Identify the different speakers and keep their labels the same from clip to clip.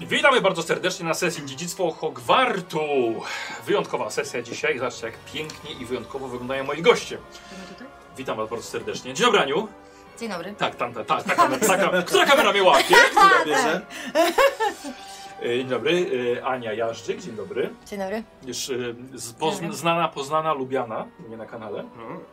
Speaker 1: Witamy bardzo serdecznie na sesji Dziedzictwo Hogwartu. Wyjątkowa sesja dzisiaj. Zobaczcie, jak pięknie i wyjątkowo wyglądają moi goście. Witam was bardzo serdecznie. Dzień dobry, Aniu.
Speaker 2: Dzień dobry.
Speaker 1: Tak, tam, ta, ta, ta, kamera- ta, kam- która kamera mnie łapie?
Speaker 2: Tak,
Speaker 3: Która bierze?
Speaker 1: E, Dzień dobry, e, Ania Jażdżyk, dzień dobry.
Speaker 2: Dzień dobry.
Speaker 1: Już e, z pozn- znana, poznana, lubiana, u mnie na kanale.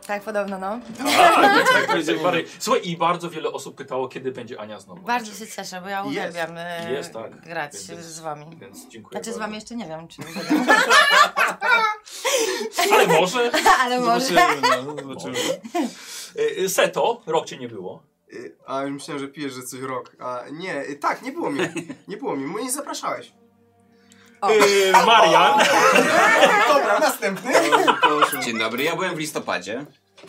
Speaker 2: Tak, podobno, no.
Speaker 1: Tak,
Speaker 3: tak
Speaker 1: tak,
Speaker 3: będzie
Speaker 1: Mary. Słuchaj, i bardzo wiele osób pytało, kiedy będzie Ania znowu.
Speaker 2: Bardzo się cieszę, bo ja
Speaker 3: Jest.
Speaker 2: uwielbiam e,
Speaker 1: Jest, tak.
Speaker 2: grać
Speaker 1: Więc-
Speaker 2: z wami.
Speaker 1: Więc dziękuję
Speaker 2: Znaczy z
Speaker 1: bardzo.
Speaker 2: wami jeszcze nie wiem, czy
Speaker 1: Ale może.
Speaker 2: Ale może.
Speaker 3: Zobaczymy, no, zobaczymy.
Speaker 1: E, e, Seto, rok cię nie było.
Speaker 3: Y, A myślałem, że pijesz, że coś rok. A nie, y, tak, nie było mnie. Nie było mi, mnie nie zapraszałeś.
Speaker 2: O.
Speaker 1: E, Marian,
Speaker 3: Dobra, następny.
Speaker 1: No.
Speaker 4: Dzień dobry, ja byłem w listopadzie.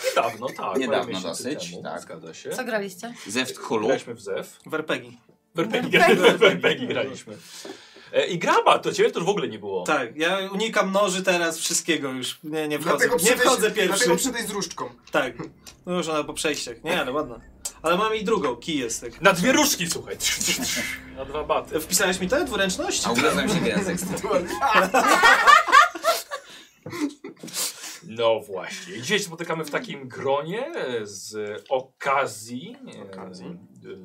Speaker 1: niedawno, tak.
Speaker 4: Niedawno
Speaker 1: parę miesięcy
Speaker 4: dosyć,
Speaker 1: temu,
Speaker 4: tak.
Speaker 1: Zgadza się.
Speaker 2: Co graliście?
Speaker 4: Zewt Hulu.
Speaker 1: Graliśmy w Zew.
Speaker 5: Werpegi.
Speaker 1: Werpegi graliśmy. E, I graba, to ciebie to już w ogóle nie było.
Speaker 5: Tak, ja unikam noży teraz, wszystkiego już. Nie, nie wchodzę.
Speaker 3: Dlatego
Speaker 5: nie
Speaker 3: przybyś-
Speaker 5: wchodzę pierwszy.
Speaker 3: Dlatego przybyj z różdżką.
Speaker 5: Tak. No już ona po przejściach. Nie, ale ładna. Ale mam i drugą, kij jest tak.
Speaker 1: Na dwie różki, słuchaj. Na dwa baty.
Speaker 5: Wpisałeś mi Tak, to? Dwuręczność?
Speaker 4: A ugryzłem się w język. z tym.
Speaker 1: No właśnie. I Dzisiaj się spotykamy w takim gronie e, z okazji, e,
Speaker 3: Okazji.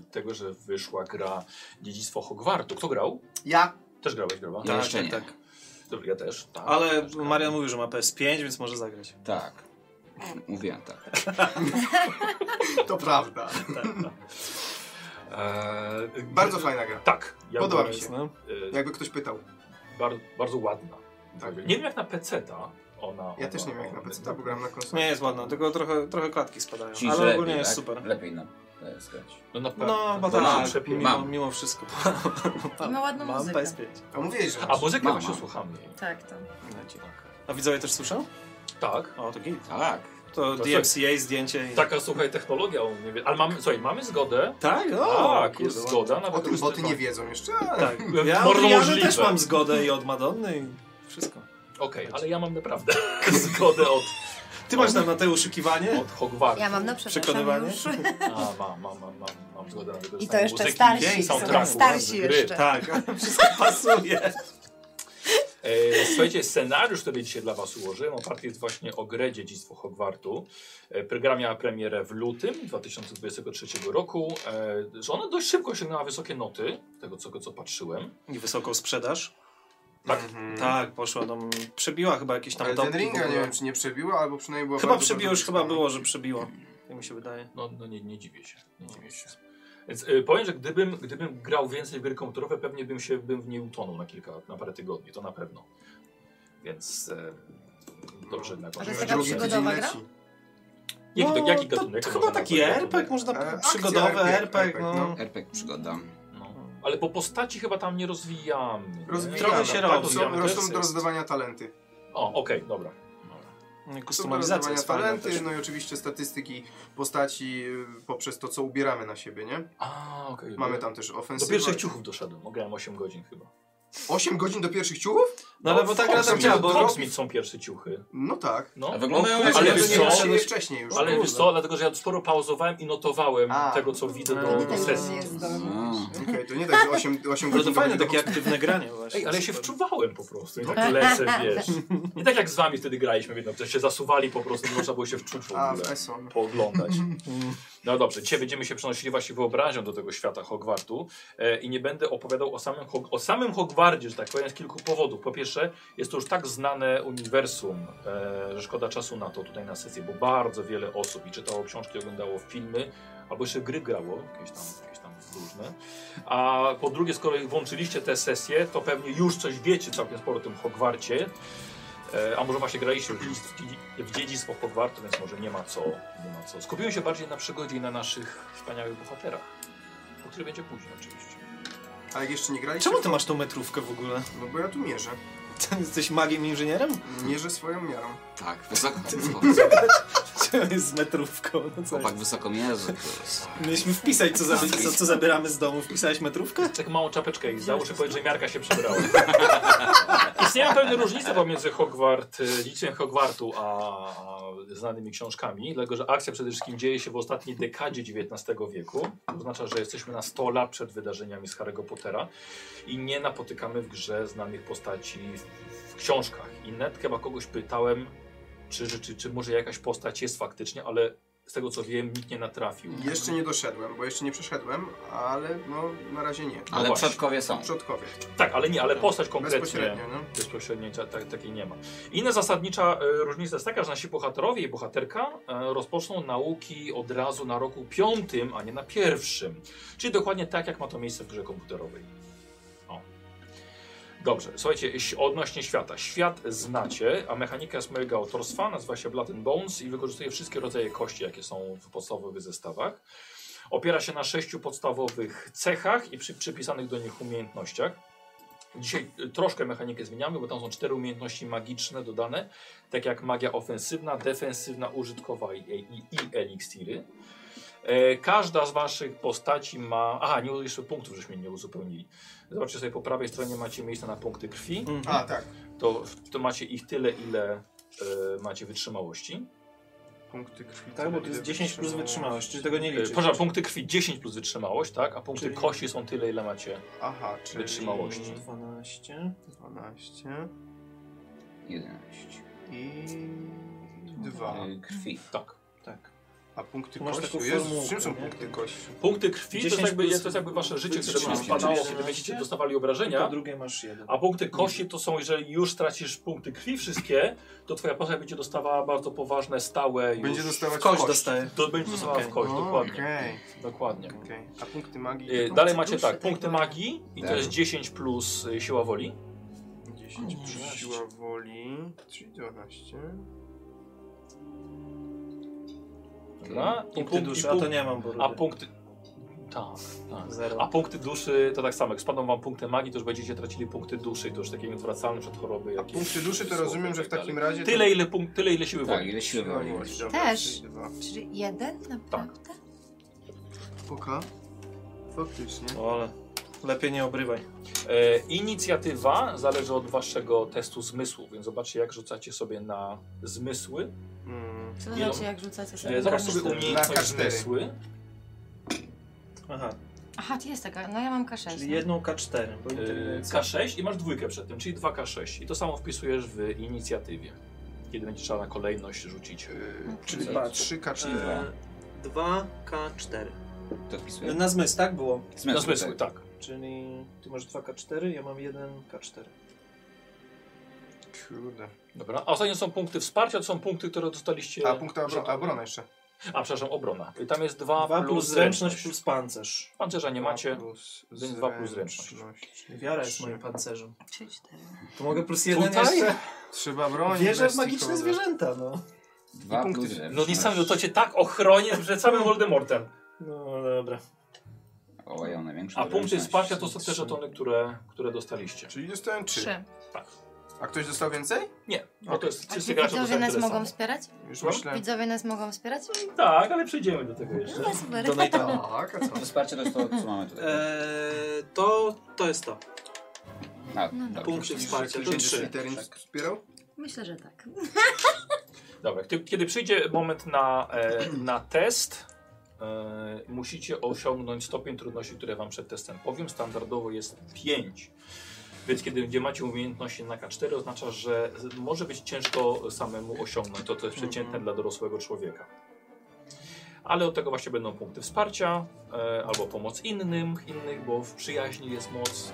Speaker 1: e, tego, że wyszła gra Dziedzictwo Hogwartu. Kto grał?
Speaker 3: Ja?
Speaker 1: Też grałeś, grała?
Speaker 4: Ja No jeszcze nie.
Speaker 5: tak.
Speaker 1: Dobry, ja też. Tak,
Speaker 5: Ale
Speaker 1: też grałem.
Speaker 5: Marian mówił, że ma PS5, więc może zagrać.
Speaker 4: Tak. Mówiłem tak.
Speaker 3: To prawda.
Speaker 1: Eee,
Speaker 3: Bardzo fajna gra.
Speaker 1: Tak. Ja
Speaker 3: Podoba
Speaker 1: byłem,
Speaker 3: mi się.
Speaker 5: No.
Speaker 1: e,
Speaker 3: Jakby ktoś pytał.
Speaker 1: bardzo, bardzo ładna.
Speaker 3: Tak.
Speaker 1: Nie wiem jak na PC ta ona.
Speaker 3: Ja też nie
Speaker 1: ona-
Speaker 3: wiem jak na PC, bo grałem na konsoli.
Speaker 5: Nie jest ładna, tylko trochę, trochę klatki spadają.
Speaker 4: Czyli
Speaker 5: ale
Speaker 4: lepiej,
Speaker 5: ogólnie jest
Speaker 4: tak?
Speaker 5: super.
Speaker 4: Lepiej nam to jest grać.
Speaker 1: No na pewno.
Speaker 5: No, bo
Speaker 1: To się
Speaker 5: tak,
Speaker 1: przepięknie.
Speaker 5: mimo,
Speaker 4: Mam.
Speaker 5: mimo wszystko. Mam,
Speaker 2: Ma ładną
Speaker 5: mam
Speaker 2: muzykę.
Speaker 5: PS5.
Speaker 3: A mówiłeś, że
Speaker 1: A muzykę
Speaker 4: Mama.
Speaker 1: właśnie słucham jej.
Speaker 2: Tak, to.
Speaker 5: A widzowie też słyszą?
Speaker 1: Tak.
Speaker 5: O, to git.
Speaker 4: Tak.
Speaker 1: To
Speaker 5: To
Speaker 1: Tak.
Speaker 5: DMCA, zdjęcie i...
Speaker 1: Taka słuchaj technologia u mnie. wie- Ale mamy, słuchaj, mamy zgodę.
Speaker 5: Tak? O,
Speaker 1: tak, jest
Speaker 5: kurde,
Speaker 1: zgoda.
Speaker 3: No, o
Speaker 1: Nawet
Speaker 3: tym
Speaker 1: już
Speaker 3: boty
Speaker 1: tylko-
Speaker 3: nie wiedzą jeszcze, ale...
Speaker 5: Tak. Ja
Speaker 1: Bardzo
Speaker 5: od Rihanny
Speaker 1: możliwe.
Speaker 5: też mam zgodę i od Madonny i wszystko.
Speaker 1: Okej, ale ja mam naprawdę zgodę od,
Speaker 5: Ty masz tam na te uszukiwanie?
Speaker 1: od Hogwartu.
Speaker 2: Ja mam na przepraszam
Speaker 5: Przekonywanie?
Speaker 2: już.
Speaker 1: A, mam, mam, mam, mam, mam zgodę na wykorzystanie
Speaker 2: I to jeszcze
Speaker 1: muzyki,
Speaker 2: starsi.
Speaker 1: soundtracku,
Speaker 2: Są starsi
Speaker 1: z gry.
Speaker 2: jeszcze.
Speaker 5: Tak, wszystko pasuje.
Speaker 1: E, Słuchajcie, scenariusz, który dzisiaj dla Was ułożyłem, oparty jest właśnie o grę Dziedzictwo Hogwartu. E, Gra miała premierę w lutym 2023 roku. E, że Ona dość szybko osiągnęła wysokie noty, z tego co, co patrzyłem.
Speaker 5: I wysoką sprzedaż?
Speaker 1: Tak.
Speaker 3: Mhm.
Speaker 5: Tak, poszła tam, przebiła chyba jakieś tam
Speaker 3: Ale
Speaker 5: top.
Speaker 3: Ten Ringa nie wiem, czy nie przebiła, albo przynajmniej była
Speaker 5: Chyba
Speaker 3: bardzo,
Speaker 5: przebiło,
Speaker 3: bardzo
Speaker 5: już chyba
Speaker 3: wysoka.
Speaker 5: było, że przebiło. Tak mi się wydaje.
Speaker 1: No, no nie, nie dziwię się. Nie dziwię się. Więc e, powiem, że gdybym, gdybym grał więcej w gry komputerowe, pewnie bym się bym w niej utonął na kilka, na parę tygodni, to na pewno. Więc e, dobrze jednak.
Speaker 2: to jest
Speaker 1: że-
Speaker 2: taka
Speaker 3: Drugi
Speaker 1: że-
Speaker 2: przygodowa
Speaker 3: tydzień
Speaker 2: gra?
Speaker 3: leci.
Speaker 1: Jaki,
Speaker 5: No,
Speaker 1: jaki
Speaker 5: to-
Speaker 1: gatunek?
Speaker 5: To chyba
Speaker 1: można
Speaker 5: taki
Speaker 1: nazwać
Speaker 5: RPG,
Speaker 1: gatunek?
Speaker 5: można
Speaker 3: E,
Speaker 5: tam
Speaker 3: akcja,
Speaker 5: przygodowy
Speaker 3: RPG,
Speaker 5: RPG,
Speaker 3: no.
Speaker 5: no.
Speaker 4: Erpek przygoda.
Speaker 1: No. Ale po postaci chyba tam nie rozwijamy. nie?
Speaker 3: Rozwijamy.
Speaker 5: Trochę się
Speaker 3: tak,
Speaker 5: robi,
Speaker 3: to
Speaker 1: rozwijamy
Speaker 3: Są, rosną
Speaker 1: wersję.
Speaker 3: do rozdawania talenty.
Speaker 1: O, okej, dobra.
Speaker 3: Są do
Speaker 5: Kustomizacja
Speaker 3: rozdawania
Speaker 5: jest fajna
Speaker 3: talenty,
Speaker 5: też.
Speaker 3: no i oczywiście statystyki postaci y, poprzez to, co ubieramy na siebie, nie?
Speaker 1: A, okej.
Speaker 3: Mamy
Speaker 1: dobra.
Speaker 3: tam też
Speaker 1: Do
Speaker 3: ofensywę.
Speaker 1: pierwszych ciuchów doszedłem, bo grałem 8 godzin chyba.
Speaker 3: 8 godzin do pierwszych ciuchów?
Speaker 5: No ale bo tak gra tam
Speaker 3: Fox
Speaker 5: działa,
Speaker 3: Mill,
Speaker 5: bo...
Speaker 1: Hogsmeade są pierwsze ciuchy.
Speaker 3: No tak.
Speaker 1: No.
Speaker 4: A wyglądają
Speaker 5: Ale
Speaker 4: jak
Speaker 3: ale
Speaker 1: ale
Speaker 3: to
Speaker 1: wiesz
Speaker 3: nie
Speaker 1: co?
Speaker 3: wyszedłeś wcześniej już.
Speaker 1: Ale wiesz
Speaker 5: kurde.
Speaker 1: co, dlatego że ja sporo pauzowałem i notowałem
Speaker 3: A.
Speaker 1: tego, co widzę
Speaker 5: Wtedy
Speaker 1: do
Speaker 5: też
Speaker 1: sesji.
Speaker 4: No.
Speaker 3: Okej, to nie tak, że 8, 8
Speaker 5: Ale
Speaker 3: godzin
Speaker 5: to
Speaker 3: do
Speaker 5: fajne
Speaker 3: godziny
Speaker 5: takie aktywne granie właśnie.
Speaker 1: Ej, ale ja się
Speaker 5: Super.
Speaker 1: wczuwałem po prostu. I tak lecę, wiesz. I tak jak z wami wtedy graliśmy w jedną, to się zasuwali po prostu, nie można było się wczuć w
Speaker 3: A, w
Speaker 1: ogóle.
Speaker 3: ESO.
Speaker 1: Pooglądać. No dobrze, dzisiaj będziemy się przenosili właśnie wyobraźnią do tego świata Hogwartu e, i nie będę opowiadał o samym, Hog- o samym Hogwardzie, że tak powiem, z kilku powodów. Po pierwsze, jest to już tak znane uniwersum, e, że szkoda czasu na to tutaj na sesję, bo bardzo wiele osób i czytało książki, oglądało filmy, albo jeszcze gry grało, jakieś tam, jakieś tam różne. A po drugie, skoro włączyliście tę sesję, to pewnie już coś wiecie całkiem sporo o tym Hogwarcie. E, a może właśnie graliście w dziedzictwo, w dziedzictwo Hogwartu, więc może nie ma co. Nie ma co. Skupiłem się bardziej na przygodzie i na naszych wspaniałych bohaterach. O których będzie później oczywiście.
Speaker 3: A jak jeszcze nie graliście?
Speaker 5: Czemu ty masz tą metrówkę w ogóle?
Speaker 3: No bo ja tu mierzę.
Speaker 5: Ty Jesteś magiem inżynierem?
Speaker 3: Mierzę swoją miarą.
Speaker 4: Tak, wysoko.
Speaker 5: z metrówką. No co?
Speaker 4: Chłopak wysoko mierzy. kurwa.
Speaker 1: No
Speaker 5: Mieliśmy wpisać, co, zabi- co, co zabieramy z domu. Wpisałeś metrówkę?
Speaker 1: Tak małą czapeczkę i załóż i powiedz, że miarka się przebrała. Istnieją pewne różnice pomiędzy Hogwart, y, liczbą Hogwartu a znanymi książkami, dlatego że akcja przede wszystkim dzieje się w ostatniej dekadzie XIX wieku. To oznacza, że jesteśmy na 100 lat przed wydarzeniami z Harry'ego Pottera i nie napotykamy w grze znanych postaci w, w książkach. I net chyba kogoś pytałem, czy, czy, czy, czy może jakaś postać jest faktycznie, ale z tego co wiem, nikt nie natrafił.
Speaker 3: Jeszcze nie doszedłem, bo jeszcze nie przeszedłem, ale no na razie nie.
Speaker 1: No
Speaker 4: Ale
Speaker 1: właśnie.
Speaker 4: przodkowie są.
Speaker 3: Przodkowie.
Speaker 1: Tak, ale nie, ale postać konkretnie.
Speaker 3: Bezpośrednio, no.
Speaker 1: bezpośredniej ta, ta, takiej nie ma. Inna zasadnicza e, różnica jest taka, że nasi bohaterowie i bohaterka e, rozpoczną nauki od razu na roku piątym, a nie na pierwszym. Czyli dokładnie tak, jak ma to miejsce w grze komputerowej. O. Dobrze, słuchajcie, jeś- odnośnie świata. Świat znacie, a mechanika jest mojego autorstwa, nazywa się Blood and Bones i wykorzystuje wszystkie rodzaje kości, jakie są w podstawowych zestawach. Opiera się na sześciu podstawowych cechach i przy, przypisanych do nich umiejętnościach. Dzisiaj y, troszkę mechanikę zmieniamy, bo tam są cztery umiejętności magiczne dodane, tak jak magia ofensywna, defensywna, użytkowa i, i, i eliksiry. E, każda z waszych postaci ma... Aha, nie, jeszcze punktów żeśmy nie uzupełnili. Zobaczcie sobie po prawej stronie macie miejsce na punkty krwi,
Speaker 5: Mhm.
Speaker 3: A, tak.
Speaker 1: to, to macie ich tyle, ile e, macie wytrzymałości. E,
Speaker 3: Punkty krwi.
Speaker 5: Tak, bo to jest 10 plus wytrzymałość, czyli tego nie
Speaker 1: E,
Speaker 5: liczy.
Speaker 1: Przepraszam, punkty krwi 10 plus wytrzymałość, tak? A punkty
Speaker 5: Czyli-
Speaker 1: kości są tyle, ile macie.
Speaker 3: Aha, czyli
Speaker 1: Wytrzymałości.
Speaker 5: 12.
Speaker 3: 12
Speaker 4: 11.
Speaker 3: i 2.
Speaker 4: Y, Krwi.
Speaker 1: Tak.
Speaker 5: Tak.
Speaker 3: A punkty
Speaker 5: Tu masz
Speaker 3: kości?
Speaker 5: taką
Speaker 3: Jezu,
Speaker 5: formułkę,
Speaker 3: czym są
Speaker 5: nie?
Speaker 3: punkty kości?
Speaker 1: Punkty krwi to jest
Speaker 5: 10
Speaker 1: jakby,
Speaker 5: plus-
Speaker 1: to jest jakby wasze życie, które będzie
Speaker 4: wytrzymałość.
Speaker 1: spadało, kiedy
Speaker 5: 11?
Speaker 1: będziecie dostawali
Speaker 5: To
Speaker 1: obrażenia.
Speaker 5: drugie masz jeden.
Speaker 1: A punkty kości to są, jeżeli już tracisz punkty krwi wszystkie, to twoja postać będzie dostawała bardzo poważne, stałe już...
Speaker 3: Będzie dostawać
Speaker 5: Kość dostaję.
Speaker 1: To będzie dostawała w
Speaker 5: Okej.
Speaker 1: kość,
Speaker 3: O,
Speaker 1: dokładnie.
Speaker 3: Okej,
Speaker 1: dokładnie.
Speaker 3: okej. A punkty magii?
Speaker 1: Y,
Speaker 3: to
Speaker 1: Dalej
Speaker 3: punkty
Speaker 1: macie
Speaker 3: duszy,
Speaker 1: tak, punkty magii i to
Speaker 4: Tak.
Speaker 1: jest 10 plus y, siła woli.
Speaker 3: 10
Speaker 5: O,
Speaker 3: plus
Speaker 5: dwanaście.
Speaker 3: siła woli, czyli 12.
Speaker 1: Dobra? I
Speaker 5: Tak. Punkty
Speaker 1: punkt- i
Speaker 5: duszy, a
Speaker 1: punkt-
Speaker 5: to nie mam, bo
Speaker 1: A
Speaker 5: lubię.
Speaker 1: punkty... Tak, tak.
Speaker 5: Zero.
Speaker 1: A punkty duszy to tak samo, jak spadną wam punkty magii, to już będziecie tracili punkty duszy, to już takie nieodwracalne przed choroby.
Speaker 3: A
Speaker 1: jakieś
Speaker 3: punkty duszy to
Speaker 1: słowy
Speaker 3: rozumiem,
Speaker 1: i
Speaker 3: że
Speaker 1: tak
Speaker 3: w takim
Speaker 1: dalej.
Speaker 3: razie... to-
Speaker 1: Tyle ile, punk- tyle, ile siły
Speaker 4: Tak,
Speaker 1: woli.
Speaker 4: ile siły
Speaker 3: Siła
Speaker 4: woli.
Speaker 3: woli, dobra,
Speaker 2: Też.
Speaker 3: czyli dwa.
Speaker 2: Czyli jeden naprawdę?
Speaker 3: Poka? Y, Faktycznie.
Speaker 5: O, ale lepiej nie obrywaj.
Speaker 1: E, inicjatywa zależy od waszego testu zmysłu, więc zobaczcie jak rzucacie sobie na zmysły.
Speaker 3: Mm.
Speaker 2: Co to
Speaker 1: Nie no.
Speaker 2: znaczy, jak rzucacie sobie?
Speaker 1: E, zobacz sobie
Speaker 5: K4.
Speaker 3: Na
Speaker 1: umiejętność
Speaker 3: K4.
Speaker 1: zmysły. E,
Speaker 5: Aha,
Speaker 2: Aha, to jest taka, no ja mam K6.
Speaker 5: czyli
Speaker 2: no.
Speaker 5: jedną K4. Bo
Speaker 1: E,
Speaker 5: inteligencja-
Speaker 1: K6 i masz dwójkę przed tym, czyli 2K6. I to samo wpisujesz w inicjatywie. Kiedy będzie trzeba na kolejność rzucić.
Speaker 3: Yy, Czyli
Speaker 5: Czyli
Speaker 3: 3K4.
Speaker 5: E, 2K4.
Speaker 4: To wpisuję?
Speaker 1: No,
Speaker 5: Na zmysł, tak było?
Speaker 1: Na zmysły, tak.
Speaker 5: Czyli ty masz 2K4, ja mam 1K4.
Speaker 3: Kurde.
Speaker 1: Dobra. A ostatnio są punkty wsparcia, to są punkty, które dostaliście.
Speaker 3: A punkt obro- obrona jeszcze.
Speaker 1: A przepraszam, obrona. I tam jest 2,
Speaker 5: 2 plus zręczność plus pancerz.
Speaker 1: Pancerza nie
Speaker 3: Dwa
Speaker 1: macie.
Speaker 3: plus
Speaker 1: więc dwa plus zręczność.
Speaker 5: Wiara jest
Speaker 3: Trzy.
Speaker 5: moim pancerzem.
Speaker 2: Czyli cztery.
Speaker 5: To mogę plus jeden
Speaker 1: Tutaj?
Speaker 5: jeszcze?
Speaker 3: Trzeba bronić.
Speaker 5: Wierzę w
Speaker 3: bestii,
Speaker 5: magiczne
Speaker 3: kurde.
Speaker 5: zwierzęta, no.
Speaker 4: Dwa
Speaker 3: I punkty.
Speaker 4: punkty.
Speaker 1: No niesamowite, to cię tak ochronię przed samym Voldemortem.
Speaker 5: No dobra.
Speaker 4: O, ja mam największą
Speaker 1: A punkty
Speaker 4: zręczność.
Speaker 1: wsparcia to są te żetony, które, które dostaliście.
Speaker 3: Czyli dostałem 3.
Speaker 2: Trzy.
Speaker 1: Tak.
Speaker 3: A ktoś dostał więcej?
Speaker 1: Nie, no to jest
Speaker 2: A
Speaker 1: wszyscy
Speaker 2: czy
Speaker 1: gracze
Speaker 2: widzowie
Speaker 1: dostają
Speaker 2: nas
Speaker 1: tyle
Speaker 2: mogą
Speaker 1: samo.
Speaker 2: wspierać?
Speaker 3: Już
Speaker 1: No.
Speaker 3: myślałem.
Speaker 2: Widzowie nas mogą wspierać?
Speaker 1: Tak, ale przejdziemy do tego jeszcze.
Speaker 2: No super.
Speaker 5: Donate'a.
Speaker 3: Tak, a co?
Speaker 4: No Wsparcie to jest to, co mamy tutaj.
Speaker 1: E,
Speaker 5: Eee, to, to jest to.
Speaker 4: A,
Speaker 2: no,
Speaker 4: dobra.
Speaker 5: Punkty wsparcia to
Speaker 3: Będziesz
Speaker 5: 3.
Speaker 3: literem
Speaker 4: Tak.
Speaker 3: wspierał?
Speaker 2: Myślę, że tak.
Speaker 1: Dobra, kiedy- kiedy przyjdzie moment na, e, na test, e, musicie osiągnąć stopień trudności, które wam przed testem powiem. Standardowo jest 5. Więc kiedy gdzie macie umiejętności na K4, oznacza, że z- może być ciężko samemu osiągnąć to, co jest przeciętne dla dorosłego człowieka. Ale od tego właśnie będą punkty wsparcia, e, albo pomoc innym, innych, bo w przyjaźni jest moc.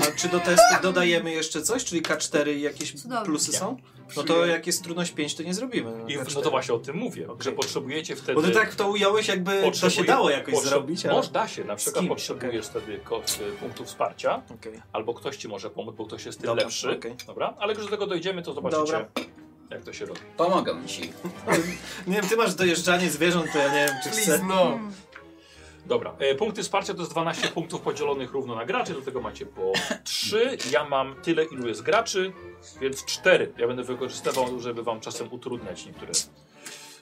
Speaker 5: A czy do testu dodajemy jeszcze coś? Czyli K4 i jakieś
Speaker 2: Cudownie.
Speaker 5: plusy
Speaker 1: Nie.
Speaker 5: są? No to jak jest trudność 5, to nie zrobimy. na
Speaker 1: I w, no
Speaker 5: K4.
Speaker 1: to właśnie o tym mówię, że potrzebujecie wtedy...
Speaker 5: Znaczy, Bo ty tak w to ująłeś, jakby to się
Speaker 1: Potrzebuje-
Speaker 5: dało jakoś
Speaker 1: potrze-
Speaker 5: zrobić. Ale...
Speaker 1: Może da się, na przykład
Speaker 5: kimś,
Speaker 1: potrzebujesz wtedy ko- y, punktów wsparcia,
Speaker 5: Okej.
Speaker 1: albo ktoś ci może pomóc, bo ktoś jest tym
Speaker 5: Dobra,
Speaker 1: lepszy.
Speaker 5: okej.
Speaker 1: Dobra? Ale jak już do tego dojdziemy, to zobaczycie,
Speaker 5: Dobra.
Speaker 1: jak to się robi.
Speaker 4: Pomogę ci.
Speaker 5: Nie wiem, ty masz dojeżdżanie zwierząt, to ja nie wiem, czy chcę.
Speaker 3: Please, no.
Speaker 1: Dobra, e, punkty wsparcia to jest 12 punktów podzielonych równo na graczy, do tego macie po 3. Ja mam tyle, ilu jest graczy, więc 4. Ja będę wykorzystywał, żeby wam czasem utrudniać niektóre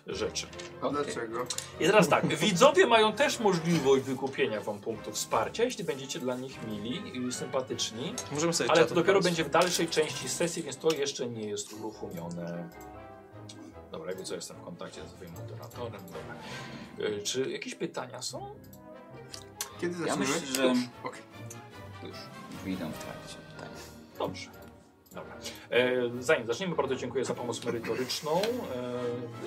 Speaker 1: rzeczy.
Speaker 4: Okej.
Speaker 3: Dlaczego?
Speaker 1: I teraz tak, widzowie mają też możliwość wykupienia wam punktów wsparcia, jeśli będziecie dla nich mili i sympatyczni,
Speaker 5: Możemy sobie
Speaker 1: ale
Speaker 5: czat
Speaker 1: to dopiero
Speaker 5: odpalić.
Speaker 1: będzie w dalszej części sesji, więc to jeszcze nie jest uruchomione. Dobra, jakby co, jestem w kontakcie ze swoim moderatorem. Dobra. Y, Czy jakieś pytania są?
Speaker 3: Kiedy
Speaker 4: Ja
Speaker 3: zaczniemy?
Speaker 4: myślę, że
Speaker 3: Okej.
Speaker 4: już wyjdę w trakcie. Tak.
Speaker 1: Dobrze. Dobra. E, zanim zaczniemy, bardzo dziękuję za pomoc merytoryczną.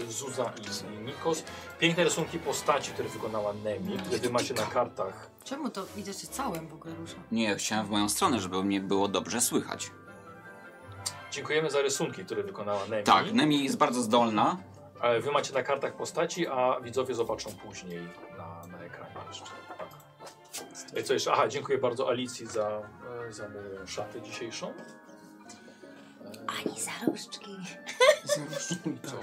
Speaker 1: E, Zuza i Nikos. Piękne rysunki postaci, które wykonała Nemi, które wy macie na kartach.
Speaker 2: Czemu to idziesz się całym w ogóle rusza?
Speaker 4: Nie, chciałem w moją stronę, żeby mnie było dobrze słychać.
Speaker 1: Dziękujemy za rysunki, które wykonała Nemi.
Speaker 4: Tak, Nemi jest bardzo zdolna.
Speaker 1: Ale E, wy macie na kartach postaci, a widzowie zobaczą później na, na ekranie jeszcze. Tak. E, Co jeszcze? Aha, dziękuję bardzo Alicji za, e, za moją szatę dzisiejszą. E,
Speaker 2: Ani za różdżki.
Speaker 1: Co?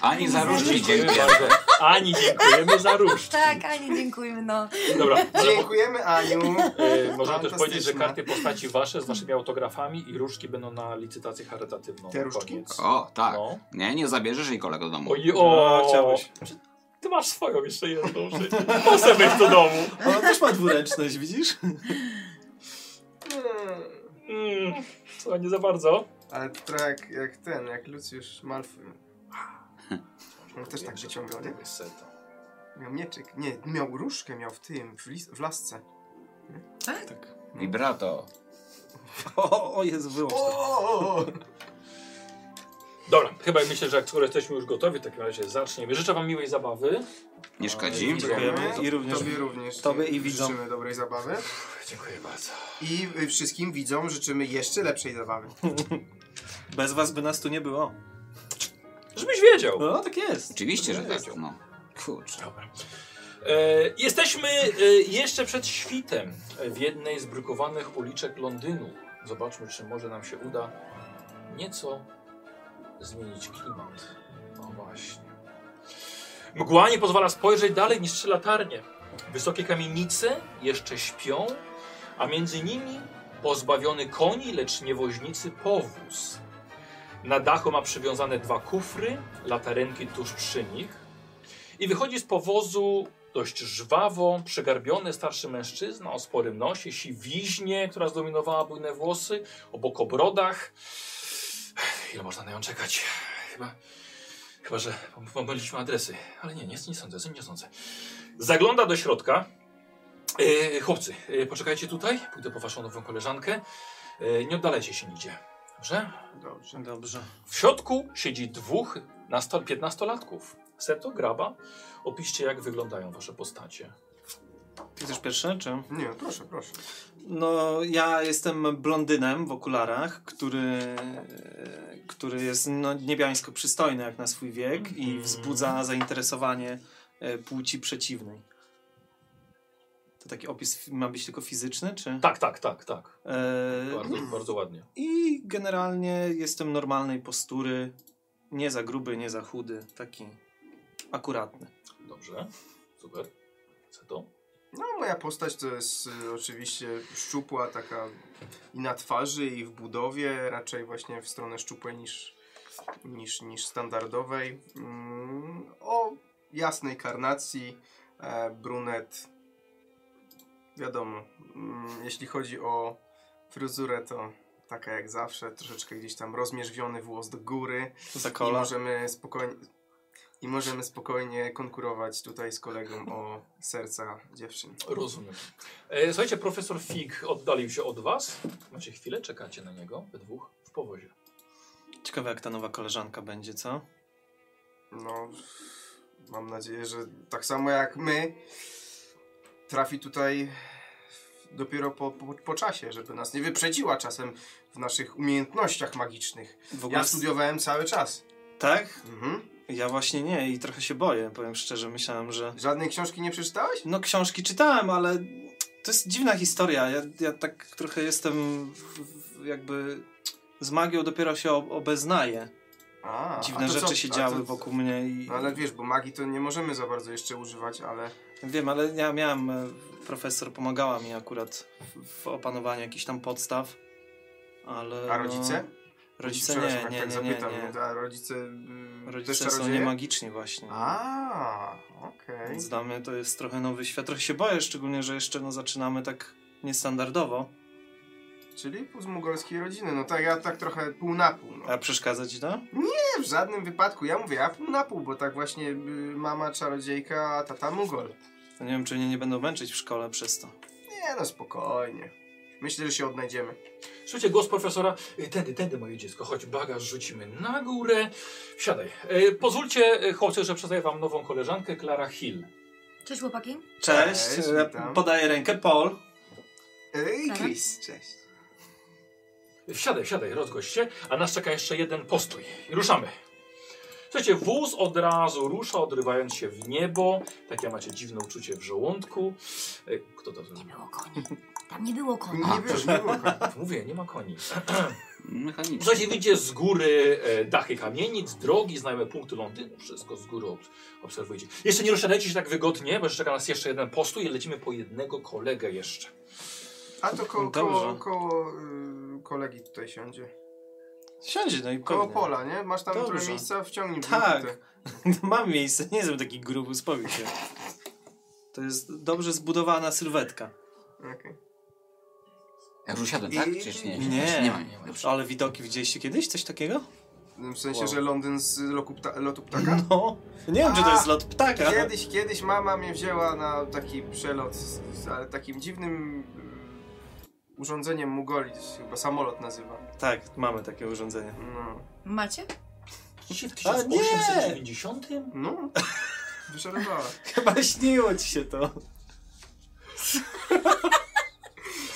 Speaker 4: Ani za różdżki,
Speaker 1: Dziękujemy
Speaker 4: dziękuję.
Speaker 1: bardzo. Ani dziękujemy za różdżki.
Speaker 2: Tak, Ani, dziękujemy, no.
Speaker 1: Dobra, ale
Speaker 3: Dziękujemy Aniu.
Speaker 1: E, Można też
Speaker 3: Fantastyczne.
Speaker 1: powiedzieć, że karty postaci wasze z waszymi autografami i różdżki będą na licytację charytatywną.
Speaker 3: Te
Speaker 1: na
Speaker 3: różdżki?
Speaker 1: koniec.
Speaker 4: O, tak.
Speaker 1: No.
Speaker 4: Nie, nie zabierzesz jej kolego do domu.
Speaker 1: Oj, o,
Speaker 3: no,
Speaker 5: O, chciałbyś.
Speaker 1: Ty masz swoją jeszcze jedną rzecz. Muszę być do domu.
Speaker 5: Ona też ma dwuręczność, widzisz?
Speaker 3: Mm.
Speaker 1: Mm, co, nie za bardzo.
Speaker 3: Ale to trochę jak, jak ten, jak Lucius Malfoy. On też tak wyciągał, nie? Miał mieczyk. Nie, miał różkę, miał w tym, w, lis, w lasce.
Speaker 5: Tak.
Speaker 4: Vibrato.
Speaker 5: O, o jest wyłącz to.
Speaker 3: O!
Speaker 1: Dobra, chyba myślę, że jak skoro jesteśmy już gotowi, w takim razie zaczniemy. Życzę wam miłej zabawy.
Speaker 4: Nie szkodzi.
Speaker 5: Dziękujemy i również-
Speaker 3: Tobie również.
Speaker 5: tobie i widzom.
Speaker 3: Życzymy dobrej zabawy.
Speaker 1: Dziękuję bardzo.
Speaker 3: I y, wszystkim widzom życzymy jeszcze lepszej zabawy.
Speaker 5: Bez was by nas tu nie było.
Speaker 1: Żebyś wiedział.
Speaker 5: No, tak jest.
Speaker 4: Oczywiście, że tak.
Speaker 1: Wiedział.
Speaker 4: No. Kurczę.
Speaker 1: Dobra. E, jesteśmy e, jeszcze przed świtem w jednej z brukowanych uliczek Londynu. Zobaczmy, czy może nam się uda nieco zmienić klimat. No właśnie. Mgła nie pozwala spojrzeć dalej niż trzy latarnie. Wysokie kamienice jeszcze śpią, a między nimi pozbawiony koni, lecz nie woźnicy powóz. Na dachu ma przywiązane dwa kufry, latarenki tuż przy nich. I wychodzi z powozu dość żwawo, przegarbiony starszy mężczyzna o sporym nosie, siwiźnie, która zdominowała bujne włosy, o bokobrodach. Ile można na nią czekać? Chyba, chyba że pom- pomyliliśmy adresy. Ale nie, nie, nie sądzę, nie sądzę. Zagląda do środka. E, chłopcy, e, poczekajcie tutaj, pójdę po waszą nową koleżankę. E, nie oddalajcie się nigdzie, dobrze?
Speaker 3: Dobrze.
Speaker 5: Dobrze.
Speaker 1: W środku siedzi dwóch nasto- piętnastolatków. Seto, graba. Opiszcie, jak wyglądają wasze postacie.
Speaker 5: Ty chcesz pierwszy, czy?
Speaker 3: Nie, proszę, proszę.
Speaker 5: No, ja jestem blondynem w okularach, który, który jest no, niebiańsko przystojny jak na swój wiek i
Speaker 1: Mhm.
Speaker 5: wzbudza zainteresowanie e, płci przeciwnej. To taki opis fi- ma być tylko fizyczny, czy?
Speaker 1: Tak, tak, tak, tak.
Speaker 5: E,
Speaker 1: Bardzo, bardzo ładnie.
Speaker 5: I generalnie jestem normalnej postury, nie za gruby, nie za chudy, taki akuratny.
Speaker 1: Dobrze. Super. Seto.
Speaker 3: No, moja postać to jest y, oczywiście szczupła, taka i na twarzy, i w budowie, raczej właśnie w stronę szczupłej niż, niż, niż standardowej. Mm, o jasnej karnacji, e, brunet. Wiadomo, mm, jeśli chodzi o fryzurę, to taka jak zawsze, troszeczkę gdzieś tam rozmierzwiony włos do góry.
Speaker 5: Za
Speaker 3: I
Speaker 5: kola.
Speaker 3: możemy spokojnie. I możemy spokojnie konkurować tutaj z kolegą o serca dziewczyn.
Speaker 1: Rozumiem. E, słuchajcie, profesor Fig oddalił się od was. Macie chwilę, czekacie na niego, we dwóch, w powozie.
Speaker 5: Ciekawe jak ta nowa koleżanka będzie, co?
Speaker 3: No, mam nadzieję, że tak samo jak my, trafi tutaj dopiero po, po, po czasie, żeby nas nie wyprzedziła czasem w naszych umiejętnościach magicznych.
Speaker 5: W ogóle
Speaker 3: Ja studiowałem cały czas.
Speaker 5: Tak?
Speaker 3: Mhm.
Speaker 5: Ja właśnie nie i trochę się boję, powiem szczerze, myślałem, że...
Speaker 3: Żadnej książki nie przeczytałeś?
Speaker 5: No książki czytałem, ale to jest dziwna historia. Ja, ja tak trochę jestem w- w- jakby z magią dopiero się ob- obeznaję.
Speaker 3: A,
Speaker 5: Dziwne
Speaker 3: a to
Speaker 5: rzeczy
Speaker 3: co?
Speaker 5: się
Speaker 3: A to-
Speaker 5: działy wokół mnie i...
Speaker 3: No ale wiesz, bo magii to nie możemy za bardzo jeszcze używać, ale
Speaker 5: Wiem, ale ja miałem, e, profesor pomagała mi akurat w- w opanowaniu jakichś tam podstaw, ale...
Speaker 3: A rodzice?
Speaker 5: No, Rodzice nie,
Speaker 3: Przepraszam,
Speaker 5: nie,
Speaker 3: jak
Speaker 5: nie,
Speaker 3: tak
Speaker 5: nie,
Speaker 3: zapytam,
Speaker 5: nie.
Speaker 3: a rodzice, y, też
Speaker 5: Rodzice są
Speaker 3: czarodzieje?
Speaker 5: niemagiczni właśnie.
Speaker 3: A, okej.
Speaker 5: Więc dla mnie to jest trochę nowy świat. Trochę się boję, szczególnie, że jeszcze no, zaczynamy tak niestandardowo.
Speaker 3: Czyli z mongolskiej rodziny. No tak, ja tak trochę pół na pół. No.
Speaker 5: A przeszkadza ci to?
Speaker 3: Nie, w żadnym wypadku. Ja mówię, ja pół na pół, bo tak właśnie y, mama czarodziejka, a tata mongol.
Speaker 5: No nie wiem, czy mnie nie będą męczyć w szkole przez to.
Speaker 3: Nie, no spokojnie. Myślę, że się odnajdziemy.
Speaker 1: Słyszycie głos profesora. E, Tędy, tędy moje dziecko, chodź bagaż rzucimy na górę. Siadaj. E, pozwólcie, e, chłopcy, że przedstawię wam nową koleżankę, Clara Hill.
Speaker 2: Cześć chłopaki.
Speaker 5: Cześć,
Speaker 3: Cześć,
Speaker 5: ja
Speaker 3: witam.
Speaker 5: podaję rękę. Paul.
Speaker 3: Ej,
Speaker 2: Tak.
Speaker 3: Chris, cześć.
Speaker 1: Wsiadaj, wsiadaj, rozgość się, a nas czeka jeszcze jeden postój. I ruszamy. Słuchajcie, wóz od razu rusza, odrywając się w niebo. Takie macie dziwne uczucie w żołądku. E, Kto to
Speaker 2: Nie
Speaker 1: zrobił?
Speaker 2: było koni. Tam nie było koni.
Speaker 3: Nie wiesz, nie było.
Speaker 1: Mówię, nie ma koni.
Speaker 4: Mechanicznie.
Speaker 1: Słuchajcie, widzicie z góry e, dachy kamienic, drogi, znajome punkty Londynu. Wszystko z góry ob obserwujecie. Jeszcze nie ruszajcie się tak wygodnie, bo jeszcze czeka nas jeszcze jeden postój i lecimy po jednego kolegę jeszcze.
Speaker 3: A to ko koło,
Speaker 5: Dobrze.
Speaker 3: koło y, kolegi tutaj siądzie.
Speaker 5: Siądź, no i
Speaker 3: Koło
Speaker 5: pewnie.
Speaker 3: pola, nie? Masz tam
Speaker 5: Dobrze.
Speaker 3: trochę miejsca, wciągnij
Speaker 5: Tak.
Speaker 3: buty.
Speaker 5: Mam miejsce, nie jestem taki gruby, spowiem się. To jest dobrze zbudowana sylwetka.
Speaker 3: Okej.
Speaker 4: Ja już usiadłem, tak?
Speaker 3: I-
Speaker 4: Przecież nie,
Speaker 5: nie.
Speaker 4: nie, nie ma, nie ma. już.
Speaker 5: Ale widoki widzieliście kiedyś? Coś takiego?
Speaker 3: W sensie,
Speaker 5: Wow.
Speaker 3: że Londyn z loku pta lotu ptaka?
Speaker 5: No. Nie wiem, czy to
Speaker 3: A,
Speaker 5: jest lot ptaka.
Speaker 3: Kiedyś, kiedyś mama mnie wzięła na taki przelot, z, z, ale takim dziwnym y, urządzeniem Mugoli, to się chyba samolot nazywa.
Speaker 5: Tak, mamy takie urządzenie.
Speaker 3: No,
Speaker 2: Macie?
Speaker 1: Dzisiaj w
Speaker 5: A, nie!
Speaker 1: 1890?
Speaker 3: no. wyszarowała.
Speaker 5: Chyba śniło ci się to.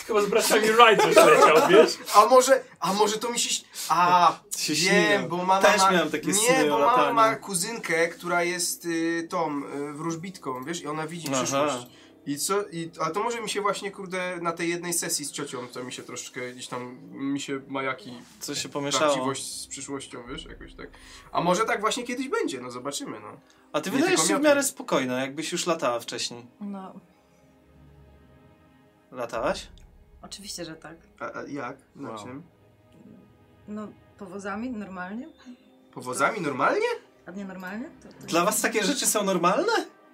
Speaker 1: Chyba z braciami Wright coś leciał, wiesz?
Speaker 3: A może, a może to mi się... ś- A,
Speaker 5: No, Się
Speaker 3: wiem,
Speaker 5: śniło.
Speaker 3: bo mama
Speaker 5: Też
Speaker 3: ma...
Speaker 5: miałem takie
Speaker 3: Nie,
Speaker 5: sny
Speaker 3: bo
Speaker 5: o
Speaker 3: mama
Speaker 5: lataniu.
Speaker 3: ma kuzynkę, która jest y, tą y, wróżbitką, wiesz, i ona widzi
Speaker 5: Aha.
Speaker 3: przyszłość. I co? I, a to może mi się właśnie, kurde, na tej jednej sesji z ciocią, to mi się troszeczkę gdzieś tam, mi się majaki
Speaker 5: Co się pomieszało.
Speaker 3: prawdziwość z przyszłością, wiesz, jakoś tak. A może tak właśnie kiedyś będzie, no zobaczymy, no.
Speaker 5: A ty
Speaker 3: Nie
Speaker 5: wydajesz
Speaker 3: tylko
Speaker 5: się w
Speaker 3: miotło.
Speaker 5: miarę spokojna, jakbyś już latała wcześniej.
Speaker 2: No,
Speaker 5: Latałaś?
Speaker 2: oczywiście, że tak.
Speaker 3: A, a jak? Na
Speaker 5: Wow.
Speaker 3: czym?
Speaker 2: No, powozami normalnie?
Speaker 3: Powozami normalnie?
Speaker 2: A nie normalnie? To, to...
Speaker 5: Dla was takie rzeczy są normalne?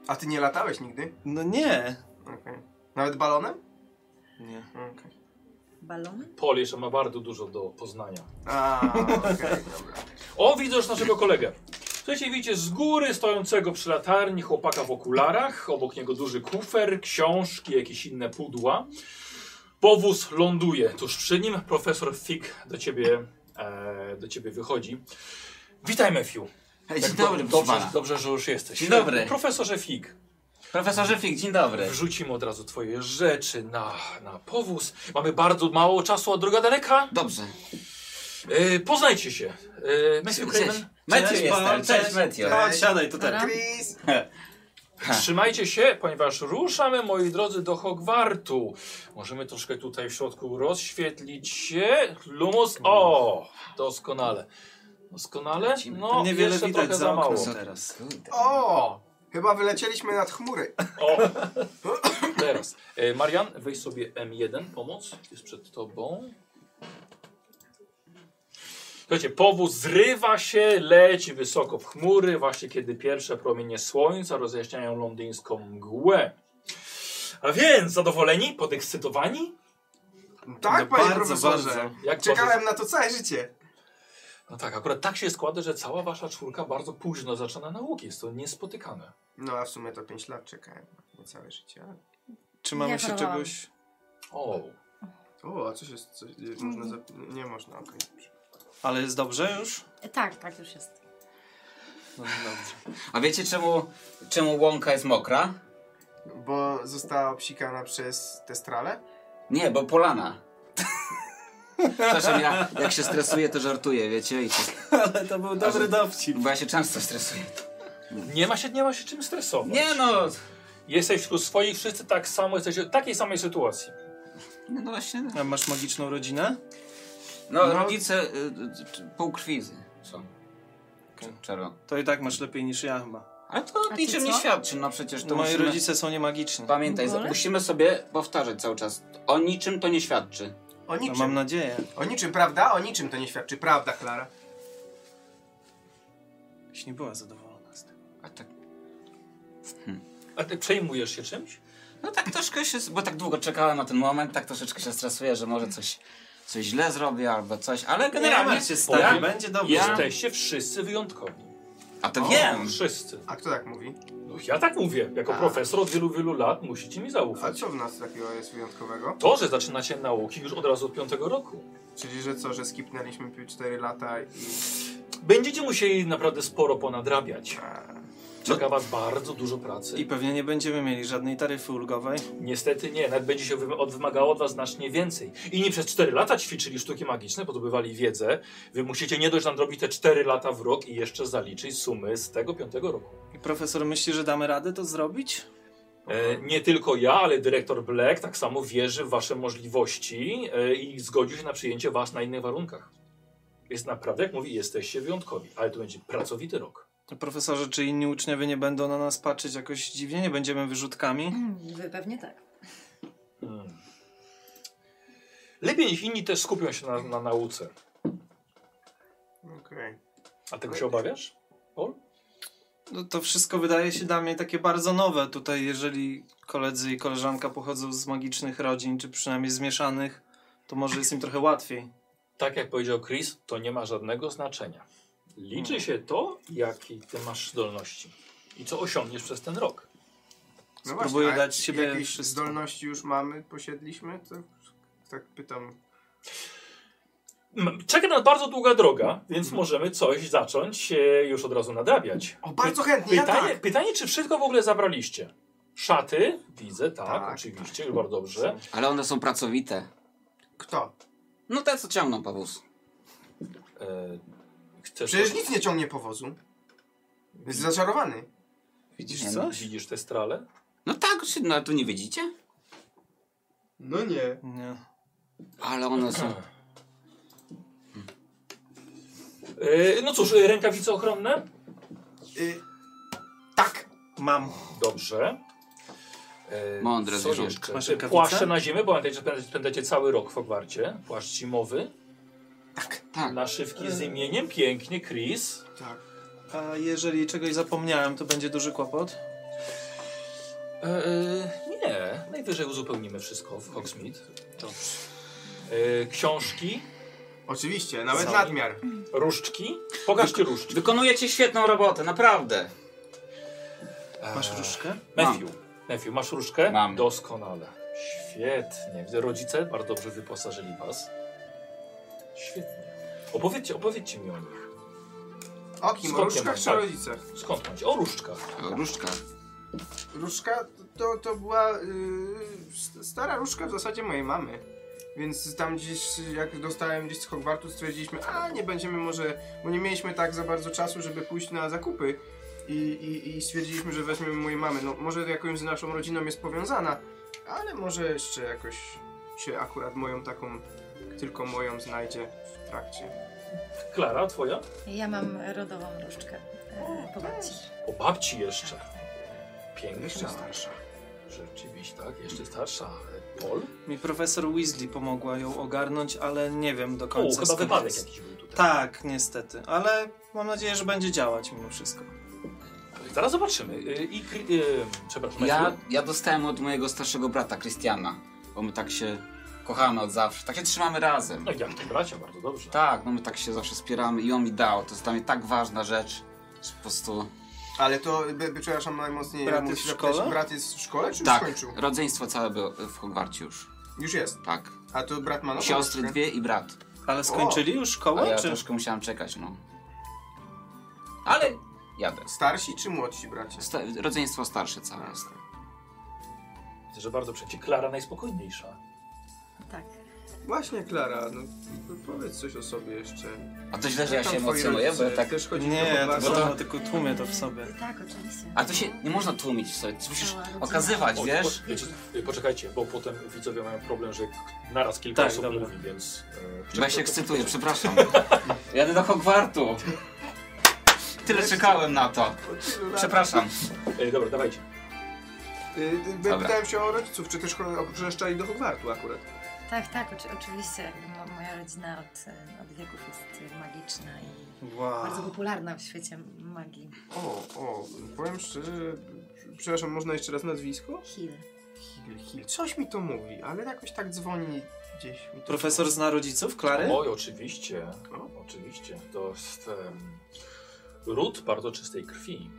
Speaker 3: A ty nie latałeś nigdy?
Speaker 5: No nie.
Speaker 3: Okej. Nawet balonem?
Speaker 5: Nie.
Speaker 3: Okej.
Speaker 2: Balony?
Speaker 1: Pol jeszcze ma bardzo dużo do poznania.
Speaker 3: A, okej, dobra.
Speaker 1: O, widzę już naszego kolegę. Słuchajcie, widzicie z góry stojącego przy latarni chłopaka w okularach, obok niego duży kufer, książki, jakieś inne pudła. Powóz ląduje tuż przy nim. Profesor Fig do ciebie, e, do ciebie wychodzi. Witaj, Matthew.
Speaker 4: Hej,
Speaker 1: Tak
Speaker 4: dzień
Speaker 1: do-
Speaker 4: dobry, proszę
Speaker 1: dobrze,
Speaker 4: pana.
Speaker 1: dobrze, że już jesteś.
Speaker 4: Dzień dobry.
Speaker 1: Profesorze Fig,
Speaker 4: Profesorze Fig, dzień dobry.
Speaker 1: wrzucimy od razu twoje rzeczy na, na powóz. Mamy bardzo mało czasu, a droga daleka.
Speaker 4: Dobrze.
Speaker 1: E, poznajcie się. E, Matthew
Speaker 4: Cześć.
Speaker 1: Craven.
Speaker 4: Matthew
Speaker 5: Cześć, Paul,
Speaker 4: jestem. Cześć,
Speaker 5: cześć.
Speaker 4: Matthew.
Speaker 5: Chodź, siadaj tak. tutaj.
Speaker 2: Dobra.
Speaker 3: Chris!
Speaker 5: Tak.
Speaker 1: Trzymajcie się, ponieważ ruszamy, moi drodzy, do Hogwartu. Możemy troszkę tutaj w środku rozświetlić się. Lumos, o! Doskonale. Doskonale? No,
Speaker 5: Niewiele
Speaker 1: jeszcze
Speaker 5: widać
Speaker 1: trochę
Speaker 5: za
Speaker 1: za mało.
Speaker 5: okno teraz.
Speaker 4: Kurde.
Speaker 3: O! Chyba wylecieliśmy nad chmury.
Speaker 1: O! Teraz. E, Marian, weź sobie M1, pomoc. Jest przed tobą. Słuchajcie, powóz zrywa się, leci wysoko w chmury, właśnie kiedy pierwsze promienie słońca rozjaśniają londyńską mgłę. A więc, zadowoleni? Podekscytowani?
Speaker 3: Tak,
Speaker 5: No
Speaker 3: panie
Speaker 5: bardzo,
Speaker 3: profesorze.
Speaker 5: bardzo.
Speaker 1: Jak
Speaker 3: Czekałem na to całe życie.
Speaker 1: No tak, akurat tak się składa, że cała wasza czwórka bardzo późno zaczyna nauki. Jest to niespotykane.
Speaker 3: No a w sumie to 5 lat czekałem. Nie całe życie. ale-
Speaker 5: Czy mamy
Speaker 2: Ja
Speaker 5: się
Speaker 2: chorowałam.
Speaker 5: czegoś...
Speaker 1: O,
Speaker 3: O, a coś jest... Coś, y, można za... Nie można, okej.
Speaker 5: Ale jest dobrze już?
Speaker 2: E, Tak, tak już jest.
Speaker 5: No dobrze.
Speaker 4: A wiecie czemu, czemu łąka jest mokra?
Speaker 3: Bo została obsikana przez te strale?
Speaker 4: Nie, bo polana. Przepraszam, ja jak się stresuję, to żartuję, wiecie? I się,
Speaker 5: Ale to był dobry dowcip.
Speaker 4: bo ja się często stresuję.
Speaker 1: nie ma się, nie ma się czym stresować.
Speaker 4: Nie no,
Speaker 1: Jesteś wśród swoich, wszyscy tak samo jesteście w takiej samej sytuacji.
Speaker 4: no właśnie.
Speaker 5: A masz magiczną rodzinę?
Speaker 4: No,
Speaker 3: No.
Speaker 4: rodzice y, y, pół krwi z- są. Cz- Czero.
Speaker 5: To i tak masz lepiej niż ja chyba.
Speaker 4: Ale to
Speaker 2: A ty
Speaker 4: niczym nie
Speaker 2: co? No.
Speaker 4: świadczy, no przecież to
Speaker 5: Moi
Speaker 4: musimy...
Speaker 5: rodzice są niemagiczni.
Speaker 4: Pamiętaj,
Speaker 2: Wolę?
Speaker 4: musimy sobie powtarzać cały czas. O niczym to nie świadczy.
Speaker 3: O
Speaker 5: No,
Speaker 3: niczym.
Speaker 5: mam nadzieję.
Speaker 3: O niczym, prawda? O niczym to nie świadczy. Prawda, Klara?
Speaker 5: Jeśli nie była zadowolona z tego.
Speaker 4: A tak,
Speaker 1: A ty przejmujesz się czymś?
Speaker 4: no tak troszkę się, bo tak długo czekałem na ten moment, tak troszeczkę się stresuję, że może coś, coś źle zrobię albo coś, ale generalnie...
Speaker 5: martw się,
Speaker 1: stary,
Speaker 5: Tak, będzie dobrze.
Speaker 4: Ja-
Speaker 1: Jesteście wszyscy wyjątkowi.
Speaker 4: A to wiem!
Speaker 1: Wszyscy.
Speaker 3: A kto tak mówi?
Speaker 1: No, ja tak mówię. Jako
Speaker 3: A.
Speaker 1: profesor od wielu, wielu lat musicie mi
Speaker 3: A
Speaker 1: zaufać.
Speaker 3: co w nas takiego jest wyjątkowego?
Speaker 1: To, że zaczynacie nauki już od razu od piątego roku.
Speaker 3: Czyli, że co, że skipnęliśmy 4 lata i...
Speaker 1: Będziecie musieli naprawdę sporo ponadrabiać.
Speaker 3: A,
Speaker 1: Czeka was bardzo dużo pracy.
Speaker 5: I pewnie nie będziemy mieli żadnej taryfy ulgowej.
Speaker 1: Niestety nie, nawet będzie się wy- od- wymagało od was znacznie więcej. Inni przez 4 lata ćwiczyli sztuki magiczne, podobywali wiedzę. Wy musicie nie dość nadrobić te 4 lata w rok i jeszcze zaliczyć sumy z tego piątego roku.
Speaker 5: I profesor myśli, że damy radę to zrobić?
Speaker 1: E, nie tylko ja, ale dyrektor Black tak samo wierzy w wasze możliwości e, i zgodził się na przyjęcie was na innych warunkach. Jest naprawdę, jak mówi, jesteście wyjątkowi, ale to będzie pracowity rok.
Speaker 5: Profesorze, czy inni uczniowie nie będą na nas patrzeć jakoś dziwnie? Nie będziemy wyrzutkami?
Speaker 2: Wy pewnie tak.
Speaker 1: Hmm. Lepiej niech inni też skupią się na, na nauce.
Speaker 3: Okej.
Speaker 1: A tego się obawiasz? Paul?
Speaker 5: No to wszystko wydaje się dla mnie takie bardzo nowe tutaj, jeżeli koledzy i koleżanka pochodzą z magicznych rodzin, czy przynajmniej zmieszanych, to może jest im trochę łatwiej.
Speaker 1: tak jak powiedział Chris, to nie ma żadnego znaczenia.
Speaker 3: Hmm.
Speaker 1: Liczy się to, jakie ty masz zdolności i co osiągniesz przez ten rok.
Speaker 3: No
Speaker 5: Spróbuję
Speaker 3: a
Speaker 5: dać siebie
Speaker 3: Jakieś
Speaker 5: wszystko.
Speaker 3: zdolności już mamy, posiedliśmy? To, tak pytam.
Speaker 1: M- Czeka nas bardzo długa droga, więc możemy coś zacząć e, już od razu nadrabiać.
Speaker 3: Mhm. O, bardzo
Speaker 1: Py-
Speaker 3: chętnie, ja
Speaker 1: pytanie,
Speaker 3: tak.
Speaker 1: pytanie, czy wszystko w ogóle zabraliście? Szaty? Widzę, tak,
Speaker 3: Tak,
Speaker 1: oczywiście, bardzo dobrze.
Speaker 4: Ale one są pracowite.
Speaker 3: Kto?
Speaker 4: No te, co ciągną powóz.
Speaker 1: E, chcesz
Speaker 3: Przecież nic nie ciągnie powozu. Jest zaczarowany.
Speaker 5: Widzisz
Speaker 4: Nie,
Speaker 5: coś?
Speaker 1: Widzisz te strale?
Speaker 4: No tak, czy- no tu nie widzicie?
Speaker 3: No nie.
Speaker 5: Nie.
Speaker 4: Ale one są...
Speaker 1: E, no cóż, e, rękawice ochronne?
Speaker 3: Y, tak.
Speaker 5: Mam.
Speaker 1: Dobrze. E,
Speaker 4: Mądre
Speaker 1: co
Speaker 4: zwierzątko.
Speaker 1: jeszcze?
Speaker 5: Masz
Speaker 1: E,
Speaker 5: rękawice?
Speaker 1: Płaszcze na ziemię, bo pamiętajcie, że spędzacie- spędzacie cały rok w Hogwarcie. Płaszcz zimowy,
Speaker 4: Tak.
Speaker 1: naszywki z imieniem, pięknie, Chris.
Speaker 3: Tak.
Speaker 5: A jeżeli czegoś zapomniałem, to będzie duży kłopot?
Speaker 1: E, e, nie, najwyżej uzupełnimy wszystko w Hogsmeade. Dobrze. E, książki,
Speaker 3: Oczywiście, nawet
Speaker 5: Za-
Speaker 3: nadmiar.
Speaker 1: różdżki. Pokażcie różdżki.
Speaker 4: Wykonujecie świetną robotę, naprawdę.
Speaker 1: Eee.
Speaker 5: Masz różkę?
Speaker 1: E, Matthew. Matthew, masz różdżkę?
Speaker 4: Mam.
Speaker 1: Doskonale. Świetnie. Widzę, rodzice bardzo dobrze wyposażyli was. Świetnie. Opowiedzcie, opowiedzcie mi o nich.
Speaker 3: O kim? O
Speaker 1: Skokiem,
Speaker 3: różkach czy
Speaker 1: tak.
Speaker 3: o rodzicach?
Speaker 1: Skąd macie? O różdżkach.
Speaker 4: Różdżka.
Speaker 3: Różka to, to była y, st- stara różka w zasadzie mojej mamy. Więc tam gdzieś, jak dostałem gdzieś z Hogwartu, stwierdziliśmy, a nie będziemy może, bo nie mieliśmy tak za bardzo czasu, żeby pójść na zakupy. I, i, i stwierdziliśmy, że weźmiemy mojej mamy. No może jakąś z naszą rodziną jest powiązana, ale może jeszcze jakoś się akurat moją taką, tylko moją znajdzie w trakcie.
Speaker 1: Klara, twoja?
Speaker 2: Ja mam rodową różdżkę. E, po babci.
Speaker 1: O babci jeszcze. Piękna.
Speaker 3: Jeszcze starsza.
Speaker 1: Rzeczywiście, tak, jeszcze starsza, ale Pol?
Speaker 5: Mi profesor Weasley pomogła ją ogarnąć, ale nie wiem do
Speaker 1: O,
Speaker 5: końca.
Speaker 1: chyba
Speaker 5: skąd
Speaker 1: wypadek
Speaker 5: jest.
Speaker 1: jakiś był tutaj.
Speaker 5: Tak, niestety, ale mam nadzieję, że będzie działać mimo wszystko.
Speaker 1: Zaraz zobaczymy. Y, I, kry- y, przepraszam,
Speaker 4: Ja,
Speaker 1: Matthew.
Speaker 4: ja dostałem od mojego starszego brata, Krystiana. Bo my tak się kochamy od zawsze. Tak się trzymamy razem.
Speaker 1: No jak to bracia, bardzo dobrze.
Speaker 4: Tak, no my tak się zawsze wspieramy i on mi dał. To jest dla mnie tak ważna rzecz, że po prostu...
Speaker 3: Ale to, by, by, przepraszam, najmocniej
Speaker 5: Brat
Speaker 3: muszę
Speaker 5: jest w
Speaker 3: zapytać,
Speaker 5: szkole?
Speaker 3: Brat jest w szkole, czy
Speaker 4: tak,
Speaker 3: już skończył?
Speaker 4: rodzeństwo całe było w Hogwarcie już.
Speaker 3: Już jest.
Speaker 4: Tak.
Speaker 3: A No to brat ma nową
Speaker 4: Siostry
Speaker 3: różkę?
Speaker 4: dwie i brat.
Speaker 5: Ale skończyli już
Speaker 4: A
Speaker 5: szkołę?
Speaker 4: ja
Speaker 5: czy...
Speaker 4: troszkę musiałem czekać, no. Ale jadę.
Speaker 3: Starsi czy młodsi bracia?
Speaker 4: Sta rodzeństwo starsze całe jest.
Speaker 1: Widzę, że bardzo przecie. Klara najspokojniejsza.
Speaker 2: Tak.
Speaker 3: Właśnie, Klara, no powiedz coś o sobie jeszcze.
Speaker 4: A to źle, że ja się emocjonuję, bo ja tak...
Speaker 3: Też chodzi
Speaker 5: Nie, to,
Speaker 4: Bo to-
Speaker 5: to tylko tłumię to w sobie.
Speaker 2: Tak, oczywiście.
Speaker 4: A to się nie można tłumić w sobie, to musisz
Speaker 2: Cała rodzina.
Speaker 4: okazywać, Tak, wiesz?
Speaker 1: po, wiecie, y, poczekajcie, bo potem widzowie mają problem, że k- naraz kilka
Speaker 5: Tak,
Speaker 1: osób
Speaker 5: dobra.
Speaker 1: mówi, więc... y,
Speaker 4: Bo ja się ekscytuję, przepraszam. Jadę do Hogwartu. Tyle czekałem na to. Przepraszam.
Speaker 1: Y, dobra, dawajcie.
Speaker 3: Y, y,
Speaker 4: Dobra.
Speaker 3: Pytałem się o rodziców, czy też cho- obreszczali do Hogwartu akurat.
Speaker 2: Tak, tak, oczy, oczywiście. Jakby mo- moja rodzina od, e, od wieków jest e, magiczna i
Speaker 5: Wow.
Speaker 2: bardzo popularna w świecie magii.
Speaker 3: O, o, powiem szczerze, przepraszam, można jeszcze raz nazwisko?
Speaker 2: Hill.
Speaker 3: Hill, Hill, coś mi to mówi, ale jakoś tak dzwoni gdzieś. Mi to
Speaker 5: Profesor zna rodziców Klary?
Speaker 1: Oj, oczywiście. No,
Speaker 3: O.
Speaker 1: Oczywiście. To jest em, ród bardzo czystej krwi.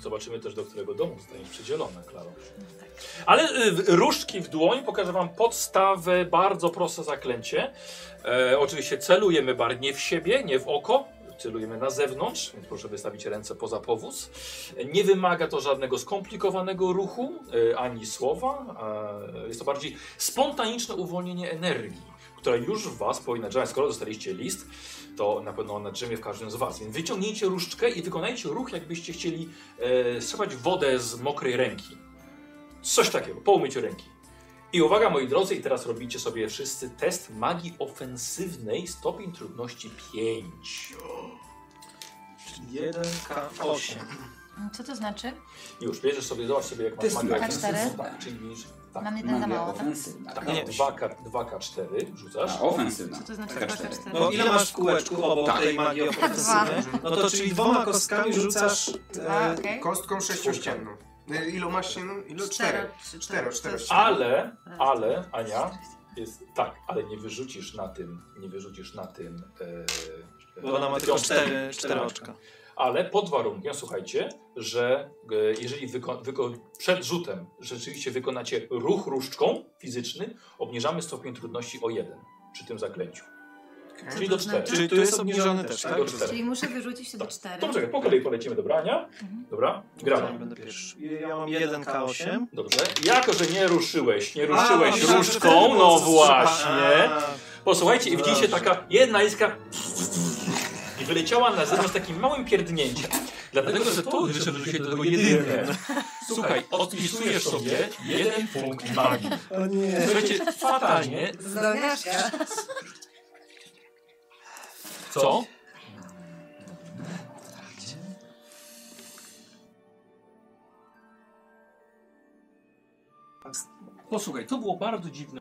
Speaker 1: Zobaczymy też, do którego domu zostanie przydzielone, Klaro.
Speaker 2: No tak.
Speaker 1: Ale y, w- różdżki w dłoń pokażę wam podstawę, bardzo proste zaklęcie. E, oczywiście celujemy bar nie w siebie, nie w oko. Celujemy na zewnątrz, więc proszę wystawić ręce poza powóz. E, Nie wymaga to żadnego skomplikowanego ruchu e, ani słowa. E, jest to bardziej spontaniczne uwolnienie energii, która już w was powinna działać. Skoro dostaliście list, to na pewno ona drzemie w każdym z was. Więc wyciągnijcie różdżkę i wykonajcie ruch, jakbyście chcieli e, strzelać wodę z mokrej ręki. Coś takiego, po umyciu ręki. I uwaga moi drodzy, i teraz robicie sobie wszyscy test magii ofensywnej stopień trudności 5.
Speaker 5: 1K8.
Speaker 2: Co to znaczy?
Speaker 1: Już, bierzesz sobie, zobacz sobie jak masz
Speaker 4: Test
Speaker 1: magię
Speaker 4: magii
Speaker 1: ofensywną.
Speaker 2: ofensywnej.
Speaker 1: Tak, czyli niż, tak,
Speaker 2: Mam
Speaker 4: No,
Speaker 2: jeden za mało, tak?
Speaker 1: tak,
Speaker 5: Nie,
Speaker 1: nie, 2K, 2K4 rzucasz.
Speaker 4: A, Tak, ofensywna.
Speaker 2: Co to znaczy
Speaker 4: Taka
Speaker 2: 2K4?
Speaker 4: cztery.
Speaker 5: No ile masz w kółeczku obok
Speaker 4: Tak.
Speaker 5: tej magii ofensywnej? No to czyli dwoma kostkami rzucasz...
Speaker 2: A,
Speaker 5: E,
Speaker 2: okej.
Speaker 3: Kostką sześciościenną. Y, Ilo masz się?
Speaker 5: No,
Speaker 3: Ilo cztery.
Speaker 2: Cztero,
Speaker 3: Cztero, cztero.
Speaker 2: cztero.
Speaker 1: Ale, ale, Ania, jest, tak, ale nie wyrzucisz na tym, nie wyrzucisz na tym. e,
Speaker 5: bo ona ma
Speaker 1: e,
Speaker 5: tylko
Speaker 1: piątki.
Speaker 5: cztery, cztery oczka.
Speaker 1: Ale pod warunkiem, słuchajcie, że e, jeżeli wyko, wyko, przed rzutem rzeczywiście wykonacie ruch różdżką fizyczny, obniżamy stopień trudności o jeden przy tym zaklęciu. Czyli do czterech.
Speaker 2: Czyli
Speaker 5: Czyli tu jest obniżony też,
Speaker 1: Czyli
Speaker 5: tak?
Speaker 1: do czterech.
Speaker 2: Czyli muszę wyrzucić się do
Speaker 1: Tak.
Speaker 2: 4.
Speaker 1: To czekaj, po kolei polecimy do brania.
Speaker 2: Mhm.
Speaker 1: Dobra, gramy.
Speaker 5: Będę pierwszy. Ja mam 1K8.
Speaker 1: Dobrze. Jako, że nie ruszyłeś, nie ruszyłeś
Speaker 5: A,
Speaker 1: różdżką, no właśnie.
Speaker 5: A,
Speaker 1: Posłuchajcie, i widzicie
Speaker 5: Dobrze.
Speaker 1: taka jedna iskra i wyleciała na zewnątrz takim małym pierdnięciem. Dlatego, że tu wyszedł dzisiaj do tego jedynkę. Słuchaj, odpisujesz sobie jeden punkt magii.
Speaker 5: O nie.
Speaker 1: Słuchajcie, fatalnie.
Speaker 2: Zdolniasz się.
Speaker 1: Co? Posłuchaj, to było bardzo dziwne.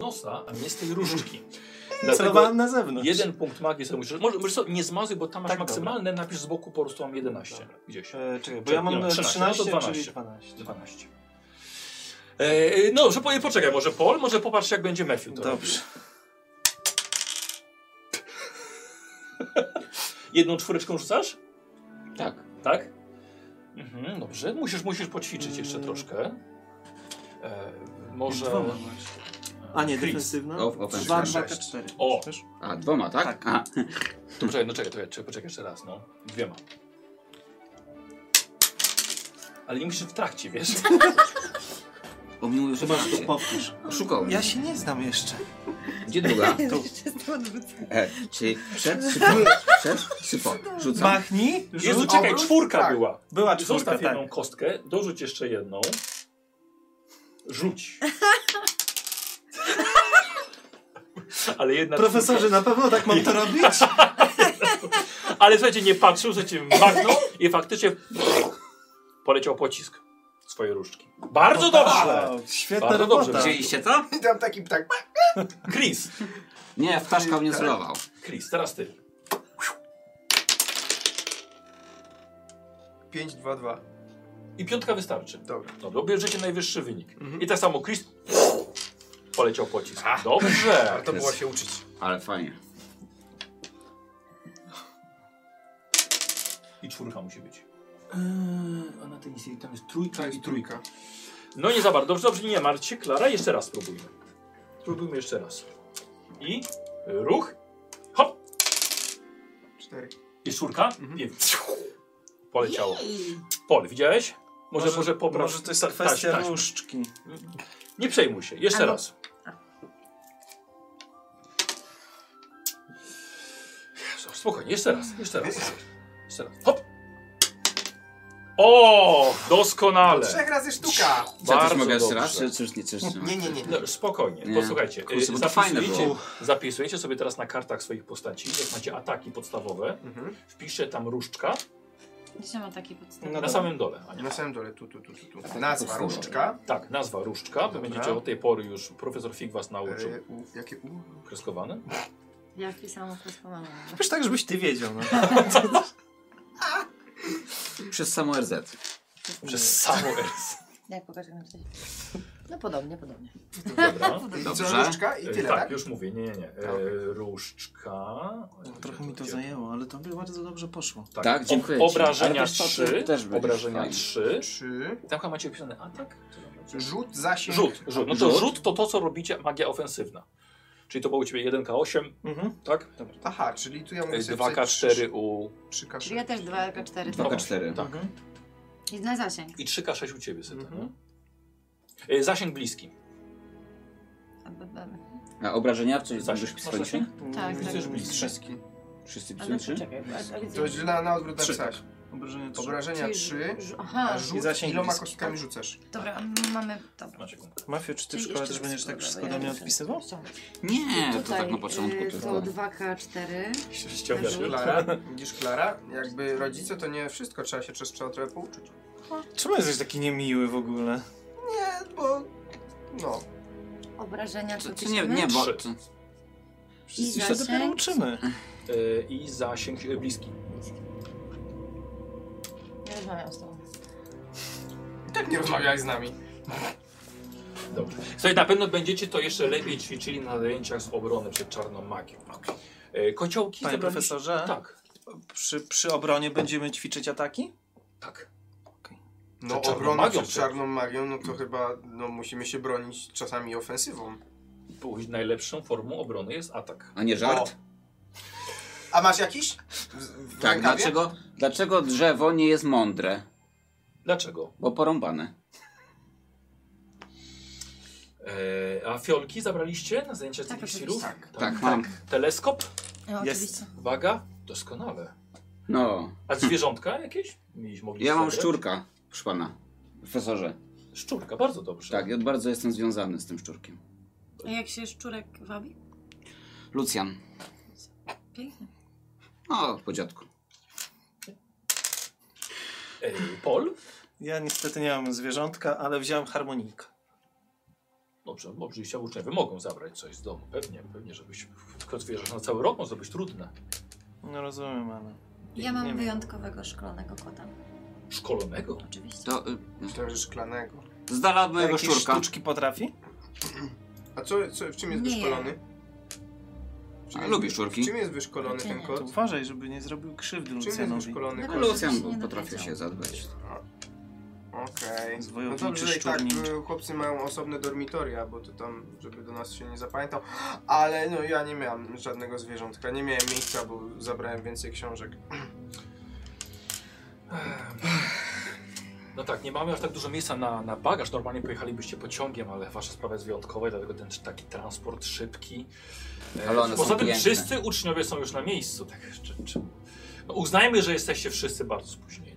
Speaker 1: Nosa, a nie z tej różdżki. Dlatego
Speaker 5: Celowałem na zewnątrz.
Speaker 1: jeden punkt magii sobie musisz. Może, może sobie nie zmazuj, bo tam masz
Speaker 5: Tak, dobra.
Speaker 1: maksymalne, napisz z boku po prostu mam 11. Gdzieś.
Speaker 5: E, czekaj, bo ja mam
Speaker 1: Ile?
Speaker 5: 13,
Speaker 1: 13,
Speaker 5: 13
Speaker 1: no to
Speaker 5: czyli
Speaker 1: 12. 12.
Speaker 5: 12.
Speaker 1: E, no, że po- poczekaj, może Paul, może popatrz jak będzie Matthew. to robił.
Speaker 5: Dobrze.
Speaker 1: Jedną czwóreczką rzucasz?
Speaker 4: Tak.
Speaker 1: Tak? Mhm, dobrze. Musisz, musisz poćwiczyć jeszcze troszkę. E, może...
Speaker 4: Dwoma
Speaker 5: A nie,
Speaker 1: Chris.
Speaker 5: defensywna?
Speaker 4: O, o,
Speaker 5: Dwa,
Speaker 4: tak.
Speaker 5: dwa, cztery.
Speaker 1: O.
Speaker 5: Też?
Speaker 4: A, dwoma, tak?
Speaker 5: Tak.
Speaker 4: A,
Speaker 1: To poczekaj, no czekaj, to ja, czekaj, poczekaj jeszcze raz, no. Dwiema. Ale nie musisz w trakcie, wiesz?
Speaker 4: bo mi mówił, że
Speaker 5: Chyba, że to
Speaker 4: macie.
Speaker 5: powtórz.
Speaker 4: Szukał.
Speaker 5: Ja się nie znam jeszcze.
Speaker 4: Gdzie druga?
Speaker 2: Jeszcze z tym odwrócę.
Speaker 4: E, czyli przed, czy po? Przed, czy po? Rzucam.
Speaker 5: Machni?
Speaker 1: Jezu,
Speaker 5: Rzut.
Speaker 1: czekaj,
Speaker 3: obrót?
Speaker 1: czwórka
Speaker 3: Tak.
Speaker 1: była.
Speaker 5: Była czwórka,
Speaker 1: Zostaw
Speaker 5: tak.
Speaker 1: jedną kostkę, dorzuć jeszcze jedną. Rzuć. Ale jedna
Speaker 5: Profesorze, na pewno tak mam to robić?
Speaker 1: czwórka. Ale słuchajcie, nie patrzył, że cię machnął i faktycznie poleciał pocisk w swoje różdżki. Bardzo
Speaker 5: tak.
Speaker 1: dobrze!
Speaker 5: Wow, Świetna
Speaker 1: Bardzo dobrze.
Speaker 5: robota.
Speaker 4: Widzieliście to?
Speaker 3: I tam taki ptak.
Speaker 1: Chris,
Speaker 4: Nie, w ptaszka mnie celował.
Speaker 1: Chris, teraz ty.
Speaker 3: 5, 2, 2.
Speaker 1: I piątka wystarczy.
Speaker 3: Dobra.
Speaker 1: Dobra, bierzecie najwyższy wynik.
Speaker 3: Mhm.
Speaker 1: I tak samo Chris poleciał pocisk. Dobrze!
Speaker 3: Warto było się uczyć.
Speaker 4: Ale fajnie.
Speaker 1: I czwórka musi być. Eee, A na tej misji tam jest trójka
Speaker 3: i trójka.
Speaker 1: No nie za bardzo. Dobrze, dobrze, nie martw się, Klara. Jeszcze raz spróbujmy. Spróbujmy jeszcze raz. I ruch. Hop!
Speaker 3: 4.
Speaker 1: I czwórka.
Speaker 3: Mhm.
Speaker 1: I poleciało. Pol, widziałeś? Może, może,
Speaker 5: Może-
Speaker 1: popraw.
Speaker 5: Może to jest
Speaker 1: ta-
Speaker 5: kwestia
Speaker 1: taśmę.
Speaker 5: różdżki.
Speaker 1: Nie przejmuj się. Jeszcze
Speaker 2: Ale-
Speaker 1: raz. Jezu, Spokojnie, jeszcze raz, jeszcze raz. Jeszcze raz. Hop! O! Doskonale!
Speaker 3: Trzech razy sztuka.
Speaker 4: Czy ja
Speaker 1: Bardzo
Speaker 4: też mogę jeszcze
Speaker 1: dobrze.
Speaker 4: raz? Czy, czy już nie? Czy, czy,
Speaker 3: Nie, nie, nie. nie.
Speaker 1: No, spokojnie,
Speaker 4: Nie.
Speaker 1: posłuchajcie.
Speaker 4: Kurczę,
Speaker 1: y,
Speaker 4: bo to fajne
Speaker 1: zapisujecie,
Speaker 4: było.
Speaker 1: zapisujecie sobie teraz na kartach swoich postaci, jak macie ataki podstawowe,
Speaker 3: Mhm.
Speaker 1: wpiszcie tam różdżka
Speaker 2: Gdzie ma taki podstawowy?
Speaker 5: No
Speaker 1: Na
Speaker 5: dobra.
Speaker 1: samym dole. Ania.
Speaker 3: Na samym dole, tu, tu, tu, tu. tu.
Speaker 4: tak,
Speaker 3: Nazwa
Speaker 4: tak.
Speaker 3: różdżka.
Speaker 1: Tak, nazwa różdżka. To
Speaker 3: Dobra.
Speaker 1: będziecie od tej pory już profesor Fig was nauczył.
Speaker 3: E, u, jakie u?
Speaker 1: Kreskowane?
Speaker 2: Ja wpisałam kreskowaną.
Speaker 5: Wiesz tak, żebyś ty wiedział, no.
Speaker 4: Przez samo RZ.
Speaker 1: Przez samo S.
Speaker 2: Jak pokażę na tutaj? No podobnie, podobnie.
Speaker 1: Dobra.
Speaker 3: I
Speaker 4: Dobrze.
Speaker 3: co, różdżka i
Speaker 1: E,
Speaker 3: tyle,
Speaker 1: tak,
Speaker 3: tak?
Speaker 1: już mówię, nie, nie, nie.
Speaker 3: A, okej.
Speaker 1: E, różdczka.
Speaker 5: No, Trochę mi to zajęło, ale to bardzo dobrze poszło.
Speaker 1: Tak,
Speaker 4: Tak, dziękuję
Speaker 1: Ob-
Speaker 4: ci. Ale
Speaker 1: Obrażenia
Speaker 4: wiesz co, ty
Speaker 1: 3.
Speaker 4: też będziesz
Speaker 1: Obrażenia
Speaker 4: fajny.
Speaker 1: 3.
Speaker 3: tak? Trzy.
Speaker 1: Tam chyba macie opisany atak? Czy dobrze?
Speaker 3: Rzut, zasięg.
Speaker 1: Rzut, rzut. No to
Speaker 4: Rzut.
Speaker 1: rzut to to, co robicie, magia ofensywna. Czyli to było u ciebie 1K8,
Speaker 5: Mhm.
Speaker 1: tak? E,
Speaker 3: Aha, czyli tu ja mogę sobie wpisać
Speaker 1: 2K4 u...
Speaker 3: trzy- trzy K6.
Speaker 2: Czyli ja też 2K4.
Speaker 4: Dwa K cztery.
Speaker 1: Tak.
Speaker 2: I na zasięg.
Speaker 1: I 3K6 u ciebie, Syta.
Speaker 3: Mhm.
Speaker 1: no. E, Zasięg bliski.
Speaker 4: A obrażenia, czy
Speaker 1: Zasięg.
Speaker 4: już
Speaker 1: Masz
Speaker 4: pisaliście?
Speaker 2: Tak,
Speaker 1: Jesteś
Speaker 2: tak.
Speaker 1: bliski.
Speaker 3: Wszystkim.
Speaker 4: Wszyscy
Speaker 2: Ale
Speaker 4: pisaliście?
Speaker 2: poczekaj, a, a gdzie?
Speaker 3: To źle na odwrót
Speaker 5: Trzy,
Speaker 3: napisałeś.
Speaker 1: tak.
Speaker 5: Obrażenie trzy.
Speaker 3: Obrażenia
Speaker 2: Czyli
Speaker 3: 3,
Speaker 2: rzu-
Speaker 3: a
Speaker 2: Aha,
Speaker 5: I
Speaker 3: rzut
Speaker 5: zasięg
Speaker 3: iloma
Speaker 5: bliski.
Speaker 3: kostkami rzucasz?
Speaker 2: dobra, m- mamy... Dobra.
Speaker 1: Macie gumkę.
Speaker 5: Mafio, czy ty w
Speaker 2: Czyli
Speaker 5: szkole
Speaker 2: jeszcze
Speaker 5: też będziesz
Speaker 2: raz,
Speaker 5: tak
Speaker 2: dobra,
Speaker 5: wszystko
Speaker 2: ja
Speaker 5: do mnie
Speaker 2: muszę
Speaker 5: odpisywał?
Speaker 2: ściągnąć.
Speaker 4: Nie, to
Speaker 2: Tutaj,
Speaker 4: tak na początku.
Speaker 2: y,
Speaker 4: tylko.
Speaker 2: To 2K4.
Speaker 1: Ściągasz.
Speaker 2: Rzut.
Speaker 3: Klara, widzisz Klara? Jakby rodzice to nie wszystko, trzeba się przez trzeba trochę pouczyć.
Speaker 5: Czemu jesteś taki niemiły w ogóle?
Speaker 3: Nie, E, bo... No,
Speaker 2: Obrażenia
Speaker 4: To,
Speaker 2: tu
Speaker 4: to Znaczy, nie, nie, bo...
Speaker 1: Trzy.
Speaker 4: To,
Speaker 2: I
Speaker 5: Wszyscy się dopiero
Speaker 2: zasięg.
Speaker 5: uczymy.
Speaker 1: E, I zasięg e, bliski.
Speaker 2: Ja rozmawiam z tobą.
Speaker 3: i tak nie rozmawiaj z nami.
Speaker 1: Dobrze. Słuchaj, na pewno będziecie to jeszcze lepiej ćwiczyli na zajęciach z obrony przed czarną magią. E, Kociołki
Speaker 5: Panie
Speaker 1: zabraliście-
Speaker 5: profesorze,
Speaker 1: Tak,
Speaker 5: przy, przy obronie będziemy ćwiczyć ataki?
Speaker 1: tak.
Speaker 3: No
Speaker 1: czarną
Speaker 3: obrona
Speaker 1: magią
Speaker 3: przed
Speaker 1: przed-
Speaker 3: czarną magią, no to chyba no, musimy się bronić czasami ofensywą.
Speaker 1: Później najlepszą formą obrony jest atak.
Speaker 4: a nie żart?
Speaker 3: A masz jakiś? W, w
Speaker 4: tak,
Speaker 3: rękawie?
Speaker 4: dlaczego, dlaczego drzewo nie jest mądre?
Speaker 1: Dlaczego?
Speaker 4: Bo porąbane.
Speaker 1: E, a fiolki zabraliście na zajęcia z
Speaker 2: Tak,
Speaker 1: eliksirów?
Speaker 3: oczywiście.
Speaker 4: Tak, mam.
Speaker 1: Teleskop?
Speaker 2: Ja
Speaker 5: Jest.
Speaker 2: oczywiście.
Speaker 1: Waga? Doskonale.
Speaker 4: No,
Speaker 1: A zwierzątka jakieś? Mieliś, mogliście
Speaker 4: ja mam
Speaker 1: zabrać?
Speaker 4: szczurka, proszę pana. Profesorze.
Speaker 1: Szczurka, bardzo dobrze.
Speaker 4: Tak, ja bardzo jestem związany z tym szczurkiem.
Speaker 2: A jak się szczurek wabi?
Speaker 4: Lucjan.
Speaker 2: Pięknie.
Speaker 4: O, po dziadku.
Speaker 1: E, pol?
Speaker 5: Ja niestety nie mam zwierzątka, ale wziąłem harmonijkę.
Speaker 1: Dobrze, bo oczywiście uczniowie mogą zabrać coś z domu. Pewnie, pewnie, żebyś tylko zwierzę na cały rok, może to być trudne.
Speaker 5: No rozumiem, ale...
Speaker 2: Ja mam
Speaker 5: Nie wiem.
Speaker 2: wyjątkowego szklonego kota.
Speaker 1: Szkolonego?
Speaker 2: Oczywiście.
Speaker 4: To y,
Speaker 3: Myślałem, że szklanego.
Speaker 4: z dala od mojego
Speaker 5: Jakieś
Speaker 4: No szczurka.
Speaker 5: sztuczki potrafi?
Speaker 3: A co, co, w czym jest
Speaker 2: Nie.
Speaker 3: wyszkolony? W
Speaker 4: A, lubię szczurki.
Speaker 3: W czym jest wyszkolony
Speaker 2: Nie,
Speaker 3: ten
Speaker 2: nie,
Speaker 5: To
Speaker 3: kot?
Speaker 5: uważaj, żeby nie zrobił krzywdy
Speaker 3: W czym jest
Speaker 5: Lucjanowi.
Speaker 3: wyszkolony
Speaker 2: No,
Speaker 3: kot?
Speaker 4: Lucjan
Speaker 2: Żebyś się nie
Speaker 4: potrafi
Speaker 2: dowiedział.
Speaker 4: się zadbać.
Speaker 3: Okej.
Speaker 5: Z
Speaker 3: No
Speaker 5: wojowniczy
Speaker 3: dobrze, że i tak
Speaker 5: szczurnik.
Speaker 3: y, chłopcy mają osobne dormitoria, bo to tam, żeby do nas się nie zapamiętał. Ale no ja nie miałem żadnego zwierzątka, nie miałem miejsca, bo zabrałem więcej książek.
Speaker 1: No tak, nie mamy aż tak dużo miejsca na, na bagaż. Normalnie pojechalibyście pociągiem, ale wasza sprawa jest wyjątkowa, i dlatego ten taki transport szybki. E,
Speaker 4: Ale one są
Speaker 1: Poza tym
Speaker 4: piękne.
Speaker 1: wszyscy uczniowie są już na miejscu. Tak, czy, czy... No uznajmy, że jesteście wszyscy bardzo spóźnieni.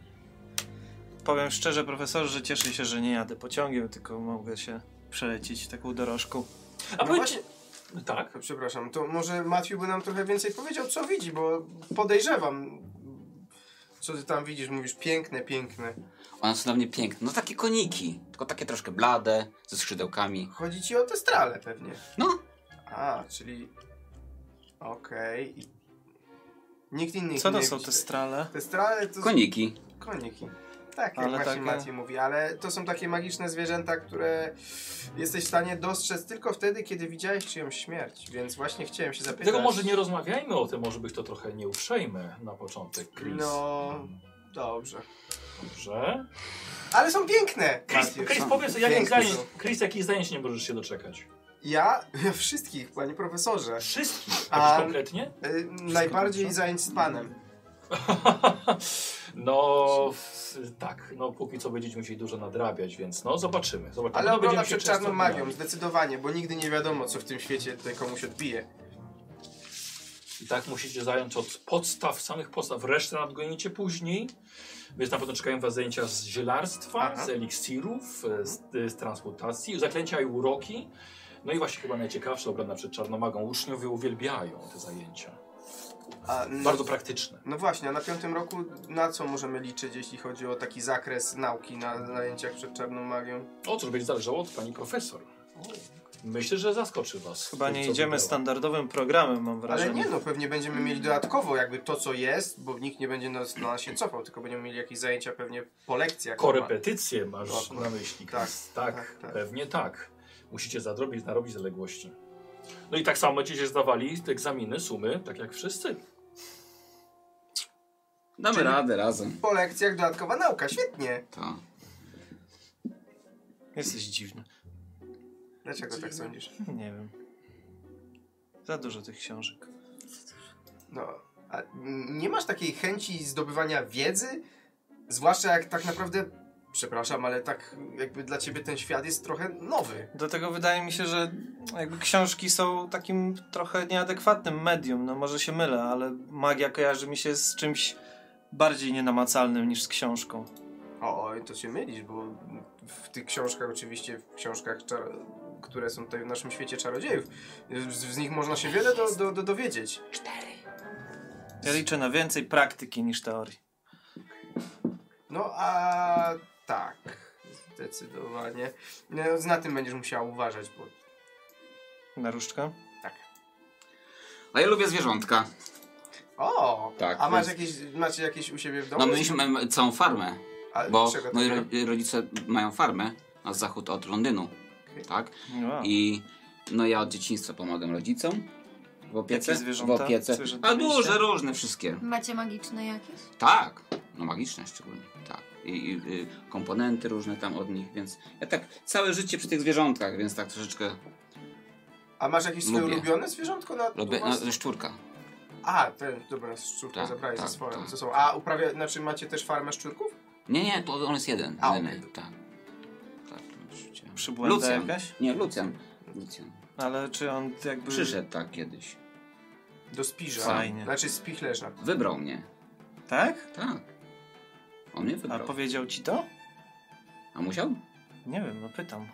Speaker 5: Powiem szczerze, profesorze, że cieszę się, że nie jadę pociągiem, tylko mogę się przelecieć taką dorożką.
Speaker 1: A
Speaker 3: No
Speaker 1: powiedzcie... Tak?
Speaker 3: Przepraszam, to może Matthew by nam trochę więcej powiedział, co widzi, bo podejrzewam. Co ty tam widzisz? Mówisz piękne, piękne.
Speaker 4: One są dla mnie piękne. No takie koniki, tylko takie troszkę blade, ze skrzydełkami.
Speaker 3: Chodzi ci o te strale pewnie.
Speaker 4: No,
Speaker 3: A, czyli... Okej. i- Nikt inny ich
Speaker 5: Co to
Speaker 3: nie
Speaker 5: są
Speaker 3: widzi.
Speaker 5: te strale?
Speaker 3: Te strale to
Speaker 4: koniki.
Speaker 3: koniki. Tak, jak
Speaker 5: Ale
Speaker 3: właśnie
Speaker 5: takie-
Speaker 3: Maciej mówi, ale to są takie magiczne zwierzęta, które jesteś w stanie dostrzec tylko wtedy, kiedy widziałeś czyjąś śmierć, więc właśnie chciałem się zapytać.
Speaker 1: Dlatego może nie rozmawiajmy o tym, może być to trochę nieuprzejme na początek, Chris.
Speaker 3: No, dobrze.
Speaker 1: Dobrze.
Speaker 3: Ale są piękne!
Speaker 1: Chris,
Speaker 3: Matthew.
Speaker 1: Chris
Speaker 3: Są
Speaker 1: powiedz, jakich
Speaker 3: piękne
Speaker 1: zajęć,
Speaker 3: są.
Speaker 1: Chris, jakich zajęć nie możesz się doczekać?
Speaker 3: Ja? Ja wszystkich, panie profesorze.
Speaker 1: Wszystkich.
Speaker 3: A-
Speaker 1: A... Konkretnie?
Speaker 3: Y, najbardziej
Speaker 5: dobrze?
Speaker 3: zajęć z panem.
Speaker 1: Mhm. No, s- tak, no póki co będziemy musieli dużo nadrabiać, więc no zobaczymy. zobaczymy.
Speaker 3: Ale
Speaker 1: No,
Speaker 3: obrona
Speaker 1: będziemy się
Speaker 3: przed
Speaker 1: często
Speaker 3: czarną magią,
Speaker 1: mijali.
Speaker 3: zdecydowanie, bo nigdy nie wiadomo, co w tym świecie tutaj komuś odbije.
Speaker 1: I tak musicie zająć od podstaw, samych podstaw. Resztę nadgonicie później. Więc na pewno czekają was zajęcia z zielarstwa,
Speaker 3: Aha.
Speaker 1: z eliksirów, e, z, e, z transmutacji, zaklęcia i uroki. No i właśnie chyba najciekawsze obrona przed czarnomagą. Uczniowie uwielbiają te zajęcia.
Speaker 3: A, no,
Speaker 1: Bardzo praktyczne.
Speaker 3: No właśnie, a na piątym roku na co możemy liczyć, jeśli chodzi o taki zakres nauki na zajęciach przed czarną magią?
Speaker 1: O cóż, będzie zależało od pani profesor. Myślę, że zaskoczy was.
Speaker 5: Chyba
Speaker 1: tym,
Speaker 5: nie
Speaker 1: co
Speaker 5: idziemy
Speaker 1: wybrała.
Speaker 5: standardowym programem, mam wrażenie.
Speaker 3: Ale nie no, pewnie będziemy mieli dodatkowo jakby to, co jest, bo nikt nie będzie nas, na nas się cofał, tylko będziemy mieli jakieś zajęcia pewnie po lekcjach.
Speaker 1: Korepetycje masz
Speaker 3: Dokładnie.
Speaker 1: na myśli.
Speaker 3: Tak,
Speaker 1: Tak, tak,
Speaker 3: tak, tak.
Speaker 1: pewnie tak. Musicie zadrobić, narobić zaległości. No i tak samo będziecie zdawali te egzaminy, sumy, tak jak wszyscy.
Speaker 4: Damy
Speaker 3: Czyli-
Speaker 4: radę razem.
Speaker 3: Po lekcjach dodatkowa nauka, świetnie!
Speaker 4: To.
Speaker 5: Jesteś dziwny.
Speaker 3: Dlaczego tak sądzisz?
Speaker 5: Nie wiem. Za dużo tych książek.
Speaker 3: No, a n- nie masz takiej chęci zdobywania wiedzy? Zwłaszcza jak tak naprawdę, przepraszam, ale tak jakby dla ciebie ten świat jest trochę nowy.
Speaker 5: Dlatego wydaje mi się, że jakby książki są takim trochę nieadekwatnym medium. No może się mylę, ale magia kojarzy mi się z czymś bardziej nienamacalnym niż z książką.
Speaker 3: O, to się mylisz, bo w tych książkach, oczywiście w książkach, czar- które są tutaj w naszym świecie czarodziejów, z, z nich można się wiele do, do, do, dowiedzieć.
Speaker 5: Ja liczę na więcej praktyki niż teorii.
Speaker 3: No a tak, zdecydowanie. No, na tym będziesz musiała uważać, bo
Speaker 5: Naruszczka?
Speaker 4: A ja lubię zwierzątka.
Speaker 3: O!
Speaker 4: Tak,
Speaker 3: a masz
Speaker 4: więc-
Speaker 3: jakieś, macie jakieś u siebie w domu?
Speaker 4: No my mieliśmy całą farmę,
Speaker 3: Ale tak?
Speaker 4: bo
Speaker 3: czego
Speaker 4: moi
Speaker 3: takiego?
Speaker 4: ro- rodzice mają farmę na zachód od Londynu,
Speaker 3: Okej.
Speaker 4: tak?
Speaker 5: Wow.
Speaker 4: I no ja od dzieciństwa pomagam rodzicom w opiece.
Speaker 5: Jakie zwierzęta?
Speaker 4: W opiece.
Speaker 5: Zwierzęta
Speaker 4: A
Speaker 5: mieliście?
Speaker 4: duże, różne wszystkie.
Speaker 6: Macie magiczne jakieś?
Speaker 4: Tak, no magiczne szczególnie, tak. I, i y, komponenty różne tam od nich, więc ja tak całe życie przy tych zwierzątkach, więc tak troszeczkę
Speaker 3: A masz jakieś swoje
Speaker 4: lubię.
Speaker 3: ulubione zwierzątko na
Speaker 4: lubię,
Speaker 3: u
Speaker 4: no
Speaker 3: was?
Speaker 4: ze szczurka.
Speaker 3: A, ten, dobra, szczurkę
Speaker 4: Tak,
Speaker 3: zabrałeś
Speaker 4: tak,
Speaker 3: ze swoją.
Speaker 4: tak.
Speaker 3: co są? A uprawia, znaczy macie też farmę szczurków?
Speaker 4: Nie, nie, to on jest jeden,
Speaker 3: A,
Speaker 4: jedyny,
Speaker 3: okej.
Speaker 4: tak. Tak, to życie.
Speaker 5: Przybłęda
Speaker 4: Lucjan.
Speaker 5: jakaś?
Speaker 4: Nie, Lucjan. Lucjan.
Speaker 5: Ale czy on jakby...
Speaker 4: Przyszedł tak kiedyś.
Speaker 3: Do spiża.
Speaker 5: Fajnie.
Speaker 3: Znaczy spichlerza.
Speaker 4: Wybrał mnie.
Speaker 5: Tak?
Speaker 4: Tak. On mnie
Speaker 5: A
Speaker 4: wybrał. A,
Speaker 5: powiedział ci to?
Speaker 4: musiał?
Speaker 5: Nie wiem, no pytam.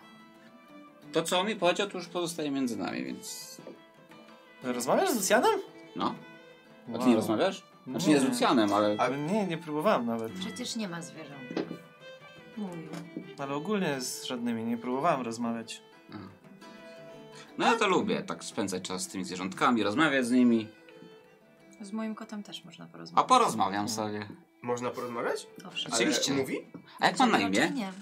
Speaker 4: To, co on mi powiedział, to już pozostaje między nami, więc...
Speaker 5: Rozmawiasz z Lucjanem?
Speaker 4: No. A ty
Speaker 5: Wow. No.
Speaker 4: nie rozmawiasz? Znaczy nie z Lucjanem, ale...
Speaker 5: Ale nie, nie próbowałem nawet.
Speaker 4: Mhm.
Speaker 6: Przecież nie ma zwierząt. Mówił.
Speaker 5: Ale ogólnie z żadnymi nie próbowałem rozmawiać.
Speaker 4: A. No ja to lubię, tak spędzać czas z tymi zwierzątkami, rozmawiać z nimi.
Speaker 2: Z moim kotem też można
Speaker 4: A
Speaker 2: porozmawiać.
Speaker 4: porozmawiam sobie.
Speaker 3: Można porozmawiać?
Speaker 2: Owszem.
Speaker 3: Ale
Speaker 4: Oczywiście.
Speaker 3: mówi?
Speaker 4: A jak pan na imię?
Speaker 6: Nie.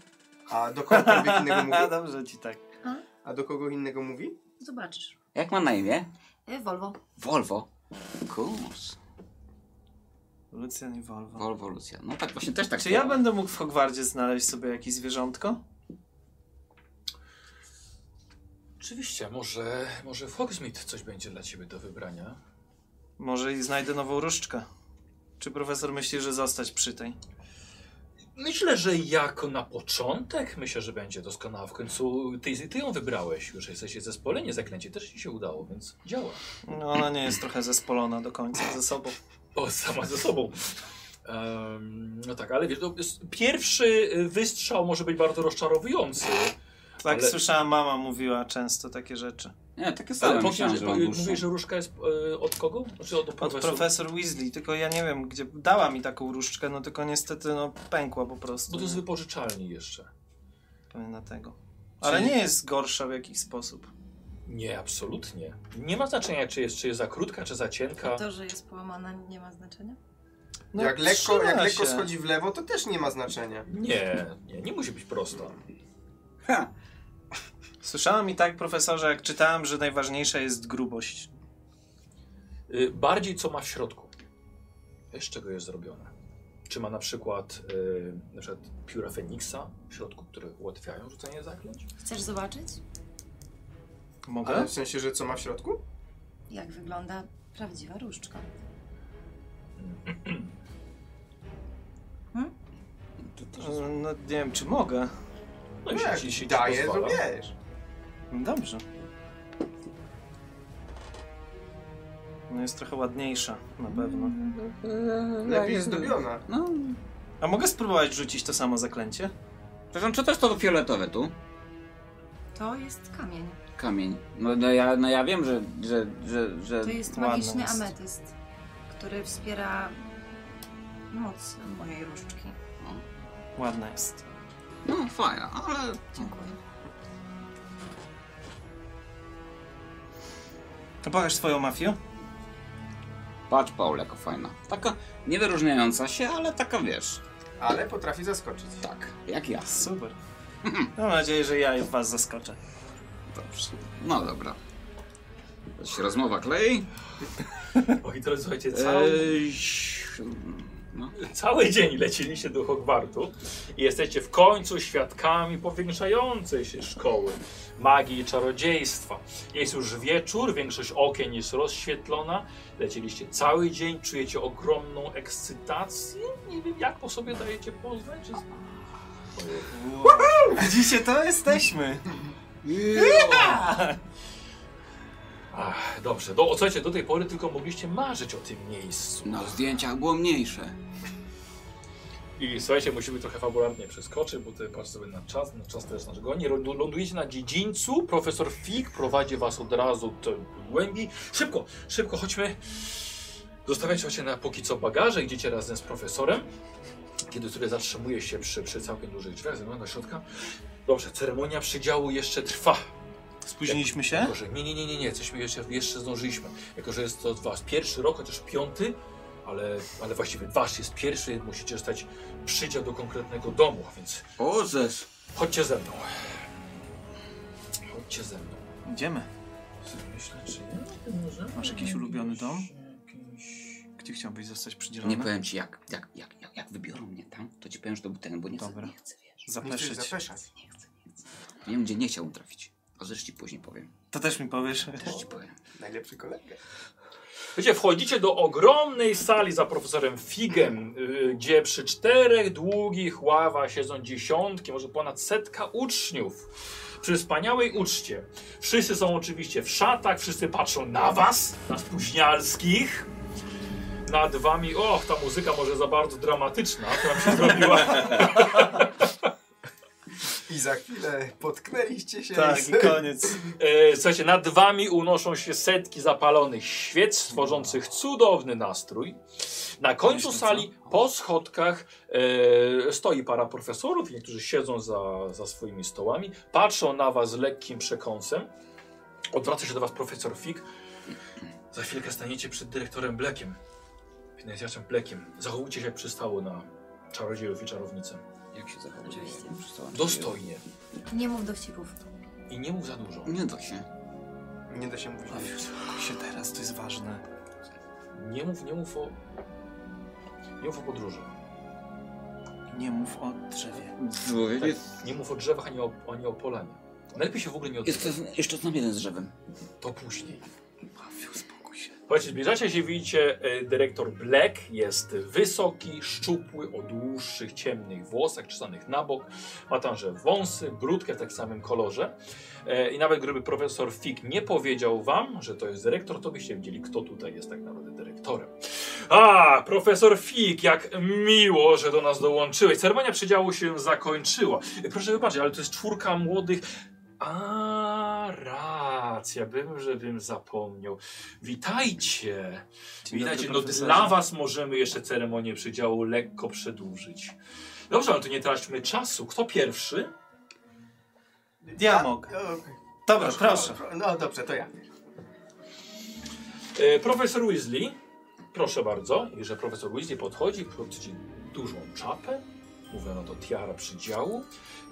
Speaker 3: A do kogokolwiek innego mówi?
Speaker 5: A dobrze ci tak.
Speaker 3: A do kogo innego mówi?
Speaker 2: Zobaczysz. E,
Speaker 4: Jak ma na imię?
Speaker 6: Y, Volvo.
Speaker 4: Volvo. Kurs.
Speaker 5: Lucjan i Volvo.
Speaker 4: Volvo Lucja. No tak właśnie też tak
Speaker 5: Czy ja
Speaker 4: było.
Speaker 5: będę mógł w Hogwardzie znaleźć sobie jakieś zwierzątko?
Speaker 1: Oczywiście, może, może w Hogsmeade coś będzie dla ciebie do wybrania.
Speaker 5: Może i znajdę nową różdżkę. Czy profesor myśli, że zostać przy tej?
Speaker 1: Myślę, że jako na początek myślę, że będzie doskonała. W końcu ty, ty ją wybrałeś, już jesteście zespolenie, zaklęcie też ci się udało, więc działa.
Speaker 5: No ona nie jest trochę zespolona do końca ze sobą.
Speaker 1: O, sama ze sobą. Em, no tak, ale wiesz, to jest, pierwszy y, wystrzał może być bardzo rozczarowujący.
Speaker 5: Tak
Speaker 1: Ale-
Speaker 5: słyszała mama mówiła często takie rzeczy.
Speaker 4: Nie, takie same.
Speaker 1: Ale
Speaker 4: myślałem,
Speaker 1: powiedziałeś,
Speaker 4: że
Speaker 1: że,
Speaker 4: mam dłuższą.
Speaker 1: mówisz, że różka jest y, od kogo? Znaczy od
Speaker 5: Od
Speaker 1: profesora.
Speaker 5: profesor Weasley, tylko ja nie wiem, gdzie dała mi taką różdżkę, no tylko niestety no pękła po prostu.
Speaker 1: Bo to jest
Speaker 5: nie
Speaker 1: wypożyczalni jeszcze.
Speaker 5: Pamiętam tego. Ale
Speaker 1: Czyli-
Speaker 5: nie jest gorsza w jakiś sposób.
Speaker 1: Nie, absolutnie. Nie ma znaczenia, czy jest, czy jest za krótka, czy za
Speaker 6: No
Speaker 1: cienka.
Speaker 2: To, że jest połamana, nie ma znaczenia?
Speaker 5: No,
Speaker 3: jak lekko, jak
Speaker 5: trzyma
Speaker 3: lekko
Speaker 5: się.
Speaker 3: schodzi w lewo, to też nie ma znaczenia.
Speaker 1: Nie, nie, nie musi być prosta.
Speaker 4: Ha.
Speaker 5: Słyszałem i tak, profesorze, jak czytałem, że najważniejsza jest grubość.
Speaker 1: Y, bardziej co ma w środku. Z czego jest zrobione. Czy ma na przykład, y, na przykład pióra Feniksa w środku, które ułatwiają rzucenie zaklęć?
Speaker 2: Chcesz zobaczyć,
Speaker 5: Mogę?
Speaker 3: Ale w sensie, że co ma w środku?
Speaker 2: jak wygląda prawdziwa różdżka?
Speaker 4: To, to,
Speaker 5: E, No nie wiem, czy mogę.
Speaker 1: No
Speaker 3: No jak
Speaker 1: jeśli ci się
Speaker 3: daje, to
Speaker 1: pozwala.
Speaker 3: wiesz.
Speaker 5: No Dobrze. No jest trochę ładniejsza, na pewno.
Speaker 3: Lepiej zdobiona.
Speaker 4: No,
Speaker 5: A mogę spróbować rzucić to samo zaklęcie?
Speaker 4: przepraszam, czy też to fioletowe tu?
Speaker 2: To jest kamień.
Speaker 4: Kamień. No, no, ja, no ja wiem, że, że, że, że...
Speaker 2: To jest
Speaker 5: Ładna
Speaker 2: magiczny
Speaker 5: jest.
Speaker 2: ametyst. który wspiera moc mojej różdżki.
Speaker 5: Ładna jest.
Speaker 4: No, fajna, ale...
Speaker 2: Dziękuję.
Speaker 5: To pokaż swoją mafię.
Speaker 4: Patrz, Paul, jako fajna. Taka niewyróżniająca się, ale taka, wiesz,
Speaker 3: Ale potrafi zaskoczyć.
Speaker 4: tak, jak ja.
Speaker 5: Super. Mam nadzieję, że ja was zaskoczę.
Speaker 4: Dobrze. No dobra. To się rozmowa klei.
Speaker 1: Oj, drodzy, słuchajcie, cały,
Speaker 4: Eee, ś- no.
Speaker 1: cały dzień leciliście do Hogwartu i jesteście w końcu świadkami powiększającej się szkoły magii i czarodziejstwa. Jest już wieczór, większość okien jest rozświetlona. Lecieliście cały dzień, czujecie ogromną ekscytację. Nie wiem, jak po sobie dajecie poznać. Czy...
Speaker 5: Widzicie, to jesteśmy.
Speaker 1: Ach, dobrze, do, słuchajcie, do tej pory tylko mogliście marzyć o tym miejscu.
Speaker 4: no, zdjęciach było mniejsze.
Speaker 1: I słuchajcie, musimy trochę fabularnie przeskoczyć, bo tutaj patrzę sobie na czas, na czas też nasz goni. Lądu- Lądujecie na dziedzińcu, profesor Fig prowadzi was od razu do głębi. Szybko, szybko, chodźmy. Zostawiacie się na póki co bagaże, idziecie razem z profesorem. Kiedy który zatrzymuje się przy, przy całkiem dużych drzwiach, zagląda do środka. Dobrze, ceremonia przydziału jeszcze trwa.
Speaker 5: Spóźniliśmy się?
Speaker 1: Jako, że nie, nie, nie, nie, nie, jesteśmy jeszcze, jeszcze zdążyliśmy. Jako, że jest to wasz pierwszy rok, chociaż piąty, ale, ale właściwie wasz jest pierwszy, musicie dostać przydział do konkretnego domu, a więc
Speaker 4: O, zes.
Speaker 1: chodźcie ze mną. Chodźcie ze mną.
Speaker 5: Idziemy.
Speaker 1: Myślę, czy nie? Może?
Speaker 5: Masz jakiś ulubiony dom?
Speaker 1: Jakiś...
Speaker 5: Gdzie chciałbyś zostać przydzielony?
Speaker 4: Nie powiem ci, jak, jak, jak, jak, jak wybiorą mnie tam, to ci powiem, że to był ten, bo nie chcę,
Speaker 5: Dobra.
Speaker 4: nie chcę, wiesz.
Speaker 3: Nie chcesz
Speaker 5: Zapeszyć.
Speaker 3: zapeszać.
Speaker 4: Nie chcę, nie chcę. Nie wiem, gdzie nie chciałbym trafić. A zresztą ci później powiem.
Speaker 5: To też mi powiesz.
Speaker 4: Też ci powiem.
Speaker 3: Najlepszy kolega.
Speaker 1: Wiecie, wchodzicie do ogromnej sali za profesorem Figem, y, gdzie przy czterech długich ławach siedzą dziesiątki, może ponad setka uczniów. Przy wspaniałej uczcie. Wszyscy są oczywiście w szatach, wszyscy patrzą na was, na spóźnialskich. Nad wami, och, ta muzyka może za bardzo dramatyczna, która mi się zrobiła.
Speaker 3: I za chwilę potknęliście się.
Speaker 5: Tak, i koniec.
Speaker 1: E, słuchajcie, nad wami unoszą się setki zapalonych świec, tworzących cudowny nastrój. Na końcu
Speaker 4: Myślę,
Speaker 1: sali,
Speaker 4: co?
Speaker 1: po schodkach, e, stoi para profesorów, niektórzy siedzą za, za swoimi stołami, patrzą na was z lekkim przekąsem. Odwraca się do was profesor Fig. Za chwilkę staniecie przed dyrektorem Blekiem, finansjarzem Blekiem. Zachowujcie się jak przystało na czarodziejów i czarownicę.
Speaker 4: Jak się zachowuje?
Speaker 2: Oczywiście.
Speaker 1: Dostojnie
Speaker 6: Nie mów dowcipów.
Speaker 1: i nie mów za dużo.
Speaker 4: Nie da się.
Speaker 3: Nie da się mówić.
Speaker 5: Uspokój się teraz, to jest ważne.
Speaker 1: Nie mów, nie mów o... Nie mów o podróży.
Speaker 5: Nie mów o drzewie.
Speaker 4: Człowiek jest...
Speaker 1: Nie mów o drzewach, ani o, ani o polanie. Najlepiej się w ogóle nie
Speaker 4: Jeszcze,
Speaker 1: odzywać.
Speaker 4: Tak. jeszcze znam jeden z drzewem.
Speaker 1: To później.
Speaker 5: Mafiu, uspokój się.
Speaker 1: Słuchajcie, zbliżacie się, widzicie, e, dyrektor Black jest wysoki, szczupły, o dłuższych, ciemnych włosach, czesanych na bok. Ma tamże wąsy, brudkę w tak samym kolorze. E, I nawet gdyby profesor Fig nie powiedział wam, że to jest dyrektor, to byście wiedzieli, kto tutaj jest tak naprawdę dyrektorem. A, profesor Fig, jak miło, że do nas dołączyłeś. Ceremonia przydziału się zakończyła. E, Proszę wybaczyć, ale to jest czwórka młodych... A, racja, bym, żebym zapomniał. Witajcie! Witajcie, no dla was możemy jeszcze ceremonię przydziału lekko przedłużyć. Dobrze, ale to nie traćmy czasu. Kto pierwszy?
Speaker 5: Diamog.
Speaker 3: O, okej.
Speaker 5: Dobra, proszę.
Speaker 3: No dobrze, to ja.
Speaker 1: E, profesor Weasley, proszę bardzo. I że profesor Weasley podchodzi, podchodzi dużą czapę, mówiono to tiara przydziału.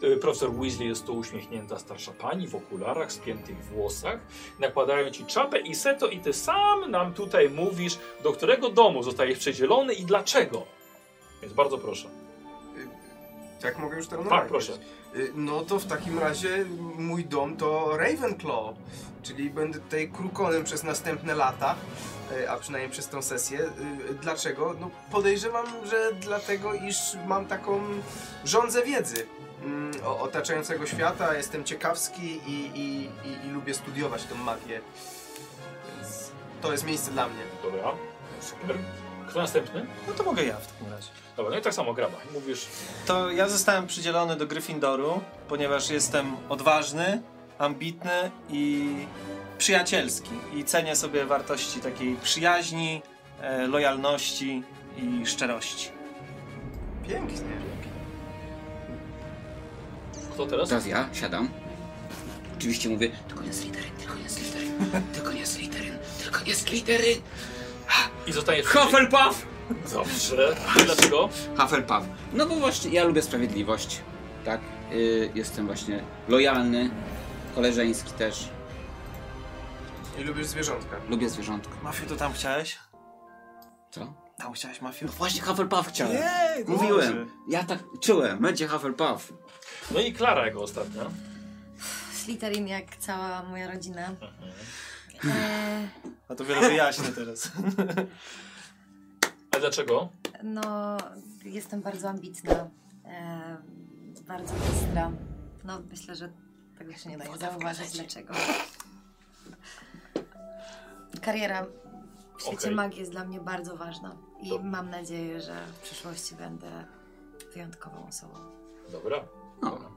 Speaker 1: E, profesor Weasley jest to uśmiechnięta starsza pani w okularach, spiętych włosach. Nakładają ci czapę i seto i ty sam nam tutaj mówisz, do którego domu zostajesz przedzielony i dlaczego. Więc bardzo proszę.
Speaker 3: Tak mogę już teraz
Speaker 1: Tak, proszę.
Speaker 3: Y, No to w takim razie mój dom to Ravenclaw, czyli będę tutaj krukonem przez następne lata, y, a przynajmniej przez tą sesję. Y, Dlaczego? No podejrzewam, że dlatego, iż mam taką rządzę wiedzy mm, o- otaczającego świata, jestem ciekawski i, i, i, i lubię studiować tą magię. Więc to jest miejsce dla mnie.
Speaker 1: Dobra. Super. Kto następny?
Speaker 5: No to mogę ja w takim razie.
Speaker 1: Dobra, no i tak samo graba. Mówisz,
Speaker 5: To ja zostałem przydzielony do Gryffindoru, ponieważ jestem odważny, ambitny i przyjacielski. I cenię sobie wartości takiej przyjaźni, e, lojalności i szczerości.
Speaker 3: Pięknie.
Speaker 1: Kto teraz?
Speaker 4: Teraz ja siadam. Oczywiście mówię, tylko nie z literyn, tylko nie z literyn, tylko nie z literyn, tylko nie z literyn.
Speaker 1: I zostajesz.
Speaker 4: Hufflepuff!
Speaker 1: Dobrze. Dlaczego?
Speaker 4: Hufflepuff. No bo właśnie ja lubię sprawiedliwość. Tak, y, jestem właśnie lojalny, koleżeński też.
Speaker 3: I lubisz zwierzątka.
Speaker 4: Lubię zwierzątka.
Speaker 5: Mafiu, to tam chciałeś?
Speaker 4: Co?
Speaker 5: Tam chciałeś, Mafiu?
Speaker 4: Właśnie Hufflepuff chciałem.
Speaker 5: Jej, dobrze.
Speaker 4: Mówiłem. Ja tak czułem. Będzie Hufflepuff.
Speaker 1: No i Klara jego ostatnia.
Speaker 6: Slytherin jak cała moja rodzina.
Speaker 1: Mhm.
Speaker 6: E,
Speaker 5: A to wiele wyjaśnię teraz.
Speaker 1: A dlaczego?
Speaker 6: no, jestem bardzo ambitna. E, bardzo bystra. No, myślę, że tego się nie da zauważyć dlaczego. Kariera w świecie
Speaker 1: Okej.
Speaker 6: magii jest dla mnie bardzo ważna. I
Speaker 1: To-
Speaker 6: mam nadzieję, że w przyszłości będę wyjątkową osobą.
Speaker 1: Dobra.
Speaker 4: No.
Speaker 1: Dobra.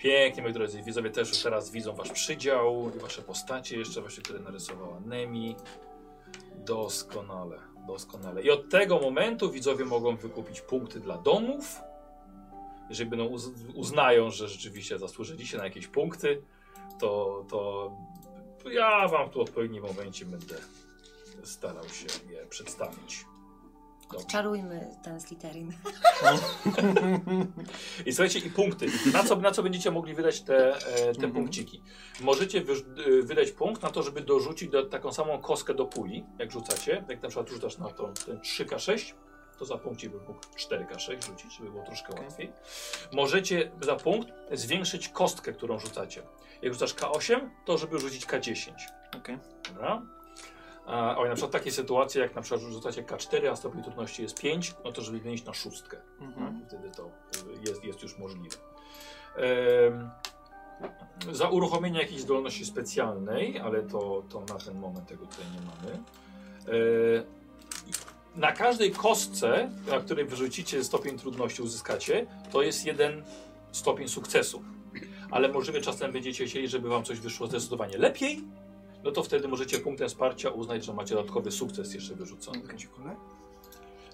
Speaker 1: Pięknie, moi drodzy. Widzowie też już teraz widzą wasz przydział i wasze postacie jeszcze właśnie, które narysowała Nemi. Doskonale, doskonale. I od tego momentu widzowie mogą wykupić punkty dla domów. Jeżeli będą uz uznają, że rzeczywiście zasłużyliście na jakieś punkty, to, to ja wam tu w odpowiednim momencie będę starał się je przedstawić. Dobrze.
Speaker 6: Czarujmy ten Slytherin.
Speaker 1: I słuchajcie, i punkty. Na co, na co będziecie mogli wydać te, e, te
Speaker 5: Mhm.
Speaker 1: punkciki? Możecie wyż- y, wydać punkt na to, żeby dorzucić do, taką samą kostkę do puli, jak rzucacie. Jak na przykład rzucasz na tą, ten 3K6, to za punkcie by mógł 4K6 rzucić, żeby było troszkę łatwiej. Możecie za punkt zwiększyć kostkę, którą rzucacie. Jak rzucasz K8, to żeby rzucić K10.
Speaker 5: Okej.
Speaker 1: Dobra. A, oj, na przykład takie sytuacje, jak na przykład rzucacie K4, a stopień trudności jest 5, no to żeby zmienić na szóstkę.
Speaker 5: Mhm.
Speaker 1: Tak, Wtedy to y, jest, jest już możliwe. Em, za uruchomienie jakiejś zdolności specjalnej, ale to, to na ten moment tego tutaj nie mamy. E, na każdej kostce, na której wyrzucicie stopień trudności, uzyskacie, to jest jeden stopień sukcesu. Ale możliwe czasem będziecie chcieli, żeby wam coś wyszło zdecydowanie lepiej, no to wtedy możecie punktem wsparcia uznać, że macie dodatkowy sukces jeszcze wyrzucony.
Speaker 3: Kęcikule?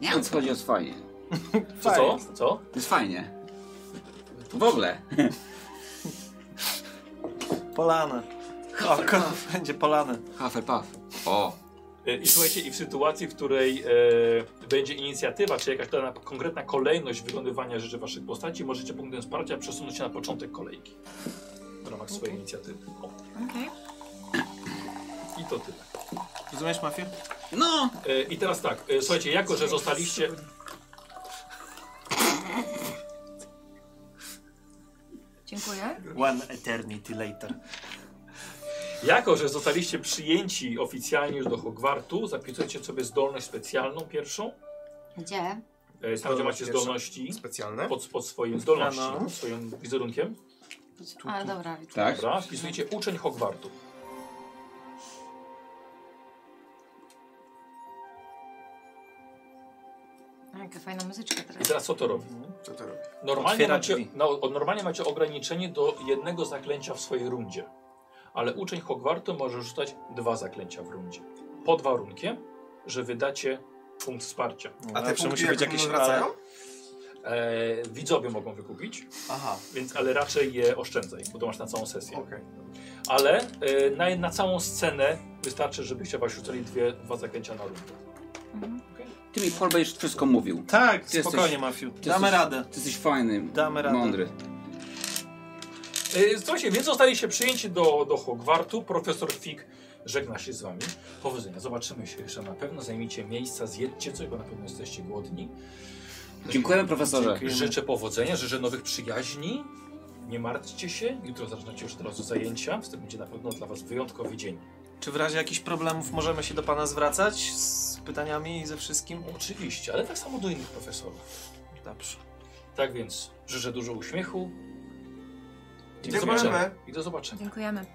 Speaker 4: Nie wiem, co chodzi o jest fajnie.
Speaker 1: Co? Co? co?
Speaker 4: To jest fajnie. W ogóle.
Speaker 5: Polane. O, ko- będzie polane.
Speaker 4: Hufflepuff. O.
Speaker 1: E, I słuchajcie, i w sytuacji, w której e, będzie inicjatywa, czy jakaś dana konkretna kolejność wykonywania rzeczy waszych postaci, możecie punktem wsparcia przesunąć się na początek kolejki w ramach swojej inicjatywy. O,
Speaker 6: Okej.
Speaker 1: I to tyle.
Speaker 5: Rozumiesz, Mafiu?
Speaker 4: No.
Speaker 1: E, I teraz tak, e, słuchajcie, jako że zostaliście.
Speaker 6: Dziękuję.
Speaker 5: One eternity later.
Speaker 1: Jako, że zostaliście przyjęci oficjalnie już do Hogwartu, zapisujecie sobie zdolność specjalną pierwszą.
Speaker 6: Gdzie?
Speaker 1: E, Tam, gdzie macie
Speaker 3: Zdolność pierwszą.
Speaker 1: zdolności
Speaker 3: Specjalne?
Speaker 1: pod, pod swoim zdolności,
Speaker 5: Ano.
Speaker 1: pod swoim wizerunkiem.
Speaker 6: A, dobra, widzę.
Speaker 4: Tak.
Speaker 1: Dobra, wpisujecie uczeń Hogwartu.
Speaker 6: A, Jaka fajna muzyczka
Speaker 1: I
Speaker 6: teraz.
Speaker 1: teraz co to robi?
Speaker 3: Co to
Speaker 5: No,
Speaker 3: robi?
Speaker 1: Normalnie
Speaker 5: Otwiera
Speaker 1: macie,
Speaker 5: drzwi.
Speaker 1: no, o- normalnie macie ograniczenie do jednego zaklęcia w swojej rundzie, ale uczeń Hogwartu może rzucać dwa zaklęcia w rundzie. Pod warunkiem, że wydacie punkt wsparcia.
Speaker 3: A te punkty
Speaker 5: musi
Speaker 3: jak jakieś
Speaker 5: być jakieś
Speaker 3: wracają?
Speaker 1: E, widzowie mogą wykupić,
Speaker 3: Aha,
Speaker 1: więc, ale raczej je oszczędzaj, bo to masz na całą sesję.
Speaker 3: okej.
Speaker 1: Ale e, na, na całą scenę wystarczy, żebyście właśnie rzucili dwie, dwa zaklęcia na rundę.
Speaker 4: Ty mi Paul będziesz wszystko mówił.
Speaker 5: Tak,
Speaker 4: Ty
Speaker 5: spokojnie,
Speaker 4: jesteś-
Speaker 5: Mafiu.
Speaker 4: ty
Speaker 5: Damy
Speaker 4: jesteś-
Speaker 5: radę.
Speaker 4: Ty jesteś fajny.
Speaker 5: Damy radę.
Speaker 4: Mądry.
Speaker 1: E, Słuchajcie, więc zostaliście przyjęci do, do Hogwartu. Profesor Fig żegna się z wami. Powodzenia, zobaczymy się jeszcze na pewno. Zajmijcie miejsca, zjedźcie coś, bo na pewno jesteście głodni.
Speaker 4: Dziękujemy profesorze.
Speaker 5: Dziękuję.
Speaker 1: Życzę powodzenia, życzę nowych przyjaźni. Nie martwcie się, jutro zaczynacie już od razu zajęcia, więc to będzie na pewno dla was wyjątkowy dzień.
Speaker 5: Czy w razie jakichś problemów możemy się do pana zwracać z pytaniami i ze wszystkim?
Speaker 1: Oczywiście, ale tak samo do innych profesorów.
Speaker 5: Dobrze.
Speaker 1: Tak więc życzę dużo uśmiechu. I do
Speaker 3: Dziękujemy.
Speaker 1: zobaczenia. I do zobaczenia.
Speaker 6: Dziękujemy.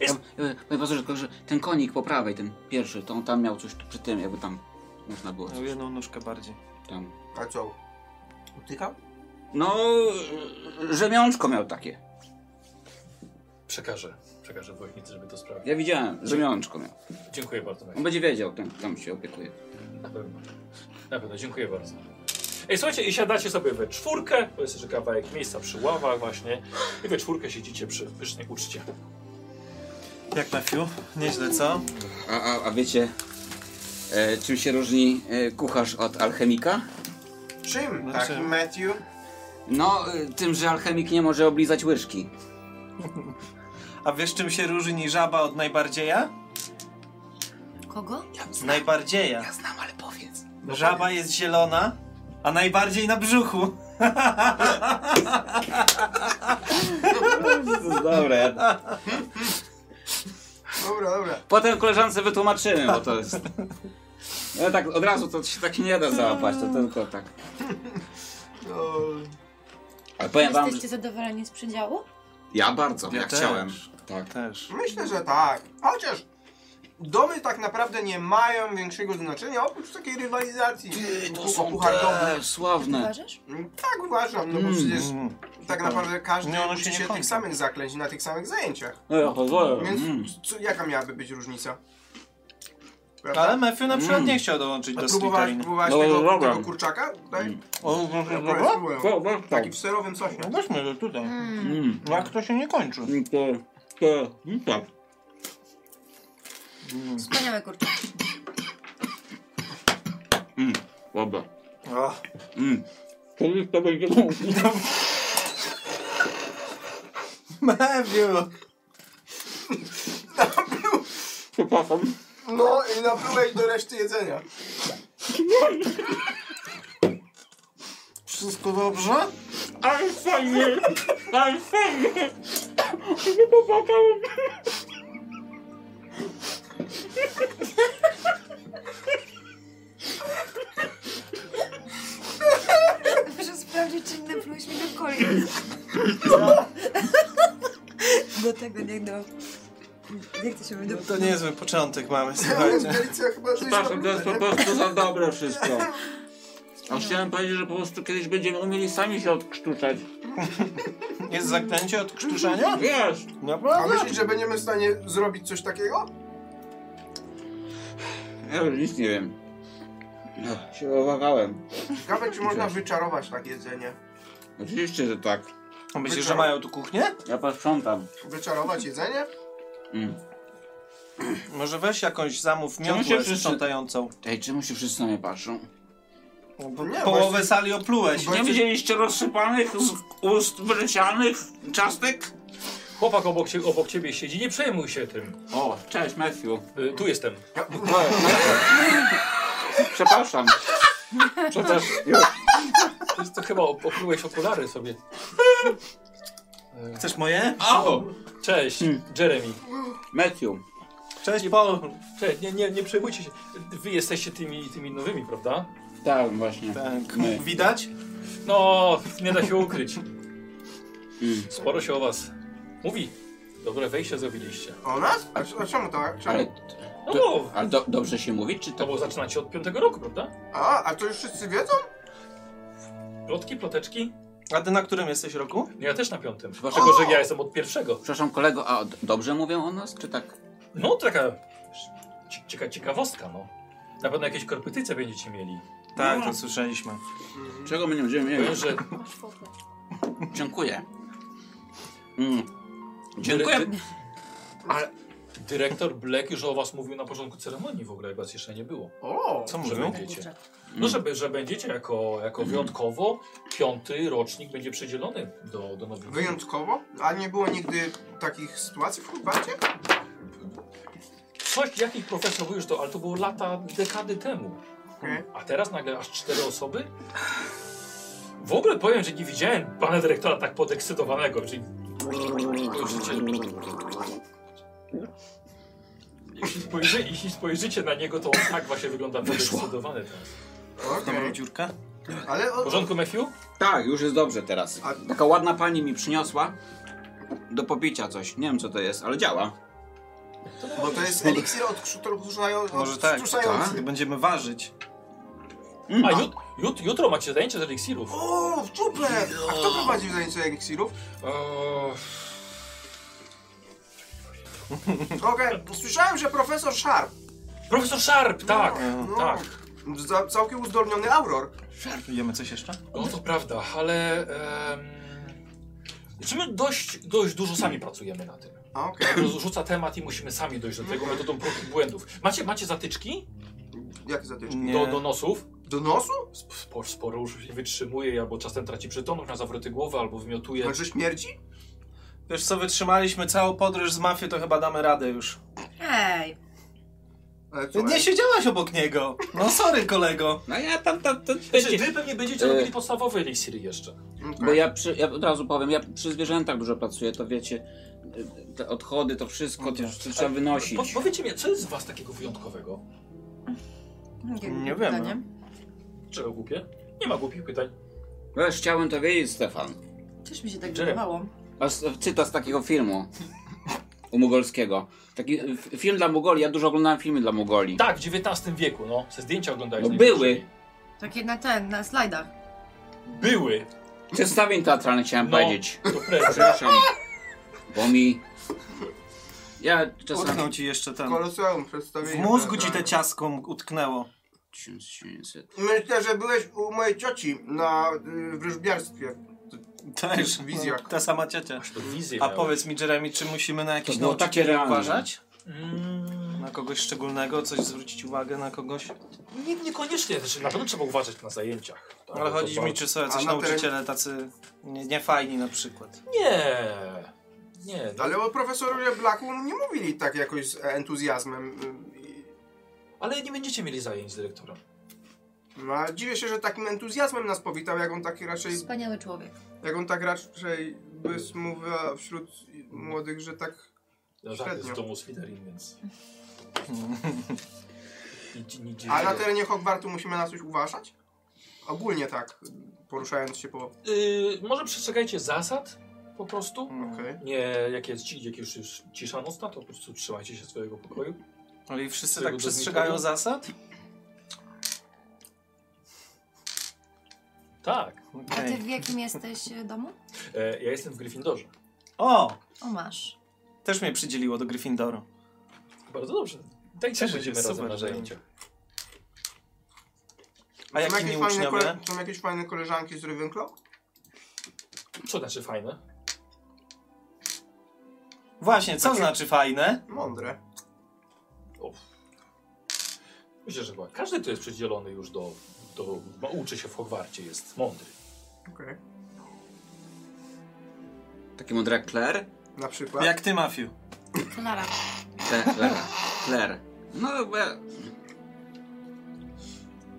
Speaker 1: Jest-
Speaker 4: Ja- ja- Panie profesorze, tylko że ten konik po prawej, ten pierwszy, to on tam miał coś przy tym, jakby tam można było
Speaker 5: O
Speaker 4: coś
Speaker 5: jedną nóżkę bardziej.
Speaker 4: tam.
Speaker 3: A co? Utykał?
Speaker 4: No, rzemiączko miał takie.
Speaker 1: Przekażę, przekażę woźnicy, żeby to sprawdzić.
Speaker 4: Ja widziałem, rzemiączko miał.
Speaker 1: Dziękuję bardzo.
Speaker 4: On będzie wiedział, ten tam się opiekuje.
Speaker 1: Na pewno. Na pewno, dziękuję bardzo. Ej, słuchajcie, i siadacie sobie we czwórkę, bo jest jeszcze kawałek miejsca przy ławach właśnie, i we czwórkę siedzicie przy pysznej uczcie.
Speaker 5: Jak na fiu? Nieźle, co?
Speaker 4: A, a, a wiecie, e, czym się różni e, kucharz od alchemika?
Speaker 3: Czym?
Speaker 5: Znaczy-
Speaker 3: Taki Matthew?
Speaker 4: No, y, tym, że alchemik nie może oblizać łyżki.
Speaker 5: A wiesz czym się różni żaba od najbardzieja?
Speaker 6: Kogo?
Speaker 5: Najbardzieja.
Speaker 4: znam, ale powiedz.
Speaker 5: Żaba jest zielona, a najbardziej na brzuchu.
Speaker 4: Dobre.
Speaker 3: Dobra, dobra.
Speaker 4: Potem koleżance wytłumaczymy, bo to jest... No tak, od razu to się tak nie da załapać, to tylko tak.
Speaker 3: No,
Speaker 4: Ale powiem wam, że
Speaker 6: Jesteście zadowoleni z przedziału?
Speaker 4: ja bardzo, ja,
Speaker 5: Ja też.
Speaker 4: chciałem. Tak.
Speaker 5: Też.
Speaker 3: myślę, że tak. Chociaż domy tak naprawdę nie mają większego znaczenia oprócz takiej rywalizacji.
Speaker 4: To
Speaker 3: ku-
Speaker 4: są
Speaker 3: kucharkowej.
Speaker 4: te sławne.
Speaker 6: Uważasz?
Speaker 3: Mm, Tak uważam, no bo
Speaker 4: Mm.
Speaker 3: przecież
Speaker 5: Mm.
Speaker 3: tak naprawdę każdy
Speaker 5: Nie, one się
Speaker 3: uczy
Speaker 5: nie
Speaker 3: się
Speaker 5: kończą.
Speaker 3: tych samych zaklęć na tych samych zajęciach.
Speaker 4: No ja pozwolę.
Speaker 3: Więc
Speaker 4: Mm.
Speaker 3: co, jaka miałaby być różnica? Prawda?
Speaker 5: Ale Mefiu na przykład
Speaker 4: Mm.
Speaker 5: nie chciał dołączyć do
Speaker 3: próbowałaś,
Speaker 5: Slytherin.
Speaker 3: próbowałaś
Speaker 4: No,
Speaker 3: tego,
Speaker 4: dobra.
Speaker 3: tego kurczaka? Daj.
Speaker 4: Mm.
Speaker 5: O, no,
Speaker 3: Ja
Speaker 5: no,
Speaker 3: prawie
Speaker 5: no,
Speaker 3: spróbuję.
Speaker 4: To, to, tak.
Speaker 3: Taki w serowym sosie.
Speaker 5: no, weźmy go tutaj.
Speaker 6: Mm.
Speaker 4: Mm.
Speaker 5: Jak to się nie kończy?
Speaker 4: To, to, tak.
Speaker 6: Wspaniałe kurczę.
Speaker 4: Mm. Dobra.
Speaker 5: Ach.
Speaker 4: Mm. To już to będzie...
Speaker 5: Mefiu!
Speaker 4: Przepraszam.
Speaker 3: No i naplułeś do reszty jedzenia.
Speaker 5: Wszystko dobrze?
Speaker 4: Ale fajnie! Ale fajnie! Nie popłakałem!
Speaker 6: Muszę sprawdzić, czy inne próśmy do kolei. No. Do tego nie do... Jak to się mówi?
Speaker 5: No
Speaker 6: Do...
Speaker 5: to niezły początek mamy,
Speaker 3: Ale
Speaker 5: słuchajcie.
Speaker 3: Felicja chyba coś
Speaker 4: Przepraszam, to jest po
Speaker 3: napluła.
Speaker 4: prostu za dobre wszystko. A chciałem powiedzieć, że po prostu kiedyś będziemy umieli sami się odkrztuczać.
Speaker 5: Jest zaklęcie od krztuszenia?
Speaker 4: Wiesz!
Speaker 3: A
Speaker 5: Naprawdę?
Speaker 3: myślisz, że będziemy w stanie zrobić coś takiego?
Speaker 4: Ja już nic nie wiem. No, się obawałem.
Speaker 3: Ciekawe, czy można wyczarować tak jedzenie.
Speaker 4: Oczywiście, że tak.
Speaker 5: A Myślisz, że mają tu kuchnię?
Speaker 4: Ja posprzątam.
Speaker 3: Wyczarować jedzenie?
Speaker 4: Mm.
Speaker 5: Może weź jakąś zamów
Speaker 4: Czemu się
Speaker 5: miotłę
Speaker 4: wszyscy-
Speaker 5: sprzątającą.
Speaker 4: Ej, czemu się wszyscy na mnie patrzą?
Speaker 5: No bo
Speaker 3: Nie,
Speaker 5: Połowę
Speaker 3: właśnie-
Speaker 5: sali oplułeś.
Speaker 3: Właśnie-
Speaker 4: Nie widzieliście rozsypanych z ust wylecianych ciastek?
Speaker 1: Chłopak obok, cie, obok ciebie siedzi, nie przejmuj się tym.
Speaker 4: O, cześć Matthew.
Speaker 1: Y, tu jestem.
Speaker 4: Przepraszam. Przepraszam. Już.
Speaker 1: To jest- To chyba op- oplułeś okulary sobie.
Speaker 5: Chcesz moje?
Speaker 4: O!
Speaker 1: Cześć, Jeremy.
Speaker 4: Matthew.
Speaker 5: Cześć, Paul.
Speaker 1: Cześć, nie, nie, nie przejmujcie się. Wy jesteście tymi, tymi nowymi, prawda?
Speaker 4: Tak, właśnie.
Speaker 5: Tak.
Speaker 4: My.
Speaker 5: Widać?
Speaker 1: No, nie da się ukryć.
Speaker 4: Mm.
Speaker 1: Sporo się o was mówi. Dobre wejście zrobiliście.
Speaker 3: O nas? A, c- a czemu tak?
Speaker 4: Ale,
Speaker 3: Czemu?
Speaker 1: No
Speaker 4: do,
Speaker 1: bo,
Speaker 4: ale do, dobrze się mówi, czy
Speaker 1: no
Speaker 4: to...
Speaker 1: bo zaczynacie od piątego roku, prawda?
Speaker 3: A, a to już wszyscy wiedzą?
Speaker 1: Plotki, ploteczki?
Speaker 5: A ty na którym jesteś roku?
Speaker 1: No ja też na piątym.
Speaker 4: Przepraszam.
Speaker 1: Dlatego, że ja jestem od pierwszego.
Speaker 4: Przepraszam kolego, a d- dobrze mówią o nas, czy tak?
Speaker 1: No, taka cie- cieka ciekawostka, no. Na pewno jakieś korpetyce będziecie mieli.
Speaker 5: Tak, to słyszeliśmy.
Speaker 4: Czego my nie będziemy
Speaker 1: Powiem,
Speaker 4: mieli?
Speaker 1: że
Speaker 6: Masz fotę.
Speaker 4: Dziękuję. Mm.
Speaker 1: Dziękuję.
Speaker 4: Dziękuję.
Speaker 1: Ale dyrektor Black już o was mówił na początku ceremonii w ogóle, was jeszcze nie było.
Speaker 3: O!
Speaker 5: Co
Speaker 1: Że
Speaker 5: mówią?
Speaker 1: będziecie. No, że, be- że będziecie jako, jako
Speaker 4: Mhm.
Speaker 1: wyjątkowo, piąty rocznik będzie przydzielony do, do nowych.
Speaker 3: Wyjątkowo? A nie było nigdy takich sytuacji w Hogwarcie?
Speaker 1: Coś, jakiś profesor mówił, że to, ale to było lata, dekady temu.
Speaker 3: Okej.
Speaker 1: A teraz nagle aż cztery osoby? W ogóle powiem, że nie widziałem pana dyrektora tak podekscytowanego, czyli... Jeśli, spojrzy, jeśli spojrzycie na niego, to on tak właśnie wygląda podekscytowany teraz.
Speaker 3: Okej.
Speaker 5: Dobrą dziurkę?
Speaker 3: Ale
Speaker 1: W
Speaker 3: o,
Speaker 1: porządku, Matthew?
Speaker 4: Tak, już jest dobrze teraz.
Speaker 3: A-
Speaker 4: Taka ładna pani mi przyniosła do popicia coś. Nie wiem co to jest, ale działa.
Speaker 3: bo to jest eliksir odkrzuszający.
Speaker 5: Może tak. Gdy będziemy ważyć.
Speaker 1: A jut, jut, jutro macie zajęcie z eliksirów.
Speaker 3: O, czuple! A kto prowadził zajęcia eliksirów?
Speaker 1: Eee,
Speaker 3: Okej, słyszałem, że profesor Sharp.
Speaker 1: Profesor Sharp, tak,
Speaker 3: No, no.
Speaker 1: tak.
Speaker 3: Za, całkiem uzdolniony Auror.
Speaker 7: Szarpujemy coś jeszcze?
Speaker 1: No to prawda, ale... em, Czy my dość, dość dużo sami pracujemy na tym?
Speaker 3: A okej.
Speaker 1: Rzuca temat i musimy sami dojść do tego metodą prób i błędów. Macie, macie zatyczki
Speaker 3: Jakie zatyczki?
Speaker 5: Nie.
Speaker 1: do, do nosów?
Speaker 3: Do nosu?
Speaker 1: Sporo, sporo już się wytrzymuje, albo czasem traci przytomność na zawroty głowy, albo wymiotuje.
Speaker 3: Znaczy śmierdzi?
Speaker 5: Wiesz co, wytrzymaliśmy całą podróż z mafią, to chyba damy radę już.
Speaker 2: Ej,
Speaker 3: Ale co,
Speaker 5: Nie
Speaker 3: nie
Speaker 5: siedziałaś obok niego. No sorry, kolego.
Speaker 4: No ja tam, tam, tam
Speaker 1: Znaczy,
Speaker 4: będzie...
Speaker 1: wy pewnie będziecie
Speaker 4: E.
Speaker 1: robili podstawowe eliksiry jeszcze.
Speaker 4: Bo ja, przy, ja od razu powiem, ja przy zwierzętach dużo pracuję, to wiecie, y, te odchody, to wszystko, to, to trzeba wynosić.
Speaker 1: Po, powiedzcie mi, co jest z was takiego wyjątkowego?
Speaker 5: Nie wiemy.
Speaker 1: Czego głupie? Nie ma głupich pytań.
Speaker 4: Wiesz, chciałem to wiedzieć, Stefan.
Speaker 6: Też mi się tak
Speaker 1: Jeremy.
Speaker 6: wydawało.
Speaker 4: A s- Cytat z takiego filmu. U Mugolskiego. Taki y, f- film dla Mugoli, ja dużo oglądałem filmy dla Mugoli.
Speaker 1: Tak, w XIX wieku, no. Se zdjęcia oglądałeś.
Speaker 4: No
Speaker 1: najwyżej.
Speaker 6: Tak jednak ten, na slajdach.
Speaker 1: Były.
Speaker 4: Przedstawień teatralnych chciałem
Speaker 1: No.
Speaker 4: powiedzieć.
Speaker 1: To prawda.
Speaker 4: Przepraszam. Bo mi... Ja
Speaker 5: Utknął
Speaker 4: czasami...
Speaker 5: ci jeszcze ten.
Speaker 3: Koloseum
Speaker 5: W
Speaker 3: przedstawienie. tak,
Speaker 5: mózgu ci
Speaker 3: teatralne.
Speaker 5: te ciasko utknęło.
Speaker 4: 1900.
Speaker 3: Myślę, że byłeś u mojej cioci na y, wróżbiarstwie.
Speaker 5: Też.
Speaker 3: Wizjak.
Speaker 5: Ta sama ciocia.
Speaker 1: To wizje
Speaker 5: A
Speaker 1: miałem.
Speaker 5: powiedz mi, Jeremy, czy musimy na jakieś
Speaker 4: To było takie
Speaker 5: nauczycieli
Speaker 4: realne.
Speaker 5: uważać?
Speaker 1: Mm,
Speaker 5: Na kogoś szczególnego? Coś zwrócić uwagę na kogoś?
Speaker 4: No,
Speaker 1: nie, niekoniecznie, znaczy, na pewno trzeba uważać na zajęciach. Tak,
Speaker 5: Ale
Speaker 1: bo to
Speaker 5: chodzi mi,
Speaker 1: bardzo-
Speaker 5: czy są jacyś
Speaker 3: A na teren-
Speaker 5: nauczyciele tacy nie- niefajni na przykład.
Speaker 1: Nie. Nie. no.
Speaker 3: Ale o profesorze Blacku nie mówili tak jakoś z entuzjazmem. y,
Speaker 1: Ale nie będziecie mieli zajęć z dyrektorem.
Speaker 3: No, a dziwię się, że takim entuzjazmem nas powitał, jak on taki raczej,
Speaker 6: Wspaniały człowiek.
Speaker 3: jak on tak raczej bys mówiła wśród młodych, że tak
Speaker 1: No tak, jest
Speaker 3: Średnio.
Speaker 1: w domu Slytherin, więc... Nic, nic
Speaker 3: A na
Speaker 1: dziwnego.
Speaker 3: terenie Hogwartu musimy na coś uważać? Ogólnie tak, poruszając się po...
Speaker 1: Y, może przestrzegajcie zasad po prostu.
Speaker 3: Okej.
Speaker 1: Nie, jak jest, ci- jak już jest cisza nocna, to po prostu trzymajcie się swojego pokoju.
Speaker 5: Ale i wszyscy
Speaker 1: Tego
Speaker 5: tak
Speaker 1: do
Speaker 5: przestrzegają
Speaker 1: nikogo?
Speaker 5: zasad?
Speaker 1: Tak.
Speaker 6: A ty
Speaker 5: Okej.
Speaker 6: w jakim jesteś e, domu?
Speaker 1: E, ja jestem w Gryffindorze.
Speaker 5: O!
Speaker 6: O, masz.
Speaker 5: Też mnie przydzieliło do Gryffindoru.
Speaker 1: Bardzo dobrze. Dajcie,
Speaker 5: Cieszę się,
Speaker 1: będziemy razem
Speaker 5: super,
Speaker 1: na
Speaker 5: że-
Speaker 1: zajęciach.
Speaker 5: A jak
Speaker 3: Są
Speaker 5: inni
Speaker 3: jakieś fajne
Speaker 5: uczniowie?
Speaker 3: Są jakieś fajne koleżanki z Ravenclaw?
Speaker 1: Co znaczy fajne?
Speaker 5: Właśnie, co
Speaker 3: Takie-
Speaker 5: znaczy fajne?
Speaker 3: Mądre.
Speaker 1: Myślę, że chyba każdy, kto jest przydzielony już do, do ma, uczy się w Hogwarcie, jest mądry.
Speaker 3: Okej.
Speaker 4: Taki mądry jak Claire?
Speaker 3: Na przykład?
Speaker 5: Jak ty, Mafiu?
Speaker 6: Klara.
Speaker 4: Claire. Claire. No, bo ja...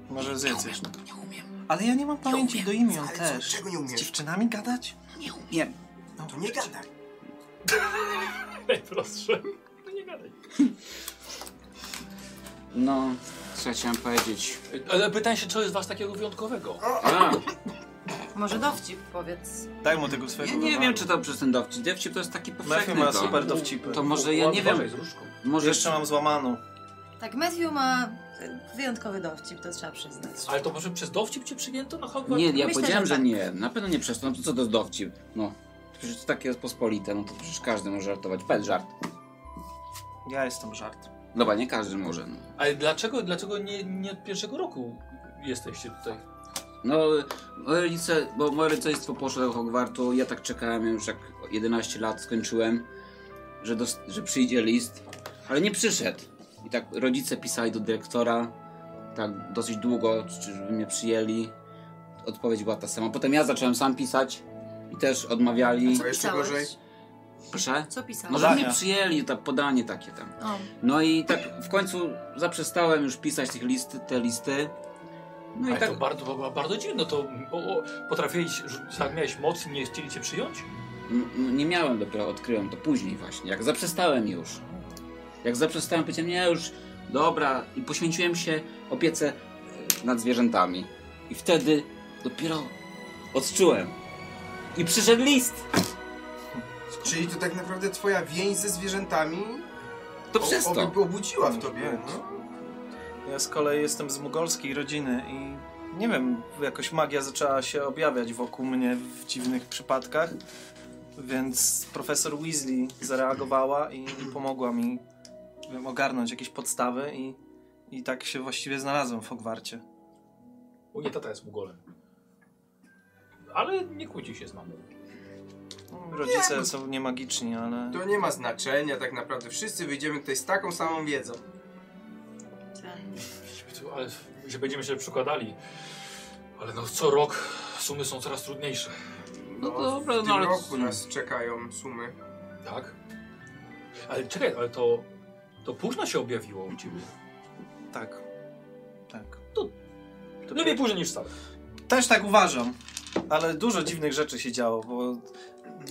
Speaker 5: Może zjedziesz. Ale ja nie mam pamięci do imion
Speaker 3: Ale
Speaker 5: też.
Speaker 3: Co, czego nie
Speaker 5: Z
Speaker 3: umiesz?
Speaker 5: dziewczynami gadać?
Speaker 4: Nie,
Speaker 3: To nie gadaj.
Speaker 1: Najprostsze. No nie gadaj.
Speaker 4: no... Co ja chciałem powiedzieć?
Speaker 1: Ale pytaj się, co jest was takiego wyjątkowego?
Speaker 4: A,
Speaker 6: Może dowcip powiedz.
Speaker 5: Daj mu tego swojego
Speaker 4: ja nie
Speaker 5: wywaru.
Speaker 4: wiem, czy to przez ten dowcip. Dowcip to jest taki
Speaker 5: Matthew
Speaker 4: powszechny.
Speaker 5: ma
Speaker 4: to.
Speaker 5: super dowcipy.
Speaker 4: To może ja nie
Speaker 1: Uważaj
Speaker 4: wiem.
Speaker 1: z różką.
Speaker 4: Może
Speaker 5: Jeszcze mam złamaną.
Speaker 6: Tak, Matthew ma e, wyjątkowy dowcip, to trzeba przyznać.
Speaker 1: Ale to może przez dowcip cię przyjęto na Hogwart?
Speaker 4: Nie, ja
Speaker 6: Myślę,
Speaker 4: powiedziałem,
Speaker 6: że
Speaker 4: że,
Speaker 6: tak.
Speaker 4: nie. Na pewno nie przez to. No to co to dowcip? No. To Przecież to takie jest pospolite, no to przecież każdy może żartować. Pet żart.
Speaker 5: Ja jestem żart.
Speaker 4: Dobra, nie każdy może. No,
Speaker 1: Ale dlaczego, dlaczego nie, nie od pierwszego roku jesteście tutaj?
Speaker 4: no moje rodzice, bo moje rodzicostwo poszło do Hogwartu, ja tak czekałem już jak 11 lat skończyłem, że, dos- że przyjdzie list, ale nie przyszedł. I tak rodzice pisali do dyrektora, tak dosyć długo, czy żeby mnie przyjęli. Odpowiedź była ta sama. Potem ja zacząłem sam pisać i też odmawiali.
Speaker 3: Co jeszcze
Speaker 6: Pisałeś?
Speaker 3: gorzej?
Speaker 4: Proszę?
Speaker 6: Co pisałeś?
Speaker 4: No, żeby mnie
Speaker 5: Podania.
Speaker 4: przyjęli, to podanie takie tam.
Speaker 6: O,
Speaker 4: No i tak w końcu zaprzestałem już pisać tych listy, te listy. No i
Speaker 1: Ale
Speaker 4: tak.
Speaker 1: to bardzo, bardzo, bardzo dziwne, to o, o, potrafiłeś, że tak miałeś moc i nie chcieli cię przyjąć?
Speaker 4: m- m- Nie miałem dopiero, odkryłem to później właśnie. Jak zaprzestałem już. Jak zaprzestałem, powiedziałem, nie już, dobra. I poświęciłem się opiece e, nad zwierzętami. I wtedy dopiero odczułem. I przyszedł list.
Speaker 3: Czyli to tak naprawdę twoja więź ze zwierzętami
Speaker 4: To przez
Speaker 3: o-
Speaker 4: to.
Speaker 3: ob- obudziła w tobie. No.
Speaker 5: Ja z kolei jestem z mugolskiej rodziny i nie wiem, jakoś magia zaczęła się objawiać wokół mnie w dziwnych przypadkach, więc profesor Weasley zareagowała i pomogła mi wiem, ogarnąć jakieś podstawy i I tak się właściwie znalazłem w Hogwarcie.
Speaker 1: U nie tata jest mugolem. Ale nie kłóci się z mamą.
Speaker 5: No, Rodzice są niemagiczni, ale...
Speaker 3: To nie ma znaczenia tak naprawdę. Wszyscy wyjdziemy tutaj z taką samą wiedzą.
Speaker 1: Ale że będziemy się przykładali. Ale no co rok sumy są coraz trudniejsze.
Speaker 4: No dobra,
Speaker 3: w
Speaker 4: no
Speaker 3: tym
Speaker 4: ale-
Speaker 3: roku nas czekają sumy.
Speaker 1: Tak? Ale czekaj, ale to, to późno się objawiło u ciebie.
Speaker 5: Tak. Tak.
Speaker 1: To lepiej późno niż wcale.
Speaker 5: Też tak uważam. Ale dużo dziwnych rzeczy się działo, bo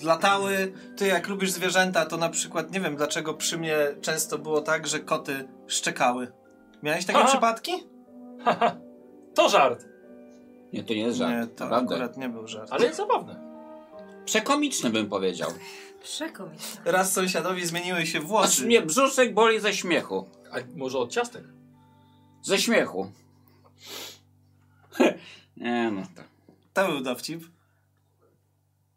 Speaker 5: latały. Ty, jak lubisz zwierzęta, to na przykład nie wiem, dlaczego przy mnie często było tak, że koty szczekały. Miałeś takie
Speaker 1: Aha.
Speaker 5: przypadki?
Speaker 1: Haha, to żart,
Speaker 4: Nie, to nie jest żart,
Speaker 5: nie, to
Speaker 4: naprawdę.
Speaker 5: akurat nie był żart.
Speaker 1: ale jest zabawne.
Speaker 4: Przekomiczny bym powiedział.
Speaker 2: Przekomiczne.
Speaker 5: Raz sąsiadowi zmieniły się
Speaker 4: Aż
Speaker 5: włosy.
Speaker 4: mnie brzuszek boli ze śmiechu.
Speaker 1: A może od ciastek?
Speaker 4: Ze śmiechu. nie, no to...
Speaker 5: To był dowcip.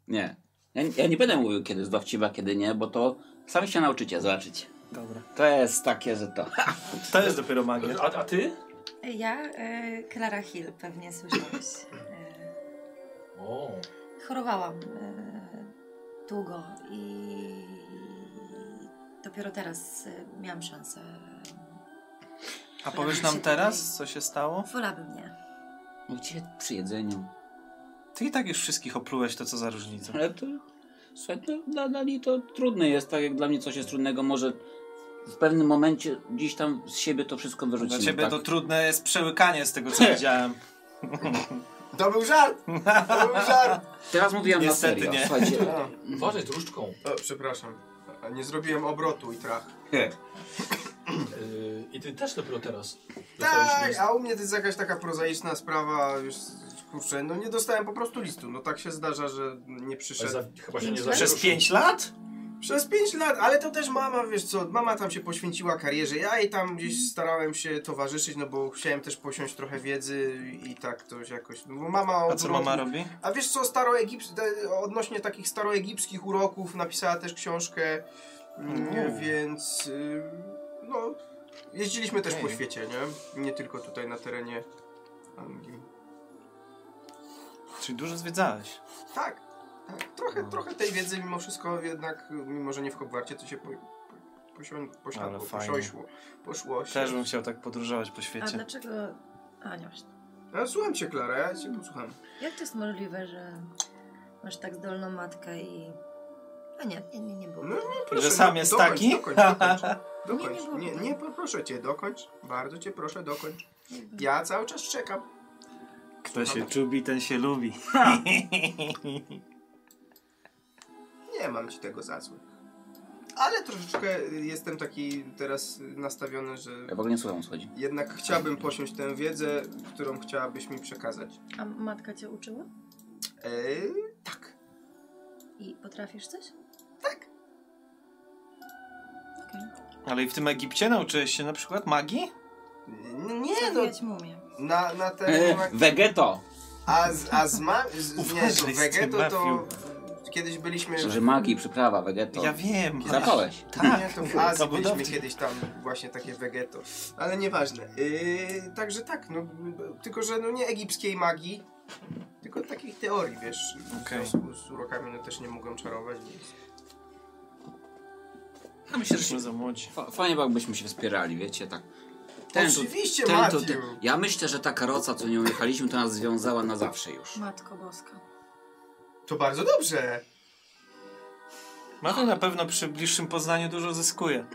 Speaker 4: Nie. Ja, ja nie będę mówił kiedy z dowcipa, kiedy nie, bo to sami się nauczycie, zobaczycie.
Speaker 5: Dobra.
Speaker 4: To jest takie, że to...
Speaker 5: To jest dopiero magia.
Speaker 1: A, a ty?
Speaker 2: Ja, y, Clara Hill, pewnie słyszałeś. Y,
Speaker 1: O,
Speaker 2: chorowałam y, długo i dopiero teraz y, miałam szansę.
Speaker 5: A powiesz nam teraz, co się stało?
Speaker 2: Wolałabym nie.
Speaker 4: No Gdzie przy jedzeniu?
Speaker 5: Ty i tak już wszystkich oplułeś, to co za różnica.
Speaker 4: Ale to... Słuchaj, to dla, dla niej to trudne jest, tak jak dla mnie coś jest trudnego, może w pewnym momencie gdzieś tam z siebie to wszystko wyrzucimy.
Speaker 5: Dla ciebie
Speaker 4: tak?
Speaker 5: to trudne jest przełykanie z tego, co widziałem.
Speaker 3: To był żart! To był żart!
Speaker 4: Teraz mówiłem
Speaker 5: Niestety
Speaker 4: na serio.
Speaker 5: nie.
Speaker 4: Słuchajcie,
Speaker 3: O,
Speaker 1: uważaj z różdżką.
Speaker 3: o, przepraszam. A Nie zrobiłem obrotu i trach.
Speaker 1: Yy, I ty też dopiero teraz. dostałeś
Speaker 3: Tak,
Speaker 1: list.
Speaker 3: a u mnie to jest jakaś taka prozaiczna sprawa, już kurczę, no nie dostałem po prostu listu. No tak się zdarza, że nie
Speaker 1: Ale
Speaker 3: przyszedł.
Speaker 1: za, chyba się nie
Speaker 5: Przez
Speaker 2: Przez
Speaker 1: zawieruszył.
Speaker 5: pięć lat?
Speaker 3: Przez 5 lat, ale to też mama, wiesz co, mama tam się poświęciła karierze, ja jej tam gdzieś starałem się towarzyszyć, no bo chciałem też posiąść trochę wiedzy i tak to jakoś, no bo mama...
Speaker 5: A
Speaker 3: od
Speaker 5: co
Speaker 3: uroku-
Speaker 5: mama robi?
Speaker 3: A wiesz co, staroegips... te- odnośnie takich staroegipskich uroków napisała też książkę, mm,
Speaker 5: Mm.
Speaker 3: więc y, no, jeździliśmy też po
Speaker 5: Okej.
Speaker 3: świecie, nie? Nie tylko tutaj na terenie Anglii.
Speaker 5: Czyli dużo zwiedzałeś.
Speaker 3: Tak, tak. Trochę, trochę tej wiedzy mimo wszystko jednak, y, mimo że nie w Hogwarcie, to się po, po, posią,
Speaker 5: Ale
Speaker 3: posiadło,
Speaker 5: fajnie.
Speaker 3: posiąśło, poszło się.
Speaker 5: Też bym chciał tak podróżować po
Speaker 2: A
Speaker 5: świecie.
Speaker 2: dlaczego. A nie właśnie.
Speaker 3: Ja E, słucham cię, Klara, ja cię posłucham.
Speaker 2: Jak to jest możliwe, że masz tak zdolną matkę i. A nie, nie, nie, nie było.
Speaker 3: No, nie, proszę,
Speaker 5: Że sam
Speaker 3: do-
Speaker 5: jest
Speaker 3: dokończ,
Speaker 5: taki?
Speaker 3: Dokończ, dokończ, dokończ.
Speaker 2: było
Speaker 3: Nie,
Speaker 2: pytań.
Speaker 3: nie, proszę cię, dokończ. Bardzo cię proszę, dokończ.
Speaker 2: Nie było.
Speaker 3: Ja cały czas czekam.
Speaker 5: Kto się czubi, ten się lubi.
Speaker 3: Nie mam ci tego za złe. Ale troszeczkę y, jestem taki teraz y, nastawiony, że
Speaker 4: ja w ogóle nie słucham, słuchajcie.
Speaker 3: jednak chciałbym posiąść tę wiedzę, którą chciałabyś mi przekazać.
Speaker 2: A matka cię uczyła?
Speaker 3: Eee, tak.
Speaker 2: I potrafisz coś?
Speaker 3: Tak.
Speaker 2: Okej.
Speaker 5: Ale i w tym Egipcie nauczyłeś się na przykład magii?
Speaker 3: N-
Speaker 2: Okay.
Speaker 3: Nie no,
Speaker 2: Zawijać mumię.
Speaker 3: na, na
Speaker 4: E,
Speaker 3: terenie... Mak-
Speaker 4: Wegeto!
Speaker 3: A z, a z, ma- z nie,
Speaker 5: Uważaj z tym
Speaker 3: Vegeto to
Speaker 5: mafią.
Speaker 3: kiedyś byliśmy...
Speaker 4: Że magii, przyprawa, Wegeto.
Speaker 5: Ja wiem. ale-
Speaker 4: Zapałeś.
Speaker 5: Tak.
Speaker 3: Nie, to w Azji
Speaker 5: To był
Speaker 3: byliśmy
Speaker 5: dowcip.
Speaker 3: kiedyś tam właśnie takie Vegeto. Ale nieważne. Yy, także tak, no, tylko że no nie egipskiej magii, tylko takich teorii, wiesz.
Speaker 5: Okej.
Speaker 3: W związku z urokami no też nie mogłem czarować, więc...
Speaker 4: Ja myślę, że się,
Speaker 5: Jesteśmy za młodzi.
Speaker 4: fa- fajnie byłobyśmy się wspierali, wiecie, tak. tu-
Speaker 3: Oczywiście,
Speaker 4: ten tu-
Speaker 3: Matthew!
Speaker 4: Ja myślę, że ta karoca, co nią jechaliśmy, to nas związała na zawsze już.
Speaker 2: Matko Boska.
Speaker 3: To bardzo dobrze!
Speaker 5: Maty na pewno przy bliższym poznaniu dużo zyskuje.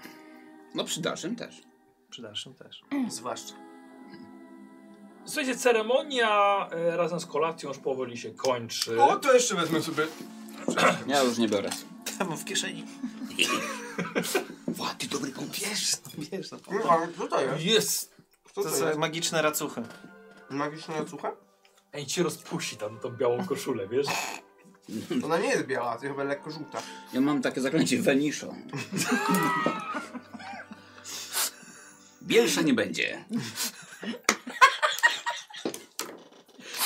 Speaker 4: No przy dalszym też.
Speaker 5: Przy dalszym też.
Speaker 3: Zwłaszcza.
Speaker 1: Słuchajcie, ceremonia e, razem z kolacją już powoli się kończy.
Speaker 3: O, to jeszcze wezmę sobie...
Speaker 4: Ja już nie biorę.
Speaker 5: Ja mam w kieszeni.
Speaker 4: Ła, ty dobry pompiesz.
Speaker 5: Wiesz, no.
Speaker 3: Nie, ale co to jest?
Speaker 1: Jest!
Speaker 3: Co
Speaker 5: To
Speaker 3: to
Speaker 5: są
Speaker 3: jest?
Speaker 5: magiczne racuchy.
Speaker 3: Magiczna racucha?
Speaker 1: Ej, cię rozpuści tam tą białą koszulę, wiesz?
Speaker 3: Ona nie jest biała, to chyba lekko żółta.
Speaker 4: Ja mam takie zaklęcie Venisho. Bielsza nie będzie.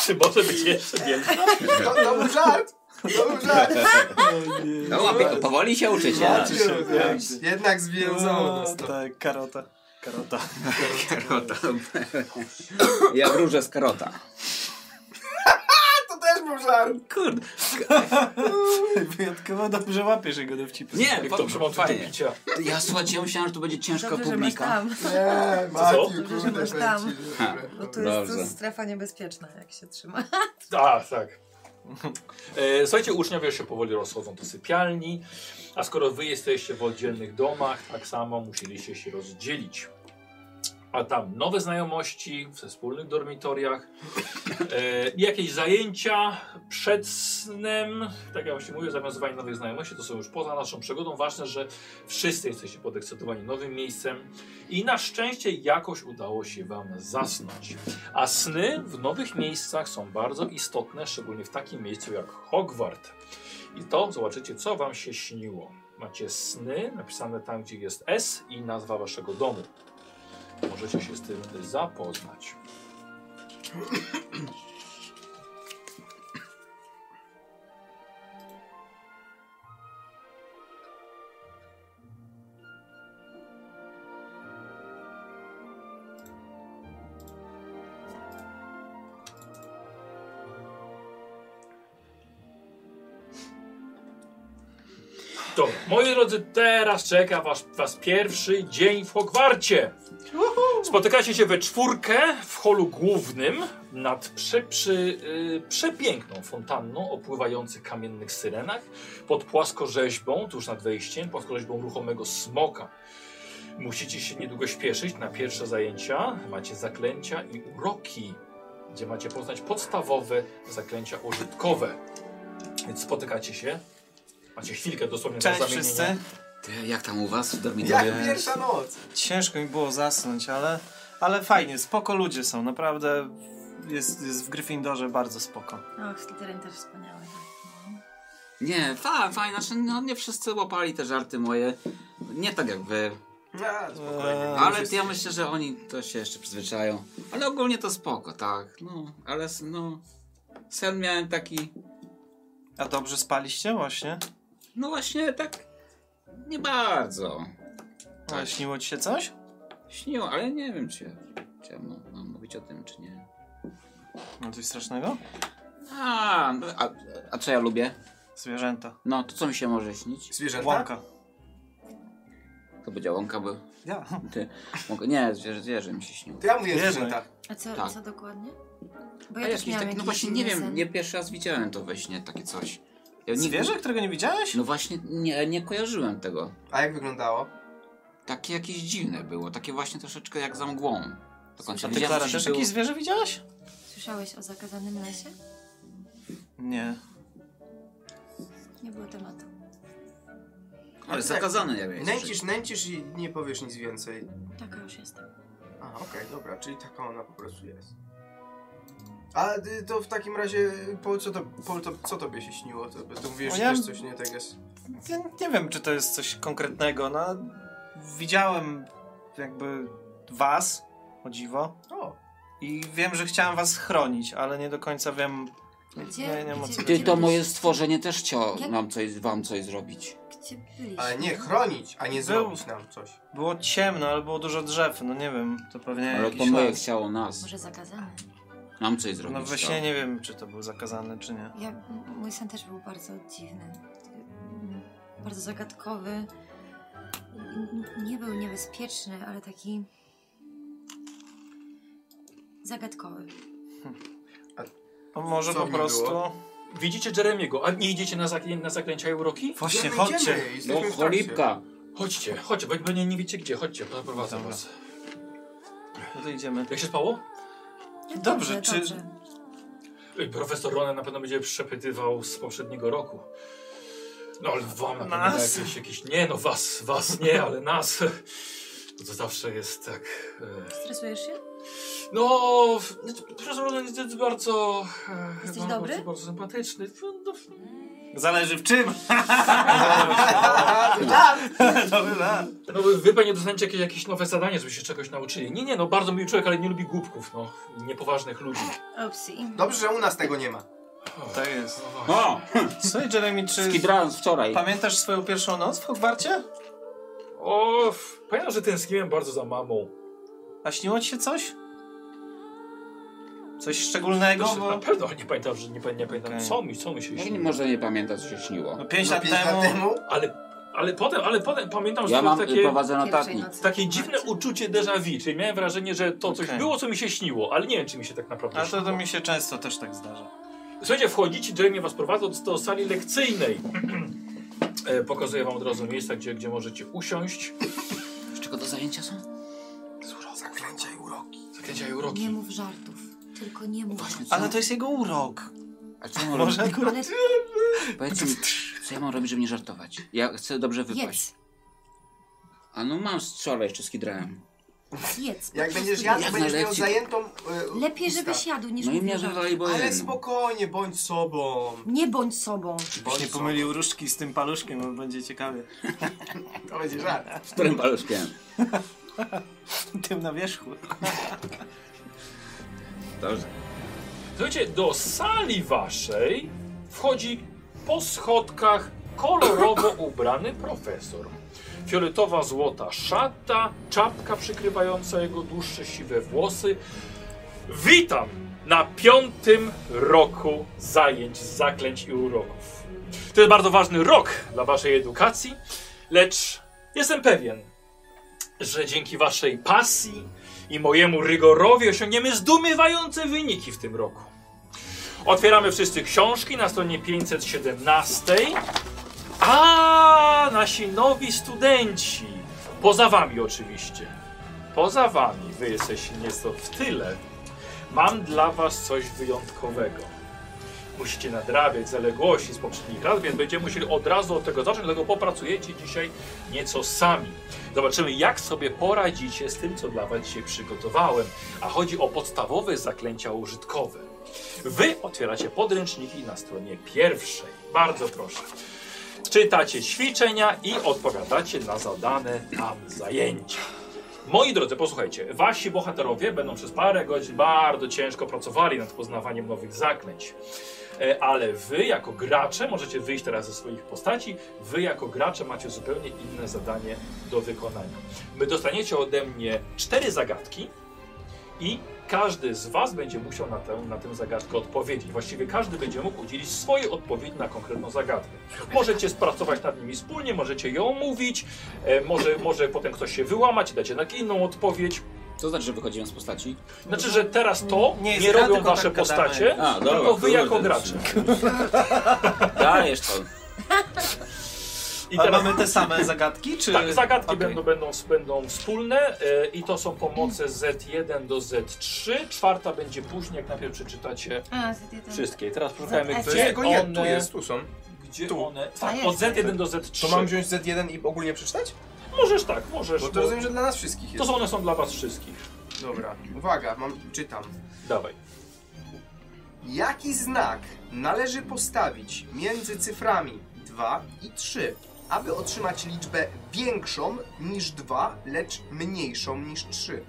Speaker 1: Czy może być jeszcze więcej?
Speaker 3: To, to był żart! To był żart!
Speaker 4: No łapie, to powoli się uczycie.
Speaker 5: Zobaczysz, jak będzie. No,
Speaker 3: Jednak związało nas to.
Speaker 5: Tak, karota. Karota.
Speaker 4: Karota. ja wróżę z karota.
Speaker 3: To też był żart!
Speaker 4: Kurde.
Speaker 5: Wyjątkowo dobrze łapiesz jego dowcipy.
Speaker 4: Nie,
Speaker 1: Jak
Speaker 4: po-
Speaker 1: dobrze mam tutaj do
Speaker 4: fajnie.
Speaker 1: picia.
Speaker 4: Ja słuchajcie, ja myślałem, że to będzie ciężka
Speaker 2: Dobrze, że masz
Speaker 4: publika.
Speaker 2: tam.
Speaker 3: Nie,
Speaker 1: Co?
Speaker 3: Matthew,
Speaker 2: Dobrze, że
Speaker 3: kurde,
Speaker 2: masz tam.
Speaker 3: powiem ci, że-
Speaker 4: Ha.
Speaker 2: Bo tu jest
Speaker 4: Dobrze.
Speaker 2: to strefa niebezpieczna, jak się trzyma.
Speaker 1: A, tak. E, słuchajcie, uczniowie się powoli rozchodzą do sypialni, a skoro wy jesteście w oddzielnych domach, tak samo musieliście się rozdzielić. A tam nowe znajomości w wspólnych dormitoriach, e, jakieś zajęcia przed snem, tak jak właśnie mówię, zawiązywanie nowych znajomości, to są już poza naszą przygodą. Ważne, że wszyscy jesteście podekscytowani nowym miejscem i na szczęście jakoś udało się wam zasnąć. A sny w nowych miejscach są bardzo istotne, szczególnie w takim miejscu jak Hogwart. I to zobaczycie, co wam się śniło. Macie sny napisane tam, gdzie jest S i nazwa waszego domu. Możecie się z tym zapoznać. Dobra, moi drodzy, teraz czeka was, was pierwszy dzień w Hogwarcie. Spotykacie się we czwórkę w holu głównym nad prze, przy, y, przepiękną fontanną o pływających kamiennych syrenach pod płaskorzeźbą, tuż nad wejściem, płaskorzeźbą ruchomego smoka. Musicie się niedługo śpieszyć na pierwsze zajęcia. Macie zaklęcia i uroki, gdzie macie poznać podstawowe zaklęcia użytkowe. Więc spotykacie się. Macie chwilkę dosłownie
Speaker 5: Cześć
Speaker 1: do zamienienia.
Speaker 5: wszyscy.
Speaker 4: Ty, jak tam u was w dormitorium?
Speaker 3: Jak pierwsza noc!
Speaker 5: Ciężko mi było zasnąć, ale, ale fajnie, spoko ludzie są, naprawdę jest, jest w Gryffindorze bardzo spoko.
Speaker 2: O, w Slytherin też wspaniałe.
Speaker 4: Nie, fa, fajnie, znaczy no, nie wszyscy łapali te żarty moje. Nie tak jak wy.
Speaker 3: A, spokojnie.
Speaker 5: Eee,
Speaker 4: Ale ja myślę, że oni to się jeszcze przyzwyczają. Ale ogólnie to spoko, tak. No, ale s- no... Sen miałem taki...
Speaker 5: A dobrze spaliście właśnie?
Speaker 4: No właśnie tak... Nie bardzo.
Speaker 5: A śniło ci się coś?
Speaker 4: Śniło, ale nie wiem czy ja, czy ja mam, mam mówić o tym, czy nie.
Speaker 5: No coś strasznego?
Speaker 4: A, no, a, a co ja lubię?
Speaker 5: Zwierzęta.
Speaker 4: No, to co mi się może śnić?
Speaker 3: Zwierzęta?
Speaker 5: Łąka.
Speaker 4: To będzie łąka, bo...
Speaker 5: Ja.
Speaker 4: Ty, łąka, nie, zwierzę, zwierzę mi się śniło.
Speaker 3: To ja mówię o
Speaker 5: Zwierzę.
Speaker 3: zwierzętach.
Speaker 2: A co,
Speaker 4: Tak.
Speaker 2: co dokładnie?
Speaker 4: A
Speaker 2: Bo ja też
Speaker 4: jakiś
Speaker 2: miałam
Speaker 4: taki,
Speaker 2: jakiś
Speaker 4: no właśnie nie
Speaker 2: inny
Speaker 4: wiem,
Speaker 2: sen.
Speaker 4: nie pierwszy raz widziałem to we śnie, takie coś. Ja nigdy-
Speaker 5: Zwierzę, którego nie widziałeś?
Speaker 4: No właśnie, nie, nie kojarzyłem tego.
Speaker 3: A jak wyglądało?
Speaker 4: Takie jakieś dziwne było, takie właśnie troszeczkę jak za mgłą. Do końca
Speaker 5: A ty Klara
Speaker 4: wiedziałem, że
Speaker 5: też
Speaker 4: było...
Speaker 5: jakieś zwierzę widziałaś?
Speaker 2: Słyszałeś o zakazanym lesie?
Speaker 5: Nie.
Speaker 2: Nie było tematu.
Speaker 4: Ale zakazane jak
Speaker 3: Nęcisz, nęcisz i nie powiesz nic więcej.
Speaker 2: Taka już jestem.
Speaker 3: A, okej, dobra, czyli taka ona po prostu jest. A y, to w takim razie, Paul, co, to, Paul, to, co tobie się śniło? To, to mówisz,
Speaker 5: No
Speaker 3: że
Speaker 5: ja-
Speaker 3: też coś nie tak jest.
Speaker 5: Ja nie wiem, czy to jest coś konkretnego, no... Widziałem jakby was, o dziwo,
Speaker 3: O,
Speaker 5: i wiem, że chciałem was chronić, ale nie do końca wiem...
Speaker 2: Gdzie?
Speaker 5: Nie, nie ma
Speaker 2: Gdzie?
Speaker 5: co...
Speaker 4: Ty, to moje stworzenie też chciało
Speaker 2: Jak-
Speaker 4: nam coś, wam coś zrobić.
Speaker 2: Gdzie byliście?
Speaker 3: ale nie chronić, a nie
Speaker 5: Był.
Speaker 3: zrobić nam coś.
Speaker 5: Było ciemno, ale było dużo drzew, no nie wiem, to pewnie
Speaker 4: Ale to
Speaker 5: jakiś
Speaker 4: moje
Speaker 5: las.
Speaker 4: chciało nas,
Speaker 2: Może zakazane?
Speaker 4: nam coś zrobić. tak.
Speaker 5: No właśnie nie wiem, czy to był zakazane, czy nie.
Speaker 2: Ja, m- mój sen też był bardzo dziwny. Mm, Bardzo zagadkowy. N- n- Nie był niebezpieczny, ale taki... Zagadkowy.
Speaker 5: A No może
Speaker 3: Co
Speaker 5: po
Speaker 3: mi
Speaker 5: prostu...
Speaker 3: było?
Speaker 1: Widzicie Jeremiego, a nie idziecie na, zaklę na zaklęcia i uroki?
Speaker 5: Właśnie,
Speaker 3: Idziemy,
Speaker 5: chodźcie.
Speaker 3: idziemy, jesteśmy
Speaker 4: No
Speaker 3: w trakcie.
Speaker 4: cholipka.
Speaker 1: Chodźcie, chodźcie, bo jakby nie, nie wiecie gdzie, chodźcie, prowadzę
Speaker 5: Dobra.
Speaker 1: was.
Speaker 5: No to idziemy.
Speaker 1: Jak się spało?
Speaker 2: No
Speaker 5: Dobrze, czy-
Speaker 1: Ej, Profesor Ronen na pewno będzie przepytywał z poprzedniego roku. No ale wam na pewno
Speaker 5: Nas?
Speaker 1: jakieś, jakieś... Nie no, was, was nie, ale nas. To, to zawsze jest tak... e,
Speaker 2: Stresujesz się?
Speaker 1: No, w- Profesor Ronen jest bardzo... e,
Speaker 2: Jesteś
Speaker 1: no,
Speaker 2: dobry?
Speaker 1: Bardzo, bardzo sympatyczny. No, no,
Speaker 5: Zależy w czym. Dobry lat.
Speaker 1: No wy- wy pewnie dostaniecie jakieś, jakieś nowe zadanie, żebyście czegoś nauczyli. Nie, nie, no bardzo miły człowiek, ale nie lubi głupków, no. Niepoważnych ludzi.
Speaker 2: Opsi.
Speaker 3: Dobrze, że u nas tego nie ma.
Speaker 5: Tak jest.
Speaker 1: No właśnie.
Speaker 4: O,
Speaker 5: Słuchaj, Jeremy, czy
Speaker 4: skidrałem wczoraj.
Speaker 5: pamiętasz swoją pierwszą noc w Hogwarcie?
Speaker 1: O, f- pamiętam, że tęskniłem bardzo za mamą.
Speaker 5: A śniło ci się coś? Coś szczególnego?
Speaker 1: Znaczy,
Speaker 5: Bo...
Speaker 1: Na pewno, ale nie pamiętam, że nie, pa- nie pamiętam
Speaker 5: Okej.
Speaker 1: co mi, co mi się
Speaker 4: Ja
Speaker 1: śniło.
Speaker 4: nie, może nie pamięta, co się śniło.
Speaker 5: No, pięć
Speaker 3: No,
Speaker 5: lat
Speaker 3: pięć
Speaker 5: temu.
Speaker 1: Ale, ale potem, ale potem pamiętam, że
Speaker 4: Ja
Speaker 1: to
Speaker 4: mam, y,
Speaker 1: takie...
Speaker 4: prowadzę
Speaker 6: Pierwszej
Speaker 4: notatnik.
Speaker 6: nocy.
Speaker 1: Takie dziwne uczucie déjà vu, czyli miałem wrażenie, że to coś
Speaker 5: Okej.
Speaker 1: było, co mi się śniło, ale nie wiem, czy mi się tak naprawdę
Speaker 5: A to,
Speaker 1: śniło.
Speaker 5: to mi się często też tak zdarza.
Speaker 1: Słuchajcie, wchodzicie, Jeremy was prowadzi do, do sali lekcyjnej. E, Pokazuję wam od razu miejsca, gdzie, gdzie możecie usiąść.
Speaker 4: Z czego to zajęcia są?
Speaker 3: Zaklęcia i uroki.
Speaker 1: Zakręciaj uroki.
Speaker 2: Nie mów żartów. Tylko nie mów
Speaker 4: Właśnie,
Speaker 2: żartów.
Speaker 4: co?
Speaker 5: Ale to jest jego urok.
Speaker 4: A co ja mam robić?
Speaker 5: Może akurat...
Speaker 2: Ale
Speaker 4: Powiedzcie mi, co ja mam robić, żeby nie żartować? Ja chcę dobrze wypaść.
Speaker 2: jedz,
Speaker 4: A no mam strzelę jeszcze z kidrałem.
Speaker 2: jedz. po
Speaker 3: Jak
Speaker 2: prostu
Speaker 3: będziesz
Speaker 2: jedz.
Speaker 3: jadł,
Speaker 4: Jak
Speaker 3: będziesz miał
Speaker 4: naleci.
Speaker 3: zajętą e,
Speaker 2: Lepiej,
Speaker 3: usta.
Speaker 2: żebyś jadł, niż
Speaker 4: No i
Speaker 2: mówił
Speaker 4: mnie
Speaker 2: żartów.
Speaker 4: żywali, bo
Speaker 3: Ale
Speaker 4: jeden.
Speaker 3: spokojnie, bądź sobą.
Speaker 2: Nie bądź sobą.
Speaker 5: Byś nie pomylił różdżki z tym paluszkiem, bo będzie ciekawie.
Speaker 3: To będzie żart.
Speaker 4: Z którym paluszkiem?
Speaker 5: Tym na wierzchu.
Speaker 4: Dobrze.
Speaker 1: Słuchajcie, do sali waszej wchodzi po schodkach kolorowo ubrany profesor. Fioletowa złota szata, czapka przykrywająca jego dłuższe siwe włosy. Witam na piątym roku zajęć z zaklęć i uroków. To jest bardzo ważny rok dla waszej edukacji, lecz jestem pewien, że dzięki waszej pasji i mojemu rygorowi osiągniemy zdumiewające wyniki w tym roku. Otwieramy wszyscy książki na stronie 517. A nasi nowi studenci. Poza wami oczywiście. Poza wami, wy jesteście nieco w tyle. Mam dla was coś wyjątkowego. Musicie nadrabiać zaległości z poprzednich lat, więc będziemy musieli od razu od tego zacząć, dlatego popracujecie dzisiaj nieco sami. Zobaczymy, jak sobie poradzicie z tym, co dla Was dzisiaj przygotowałem. A chodzi o podstawowe zaklęcia użytkowe. Wy otwieracie podręczniki na stronie pierwszej. Bardzo proszę. Czytacie ćwiczenia i odpowiadacie na zadane tam zajęcia. Moi drodzy, posłuchajcie, wasi bohaterowie będą przez parę godzin bardzo ciężko pracowali nad poznawaniem nowych zaklęć. E, Ale wy jako gracze możecie wyjść teraz ze swoich postaci. Wy jako gracze macie zupełnie inne zadanie do wykonania. My dostaniecie ode mnie cztery zagadki i każdy z was będzie musiał na tę, na tę zagadkę odpowiedzieć. Właściwie każdy będzie mógł udzielić swojej odpowiedzi na konkretną zagadkę. Możecie spracować nad nimi wspólnie, możecie ją mówić, e, może, może potem ktoś się wyłamać, dacie na inną odpowiedź.
Speaker 4: To znaczy, że wychodzimy z postaci?
Speaker 1: Znaczy, że teraz to
Speaker 5: Nie
Speaker 1: nie,
Speaker 5: jest gra,
Speaker 1: robią
Speaker 5: tylko
Speaker 1: wasze
Speaker 5: tak gadamy.
Speaker 1: postacie,
Speaker 4: A, dobra,
Speaker 1: tylko No wy
Speaker 4: kurde,
Speaker 1: jako
Speaker 4: to
Speaker 1: gracze.
Speaker 4: Dajesz to.
Speaker 1: I
Speaker 5: A
Speaker 1: teraz-
Speaker 5: mamy te same zagadki, czy...
Speaker 1: Tak, zagadki
Speaker 5: Okej.
Speaker 1: będą, będą, będą wspólne e, i to są pomoce z Z1 do Z3. Czwarta będzie później, jak najpierw przeczytacie
Speaker 6: A, zjadł jeden.
Speaker 1: wszystkie. I teraz poszukajmy,
Speaker 6: Z-
Speaker 1: gdzie
Speaker 3: Tego nie, tu
Speaker 1: one...
Speaker 3: jest, tu są.
Speaker 1: Gdzie
Speaker 3: Tu.
Speaker 1: one... Tak,
Speaker 6: jest.
Speaker 1: od Z1 do Z3.
Speaker 3: To mam wziąć Z1 i ogólnie przeczytać?
Speaker 1: Możesz tak, możesz.
Speaker 3: Bo to
Speaker 1: bo-
Speaker 3: rozumiem, że dla nas wszystkich
Speaker 1: to
Speaker 3: jest.
Speaker 1: są, one są dla was wszystkich.
Speaker 3: Dobra, uwaga, mam, czytam.
Speaker 1: Dawaj.
Speaker 3: Jaki znak należy postawić między cyframi 2 i 3, aby otrzymać liczbę większą niż 2, lecz mniejszą niż 3?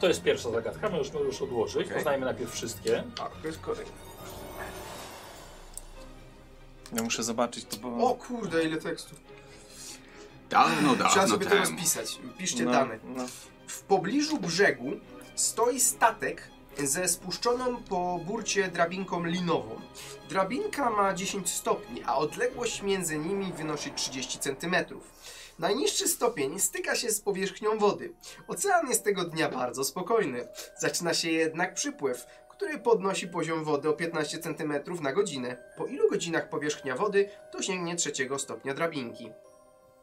Speaker 1: To jest pierwsza zagadka, możesz już odłożyć.
Speaker 3: Okej.
Speaker 1: Poznajmy najpierw wszystkie.
Speaker 3: A, to jest kolejny.
Speaker 5: Ja muszę zobaczyć to, bo... no,
Speaker 3: O kurde, ile tekstu.
Speaker 7: Dawno,
Speaker 3: Trzeba
Speaker 7: dawno
Speaker 3: sobie to
Speaker 7: temu.
Speaker 3: rozpisać. Piszcie dane.
Speaker 5: no.
Speaker 3: W pobliżu brzegu stoi statek ze spuszczoną po burcie drabinką linową. Drabinka ma 10 stopni, a odległość między nimi wynosi 30 cm. Najniższy stopień styka się z powierzchnią wody. Ocean jest tego dnia bardzo spokojny. Zaczyna się jednak przypływ, który podnosi poziom wody o 15 cm na godzinę. Po ilu godzinach powierzchnia wody dosięgnie trzeciego stopnia drabinki?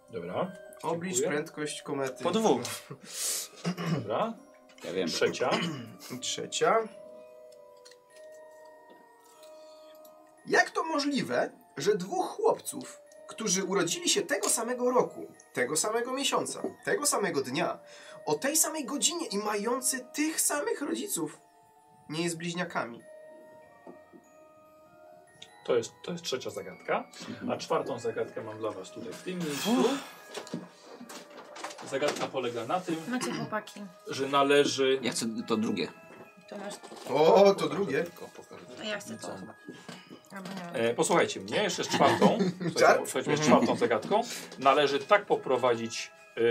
Speaker 1: Dobra,
Speaker 3: Oblicz
Speaker 1: Dziękuję.
Speaker 3: prędkość komety.
Speaker 5: Po dwóch.
Speaker 1: dobra.
Speaker 4: Ja wiem.
Speaker 1: Trzecia.
Speaker 3: I Trzecia. Jak to możliwe, że dwóch chłopców, którzy urodzili się tego samego roku, tego samego miesiąca, tego samego dnia, o tej samej godzinie i mający tych samych rodziców, nie jest bliźniakami?
Speaker 1: To jest, to jest trzecia zagadka. A czwartą zagadkę mam dla was tutaj w tym miejscu. Zagadka polega na tym,
Speaker 6: Macie chłopaki.
Speaker 1: że należy
Speaker 4: Ja chcę to drugie.
Speaker 6: To masz...
Speaker 3: O, to drugie.
Speaker 6: A ja chcę to. Albo nie wiem.
Speaker 1: E, posłuchajcie mnie, jeszcze z czwartą. Słuchajcie,
Speaker 3: Żart?
Speaker 1: Słuchajcie, jeszcze z czwartą zagadką. Należy tak poprowadzić e,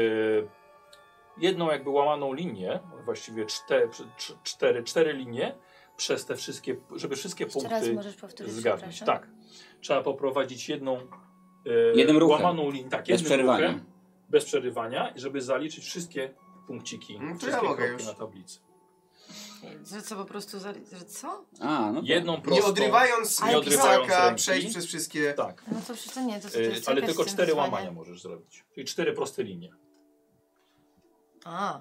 Speaker 1: jedną jakby łamaną linię, właściwie czte, cz- cz- cztery, cztery linie przez te wszystkie, żeby wszystkie
Speaker 2: Jeszcze raz
Speaker 1: punkty
Speaker 2: możesz powtórzyć,
Speaker 1: zgadnąć.
Speaker 2: przepraszam?
Speaker 1: Tak. Trzeba poprowadzić jedną e,
Speaker 4: Jednym ruchem.
Speaker 1: łamaną linię, tak,
Speaker 4: Bez
Speaker 1: jednym
Speaker 4: przerywania.
Speaker 1: ruchem, bez przerywania, żeby zaliczyć wszystkie punkciki,
Speaker 3: Mm, to ja
Speaker 1: wszystkie
Speaker 3: mogę
Speaker 1: kropki
Speaker 3: już.
Speaker 1: na tablicy.
Speaker 4: No
Speaker 1: Tak.
Speaker 6: Że co, po prostu, za, że co?
Speaker 4: A, no tak.
Speaker 1: Jedną prostą.
Speaker 3: Nie odrywając
Speaker 1: Ale pisaka
Speaker 3: pisaka,
Speaker 1: ręki.
Speaker 3: przejść przez wszystkie...
Speaker 1: Tak.
Speaker 6: No to przecież to nie, to, to
Speaker 1: E,
Speaker 6: jest
Speaker 1: ale
Speaker 6: jakaś
Speaker 1: tylko
Speaker 6: tym
Speaker 1: cztery
Speaker 6: wyzwanie.
Speaker 1: łamania możesz zrobić. Czyli cztery proste linie.
Speaker 6: A,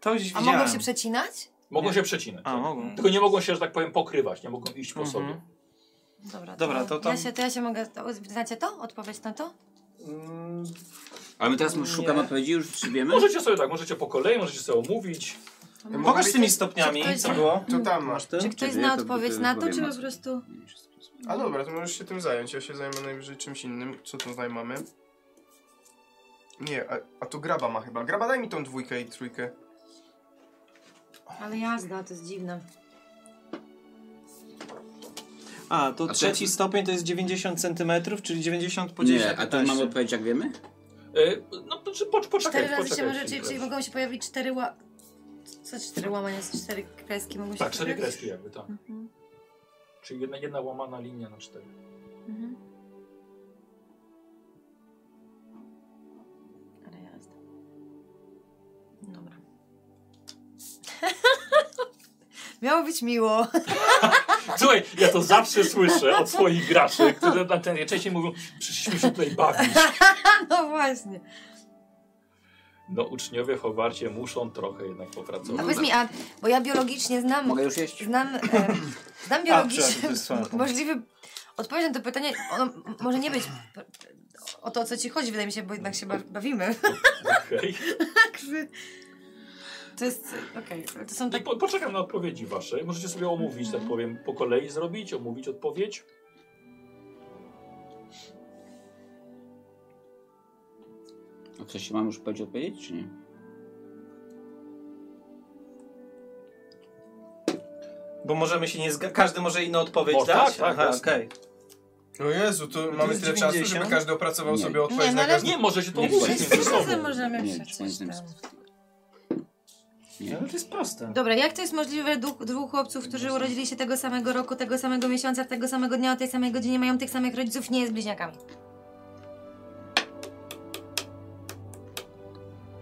Speaker 5: To już
Speaker 6: a
Speaker 5: widziałem. Mhm.
Speaker 6: mogą się przecinać?
Speaker 1: Mogą
Speaker 5: Nie.
Speaker 1: się przecinać.
Speaker 5: A, mogą.
Speaker 1: Tylko nie mogą się, że tak powiem, pokrywać, nie mogą iść po
Speaker 5: Mhm.
Speaker 1: sobie.
Speaker 6: Dobra,
Speaker 5: Dobra, to tam-
Speaker 6: Ja się, to ja się mogę... to- Znacie to? Odpowiedź na to?
Speaker 5: Mm,
Speaker 4: Ale my teraz
Speaker 5: Nie.
Speaker 4: szukamy odpowiedzi, już trzybiemy.
Speaker 1: Możecie sobie tak, możecie po kolei, możecie sobie omówić.
Speaker 5: Pokaż z tymi stopniami,
Speaker 6: Czy ktoś-
Speaker 5: co było.
Speaker 3: To tam masz.
Speaker 4: Masz ten?
Speaker 6: Czy ktoś
Speaker 4: nie?
Speaker 6: zna
Speaker 4: To-
Speaker 6: odpowiedź
Speaker 4: to
Speaker 6: na to,
Speaker 4: powiem
Speaker 6: czy po
Speaker 4: nazwę.
Speaker 6: prostu...
Speaker 3: A dobra, to możesz się tym zająć. Ja się zajmę najwyżej czymś innym. Co tutaj mamy? Nie, a, a to graba ma chyba. Graba, daj mi tą dwójkę i trójkę.
Speaker 2: Ale jazda, to jest dziwne.
Speaker 5: A, to
Speaker 4: A
Speaker 5: trzeci
Speaker 4: ten-
Speaker 5: stopień to jest 90 cm, czyli 90 po 10.
Speaker 4: Nie, a tu mamy odpowiedź, jak wiemy?
Speaker 1: E, No to czy pocz, poczekaj,
Speaker 2: Cztery razy się
Speaker 1: poczekaj.
Speaker 2: może, czyli, czyli mogą się pojawić cztery ła... Co cztery łamania, co cztery kreski mogą się
Speaker 1: Tak, cztery
Speaker 2: pojawić?
Speaker 1: kreski jakby, tak.
Speaker 2: Mhm.
Speaker 1: Czyli jedna, jedna łamana linia na cztery.
Speaker 2: Mhm. Ale jazda. Dobra.
Speaker 6: Miało być miło.
Speaker 1: Słuchaj, ja to zawsze słyszę od swoich graczy, którzy na ten najczęściej mówią, przyszliśmy się tutaj bawić.
Speaker 6: No właśnie.
Speaker 1: No uczniowie w Hogwarcie muszą trochę jednak
Speaker 6: A
Speaker 1: popracować.
Speaker 6: powiedz mi, a, bo ja biologicznie znam...
Speaker 4: Mogę już jeść?
Speaker 6: Znam, e, znam
Speaker 5: przepraszam, to
Speaker 6: biologicznie
Speaker 5: jest słabe pomysł.
Speaker 6: możliwy... Odpowiedź na to pytanie ono m- może nie być p- o to, o co ci chodzi, wydaje mi się, bo jednak się ba- bawimy.
Speaker 1: Okej.
Speaker 6: Także to jest... Okej, ale to są
Speaker 1: I
Speaker 6: tak...
Speaker 1: Po, poczekam na odpowiedzi wasze. Możecie sobie omówić, tak powiem, po kolei zrobić, omówić odpowiedź.
Speaker 4: A ktoś się mam już powiedzieć odpowiedzieć, czy nie?
Speaker 5: Bo możemy się nie zgadzać. Każdy może inną odpowiedź
Speaker 1: Bo-
Speaker 5: dać?
Speaker 1: tak, tak,
Speaker 5: Aha,
Speaker 1: jasne.
Speaker 5: okej.
Speaker 3: O Jezu, to mamy
Speaker 5: jest
Speaker 3: tyle czasu,
Speaker 5: 90?
Speaker 3: żeby każdy opracował
Speaker 4: Nie.
Speaker 3: sobie odpowiedź
Speaker 6: Nie,
Speaker 3: na
Speaker 6: no ale-
Speaker 3: każdy.
Speaker 1: Nie, możecie to
Speaker 4: Nie,
Speaker 1: omówić
Speaker 4: właśnie.
Speaker 1: między
Speaker 6: Wszyscy
Speaker 1: sobą. E,
Speaker 6: możemy
Speaker 4: Nie,
Speaker 6: przecież
Speaker 4: czy
Speaker 6: tam...
Speaker 4: pamiętam.
Speaker 5: No, Ale to jest proste.
Speaker 6: Dobra, jak to jest możliwe, że dwóch, dwóch chłopców, którzy urodzili się tego samego roku, tego samego miesiąca, tego samego dnia, o tej samej godzinie, mają tych samych rodziców, nie jest bliźniakami?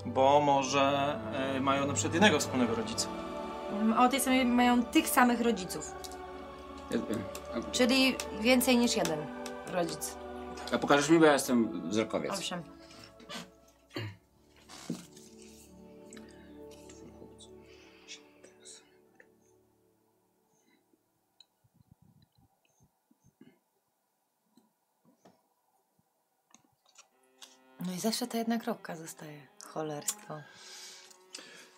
Speaker 5: Bo może e, mają na przykład jednego wspólnego rodzica.
Speaker 6: Mm, A o tej samej mają tych samych rodziców,
Speaker 4: A-
Speaker 6: czyli więcej niż jeden rodzic.
Speaker 4: A pokażesz mi, bo ja jestem wzrokowiec.
Speaker 6: Owszem. No i zawsze ta jedna kropka zostaje. Cholerstwo.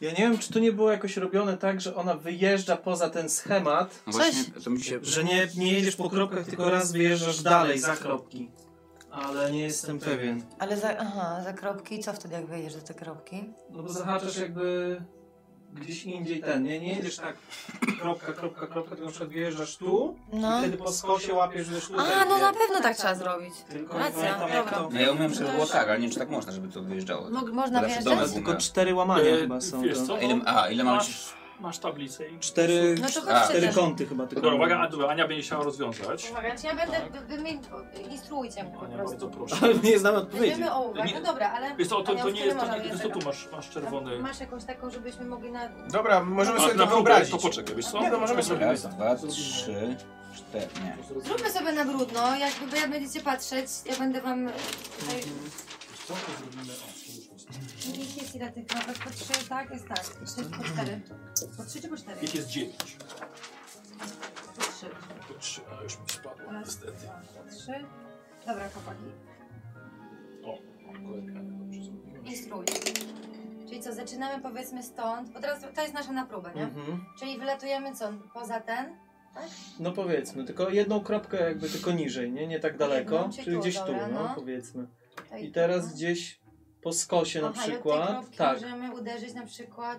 Speaker 5: Ja nie wiem, czy to nie było jakoś robione tak, że ona wyjeżdża poza ten schemat,
Speaker 4: No
Speaker 6: Coś-
Speaker 4: właśnie, to mi się...
Speaker 5: że nie, nie jedziesz po kropkach, tylko raz wyjeżdżasz dalej za kropki. Ale nie jestem pewien.
Speaker 2: Ale za, aha, za kropki, co wtedy jak wyjdziesz do tej kropki?
Speaker 5: No bo zahaczasz jakby gdzieś indziej ten, nie? Nie jedziesz tak kropka, kropka, kropka, tylko na przykład wyjeżdłasz tu
Speaker 2: No.
Speaker 5: i wtedy po skosie łapiesz już tutaj.
Speaker 6: A, no
Speaker 5: nie?
Speaker 6: na pewno tak trzeba zrobić.
Speaker 5: Tylko nie
Speaker 6: Racja,
Speaker 5: pamiętam jak
Speaker 6: dobra.
Speaker 5: to...
Speaker 4: No ja umiem, żeby było tak, ale nie wiem, czy tak można, żeby to wyjeżdżało.
Speaker 6: Mog- można
Speaker 4: Bo zawsze
Speaker 6: wjeżdżać?
Speaker 4: domek był
Speaker 5: Tylko
Speaker 4: miał.
Speaker 5: cztery łamania
Speaker 1: E,
Speaker 5: chyba są.
Speaker 1: wiesz
Speaker 5: to.
Speaker 1: co?
Speaker 4: A ile, a, ile mam liczyć?
Speaker 1: masz, masz tablicę i...
Speaker 5: Cztery,
Speaker 6: No to
Speaker 4: A.
Speaker 6: chodźcie
Speaker 5: cztery
Speaker 6: też.
Speaker 5: kąty chyba tylko.
Speaker 1: Dobra, uwaga, Adu, Ania będzie chciała rozwiązać.
Speaker 6: Uwaga, ja będę, wy, wy mi instruujcie mnie po
Speaker 1: Ania,
Speaker 6: prostu.
Speaker 1: bardzo proszę.
Speaker 5: nie znamy odpowiedzi.
Speaker 6: Będziemy o uwagę,
Speaker 1: Nie.
Speaker 6: no dobra, ale
Speaker 1: Wiesz co, to,
Speaker 6: Ania,
Speaker 1: to
Speaker 6: w
Speaker 1: nie
Speaker 6: którym
Speaker 1: jest, to,
Speaker 6: możemy
Speaker 1: nie- wiesz co,
Speaker 6: tego?
Speaker 1: tu masz, masz
Speaker 6: tam
Speaker 1: czerwony...
Speaker 6: masz jakąś taką, żebyśmy mogli na...
Speaker 3: Dobra, możemy
Speaker 1: A,
Speaker 3: sobie
Speaker 1: No, na
Speaker 3: to
Speaker 1: próbę,
Speaker 3: wyobrazić.
Speaker 1: to poczekaj, wiesz co?
Speaker 3: Nie, no możemy sobie-
Speaker 4: Raz, dwa, trzy, cztery, nie.
Speaker 6: Zróbmy sobie na brudno, jak wy jak będziecie patrzeć, ja będę wam... Tutaj...
Speaker 1: Co to zrobimy? O, to już jest.
Speaker 6: Ich jest ile tych kropek? Po trzy, tak? Jest tak. Sześć po cztery. Po trzy czy po cztery?
Speaker 1: Ich jest dziewięć.
Speaker 6: Po trzy.
Speaker 1: To trzy, a już mi spadło,
Speaker 6: Raz,
Speaker 1: niestety.
Speaker 6: dwa, trzy. Dobra, chłopaki.
Speaker 1: O, kolejka, dobrze zrobiłem.
Speaker 6: Instruuj. Czyli co, zaczynamy powiedzmy stąd, bo teraz to jest nasza na próbę, nie?
Speaker 5: Mhm.
Speaker 6: Czyli wylatujemy co? Poza ten?
Speaker 5: No powiedzmy, tylko jedną kropkę jakby tylko niżej, nie? Nie tak daleko,
Speaker 6: Jedną, czy
Speaker 5: czyli
Speaker 6: tu,
Speaker 5: gdzieś tu,
Speaker 6: dobra,
Speaker 5: no
Speaker 6: no.
Speaker 5: powiedzmy.
Speaker 6: Tutaj,
Speaker 5: I teraz
Speaker 6: no.
Speaker 5: gdzieś po skosie na
Speaker 6: Aha, i od tej
Speaker 5: przykład.
Speaker 6: kropki
Speaker 5: Tak,
Speaker 6: Możemy uderzyć na przykład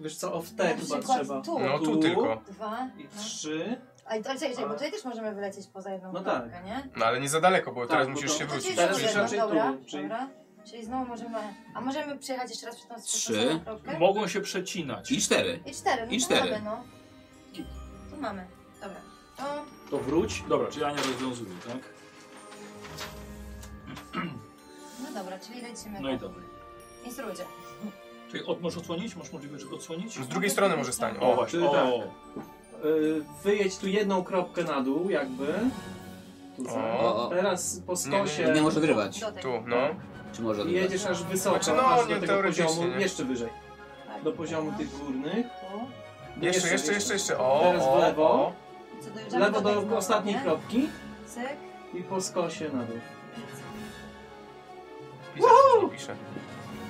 Speaker 5: wiesz co, o w
Speaker 6: Na
Speaker 5: te chyba
Speaker 6: przykład
Speaker 5: trzeba.
Speaker 6: tu.
Speaker 3: No tu tylko.
Speaker 6: dwa.
Speaker 5: I
Speaker 6: No.
Speaker 5: trzy.
Speaker 6: Ale to czekaj, czekaj, bo tutaj też możemy wylecieć poza jedną
Speaker 5: No
Speaker 6: kropkę, nie?
Speaker 3: No ale nie za daleko, bo
Speaker 5: Tak,
Speaker 3: teraz
Speaker 5: bo
Speaker 3: musisz
Speaker 5: to-
Speaker 3: się
Speaker 6: No to
Speaker 3: wrócić.
Speaker 6: gdzieś
Speaker 5: Teraz już
Speaker 6: powiedzmy,
Speaker 5: raczej tu,
Speaker 6: dobra,
Speaker 5: czyli-
Speaker 6: dobra.
Speaker 2: Czyli znowu możemy. A możemy przejechać jeszcze raz przez tą
Speaker 4: Trzy.
Speaker 2: stosowną kropkę?
Speaker 1: Mogą się przecinać.
Speaker 4: I cztery.
Speaker 2: I cztery. No
Speaker 4: I
Speaker 2: to
Speaker 4: cztery.
Speaker 2: mamy, no. Tu mamy. Dobra. To
Speaker 1: To wróć. Dobra, czyli Ania rozwiązuje, tak?
Speaker 2: No dobra, czyli lecimy.
Speaker 1: No i dobra.
Speaker 2: Instruujcie.
Speaker 1: Czyli od, możesz odsłonić? Masz możliwość, żeby odsłonić?
Speaker 3: Z drugiej strony może stanie.
Speaker 1: O, właśnie.
Speaker 8: Czyli tak.
Speaker 1: O,
Speaker 8: Y, Wyjedź tu jedną kropkę na dół, jakby. Tu za.
Speaker 4: O, o.
Speaker 8: Teraz po skosie.
Speaker 4: Nie może odrywać.
Speaker 2: Dotek.
Speaker 3: Tu, no.
Speaker 4: Czy może
Speaker 8: I
Speaker 4: odrywać?
Speaker 8: jedziesz aż wysoko,
Speaker 3: Znaczy, no,
Speaker 8: aż do
Speaker 3: nie,
Speaker 8: tego
Speaker 3: teoretycznie,
Speaker 8: poziomu,
Speaker 3: nie?
Speaker 8: jeszcze wyżej,
Speaker 2: Tak.
Speaker 8: do poziomu tych górnych. No
Speaker 3: Jeszcze, jeszcze, jeszcze, jeszcze. O,
Speaker 8: Teraz
Speaker 3: o,
Speaker 8: w lewo.
Speaker 3: o.
Speaker 2: Co dojeżdżamy
Speaker 8: Lewo
Speaker 2: dotek
Speaker 6: tak
Speaker 8: do
Speaker 2: znowu,
Speaker 8: ostatniej
Speaker 2: nie?
Speaker 8: kropki
Speaker 2: Cyk.
Speaker 8: i po skosie na dół.
Speaker 3: Pisać już nie piszę.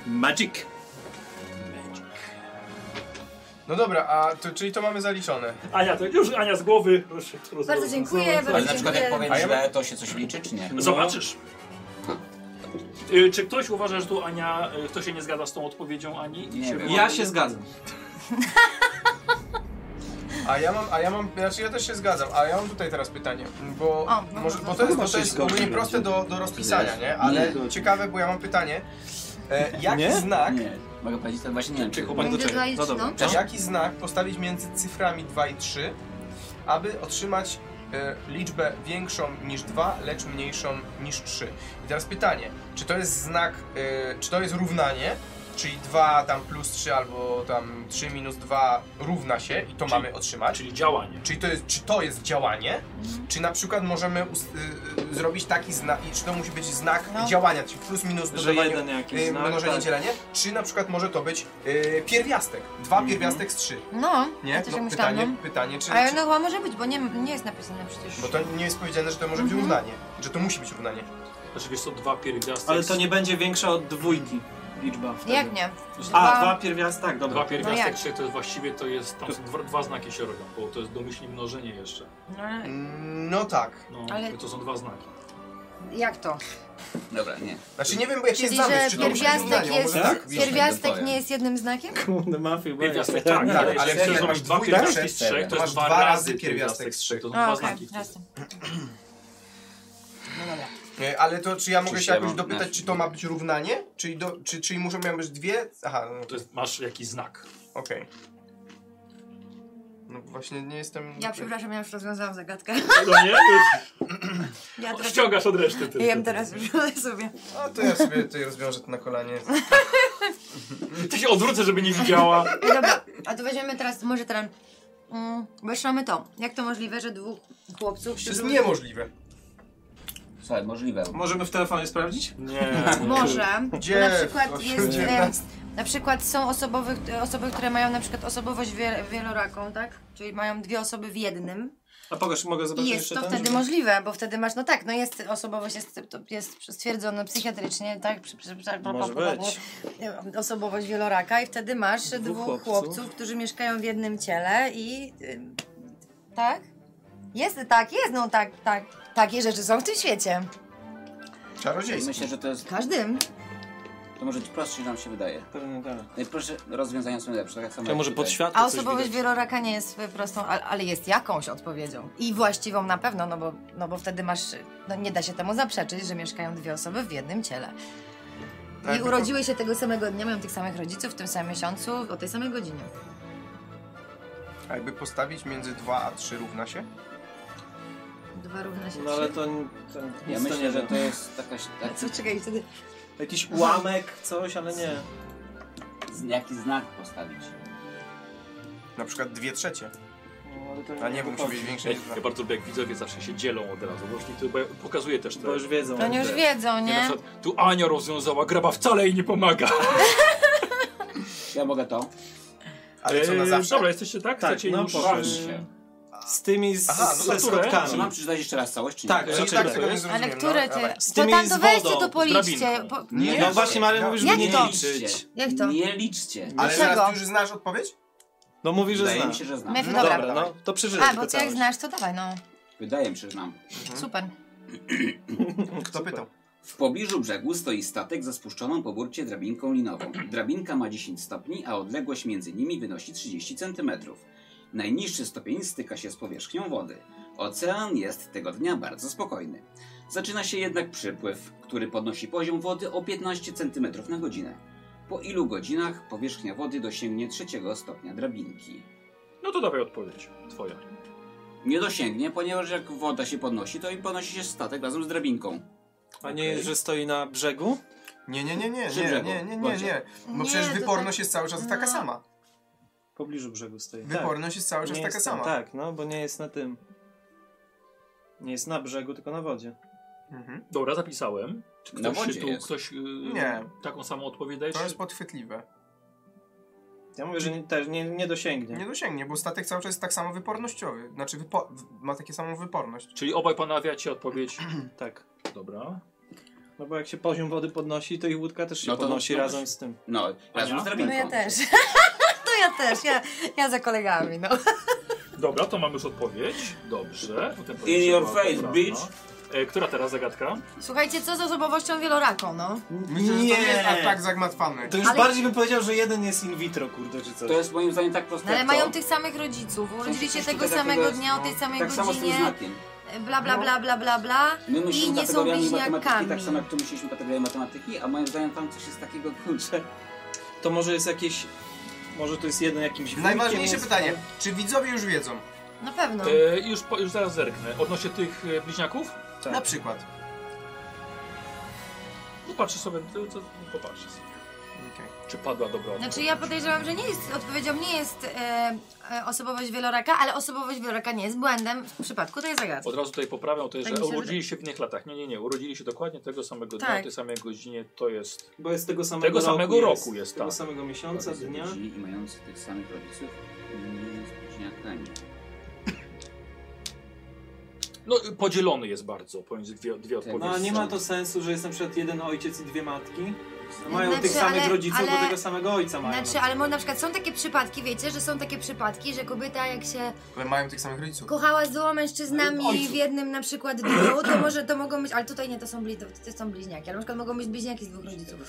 Speaker 5: Magic.
Speaker 3: No dobra, a to, czyli to mamy zaliczone.
Speaker 1: Ania, to już Ania z głowy. Proszę,
Speaker 6: Bardzo dziękuję,
Speaker 4: Ale
Speaker 6: bardzo
Speaker 4: na przykład jak
Speaker 6: dziękuję.
Speaker 4: powiem
Speaker 3: A ja mam-
Speaker 4: źle, to się coś liczy, czy nie?
Speaker 1: Zobaczysz. Y, Czy ktoś uważa, że tu Ania, y, kto się nie zgadza z tą odpowiedzią Ani?
Speaker 4: Nie
Speaker 1: się
Speaker 4: wiem.
Speaker 1: wyłapie?
Speaker 5: Ja się zgadzam.
Speaker 3: A ja mam, a ja mam, znaczy ja też się zgadzam, ale ja mam tutaj teraz pytanie, bo,
Speaker 2: O, no
Speaker 3: może,
Speaker 2: to
Speaker 3: bo to jest, bo to
Speaker 5: zobaczysz,
Speaker 3: jest ogólnie
Speaker 5: zgodzi
Speaker 3: proste do, do rozpisania, nie? Ale ciekawe, bo ja mam pytanie, e, jaki
Speaker 5: Nie?
Speaker 3: znak,
Speaker 4: Nie. Mogę powiedzieć, to właśnie nie wiem, czy...
Speaker 5: Chłopak do czego? No dobra.
Speaker 6: Indywidualistą?
Speaker 4: Cześć.
Speaker 3: jaki znak postawić między cyframi 2 i 3, aby otrzymać e, liczbę większą niż 2, lecz mniejszą niż 3. I teraz pytanie, czy to jest znak, e, czy to jest równanie, czyli 2 tam plus 3 albo tam 3 minus 2 równa się i to mamy otrzymać?
Speaker 1: Czyli działanie.
Speaker 3: Czyli to jest, czy to jest działanie?
Speaker 5: Mhm.
Speaker 3: Czy na przykład możemy ust- y, y, zrobić taki znak, czy to musi być znak
Speaker 5: No.
Speaker 3: działania, czyli plus minus
Speaker 5: Że
Speaker 3: dodawanie,
Speaker 5: jeden jakiś
Speaker 3: y,
Speaker 5: znak,
Speaker 3: mnożenie,
Speaker 5: tak.
Speaker 3: dzielenie? Czy na przykład może to być y, pierwiastek? Dwa pierwiastek z trzy.
Speaker 6: No,
Speaker 3: Nie?
Speaker 6: to też
Speaker 3: No,
Speaker 6: myślałam.
Speaker 3: pytanie,
Speaker 6: no.
Speaker 3: pytanie czy,
Speaker 6: Ale
Speaker 3: czy...
Speaker 6: no chyba może być, bo nie, nie jest napisane przecież.
Speaker 3: Bo to nie jest powiedziane, że to może być
Speaker 6: Mhm. Tak.
Speaker 3: równanie. Że to musi być równanie.
Speaker 1: Znaczy wiesz co, dwa pierwiastki.
Speaker 5: Ale to nie będzie większa od dwójki liczba wtedy.
Speaker 6: Jak nie?
Speaker 5: A, dwa pierwiastek, tak,
Speaker 1: Dwa
Speaker 5: dobra.
Speaker 6: No
Speaker 1: pierwiastek
Speaker 6: jak?
Speaker 1: trzech to jest właściwie to jest. Tam są dwa, dwa znaki się robią, bo to jest domyślnie mnożenie jeszcze.
Speaker 6: No, ale
Speaker 3: Mm, No tak.
Speaker 1: No,
Speaker 6: Ale-
Speaker 1: to są dwa znaki.
Speaker 3: No
Speaker 6: jak to?
Speaker 4: Dobra, nie.
Speaker 3: Znaczy nie wiem, bo jak się
Speaker 6: Czyli,
Speaker 3: zamysł, czy
Speaker 6: że
Speaker 3: to musi być
Speaker 6: pierwiastek
Speaker 3: równanie. bo
Speaker 6: jest,
Speaker 3: Może tak, wiesz,
Speaker 6: pierwiastek
Speaker 4: powiem.
Speaker 6: nie jest jednym znakiem?
Speaker 5: Kurde, mafia,
Speaker 1: Pierwiastek tak,
Speaker 3: tak,
Speaker 1: ale
Speaker 3: ale
Speaker 1: jeśli chcesz
Speaker 3: jak
Speaker 1: zrobić
Speaker 3: masz
Speaker 1: dwa
Speaker 3: dwójkę
Speaker 1: pierwiastki z
Speaker 3: przez
Speaker 1: trzech, to
Speaker 3: masz
Speaker 1: jest dwa razy pierwiastek z trzech, to są
Speaker 6: A,
Speaker 1: dwa
Speaker 6: okej,
Speaker 1: znaki.
Speaker 6: jasne.
Speaker 3: Nie, Ale to czy ja mogę
Speaker 4: Czy
Speaker 3: się
Speaker 4: się
Speaker 3: jakoś
Speaker 4: mam-
Speaker 3: dopytać,
Speaker 4: nasz-
Speaker 3: czy to ma być równanie? Czyli, do, czy, czyli muszą mieć być dwie? Aha, no
Speaker 1: To jest, masz jakiś znak.
Speaker 3: Okej. No właśnie nie jestem...
Speaker 6: Ja przepraszam, ja już rozwiązałam zagadkę.
Speaker 1: No nie?
Speaker 6: Ja teraz,
Speaker 1: Ściągasz od reszty tylko.
Speaker 6: jem teraz już sobie.
Speaker 3: A to ja sobie tutaj rozwiążę to na kolanie.
Speaker 1: Ty się odwrócę, żeby nie widziała.
Speaker 6: Dobra, a to weźmiemy teraz, może teraz... Mm, bo jeszcze mamy to. Jak to możliwe, że dwóch chłopców...
Speaker 3: To jest
Speaker 6: którzy-
Speaker 3: niemożliwe.
Speaker 4: Słuchaj, możliwe.
Speaker 5: Możemy w telefonie sprawdzić?
Speaker 1: Nie.
Speaker 6: Może. bo
Speaker 3: Gdzie?
Speaker 6: Na przykład jest...
Speaker 3: Gdzie?
Speaker 6: em, Na przykład są osobowych, osoby, które mają na przykład osobowość wie, wieloraką, tak? Czyli mają dwie osoby w jednym.
Speaker 5: A pokaż, mogę zobaczyć
Speaker 6: I jest
Speaker 5: jeszcze
Speaker 6: to
Speaker 5: ten?
Speaker 6: wtedy
Speaker 5: żeby-
Speaker 6: możliwe, bo wtedy masz, no tak, no jest osobowość, jest, to jest stwierdzona psychiatrycznie, tak, przy, przy, przy,
Speaker 5: Może być.
Speaker 6: osobowość wieloraka i wtedy masz dwóch, chłopców.
Speaker 5: chłopców.
Speaker 6: którzy mieszkają w jednym ciele i... ym, tak? Jest, tak, jest, no tak, tak. Takie rzeczy są w tym świecie.
Speaker 3: Czarodziejstwo.
Speaker 4: Myślę, że to
Speaker 6: W
Speaker 4: jest...
Speaker 6: każdym.
Speaker 4: To może być prostsze, niż nam się wydaje.
Speaker 5: Pewnie tak.
Speaker 4: Najprostsze rozwiązania są lepsze, tak samo
Speaker 5: Ja
Speaker 4: jak
Speaker 5: może
Speaker 4: tutaj.
Speaker 5: pod światło
Speaker 6: A
Speaker 5: coś
Speaker 6: osobowość
Speaker 5: widać.
Speaker 6: wieloraka nie jest prostą, al- ale jest jakąś odpowiedzią. I właściwą na pewno, no bo, no bo wtedy masz, no nie da się temu zaprzeczyć, że mieszkają dwie osoby w jednym ciele.
Speaker 5: Tak,
Speaker 6: I urodziły się tego samego dnia, mają tych samych rodziców, w tym samym miesiącu, o tej samej godzinie.
Speaker 3: A jakby postawić między 2 a 3 równa się?
Speaker 6: Dwa równa się
Speaker 5: No ale to, n- to
Speaker 4: Ja
Speaker 5: nic to nie
Speaker 4: myślę, że
Speaker 5: wiem.
Speaker 4: to jest taka...
Speaker 6: A co, czekaj, wtedy...
Speaker 5: Jakiś ułamek, coś, ale nie.
Speaker 4: Jaki znak postawić.
Speaker 3: Na przykład 2 trzecie.
Speaker 5: No, ale to
Speaker 3: A nie, bo musi
Speaker 5: wychodzi.
Speaker 3: być większe
Speaker 1: Ja,
Speaker 3: niż 2.
Speaker 1: ja bardzo lubię, jak widzowie zawsze się dzielą od razu. Właśnie to bo- pokazuje też te...
Speaker 5: Bo już wiedzą.
Speaker 6: Oni No, już
Speaker 1: Te-
Speaker 6: wiedzą,
Speaker 1: Nie, na
Speaker 5: no,
Speaker 6: nie?
Speaker 1: przykład, tu Ania rozwiązała, graba wcale jej nie pomaga.
Speaker 4: Ja mogę to.
Speaker 3: Ale co na
Speaker 1: Eee,
Speaker 3: zawsze?
Speaker 1: Dobra, jesteście tak?
Speaker 5: Tak,
Speaker 1: Chcecie
Speaker 5: no,
Speaker 1: już...
Speaker 5: poszło.
Speaker 1: e,
Speaker 4: Oczywiście.
Speaker 5: Z tymi z,
Speaker 3: Aha, no
Speaker 5: ze
Speaker 3: to
Speaker 1: które?
Speaker 4: Czy
Speaker 5: skotkami.
Speaker 4: mam przeczytać jeszcze raz całość, czy nie?
Speaker 5: Tak,
Speaker 3: Ja i
Speaker 5: raczej
Speaker 3: tak
Speaker 5: tak.
Speaker 3: tego nie zrozumiałem.
Speaker 6: Ale
Speaker 3: no,
Speaker 6: które ty...
Speaker 3: dawaj.
Speaker 5: Z
Speaker 6: To
Speaker 5: tymi
Speaker 6: tam,
Speaker 5: z
Speaker 6: to weźcie
Speaker 5: wodą,
Speaker 6: to
Speaker 5: z
Speaker 6: policzcie.
Speaker 1: drabinką.
Speaker 6: po-
Speaker 3: Nie,
Speaker 5: No właśnie, Maria
Speaker 3: no,
Speaker 5: mówisz,
Speaker 6: jak
Speaker 5: że nie
Speaker 6: to?
Speaker 5: liczyć.
Speaker 6: Jak to?
Speaker 4: Nie liczcie.
Speaker 3: Ale
Speaker 6: Dlaczego?
Speaker 3: teraz ty już znasz odpowiedź?
Speaker 5: No mówi, że
Speaker 4: Wydaje
Speaker 5: zna.
Speaker 4: mi się, że znam.
Speaker 6: Mefi,
Speaker 3: No
Speaker 6: dobra.
Speaker 5: Dobra, no to przeżyję
Speaker 6: A,
Speaker 5: tylko Hmm?
Speaker 6: bo ty jak znasz,
Speaker 5: całość.
Speaker 6: to dawaj, no.
Speaker 4: Wydaje mi się, że znam.
Speaker 6: Super.
Speaker 3: Kto pytał?
Speaker 4: W pobliżu brzegu stoi statek ze spuszczoną po burcie drabinką linową. Drabinka ma 10 stopni, a odległość między nimi wynosi 30 cm. Najniższy stopień styka się z powierzchnią wody. Ocean jest tego dnia bardzo spokojny. Zaczyna się jednak przypływ, który podnosi poziom wody o 15 cm na godzinę. Po ilu godzinach powierzchnia wody dosięgnie trzeciego stopnia drabinki?
Speaker 1: No to dawaj odpowiedź. Twoja.
Speaker 4: Nie dosięgnie, ponieważ jak woda się podnosi, to i podnosi się statek razem z drabinką.
Speaker 5: A nie, że stoi na brzegu?
Speaker 3: Nie, nie, nie, nie,
Speaker 4: Przy
Speaker 3: nie,
Speaker 4: brzegu,
Speaker 3: nie, nie, nie,
Speaker 4: Boże.
Speaker 3: nie. Bo
Speaker 6: Nie,
Speaker 3: przecież
Speaker 6: to
Speaker 3: wyporność jest cały czas taka
Speaker 6: no.
Speaker 3: sama.
Speaker 5: W pobliżu brzegu stoi. Tak.
Speaker 3: Wyporność jest cały czas
Speaker 5: nie
Speaker 3: taka
Speaker 5: jest tam,
Speaker 3: sama.
Speaker 5: Tak, no bo nie jest na tym. Nie jest na brzegu, tylko na wodzie.
Speaker 3: Mhm.
Speaker 1: Dobra, zapisałem. Czy
Speaker 4: Na
Speaker 1: ktoś, się
Speaker 4: wodzie
Speaker 1: tu,
Speaker 4: jest.
Speaker 1: ktoś yy,
Speaker 3: Nie.
Speaker 1: taką samą odpowiedź daje?
Speaker 3: To
Speaker 1: czy-
Speaker 3: jest podchwytliwe.
Speaker 5: Ja mówię, że nie, też nie, nie dosięgnie.
Speaker 3: Nie dosięgnie, bo statek cały czas jest tak samo wypornościowy. Znaczy wypo- w- ma taką samą wyporność.
Speaker 1: Czyli obaj ponawiacie odpowiedź.
Speaker 5: Tak.
Speaker 1: Dobra.
Speaker 5: No bo jak się poziom wody podnosi, to i łódka też się
Speaker 4: No to-
Speaker 5: podnosi
Speaker 4: to-
Speaker 5: razem z tym.
Speaker 4: No, razem z drabinką.
Speaker 6: No ja też. To ja też, ja, ja za kolegami, no.
Speaker 1: Dobra, to mamy już odpowiedź. Dobrze. Potem
Speaker 4: In your
Speaker 1: była
Speaker 4: face,
Speaker 1: poprawna.
Speaker 4: bitch.
Speaker 1: E, która teraz zagadka?
Speaker 6: Słuchajcie, co z osobowością wieloraką, no?
Speaker 3: Myślę, że to nie jest aż tak zagmatwane.
Speaker 5: To już
Speaker 6: Ale-
Speaker 5: bardziej bym powiedział, że jeden jest in vitro, kurde, czy coś.
Speaker 4: To jest moim zdaniem tak proste
Speaker 6: No ale
Speaker 4: jak
Speaker 6: mają
Speaker 4: to.
Speaker 6: tych samych rodziców, urodzili się
Speaker 4: coś
Speaker 6: tego
Speaker 4: tutaj
Speaker 6: samego
Speaker 4: takiego,
Speaker 6: dnia, o
Speaker 4: no,
Speaker 6: tej samej
Speaker 4: tak samo no. z tym
Speaker 6: godzinie, e,
Speaker 4: znakiem.
Speaker 6: bla bla bla bla bla bla.
Speaker 4: My myślimy
Speaker 6: nie są
Speaker 4: kategoriami matematyki,
Speaker 6: bliźniakami.
Speaker 4: tak samo jak tu myśleliśmy kategoriami matematyki, a moim zdaniem tam coś jest takiego, kurczę,
Speaker 5: To może jest jakieś... Może to jest jeden jakimś... wujkiem
Speaker 3: Najważniejsze
Speaker 5: jest,
Speaker 3: pytanie. Czy widzowie już wiedzą?
Speaker 6: Na pewno.
Speaker 1: E, już, po, już zaraz zerknę. Odnośnie tych e, bliźniaków?
Speaker 5: Tak.
Speaker 3: Na przykład.
Speaker 1: No patrzę sobie, to, to, popatrzę sobie.
Speaker 3: Okej.
Speaker 1: Czy padła dobra odpowiedź?
Speaker 6: Znaczy ja podejrzewam, że nie jest, odpowiedzią nie jest e, e, osobowość wieloraka, ale osobowość wieloraka nie jest błędem w przypadku tej zagadki.
Speaker 1: Od razu tutaj poprawiam to, jest,
Speaker 6: Tak
Speaker 1: że
Speaker 6: mi się
Speaker 1: urodzili się w innych latach. Nie, nie, nie. Urodzili się dokładnie tego samego dnia,
Speaker 6: Tak.
Speaker 1: o tej samej godzinie. To jest...
Speaker 5: Bo jest tego samego
Speaker 1: Tego
Speaker 5: roku
Speaker 1: samego
Speaker 5: jest,
Speaker 1: roku jest,
Speaker 5: Tego
Speaker 1: tak.
Speaker 5: samego miesiąca,
Speaker 4: Rodzice
Speaker 5: dnia.
Speaker 4: godzili i mający tych samych rodziców mm, z bliźniakami.
Speaker 1: No, podzielony jest bardzo pomiędzy dwie, dwie
Speaker 4: Tak.
Speaker 1: odpowiedzi.
Speaker 5: No a nie
Speaker 4: Jest,
Speaker 5: ma
Speaker 4: tak.
Speaker 5: to sensu, że jest na przykład jeden ojciec i dwie matki. Mają
Speaker 6: Znaczy,
Speaker 5: tych samych
Speaker 6: ale-
Speaker 5: rodziców,
Speaker 6: ale-
Speaker 5: bo tego samego ojca mają. no.
Speaker 6: Znaczy, ale mo- na przykład są takie przypadki, wiecie, że są takie przypadki, że kobieta jak się
Speaker 3: Ale mają tych samych rodziców.
Speaker 6: kochała z dwoma mężczyznami
Speaker 5: Ojcu.
Speaker 6: w jednym na przykład dniu, to może to mogą być, ale tutaj nie, to są, bli, to, to są bliźniaki, ale na przykład mogą być bliźniaki z dwóch rodziców.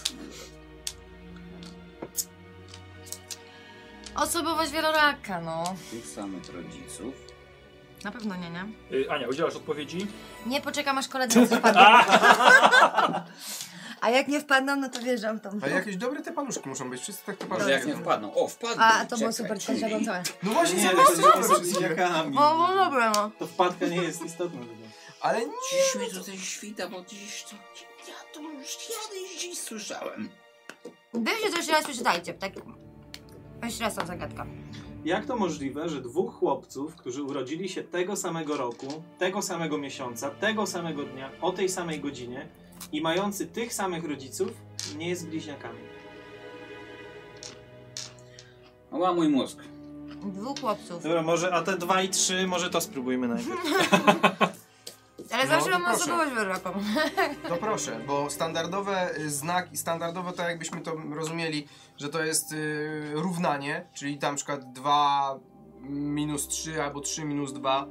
Speaker 6: Osobowość wieloraka, no.
Speaker 4: Tych samych rodziców.
Speaker 6: Na pewno nie, nie?
Speaker 1: Y, Ania, udzielasz odpowiedzi?
Speaker 6: Nie, poczekam aż koledzy na to wpadną. A jak nie wpadną, no to wierzę w tą.
Speaker 3: Ale jakieś dobre te paluszki muszą być. Wszyscy tak te
Speaker 4: Może
Speaker 3: paluszki
Speaker 4: jak nie
Speaker 3: jedzą.
Speaker 4: wpadną. O, wpadną.
Speaker 6: A, to było
Speaker 4: Czekaj,
Speaker 6: super, też
Speaker 4: czyli-
Speaker 6: jadącałe.
Speaker 3: No właśnie,
Speaker 5: nie,
Speaker 3: nie,
Speaker 5: to
Speaker 3: nie,
Speaker 5: jest z bliźniakami.
Speaker 6: No, no dobre, no.
Speaker 5: To wpadka nie jest istotna. chyba.
Speaker 3: Ale nie. no
Speaker 4: Dziś mi tutaj świta, bo dziś to... Ja to już kiedyś dziś słyszałem.
Speaker 6: Byście to jeszcze raz przeczytajcie, tak? Jeszcze raz tą zagadkę.
Speaker 5: Jak to możliwe, że dwóch chłopców, którzy urodzili się tego samego roku, tego samego miesiąca, tego samego dnia, o tej samej godzinie i mający tych samych rodziców, nie jest bliźniakami?
Speaker 4: Oła mój mózg.
Speaker 6: Dwóch chłopców.
Speaker 5: Dobra, może, a te dwa i trzy, może to spróbujmy najpierw.
Speaker 6: Ale
Speaker 3: No,
Speaker 6: zawsze
Speaker 3: to
Speaker 6: mam
Speaker 3: proszę.
Speaker 6: osobowość wyroką.
Speaker 3: No proszę, bo standardowe y, znak i standardowo to jakbyśmy to rozumieli, że to jest y, równanie, czyli tam na przykład 2 minus 3 albo 3 minus 2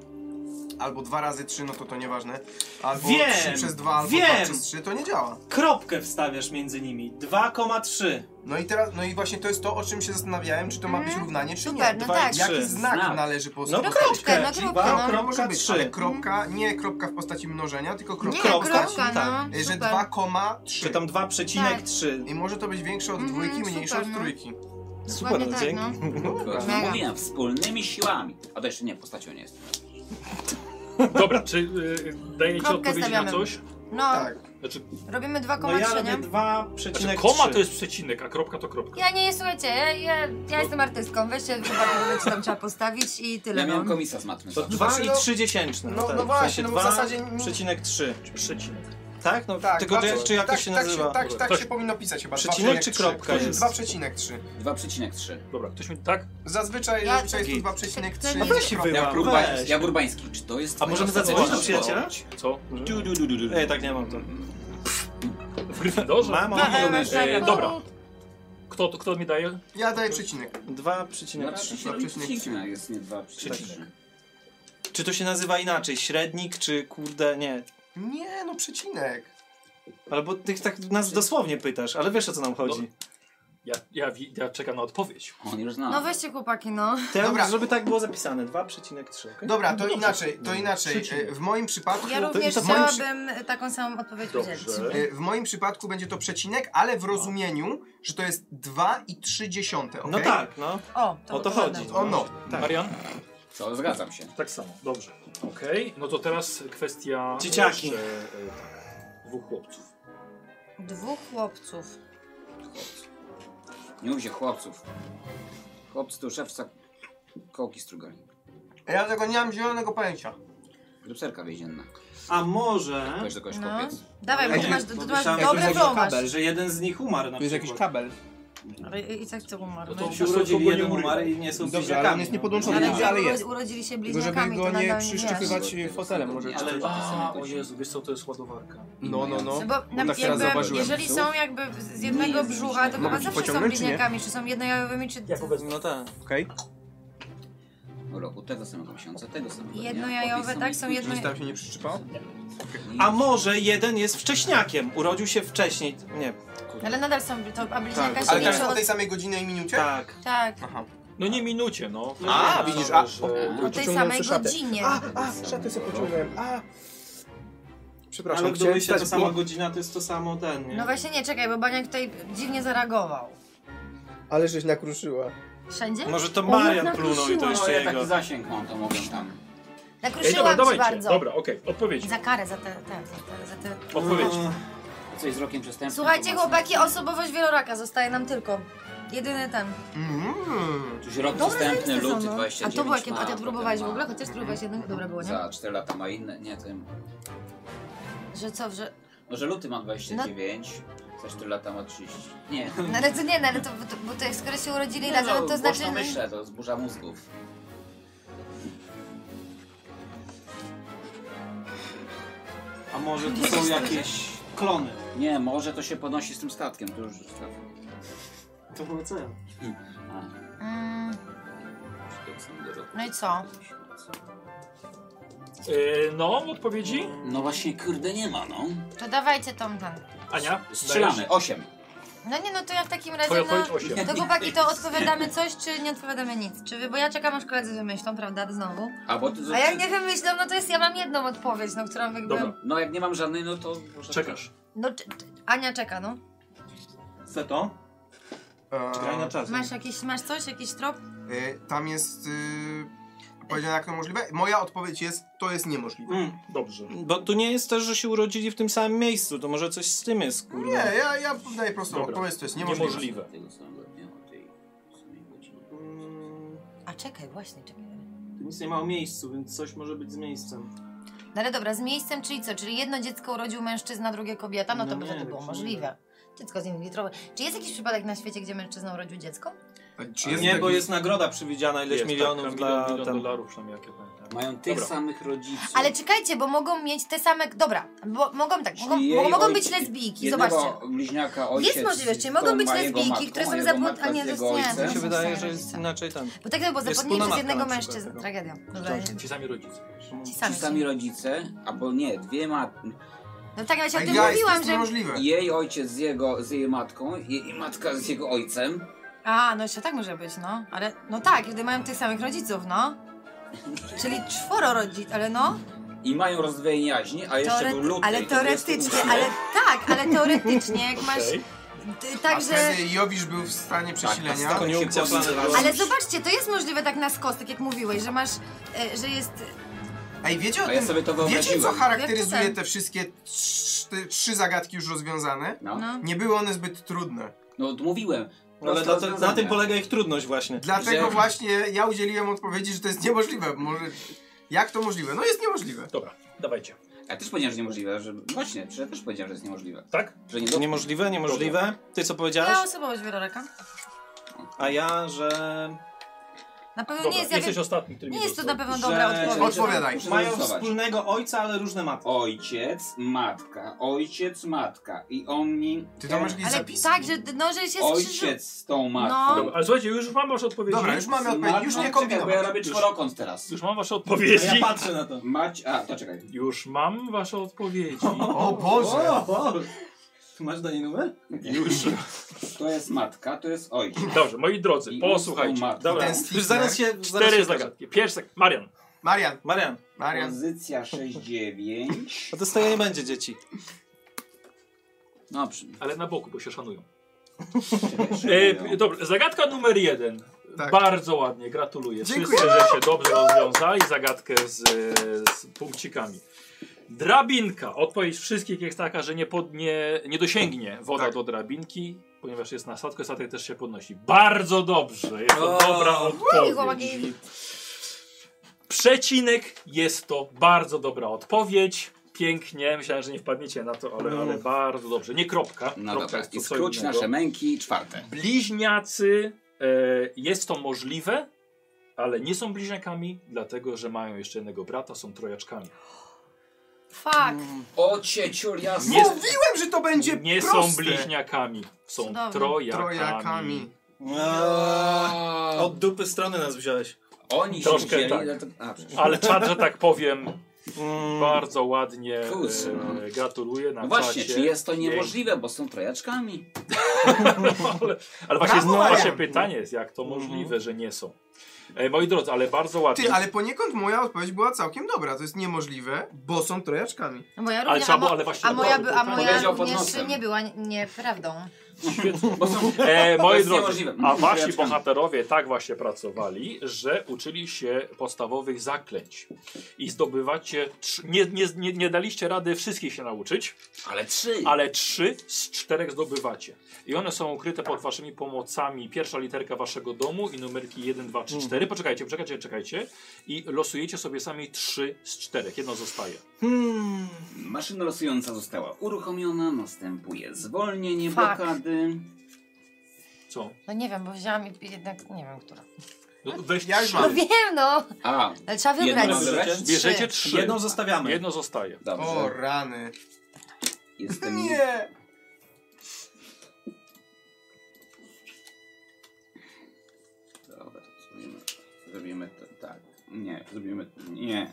Speaker 3: albo 2 razy 3, no to to nieważne, albo
Speaker 5: Wiem,
Speaker 3: 3 przez 2 albo
Speaker 5: wiem.
Speaker 3: 2 przez 3, to nie działa.
Speaker 5: Kropkę wstawiasz między nimi. 2,3.
Speaker 3: No i teraz, no i właśnie to jest to, o czym się zastanawiałem, czy to ma być
Speaker 6: Mhm.
Speaker 3: równanie, czy
Speaker 6: Super,
Speaker 3: nie.
Speaker 6: no
Speaker 5: dwa i
Speaker 6: tak.
Speaker 5: trzy.
Speaker 3: Jaki znak,
Speaker 4: Znak.
Speaker 3: należy po
Speaker 5: No
Speaker 3: prostu postawić?
Speaker 5: kropkę.
Speaker 6: no kropkę, no.
Speaker 5: 2,3.
Speaker 3: ale kropka, nie kropka w postaci mnożenia, tylko
Speaker 6: Nie,
Speaker 3: kropka,
Speaker 5: Kropka?
Speaker 6: kropka,
Speaker 5: Tak.
Speaker 6: no.
Speaker 3: y, że
Speaker 6: Super.
Speaker 3: 2,3.
Speaker 5: Czy tam 2,3.
Speaker 6: Tak.
Speaker 3: I może to być większe od
Speaker 6: Mhm,
Speaker 3: dwójki, mniejsze
Speaker 6: super,
Speaker 3: od
Speaker 6: no.
Speaker 3: trójki.
Speaker 5: Super,
Speaker 6: Dokładnie tak,
Speaker 5: dzięki.
Speaker 3: Dobra.
Speaker 6: Mega.
Speaker 4: Mówiłem, wspólnymi siłami. A to jeszcze nie, postacią nie jest.
Speaker 1: Dobra, czy y, dajecie
Speaker 6: Kropkę
Speaker 1: odpowiedzi na
Speaker 6: stawiamy.
Speaker 1: coś?
Speaker 6: No,
Speaker 3: Tak.
Speaker 1: Znaczy,
Speaker 6: robimy
Speaker 5: No ja
Speaker 6: 2,3,
Speaker 5: robię
Speaker 6: nie?
Speaker 5: 2,3.
Speaker 1: znaczy koma to jest przecinek, a kropka to kropka.
Speaker 6: Ja nie, słuchajcie, ja, ja, ja jestem artystką, weźcie uwagę, co tam trzeba postawić i
Speaker 4: Ja
Speaker 6: tyle.
Speaker 4: miałem
Speaker 6: no.
Speaker 4: komisa z matmy.
Speaker 5: To 2 i 3 dziesięczne.
Speaker 3: No-
Speaker 5: tak.
Speaker 3: no właśnie, no bo w
Speaker 5: dwa
Speaker 3: zasadzie-
Speaker 5: Przecinek 3.
Speaker 1: Przecinek.
Speaker 5: Tak? No,
Speaker 3: Tak,
Speaker 5: tylko
Speaker 3: dwa-
Speaker 5: jak, czy jak
Speaker 3: tak,
Speaker 5: to się
Speaker 3: tak
Speaker 5: nazywa?
Speaker 3: tak, tak
Speaker 1: Ktoś-
Speaker 3: się powinno pisać chyba.
Speaker 5: Przecinek
Speaker 3: 2,3.
Speaker 5: czy kropka
Speaker 3: To jest
Speaker 5: jest?
Speaker 3: 2,3.
Speaker 4: 2,3.
Speaker 1: Dobra, ktoś mi... Tak?
Speaker 3: Zazwyczaj,
Speaker 6: Ja-
Speaker 3: zazwyczaj jest to
Speaker 6: Tak,
Speaker 3: 2,3.
Speaker 6: no weź
Speaker 5: się
Speaker 3: kropka.
Speaker 4: Ja,
Speaker 5: wyłap. Weź.
Speaker 4: Urbański, ja Burbański, czy to jest
Speaker 5: A możemy
Speaker 4: twoja
Speaker 5: zadzwonić do
Speaker 4: osobowość?
Speaker 5: przyjaciela?
Speaker 1: Co?
Speaker 4: Du, du, du, du, du.
Speaker 5: Ej, tak nie mam to.
Speaker 1: W Gryffindorze? Yy,
Speaker 5: Mam
Speaker 6: masz
Speaker 4: e,
Speaker 6: rację.
Speaker 1: dobra. Kto, kto mi daje?
Speaker 3: Ja daję przecinek.
Speaker 4: Na
Speaker 5: 2,3.
Speaker 4: przecinek przecinek jest nie 2,3.
Speaker 5: Przecinek. Czy to się nazywa inaczej? Średnik, czy kurde, nie.
Speaker 3: Nie, no przecinek.
Speaker 5: Albo tych tak nas dosłownie pytasz, ale wiesz o co nam chodzi.
Speaker 1: Ja, ja, wi- ja czekam na odpowiedź.
Speaker 4: On już zna.
Speaker 6: No weźcie chłopaki, no.
Speaker 5: Ten,
Speaker 3: Dobra.
Speaker 5: żeby tak było zapisane, 2,3, okej?
Speaker 3: Dobra, to
Speaker 1: dobrze.
Speaker 3: inaczej, to
Speaker 1: No,
Speaker 3: inaczej.
Speaker 1: przeciwnie.
Speaker 3: E, W moim przypadku.
Speaker 6: Ja również
Speaker 3: to w moim, przy-
Speaker 6: chciałabym taką samą odpowiedź udzielić.
Speaker 1: Dobrze.
Speaker 3: e, w moim przypadku będzie to przecinek, ale w rozumieniu, że to jest 2,3. Okay?
Speaker 5: No tak, no.
Speaker 6: O,
Speaker 5: O to
Speaker 6: wygląda.
Speaker 5: chodzi.
Speaker 3: O no.
Speaker 1: Marian?
Speaker 4: Co, zgadzam się.
Speaker 1: Tak samo, dobrze. Okej, no to teraz kwestia.
Speaker 5: Dzieciaki.
Speaker 1: Jeszcze, e, tak, dwóch chłopców.
Speaker 6: Dwóch chłopców.
Speaker 4: Nie mówcie chłopców. Chłopcy to szewca kołki strugali.
Speaker 3: Ja tego nie mam zielonego pojęcia.
Speaker 4: Grupserka więzienna.
Speaker 5: A może...
Speaker 4: Ktoś do kogoś
Speaker 6: No.
Speaker 4: kopiec.
Speaker 6: Dawaj, bo
Speaker 5: Ej,
Speaker 6: ty masz,
Speaker 5: bo
Speaker 6: ty masz
Speaker 5: myślałem, że
Speaker 6: dobry
Speaker 5: jakiś
Speaker 6: flow masz.
Speaker 5: kabel, Że jeden z nich umarł na
Speaker 9: Tu jest jakiś
Speaker 5: przykład.
Speaker 9: kabel.
Speaker 6: Ale I, I tak to umarł.
Speaker 1: No
Speaker 6: No
Speaker 1: to
Speaker 6: i-
Speaker 5: Się urodzili, jeden umarł i nie są no.
Speaker 9: Dobrze, ale on
Speaker 5: bliźniakami.
Speaker 9: jest niepodłączony,
Speaker 6: Ale
Speaker 9: ale,
Speaker 6: gdyby
Speaker 9: ale
Speaker 6: uro-
Speaker 9: jest.
Speaker 6: urodzili się
Speaker 9: Tylko żeby
Speaker 6: bliźniakami,
Speaker 9: go
Speaker 6: to
Speaker 9: nie
Speaker 6: nadal nie wiesz.
Speaker 9: przyszczypywać
Speaker 4: wiesz.
Speaker 9: fotelem może.
Speaker 4: Ale-
Speaker 9: czy-
Speaker 1: A, o Jezu, wiesz co, to jest ładowarka.
Speaker 3: No, no, no.
Speaker 6: Bo na,
Speaker 3: tak teraz
Speaker 6: jakby,
Speaker 3: zauważyłem
Speaker 6: jeżeli
Speaker 3: psów.
Speaker 6: są jakby z jednego brzucha, to chyba
Speaker 3: ci
Speaker 6: zawsze są
Speaker 3: pociągnąć, czy nie?
Speaker 6: bliźniakami, czy są jednojajowymi, czy
Speaker 5: No tak.
Speaker 9: Okej.
Speaker 4: W roku tego samego miesiąca, tego samego dnia.
Speaker 6: jednojajowe,
Speaker 4: Obie
Speaker 6: tak? Są jedno...
Speaker 3: Nic tam się nie przyczypało?
Speaker 5: A może jeden jest wcześniakiem, urodził się wcześniej. Nie,
Speaker 6: Ale nadal są, to, a bliźniaka
Speaker 5: Tak,
Speaker 6: się
Speaker 3: Ale
Speaker 6: nie
Speaker 3: też
Speaker 6: są...
Speaker 3: o tej samej godzinie i minucie?
Speaker 5: tak.
Speaker 6: Tak,
Speaker 3: Aha.
Speaker 1: No nie minucie, no.
Speaker 3: A,
Speaker 1: No,
Speaker 3: widzisz,
Speaker 1: no,
Speaker 3: a-
Speaker 4: Tak.
Speaker 1: że-
Speaker 6: o tej samej godzinie.
Speaker 9: A, a, szatę sobie pociągnąłem. A. Przepraszam,
Speaker 5: Ale gdyby się ta
Speaker 9: wstać,
Speaker 5: sama
Speaker 9: bo-
Speaker 5: godzina, to jest to samo ten, nie?
Speaker 6: No właśnie nie, czekaj, bo Baniak tutaj dziwnie zareagował.
Speaker 9: Ale żeś nakruszyła.
Speaker 6: Wszędzie?
Speaker 5: Może No to
Speaker 6: Ona
Speaker 5: Marian plunął i to
Speaker 6: nakruszyła.
Speaker 5: jeszcze
Speaker 4: No ja
Speaker 5: jego.
Speaker 4: taki zasięg mam, to mogę tam.
Speaker 1: Ej, dobra,
Speaker 6: Nakruszyłam ci
Speaker 1: dawajcie.
Speaker 6: bardzo.
Speaker 1: Dobra, okej, odpowiedź.
Speaker 6: Za karę, za te, te, za te, za te...
Speaker 1: Odpowiedź.
Speaker 4: Coś z rokiem przestępczym.
Speaker 6: Słuchajcie
Speaker 4: to mocno-
Speaker 6: chłopaki, osobowość wieloraka zostaje nam tylko. Jedyny ten.
Speaker 3: Mm.
Speaker 4: Tuś rok
Speaker 6: Dobre
Speaker 4: przestępny,
Speaker 6: zajebiste są,
Speaker 4: luty
Speaker 6: no.
Speaker 4: 29
Speaker 6: A to było jakie,
Speaker 4: ma,
Speaker 6: a ty
Speaker 4: potem
Speaker 6: próbowałeś w
Speaker 4: ma-
Speaker 6: ogóle? Chociaż próbowałeś jednego, dobra było, nie?
Speaker 4: Za 4 lata ma inne, nie tym.
Speaker 6: Że co, że...
Speaker 4: No, że luty ma 29, za 4 lata ma 30. Nie.
Speaker 6: No ale to nie, no ale to, to, bo to jak skoro się urodzili razem, to
Speaker 4: no, głośno
Speaker 6: znaczy...
Speaker 4: myślę, to zburza mózgów.
Speaker 5: A może to są jakieś klony?
Speaker 4: Nie, może to się podnosi z tym statkiem, to już zostaw.
Speaker 5: To było co ja?
Speaker 4: A,
Speaker 6: Mm,
Speaker 4: tak samo do roku.
Speaker 6: no i co?
Speaker 1: E, no, odpowiedzi?
Speaker 4: No właśnie, kurde, nie ma, no.
Speaker 6: To dawajcie tą ten.
Speaker 1: Ania?
Speaker 4: Strzelamy,
Speaker 1: dajesz?
Speaker 4: 8.
Speaker 6: No nie, no to ja w takim razie...
Speaker 1: Twoja odpowiedź
Speaker 6: No,
Speaker 1: 8.
Speaker 6: to chłopaki, to odpowiadamy coś, czy nie odpowiadamy nic? Czy wy, bo ja czekam aż koledzy wymyślą, prawda, znowu?
Speaker 4: Albo ty
Speaker 6: A jak nie wymyślą, no to jest, ja mam jedną odpowiedź, no którą jakby...
Speaker 1: Dobra.
Speaker 4: No jak nie mam żadnej, no to... może-
Speaker 1: Czekasz.
Speaker 6: No, czy, czy, Ania czeka, no.
Speaker 5: Chce to? Czekaj na
Speaker 3: E,
Speaker 5: czas.
Speaker 6: Masz jakiś, masz coś, jakiś trop?
Speaker 3: e, tam jest. E, powiedziane jak to możliwe. Moja odpowiedź jest, to jest niemożliwe.
Speaker 5: Mm.
Speaker 1: Dobrze.
Speaker 5: Bo tu nie jest też, że się urodzili w tym samym miejscu, to może coś z tym jest,
Speaker 3: Nie,
Speaker 5: kurde.
Speaker 3: ja, ja daję prostą
Speaker 1: Dobra.
Speaker 3: odpowiedź, to jest niemożliwe.
Speaker 1: Niemożliwe.
Speaker 4: Tego samego dnia, o tej samej godzinie.
Speaker 5: Mm,
Speaker 6: A czekaj, właśnie, czekaj.
Speaker 5: Tu nic nie ma o miejscu, więc coś może być z miejscem.
Speaker 6: No ale dobra, z miejscem, czyli co? Czyli jedno dziecko urodził mężczyzna, drugie kobieta, no to
Speaker 5: No
Speaker 6: by
Speaker 5: nie,
Speaker 6: wtedy było
Speaker 5: tak się
Speaker 6: możliwe. Dziecko z inwitrowe. Czy jest jakiś przypadek na świecie, gdzie mężczyzna urodził dziecko?
Speaker 3: A E, Czy jest
Speaker 5: nie,
Speaker 3: taki-
Speaker 5: bo jest nagroda przewidziana ileś
Speaker 1: Jest,
Speaker 5: milionów
Speaker 1: tak,
Speaker 5: dla...
Speaker 1: milion, milion
Speaker 5: tam-
Speaker 1: dolarów przynajmniej, jak ja pamiętam.
Speaker 4: Mają tych
Speaker 1: Dobra.
Speaker 4: samych rodziców.
Speaker 6: Ale czekajcie, bo mogą mieć te same. Dobra, bo mogą tak,
Speaker 4: Czyli
Speaker 6: mogą,
Speaker 4: jej
Speaker 6: mogą, mogą być
Speaker 4: ojciec-
Speaker 6: lesbijki,
Speaker 4: jednego
Speaker 6: zobaczcie.
Speaker 4: bliźniaka ojciec.
Speaker 6: Jest możliwe, czyli
Speaker 4: to
Speaker 6: mogą być
Speaker 4: ma jego
Speaker 6: lesbijki,
Speaker 4: matką,
Speaker 6: które są
Speaker 4: a jego
Speaker 6: zapłod-
Speaker 4: matka
Speaker 6: a nie,
Speaker 4: z jego
Speaker 6: to jest nie,
Speaker 4: ojcem.
Speaker 6: to
Speaker 5: Mi się
Speaker 6: są
Speaker 5: wydaje,
Speaker 6: same
Speaker 5: że jest
Speaker 6: rodzice.
Speaker 5: inaczej tam.
Speaker 6: Bo tak to było
Speaker 5: Jest
Speaker 6: zapłodnienie przez
Speaker 5: wspólnotka
Speaker 6: jednego
Speaker 5: na przykład,
Speaker 6: mężczyzn.
Speaker 5: tak.
Speaker 6: Tragedia. Dobra,
Speaker 1: Ci sami rodzice.
Speaker 6: ci
Speaker 4: Ci
Speaker 6: sami.
Speaker 4: sami rodzice, albo nie, dwie mat...
Speaker 6: No tak, ja się o
Speaker 3: Ej,
Speaker 6: tym
Speaker 3: guys, to
Speaker 6: mówiłam,
Speaker 3: jest
Speaker 6: że.
Speaker 3: niemożliwe.
Speaker 4: Jej ojciec z jego, z jej matką, jej matka z jego ojcem.
Speaker 6: A, no jeszcze tak może być, no. Ale, no tak, gdy mają tych samych rodziców, no. Czyli czworo rodziców, ale no.
Speaker 4: I mają rozdwojenie jaźni, a jeszcze był
Speaker 6: Teore-
Speaker 4: luty.
Speaker 6: ale
Speaker 4: i to
Speaker 6: teoretycznie,
Speaker 4: 28.
Speaker 6: ale tak, ale teoretycznie, jak masz.
Speaker 1: Okej.
Speaker 6: Ty,
Speaker 3: A
Speaker 6: także.
Speaker 3: wtedy Jowisz był w stanie przesilenia.
Speaker 5: tak, Koniunkcja
Speaker 4: się powstrzymała.
Speaker 5: planowała.
Speaker 6: Ale zobaczcie, to jest możliwe tak na skos, tak jak mówiłeś, że masz. e, że jest.
Speaker 3: Ej, wiecie o
Speaker 4: A
Speaker 3: tym,
Speaker 4: ja sobie to
Speaker 3: wiecie co
Speaker 4: wyobraziłem.
Speaker 6: Jak
Speaker 3: charakteryzuje
Speaker 6: to
Speaker 3: te wszystkie trz- te trzy zagadki już rozwiązane?
Speaker 4: No, no.
Speaker 6: No.
Speaker 3: Nie były one zbyt trudne.
Speaker 4: mówiłem.
Speaker 5: No, Ale
Speaker 4: Proste
Speaker 5: na, te, na
Speaker 4: rozwiązanie.
Speaker 5: tym polega ich trudność właśnie.
Speaker 3: Dlatego
Speaker 4: Że-
Speaker 3: właśnie ja udzieliłem odpowiedzi, że to jest niemożliwe. Może... Jak to możliwe? No jest niemożliwe.
Speaker 1: Dobra, dawajcie.
Speaker 4: Ja też powiedziałem, że niemożliwe, że... Właśnie, że ja też powiedziałem, że jest niemożliwe.
Speaker 1: Tak?
Speaker 6: No
Speaker 4: Że nie do...
Speaker 5: Niemożliwe, niemożliwe. Ty co
Speaker 6: Ja
Speaker 5: powiedziałaś?
Speaker 6: osobowość wieloraka.
Speaker 5: A ja, że...
Speaker 6: Na pewno
Speaker 1: Dobra,
Speaker 6: nie jest
Speaker 1: jesteś
Speaker 6: jak.
Speaker 1: ostatni, który mi
Speaker 6: Nie jest to
Speaker 1: został.
Speaker 6: na pewno
Speaker 5: że-
Speaker 6: dobra odpowiedź.
Speaker 3: Odpowiadaj.
Speaker 4: Muszę
Speaker 5: Mają
Speaker 4: zarysować.
Speaker 5: wspólnego ojca, ale różne matki.
Speaker 4: Ojciec, matka, ojciec, matka. I oni...
Speaker 3: Ty to masz jakiś
Speaker 6: Ale
Speaker 3: zapis?
Speaker 6: tak, że, no, że się skrzyżu...
Speaker 4: Ojciec z tą matką.
Speaker 1: Dobra, ale słuchajcie, już mam wasze odpowiedzi.
Speaker 3: Dobra, już mamy odpowiedź. Już nie
Speaker 4: Czekaj, bo ja
Speaker 3: kombinować.
Speaker 4: robię czworokąt teraz.
Speaker 1: Już mam wasze
Speaker 5: A
Speaker 1: odpowiedzi.
Speaker 5: ja patrzę na to.
Speaker 4: Mać... A, to czekaj.
Speaker 1: Już mam wasze odpowiedzi.
Speaker 3: O Boże!
Speaker 5: O, o. Tu masz do niej numer?
Speaker 1: Już.
Speaker 4: to jest matka, to jest ojciec.
Speaker 1: Dobrze, moi drodzy,
Speaker 4: I
Speaker 1: posłuchajcie.
Speaker 4: usnął matkę.
Speaker 1: Dobra,
Speaker 3: Ten z
Speaker 5: Już zaraz się... zaraz się
Speaker 1: cztery
Speaker 5: okaże.
Speaker 1: zagadki. Pierwszy, Marian.
Speaker 3: Marian,
Speaker 5: Marian,
Speaker 3: Marian.
Speaker 4: Pozycja 6-9.
Speaker 5: a to z tego nie będzie dzieci.
Speaker 4: No, przy...
Speaker 1: Ale na boku, bo się szanują. E,
Speaker 4: Przepraszam.
Speaker 1: dobra, E, zagadka numer jeden.
Speaker 3: Tak.
Speaker 1: Bardzo ładnie, gratuluję.
Speaker 3: Dziękuję.
Speaker 1: Wszyscy, że się dobrze rozwiązali zagadkę z, z punkcikami. Drabinka. Odpowiedź wszystkich jest taka, że nie, pod, nie, nie dosięgnie woda
Speaker 3: Tak.
Speaker 1: do drabinki, ponieważ jest na statku, statek też się podnosi. Bardzo dobrze, jest to
Speaker 5: O.
Speaker 1: dobra odpowiedź.
Speaker 2: chłopaki.
Speaker 1: Przecinek, jest to bardzo dobra odpowiedź. Pięknie, myślałem, że nie wpadniecie na to, ale,
Speaker 3: Mm.
Speaker 1: ale bardzo dobrze. Nie kropka.
Speaker 4: No
Speaker 1: kropka
Speaker 4: dobra,
Speaker 1: jest to
Speaker 4: i
Speaker 1: co
Speaker 4: skróć
Speaker 1: innego.
Speaker 4: nasze męki czwarte.
Speaker 1: Bliźniacy e, jest to możliwe, ale nie są bliźniakami, dlatego że mają jeszcze jednego brata, są trojaczkami.
Speaker 2: Fuck.
Speaker 4: O cieciul jasny.
Speaker 1: Nie,
Speaker 3: Mówiłem, że to będzie
Speaker 1: nie
Speaker 3: proste.
Speaker 1: są bliźniakami, są
Speaker 2: Cudownie.
Speaker 1: trojakami.
Speaker 3: Trojakami.
Speaker 5: A, Od dupy strony nas wziąłeś.
Speaker 4: Oni się
Speaker 1: Troszkę
Speaker 4: wzięli,
Speaker 1: tak.
Speaker 4: no to... A, przepraszam.
Speaker 1: Ale czad, że tak powiem,
Speaker 5: Mm.
Speaker 1: bardzo ładnie
Speaker 4: Kurczę,
Speaker 1: e,
Speaker 4: no.
Speaker 1: gratuluję na
Speaker 4: No właśnie,
Speaker 1: czacie.
Speaker 4: czy jest to
Speaker 1: Pięknie.
Speaker 4: niemożliwe, bo są trojaczkami?
Speaker 1: ale, ale właśnie
Speaker 3: Brawo,
Speaker 1: Brawo,
Speaker 3: Marian.
Speaker 1: pytanie jest, jak to
Speaker 5: Mhm.
Speaker 1: możliwe, że nie są. E, moi drodzy, ale bardzo ładnie.
Speaker 3: Ty, ale poniekąd moja odpowiedź była całkiem dobra. To jest niemożliwe, bo są trojaczkami.
Speaker 2: No moja
Speaker 1: Ale
Speaker 2: równie,
Speaker 1: trzeba
Speaker 2: a,
Speaker 1: było,
Speaker 2: mo-
Speaker 1: ale właśnie...
Speaker 2: a moja, by, a moja
Speaker 4: Powiedział pod
Speaker 2: również
Speaker 4: nosem.
Speaker 2: nie była ni- nieprawdą.
Speaker 4: Bo są...
Speaker 1: E,
Speaker 4: To
Speaker 1: moi
Speaker 4: jest
Speaker 1: drodzy,
Speaker 4: niemożliwe.
Speaker 1: a wasi
Speaker 4: Trojaczkami.
Speaker 1: bohaterowie tak właśnie pracowali, że uczyli się podstawowych zaklęć. I zdobywacie. Trzy, nie, nie, nie, nie daliście rady wszystkich się nauczyć,
Speaker 4: Ale trzy.
Speaker 1: ale trzy z czterech zdobywacie. I one są ukryte pod waszymi pomocami. Pierwsza literka waszego domu i numerki 1, 2, 3, 4. Poczekajcie, poczekajcie, czekajcie. I losujecie sobie sami trzy z czterech. Jedno zostaje.
Speaker 5: Hmm.
Speaker 4: Maszyna losująca została uruchomiona, następuje zwolnienie
Speaker 2: Fuck.
Speaker 4: blokady.
Speaker 1: Co?
Speaker 2: No nie wiem, bo wzięłam i- i jednak nie wiem, która.
Speaker 1: No, weź
Speaker 3: Ja już
Speaker 1: trzy.
Speaker 3: mam.
Speaker 2: No wiem, no!
Speaker 4: A,
Speaker 2: Ale trzeba
Speaker 4: Jedno
Speaker 2: wybrać.
Speaker 4: wybrać?
Speaker 2: Trzy.
Speaker 1: Bierzecie trzy.
Speaker 5: Jedną zostawiamy.
Speaker 1: Jedno zostaje.
Speaker 4: dobrze.
Speaker 3: O rany.
Speaker 4: Jestem...
Speaker 3: Nie!
Speaker 4: Dobra, zrobimy, zrobimy to tak. Nie, zrobimy... Nie.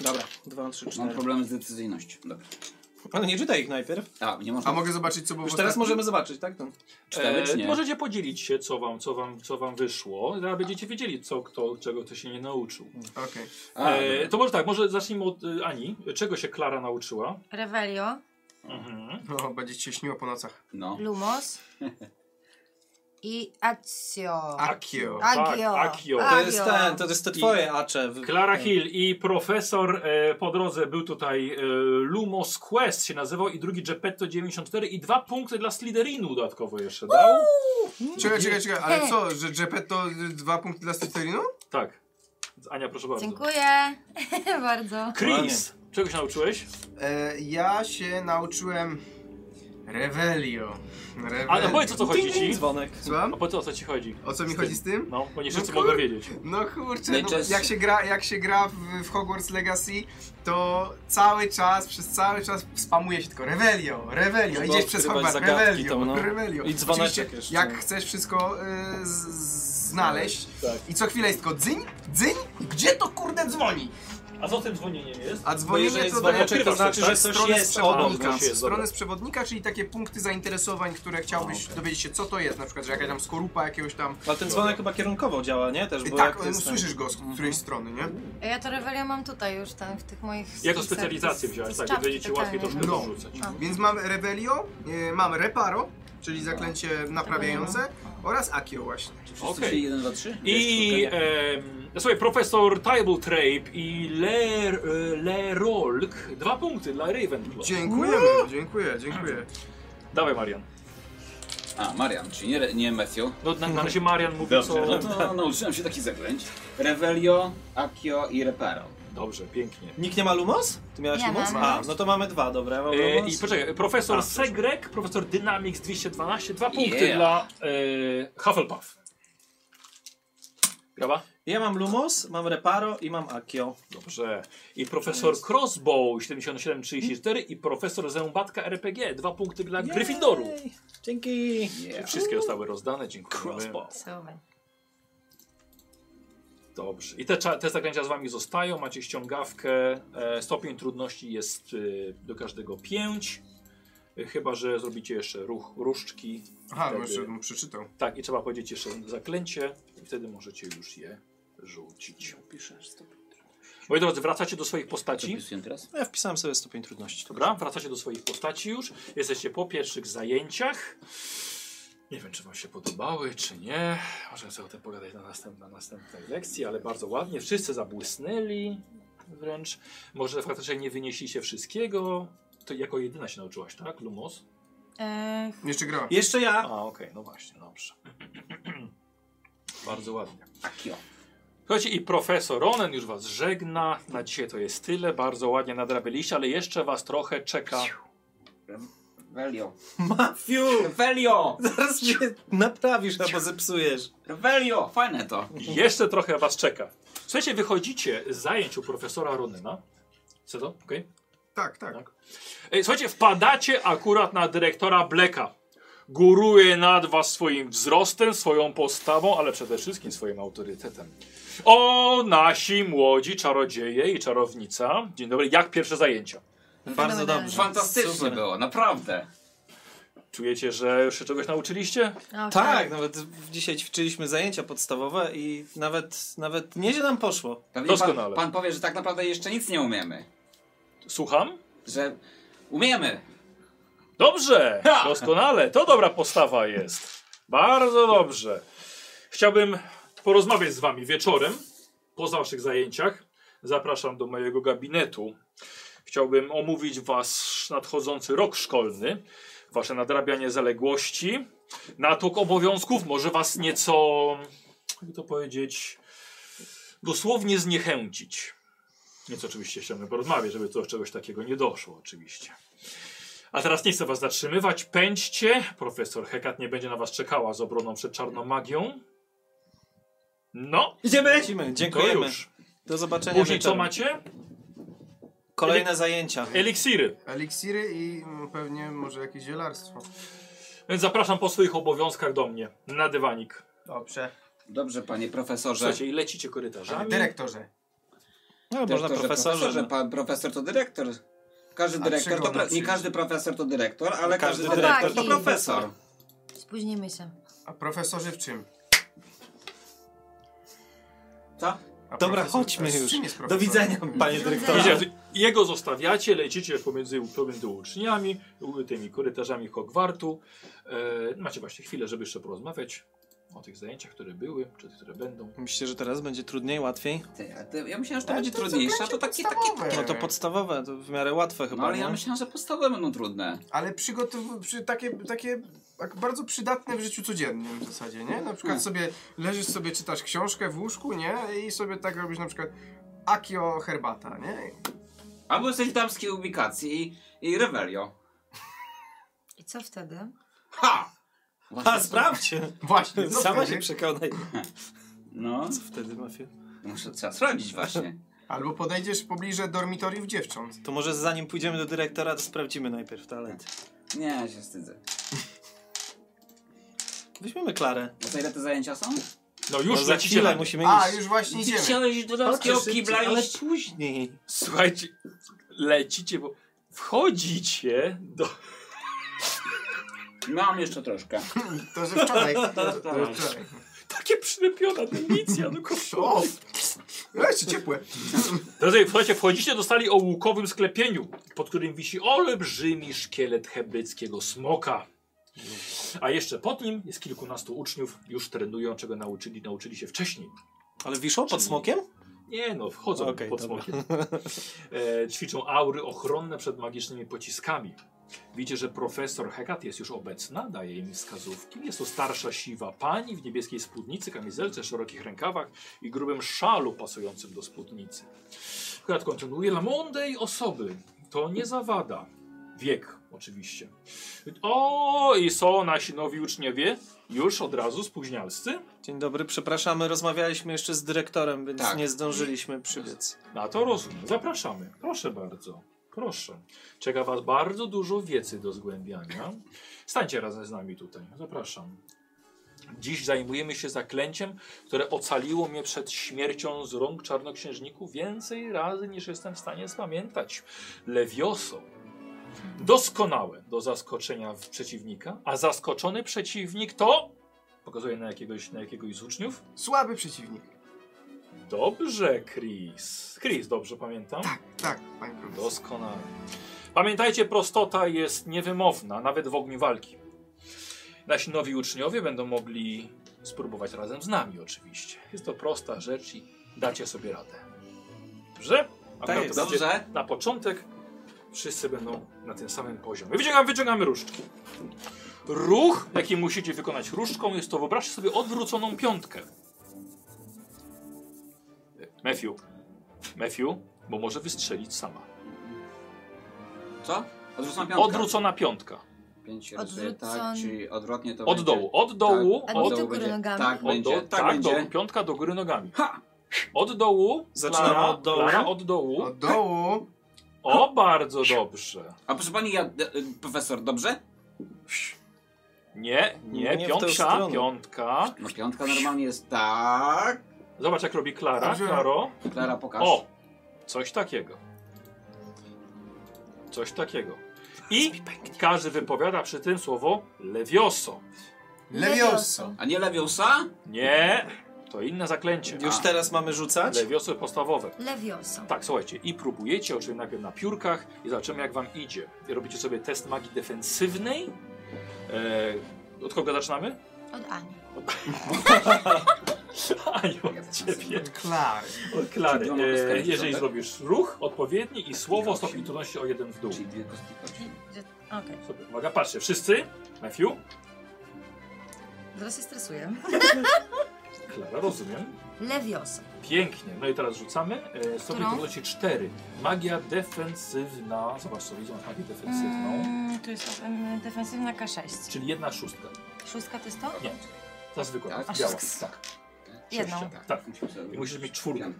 Speaker 5: Dobra, dwa, trzy,
Speaker 4: Mam
Speaker 5: cztery.
Speaker 4: problemy z decyzyjnością. Dobra.
Speaker 5: Ale nie czytaj ich najpierw.
Speaker 4: A, e, nie można...
Speaker 3: A mogę zobaczyć, co było
Speaker 5: Już
Speaker 3: w
Speaker 5: teraz
Speaker 3: ostatnim?
Speaker 5: możemy zobaczyć, tak? No.
Speaker 4: Cztery, czy nie?
Speaker 1: E, Możecie podzielić się, co wam, co wam, co wam wyszło. Zaraz będziecie wiedzieli, co, kto, czego kto się nie nauczył.
Speaker 3: Okej.
Speaker 4: A,
Speaker 1: e,
Speaker 4: dobra.
Speaker 1: to może tak, może zacznijmy od e, Ani. Czego się Klara nauczyła?
Speaker 2: Revelio,
Speaker 1: Mhm.
Speaker 3: No, będzie ci się śniło po nocach.
Speaker 4: No.
Speaker 2: Lumos i Accio.
Speaker 3: Akio.
Speaker 1: Tak,
Speaker 2: Agio.
Speaker 1: Agio.
Speaker 2: A-
Speaker 5: To jest ten, to jest te twoje acze. w-
Speaker 1: Klara
Speaker 3: Mhm.
Speaker 5: ten.
Speaker 1: Hill i profesor e, po drodze był tutaj e, Lumos Quest się nazywał i drugi Geppetto 94 i dwa punkty dla Slytherinu dodatkowo jeszcze tak? dał.
Speaker 3: Czekaj, czekaj, czekaj, ale
Speaker 2: Hej.
Speaker 3: co, że Geppetto y, dwa punkty dla Slytherinu?
Speaker 1: Tak. Ania, proszę bardzo.
Speaker 2: Dziękuję bardzo.
Speaker 1: Chris, czego się nauczyłeś?
Speaker 3: E, ja się nauczyłem... Revelio.
Speaker 1: A no
Speaker 3: Revelio.
Speaker 1: powiedz o co chodzi ci.
Speaker 5: Dzwonek.
Speaker 1: A
Speaker 3: Słucham?
Speaker 1: powiedz o co ci chodzi.
Speaker 3: O co mi chodzi z tym?
Speaker 1: No, bo nie
Speaker 3: No
Speaker 1: wszyscy
Speaker 3: kur-
Speaker 1: mogą wiedzieć.
Speaker 3: No kurczę, no,
Speaker 4: Najczęściej-
Speaker 3: jak się gra, jak się gra w, w Hogwarts Legacy, to cały czas, przez cały czas spamuje się tylko Revelio, Revelio,
Speaker 5: Trzeba
Speaker 3: idziesz przez
Speaker 5: odkrywać
Speaker 3: Hogwarts,
Speaker 5: No zagadki
Speaker 3: Revelio,
Speaker 5: tam, no.
Speaker 3: Revelio.
Speaker 5: I dzwoneczek
Speaker 3: Oczywiście,
Speaker 5: jeszcze.
Speaker 3: Jak chcesz wszystko y, z, znaleźć
Speaker 1: Tak.
Speaker 3: i co chwilę jest tylko dzyń, dzyń, gdzie to kurde dzwoni?
Speaker 1: A co tym dzwonieniem jest?
Speaker 3: A
Speaker 5: Bo
Speaker 3: dzwonienie
Speaker 5: jeżeli
Speaker 3: to
Speaker 5: dzwoneczek, to
Speaker 1: Odkrywasz
Speaker 5: znaczy,
Speaker 1: coś,
Speaker 5: że
Speaker 1: tak?
Speaker 5: coś
Speaker 3: stronę z
Speaker 5: jest obok
Speaker 3: przewodnika,
Speaker 1: Coś jest,
Speaker 5: nas.
Speaker 1: dobra.
Speaker 3: stronę z przewodnika, czyli takie punkty zainteresowań, które chciałbyś
Speaker 5: No.
Speaker 3: dowiedzieć się co to jest, na przykład, że jakaś tam skorupa jakiegoś tam...
Speaker 5: Ale ten dzwonek chyba kierunkowo działa, nie? Też,
Speaker 3: I
Speaker 5: bo
Speaker 3: tak,
Speaker 5: jak Mhm. to jest ten-
Speaker 3: słyszysz go z którejś strony, nie?
Speaker 2: A Ja to Revelio mam tutaj już ten, w tych moich...
Speaker 1: Jako
Speaker 2: spisach.
Speaker 1: specjalizację
Speaker 2: To
Speaker 1: wziąłeś,
Speaker 2: jest
Speaker 1: tak,
Speaker 2: czapki,
Speaker 1: będzie ci łatwiej
Speaker 2: totalnie.
Speaker 1: troszkę
Speaker 3: No.
Speaker 1: dorzucać.
Speaker 3: Więc mam Revelio, e, mam Reparo, czyli zaklęcie naprawiające oraz Akio właśnie.
Speaker 4: Czy wszyscy
Speaker 1: Okej.
Speaker 4: wzięli jeden, dwa, trzy?
Speaker 1: I
Speaker 4: Wiesz,
Speaker 1: em, słuchaj, profesor Table Trape i Le, e, Le Rolk, dwa punkty dla Ravenclaw.
Speaker 3: Dziękujemy, dziękuję, dziękuję.
Speaker 1: Dawaj Marian.
Speaker 4: szukania. A, Marian, czyli nie, nie Matthew.
Speaker 1: No na, na razie Marian mówi co...
Speaker 4: No to nauczyłem się takich zaklęć. Revelio, Akio i Reparo.
Speaker 1: Dobrze, pięknie.
Speaker 5: Nikt nie ma Lumos? Ty miałeś
Speaker 2: Ja
Speaker 5: Lumos?
Speaker 2: mam.
Speaker 5: A, no to mamy dwa, dobra. Ja mam
Speaker 1: E,
Speaker 5: Lumos.
Speaker 1: I poczekaj, profesor
Speaker 5: A, proszę.
Speaker 1: Segrek, profesor Dynamics 212, dwa punkty
Speaker 4: Yeah.
Speaker 1: dla e, Hufflepuff. Grawa?
Speaker 5: Ja mam Lumos, mam Reparo i mam Akio.
Speaker 1: Dobrze. I profesor Crossbow 7734 i profesor Zębatka RPG, dwa punkty dla Gryffindoru.
Speaker 5: Jej, Dzięki.
Speaker 4: Yeah.
Speaker 1: Wszystkie zostały rozdane, dziękujemy.
Speaker 5: Crossbow.
Speaker 2: Super.
Speaker 1: Dobrze. I te, cza- te zaklęcia z wami zostają, macie ściągawkę. E, stopień trudności jest e, do każdego 5. E, Chyba, że zrobicie jeszcze ruch różdżki.
Speaker 3: Aha, bo
Speaker 1: Wtedy-
Speaker 3: jeszcze bym przeczytał.
Speaker 1: Tak, i trzeba powiedzieć jeszcze zaklęcie i wtedy możecie już je rzucić. Moi drodzy, wracacie do swoich postaci.
Speaker 4: Wpisuję teraz?
Speaker 5: No ja wpisałem sobie stopień trudności.
Speaker 1: Dobra, wracacie do swoich postaci już. Jesteście po pierwszych zajęciach. Nie wiem, czy wam się podobały, czy nie. Możemy sobie o tym pogadać na, następ, na następnej lekcji, ale bardzo ładnie. Wszyscy zabłysnęli wręcz. Może faktycznie nie wynieśliście wszystkiego. To jako jedyna się nauczyłaś, tak? Lumos?
Speaker 2: Eee,
Speaker 3: Jeszcze grałem.
Speaker 5: Jeszcze ja.
Speaker 1: A, okej, no właśnie, dobrze. Bardzo ładnie.
Speaker 4: Akio.
Speaker 1: Słuchajcie, i profesor Ronen już was żegna. Na dzisiaj to jest tyle. Bardzo ładnie nadrabialiście, ale jeszcze was trochę czeka.
Speaker 4: Velio.
Speaker 5: Mafiu!
Speaker 4: Velio!
Speaker 5: Zaraz mnie naprawisz albo zepsujesz.
Speaker 4: Velio! Fajne to.
Speaker 1: Jeszcze trochę was czeka. Słuchajcie, wychodzicie z zajęć u profesora Ronyna. Co to? Okej.
Speaker 3: Tak, tak.
Speaker 1: Tak. Ej, Słuchajcie, wpadacie akurat na dyrektora Bleka. Góruje nad was swoim wzrostem, swoją postawą, ale przede wszystkim swoim autorytetem. O, nasi młodzi czarodzieje i czarownica. Dzień dobry, jak pierwsze zajęcia?
Speaker 5: Bardzo dobrze.
Speaker 4: Fantastycznie
Speaker 5: Super.
Speaker 4: było, naprawdę.
Speaker 1: Czujecie, że już się czegoś nauczyliście?
Speaker 2: No,
Speaker 5: Tak, nawet w- dzisiaj ćwiczyliśmy zajęcia podstawowe i nawet, nawet nieźle nam poszło.
Speaker 4: Pewnie
Speaker 1: Doskonale.
Speaker 4: Pan, pan powie, że tak naprawdę jeszcze nic nie umiemy.
Speaker 1: Słucham?
Speaker 4: Że umiemy.
Speaker 1: Dobrze,
Speaker 4: Ha!
Speaker 1: doskonale, to dobra postawa jest. Bardzo dobrze. Chciałbym porozmawiać z wami wieczorem, po waszych zajęciach. Zapraszam do mojego gabinetu. Chciałbym omówić wasz nadchodzący rok szkolny, wasze nadrabianie zaległości, natłok obowiązków, może was nieco, jakby to powiedzieć, dosłownie zniechęcić. Więc oczywiście chciałbym porozmawiać, żeby do czegoś takiego nie doszło, oczywiście. A teraz nie chcę was zatrzymywać. Pędźcie. Profesor Hekat nie będzie na was czekała z obroną przed czarną magią. No,
Speaker 5: Idziemy! Idziemy,
Speaker 1: to
Speaker 5: dziękujemy.
Speaker 1: już.
Speaker 5: Do zobaczenia
Speaker 1: Później co
Speaker 5: wieczorem.
Speaker 1: macie?
Speaker 5: Kolejne zajęcia. No,
Speaker 1: Eliksiry.
Speaker 3: Eliksiry i mm, pewnie może jakieś zielarstwo.
Speaker 1: Więc zapraszam po swoich obowiązkach do mnie. Na dywanik.
Speaker 3: Dobrze.
Speaker 4: Dobrze, panie profesorze.
Speaker 1: Słuchajcie, i lecicie korytarzami.
Speaker 3: Dyrektorze.
Speaker 5: No, można
Speaker 4: Dyrektorze,
Speaker 5: profesorze.
Speaker 4: profesorze,
Speaker 5: no.
Speaker 4: pan profesor to dyrektor. Każdy
Speaker 3: A
Speaker 4: dyrektor
Speaker 3: czego
Speaker 4: to pro...
Speaker 3: nauczyli?
Speaker 4: nie każdy profesor to dyrektor, ale
Speaker 5: Każdy
Speaker 4: każdy,
Speaker 5: dyrektor
Speaker 4: dyrektor to
Speaker 2: to
Speaker 4: profesor.
Speaker 2: spóźnimy się.
Speaker 3: A profesorzy w czym?
Speaker 4: Co?
Speaker 3: A
Speaker 5: Dobra,
Speaker 3: profesor-
Speaker 5: chodźmy
Speaker 3: a z
Speaker 5: już.
Speaker 3: czym jest
Speaker 5: Do
Speaker 3: profesor?
Speaker 5: widzenia, panie dyrektorze.
Speaker 1: Wiecie, jego zostawiacie, lecicie pomiędzy, pomiędzy uczniami, u- tymi korytarzami Hogwartu. E, macie właśnie chwilę, żeby jeszcze porozmawiać o tych zajęciach, które były, czy które będą.
Speaker 5: Myślicie, że teraz będzie trudniej, łatwiej?
Speaker 4: Ty, a ty, ja myślałem, że to
Speaker 3: Ale
Speaker 4: będzie
Speaker 3: to są
Speaker 4: trudniejsze, a to
Speaker 3: klasie
Speaker 4: takie, takie...
Speaker 3: podstawowe.
Speaker 5: No to podstawowe, to w miarę łatwe chyba,
Speaker 4: No ale
Speaker 5: nie?
Speaker 4: ja myślałem, że podstawowe będą trudne.
Speaker 3: Ale przygotow... przy... takie, takie tak bardzo przydatne w życiu codziennym w zasadzie, nie? Na przykład
Speaker 4: Nie.
Speaker 3: sobie leżysz sobie, czytasz książkę w łóżku, nie? I sobie tak robisz na przykład Akio herbata, nie?
Speaker 4: Albo jesteś w damskiej ubikacji i, i rewelio.
Speaker 2: I co wtedy?
Speaker 4: Ha!
Speaker 5: A, sprawdźcie!
Speaker 3: Właśnie. no
Speaker 5: Sama
Speaker 3: wtedy.
Speaker 5: się przekonaj.
Speaker 4: No,
Speaker 5: Co wtedy, mafia?
Speaker 4: muszę trzeba sprawdzić właśnie.
Speaker 3: Albo podejdziesz pobliże dormitoriów dziewcząt.
Speaker 5: To może zanim pójdziemy do dyrektora, to sprawdzimy najpierw talent.
Speaker 4: Nie, ja się wstydzę.
Speaker 5: Weźmiemy Klarę.
Speaker 4: A to ile te zajęcia są?
Speaker 1: No
Speaker 5: No
Speaker 1: już
Speaker 5: za
Speaker 1: lecicie.
Speaker 5: chwilę
Speaker 1: na-
Speaker 5: musimy
Speaker 3: A,
Speaker 5: iść.
Speaker 3: już właśnie idziemy.
Speaker 4: iść do damskiego kibla
Speaker 5: ale
Speaker 4: iść?
Speaker 5: później.
Speaker 1: Słuchajcie, lecicie, bo wchodzicie do
Speaker 4: Mam jeszcze troszkę.
Speaker 3: To, że wczoraj. To, to że wczoraj.
Speaker 1: Takie przylepiona no dymisja do
Speaker 3: O! no
Speaker 1: koszuli.
Speaker 3: Jeszcze ciepłe.
Speaker 1: Drodzy, słuchajcie, wchodzicie do stali o łukowym sklepieniu, pod którym wisi olbrzymi szkielet hebyckiego smoka. A jeszcze pod nim jest kilkunastu uczniów, już trenują, czego nauczyli, nauczyli się wcześniej.
Speaker 5: Ale wiszą pod
Speaker 1: Czyli-
Speaker 5: smokiem?
Speaker 1: Nie no, wchodzą
Speaker 5: Okej,
Speaker 1: pod
Speaker 5: dobra.
Speaker 1: smokiem. E, ćwiczą aury ochronne przed magicznymi pociskami. Widzicie, że profesor Hekat jest już obecna, daje im wskazówki. Jest to starsza siwa pani w niebieskiej spódnicy, kamizelce, szerokich rękawach i grubym szalu pasującym do spódnicy. Hekat kontynuuje. Dla młodej osoby to nie zawada. Wiek oczywiście. O, i są nasi nowi uczniowie już od razu spóźnialscy.
Speaker 5: Dzień dobry, przepraszamy, rozmawialiśmy jeszcze z dyrektorem, więc
Speaker 4: Tak.
Speaker 5: nie zdążyliśmy przybiec.
Speaker 1: Na to rozumiem. Zapraszamy. Proszę bardzo. Proszę. Czeka Was bardzo dużo wiedzy do zgłębiania. Stańcie razem z nami tutaj. Zapraszam. Dziś zajmujemy się zaklęciem, które ocaliło mnie przed śmiercią z rąk czarnoksiężników więcej razy niż jestem w stanie spamiętać. Lewioso. doskonałe do zaskoczenia w przeciwnika, a zaskoczony przeciwnik to. Pokazuje na jakiegoś, na jakiegoś z uczniów.
Speaker 3: Słaby przeciwnik.
Speaker 1: Dobrze, Chris. Chris, dobrze pamiętam?
Speaker 3: Tak, panie profesorze.
Speaker 1: Doskonale. Pamiętajcie, prostota jest niewymowna, nawet w ogniu walki. Nasi nowi uczniowie będą mogli spróbować razem z nami, oczywiście. Jest to prosta rzecz i dacie sobie radę. Dobrze? Akurat
Speaker 5: jest.
Speaker 1: to będzie
Speaker 4: Tak Dobrze.
Speaker 1: Na początek wszyscy będą na tym samym poziomie. Wyciągamy, wyciągamy różdżki. Ruch, jaki musicie wykonać różdżką, jest to wyobraźcie sobie odwróconą piątkę. Matthew. Matthew, bo może wystrzelić sama.
Speaker 4: Co? Odwrócona piątka.
Speaker 1: Odwrócona piątka.
Speaker 4: Pięć razy,
Speaker 2: Odwrócon-
Speaker 4: tak, czyli odwrotnie to
Speaker 1: Od
Speaker 4: będzie. Tak,
Speaker 1: dołu, od dołu,
Speaker 2: A
Speaker 1: od
Speaker 2: nie
Speaker 1: od
Speaker 2: do
Speaker 1: dołu,
Speaker 2: góry
Speaker 4: będzie.
Speaker 2: nogami.
Speaker 4: Tak,
Speaker 1: od
Speaker 4: będzie,
Speaker 1: dołu,
Speaker 4: tak
Speaker 1: tak, do,
Speaker 4: będzie.
Speaker 1: piątka do góry nogami.
Speaker 4: Ha!
Speaker 1: Od dołu,
Speaker 5: Zaczynamy
Speaker 1: Klara,
Speaker 5: od dołu.
Speaker 1: Klara, od dołu.
Speaker 3: Od dołu.
Speaker 1: O, bardzo dobrze.
Speaker 4: A proszę pani, ja, e, e, profesor, dobrze?
Speaker 1: Nie, nie,
Speaker 5: Nie w tę
Speaker 1: piątka,
Speaker 5: stronę.
Speaker 1: piątka.
Speaker 4: No piątka normalnie jest tak.
Speaker 1: Zobacz jak robi Klara,
Speaker 3: Dobrze.
Speaker 1: Klaro.
Speaker 4: Klara, pokaż.
Speaker 1: O, coś takiego. Coś takiego. I każdy wypowiada przy tym słowo lewioso.
Speaker 3: Lewioso.
Speaker 4: A nie lewiosa?
Speaker 1: Nie, to inne zaklęcie.
Speaker 5: Już
Speaker 4: A.
Speaker 5: teraz mamy rzucać?
Speaker 1: Lewioso podstawowe.
Speaker 2: Lewioso.
Speaker 1: Tak, słuchajcie, i próbujecie, oczywiście najpierw na piórkach i zobaczymy jak wam idzie. I Robicie sobie test magii defensywnej. E, od kogo zaczynamy?
Speaker 2: Od Ani.
Speaker 1: Aniu, od ciebie.
Speaker 3: Klar.
Speaker 1: Od Klary.
Speaker 4: Czyli mogę
Speaker 1: E,
Speaker 4: skręcić
Speaker 1: jeżeli
Speaker 4: rządek?
Speaker 1: zrobisz ruch odpowiedni i słowo
Speaker 4: Osiem.
Speaker 1: stopień trudności o jeden w dół.
Speaker 4: Czyli dwie kostki kości.
Speaker 2: Okej.
Speaker 1: Sobie, uwaga, patrzcie, wszyscy. Matthew,
Speaker 2: Teraz się stresuję.
Speaker 1: Klara, rozumiem.
Speaker 2: Lewioso.
Speaker 1: Pięknie. No i teraz rzucamy. E, stopień
Speaker 2: Którą?
Speaker 1: trudności 4. Magia defensywna. Zobacz sobie, widzę magię defensywną.
Speaker 2: Mm, tu jest em, defensywna K6.
Speaker 1: Czyli jedna szóstka.
Speaker 2: Szóstka to jest to?
Speaker 1: Nie. Ta zwykła.
Speaker 4: Tak?
Speaker 1: Biała.
Speaker 2: Szóstka.
Speaker 1: Tak.
Speaker 2: Jedną.
Speaker 1: Sześcia. Tak. I musisz mieć czwórkę.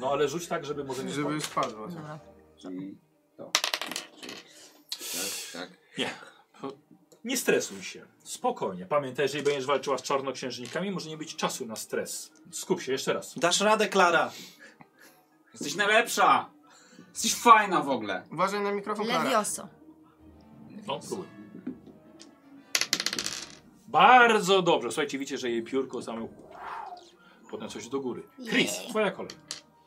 Speaker 1: No ale rzuć tak, żeby może nie
Speaker 3: Żeby
Speaker 1: spadł.
Speaker 3: spadło.
Speaker 2: Dobra.
Speaker 4: Czyli to. Czyli... Tak, tak.
Speaker 1: Nie. Nie stresuj się. Spokojnie. Pamiętaj, jeżeli będziesz walczyła z czarnoksiężnikami, może nie być czasu na stres. Skup się jeszcze raz.
Speaker 5: Dasz radę, Klara.
Speaker 4: Jesteś najlepsza! Jesteś fajna w ogóle.
Speaker 3: Uważaj na mikrofon, Klara.
Speaker 2: Lewioso.
Speaker 1: No, próbuj. Bardzo dobrze. Słuchajcie, widzicie, że jej piórko samo podniosło się do góry. Chris, twoja kolej.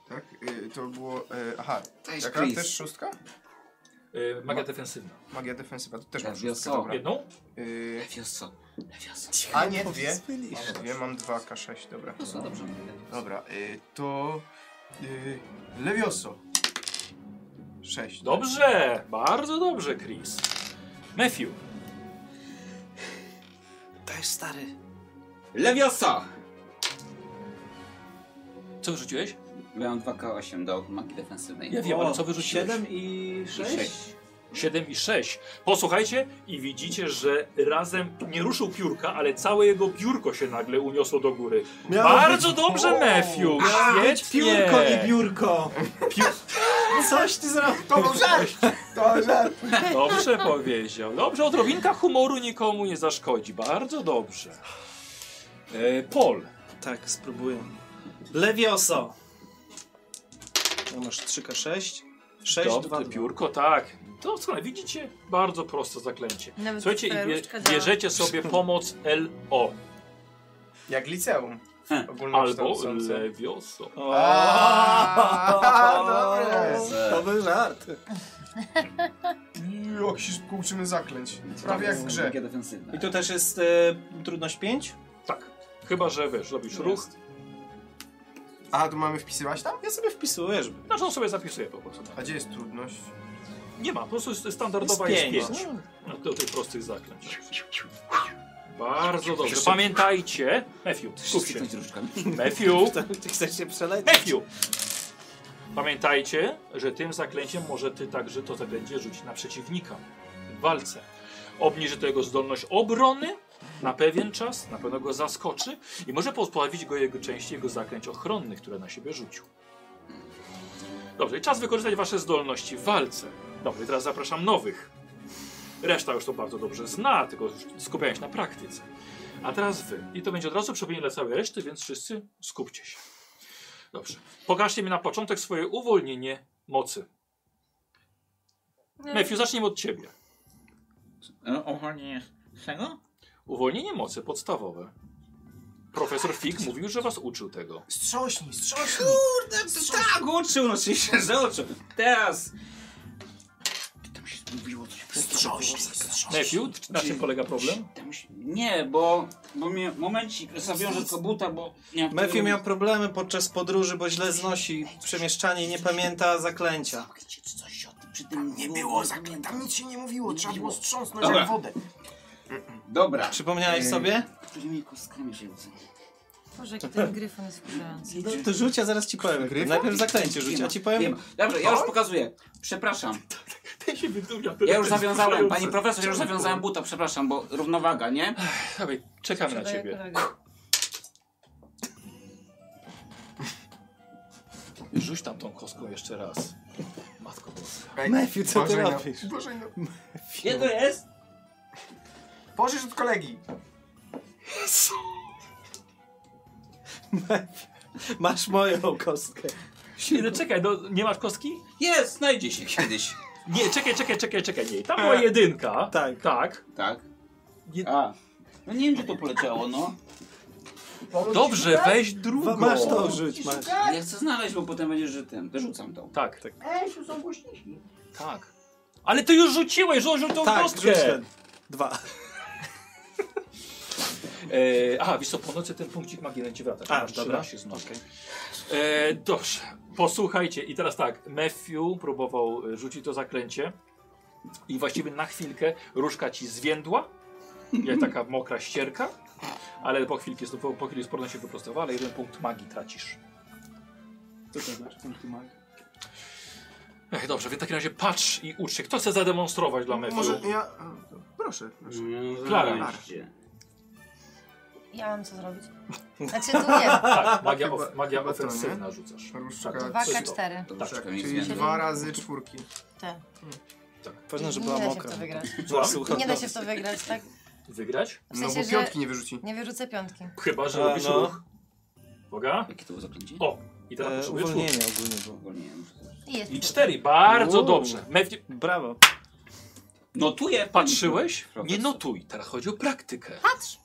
Speaker 3: Tak, y, to było... y, Aha,
Speaker 4: Cześć,
Speaker 3: jaka?
Speaker 4: Chris.
Speaker 3: Też szóstka?
Speaker 1: Yy, magia defensywna.
Speaker 3: Magia defensywa, to też mam
Speaker 4: Lewioso.
Speaker 3: szóstkę, dobra.
Speaker 1: Jedną?
Speaker 3: Y,
Speaker 4: Lewiosa. Lewiosa.
Speaker 3: A nie, dwie. Dwie, mam dwa K6, dobra.
Speaker 4: No dobrze.
Speaker 3: Dobra, y, to... y, Lewioso. Sześć.
Speaker 1: Dobrze. Bardzo dobrze, Chris. Matthew.
Speaker 5: Dajesz, stary.
Speaker 4: Lewiosa!
Speaker 1: Co wyrzuciłeś?
Speaker 4: Miałem 2K8 do magii defensywnej.
Speaker 1: Ja wiem,
Speaker 5: O,
Speaker 1: ale co wyrzuciłeś?
Speaker 5: 7 i 6?
Speaker 1: 7 i 6. Posłuchajcie i widzicie, że razem nie ruszył piórka, ale całe jego piórko się nagle uniosło do góry. Bardzo dobrze, Matthew!
Speaker 5: Mieć
Speaker 1: Świetnie!
Speaker 5: piórko, nie biurko. Coś ty zrobił.
Speaker 3: To był żart! To był żart!
Speaker 1: Dobrze powiedział. Dobrze, odrobinka humoru nikomu nie zaszkodzi. Bardzo dobrze. E, Paul.
Speaker 5: Tak, spróbuję. Lewioso. No masz 3K6. 6,
Speaker 1: Dobre
Speaker 5: 2,
Speaker 1: piórko, tak. Doskonale, widzicie? Bardzo proste zaklęcie.
Speaker 2: Nawet
Speaker 1: Słuchajcie,
Speaker 2: twoja
Speaker 1: i bie,
Speaker 2: różdżka działa.
Speaker 1: bierzecie sobie pomoc LO
Speaker 3: Jak liceum.
Speaker 4: Hm.
Speaker 1: albo
Speaker 3: Ogólnokształcące.
Speaker 1: Lewioso.
Speaker 3: Aaa, dobre.
Speaker 5: To był żart.
Speaker 3: Jak się szybko uczymy zaklęć. Prawie jak w grze.
Speaker 4: Magia defensywna.
Speaker 5: I tu też jest e, trudność 5?
Speaker 1: Tak. Chyba, że wiesz, robisz ruch.
Speaker 3: Aha, tu mamy wpisywać tam?
Speaker 5: Ja sobie wpisuję, żeby...
Speaker 1: Znaczy on sobie zapisuje po prostu.
Speaker 3: A gdzie jest trudność?
Speaker 1: Nie ma, po prostu jest standardowa
Speaker 5: Jest
Speaker 1: jest
Speaker 5: pięć.
Speaker 1: 5. Do tych prostych zaklęć. Bardzo dobrze. Pamiętajcie, Matthew, skup się.
Speaker 4: Wszyscy różdżkami.
Speaker 1: Matthew,
Speaker 5: Ty chcesz się przelecieć?
Speaker 1: Matthew! Pamiętajcie, że tym zaklęciem może ty także to zaklęcie rzucić na przeciwnika w walce. Obniży to jego zdolność obrony na pewien czas, na pewno go zaskoczy i może pozbawić go jego części jego zaklęć ochronnych, które na siebie rzucił. Dobrze, i czas wykorzystać wasze zdolności w walce. Dobrze, i teraz zapraszam nowych. Reszta już to bardzo dobrze zna, tylko już skupiają się na praktyce. A teraz wy. I to będzie od razu przypomnienie dla całej reszty, więc wszyscy skupcie się. Dobrze. Pokażcie mi na początek swoje uwolnienie mocy. Matthew, zaczniemy od ciebie.
Speaker 4: E, O nie. Czego?
Speaker 1: Uwolnienie mocy podstawowe. Profesor Fig mówił, że was uczył tego.
Speaker 3: Strząśnij, strząśnij!
Speaker 4: Kurde, tak, uczył, no oczywiście, że uczył. Teraz. Tam się zgubiło, to się
Speaker 3: Strząśnij, strząśnij!
Speaker 1: Matthew, na czym polega problem?
Speaker 4: Tam się... Nie, bo, bo mnie momencik zawiążę kobuta, bo... nie mam
Speaker 5: Mefi
Speaker 4: tego-
Speaker 5: miał problemy podczas podróży, bo źle znosi przemieszczanie i nie pamięta zaklęcia.
Speaker 4: Gdzie czy coś o tym, czy tym
Speaker 3: Nie
Speaker 4: było-
Speaker 3: było zaklęć, tam nic się nie mówiło, trzeba było strząsnąć
Speaker 4: Dobra.
Speaker 3: jak wodę.
Speaker 4: Dobra.
Speaker 5: Przypomniałeś sobie?
Speaker 4: Którymi kostkami rzucę?
Speaker 6: Boże, jaki ten gryfon jest wkurzający.
Speaker 5: No to rzuć, a zaraz ci powiem. Najpierw zaklęcie rzuć, a ci powiem...
Speaker 4: Dobrze, ja już pokazuję. Przepraszam.
Speaker 1: Ten się wydumia.
Speaker 4: Ja już zawiązałem, pani profesor, ja już zawiązałem buta, przepraszam, bo równowaga, nie?
Speaker 1: Dawaj, czekamy na ciebie. Rzuć tam tą kostką jeszcze raz. Matko boska.
Speaker 5: Mefi, co ty
Speaker 3: Bożej, no.
Speaker 5: robisz?
Speaker 3: Bożej, no.
Speaker 4: Nie, to jest?
Speaker 3: Pożycz od kolegi.
Speaker 5: Masz moją kostkę.
Speaker 1: Nie, no czekaj, no, nie masz kostki?
Speaker 4: Jest, znajdzie się kiedyś.
Speaker 1: Nie, czekaj, czekaj, czekaj, czekaj. Nie, tam była jedynka.
Speaker 5: Tak.
Speaker 1: Tak.
Speaker 4: Tak?
Speaker 1: Nie-
Speaker 4: A. No nie wiem, gdzie to poleciało, no.
Speaker 1: Dobrze, weź drugą.
Speaker 5: Wa- Masz to rzuć, masz.
Speaker 4: Ja chcę znaleźć, bo potem będziesz, że ten. Rzucam tą.
Speaker 1: Tak. tak. Ej, są głośniki. Tak. Ale ty już rzuciłeś, rzuć tą
Speaker 5: Tak, rzuć
Speaker 1: kostkę.
Speaker 5: ten. Dwa.
Speaker 1: E, aha, wiesz co, po nocy ten punkcik magii ci wraca.
Speaker 5: A,
Speaker 1: Masz
Speaker 5: dobra.
Speaker 1: 13 znowu. E, dobrze, posłuchajcie. I teraz tak, Matthew próbował e, rzucić to zaklęcie i właściwie na chwilkę różka ci zwiędła, jak taka mokra ścierka, ale po chwilki, po, po chwili sporno się wyprostowała, ale jeden punkt magii tracisz.
Speaker 4: Co to znaczy, punkty magii?
Speaker 1: Ech, dobrze, więc w takim razie patrz i ucz się. Kto chce zademonstrować
Speaker 5: No,
Speaker 1: dla Matthew?
Speaker 3: Może ja... Proszę, proszę.
Speaker 1: Klara.
Speaker 2: Ja mam co zrobić? Znaczy tu nie.
Speaker 1: Tak, magia,
Speaker 3: Chyba-
Speaker 1: of, magia
Speaker 3: chyba to, nie?
Speaker 1: ofensywna rzucasz.
Speaker 3: Różka.
Speaker 1: Tak,
Speaker 2: Dwa
Speaker 1: czysto.
Speaker 2: K4.
Speaker 4: To
Speaker 1: Tak,
Speaker 4: troszeczkę mi
Speaker 3: Czyli
Speaker 4: zmienia.
Speaker 3: dwa razy czwórki.
Speaker 2: Tak.
Speaker 5: Ważne, że
Speaker 2: nie
Speaker 5: była
Speaker 2: da się
Speaker 5: mokra. Tak?
Speaker 2: w to wygrać.
Speaker 1: Słucham?
Speaker 2: Nie da się w to wygrać, tak?
Speaker 1: Wygrać?
Speaker 3: No
Speaker 2: W sensie,
Speaker 3: bo
Speaker 2: że
Speaker 3: piątki nie wyrzuci.
Speaker 2: nie wyrzucę piątki.
Speaker 1: Chyba, że
Speaker 5: A,
Speaker 1: robisz
Speaker 5: no.
Speaker 1: ruch. Uwaga.
Speaker 4: Jakie to było zaklęcie?
Speaker 1: O, i teraz
Speaker 5: E,
Speaker 1: potrzebujesz
Speaker 5: uwolnienie
Speaker 1: ruch.
Speaker 5: ogólnie było.
Speaker 4: Uwolnienie, muszę zobaczyć.
Speaker 2: I jest.
Speaker 1: I cztery, bardzo
Speaker 5: Uuu.
Speaker 1: dobrze. Matthew,
Speaker 5: Brawo.
Speaker 4: Notuję,
Speaker 1: patrzyłeś? Nie
Speaker 4: Profesor.
Speaker 1: notuj, teraz chodzi o praktykę.
Speaker 2: Patrz!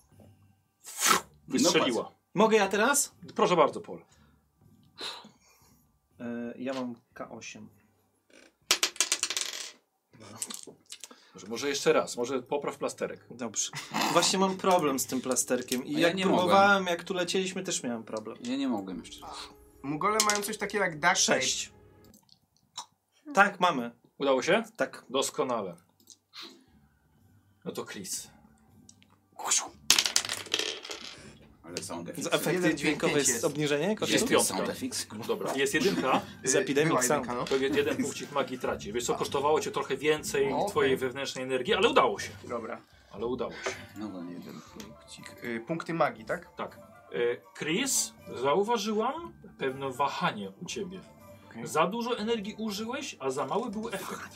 Speaker 1: Wystrzeliła.
Speaker 5: Mogę ja teraz?
Speaker 1: Proszę bardzo, Paul.
Speaker 5: E, ja mam K8.
Speaker 1: Może, może jeszcze raz, może popraw plasterek.
Speaker 5: Dobrze. Właśnie mam problem z tym plasterkiem i
Speaker 4: A ja
Speaker 5: jak
Speaker 4: nie
Speaker 5: próbowałem, jak tu lecieliśmy, też miałem problem.
Speaker 4: Ja nie mogłem jeszcze.
Speaker 3: Mugole mają coś takiego jak duct tape.
Speaker 5: Sześć. Tak, mamy.
Speaker 1: Udało się?
Speaker 5: Tak.
Speaker 1: Doskonale. No to Chris.
Speaker 4: Ale sound
Speaker 5: Z
Speaker 4: effects.
Speaker 5: efekty
Speaker 3: Jeden
Speaker 5: dźwiękowe
Speaker 3: pięć
Speaker 5: jest
Speaker 3: jest.
Speaker 5: obniżenie
Speaker 1: Jest
Speaker 5: kosztów?
Speaker 1: piątka.
Speaker 4: Sound effects.
Speaker 1: Dobra, jest jedynka,
Speaker 5: Z
Speaker 3: Y,
Speaker 5: Epidemic
Speaker 3: była
Speaker 5: Sound.
Speaker 3: jedynka, no.
Speaker 1: to jeden punkcik magii traci. Wiesz co, kosztowało cię trochę więcej twojej wewnętrznej energii, ale udało się.
Speaker 3: Dobra.
Speaker 1: Ale udało się.
Speaker 4: No bo nie jeden.
Speaker 3: Punkcik. Y, punkty magii, tak?
Speaker 1: Tak. E, Chris, zauważyłam pewne wahanie u ciebie.
Speaker 3: Okej.
Speaker 1: Za dużo energii użyłeś, a za mały był efekt.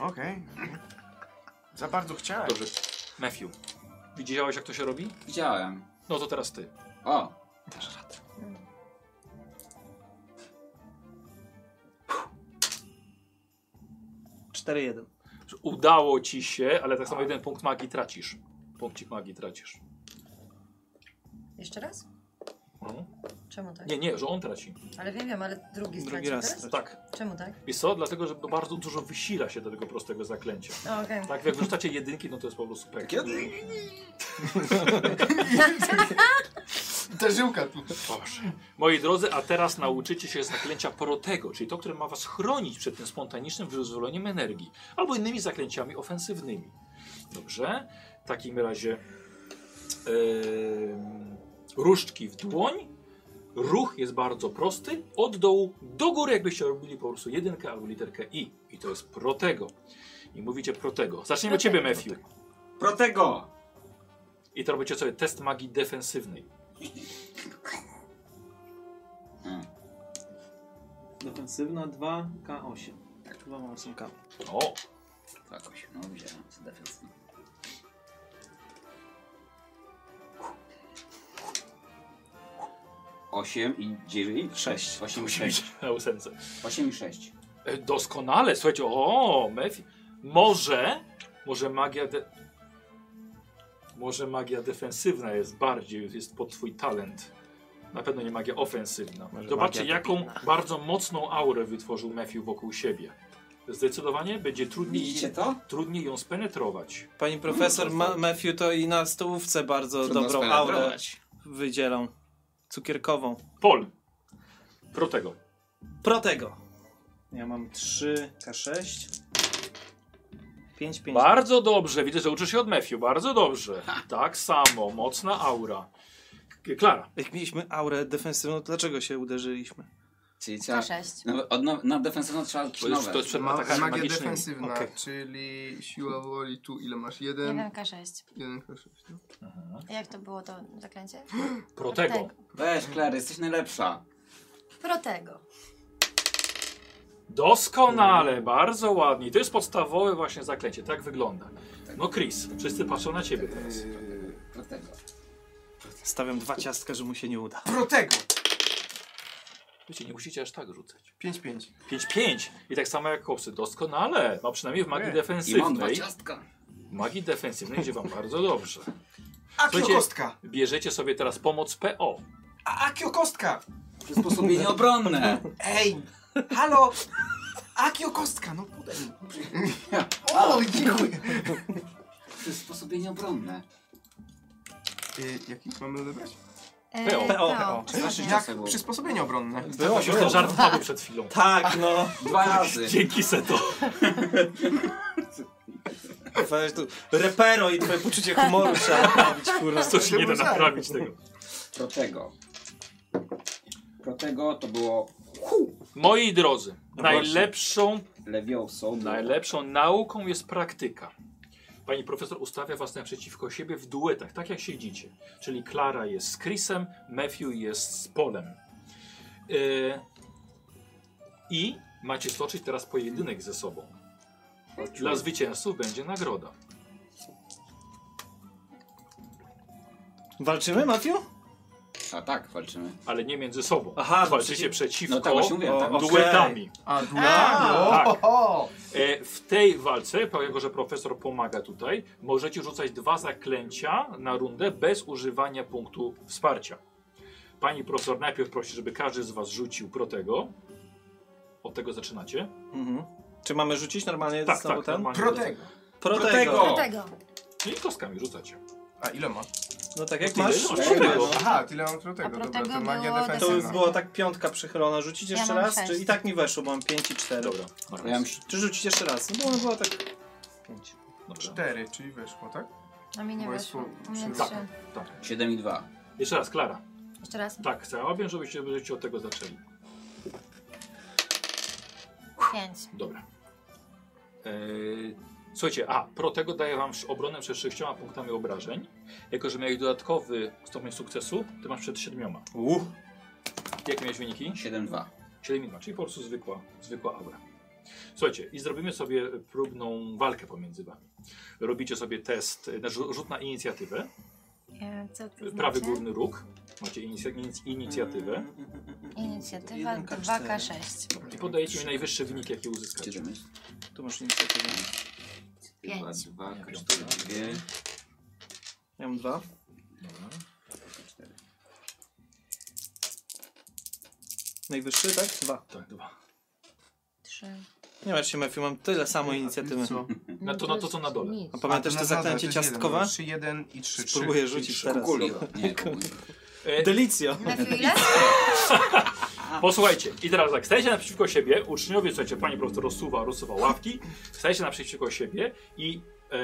Speaker 3: Okej. Za bardzo chciałem.
Speaker 1: tak. Dobrze. Matthew, widziałeś jak to się robi?
Speaker 4: Widziałem.
Speaker 1: No to teraz ty.
Speaker 4: O,
Speaker 5: Cztery jeden.
Speaker 1: Udało ci się, ale tak samo jeden punkt magii tracisz. Punkcik magii tracisz.
Speaker 2: Jeszcze raz?
Speaker 1: Mhm.
Speaker 2: Czemu tak?
Speaker 1: Nie, nie, że on traci.
Speaker 2: Ale wiem, wiem, ale drugi
Speaker 5: Drugi
Speaker 2: stracił
Speaker 5: raz.
Speaker 2: teraz?
Speaker 1: Tak.
Speaker 2: Czemu tak?
Speaker 1: Wiesz co? Dlatego, że bardzo dużo wysila się do tego prostego zaklęcia.
Speaker 2: O, Okej.
Speaker 1: Tak, jak wyrzucacie jedynki, no to jest po prostu pek.
Speaker 3: Ta żyłka tu.
Speaker 1: Boże. Moi drodzy, a teraz nauczycie się zaklęcia porotego, czyli to, które ma was chronić przed tym spontanicznym wyzwoleniem energii. Albo innymi zaklęciami ofensywnymi. Dobrze? W takim razie em, różdżki w dłoń. Ruch jest bardzo prosty. Od dołu do góry, jakbyście robili po prostu jedynkę albo literkę I. I to jest protego. I mówicie protego. Zaczniemy od ciebie, Matthew.
Speaker 4: Protego!
Speaker 1: I to robicie sobie test magii defensywnej.
Speaker 5: Hmm. Defensywna 2K8. Tak, 2 mam 8K.
Speaker 1: O!
Speaker 4: Jakoś, no widziałem, co defensywne. Osiem i dziewięć?
Speaker 5: Sześć.
Speaker 4: Osiem i sześć.
Speaker 1: Na ósemce.
Speaker 4: Osiem i sześć.
Speaker 1: E, Doskonale, słuchajcie, o, Mefi. Może, może magia de... Może magia defensywna jest bardziej, jest pod twój talent. Na pewno nie magia ofensywna.
Speaker 10: Może
Speaker 1: Zobaczcie,
Speaker 10: magia
Speaker 1: jaką
Speaker 10: debilna.
Speaker 1: bardzo mocną aurę wytworzył Matthew wokół siebie. Zdecydowanie będzie trudniej,
Speaker 4: Widzicie to?
Speaker 1: trudniej ją spenetrować.
Speaker 5: Pani profesor Ma Matthew to i na stołówce bardzo
Speaker 4: Trudno
Speaker 5: dobrą aurę
Speaker 4: spenetrować.
Speaker 5: wydzielą. Cukierkową.
Speaker 1: Pol. Protego.
Speaker 5: Protego. Ja mam 3, K6. 5, 5.
Speaker 1: Bardzo dobrze, widzę, że uczysz się od Matthew. Bardzo dobrze. Tak samo, mocna aura. K- Klara.
Speaker 5: Jak mieliśmy aurę defensywną, to dlaczego się uderzyliśmy?
Speaker 4: Czyli trzeba...
Speaker 2: K6.
Speaker 4: No, od now- na defensywną trzeba
Speaker 1: To już
Speaker 4: kisznować.
Speaker 1: to jest przed
Speaker 3: Ma,
Speaker 1: atakami
Speaker 3: No, magia
Speaker 1: magicznymi.
Speaker 3: defensywna,
Speaker 5: Okej.
Speaker 3: czyli siła woli tu, ile masz? Jeden,
Speaker 2: 1K6.
Speaker 3: jeden, no. proszę.
Speaker 2: Jak to było to zaklęcie?
Speaker 1: Protego.
Speaker 4: Weź, Clary, jesteś najlepsza.
Speaker 2: Protego.
Speaker 1: Doskonale, bardzo ładnie. I To jest podstawowe właśnie zaklęcie, tak wygląda. No Chris, wszyscy patrzą na ciebie teraz.
Speaker 4: Protego.
Speaker 5: Stawiam dwa ciastka, że mu się nie uda.
Speaker 3: Protego!
Speaker 1: Wiecie, nie musicie aż tak rzucać.
Speaker 3: 5-5.
Speaker 1: 5-5 i tak samo jak kopsy. Doskonale, no przynajmniej w magii
Speaker 3: Nie.
Speaker 4: I mam dwa
Speaker 1: defensywnej.
Speaker 4: ciastka.
Speaker 1: W magii defensywnej idzie wam bardzo dobrze.
Speaker 3: A
Speaker 1: Słuchajcie-
Speaker 3: kostka!
Speaker 1: Bierzecie sobie teraz pomoc PO.
Speaker 3: A akio kostka!
Speaker 4: Przysposobienie obronne.
Speaker 3: Ej! Halo! Akio kostka! No podaj mi. O, dziękuję!
Speaker 4: Przysposobienie obronne.
Speaker 3: Y, jakich mamy odebrać?
Speaker 2: E,
Speaker 1: PO.
Speaker 5: PO.
Speaker 4: Naszych
Speaker 3: Jak
Speaker 4: ciastek było.
Speaker 3: przysposobienie obronne.
Speaker 5: Było,
Speaker 1: Już ten żart padł przed chwilą.
Speaker 5: Tak, no.
Speaker 4: Dwa razy.
Speaker 1: Dzięki Seto.
Speaker 5: Weź tu. Repero i twoje poczucie humoru trzeba naprawić, kurwa.
Speaker 1: To się nie da
Speaker 3: Żart.
Speaker 1: naprawić tego.
Speaker 4: Protego. Protego to było
Speaker 1: Moi drodzy, najlepszą,
Speaker 4: lewiosą.
Speaker 1: najlepszą nauką jest praktyka. Pani profesor ustawia was naprzeciwko siebie w duetach, tak jak siedzicie. Czyli Klara jest z Chrisem, Matthew jest z Polem. Y, I macie stoczyć teraz pojedynek ze sobą. Dla zwycięzców będzie nagroda.
Speaker 5: Walczymy, Matthew?
Speaker 4: A tak, walczymy.
Speaker 1: Ale nie między sobą.
Speaker 5: Aha,
Speaker 1: Walczycie
Speaker 5: przeci-
Speaker 1: przeciwko
Speaker 4: No tak, właśnie mówię, tak.
Speaker 5: okej.
Speaker 1: duetami.
Speaker 3: A, dwa.
Speaker 1: tak.
Speaker 3: O, o, o.
Speaker 1: E, W tej walce, jako że profesor pomaga tutaj, możecie rzucać dwa zaklęcia na rundę bez używania punktu wsparcia. Pani profesor najpierw prosi, żeby każdy z was rzucił protego. Od tego zaczynacie.
Speaker 5: Mhm. Czy mamy rzucić normalnie
Speaker 1: Tak,
Speaker 5: znowu
Speaker 1: tak.
Speaker 5: ten?
Speaker 1: normalnie
Speaker 3: Protego.
Speaker 5: Protego.
Speaker 4: Protego.
Speaker 2: Protego.
Speaker 1: I kostkami rzucacie.
Speaker 3: A ile ma?
Speaker 5: No tak jak
Speaker 1: No tyle,
Speaker 5: masz.
Speaker 1: no,
Speaker 5: rzuciłeś.
Speaker 1: protego.
Speaker 3: Aha, tyle mam protego.
Speaker 2: A
Speaker 3: Dobra,
Speaker 2: protego
Speaker 3: to magia
Speaker 5: To
Speaker 2: było
Speaker 3: defensywna.
Speaker 5: już
Speaker 2: defensywne.
Speaker 5: była tak piątka przychylona. Rzucić
Speaker 2: Ja
Speaker 5: jeszcze
Speaker 2: mam
Speaker 5: raz?
Speaker 2: sześć.
Speaker 5: Czy i tak mi weszło, bo mam 5 i 4.
Speaker 1: Dobra.
Speaker 4: Ja mam si-
Speaker 5: Czy rzucić jeszcze raz? No bo ona była tak... 5.
Speaker 1: Dobra.
Speaker 3: Cztery, czyli weszło, tak?
Speaker 2: A mi nie
Speaker 3: Bo jest
Speaker 2: weszło.
Speaker 3: po-
Speaker 2: U mnie
Speaker 3: przy-
Speaker 2: trzy.
Speaker 1: Tak.
Speaker 4: 7 i 2.
Speaker 1: Jeszcze raz, Klara.
Speaker 2: Jeszcze raz.
Speaker 1: Tak, chciałabym, żebyście, żebyście od tego zaczęli.
Speaker 2: Pięć.
Speaker 1: Dobra. Eee, słuchajcie, a protego daje wam sz- obronę przed sześcioma punktami obrażeń. Jako, że miałeś dodatkowy stopień sukcesu, ty masz przed siedmioma.
Speaker 5: Uuu.
Speaker 1: Jakie miałeś wyniki?
Speaker 4: 7 2.
Speaker 1: 7 minut, czyli po prostu zwykła, zwykła aura. Słuchajcie, i zrobimy sobie próbną walkę pomiędzy wami. Robicie sobie test, e, znaczy rzut na inicjatywę.
Speaker 2: E, Co ty
Speaker 1: Prawy
Speaker 2: znaczy?
Speaker 1: górny róg. Macie inicja, inic, inicjatywę.
Speaker 2: Inicjatywa
Speaker 5: 1K4.
Speaker 2: 2K6.
Speaker 1: I podajecie mi najwyższy wynik, jaki uzyskacie.
Speaker 5: Tu masz inicjatywę.
Speaker 2: 5.
Speaker 4: 2, 4, 2.
Speaker 5: Ja mam 2.
Speaker 1: Dobra.
Speaker 5: Najwyższy, tak? 2.
Speaker 1: Tak, dwa.
Speaker 2: 3.
Speaker 5: Nie martw się, Matthew, mam tyle samo
Speaker 3: A
Speaker 5: inicjatywy.
Speaker 3: ty co?
Speaker 1: Na to, na to co na dole.
Speaker 5: A
Speaker 3: A, to
Speaker 5: pamiętasz
Speaker 3: na
Speaker 5: te
Speaker 3: dwa, to
Speaker 5: zaklęcie
Speaker 3: jest jeden,
Speaker 5: ciastkowe?
Speaker 3: Trzy, jeden i trzy, trzy.
Speaker 5: Spróbuję rzucić teraz.
Speaker 4: Kukuli. Nie, kukuli.
Speaker 1: E,
Speaker 5: Delicja.
Speaker 2: Matthew ile?
Speaker 1: Posłuchajcie, i teraz tak, stajecie naprzeciwko siebie, uczniowie, słuchajcie, pani profesor rozsuwa, rozsuwa ławki, stajecie naprzeciwko siebie i e,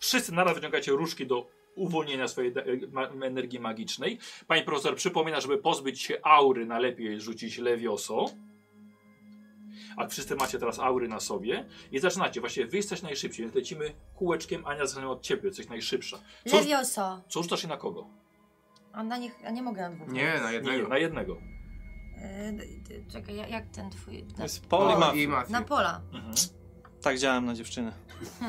Speaker 1: wszyscy naraz wyciągacie różki do uwolnienia swojej de- e, ma, energii magicznej. Pani profesor przypomina, żeby pozbyć się aury, najlepiej rzucić lewioso. A wszyscy macie teraz aury na sobie i zaczynacie. Właśnie wy jesteś najszybciej, więc lecimy kółeczkiem, Ania zaczyna od ciebie, jesteś najszybsza. Co,
Speaker 2: Lewioso.
Speaker 1: co rzucasz i na kogo?
Speaker 2: A na nich, a nie mogę na dwóch.
Speaker 3: Nie, na
Speaker 1: Nie, nie,
Speaker 3: jednego.
Speaker 1: na jednego.
Speaker 2: E, d- d- czekaj, ja- jak ten twój...
Speaker 5: To
Speaker 2: Na,
Speaker 5: jest
Speaker 3: O,
Speaker 5: Paul i
Speaker 3: No i
Speaker 5: Matthew.
Speaker 3: mafię.
Speaker 2: na pola.
Speaker 1: Mhm.
Speaker 5: Tak działałem na dziewczyny.
Speaker 2: No.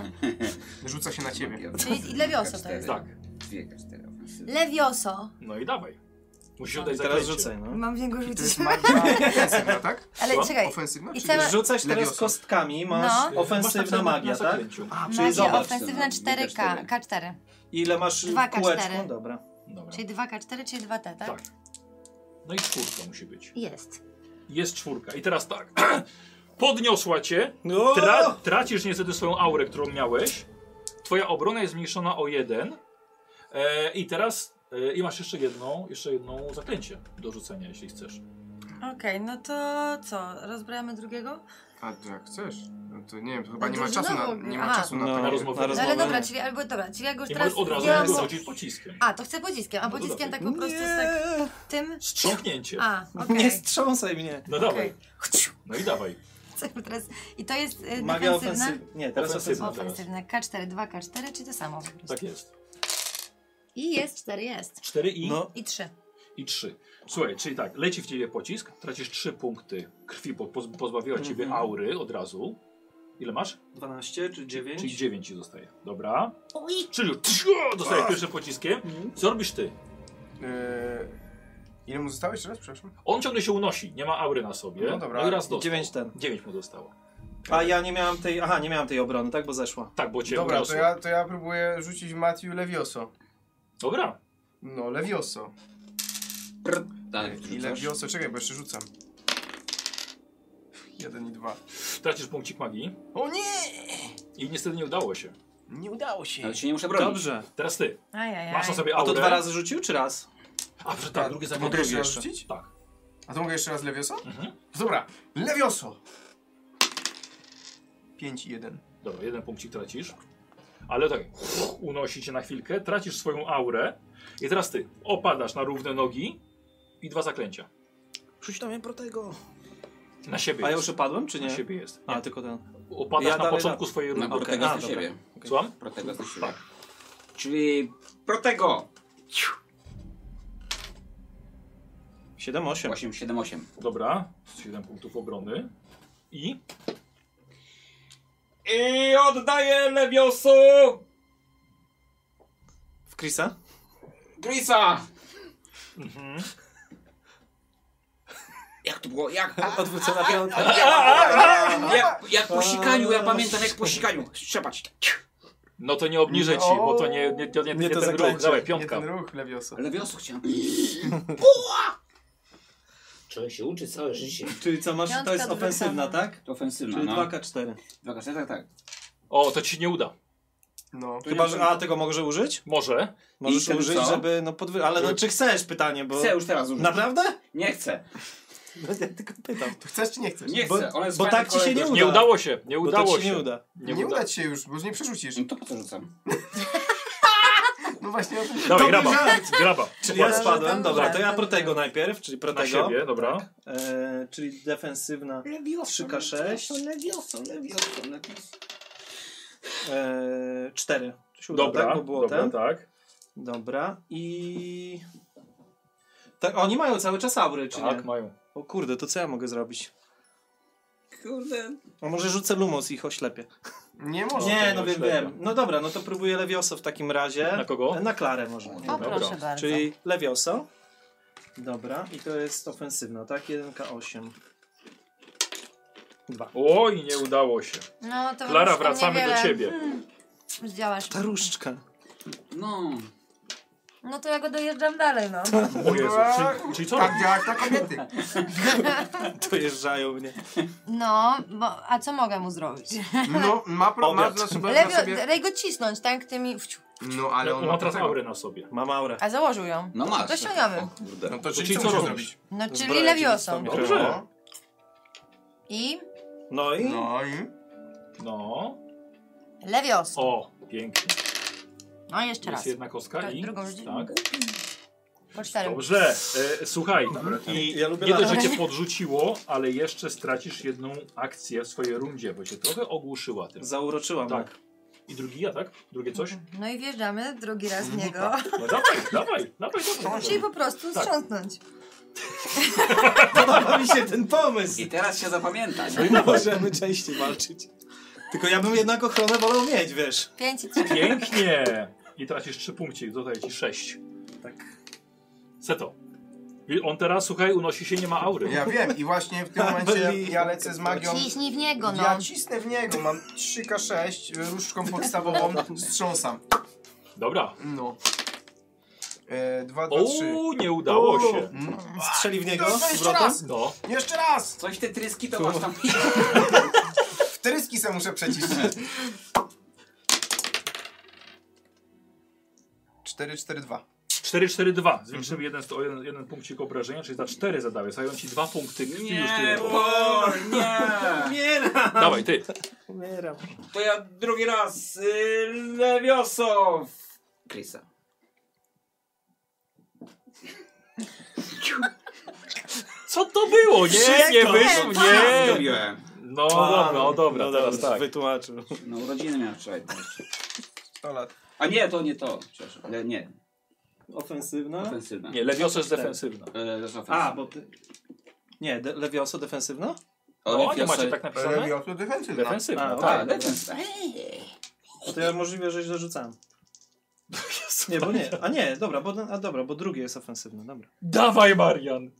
Speaker 3: Rzuca się na ciebie.
Speaker 2: Czyli i lewioso to jest.
Speaker 1: Tak,
Speaker 4: Dwie, cztery.
Speaker 2: Lewioso.
Speaker 1: no i dawaj. Musisz oddać
Speaker 5: Teraz
Speaker 1: zaklęcie.
Speaker 5: rzucaj, no.
Speaker 2: Mam w niego
Speaker 3: I to
Speaker 2: rzucić.
Speaker 3: jest magia ofensywna, tak?
Speaker 2: Ale
Speaker 1: Co?
Speaker 2: czekaj,
Speaker 3: Ofensywna?
Speaker 2: I
Speaker 3: czy
Speaker 2: cała-
Speaker 3: nie?
Speaker 5: Rzucać teraz
Speaker 3: Lewiosa.
Speaker 5: kostkami, masz
Speaker 1: Masz
Speaker 5: ofensywna
Speaker 1: napisane
Speaker 5: magia,
Speaker 1: na
Speaker 5: tak?
Speaker 1: zaklęciu.
Speaker 5: A, czyli
Speaker 2: No. magia
Speaker 5: zobacz.
Speaker 2: ofensywna
Speaker 4: co mam,
Speaker 2: 4K, K4.
Speaker 5: Ile masz
Speaker 2: Dwa K4.
Speaker 5: kółeczko? Dobra.
Speaker 1: Dobra.
Speaker 2: Czyli 2K4, czyli 2T, tak?
Speaker 1: Tak. No i czwórka musi być.
Speaker 2: Jest.
Speaker 1: Jest czwórka. I teraz tak. Podniosła cię.
Speaker 5: No!
Speaker 1: Tra tracisz niestety swoją aurę, którą miałeś. Twoja obrona jest zmniejszona o jeden. E, I teraz. E, I masz jeszcze jedną, jeszcze jedną zaklęcie do rzucenia, jeśli chcesz.
Speaker 2: Okej,
Speaker 5: Tak.
Speaker 2: no to co? Rozbrajamy drugiego?
Speaker 3: A jak chcesz? No to nie wiem, to chyba
Speaker 2: No
Speaker 3: nie
Speaker 2: to
Speaker 3: ma
Speaker 2: że
Speaker 3: czasu
Speaker 2: znowu-
Speaker 3: na, nie ma
Speaker 2: aha.
Speaker 3: czasu na
Speaker 5: No,
Speaker 3: takie-
Speaker 1: na rozmowę.
Speaker 5: na
Speaker 2: No
Speaker 5: rozmowę.
Speaker 2: ale dobra, czyli, albo, dobra, czyli ja go już
Speaker 1: Nie
Speaker 2: teraz...
Speaker 1: możesz od razu
Speaker 2: ja
Speaker 1: go
Speaker 2: mam-
Speaker 1: rzucić pociskiem.
Speaker 2: A, to chcę pociskiem, a
Speaker 1: No
Speaker 2: pociskiem
Speaker 1: dawaj.
Speaker 2: tak po prostu z tak tym...
Speaker 1: Strząknięcie.
Speaker 2: A, okej.
Speaker 5: Nie strząsaj mnie.
Speaker 1: No dawaj.
Speaker 2: okej.
Speaker 1: No i dawaj.
Speaker 2: Co teraz... I to jest y,
Speaker 5: Magia
Speaker 2: defensywna?
Speaker 5: ofensywna. Nie, teraz
Speaker 1: Ofensywna.
Speaker 5: ofensywna.
Speaker 2: Ofensywne. K4, 2K4, czy to samo po prostu?
Speaker 1: Tak jest.
Speaker 2: I jest, 4 jest.
Speaker 1: Cztery i,
Speaker 5: No,
Speaker 2: I 3.
Speaker 1: i trzy. Słuchaj, czyli tak, leci w ciebie pocisk, tracisz trzy punkty krwi, bo poz- pozbawiła ciebie
Speaker 5: Mhm.
Speaker 1: aury od razu. Ile masz?
Speaker 5: 12 czy
Speaker 1: Czyli
Speaker 5: 9?
Speaker 1: 9 ci zostaje. Dobra. Czyli tsz, o, dostajesz pierwszym pociskiem. Co robisz ty?
Speaker 3: Yy, Ile mu zostało jeszcze raz, przepraszam?
Speaker 1: On ciągle się unosi, nie ma aury na sobie.
Speaker 3: No dobra,
Speaker 1: i raz dostał.
Speaker 5: 9 ten.
Speaker 1: 9 mu dostało.
Speaker 5: A ja nie miałam tej. Aha, nie miałam tej obrony, tak? Bo zeszła.
Speaker 1: Tak, bo cię
Speaker 3: Dobra, to
Speaker 1: uniosło.
Speaker 3: ja, to ja próbuję rzucić Matthew Levioso.
Speaker 1: Dobra.
Speaker 3: No, Levioso.
Speaker 4: Prr, tak,
Speaker 3: I
Speaker 4: wrzucasz.
Speaker 3: Levioso, czekaj, bo jeszcze rzucam. Jeden i dwa.
Speaker 1: Tracisz punkcik magii
Speaker 3: O nie!
Speaker 1: i niestety nie udało się.
Speaker 3: Nie udało się.
Speaker 4: Ale się nie muszę bronić.
Speaker 5: Dobrze.
Speaker 1: Teraz ty.
Speaker 2: Ajajaj.
Speaker 1: Masz na sobie
Speaker 5: A
Speaker 1: aurę.
Speaker 5: to dwa razy rzucił, czy raz?
Speaker 1: A przy tak, drugie
Speaker 3: To
Speaker 1: zabieg.
Speaker 3: mogę jeszcze raz
Speaker 5: jeszcze.
Speaker 3: rzucić?
Speaker 1: Tak.
Speaker 3: A to mogę jeszcze raz Levioso?
Speaker 1: Mhm.
Speaker 3: Dobra, Levioso! Pięć i jeden.
Speaker 1: Dobra, jeden punkcik tracisz. Ale tak, unosi cię na chwilkę, tracisz swoją aurę i teraz ty opadasz na równe nogi i dwa zaklęcia.
Speaker 5: Rzuć na mnie protego.
Speaker 1: Na siebie
Speaker 5: A ja już
Speaker 1: jest.
Speaker 5: opadłem, czy
Speaker 1: Na
Speaker 5: nie?
Speaker 1: siebie jest.
Speaker 5: A, tylko ten.
Speaker 1: Opadasz
Speaker 5: Ja
Speaker 1: na
Speaker 5: dalej
Speaker 1: początku
Speaker 5: na-
Speaker 1: swojej
Speaker 4: Na
Speaker 1: rundy.
Speaker 4: protego
Speaker 5: Okej, a,
Speaker 4: okay. na siebie.
Speaker 1: Słucham?
Speaker 4: Protego na siebie. Czyli protego.
Speaker 5: 7, 8.
Speaker 4: 8, 7, 8.
Speaker 1: Dobra, 7 punktów obrony. I
Speaker 4: I oddaję Lewiosu!
Speaker 5: W Krisa?
Speaker 4: Grisa! Jak to było? Jak?
Speaker 5: Odwrócona piątka.
Speaker 4: Jak, jak po sikaniu, ja pamiętam jak po sikaniu. Trzepać.
Speaker 1: no to nie obniżę ci, bo to nie, nie, nie, nie,
Speaker 5: Nie to
Speaker 1: ten
Speaker 5: zaklęcie.
Speaker 1: ruch. Dawaj,
Speaker 3: Nie
Speaker 1: piątka.
Speaker 3: ten ruch, Levioso.
Speaker 4: Lewiosu chciałem. Człowiek się uczy całe życie.
Speaker 5: Czyli co masz, to
Speaker 2: Piątka
Speaker 5: jest
Speaker 2: do
Speaker 5: ofensywna,
Speaker 2: wycofania.
Speaker 5: tak?
Speaker 4: To ofensywna,
Speaker 5: Czyli
Speaker 4: no.
Speaker 5: 2K4.
Speaker 4: Dwa kasety, tak, tak.
Speaker 1: O, to ci się nie uda.
Speaker 3: No.
Speaker 5: Chyba, że. A tego może użyć?
Speaker 1: Może.
Speaker 4: I
Speaker 5: Możesz
Speaker 4: wtedy
Speaker 5: użyć,
Speaker 4: co?
Speaker 5: żeby. No podwy... Ale no, czy chcesz pytanie, bo.
Speaker 4: Chcę już teraz użyć.
Speaker 5: Naprawdę?
Speaker 4: Nie chcę.
Speaker 5: No, ja tylko pytam.
Speaker 3: To chcesz czy nie chcesz?
Speaker 4: Nie
Speaker 5: Bo-
Speaker 4: chcę. Ona jest
Speaker 5: bo
Speaker 4: fajna,
Speaker 5: tak ci się
Speaker 4: kolego.
Speaker 5: nie
Speaker 1: Nie
Speaker 5: Uda.
Speaker 1: udało się, nie
Speaker 5: Bo to
Speaker 1: udało
Speaker 5: ci
Speaker 1: się.
Speaker 5: nie uda.
Speaker 1: Nie
Speaker 3: Nie,
Speaker 1: uda-
Speaker 3: uda ci się już, bo nie przerzucisz.
Speaker 4: No to po co rzucam?
Speaker 3: No właśnie o tym
Speaker 1: Dawaj,
Speaker 3: Dobry
Speaker 1: graba,
Speaker 3: żart.
Speaker 1: graba.
Speaker 5: Czyli ja
Speaker 2: Dobra,
Speaker 5: spadłem,
Speaker 2: dobra,
Speaker 5: dobra, to ja
Speaker 2: dobra.
Speaker 5: protego najpierw, czyli
Speaker 1: Na
Speaker 5: protego.
Speaker 1: siebie, dobra.
Speaker 5: E, czyli defensywna.
Speaker 4: Lewiosu.
Speaker 5: 3K6.
Speaker 4: Lewiosu, lewiosu, lewiosu.
Speaker 5: E, 4. Się udało,
Speaker 1: Dobra,
Speaker 5: tak? Bo było
Speaker 1: dobra,
Speaker 5: ten.
Speaker 1: tak.
Speaker 5: Dobra. I. Tak, oni mają cały czas aury, czy
Speaker 1: Tak,
Speaker 5: nie?
Speaker 1: mają.
Speaker 5: O kurde, to co ja mogę zrobić?
Speaker 4: Kurde.
Speaker 5: A może rzucę Lumos i ich oślepię.
Speaker 3: Nie może.
Speaker 1: to
Speaker 5: nie, no
Speaker 1: nie
Speaker 5: wiem,
Speaker 1: oślepia.
Speaker 5: wiem. No dobra, no to próbuję Lewioso w takim razie.
Speaker 1: Na kogo?
Speaker 5: E, Na Klarę może.
Speaker 4: O,
Speaker 5: Nie
Speaker 2: O,
Speaker 5: wiem.
Speaker 1: Dobra.
Speaker 2: proszę bardzo.
Speaker 5: Czyli Lewioso. Dobra, i to jest ofensywna, tak? 1K8. Dwa.
Speaker 1: Oj, nie udało się.
Speaker 2: No, to
Speaker 1: Klara,
Speaker 2: już tam
Speaker 1: wracamy do
Speaker 2: niewiele.
Speaker 1: ciebie.
Speaker 2: Hmm, już działasz.
Speaker 5: Ta różdżka.
Speaker 4: No.
Speaker 2: No to ja go dojeżdżam dalej, no.
Speaker 1: O Jezu, czyli, czyli co?
Speaker 3: Tak działa na kobiety.
Speaker 5: Dojeżdżają mnie.
Speaker 2: No, bo, a co mogę mu zrobić?
Speaker 3: No, ma, pro, ma
Speaker 5: Obiad.
Speaker 3: na, sobie, na
Speaker 2: Lewio,
Speaker 3: sobie...
Speaker 2: daj go cisnąć, tak? Tymi... wciu.
Speaker 3: No, ale on
Speaker 1: On ma teraz
Speaker 3: tego.
Speaker 1: aurę na sobie.
Speaker 5: Mam aurę.
Speaker 2: A założył ją.
Speaker 4: No masz.
Speaker 2: To ściągamy.
Speaker 4: O kurde.
Speaker 3: No to
Speaker 1: czyli
Speaker 3: czyli
Speaker 1: co
Speaker 3: co musisz
Speaker 1: robisz?
Speaker 3: zrobić?
Speaker 2: No, czyli
Speaker 5: Zbroja
Speaker 2: lewiosą.
Speaker 5: ci
Speaker 1: Dobrze.
Speaker 3: No.
Speaker 2: I
Speaker 5: No i
Speaker 3: No i?
Speaker 1: No.
Speaker 2: lewiosą.
Speaker 1: O, pięknie.
Speaker 2: No, jeszcze
Speaker 1: Jest
Speaker 2: raz.
Speaker 1: jedna kostka
Speaker 2: To
Speaker 1: i...
Speaker 2: drugą rzucimy.
Speaker 1: Tak.
Speaker 2: Po czterech.
Speaker 1: Dobrze, e, słuchaj,
Speaker 3: Mhm.
Speaker 1: i
Speaker 5: ja lubię
Speaker 1: nie dość,
Speaker 5: lata.
Speaker 1: że cię podrzuciło, ale jeszcze stracisz jedną akcję w swojej rundzie, bo cię trochę ogłuszyła tym.
Speaker 5: zauroczyłam.
Speaker 1: Tak. I drugi ja, tak? Drugie coś?
Speaker 2: No i wjeżdżamy drugi raz w niego.
Speaker 1: No dawaj, dawaj, dawaj, dawaj.
Speaker 2: Czyli po prostu
Speaker 1: Tak.
Speaker 2: strząsnąć.
Speaker 5: Podoba mi się ten pomysł.
Speaker 4: I teraz się zapamięta. nie?
Speaker 5: Możemy częściej walczyć. Tylko ja bym jednak ochronę wolał mieć, wiesz.
Speaker 2: Pięć i trzy.
Speaker 1: Pięknie! I tracisz trzy punkcie, dodaję ci sześć.
Speaker 5: Tak.
Speaker 1: Seto. I On teraz, słuchaj, unosi się, nie ma aury.
Speaker 3: Ja wiem i właśnie w tym momencie ja lecę z magią.
Speaker 2: Ciśnij w niego, no.
Speaker 3: Ja cisnę w niego, mam 3K6, różdżką podstawową strząsam.
Speaker 1: Dobra.
Speaker 3: No. E, 2, 2, 3.
Speaker 1: O, nie udało się.
Speaker 5: Strzeli w niego.
Speaker 3: To jeszcze
Speaker 5: Zwrotem.
Speaker 3: raz!
Speaker 1: No.
Speaker 3: Jeszcze raz!
Speaker 4: Coś te tryski to masz tam.
Speaker 3: Wtryski se muszę przecisnąć. 4, 4, 2.
Speaker 1: 4-4-2. Zwiększymy jeden, sto- o jeden, jeden punkcik obrażenia, czyli za 4 zadałeś. Zajął ci dwa punkty krwi już
Speaker 4: Nie,
Speaker 1: tyle.
Speaker 4: bo, nie.
Speaker 5: Umieram!
Speaker 1: Dawaj, ty.
Speaker 5: Umieram.
Speaker 4: To ja drugi raz. Yy, lewioso. Krisa.
Speaker 1: Co to było? Nie, nie wyszło, nie.
Speaker 4: Zrobiłem.
Speaker 1: No dobra, o dobra,
Speaker 5: No
Speaker 1: teraz
Speaker 5: dobra,
Speaker 1: tak.
Speaker 5: Wytłumaczył.
Speaker 4: No urodziny miałem wczoraj.
Speaker 3: 100 lat.
Speaker 4: A nie, to nie to. Przepraszam. Le, nie,
Speaker 11: Ofensywna?
Speaker 4: ofensywna.
Speaker 1: Nie, lewiosa jest defensywna.
Speaker 4: E, to jest ofensywna.
Speaker 11: A, bo ty...
Speaker 5: nie, de- lewioso defensywna?
Speaker 1: No, nie
Speaker 4: Lewioso-
Speaker 1: macie tak
Speaker 3: E,
Speaker 1: napisane?
Speaker 3: Robią to defensywna.
Speaker 1: Defensywna,
Speaker 5: A,
Speaker 1: tak.
Speaker 4: A, defensywna.
Speaker 5: To ja możliwe, że źle rzucałem. Nie, bo nie. A nie, dobra, bo, a dobra, bo drugie jest ofensywne, dobra.
Speaker 1: Dawaj, Marian.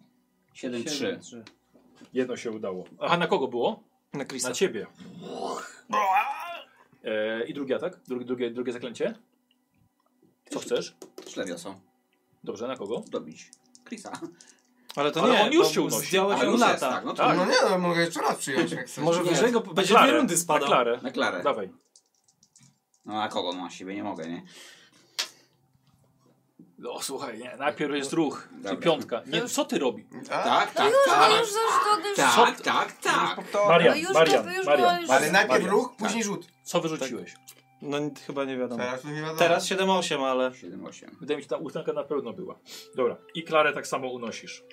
Speaker 4: 7-3.
Speaker 5: Trzy.
Speaker 1: Jedno się udało. Aha, na kogo było?
Speaker 5: Na Krisa.
Speaker 1: Na ciebie. No, E, I drugi atak? Drugi, drugie, drugie zaklęcie? Co chcesz?
Speaker 4: Też lewioso.
Speaker 1: Dobrze, na kogo?
Speaker 4: Dobić. Krisa.
Speaker 5: Ale to
Speaker 1: Ale
Speaker 5: nie,
Speaker 1: on już
Speaker 5: bo
Speaker 1: się unosi.
Speaker 5: Zdjąłeś
Speaker 4: A już jest,
Speaker 5: lata.
Speaker 4: tak, no to
Speaker 1: Tak.
Speaker 3: No nie, no mogę jeszcze raz przyjąć jak chcesz.
Speaker 5: Może
Speaker 4: Nie.
Speaker 5: wyżej go będzie
Speaker 1: Klarę.
Speaker 5: dwie rundy
Speaker 1: Na
Speaker 5: spadał.
Speaker 1: Klarę.
Speaker 4: na klarę.
Speaker 1: Dawaj.
Speaker 4: No a kogo? No na siebie nie mogę, nie?
Speaker 1: O, No, słuchaj, nie, najpierw jest ruch.
Speaker 4: Dobra.
Speaker 1: I piątka. Nie, co ty robi?
Speaker 3: A?
Speaker 4: Tak, tak,
Speaker 2: No
Speaker 4: tak.
Speaker 2: już, już, to, już,
Speaker 4: Tak, tak, tak.
Speaker 3: To...
Speaker 2: no
Speaker 1: Marian,
Speaker 2: już,
Speaker 1: Marian,
Speaker 2: to, już,
Speaker 1: Marian.
Speaker 2: już,
Speaker 3: Ale najpierw
Speaker 4: Marian.
Speaker 3: ruch, później rzut.
Speaker 1: Co wyrzuciłeś?
Speaker 5: No n- chyba nie wiadomo.
Speaker 3: Teraz to nie wiadomo.
Speaker 5: Teraz 7-8, ale...
Speaker 4: 7-8.
Speaker 1: Wydaje mi się, ta ósemka na pewno była. Dobra. I Klarę tak samo unosisz.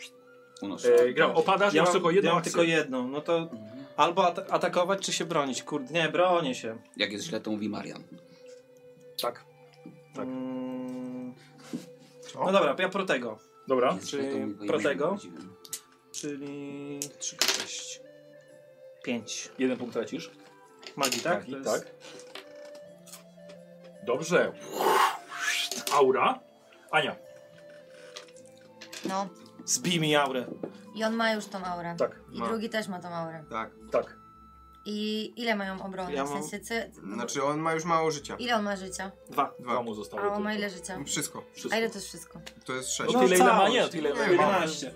Speaker 4: Unoszę.
Speaker 1: E, gram, opadasz, ja masz tylko jedną
Speaker 5: ja mam
Speaker 1: akcję.
Speaker 5: tylko jedną, no to albo at atakować, czy się bronić. Kurde, nie, bronię się.
Speaker 4: Jak jest źle, to mówi Marian.
Speaker 1: Tak. Tak.
Speaker 5: Mm,
Speaker 3: Co?
Speaker 5: no dobra, ja protego,
Speaker 1: Dobra.
Speaker 4: Jest
Speaker 5: Czyli
Speaker 4: źle, to mówi po
Speaker 5: Protego?
Speaker 4: imieniu prawdziwym.
Speaker 5: czyli 3 6 5
Speaker 1: Jeden punkt tracisz.
Speaker 5: magii, tak?
Speaker 1: Magii,
Speaker 5: To jest-
Speaker 1: tak. Dobrze. Aura. Ania.
Speaker 2: No.
Speaker 5: Zbij mi aurę.
Speaker 2: I on ma już tą aurę.
Speaker 1: Tak.
Speaker 2: I
Speaker 3: Ma.
Speaker 2: drugi też ma tą aurę.
Speaker 3: Tak.
Speaker 1: Tak.
Speaker 2: I ile mają obrony?
Speaker 5: Ja
Speaker 2: w
Speaker 5: mam-
Speaker 2: sensie, co...
Speaker 3: Znaczy on ma już mało życia.
Speaker 2: Ile on ma życia?
Speaker 5: Dwa.
Speaker 1: Dwa
Speaker 3: Dwa.
Speaker 1: mu zostało.
Speaker 2: A on
Speaker 1: tylko.
Speaker 2: ma ile życia?
Speaker 3: Wszystko.
Speaker 1: Wszystko.
Speaker 2: A ile to jest wszystko?
Speaker 3: To jest
Speaker 1: No
Speaker 3: sześć.
Speaker 5: No,
Speaker 1: tyle ile ma,
Speaker 5: całość.
Speaker 1: nie, tyle ile
Speaker 3: Nie
Speaker 1: ma.
Speaker 3: ma.
Speaker 5: 11.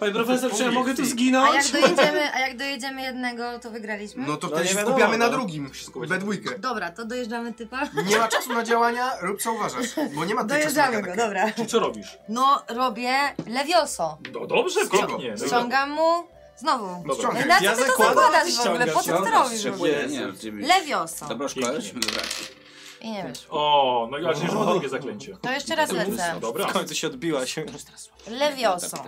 Speaker 5: Panie profesor, czy ja mogę tu
Speaker 2: A
Speaker 5: zginąć?
Speaker 2: jak dojedziemy, a jak dojedziemy jednego, to wygraliśmy?
Speaker 3: No to
Speaker 5: No, No
Speaker 3: wtedy
Speaker 5: nie
Speaker 3: się
Speaker 5: wiadomo,
Speaker 3: skupiamy na
Speaker 5: no.
Speaker 3: drugim. We dwójkę.
Speaker 2: Dobra, to dojeżdżamy typa.
Speaker 3: Nie ma czasu na działania, rób co uważasz. Bo nie ma tutaj czasu na
Speaker 2: Dojeżdżamy go,
Speaker 3: gadkę.
Speaker 2: dobra.
Speaker 1: Czyli co robisz?
Speaker 2: No, robię lewioso.
Speaker 1: No dobrze,
Speaker 3: Spoko.
Speaker 1: pięknie.
Speaker 2: Ściągam mu znowu.
Speaker 5: no.
Speaker 1: Dobra.
Speaker 3: Ściągaj.
Speaker 2: Na co
Speaker 5: Ja
Speaker 2: ty to
Speaker 5: zakładam,
Speaker 2: zakładasz
Speaker 5: że
Speaker 2: w ogóle? Po co ty to
Speaker 4: Dobra,
Speaker 2: robisz w ogóle?
Speaker 4: strzepuję, nie, oczywiście.
Speaker 2: Lewioso.
Speaker 4: Dobra, szkoda.
Speaker 1: Pięknie.
Speaker 4: Dobra.
Speaker 2: I nie wiesz.
Speaker 1: O, no i aż już ma drugie zaklęcie.
Speaker 2: To jeszcze raz lecę.
Speaker 1: Dobra.
Speaker 5: W końcu się odbiła się.
Speaker 2: Lewioso.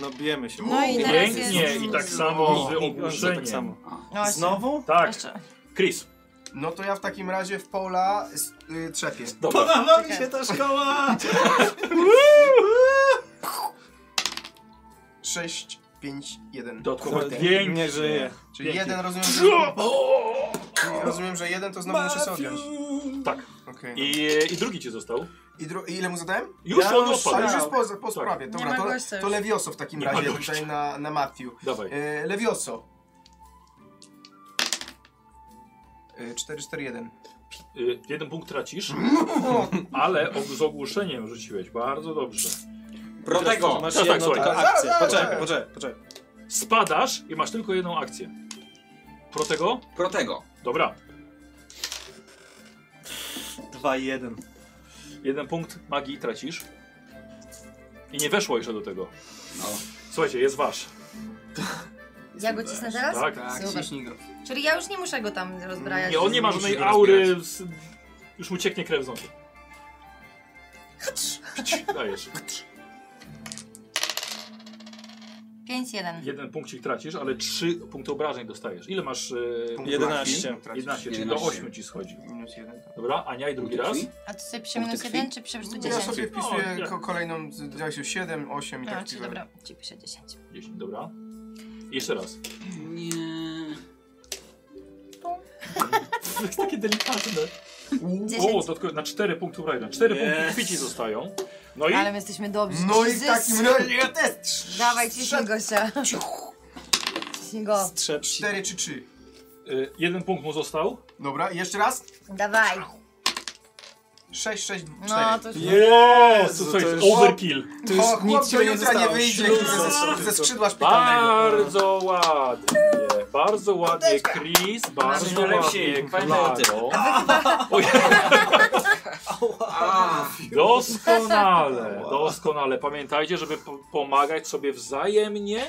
Speaker 5: No bijemy się.
Speaker 2: No i teraz jest...
Speaker 1: Tak, Pięknie i tak samo z
Speaker 5: I- i-
Speaker 1: ogłuszeniem.
Speaker 5: tak samo.
Speaker 2: No właśnie.
Speaker 5: Znowu?
Speaker 1: Tak,
Speaker 2: Jeszcze.
Speaker 1: Chris.
Speaker 3: No to ja w takim razie w pola s- y, trzepię.
Speaker 1: Dobra.
Speaker 5: Podoba No, mi się ta szkoła!
Speaker 3: 6, 5, 1.
Speaker 1: Dodatkowo pięknie.
Speaker 5: Nie żyje.
Speaker 3: Czyli
Speaker 1: pięknie.
Speaker 3: jeden rozumiem, że... Czyli rozumiem, że jeden to znowu muszę sobie odjąć.
Speaker 1: Tak.
Speaker 3: Okej. no.
Speaker 1: I, I drugi ci został.
Speaker 3: I, dru- I ile mu zadałem?
Speaker 1: Już
Speaker 5: Ja
Speaker 1: on
Speaker 5: już-
Speaker 3: A już
Speaker 1: odpadł.
Speaker 3: jest po, po sprawie.
Speaker 2: Nie ma
Speaker 3: Dobra, to,
Speaker 2: gościa
Speaker 3: to
Speaker 2: już.
Speaker 3: Lewioso w takim
Speaker 1: Tak. Nie ma
Speaker 3: razie
Speaker 1: gościa.
Speaker 3: tutaj na, na Matthew.
Speaker 1: Dawaj.
Speaker 3: E, Lewioso. E, 4-4-1.
Speaker 1: Y, jeden punkt tracisz, ale og- z ogłuszeniem rzuciłeś. Bardzo dobrze.
Speaker 4: Protego!
Speaker 5: Masz
Speaker 1: tak,
Speaker 5: jedną
Speaker 1: słuchaj.
Speaker 5: tylko
Speaker 3: Zaraz,
Speaker 5: akcję.
Speaker 3: zaraz,
Speaker 5: Poczekaj,
Speaker 3: zaraz.
Speaker 5: poczekaj, poczekaj.
Speaker 1: Spadasz i masz tylko jedną akcję. Protego?
Speaker 4: Protego!
Speaker 1: Dobra.
Speaker 5: Dwa i jeden.
Speaker 1: Jeden punkt magii tracisz. I nie weszło jeszcze do tego.
Speaker 4: No.
Speaker 1: Słuchajcie, jest wasz.
Speaker 2: Ja go cisnę teraz?
Speaker 1: Tak?
Speaker 3: Tak,
Speaker 2: Super.
Speaker 3: ciśnij go.
Speaker 2: Czyli ja już nie muszę go tam rozbrajać.
Speaker 1: Nie, on nie ma
Speaker 3: Musisz
Speaker 1: żadnej
Speaker 3: go
Speaker 1: aury. Z... Już mu cieknie krew z nogi. Dajesz.
Speaker 2: 5-1.
Speaker 1: Jeden punkcik tracisz, ale trzy punkty obrażeń dostajesz. Ile masz? Yy,
Speaker 3: Punkt
Speaker 5: 11.
Speaker 3: magii.
Speaker 1: 11, czyli do
Speaker 4: 11.
Speaker 1: 8 ci schodzi.
Speaker 3: Minus jeden.
Speaker 1: Dobra, Ania i drugi raz.
Speaker 2: A to sobie przy
Speaker 4: Punkty
Speaker 2: minus
Speaker 4: krwi?
Speaker 2: 1 czy przy rzutu
Speaker 3: Ja
Speaker 2: 10?
Speaker 3: sobie
Speaker 1: No,
Speaker 3: wpisuję
Speaker 1: jak-
Speaker 3: ko- kolejną, działaj się 7, 8 i
Speaker 2: No,
Speaker 3: tak
Speaker 2: czyli
Speaker 3: dalej.
Speaker 2: dobra, ci piszę 10.
Speaker 1: 10, dobra. I jeszcze raz.
Speaker 4: Nie.
Speaker 1: To jest takie delikatne. O,
Speaker 2: 10.
Speaker 1: dodatkowo na 4 punkty Rajna. 4
Speaker 5: Yes.
Speaker 1: punkty krwi ci zostają. No i
Speaker 6: Hmm?
Speaker 2: Ale my jesteśmy dobrzy.
Speaker 3: No i w
Speaker 2: Jesus.
Speaker 3: takim razie ja też.
Speaker 2: Dawaj, ciśnij gościa. Ciśnij go.
Speaker 5: Strzepsi.
Speaker 3: 4 czy 3.
Speaker 1: y, jeden punkt mu został.
Speaker 3: Dobra, i jeszcze raz.
Speaker 2: Dawaj.
Speaker 3: 6, 6, 4.
Speaker 2: No, to już...
Speaker 1: Jezu,
Speaker 5: to
Speaker 1: to jest
Speaker 5: jest-
Speaker 1: overkill.
Speaker 5: To już
Speaker 3: o,
Speaker 5: nic
Speaker 3: nic
Speaker 5: ci
Speaker 3: do
Speaker 5: nie
Speaker 3: jutra nie
Speaker 5: zostało.
Speaker 3: wyjdzie
Speaker 5: Ślub
Speaker 3: ze,
Speaker 5: został.
Speaker 3: ze skrzydła szpitalnego.
Speaker 1: Bardzo ładnie, bardzo ładnie, Chris, bardzo
Speaker 4: Jesteśmy lepsi,
Speaker 1: ładnie,
Speaker 4: pamiętaj o tym.
Speaker 1: Klaro. Ojej. Doskonale, doskonale. Pamiętajcie, żeby po- pomagać sobie wzajemnie.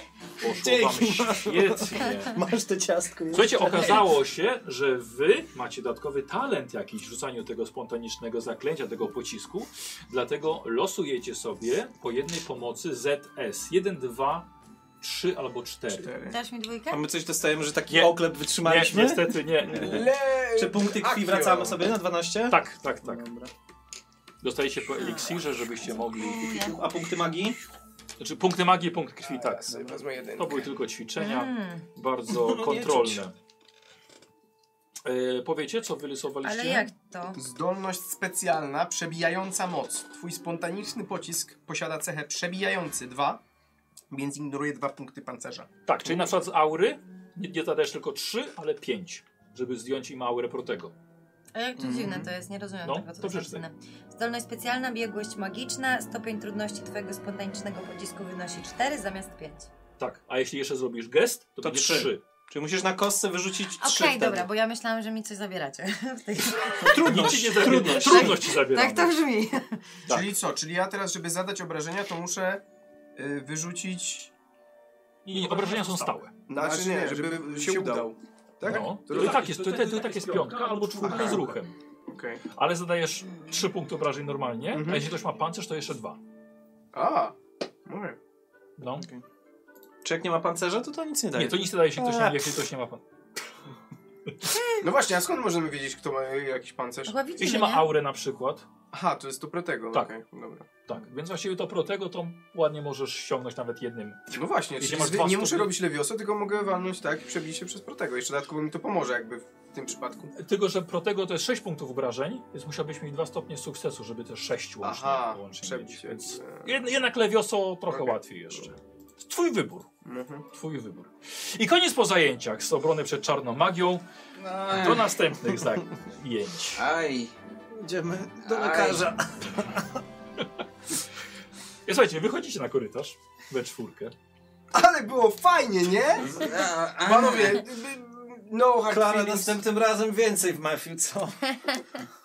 Speaker 1: Poszło wam świetnie.
Speaker 5: Masz to ciastko.
Speaker 1: Słuchajcie, okazało się, że wy macie dodatkowy talent jakiś w rzucaniu tego spontanicznego zaklęcia, tego pocisku. Dlatego losujecie sobie po jednej pomocy ZS. 1, 2, 3 albo 4.
Speaker 2: Dasz mi dwójkę?
Speaker 5: A my coś dostajemy, że taki
Speaker 1: Nie.
Speaker 5: oklep
Speaker 1: Nie,
Speaker 5: wytrzymaliśmy?
Speaker 1: niestety nie. nie.
Speaker 5: Czy punkty krwi
Speaker 3: Akio.
Speaker 5: wracamy sobie na 12?
Speaker 1: Tak, tak, tak.
Speaker 5: Dobra.
Speaker 1: Dostajecie po eliksirze, żebyście mogli.
Speaker 5: A punkty magii?
Speaker 1: Znaczy punkty magii, punkt krwi, tak.
Speaker 10: Wezmę jeden.
Speaker 1: To były tylko ćwiczenia,
Speaker 2: Mm,
Speaker 1: bardzo
Speaker 5: nie
Speaker 1: kontrolne. E, powiecie, co wylosowaliście?
Speaker 2: ale jak to?
Speaker 3: Zdolność specjalna, przebijająca moc. Twój spontaniczny pocisk posiada cechę przebijający 2, więc ignoruje dwa punkty pancerza.
Speaker 1: Tak, czyli na przykład z aury nie, nie zadajesz tylko 3, ale 5, żeby zdjąć im aurę protego.
Speaker 2: A jak to dziwne to jest? Nie rozumiem
Speaker 1: No,
Speaker 2: tego, co
Speaker 1: to
Speaker 2: to jest
Speaker 1: przeczytaj.
Speaker 2: dziwne. Zdolność specjalna, biegłość magiczna, stopień trudności twojego spontanicznego pocisku wynosi 4 zamiast 5.
Speaker 1: Tak, a jeśli jeszcze zrobisz gest, to,
Speaker 5: To
Speaker 1: będzie
Speaker 5: trzy.
Speaker 1: 3.
Speaker 5: Czyli musisz na kostce wyrzucić
Speaker 2: Okej,
Speaker 5: trzy wtedy.
Speaker 2: dobra, bo ja myślałam, że mi coś zabieracie. W tej...
Speaker 1: Trudność, nie zabier- trudność, ci zabieramy.
Speaker 2: Tak to brzmi.
Speaker 1: Tak.
Speaker 3: Czyli co? Czyli ja teraz, żeby zadać obrażenia, to muszę y, wyrzucić...
Speaker 1: I nie, obrażenia są stałe.
Speaker 5: No,
Speaker 10: Znaczy, nie, żeby, się udał. Tak?
Speaker 1: No.
Speaker 10: To
Speaker 1: To, i
Speaker 10: tak.
Speaker 1: tak jest, to, to, to i tak jest piątka albo czwórka
Speaker 10: Aha.
Speaker 1: z ruchem.
Speaker 10: Okej.
Speaker 1: Ale zadajesz 3 punkty obrażeń normalnie,
Speaker 3: Mhm.
Speaker 1: a jeśli ktoś ma pancerz, to jeszcze dwa.
Speaker 10: A, okej.
Speaker 1: No.
Speaker 5: Czy jak nie ma pancerza, to to nic nie daje.
Speaker 1: Nie, to nic nie daje, jeśli ktoś
Speaker 2: Tak.
Speaker 1: nie, jeśli ktoś nie ma pancerza.
Speaker 10: No właśnie, a skąd możemy wiedzieć, kto ma jakiś pancerz?
Speaker 2: Chyba widzimy,
Speaker 1: Jeśli
Speaker 2: nie?
Speaker 1: ma aurę na przykład,
Speaker 10: Aha, to jest to protego.
Speaker 1: Tak.
Speaker 10: okej, dobra.
Speaker 1: tak. Więc właściwie to protego to ładnie możesz ściągnąć nawet jednym.
Speaker 10: No właśnie,
Speaker 1: Jeśli
Speaker 10: czyli
Speaker 1: masz
Speaker 10: zwy-
Speaker 1: dwa
Speaker 10: nie
Speaker 1: stopnie-
Speaker 10: muszę robić lewiosa, tylko mogę walnąć tak i przebić się przez protego. Jeszcze dodatkowo mi to pomoże jakby w tym przypadku.
Speaker 1: Tylko, że protego to jest 6 punktów obrażeń, więc musiałbyś mieć dwa stopnie sukcesu, żeby te 6 łącznie,
Speaker 10: Aha,
Speaker 1: łącznie mieć.
Speaker 10: przebić się.
Speaker 1: Więc jed, jednak lewioso trochę łatwiej jeszcze. Twój wybór. Twój wybór. I koniec po zajęciach z obrony przed czarną magią. Do następnych zajęć.
Speaker 4: Aj.
Speaker 5: Idziemy do
Speaker 4: Aj.
Speaker 5: lekarza.
Speaker 1: I słuchajcie, wychodzicie na korytarz we czwórkę.
Speaker 10: Ale było fajnie, nie?
Speaker 4: A, e, a.
Speaker 10: Panowie, y, y, no hard
Speaker 5: Klara,
Speaker 10: feelings.
Speaker 5: następnym razem więcej w mafiu, co?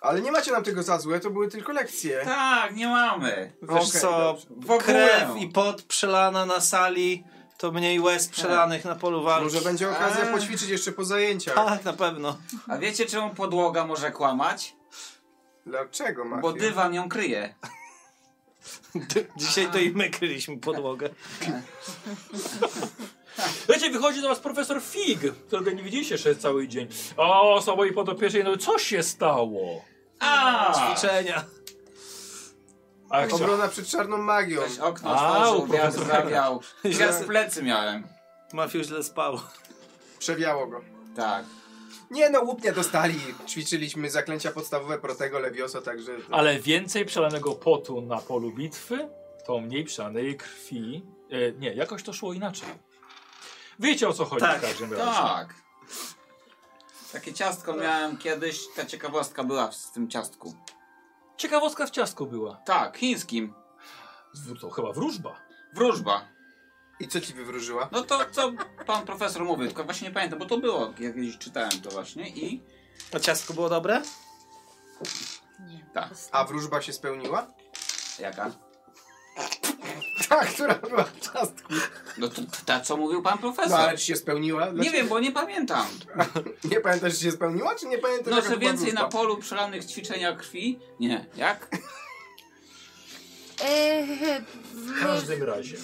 Speaker 10: Ale nie macie nam tego za złe, to były tylko lekcje.
Speaker 4: Tak, nie mamy.
Speaker 5: Wiesz
Speaker 10: Okej,
Speaker 5: co,
Speaker 4: W ogóle.
Speaker 5: krew i pot przelana na sali, to mniej łez przelanych na polu walki.
Speaker 10: Może będzie okazja
Speaker 4: A.
Speaker 10: poćwiczyć jeszcze po zajęciach.
Speaker 5: Tak, na pewno.
Speaker 4: A wiecie czemu podłoga może kłamać?
Speaker 10: Dlaczego, mafia?
Speaker 4: Bo dywan ją kryje.
Speaker 5: Dzisiaj to i my kryliśmy podłogę.
Speaker 1: Słuchajcie, wychodzi do was profesor Fig, którego nie widzieliście jeszcze cały dzień. O, osoba i podopiecznej, no co się stało?
Speaker 4: A!
Speaker 5: Ćwiczenia.
Speaker 1: A jak
Speaker 10: Obrona przed czarną magią.
Speaker 4: Ktoś okno
Speaker 1: Au,
Speaker 4: otworzył, wiatr
Speaker 1: profesor.
Speaker 4: zawiał. Ja
Speaker 5: Źle-
Speaker 4: z plecy miałem.
Speaker 5: Mafiu źle spał.
Speaker 10: Przewiało go.
Speaker 4: Tak.
Speaker 10: Nie no, łupnia dostali. Ćwiczyliśmy zaklęcia podstawowe protego lewiosa, także...
Speaker 3: Tak.
Speaker 1: Ale więcej przelanego potu na polu bitwy, to mniej przelanej krwi. E, nie, jakoś to szło inaczej. Wiecie o co chodzi
Speaker 5: Tak,
Speaker 1: w każdym razie.
Speaker 4: Tak. Takie ciastko miałem kiedyś, ta ciekawostka była w tym ciastku.
Speaker 1: Ciekawostka w ciastku była.
Speaker 4: Tak, chińskim.
Speaker 1: W- To chyba wróżba.
Speaker 4: Wróżba.
Speaker 10: I co ci wywróżyła?
Speaker 4: No to co pan profesor mówił, tylko właśnie nie pamiętam, bo to było, jak kiedyś czytałem to właśnie i...
Speaker 5: A ciastko było dobre?
Speaker 4: Tak.
Speaker 10: A wróżba się spełniła?
Speaker 4: Jaka?
Speaker 10: Ta, która była w ciastku.
Speaker 4: No to ta, co mówił pan
Speaker 10: No
Speaker 4: profesor.
Speaker 3: Tak.
Speaker 10: ale czy się spełniła?
Speaker 4: Nie
Speaker 10: Dlaczego?
Speaker 4: wiem, bo nie pamiętam.
Speaker 10: Nie pamiętasz, czy się spełniła, czy nie pamiętasz?
Speaker 4: No
Speaker 10: jaka
Speaker 4: co
Speaker 10: to była
Speaker 4: więcej, na
Speaker 10: wróżba?
Speaker 4: polu przelanych ćwiczenia krwi? Nie. Jak?
Speaker 2: Eee,
Speaker 1: W każdym razie.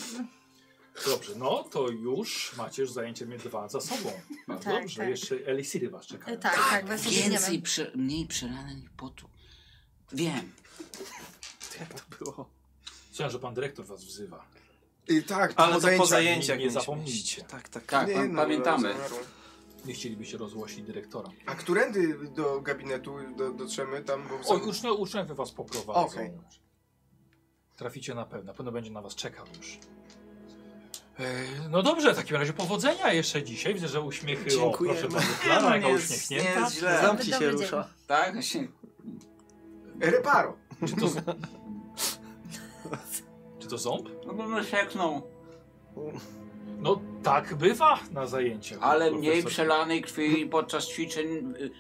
Speaker 1: Dobrze, no to już macie już zajęcie między dwa za sobą. No
Speaker 2: Tak,
Speaker 1: dobrze,
Speaker 2: tak.
Speaker 1: jeszcze eliksiry was czekają.
Speaker 2: tak, tak, właśnie
Speaker 4: Więcej,
Speaker 2: widzimy.
Speaker 4: prze, mniej przelanych potu. Wiem.
Speaker 1: Słyszałem, że pan dyrektor was wzywa.
Speaker 10: I tak,
Speaker 5: Ale to po
Speaker 10: zajęciach.
Speaker 5: zajęciach
Speaker 1: Nie
Speaker 5: mieliśmy
Speaker 1: zapomnijcie.
Speaker 5: iść. Tak, tak.
Speaker 4: Tak,
Speaker 10: Nie,
Speaker 4: pa-
Speaker 10: no,
Speaker 4: pamiętamy.
Speaker 10: zamiaru.
Speaker 1: Nie chcielibyście rozgłosić dyrektora.
Speaker 10: A którędy do gabinetu do, dotrzemy tam? Bo
Speaker 1: O, uczniowie, uczniowie was poprowadzą.
Speaker 10: Okej.
Speaker 1: Traficie na pewno, na pewno będzie na was czekał już. E, No dobrze, w takim razie powodzenia jeszcze dzisiaj. Widzę, że uśmiechy.
Speaker 5: Dziękujemy.
Speaker 1: O, proszę bardzo, Klara, jaka
Speaker 5: Nie jest-
Speaker 1: uśmiechnięta.
Speaker 5: nie jest źle.
Speaker 2: Dobry,
Speaker 5: Zamki się
Speaker 2: dobry dzień.
Speaker 5: rusza.
Speaker 4: Tak? Się...
Speaker 10: Reparo.
Speaker 1: Czy to, z- czy to ząb?
Speaker 4: No bo mnie sieknął.
Speaker 1: No tak bywa na zajęciach. no,
Speaker 4: Ale
Speaker 1: profesor.
Speaker 4: mniej przelanej krwi podczas ćwiczeń. y,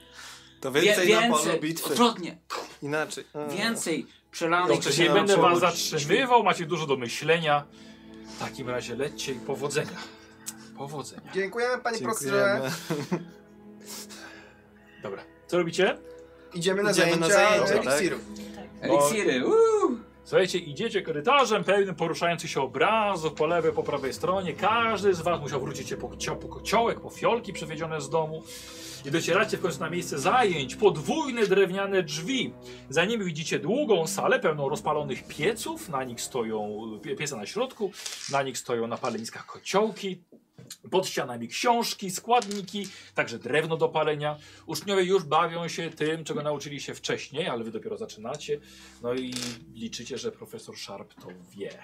Speaker 5: To
Speaker 4: wie-
Speaker 5: więcej, na polu
Speaker 4: więcej.
Speaker 5: bitwy.
Speaker 4: Odwrotnie.
Speaker 5: Inaczej. A.
Speaker 4: Więcej przelanej
Speaker 1: Dobrze,
Speaker 5: się
Speaker 1: nie
Speaker 5: nam
Speaker 1: będę was
Speaker 5: przełudź.
Speaker 1: zatrzymywał, macie dużo do myślenia. W takim razie lećcie i powodzenia. Powodzenia.
Speaker 10: Dziękujemy panie profesorze.
Speaker 5: Dziękujemy.
Speaker 1: Dobra. Co robicie?
Speaker 10: Idziemy na
Speaker 5: Idziemy na
Speaker 10: zajęcia,
Speaker 5: zajęcia, tak?
Speaker 10: eliksirów.
Speaker 4: Eliksiry. uuu.
Speaker 1: Słuchajcie, idziecie korytarzem pełnym poruszających się obrazów po lewej, po prawej stronie. Każdy z was musiał wrócić się po, cio- po kociołek, po fiolki przywiezione z domu. I docieracie w końcu na miejsce zajęć. Podwójne drewniane drzwi. Za nimi widzicie długą salę pełną rozpalonych pieców. Na nich stoją pie- piece na środku, na nich stoją na paleniskach kociołki. Pod ścianami książki, składniki, także drewno do palenia. Uczniowie już bawią się tym, czego nauczyli się wcześniej, ale wy dopiero zaczynacie. No i liczycie, że profesor Sharp to wie.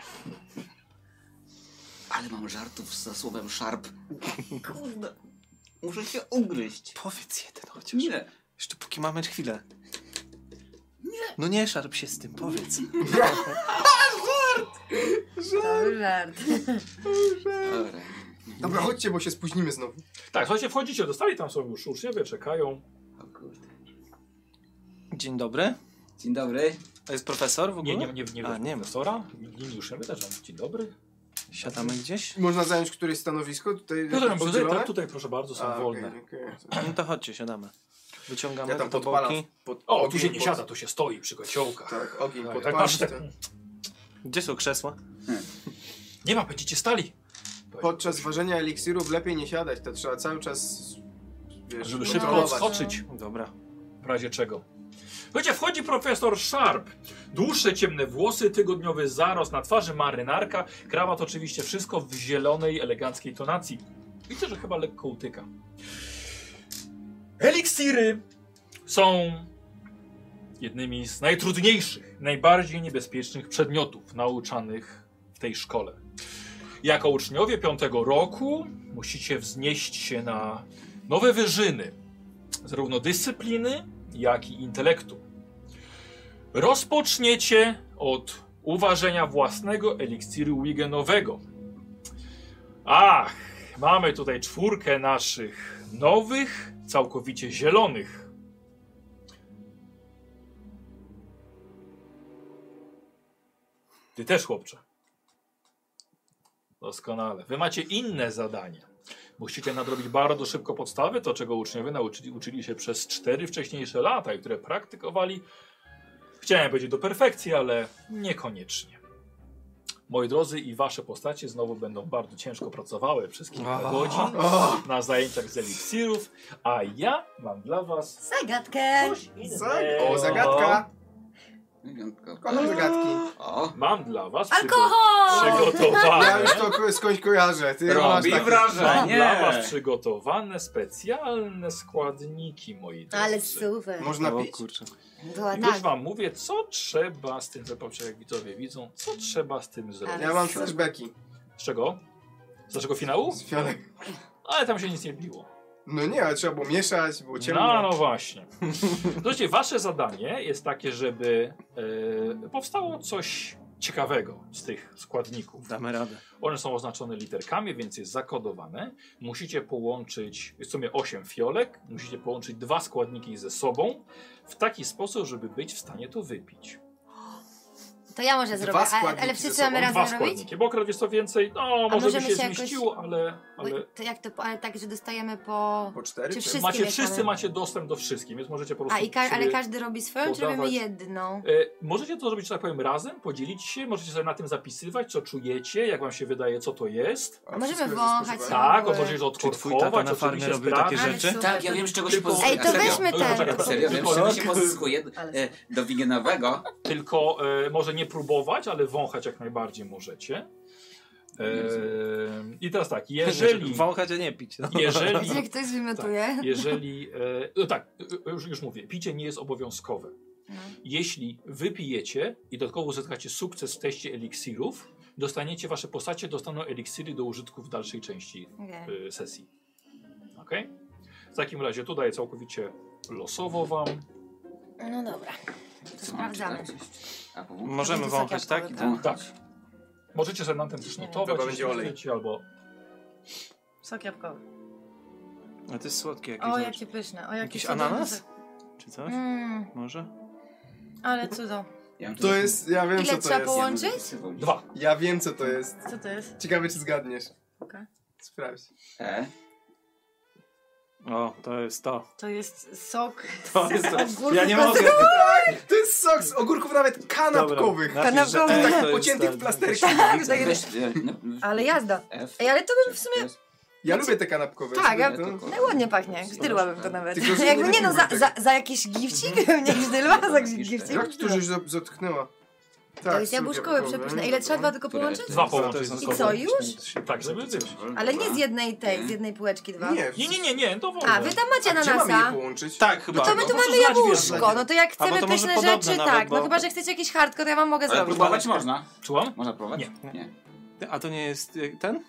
Speaker 4: Ale mam żartów za słowem szarp. Kurde. Muszę się ugryźć.
Speaker 5: Powiedz jeden chociaż.
Speaker 4: Nie.
Speaker 5: Jeszcze póki mamy chwilę. No nie szarp się z tym, powiedz.
Speaker 2: To żart.
Speaker 4: Dobra.
Speaker 10: Dobra,
Speaker 1: No.
Speaker 10: chodźcie, bo się spóźnimy znowu.
Speaker 1: Tak, słuchajcie, wchodzicie do sali, tam są już uczniowie, czekają.
Speaker 4: O kurde.
Speaker 5: Dzień dobry.
Speaker 4: Dzień dobry.
Speaker 5: To jest profesor w ogóle?
Speaker 1: Nie, nie, nie, nie,
Speaker 5: A, nie
Speaker 1: nie
Speaker 5: ma.
Speaker 1: profesora. Inni uczniowie też wam dzień dobry.
Speaker 5: Siadamy gdzieś?
Speaker 10: Można zająć któreś stanowisko tutaj?
Speaker 1: No dobra, bo tutaj,
Speaker 10: przydzielone?
Speaker 1: tak, tutaj proszę bardzo, są
Speaker 10: A, okej,
Speaker 1: wolne.
Speaker 10: okej.
Speaker 5: No to chodźcie, siadamy. Wyciągamy
Speaker 10: Ja tam
Speaker 5: te
Speaker 10: podpalam.
Speaker 5: boki.
Speaker 10: Pod,
Speaker 1: O, tu się
Speaker 10: ogień
Speaker 1: nie
Speaker 10: pod-
Speaker 1: siada, tu się stoi przy kociołkach.
Speaker 10: Tak, ogień
Speaker 1: Tak,
Speaker 10: pod
Speaker 1: tak,
Speaker 10: pasz,
Speaker 1: patrzę,
Speaker 10: tak.
Speaker 1: tak.
Speaker 5: Gdzie są krzesła?
Speaker 1: Nie ma, będziecie stali.
Speaker 10: Podczas ważenia eliksirów lepiej nie siadać, to trzeba cały czas wiesz, no
Speaker 1: Żeby szybko
Speaker 10: kontrolować.
Speaker 1: odskoczyć.
Speaker 5: Dobra.
Speaker 1: W razie czego? Słuchajcie, wchodzi profesor Sharp. Dłuższe ciemne włosy, tygodniowy zarost na twarzy, marynarka, krawat oczywiście, wszystko w zielonej, eleganckiej tonacji. Widzę, że chyba lekko utyka. Eliksiry są jednymi z najtrudniejszych, najbardziej niebezpiecznych przedmiotów nauczanych w tej szkole. Jako uczniowie piątego roku musicie wznieść się na nowe wyżyny zarówno dyscypliny, jak i intelektu. Rozpoczniecie od uważenia własnego eliksiru Wigenowego. Ach, mamy tutaj czwórkę naszych nowych, całkowicie zielonych. Ty też, chłopcze. Doskonale. Wy macie inne zadanie. Musicie nadrobić bardzo szybko podstawy, to czego uczniowie nauczyli, uczyli się przez cztery wcześniejsze lata i które praktykowali. Chciałem powiedzieć do perfekcji, ale niekoniecznie. Moi drodzy, i wasze postacie znowu będą bardzo ciężko pracowały przez kilka godzin na zajęciach z eliksirów, a ja mam dla was
Speaker 2: Zagadkę.
Speaker 1: coś
Speaker 10: Zag-
Speaker 1: innego.
Speaker 10: O, zagadka!
Speaker 4: Wyjątkowo.
Speaker 10: Kocham zagadki.
Speaker 4: O.
Speaker 1: Mam dla was przygo-
Speaker 2: Alkohol!
Speaker 10: Ja
Speaker 1: przygotowane.
Speaker 10: już to ko- skądś kojarzę. Ty masz takie...
Speaker 4: Robi
Speaker 1: Mam dla
Speaker 4: wrażenie.
Speaker 1: was przygotowane specjalne składniki, moi drodzy.
Speaker 2: Ale super.
Speaker 10: Można
Speaker 5: o
Speaker 10: pić?
Speaker 5: kurczę.
Speaker 2: Była
Speaker 1: Już
Speaker 2: tak.
Speaker 1: wam mówię, co trzeba z tym zrobić, jak widzowie widzą, co trzeba z tym zrobić.
Speaker 10: Ja mam flashbacki
Speaker 1: Z czego? Z naszego finału?
Speaker 10: z fionek.
Speaker 1: Ale tam się nic nie biło.
Speaker 10: No nie, ale trzeba było mieszać, było ciemno.
Speaker 1: No, no właśnie. Słuchajcie, wasze zadanie jest takie, żeby e, powstało coś ciekawego z tych składników.
Speaker 5: Damy radę.
Speaker 1: One są oznaczone literkami, więc jest zakodowane. Musicie połączyć, jest w sumie 8 fiolek, musicie połączyć dwa składniki ze sobą w taki sposób, żeby być w stanie to wypić.
Speaker 2: To ja może
Speaker 10: Dwa
Speaker 2: zrobię, ale,
Speaker 10: składniki ze
Speaker 2: ale wszyscy
Speaker 10: sobą,
Speaker 2: mamy
Speaker 1: dwa
Speaker 2: razem robić?
Speaker 1: składniki, bo akurat jest to więcej, no może by
Speaker 2: możemy
Speaker 1: się,
Speaker 2: się jakoś-
Speaker 1: zmieściło, ale...
Speaker 2: Bo
Speaker 1: ale...
Speaker 2: To jak to, po- ale tak, że dostajemy po...
Speaker 10: Po cztery?
Speaker 2: Czy
Speaker 10: czy-
Speaker 2: wszyscy
Speaker 1: Macie,
Speaker 2: mieszamy?
Speaker 1: wszyscy macie dostęp do wszystkim, więc możecie po prostu...
Speaker 2: A, i ka ale
Speaker 1: sobie-
Speaker 2: każdy robi swoją, czy
Speaker 1: podawać-
Speaker 2: robimy jedną?
Speaker 1: E, możecie to zrobić, że tak powiem, razem, podzielić się, możecie sobie na tym zapisywać, co czujecie, jak wam się wydaje, co to jest.
Speaker 10: A
Speaker 2: Możemy
Speaker 10: wszystko
Speaker 2: wąchać
Speaker 10: jest
Speaker 2: sobie.
Speaker 10: Tak.
Speaker 1: Tak,
Speaker 2: ogóle.
Speaker 1: możecie
Speaker 5: Czy twój tata
Speaker 1: odkorkować,
Speaker 5: na farmie
Speaker 1: oczywiście
Speaker 5: robił takie
Speaker 1: sprawdzać.
Speaker 2: Ale
Speaker 5: rzeczy?
Speaker 2: super,
Speaker 4: Tak, ja wiem, z czego się
Speaker 1: Tylko-
Speaker 4: pozyskuje.
Speaker 2: Ej, to weźmy
Speaker 1: Oj,
Speaker 2: ten.
Speaker 1: poczekaj,
Speaker 4: Serio, wiem, z
Speaker 1: Tylko-
Speaker 4: czego się pozyskuje e, do wigenowego.
Speaker 1: Tylko e, może nie próbować, ale wąchać jak najbardziej możecie. E, I teraz tak, jeżeli.
Speaker 5: Wąchać, a nie pić. No.
Speaker 1: jeżeli
Speaker 2: Gdzie ktoś wymiotuje?
Speaker 1: tak, jeżeli e, no tak, e, już, już mówię, picie nie jest obowiązkowe. Jeśli wypijecie i dodatkowo uzyskacie sukces w teście eliksirów, dostaniecie wasze postacie, dostaną eliksiry do użytku w dalszej części
Speaker 2: Okej.
Speaker 1: y, sesji. Ok? W takim razie tu daję całkowicie losowo wam.
Speaker 2: No dobra, to
Speaker 4: Co mam
Speaker 2: sprawdzamy.
Speaker 4: czytać jeszcze? A, powiem.
Speaker 5: Możemy
Speaker 2: To
Speaker 5: wąchać,
Speaker 2: zakiapkowe,
Speaker 5: tak? I
Speaker 2: tak?
Speaker 5: tak?
Speaker 1: Tak. Możecie sobie na tym też
Speaker 2: Nie,
Speaker 1: notować,
Speaker 3: dobra,
Speaker 1: jeśli
Speaker 3: będzie olej.
Speaker 1: chcecie, albo
Speaker 2: Sok jabłkowy.
Speaker 5: A to jest słodkie jakieś.
Speaker 2: O,
Speaker 5: zobacz.
Speaker 2: jakie pyszne. O, jakie
Speaker 5: Jakiś
Speaker 2: cudowne
Speaker 5: ananas?
Speaker 2: sok.
Speaker 5: Czy coś?
Speaker 2: Mm,
Speaker 5: Może?
Speaker 2: ale cudo.
Speaker 4: Ja bym
Speaker 5: Tak.
Speaker 3: To jest, ja wiem
Speaker 2: Ile
Speaker 3: co to
Speaker 2: trzeba
Speaker 3: jest.
Speaker 2: poło-
Speaker 4: ja bym
Speaker 2: Łączyć?
Speaker 4: zapisywał.
Speaker 1: dwa.
Speaker 3: Ja wiem co to jest.
Speaker 2: Co to jest?
Speaker 3: Ciekawe czy zgadniesz.
Speaker 2: Okej.
Speaker 3: Sprawdź.
Speaker 4: E,
Speaker 5: O, to jest to.
Speaker 2: To jest sok.
Speaker 5: To jest to.
Speaker 2: Ogórków
Speaker 5: Ja nie mogę.
Speaker 3: To jest sok z ogórków nawet kanapkowych.
Speaker 5: Dobra, napisz, że E
Speaker 2: Kanapkowy.
Speaker 5: to
Speaker 3: Tak,
Speaker 5: jest
Speaker 3: pociętych
Speaker 5: ta-
Speaker 3: w plasterki.
Speaker 2: Tak,
Speaker 4: weź,
Speaker 2: tak.
Speaker 4: e, no,
Speaker 2: Ale jazda.
Speaker 4: F,
Speaker 2: Ej, ale to bym w sumie...
Speaker 4: F,
Speaker 3: Ja lubię te kanapkowe.
Speaker 2: Tak, ja-
Speaker 3: To-
Speaker 2: No ładnie pachnie, gzdyrłabym to nawet.
Speaker 3: Tylko, że
Speaker 2: Jakby
Speaker 3: nie
Speaker 2: nie no, za,
Speaker 3: lubię
Speaker 2: za, za jakiś gifcik? Nie gzdyrła, za jakiś gifcik?
Speaker 3: Jak to żeś za- zatknęła? Tak,
Speaker 2: To jest
Speaker 3: są
Speaker 2: jabłuszkowe
Speaker 3: jabłkowe.
Speaker 2: przepyszne. Ile trzeba dwa tylko
Speaker 4: Które
Speaker 2: połączyć?
Speaker 1: Dwa
Speaker 4: To
Speaker 1: połączyć
Speaker 5: jest
Speaker 1: ze
Speaker 2: I
Speaker 1: sobą.
Speaker 2: co, już?
Speaker 1: Tak, żeby być.
Speaker 2: Ale nie z jednej tej, z jednej półeczki dwa.
Speaker 3: Nie,
Speaker 1: Nie, nie, nie, nie, to wolno.
Speaker 2: A, wy tam macie
Speaker 3: Gdzie mamy je
Speaker 2: ananasa.
Speaker 3: połączyć?
Speaker 5: Tak, chyba.
Speaker 2: No to my tu
Speaker 5: możesz
Speaker 2: mamy
Speaker 5: znać
Speaker 2: jabłuszko,
Speaker 5: więcej.
Speaker 2: no to jak
Speaker 5: bo
Speaker 2: chcemy
Speaker 5: to może
Speaker 2: pyszne
Speaker 5: podobne
Speaker 2: rzeczy,
Speaker 5: nawet,
Speaker 2: tak. No
Speaker 5: bo-
Speaker 2: chyba, że chcecie jakiś hardcore, ja wam mogę
Speaker 4: Ale
Speaker 2: zrobić.
Speaker 4: próbować można.
Speaker 1: Czułam?
Speaker 4: Można próbować?
Speaker 1: Nie.
Speaker 4: nie.
Speaker 5: A to nie jest e, ten?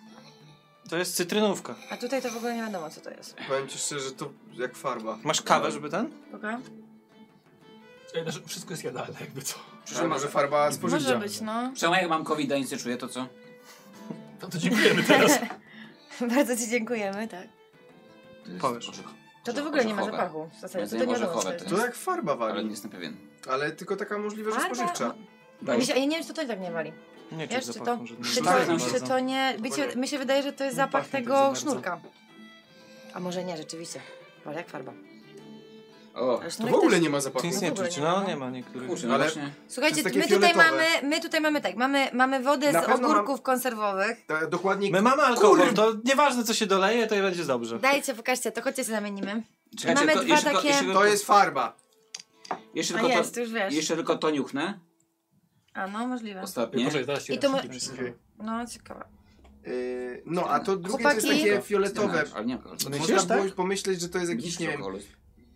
Speaker 5: To jest cytrynówka.
Speaker 2: A tutaj to w ogóle nie wiadomo, co to jest.
Speaker 3: Powiem ci szczerze, to jak farba.
Speaker 5: Masz kawę, żeby ten?
Speaker 2: Okej?
Speaker 1: Ej, znaczy, Wszystko jest jadalne, jakby co.
Speaker 5: Tak.
Speaker 3: Przecież może farba spożywcza.
Speaker 2: Może być, no.
Speaker 4: Przemo jak mam covid nic nie czuję, to co?
Speaker 1: No to dziękujemy teraz.
Speaker 2: Bardzo ci dziękujemy, tak.
Speaker 4: To jest
Speaker 5: Powiesz.
Speaker 4: orzech-
Speaker 2: To to w ogóle nie ma
Speaker 4: orzechowe.
Speaker 2: zapachu w zasadzie, to,
Speaker 4: Jedzenie
Speaker 2: to nie wiadomo, co
Speaker 4: orzechowe
Speaker 2: to jest.
Speaker 3: To jak farba
Speaker 4: Ale nie
Speaker 3: wali.
Speaker 4: jestem pewien.
Speaker 3: Ale tylko taka możliwe, że
Speaker 2: Farba-
Speaker 3: spożywcza.
Speaker 2: A mi się- a ja nie wiem, czy to tutaj tak nie wali.
Speaker 5: Nie Tak, no, czuć
Speaker 2: Wiesz, czy to,
Speaker 5: zapachu żadnego.
Speaker 2: czy to,
Speaker 4: Bardzo.
Speaker 2: czy to nie... Wiecie, mi się wydaje, że to
Speaker 5: Nie
Speaker 2: jest zapach
Speaker 5: pachnie tak za
Speaker 2: tego
Speaker 5: bardzo.
Speaker 2: sznurka. A może nie, rzeczywiście. Ale jak farba.
Speaker 4: O,
Speaker 2: Ale
Speaker 3: To
Speaker 2: sznurek
Speaker 3: w ogóle
Speaker 2: też-
Speaker 3: nie ma
Speaker 5: Ty
Speaker 3: zapachu.
Speaker 5: nic
Speaker 2: w
Speaker 5: nie
Speaker 2: ogóle
Speaker 5: czuć.
Speaker 2: nie
Speaker 5: No
Speaker 2: ma.
Speaker 5: nie ma niektórych.
Speaker 4: kurczę, no
Speaker 3: Ale-
Speaker 4: właśnie.
Speaker 2: Słuchajcie,
Speaker 3: To jest takie
Speaker 2: my tutaj,
Speaker 3: fioletowe.
Speaker 2: mamy, my tutaj mamy tak, mamy, mamy wodę
Speaker 3: Na
Speaker 2: z
Speaker 3: pewno mam-
Speaker 2: ogórków konserwowych.
Speaker 3: Ta, dokładnie
Speaker 5: My mamy alkohol, to nieważne co się doleje, to i będzie dobrze.
Speaker 2: Dajcie, pokażcie, to chodźcie się zamienimy.
Speaker 4: Czekajcie,
Speaker 2: Mamy
Speaker 4: to,
Speaker 2: dwa
Speaker 4: jeszcze,
Speaker 2: takie-
Speaker 4: tylko, jeszcze, tylko-
Speaker 3: to jest farba.
Speaker 4: jeszcze
Speaker 2: A
Speaker 4: tylko
Speaker 2: jest,
Speaker 4: to,
Speaker 2: już wiesz.
Speaker 4: jeszcze tylko to niuchnę.
Speaker 2: A no, możliwe.
Speaker 4: Ostatnie.
Speaker 1: Proszę, zaraz ci
Speaker 2: I to my-
Speaker 3: Okej.
Speaker 2: No, ciekawe.
Speaker 3: Yy, no, a to drugie to jest
Speaker 2: Chłopaki?
Speaker 3: takie fioletowe.
Speaker 4: Ale nie alkohol.
Speaker 3: Można
Speaker 5: Myślisz, tak?
Speaker 3: było pomyśleć, że to jest jakiś, nie
Speaker 4: Nie
Speaker 3: wiem,
Speaker 4: alkoholu.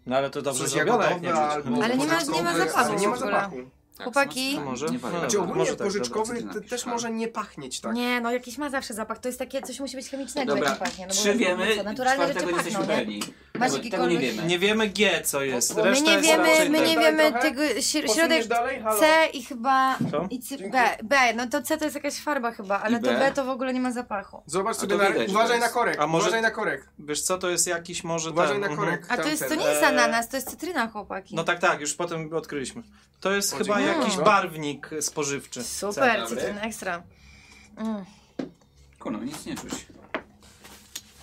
Speaker 5: No ale to dobrze
Speaker 3: coś
Speaker 5: zrobione. jak
Speaker 3: jagodowe
Speaker 5: nie czuć.
Speaker 3: albo
Speaker 2: Ale nie ma- nie ma
Speaker 3: porzeczkowy,
Speaker 2: zapachu
Speaker 3: ale nie ma
Speaker 2: w ogóle.
Speaker 3: zapachu.
Speaker 4: Tak,
Speaker 2: Chłopaki?
Speaker 4: smaczne.
Speaker 5: A może?
Speaker 4: Nie
Speaker 5: No
Speaker 4: pali.
Speaker 5: dobra.
Speaker 3: Czy ogólnie
Speaker 5: może tak,
Speaker 3: pożyczkowy
Speaker 4: dobra,
Speaker 3: to
Speaker 4: cytryna.
Speaker 3: też może nie pachnieć tak.
Speaker 2: Nie, no jakiś ma zawsze zapach. To jest takie, coś musi być chemicznego,
Speaker 4: Dobra,
Speaker 2: jak nie pachnie. No, bo
Speaker 4: trzy
Speaker 2: no
Speaker 4: wiemy,
Speaker 2: co, naturalne rzeczy
Speaker 4: czwartego nie
Speaker 2: pachną,
Speaker 4: jesteśmy
Speaker 2: nie?
Speaker 4: pewni.
Speaker 2: Masz
Speaker 4: Tego- Tego nie
Speaker 2: jakikolwiek-
Speaker 4: wiemy.
Speaker 5: Nie wiemy G co jest.
Speaker 2: My
Speaker 5: Reszta
Speaker 2: nie
Speaker 5: jest
Speaker 2: wiemy,
Speaker 5: raczej
Speaker 2: my
Speaker 5: tak.
Speaker 2: nie
Speaker 3: Dalej
Speaker 2: wiemy
Speaker 3: trochę?
Speaker 2: tego, śr- środek
Speaker 3: Posuniesz dalej? Halo.
Speaker 2: C i chyba...
Speaker 5: Co?
Speaker 2: I C, B, B, no to C to jest jakaś farba chyba, ale
Speaker 4: I
Speaker 2: to
Speaker 4: B?
Speaker 2: B to w ogóle nie ma zapachu.
Speaker 3: Zobacz
Speaker 4: A
Speaker 3: sobie,
Speaker 4: to
Speaker 3: na,
Speaker 4: widać, to
Speaker 3: uważaj
Speaker 4: jest.
Speaker 3: na korek,
Speaker 5: A może-
Speaker 3: uważaj na korek,
Speaker 5: Wiesz co, to jest jakiś może
Speaker 3: uważaj
Speaker 5: ten.
Speaker 3: na
Speaker 5: mhm.
Speaker 3: korek.
Speaker 2: A to
Speaker 3: tamten.
Speaker 2: jest, to nie jest
Speaker 5: E,
Speaker 2: ananas, to jest cytryna, chłopaki.
Speaker 5: No tak, tak, już potem odkryliśmy. To jest
Speaker 3: O,
Speaker 5: chyba
Speaker 3: dziękuję.
Speaker 5: jakiś
Speaker 3: Mm.
Speaker 5: barwnik spożywczy.
Speaker 2: Super,
Speaker 4: Dobry.
Speaker 2: cytryna, ekstra. Mm.
Speaker 4: Kurno, nic nie czuć.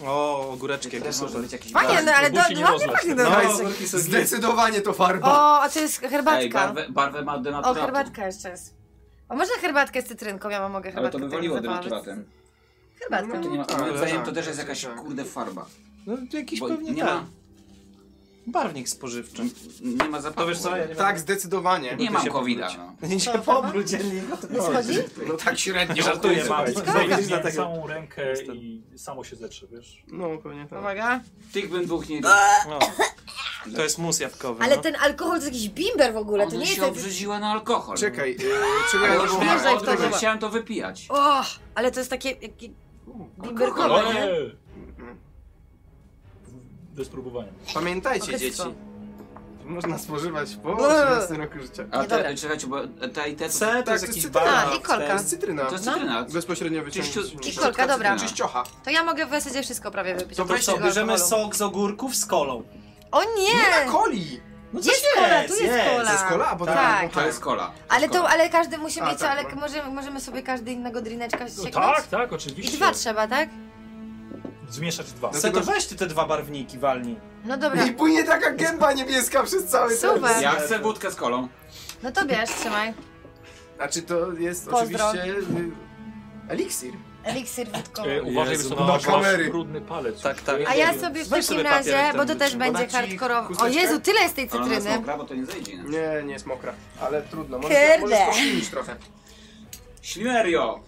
Speaker 5: O, ogóreczki jakie
Speaker 4: Też może
Speaker 5: super.
Speaker 4: być jakiś
Speaker 2: Fajnie,
Speaker 4: barwnik.
Speaker 2: no ale do,
Speaker 1: Musi nie
Speaker 2: ładnie
Speaker 1: rozlać.
Speaker 2: pachnie do
Speaker 5: No,
Speaker 2: nas.
Speaker 5: ogórki są git.
Speaker 3: Zdecydowanie to farba.
Speaker 2: O, a to jest herbatka.
Speaker 4: Ej, no. barwę, barwę ma denaturatu.
Speaker 2: O, herbatka jeszcze jest. O, można herbatkę z cytrynką, ja mam mogę
Speaker 4: Ale
Speaker 2: herbatkę.
Speaker 4: to by
Speaker 2: tak
Speaker 4: waliło
Speaker 2: zaparzyć.
Speaker 4: denaturatem.
Speaker 2: Herbatkę.
Speaker 4: To nie ma,
Speaker 3: Tak,
Speaker 4: moim zdaniem to
Speaker 3: tak,
Speaker 4: też jest
Speaker 3: tak,
Speaker 4: jakaś
Speaker 3: tak.
Speaker 4: kurde farba.
Speaker 5: No jakiś
Speaker 4: Bo
Speaker 5: pewnie
Speaker 4: nie
Speaker 5: tak.
Speaker 4: ma, No
Speaker 5: Barwnik spożywczy.
Speaker 4: nie ma zapachu.
Speaker 5: To wiesz co, ja nie
Speaker 3: Tak,
Speaker 5: wiem.
Speaker 3: zdecydowanie.
Speaker 4: Nie
Speaker 5: Ty
Speaker 4: mam
Speaker 5: się
Speaker 4: covida,
Speaker 5: powróć.
Speaker 4: no.
Speaker 5: Nie się powróć, ja nie
Speaker 2: Nie schodzi?
Speaker 3: No tak średnio.
Speaker 5: Nie żartuję, mam.
Speaker 1: Zajmij
Speaker 5: Zajmij na takiego.
Speaker 1: całą rękę i samo się zetrze, wiesz?
Speaker 3: No pewnie tak.
Speaker 2: Uwaga.
Speaker 4: Tych bym dwóch nie
Speaker 5: No. To jest mus jabłkowy.
Speaker 2: Ale
Speaker 5: no.
Speaker 2: ten alkohol to jest jakiś bimber w ogóle, to
Speaker 4: Ona
Speaker 2: nie jest...
Speaker 4: się obrzydziła na alkohol.
Speaker 3: Czekaj, yy, czego ja
Speaker 4: Ale
Speaker 3: nie
Speaker 4: już
Speaker 2: Boże,
Speaker 3: wywołałem?
Speaker 4: miałem
Speaker 2: Wiesz, jak to
Speaker 4: odwrót,
Speaker 2: działa.
Speaker 4: chciałem to wypijać.
Speaker 2: O, ale to jest takie... Jakie... Bimberkowe,
Speaker 4: Alkohol,
Speaker 2: nie?
Speaker 1: Eee. Do spróbowania.
Speaker 3: Pamiętajcie dzieci,
Speaker 2: Okrectwo.
Speaker 3: można spożywać po
Speaker 2: Eee.
Speaker 3: 18 roku życia.
Speaker 4: A
Speaker 2: Nie, dobra.
Speaker 4: te, czekajcie, bo te i te to,
Speaker 5: C to
Speaker 3: Tak,
Speaker 5: jest
Speaker 3: to
Speaker 5: jakiś
Speaker 3: jest
Speaker 5: banan.
Speaker 2: cytryna i kolka.
Speaker 5: to
Speaker 3: To
Speaker 5: jest-
Speaker 3: jest cytryna.
Speaker 4: to
Speaker 2: No.
Speaker 4: jest cytryna.
Speaker 3: Bezpośrednio
Speaker 4: Czyściu-
Speaker 3: wyciągnięcie.
Speaker 4: czyściutka
Speaker 2: Kikolka, dobra.
Speaker 4: cytryna.
Speaker 3: Czyściocha.
Speaker 2: To ja mogę w zasadzie wszystko prawie wypić.
Speaker 5: To
Speaker 2: oprócz
Speaker 5: co,
Speaker 2: tego
Speaker 5: bierzemy
Speaker 2: alkoholu.
Speaker 5: sok z ogórków z kolą.
Speaker 2: O nie!
Speaker 3: Coli!
Speaker 5: No
Speaker 2: Jest
Speaker 5: coś
Speaker 2: kola, tu jest
Speaker 3: To
Speaker 5: No
Speaker 3: jest kola, bo
Speaker 2: Tak.
Speaker 3: tak.
Speaker 4: to jest kola.
Speaker 2: Ale to, ale każdy musi
Speaker 3: A,
Speaker 2: mieć,
Speaker 3: tak,
Speaker 2: ale
Speaker 3: no.
Speaker 2: możemy, możemy sobie każdy innego drineczka
Speaker 1: No,
Speaker 2: sięgnąć?
Speaker 1: tak, tak,
Speaker 2: I
Speaker 1: oczywiście.
Speaker 2: dwa No trzeba, tak?
Speaker 1: Zmieszać dwa.
Speaker 5: Se to weź ty te dwa barwniki walni.
Speaker 2: No dobra.
Speaker 3: I płynie taka gęba niebieska przez cały ten.
Speaker 2: Super.
Speaker 4: Ja chcę wódkę z kolą.
Speaker 2: No to bierz, trzymaj.
Speaker 3: Znaczy to jest
Speaker 2: Pozdro.
Speaker 3: oczywiście y, eliksir.
Speaker 2: Eliksir wódkowy.
Speaker 1: E, uważaj,
Speaker 5: Jezu,
Speaker 1: że
Speaker 5: no,
Speaker 1: masz
Speaker 3: kamery.
Speaker 1: brudny palec.
Speaker 5: Tak, tak.
Speaker 2: A ja sobie
Speaker 5: Weź
Speaker 2: w takim
Speaker 5: sobie papier,
Speaker 2: razie,
Speaker 5: ten
Speaker 2: bo to też
Speaker 5: wyczuł.
Speaker 2: będzie
Speaker 3: Podać ci
Speaker 2: hardkorowo. O
Speaker 3: chusteczkę?
Speaker 2: Jezu, tyle jest tej
Speaker 4: Ale ona jest
Speaker 2: cytryny.
Speaker 4: mokra, bo to nie zejdzie. Nie?
Speaker 3: Nie, nie jest mokra, ale trudno. Możesz,
Speaker 2: Kurde.
Speaker 3: możesz poślinić trochę.
Speaker 4: Ślimerio!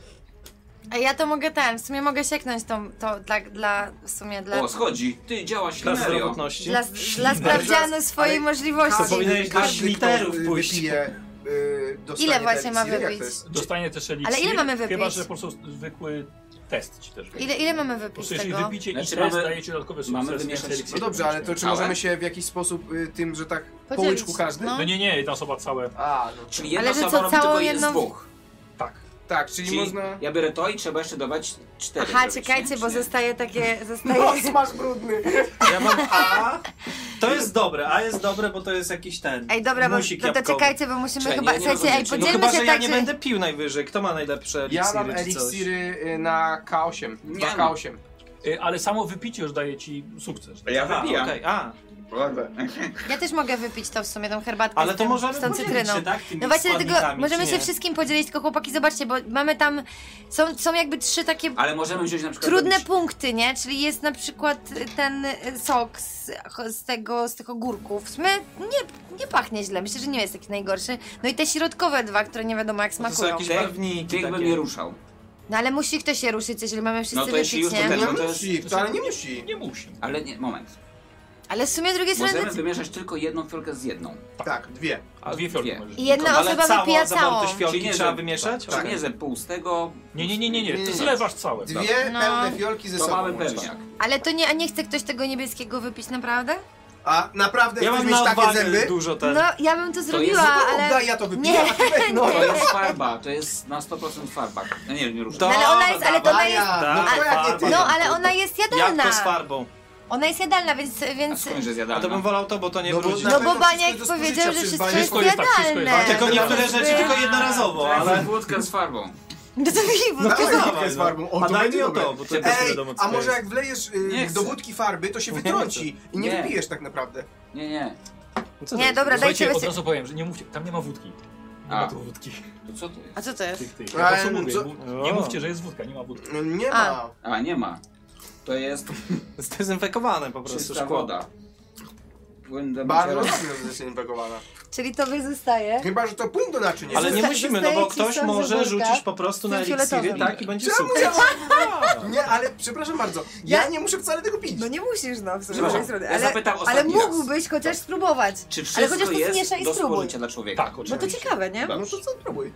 Speaker 2: A ja to mogę ten, w sumie mogę sieknąć tą, to dla, dla, w sumie dla,
Speaker 4: O, schodzi. Ty, działa
Speaker 5: Dla
Speaker 4: ślimerio.
Speaker 5: zdrowotności.
Speaker 2: dla, dla sprawdzianu swojej możliwości.
Speaker 5: To powinieneś do
Speaker 3: Każdy, kto,
Speaker 5: literów
Speaker 3: y,
Speaker 5: pójść.
Speaker 3: wypije, y, dostanie
Speaker 2: Ile właśnie ma
Speaker 3: eliksir. Jak to
Speaker 2: wypić?
Speaker 3: jest?
Speaker 1: Dostanie też eliksir.
Speaker 2: Ale ile mamy wypić?
Speaker 1: Chyba, że po prostu zwykły test ci też
Speaker 2: Ile, ile mamy
Speaker 1: Po
Speaker 2: wypić
Speaker 1: prostu jeśli
Speaker 2: tego?
Speaker 1: wypicie
Speaker 4: Znaczy
Speaker 1: i test
Speaker 4: mamy-
Speaker 1: daje ci dodatkowy sukces.
Speaker 4: mamy
Speaker 1: więc
Speaker 4: wymieszać-
Speaker 1: eliksir
Speaker 3: No dobrze, ale to czy
Speaker 4: Ale?
Speaker 3: możemy się w jakiś sposób y, tym, że tak po
Speaker 2: Podzielić,
Speaker 3: łyczku każdy?
Speaker 2: no.
Speaker 1: No nie, nie, jedna osoba całe.
Speaker 3: A, no.
Speaker 4: Czyli jedna
Speaker 2: Ale że
Speaker 4: osoba
Speaker 2: co,
Speaker 4: robi
Speaker 2: całą
Speaker 4: tylko jedną...
Speaker 2: jedną-
Speaker 4: z dwóch.
Speaker 1: Tak.
Speaker 3: Tak, czyli,
Speaker 4: Czyli
Speaker 3: można...
Speaker 4: ja biorę to i trzeba jeszcze dawać cztery.
Speaker 2: Aha,
Speaker 4: zrobić,
Speaker 2: czekajcie,
Speaker 4: nie?
Speaker 2: bo
Speaker 4: Czy nie?
Speaker 2: zostaje takie,
Speaker 3: No,
Speaker 2: zostaje...
Speaker 3: smasz brudny!
Speaker 5: Ja mam A. To jest dobre, A jest dobre, bo to jest jakiś ten.
Speaker 2: Ej, dobra, bo,
Speaker 5: musik
Speaker 2: no to
Speaker 5: jabłkowy.
Speaker 2: czekajcie, bo musimy
Speaker 4: Czekaj,
Speaker 2: chyba...
Speaker 4: ja nie
Speaker 2: Słuchajcie, ej,
Speaker 4: rozumiem, czy-
Speaker 5: No
Speaker 2: podzielmy
Speaker 5: chyba,
Speaker 2: się
Speaker 5: że
Speaker 2: tak,
Speaker 5: ja nie
Speaker 2: że...
Speaker 5: będę pił najwyżej. Kto ma najlepsze
Speaker 3: Ja
Speaker 5: eliksiry
Speaker 3: mam
Speaker 5: czy coś?
Speaker 3: eliksiry y, na K8.
Speaker 4: Nie
Speaker 3: Dwa
Speaker 4: no.
Speaker 3: K8.
Speaker 1: Y, Ale samo wypicie już daje ci sukces.
Speaker 12: Ja
Speaker 5: Aha,
Speaker 12: wypijam.
Speaker 5: okej, a.
Speaker 2: Ja też mogę wypić to w sumie, tą herbatkę
Speaker 5: Ale
Speaker 2: z,
Speaker 5: to
Speaker 2: tym,
Speaker 5: możemy
Speaker 2: z tą
Speaker 5: podzielić
Speaker 2: cytryną.
Speaker 5: się, tak, tymi
Speaker 2: No właśnie, dlatego
Speaker 5: składnikami,
Speaker 2: możemy
Speaker 5: czy
Speaker 2: się
Speaker 5: nie?
Speaker 2: wszystkim podzielić, tylko chłopaki, zobaczcie, bo mamy tam... Są, są jakby trzy takie
Speaker 4: Ale możemy wziąć na przykład...
Speaker 2: trudne
Speaker 4: robić-
Speaker 2: punkty, nie? Czyli jest na przykład ten y, sok z, z, tego, z tych ogórków. W sumie nie, nie pachnie źle, myślę, że nie jest taki najgorszy. No i te środkowe dwa, które nie wiadomo jak
Speaker 5: To są
Speaker 2: smakują.
Speaker 5: jakieś barwniki
Speaker 4: Tych bym
Speaker 5: takie.
Speaker 4: nie ruszał.
Speaker 2: No ale musi ktoś się ruszyć, jeżeli mamy wszyscy
Speaker 4: No to jeśli
Speaker 2: wypić,
Speaker 4: już, to
Speaker 2: nie?
Speaker 4: też,
Speaker 3: Nie
Speaker 4: no to jest...
Speaker 3: musi, wcale nie musi.
Speaker 1: Nie musi.
Speaker 4: Ale nie, moment.
Speaker 2: Ale w sumie z drugiej strony...
Speaker 4: Możemy wymieszać tylko jedną fiolkę z jedną.
Speaker 3: Tak, dwie.
Speaker 1: A dwie fiolki
Speaker 4: Dwie.
Speaker 1: możesz.
Speaker 2: I jedna
Speaker 5: Ale
Speaker 2: No osoba wypija
Speaker 5: za mało
Speaker 2: całą.
Speaker 5: Te świałki
Speaker 4: Czyli nie,
Speaker 5: trzeba
Speaker 4: że-
Speaker 5: wymieszać?
Speaker 3: Tak.
Speaker 4: Czy nie, że pół z tego...
Speaker 1: Nie, nie, nie, nie, nie.
Speaker 3: Nie,
Speaker 1: Ty
Speaker 3: nie, nie.
Speaker 1: zlewasz całe.
Speaker 3: Dwie
Speaker 2: No.
Speaker 3: pełne fiolki ze
Speaker 4: To
Speaker 3: sobą.
Speaker 4: mamy
Speaker 3: łączyć.
Speaker 4: pewniak.
Speaker 2: Ale to nie, a nie chce ktoś tego niebieskiego wypić, naprawdę?
Speaker 3: A naprawdę
Speaker 5: Ja
Speaker 3: chcesz
Speaker 5: mam
Speaker 3: mieć
Speaker 5: na
Speaker 3: takie
Speaker 5: odwagę
Speaker 3: zęby?
Speaker 5: dużo ten.
Speaker 2: No, ja bym to zrobiła,
Speaker 4: jest-
Speaker 3: No,
Speaker 2: ale...
Speaker 3: Oddaj, ja to wypiję, a ty weź, no.
Speaker 4: To jest farba, to jest na 100% farba. No nie, nie ruszam.
Speaker 5: To-
Speaker 2: No, ale ona jest, ale to ona
Speaker 3: A
Speaker 2: jest...
Speaker 3: ja,
Speaker 5: Tak,
Speaker 3: no to jak nie
Speaker 5: farba.
Speaker 3: ty.
Speaker 2: No, ale ona jest
Speaker 5: Jak to z
Speaker 2: jadalna.
Speaker 5: farbą?
Speaker 2: Ona jest jadalna, więc...
Speaker 4: A
Speaker 2: więc...
Speaker 4: skąd, że
Speaker 5: A to bym
Speaker 4: zjadalna?
Speaker 5: wolał to, bo to nie
Speaker 3: No bo
Speaker 5: wróci.
Speaker 3: na-
Speaker 2: No bo
Speaker 3: Pamiętam, wszystko
Speaker 2: Baniek
Speaker 3: jest do
Speaker 2: powiedział,
Speaker 3: spożycia
Speaker 2: że
Speaker 3: przez
Speaker 2: wszystko
Speaker 3: Baniak.
Speaker 2: jest
Speaker 1: Wszystko jest tak, wszystko
Speaker 2: jadalne.
Speaker 1: jest.
Speaker 5: Tylko niektóre
Speaker 2: Żeby-
Speaker 5: rzeczy tylko jednorazowo,
Speaker 4: Ale
Speaker 5: ale...
Speaker 4: wódkę z farbą.
Speaker 2: No to
Speaker 3: No,
Speaker 2: piwo.
Speaker 3: ale-
Speaker 5: Dawaj,
Speaker 3: wódkę z
Speaker 5: no.
Speaker 3: farbą. O,
Speaker 5: A
Speaker 3: to
Speaker 5: daj
Speaker 3: będzie
Speaker 5: mi o
Speaker 3: dobre.
Speaker 5: to, bo to jest nie
Speaker 3: Ej,
Speaker 5: wiadomo co
Speaker 3: a
Speaker 5: to
Speaker 3: może
Speaker 5: jest.
Speaker 3: jak wlejesz
Speaker 4: Nie
Speaker 3: y, do
Speaker 4: chcę.
Speaker 3: wódki farby, to się
Speaker 5: Nie
Speaker 3: wytrąci i nie
Speaker 4: Nie.
Speaker 3: wypijesz tak naprawdę.
Speaker 4: Nie, nie.
Speaker 5: No co
Speaker 2: Nie,
Speaker 5: to jest?
Speaker 2: dobra, dajcie
Speaker 1: Słuchajcie, od
Speaker 2: weźcie-
Speaker 1: razu powiem, że nie mówcie, tam nie ma wódki. Nie
Speaker 4: A.
Speaker 1: ma tu wódki.
Speaker 4: To co to jest?
Speaker 2: A co to jest?
Speaker 1: Tych, tych.
Speaker 3: A,
Speaker 1: Ja to co mówię,
Speaker 3: co-
Speaker 1: mów- nie mówcie, że jest wódka, nie ma wódki.
Speaker 3: No, Nie
Speaker 2: A.
Speaker 3: ma.
Speaker 4: A, nie ma. To jest
Speaker 5: Zdezynfekowane po prostu
Speaker 4: czysta
Speaker 5: szkło.
Speaker 4: woda. Płyn do
Speaker 3: Bardzo
Speaker 4: mycia
Speaker 3: mocno zinfekowana.
Speaker 2: Czyli tobie zostaje.
Speaker 3: Chyba, że to płyn do naczynia.
Speaker 5: Ale nie
Speaker 2: Zosta-
Speaker 5: musimy, no
Speaker 2: zostaje
Speaker 5: bo
Speaker 2: ci
Speaker 5: ktoś
Speaker 2: sam
Speaker 5: może
Speaker 2: zaworka
Speaker 5: rzucić po prostu
Speaker 2: z
Speaker 5: na
Speaker 2: tym
Speaker 5: eliksiry,
Speaker 2: fioletowym.
Speaker 5: tak, i będzie
Speaker 3: Czemu
Speaker 5: sukces.
Speaker 3: ja Nie, ale przepraszam bardzo. Ja
Speaker 2: Ja-
Speaker 3: nie muszę wcale tego pić.
Speaker 2: No nie musisz, no, w sumie z
Speaker 4: Przepraszam,
Speaker 2: drugiej strony.
Speaker 4: ja
Speaker 2: Ale,
Speaker 4: zapytam
Speaker 2: ale
Speaker 4: ostatni raz.
Speaker 2: mógłbyś chociaż spróbować.
Speaker 4: Czy
Speaker 2: Ale chociaż
Speaker 4: wszystko
Speaker 2: to
Speaker 4: jest
Speaker 2: zmieszaj i
Speaker 4: do
Speaker 2: spróbuj.
Speaker 4: spożycia dla człowieka?
Speaker 1: Tak,
Speaker 2: No to
Speaker 1: oczywiście.
Speaker 2: ciekawe, nie?
Speaker 3: No to co spróbuj.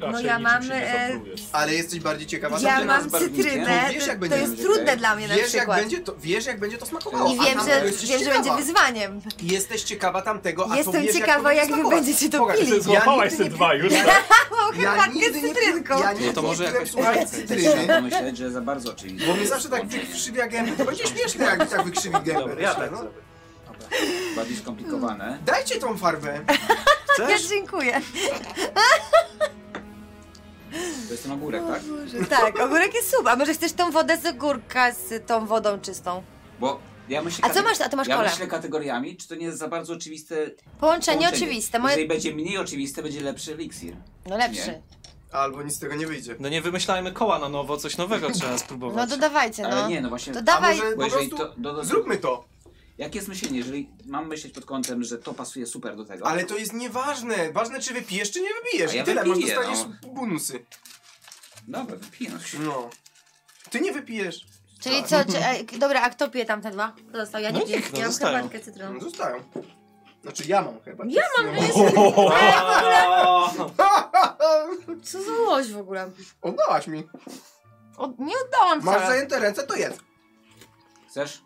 Speaker 2: No
Speaker 1: Raczej
Speaker 2: ja
Speaker 1: niczym
Speaker 2: mam,
Speaker 1: się nie
Speaker 2: e,
Speaker 1: zaoferujesz.
Speaker 3: Ale jesteś bardziej ciekawa.
Speaker 4: Masz
Speaker 2: Ja
Speaker 4: taki
Speaker 2: mam
Speaker 4: rozbarwnik,
Speaker 2: cytrynę,
Speaker 3: no, nie? Wiesz, jak
Speaker 2: to, to
Speaker 3: będzie
Speaker 2: jest
Speaker 4: będzie,
Speaker 2: trudne
Speaker 4: tak?
Speaker 2: dla mnie na
Speaker 3: Wiesz jak,
Speaker 2: przykład.
Speaker 3: będzie to, wiesz, jak będzie to smakowało.
Speaker 2: I
Speaker 3: a
Speaker 2: wiem,
Speaker 3: tam-
Speaker 2: że,
Speaker 3: jesteś
Speaker 2: wiem że będzie
Speaker 3: ciekawa.
Speaker 2: wyzwaniem.
Speaker 3: Jesteś ciekawa tamtego, a
Speaker 2: Jestem
Speaker 3: to wiesz,
Speaker 2: ciekawa,
Speaker 3: jak,
Speaker 2: jak
Speaker 3: to
Speaker 2: wy
Speaker 3: będzie
Speaker 2: będziecie to
Speaker 3: smakować.
Speaker 2: pili.
Speaker 3: Pokaż,
Speaker 1: Złapałaś
Speaker 3: ja
Speaker 1: te
Speaker 3: nigdy
Speaker 1: dwa już. tak?
Speaker 2: O,
Speaker 3: nie-
Speaker 2: herbatkę
Speaker 3: ja
Speaker 2: z
Speaker 3: nigdy nie
Speaker 2: cytrynką.
Speaker 3: Ja nie
Speaker 5: No to może
Speaker 3: piłem,
Speaker 5: jakaś-
Speaker 3: słuchaj,
Speaker 4: Trzeba
Speaker 3: cytryny.
Speaker 4: pomyśleć, że za bardzo oczywiście.
Speaker 3: Bo mnie zawsze tak wykrzywia gębę. To będzie śmieszne, jak tak wykrzywi gębę.
Speaker 5: Dobra, ja
Speaker 3: myślę,
Speaker 5: tak
Speaker 3: no.
Speaker 5: zrobię.
Speaker 4: Bardziej skomplikowane.
Speaker 3: Dajcie tą farbę.
Speaker 2: Ja
Speaker 5: Chcesz?
Speaker 2: dziękuję.
Speaker 4: To jest ten ogórek, tak?
Speaker 2: Boże, tak, ogórek jest sub. A może chcesz tą wodę z ogórka z tą wodą czystą?
Speaker 4: Bo ja myślę...
Speaker 2: A co masz, a to masz
Speaker 4: Ja
Speaker 2: kole?
Speaker 4: myślę kategoriami, czy to nie jest za bardzo oczywiste
Speaker 2: Połączenie, oczywiste. Moje...
Speaker 4: Jeżeli będzie mniej oczywiste, będzie lepszy eliksir.
Speaker 2: No lepszy.
Speaker 3: Albo nic z tego nie wyjdzie.
Speaker 5: No nie wymyślajmy koła na nowo, coś nowego trzeba
Speaker 2: No
Speaker 5: spróbować.
Speaker 2: to dawajcie, no.
Speaker 4: Ale nie, no właśnie...
Speaker 2: To
Speaker 3: A
Speaker 2: dawaj.
Speaker 3: może
Speaker 4: bo
Speaker 3: po
Speaker 4: jeżeli
Speaker 3: prostu
Speaker 4: to, do, do,
Speaker 3: zróbmy to. Tak.
Speaker 4: Jak jest myślenie, jeżeli mam myśleć pod kątem, że to pasuje super do tego,
Speaker 3: Ale to jest nieważne. Ważne, czy wypijesz, czy nie wypijesz.
Speaker 4: A ja
Speaker 3: I tyle, masz
Speaker 4: wypiję,
Speaker 3: dostaniesz
Speaker 4: no.
Speaker 3: bonusy.
Speaker 4: Dobra, wypijam się.
Speaker 3: No. Ty nie wypijesz.
Speaker 2: Czyli co, czy, e, dobra, a kto pije tam te dwa? Kto został? Ja nie
Speaker 5: No
Speaker 2: piję.
Speaker 5: nikt, no
Speaker 2: ja mam
Speaker 5: zostają.
Speaker 2: herbatkę cytryną.
Speaker 3: No, Zostają. Znaczy ja mam chyba.
Speaker 2: Ja mam, no jest...
Speaker 5: O,
Speaker 2: Co za złość w ogóle?
Speaker 3: Oddałaś mi.
Speaker 2: Od, nie oddałam
Speaker 3: Masz
Speaker 2: wcale.
Speaker 3: zajęte ręce, to jedz.
Speaker 4: Chcesz?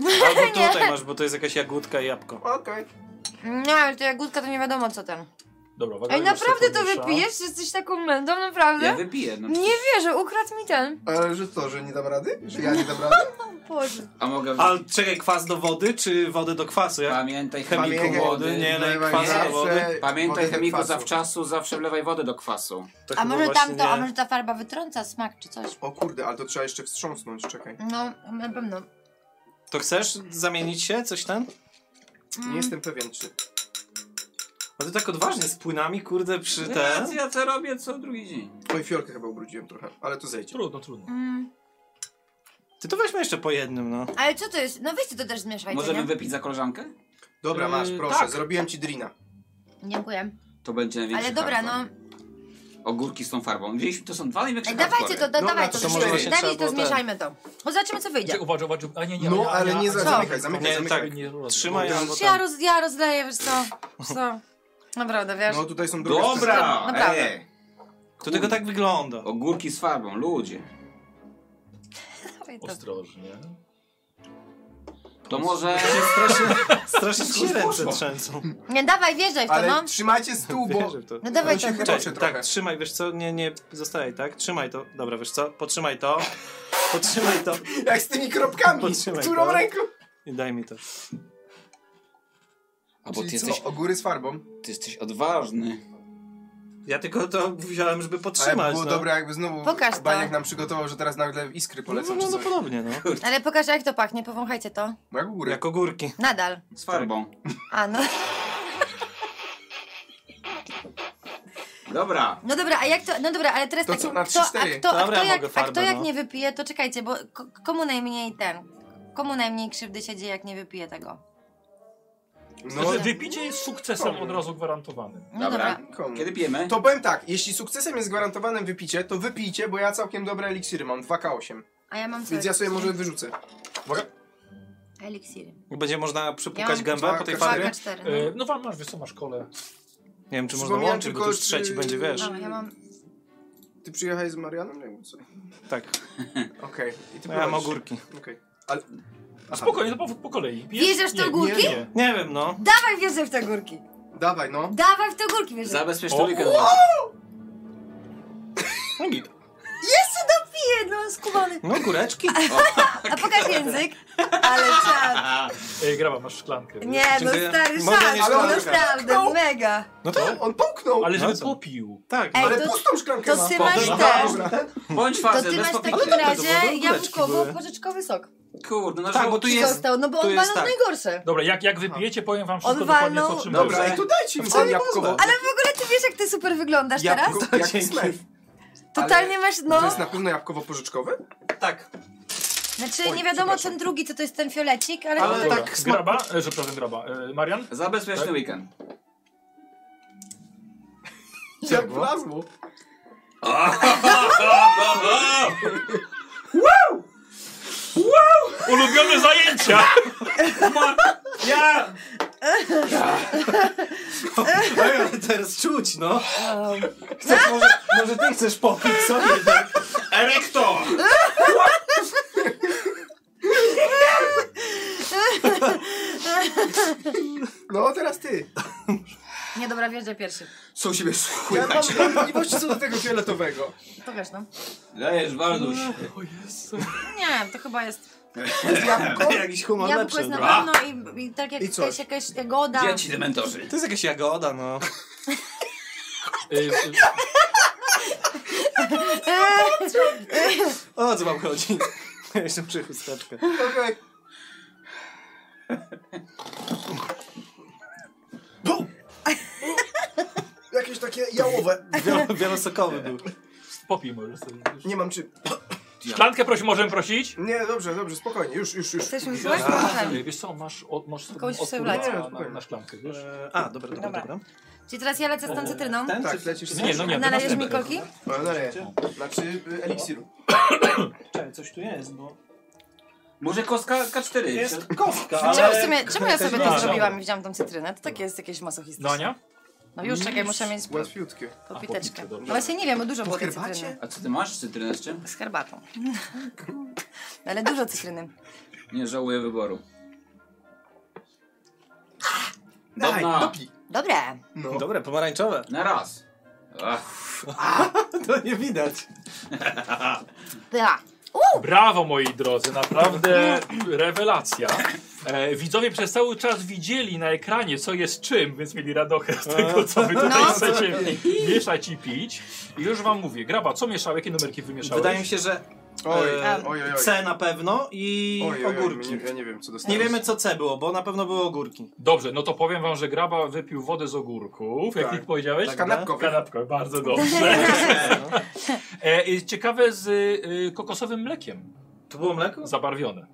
Speaker 5: Albo tutaj masz, bo to jest jakaś jagódka i jabłko.
Speaker 3: Okej.
Speaker 2: Nie, ale to jagódka to nie wiadomo co ten.
Speaker 1: Dobra, uwaga,
Speaker 2: Ej,
Speaker 1: już się
Speaker 2: naprawdę to
Speaker 1: podmiesza.
Speaker 2: wypijesz? Jesteś taką mędą, naprawdę?
Speaker 4: Ja wypiję. No,
Speaker 2: nie wierzę, ukradł mi ten.
Speaker 3: Ale że co, że nie dam rady? Że ja nie dam rady?
Speaker 2: Boże.
Speaker 4: A mogę...
Speaker 5: A czekaj, kwas do wody, czy wodę do kwasu? Jak?
Speaker 4: Pamiętaj,
Speaker 5: Chemiku
Speaker 4: chemiku
Speaker 3: Pamiętaj,
Speaker 5: wody,
Speaker 4: wody.
Speaker 5: nie lej
Speaker 3: wlewaj
Speaker 5: kwasu do
Speaker 3: zawsze
Speaker 5: wody.
Speaker 4: Pamiętaj,
Speaker 3: wodę do
Speaker 4: chemiku
Speaker 3: kwasu.
Speaker 4: zawczasu, zawsze wlewaj wodę do kwasu.
Speaker 5: To
Speaker 2: A
Speaker 5: chyba
Speaker 2: może
Speaker 5: No właśnie
Speaker 2: tam to, a
Speaker 5: nie.
Speaker 2: może ta farba wytrąca smak czy coś?
Speaker 3: O kurde, ale to trzeba jeszcze wstrząsnąć, czekaj.
Speaker 2: No, na pewno.
Speaker 5: To chcesz zamienić się? Coś ten?
Speaker 3: Nie jestem pewien, czy...
Speaker 5: No ty tak odważnie z płynami, kurde, przy
Speaker 4: Ja,
Speaker 5: ten.
Speaker 4: ja to robię co drugi dzień.
Speaker 3: Oj, fiolkę chyba ubrudziłem trochę, ale to zejdzie.
Speaker 1: Trudno, trudno.
Speaker 2: Mm.
Speaker 5: Ty to weźmy jeszcze po jednym, no.
Speaker 2: Ale co to jest? No weźcie to też zmieszajcie,
Speaker 4: Możemy
Speaker 2: nie?
Speaker 4: wypić za koleżankę?
Speaker 3: Dobra, masz,
Speaker 1: Yy,
Speaker 3: proszę,
Speaker 1: tak.
Speaker 3: zrobiłem ci drina.
Speaker 2: Dziękuję.
Speaker 4: To będzie największy
Speaker 2: Ale dobra, no.
Speaker 4: hardcore. Ogórki z tą farbą. Wzięliśmy, to są dwa największe
Speaker 2: Ej, dawajcie to, da,
Speaker 5: No,
Speaker 2: dawaj
Speaker 5: na
Speaker 2: to,
Speaker 5: trzy
Speaker 2: to,
Speaker 5: może się trzeba
Speaker 2: dawaj to,
Speaker 5: było ten.
Speaker 2: zmieszajmy to. Bo zobaczymy, co wyjdzie.
Speaker 1: Gdzie, uważaj, uważaj. A nie, nie,
Speaker 3: No,
Speaker 1: ja-
Speaker 3: ale
Speaker 1: ja-
Speaker 3: nie
Speaker 1: ja-
Speaker 3: za-
Speaker 2: Co?
Speaker 3: zamykaj, zamykaj,
Speaker 5: Nie,
Speaker 3: zamykaj.
Speaker 5: tak.
Speaker 1: Nie, nie,
Speaker 5: Trzymaj,
Speaker 1: bo-
Speaker 5: albo
Speaker 2: Czy ja,
Speaker 5: tam.
Speaker 2: roz, ja rozleję, wiesz co? Wiesz co? Naprawdę, wiesz?
Speaker 3: No tutaj są drugie
Speaker 4: Dobra!
Speaker 2: Naprawdę.
Speaker 4: Ej,
Speaker 5: To tylko tak wygląda.
Speaker 4: ogórki z farbą, ludzie.
Speaker 2: Dawaj to.
Speaker 1: Ostrożnie.
Speaker 4: To może...
Speaker 5: Strasznie, strasznie ci się ręce trzęsą.
Speaker 2: Nie, dawaj, wjeżdżaj w to,
Speaker 3: Ale
Speaker 2: no.
Speaker 3: trzymajcie stół, bo...
Speaker 5: Wierzę w to.
Speaker 2: No dawaj
Speaker 3: Ale
Speaker 2: to.
Speaker 3: się chyba-
Speaker 5: Cześć,
Speaker 3: Proszę trochę.
Speaker 5: tak, trzymaj, wiesz co, nie, nie, zostaj, tak? Trzymaj to, dobra, wiesz co, potrzymaj to, potrzymaj to
Speaker 3: Jak z tymi kropkami,
Speaker 5: Podtrzymaj
Speaker 3: którą
Speaker 5: to.
Speaker 3: ręką?
Speaker 5: i daj mi to.
Speaker 4: A bo ty
Speaker 3: Czyli
Speaker 4: jesteś,
Speaker 3: co, o góry z farbą?
Speaker 4: ty jesteś odważny.
Speaker 5: Ja tylko to wziąłem, żeby
Speaker 3: Ale
Speaker 5: podtrzymać,
Speaker 3: było
Speaker 5: no.
Speaker 3: dobre jakby znowu
Speaker 2: Pokaż to.
Speaker 3: Baniak nam przygotował, że teraz nagle iskry
Speaker 5: No,
Speaker 3: polecą
Speaker 5: no, no,
Speaker 3: czy
Speaker 5: no
Speaker 3: coś.
Speaker 5: podobnie, no.
Speaker 2: Ale pokaż jak to pachnie, powąchajcie to.
Speaker 3: Bo Jak u góry.
Speaker 5: Jak ogórki.
Speaker 2: Nadal.
Speaker 4: Z farbą.
Speaker 2: A no.
Speaker 4: Dobra.
Speaker 2: No dobra, a jak to. No dobra, ale teraz
Speaker 3: To
Speaker 2: tak.
Speaker 3: co, na
Speaker 2: kto, a,
Speaker 3: 3-4?
Speaker 2: kto, a,
Speaker 5: Dobra,
Speaker 2: kto
Speaker 5: ja
Speaker 2: jak,
Speaker 5: mogę
Speaker 2: a kto
Speaker 5: farbę,
Speaker 2: jak
Speaker 5: no.
Speaker 2: nie wypije, to czekajcie, bo ko, komu najmniej ten. Komu najmniej krzywdy się dzieje, jak nie wypije tego?
Speaker 1: No,
Speaker 3: No,
Speaker 1: wypicie jest sukcesem od razu gwarantowanym.
Speaker 2: No dobra.
Speaker 4: Dobra.
Speaker 3: komu?
Speaker 4: Kiedy pijemy?
Speaker 3: To powiem tak, jeśli sukcesem jest gwarantowane wypicie, to wypijcie, bo ja całkiem dobre eliksiry mam, 2K8.
Speaker 2: A ja mam co?
Speaker 3: Więc ja sobie może wyrzucę.
Speaker 2: Eliksiry.
Speaker 5: Będzie można przypukać
Speaker 2: Ja-
Speaker 5: gębę po tej
Speaker 3: Dwa-
Speaker 5: farbie?
Speaker 2: 2K4.
Speaker 1: E, no wam masz, wiesz co, masz kole.
Speaker 5: Nie wiem, czy można
Speaker 3: Przypomniałem
Speaker 5: łączyć, bo
Speaker 3: tylko,
Speaker 5: to już
Speaker 3: czy-
Speaker 5: trzeci będzie, wiesz.
Speaker 2: No, ja mam.
Speaker 3: Ty przyjechałeś z Marianem? Jakby co?
Speaker 5: Tak,
Speaker 3: Okej. I ty
Speaker 5: no, ja mam
Speaker 3: prowadzisz.
Speaker 5: ogórki.
Speaker 3: Okej. Ale...
Speaker 1: A spokojnie, to po, po kolei.
Speaker 2: Bierzesz te
Speaker 1: Nie,
Speaker 2: ogórki?
Speaker 1: Nie, nie.
Speaker 5: Nie wiem, no.
Speaker 2: Dawaj wjeżdżaj w te górki.
Speaker 3: Dawaj, no.
Speaker 2: Dawaj w te górki wjeżdżaj.
Speaker 4: Zabezpiecz
Speaker 1: O,
Speaker 4: to weekend.
Speaker 5: No git.
Speaker 2: Piję, no skubany.
Speaker 5: No góreczki.
Speaker 2: A pokaż język. Ale czad.
Speaker 1: Ej, graba, E, masz szklankę.
Speaker 2: Nie, no
Speaker 5: Dziękuję.
Speaker 2: stary
Speaker 5: Mogę
Speaker 2: szans.
Speaker 5: nie
Speaker 2: No
Speaker 3: szklankę.
Speaker 2: naprawdę, mega.
Speaker 5: No to,
Speaker 3: On połknął! Ale,
Speaker 1: Ale żeby
Speaker 5: No co?
Speaker 1: popił.
Speaker 5: tak.
Speaker 2: Ej,
Speaker 5: Ale...
Speaker 2: to-
Speaker 3: pustą szklankę
Speaker 2: To
Speaker 3: ma.
Speaker 2: ty masz
Speaker 5: Dobra,
Speaker 2: ten.
Speaker 4: Bądź
Speaker 2: To
Speaker 4: fazy,
Speaker 2: ty
Speaker 4: bez
Speaker 2: masz w
Speaker 4: popiki.
Speaker 2: takim
Speaker 5: Ale dobre to było,
Speaker 2: razie
Speaker 5: dobre kuleczki były.
Speaker 2: jabłkowo-porzeczkowy sok.
Speaker 4: Kurde, no
Speaker 5: Tak, bo tu
Speaker 2: Ci
Speaker 5: jest...
Speaker 2: został, no bo
Speaker 5: tu
Speaker 2: on
Speaker 5: jest
Speaker 2: walnął
Speaker 5: tak.
Speaker 2: najgorsze.
Speaker 1: Dobra, jak, jak wypijecie, powiem wam wszystko
Speaker 2: On
Speaker 1: dokładnie, co
Speaker 2: walnął-
Speaker 1: czym
Speaker 4: Dobra,
Speaker 1: było.
Speaker 3: Dobra, i to dajcie im ten
Speaker 5: Ale
Speaker 3: jabłkowo.
Speaker 5: można.
Speaker 2: Ale w ogóle ty wiesz, jak ty super wyglądasz teraz?
Speaker 3: Jabłko, jak
Speaker 5: Dzięki.
Speaker 3: slef.
Speaker 2: Totalnie masz, no.
Speaker 3: To jest na pewno jabłkowo-pożyczkowe?
Speaker 5: Tak.
Speaker 2: Znaczy, nie wiadomo, ten drugi, co to jest ten fiolecik, ale...
Speaker 5: Ale
Speaker 1: Dobra.
Speaker 5: tak smak...
Speaker 1: Graba, e, że przepraszam, graba. E, Marian?
Speaker 4: Zabezpiecz ten weekend.
Speaker 3: Jak wlazło.
Speaker 1: Ulubione zajęcia!
Speaker 5: Ja! Ale teraz czuć, no.
Speaker 2: Um,
Speaker 5: Chcesz, może, może ty chcesz popić sobie, tak?
Speaker 13: Erektor!
Speaker 3: No, teraz ty.
Speaker 2: nie, dobra, wjeżdżaj pierwszy.
Speaker 4: Co u siebie
Speaker 3: Ja mam wątpliwości co do tego fioletowego.
Speaker 2: Pokaż, no.
Speaker 4: Dajesz, Walduś.
Speaker 2: Nie, to chyba jest...
Speaker 5: Jakiś humor
Speaker 2: Jabłko
Speaker 5: lepszy.
Speaker 2: jest na
Speaker 5: no.
Speaker 2: pewno i, i tak jak
Speaker 3: I
Speaker 2: to
Speaker 3: coś.
Speaker 2: jest jakaś jagoda.
Speaker 4: Dzieci dementorzy.
Speaker 5: To jest jakaś jagoda, no.
Speaker 1: E, e,
Speaker 5: O co wam chodzi? Ja Jeszcze muszę chusteczkę.
Speaker 3: Okej. Bum! Jakieś takie jałowe.
Speaker 5: Wielo, wielosokowy był.
Speaker 1: popij może sobie.
Speaker 3: Nie mam czy...
Speaker 1: Szklankę prosi, możemy prosić?
Speaker 3: Nie, dobrze, dobrze, spokojnie, już, już, już.
Speaker 2: Chcesz mi złość?
Speaker 1: Ej, Wiesz co, masz, od, masz
Speaker 2: Tak. Kogoś
Speaker 1: odpór
Speaker 2: wlać.
Speaker 1: na, na, na szklankę, wiesz?
Speaker 5: E, A, dobra, dobra,
Speaker 2: Dobra.
Speaker 5: dobra.
Speaker 2: Czyli teraz ja lecę z tą cytryną.
Speaker 3: Tak, lecisz z
Speaker 1: Nie, no nie, to
Speaker 2: Nalejesz mi
Speaker 1: następne.
Speaker 2: kolki?
Speaker 3: No, dalej. Znaczy y, eliksiru.
Speaker 5: Czekaj, coś tu jest, bo...
Speaker 4: Może kostka K4.
Speaker 5: Jest kostka,
Speaker 2: Czemu,
Speaker 5: ale...
Speaker 2: w sumie, czemu ja sobie to
Speaker 1: mała.
Speaker 2: zrobiłam i wziąłam tą cytrynę? To takie jest jakieś masochistyczne.
Speaker 1: No Ania?
Speaker 2: No już, czekaj, muszę mieć po,
Speaker 3: Łatwiutkie.
Speaker 1: po
Speaker 2: popiteczkę.
Speaker 1: pitce, dobrze.
Speaker 2: No właśnie nie wiem, bo dużo
Speaker 3: Po
Speaker 2: było tej
Speaker 3: herbacie?
Speaker 2: cytryny.
Speaker 4: A co ty masz? Cytrynę z czym?
Speaker 2: Z herbatą. No Ale dużo cytryny.
Speaker 4: Nie żałuję wyboru.
Speaker 3: Daj,
Speaker 4: Dobra.
Speaker 3: dopij.
Speaker 2: Dobre.
Speaker 3: No.
Speaker 5: Dobre, pomarańczowe. No
Speaker 4: Na raz. Ach,
Speaker 5: To nie widać.
Speaker 2: Da.
Speaker 1: Brawo moi drodzy, naprawdę rewelacja. E, widzowie przez cały czas widzieli na ekranie co jest czym, więc mieli radochę z tego co wy tutaj
Speaker 2: No.
Speaker 1: chcecie mieszać i pić. I już wam mówię, graba, co mieszał, jakie numerki wymieszałeś?
Speaker 5: Wydaje mi się, że
Speaker 3: Oj,
Speaker 5: E,
Speaker 3: oj, oj, oj.
Speaker 5: C na pewno i
Speaker 3: Oj, oj, oj,
Speaker 5: ogórki.
Speaker 3: nie- Ja nie wiem, co dostałem.
Speaker 5: Nie wiemy co C było, bo na pewno były ogórki.
Speaker 1: Dobrze, no to powiem wam, że graba wypił wodę z ogórków, jak
Speaker 3: Tak.
Speaker 1: ich powiedziałeś?
Speaker 3: Tak, kanapkowy.
Speaker 1: Kanapkę, bardzo dobrze.
Speaker 5: No.
Speaker 1: e, i ciekawe z y, kokosowym mlekiem
Speaker 5: To było mleko?
Speaker 1: zabarwione.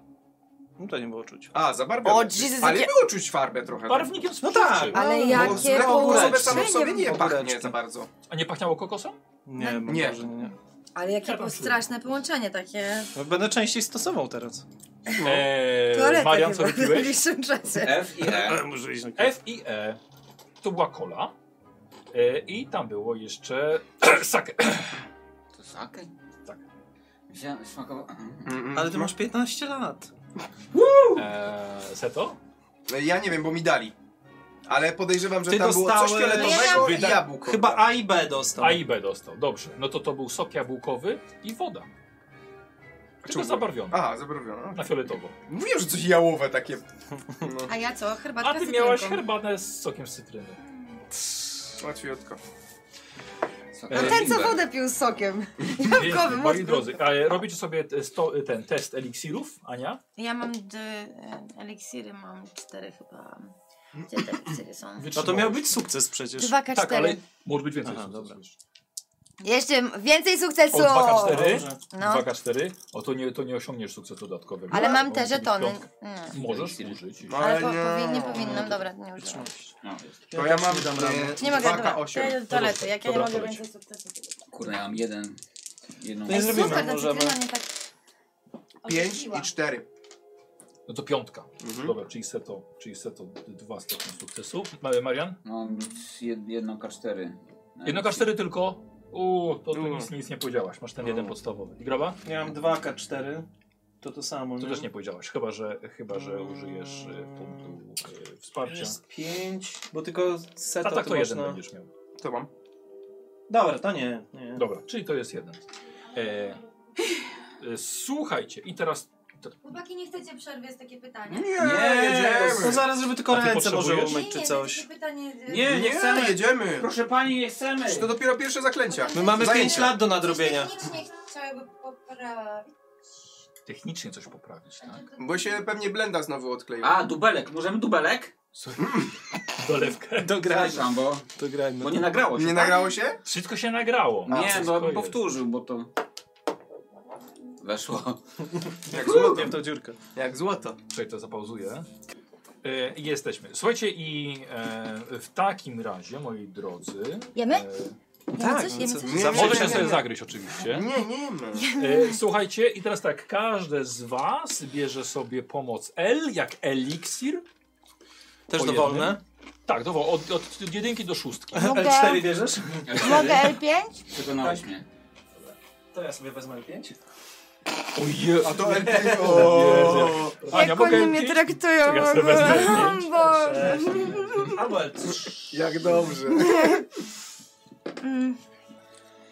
Speaker 5: No to nie było czuć.
Speaker 3: A, zabarwiony.
Speaker 2: O, Jesus,
Speaker 3: Ale
Speaker 2: jakie-
Speaker 3: było czuć farbę trochę. tak?
Speaker 1: Barwnikiem
Speaker 5: No
Speaker 1: spożywczym.
Speaker 5: tak.
Speaker 2: Ale
Speaker 5: no,
Speaker 3: Bo
Speaker 2: jakie
Speaker 3: mleko ogórkowe
Speaker 5: ogóreczki.
Speaker 3: samo w sobie nie
Speaker 5: Ogóreczki.
Speaker 3: pachnie za bardzo.
Speaker 1: A nie pachniało kokosem?
Speaker 5: Nie, mam
Speaker 3: Nie.
Speaker 5: wrażenie, nie.
Speaker 6: Ale jakie
Speaker 1: Ja tam
Speaker 6: było
Speaker 1: czuję.
Speaker 6: straszne połączenie takie.
Speaker 5: No, Będę częściej stosował teraz.
Speaker 1: Eee,
Speaker 6: Toaleta
Speaker 1: Marian, co
Speaker 6: chyba w
Speaker 1: robiłeś?
Speaker 6: najbliższym czasie.
Speaker 4: F i E.
Speaker 5: Może iść na
Speaker 1: F i E. To była kola. E, I tam było jeszcze sake.
Speaker 4: To sake?
Speaker 1: Tak.
Speaker 4: Wziąłem, smakowało.
Speaker 3: Mm,
Speaker 5: Ale ty masz 15 lat.
Speaker 1: E, seto?
Speaker 3: Ja nie wiem, bo mi dali. Ale podejrzewam, że
Speaker 5: Ty
Speaker 3: tam było coś
Speaker 5: dostałeś-
Speaker 3: fioletowego i
Speaker 1: Wyda-
Speaker 3: jabłko.
Speaker 5: Chyba A i B dostał.
Speaker 1: A i B dostał. Dobrze. No to to był sok jabłkowy i woda. Tylko
Speaker 3: Czemu?
Speaker 1: zabarwiony.
Speaker 3: Aha, zabrowiono.
Speaker 1: Na fioletowo.
Speaker 3: Mówiłem, że coś jałowe takie. No,
Speaker 2: A ja co? Herbatkę
Speaker 1: A ty
Speaker 2: z
Speaker 1: miałaś
Speaker 2: cytrynką.
Speaker 1: herbatę z sokiem z cytryny.
Speaker 3: łatwiutko.
Speaker 2: No ten, co wodę pił z sokiem. Jabłkowy,
Speaker 1: Więc, moi
Speaker 2: mocno.
Speaker 1: drodzy, e, robicie sobie te- sto, ten test eliksirów, Ania.
Speaker 6: Ja mam d- e, eliksiry, mam cztery chyba. Gdzie te eliksiry są?
Speaker 5: No to
Speaker 1: Wytrzymałość.
Speaker 5: miał być sukces przecież.
Speaker 2: Dwa K4.
Speaker 1: Tak, ale może być więcej.
Speaker 5: Aha,
Speaker 1: sukcesów
Speaker 5: dobra.
Speaker 1: jeszcze.
Speaker 2: Jeszcze więcej
Speaker 1: O,
Speaker 2: sukcesu!
Speaker 1: 2K4.
Speaker 5: Dobrze.
Speaker 2: No.
Speaker 1: 2K4. O, to nie, to nie osiągniesz sukcesu dodatkowego.
Speaker 2: Ale mam
Speaker 1: Bo
Speaker 2: te
Speaker 1: musi być
Speaker 2: żetony.
Speaker 1: piątka.
Speaker 2: Mm.
Speaker 1: Możesz użyć.
Speaker 2: Ale po,
Speaker 3: nie.
Speaker 2: powin, nie powinnam, dobra, nie używam.
Speaker 4: No, jest.
Speaker 3: To ja mam
Speaker 5: dam rady.
Speaker 3: e,
Speaker 2: Czy nie mogę? Dobra,
Speaker 3: 2K8.
Speaker 6: Ja do toalety, jak ja nie
Speaker 1: Dobra,
Speaker 6: mogę
Speaker 1: toalecie.
Speaker 6: więcej sukcesu.
Speaker 4: No, Kurde, ja mam jeden. Jedną.
Speaker 5: To jest- zrobimy,
Speaker 2: Super, ta
Speaker 5: możemy.
Speaker 2: cytryna mnie tak
Speaker 3: 5
Speaker 2: ożywiła.
Speaker 3: i 4.
Speaker 1: No to piątka.
Speaker 3: Mhm.
Speaker 1: Dobra, czyli seto, czyli seto dwa stopnie sukcesu. Mały Marian?
Speaker 4: No, Mam jed, jedną K4.
Speaker 1: Jedno K4 tylko. Uuu, to tu No.
Speaker 3: Uuu.
Speaker 1: nic, nic nie powiedziałaś. Masz ten jeden podstawowy. I graba?
Speaker 5: Miałem 2K4. To to samo.
Speaker 1: To też nie powiedziałaś, chyba że, chyba, że użyjesz e, punktu e, wsparcia.
Speaker 5: Jest 5, bo tylko
Speaker 1: A
Speaker 5: set
Speaker 1: tak to jeden
Speaker 5: można...
Speaker 1: będziesz miał.
Speaker 3: To mam.
Speaker 5: Dobra, to nie. nie.
Speaker 1: Dobra, czyli to jest jeden. E, e, słuchajcie, i teraz.
Speaker 6: Chłopaki, nie chcecie przerwy, jest takie pytanie.
Speaker 3: Nie,
Speaker 4: Nie,
Speaker 5: No
Speaker 3: jedziemy.
Speaker 5: zaraz, żeby tylko
Speaker 1: A ty
Speaker 5: ręce może
Speaker 1: potrzebujesz?
Speaker 5: umyć czy coś.
Speaker 6: pytanie... y,
Speaker 4: Nie, nie chcemy.
Speaker 3: jedziemy.
Speaker 4: Proszę pani, nie chcemy.
Speaker 3: To dopiero pierwsze zaklęcia.
Speaker 5: My mamy
Speaker 3: Zajęcia.
Speaker 5: 5 lat do nadrobienia.
Speaker 6: Technicznie chciałaby poprawić.
Speaker 1: Technicznie coś poprawić, tak?
Speaker 3: Bo się pewnie blenda znowu odkleiła.
Speaker 4: A, dubelek. Możemy dubelek?
Speaker 1: Dolewkę.
Speaker 5: Dograjmy.
Speaker 4: Przepraszam, bo,
Speaker 5: Dograjmy.
Speaker 4: bo nie nagrało się. tak?
Speaker 3: Nie nagrało się?
Speaker 1: Wszystko się nagrało.
Speaker 4: Nie, no,
Speaker 1: Wszystko
Speaker 4: bo bym
Speaker 1: jest.
Speaker 4: powtórzył, bo to... Weszło.
Speaker 3: Jak złoto.
Speaker 5: Nie w tą dziurkę.
Speaker 3: Jak złoto.
Speaker 1: Czekaj, to zapauzuję. E, jesteśmy. Słuchajcie, i e, w takim razie, moi drodzy.
Speaker 2: Jemy?
Speaker 1: E,
Speaker 2: Jemy coś? Jemy
Speaker 5: co-
Speaker 2: coś?
Speaker 3: Nie,
Speaker 5: za-
Speaker 3: nie,
Speaker 1: możecie
Speaker 3: nie, nie,
Speaker 1: sobie
Speaker 3: nie.
Speaker 1: zagryźć, oczywiście.
Speaker 3: Nie, nie, nie.
Speaker 1: E, słuchajcie, i teraz tak, każde z Was bierze sobie pomoc L, jak eliksir.
Speaker 5: Też
Speaker 1: Po
Speaker 5: dowolne.
Speaker 1: Tak, dobra, od, od jedynki do szóstki.
Speaker 5: L4 bierzesz?
Speaker 2: Mogę L5?
Speaker 4: Przekonałeś mnie.
Speaker 5: To ja sobie wezmę 5.
Speaker 1: Oje,
Speaker 3: A to LPO.
Speaker 2: Jak oni mnie traktują No
Speaker 1: Czekaj, ja
Speaker 2: w
Speaker 1: sobie
Speaker 2: ogóle?
Speaker 1: wezmę
Speaker 2: O Boże.
Speaker 5: Eee, Albo L3.
Speaker 3: Jak dobrze.
Speaker 2: Mm.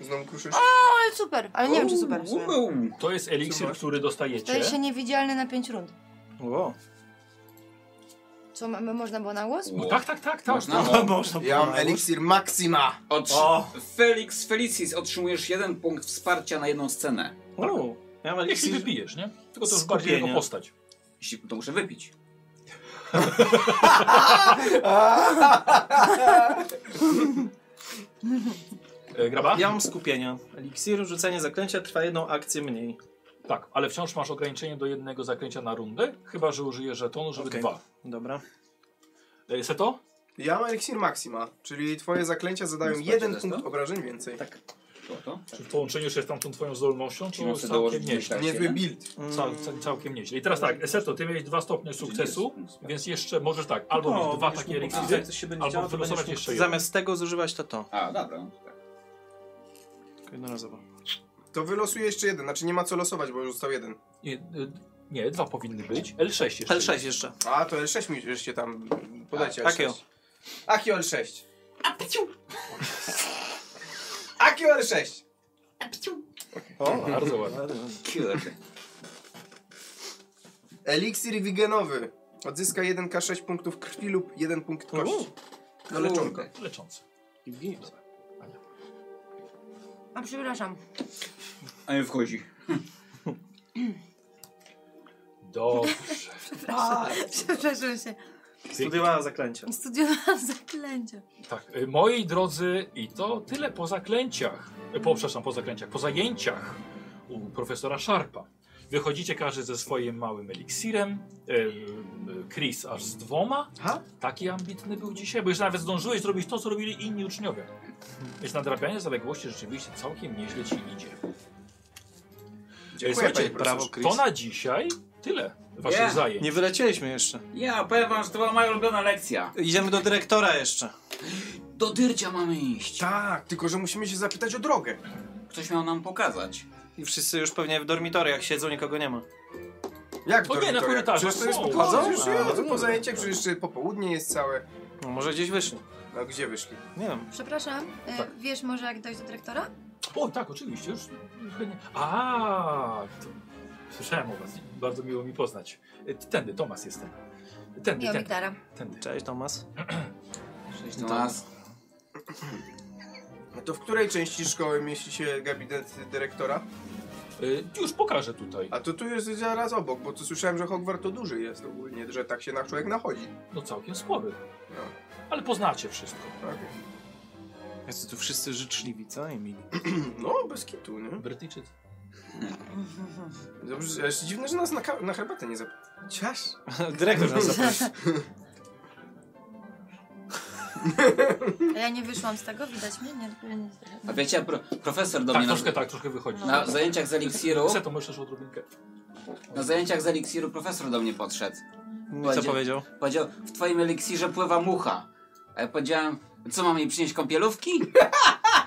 Speaker 3: Znowu kruszysz?
Speaker 2: No ale super, ale nie wiem czy super. w sumie.
Speaker 4: Uuu.
Speaker 1: To jest eliksir, który dostajecie.
Speaker 2: Staje się niewidzialny na 5 rund.
Speaker 5: Wow.
Speaker 2: Co, m- m- można było na głos?
Speaker 1: No, tak, tak, tak, tak.
Speaker 4: Można?
Speaker 1: tak.
Speaker 4: O,
Speaker 5: Można
Speaker 3: Ja mam eliksir Maxima.
Speaker 4: Otrz...
Speaker 5: O.
Speaker 4: Felix Felicis, otrzymujesz jeden punkt wsparcia na jedną scenę.
Speaker 5: Uuu. Ja mam
Speaker 1: Jeśli
Speaker 5: eliksir.
Speaker 1: wypijesz, nie? Tylko to już bardziej
Speaker 5: Skupienie.
Speaker 1: jego postać.
Speaker 4: Jeśli to muszę wypić.
Speaker 1: E, graba?
Speaker 5: Ja mam skupienia. Eliksir, rzucenie zaklęcia trwa jedną akcję mniej.
Speaker 1: Tak, ale wciąż masz ograniczenie do jednego zakręcia na rundę, chyba że użyjesz żetonu, żeby
Speaker 5: Okej.
Speaker 1: dwa.
Speaker 5: Dobra.
Speaker 1: E, Seto?
Speaker 3: Ja mam eliksir Maxima, czyli twoje zaklęcia zadają
Speaker 4: Nie
Speaker 3: jeden
Speaker 4: sprawdzi
Speaker 3: punkt obrażeń więcej. Tak.
Speaker 4: To to?
Speaker 1: Czy w połączeniu jeszcze z tamtą twoją zdolnością,
Speaker 4: Czyli
Speaker 1: to
Speaker 4: muszę
Speaker 1: całkiem
Speaker 4: dołożyć
Speaker 1: nieźle.
Speaker 4: tak
Speaker 3: Niezły
Speaker 4: jeden?
Speaker 3: build.
Speaker 1: Cał, cał, całkiem nieźle. I teraz tak, Seto, ty miałeś dwa stopnie sukcesu, więc jeszcze możesz tak,
Speaker 4: No,
Speaker 1: albo
Speaker 5: O,
Speaker 1: mieć dwa
Speaker 5: będziesz
Speaker 1: takie
Speaker 5: mógł-
Speaker 1: eliksiry,
Speaker 5: jak coś się będzie
Speaker 1: albo
Speaker 5: działo, to
Speaker 1: wylosować
Speaker 5: będziesz
Speaker 1: jeszcze
Speaker 5: mógł
Speaker 1: jeden.
Speaker 5: Zamiast tego zużywać to to.
Speaker 4: A, dobra. no to tak.
Speaker 5: Tylko Jednorazowo.
Speaker 3: To wylosuję jeszcze jeden, znaczy nie ma co losować, bo już został jeden.
Speaker 1: Nie, y, nie, dwa powinny być. L6 jeszcze.
Speaker 5: L6 jeszcze.
Speaker 3: A, to L6 mi żeście tam podajcie
Speaker 5: Tak,
Speaker 3: L6.
Speaker 5: Akio.
Speaker 3: Akio L6. Akio L6.
Speaker 5: O,
Speaker 1: Bardzo ładnie.
Speaker 4: Kurde.
Speaker 3: Eliksir wigenowy. Odzyska 1k6 punktów krwi lub 1 punkt kości. Do leczonka.
Speaker 1: Leczący.
Speaker 2: A przepraszam.
Speaker 4: A nie wchodzi.
Speaker 1: Dobrze.
Speaker 2: Przepraszam się.
Speaker 5: Studiowała zaklęcia.
Speaker 2: Studiowałam zaklęcia.
Speaker 1: Tak, y, moi drodzy, i to tyle po zaklęciach. y, Po, przepraszam, po zaklęciach, po zajęciach u profesora Sharpa. Wychodzicie każdy ze swoim małym eliksirem. y, y, Chris aż z dwoma.
Speaker 3: Ha?
Speaker 1: Taki ambitny był dzisiaj, bo już nawet zdążyłeś zrobić to, co robili inni uczniowie. Więc nadrabianie zaległości rzeczywiście całkiem nieźle ci idzie.
Speaker 3: Dziękuję,
Speaker 1: Słuchajcie,
Speaker 3: panie
Speaker 1: brawo, to
Speaker 3: profesorze.
Speaker 1: na dzisiaj tyle waszych
Speaker 4: Yeah.
Speaker 1: zajęć.
Speaker 5: Nie wylecieliśmy jeszcze.
Speaker 4: Ja powiem wam, że to była moja ulubiona lekcja.
Speaker 5: Idziemy do dyrektora jeszcze.
Speaker 4: Do Dyrcia mamy iść.
Speaker 3: Tak, tylko że musimy się zapytać o drogę.
Speaker 4: Ktoś miał nam pokazać.
Speaker 5: I wszyscy już pewnie w dormitoriach siedzą, nikogo nie ma.
Speaker 3: Jak
Speaker 1: O
Speaker 3: to?
Speaker 1: nie, na korytarzu.
Speaker 3: Przecież to jest
Speaker 1: O,
Speaker 3: pochodzą? Już
Speaker 5: chodzą?
Speaker 3: chodzą po zajęciach, przecież jeszcze popołudnie jest całe.
Speaker 5: No, może gdzieś wyszli.
Speaker 3: No gdzie wyszli?
Speaker 5: Nie wiem.
Speaker 6: Przepraszam, e,
Speaker 1: Tak.
Speaker 6: wiesz może jak dojść do dyrektora?
Speaker 1: O tak, oczywiście, już chętnie. A, to... słyszałem o was, bardzo miło mi poznać. E, Tędy, Tomasz jestem. Tędy,
Speaker 6: Miło mi
Speaker 1: tędy,
Speaker 6: Klara.
Speaker 1: tędy.
Speaker 5: Cześć, Tomas.
Speaker 4: Cześć do nas.
Speaker 3: No to w której części szkoły mieści się gabinet dyrektora?
Speaker 1: E, Już pokażę tutaj.
Speaker 3: A to tu jest zaraz obok, bo to słyszałem, że Hogwart to duży jest ogólnie, że tak się na człowiek nachodzi.
Speaker 1: No całkiem spory.
Speaker 3: No.
Speaker 1: Ale poznacie wszystko.
Speaker 3: Tak.
Speaker 5: Jesteście tu wszyscy życzliwi, co i mili.
Speaker 3: No, bez kitu, nie?
Speaker 1: Brytyjczycy.
Speaker 3: Dobrze, aż dziwne, że nas na, ka- na herbatę nie zapytał. Ciasz?
Speaker 5: Dyrektor nas zaprosił.
Speaker 6: A ja nie wyszłam z tego, widać mnie? Nie, nie, nie.
Speaker 4: A wiecie, pro, profesor do
Speaker 1: Tak,
Speaker 4: mnie
Speaker 1: troszkę
Speaker 4: na,
Speaker 1: tak, troszkę wychodzi.
Speaker 4: na zajęciach z eliksiru,
Speaker 1: Chcę to możesz odrobinkę.
Speaker 4: na zajęciach z eliksiru profesor do mnie podszedł.
Speaker 5: I Co powiedział?
Speaker 4: Powiedział, w twoim eliksirze pływa mucha. A ja powiedziałem, co mam jej przynieść kąpielówki?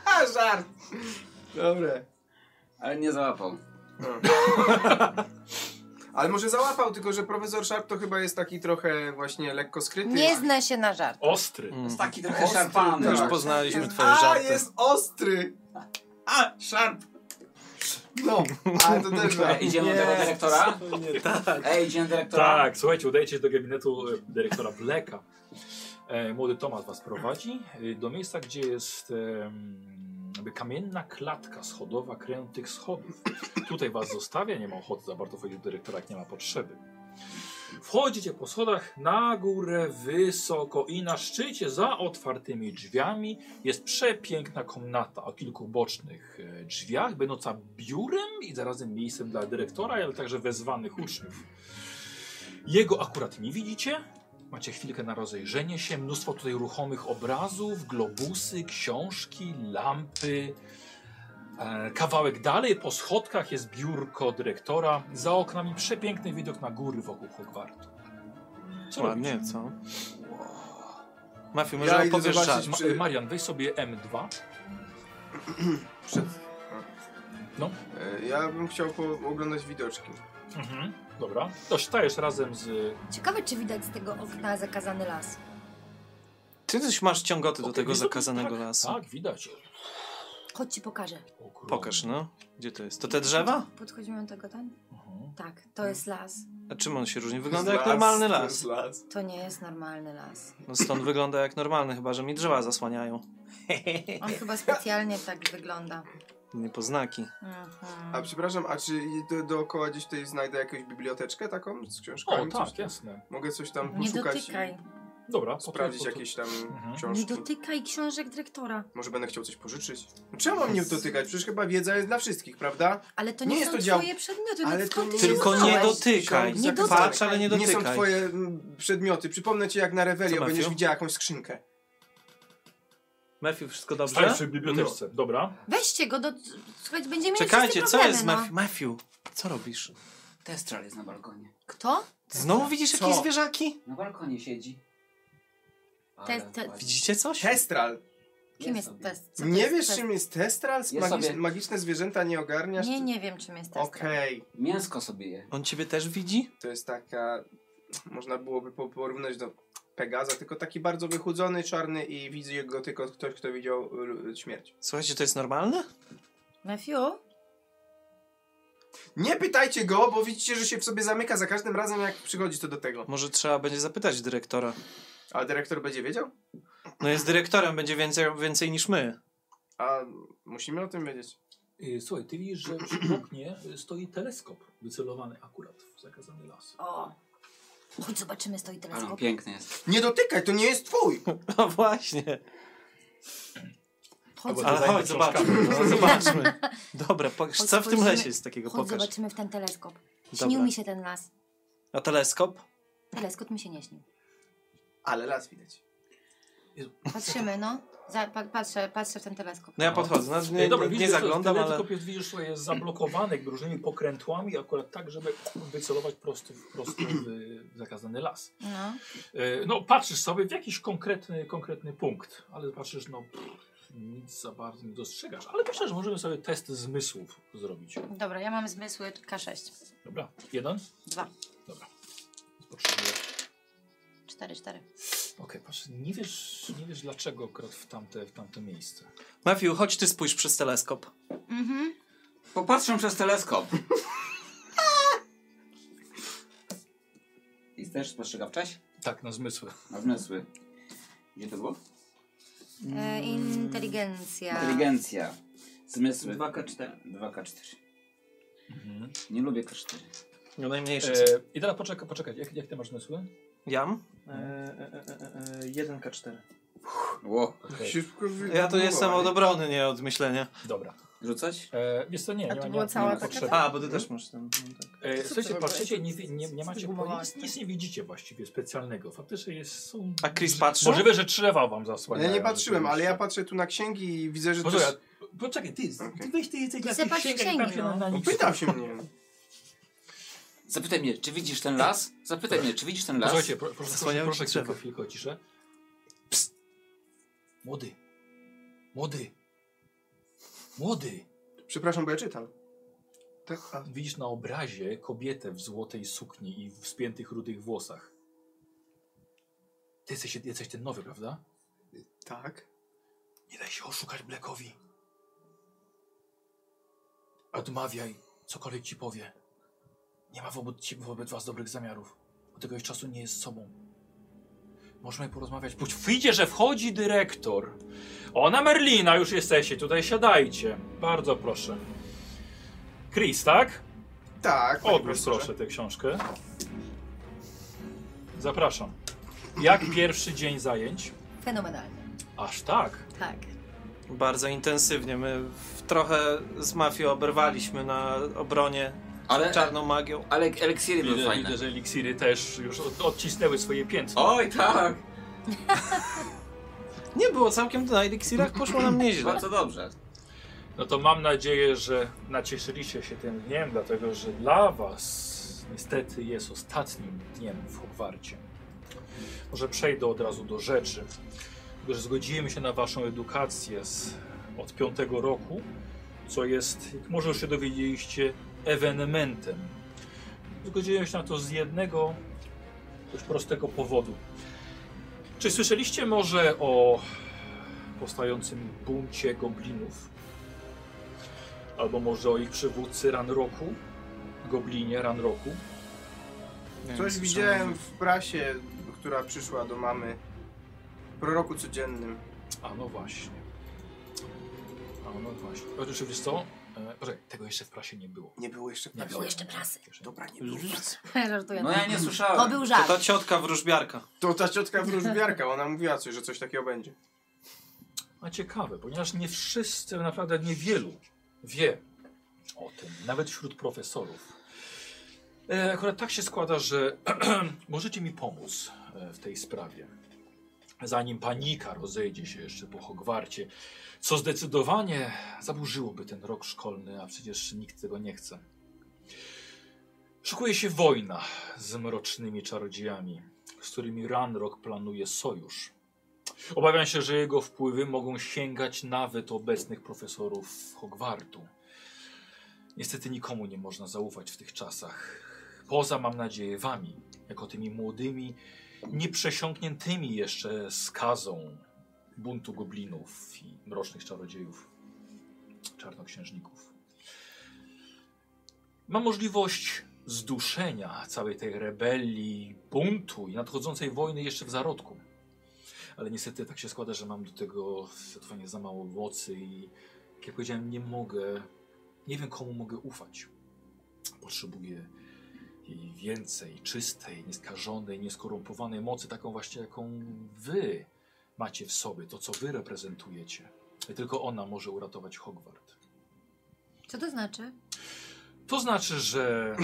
Speaker 3: A, żart! Dobre.
Speaker 4: Ale nie załapał.
Speaker 3: Ale może załapał, tylko że profesor Sharp to chyba jest taki trochę właśnie lekko skryty.
Speaker 2: Nie zna się na żart.
Speaker 1: Ostry.
Speaker 5: Mm.
Speaker 4: Taki trochę
Speaker 3: Ostry,
Speaker 4: szarpany.
Speaker 5: No Już
Speaker 3: tak.
Speaker 5: poznaliśmy
Speaker 3: Jest-
Speaker 5: twoje
Speaker 3: A,
Speaker 5: żarty.
Speaker 3: jest ostry!
Speaker 4: A, szarp!
Speaker 3: No, ale to też żart.
Speaker 4: Ej, idziemy do dyrektora? Ej, idziemy do dyrektora?
Speaker 1: Tak, słuchajcie, udajecie się do gabinetu e, dyrektora Bleka. E, młody Tomasz was prowadzi e, do miejsca, gdzie jest e, mm, jakby kamienna klatka schodowa krętych schodów. Tutaj was zostawia, nie ma ochoty za bardzo wchodzić do dyrektora, jak nie ma potrzeby. Wchodzicie po schodach na górę wysoko i na szczycie za otwartymi drzwiami jest przepiękna komnata o kilku bocznych e, drzwiach, będąca biurem i zarazem miejscem dla dyrektora, ale także wezwanych uczniów. Jego akurat nie widzicie. Macie chwilkę na rozejrzenie się. Mnóstwo tutaj ruchomych obrazów, globusy, książki, lampy. E, Kawałek dalej po schodkach jest biurko dyrektora. Za oknami przepiękny widok na góry wokół Hogwartu. Co
Speaker 5: Ładnie, co? Mafiu, może
Speaker 3: Ja idę
Speaker 5: opowiesz żart.
Speaker 3: zobaczyć-
Speaker 1: robisz? Ma- e, Marian, weź sobie M2.
Speaker 3: Przed...
Speaker 1: No.
Speaker 3: E, Ja bym chciał pooglądać widoczki.
Speaker 1: Mhm. Dobra. To stajesz razem z...
Speaker 2: Ciekawe, czy widać z tego okna zakazany las.
Speaker 5: Ty też masz ciągoty do
Speaker 1: Okej,
Speaker 5: tego
Speaker 1: jest to-
Speaker 5: zakazanego
Speaker 1: tak,
Speaker 5: lasu.
Speaker 1: Tak, widać.
Speaker 2: Chodź ci pokażę.
Speaker 1: Ogromny.
Speaker 5: Pokaż, no. Gdzie to jest? To te drzewa?
Speaker 6: Podchodzimy do tego tam?
Speaker 1: Mhm.
Speaker 2: Tak, to jest las.
Speaker 5: A czym on się różni? Wygląda jak normalny
Speaker 3: to
Speaker 5: las.
Speaker 3: jest las.
Speaker 2: To nie jest normalny las.
Speaker 5: No stąd wygląda jak normalny, chyba że mi drzewa zasłaniają.
Speaker 2: On chyba specjalnie tak wygląda.
Speaker 5: Nie poznaki.
Speaker 2: Mhm.
Speaker 3: A przepraszam, a czy do, dookoła gdzieś tutaj znajdę jakąś biblioteczkę taką z
Speaker 1: O,
Speaker 3: książkami? coś
Speaker 1: tak,
Speaker 3: tam?
Speaker 1: jasne.
Speaker 3: Mogę coś tam
Speaker 2: Nie
Speaker 3: poszukać
Speaker 2: dotykaj.
Speaker 1: Dobra. po
Speaker 3: i
Speaker 1: to-
Speaker 3: sprawdzić
Speaker 1: po to-
Speaker 3: jakieś tam
Speaker 1: Mhm.
Speaker 2: Nie
Speaker 3: książki?
Speaker 2: dotykaj książek dyrektora.
Speaker 3: Może będę chciał coś pożyczyć? No Czemu mam nie dotykać? Przecież chyba wiedza jest dla wszystkich, prawda?
Speaker 2: Ale to
Speaker 3: Nie
Speaker 2: nie,
Speaker 3: jest
Speaker 2: są
Speaker 3: to dział-
Speaker 2: twoje przedmioty. no
Speaker 3: Ale
Speaker 2: Ale
Speaker 3: to
Speaker 2: to
Speaker 3: nie-
Speaker 5: Tylko nie
Speaker 3: Książki
Speaker 5: dotykaj.
Speaker 3: zakazane.
Speaker 2: Nie
Speaker 5: Patrz, ale nie
Speaker 3: Nie są
Speaker 5: dotykaj.
Speaker 3: twoje mm, przedmioty. Przypomnę ci jak na
Speaker 5: Co,
Speaker 3: Revelio będziesz
Speaker 5: Matthew?
Speaker 3: widziała jakąś skrzynkę.
Speaker 5: Mefiu, wszystko
Speaker 1: Stajesz
Speaker 5: dobrze?
Speaker 1: przy biblioteczce. Dobra.
Speaker 2: Weźcie go do... Słuchajcie, będziemy mieli
Speaker 5: Czekajcie,
Speaker 2: wszyscy
Speaker 5: co
Speaker 2: problemy,
Speaker 5: jest z
Speaker 2: no.
Speaker 5: Mefiu? Mefiu, co robisz?
Speaker 4: Testral jest na balkonie.
Speaker 2: Kto?
Speaker 5: Znowu widzisz jakieś zwierzaki?
Speaker 4: Na balkonie siedzi.
Speaker 2: Te- te-
Speaker 4: ładnie.
Speaker 5: Widzicie coś?
Speaker 3: Testral.
Speaker 2: Kim jest
Speaker 4: sobie.
Speaker 2: test? Co to
Speaker 3: Nie
Speaker 2: jest
Speaker 3: wiesz
Speaker 2: test?
Speaker 3: czym jest testral?
Speaker 4: Ja
Speaker 3: Magicz-
Speaker 4: sobie-
Speaker 3: Magiczne zwierzęta nie ogarniasz?
Speaker 2: Nie, nie wiem, czym jest test.
Speaker 3: Okej.
Speaker 4: Mięsko sobie je.
Speaker 5: On ciebie też widzi?
Speaker 3: To jest taka... Można byłoby po- porównać do Pegaza, tylko taki bardzo wychudzony, czarny i widzi go tylko ktoś, kto widział y, śmierć.
Speaker 5: Słuchajcie, to jest normalne?
Speaker 2: Matthew?
Speaker 3: Nie pytajcie go, bo widzicie, że się w sobie zamyka za każdym razem, jak przychodzi to do tego.
Speaker 5: Może trzeba będzie zapytać dyrektora.
Speaker 3: A dyrektor będzie wiedział?
Speaker 5: No jest dyrektorem, będzie więcej, więcej niż my.
Speaker 3: A musimy o tym wiedzieć.
Speaker 1: Y, Słuchaj, ty widzisz, że przy oknie y, stoi teleskop wycelowany akurat w zakazany las.
Speaker 2: O. Chodź, zobaczymy, stoi
Speaker 4: Ale on
Speaker 2: teleskop.
Speaker 4: piękny jest.
Speaker 3: Nie dotykaj, to nie jest twój!
Speaker 5: No właśnie.
Speaker 2: Chodź,
Speaker 1: Albo
Speaker 5: Ale
Speaker 1: Zajmę
Speaker 5: chodź, zobaczmy. No, zobaczmy. Dobra, pokaż,
Speaker 2: Chodź,
Speaker 5: co w tym
Speaker 2: spojrzymy-
Speaker 5: lesie jest takiego?
Speaker 2: chodź
Speaker 5: Pokaż.
Speaker 2: zobaczymy w ten teleskop. Śnił
Speaker 5: Dobra.
Speaker 2: mi się ten las.
Speaker 5: A teleskop?
Speaker 2: Teleskop mi się nie śnił.
Speaker 3: Ale las widać.
Speaker 2: Patrzymy, no.
Speaker 6: Za, pa, patrzę, patrzę w ten teleskop.
Speaker 5: No ja podchodzę, no,
Speaker 1: Nie,
Speaker 5: nie,
Speaker 1: Dobra,
Speaker 5: nie,
Speaker 1: widzisz,
Speaker 5: zaglądam,
Speaker 1: że ale...
Speaker 5: ale...
Speaker 1: tylko pies widzisz, że jest zablokowany jakby różnymi pokrętłami, akurat tak, żeby wycelować prosto, w- prosto w zakazany las.
Speaker 2: No.
Speaker 1: E, No, patrzysz sobie w jakiś konkretny, konkretny punkt, ale patrzysz, no pff, nic za bardzo nie dostrzegasz, ale myślę, że możemy sobie test zmysłów zrobić.
Speaker 2: Dobra, ja mam zmysły K6.
Speaker 1: Dobra, jeden?
Speaker 2: Dwa.
Speaker 1: Dobra. Potrzebuję.
Speaker 2: cztery, cztery.
Speaker 1: Okej, patrz, nie wiesz, nie wiesz dlaczego akurat w tamte, w tamte miejsce.
Speaker 5: Matthew, chodź ty spójrz przez teleskop.
Speaker 2: Mhm.
Speaker 4: Popatrzę przez teleskop. I też spostrzegawczaś?
Speaker 1: Tak, na zmysły.
Speaker 4: Na zmysły. Gdzie to było?
Speaker 6: E, inteligencja.
Speaker 4: Inteligencja. Zmysły.
Speaker 5: 2K4.
Speaker 4: 2K4.
Speaker 1: Mhm.
Speaker 4: Nie lubię K4.
Speaker 5: No najmniejszy.
Speaker 1: E, I teraz poczekaj, poczekaj, jak, jak ty masz zmysły?
Speaker 5: Jam? E, e, e, e, 1K4.
Speaker 4: Ło.
Speaker 1: Okej,
Speaker 10: Szybko wy-
Speaker 5: Ja to jestem od obrony, nie od myślenia.
Speaker 1: Dobra.
Speaker 4: Rzucać?
Speaker 1: E, jest to nie,
Speaker 2: A
Speaker 1: nie
Speaker 2: to
Speaker 1: ma, nie,
Speaker 2: było
Speaker 1: ma- nie
Speaker 2: cała
Speaker 1: ma
Speaker 2: taka
Speaker 1: potrzeby.
Speaker 5: A, bo ty też masz ten. Tak, no tak.
Speaker 1: E, słuchajcie,
Speaker 2: to
Speaker 1: patrzycie, nie,
Speaker 2: wyobrazić?
Speaker 1: wi- nie, nie macie
Speaker 2: Zgubiłam
Speaker 1: nic, nic nie widzicie właściwie specjalnego. Faktycznie jest, są...
Speaker 5: A Chris patrzy?
Speaker 1: Możliwe, że trzewa wam zasłania.
Speaker 10: Ja nie patrzyłem, ale ja patrzę tu na księgi i widzę, że to
Speaker 1: no Poczekaj,
Speaker 10: jest...
Speaker 1: poczekaj ty, ty weź ty jesteś na
Speaker 2: se
Speaker 1: tych
Speaker 2: patrz w
Speaker 1: księgach i tam
Speaker 2: księgi,
Speaker 1: się
Speaker 2: no.
Speaker 1: na- na
Speaker 10: No,
Speaker 1: nic.
Speaker 10: pytał się mnie.
Speaker 4: Zapytaj mnie, czy widzisz ten las? Zapytaj mnie, czy widzisz ten las?
Speaker 1: Posłuchajcie, pro, proszę, proszę,
Speaker 5: Zasłaniają
Speaker 1: proszę
Speaker 5: ci drzewa.
Speaker 1: chwilkę, chwilkę o ciszę. Psst. Młody. Młody. Młody.
Speaker 10: Przepraszam, bo ja czytam. Tak,
Speaker 1: Widzisz na obrazie kobietę w złotej sukni i w spiętych rudych włosach. Ty jesteś, jesteś ten nowy, prawda?
Speaker 10: Tak?
Speaker 1: Nie daj się oszukać Blackowi. Odmawiaj, cokolwiek ci powie. Nie ma wobec, ci, wobec was dobrych zamiarów. Od tegoś czasu nie jest sobą. Możemy porozmawiać. Pójdź, wyjdzie, że wchodzi dyrektor. Ona Merlina, już jesteście, tutaj siadajcie. Bardzo proszę. Chris, tak?
Speaker 10: Tak. panie
Speaker 1: Odbierz
Speaker 10: profesorze.
Speaker 1: proszę tę książkę. Zapraszam. Jak pierwszy dzień zajęć?
Speaker 2: Fenomenalnie.
Speaker 1: Aż tak.
Speaker 2: Tak.
Speaker 5: Bardzo intensywnie. My w, trochę z mafią oberwaliśmy na obronie
Speaker 4: Ale,
Speaker 5: czarną magią.
Speaker 4: ale eliksiry były
Speaker 1: Widzę,
Speaker 4: fajne.
Speaker 1: widzę, że eliksiry też już od, odcisnęły swoje piętno.
Speaker 4: Oj, tak!
Speaker 5: Nie było całkiem na eliksirach, poszło nam nieźle.
Speaker 4: Bardzo dobrze.
Speaker 1: No to mam nadzieję, że nacieszyliście się tym dniem, dlatego że dla was niestety jest ostatnim dniem w Hogwarcie. Może przejdę od razu do rzeczy. Tylko, że zgodziłem się na waszą edukację z, od piątego roku, co jest, jak może już się dowiedzieliście, ewenementem. Zgodziłem się na to z jednego dość prostego powodu. Czy słyszeliście może o powstającym buncie goblinów? Albo może o ich przywódcy Ranroku? Goblinie Ranroku?
Speaker 10: Coś widziałem w prasie, która przyszła do mamy. W proroku codziennym.
Speaker 1: A no właśnie. A no właśnie. Otóż wiesz co? E, poczekaj, tego jeszcze w prasie nie było.
Speaker 10: Nie było jeszcze
Speaker 1: Nie
Speaker 2: Było jeszcze prasy.
Speaker 10: Dobra, nie było.
Speaker 2: Żartuję.
Speaker 4: No ja nie
Speaker 2: To
Speaker 4: słyszałem.
Speaker 2: był
Speaker 5: To
Speaker 2: żart.
Speaker 5: ta ciotka wróżbiarka.
Speaker 10: To ta ciotka wróżbiarka, ona mówiła coś, że coś takiego będzie.
Speaker 1: A ciekawe, ponieważ nie wszyscy, naprawdę niewielu wie o tym, nawet wśród profesorów. E, akurat tak się składa, że możecie mi pomóc e, w tej sprawie. Zanim panika rozejdzie się jeszcze po Hogwarcie, co zdecydowanie zaburzyłoby ten rok szkolny, a przecież nikt tego nie chce. Szykuje się wojna z mrocznymi czarodziejami, z którymi Ranrock planuje sojusz. Obawiam się, że jego wpływy mogą sięgać nawet obecnych profesorów Hogwartu. Niestety nikomu nie można zaufać w tych czasach. Poza, mam nadzieję, wami, jako tymi młodymi, nieprzesiąkniętymi jeszcze skazą buntu goblinów i mrocznych czarodziejów, czarnoksiężników. Mam możliwość zduszenia całej tej rebelii, buntu i nadchodzącej wojny jeszcze w zarodku ale niestety tak się składa, że mam do tego zdecydowanie za mało mocy i jak ja powiedziałem, nie mogę, nie wiem komu mogę ufać. Potrzebuję jej więcej, czystej, nieskażonej, nieskorumpowanej mocy, taką właśnie jaką wy macie w sobie, to co wy reprezentujecie. I tylko ona może uratować Hogwart.
Speaker 6: Co to znaczy?
Speaker 1: To znaczy, że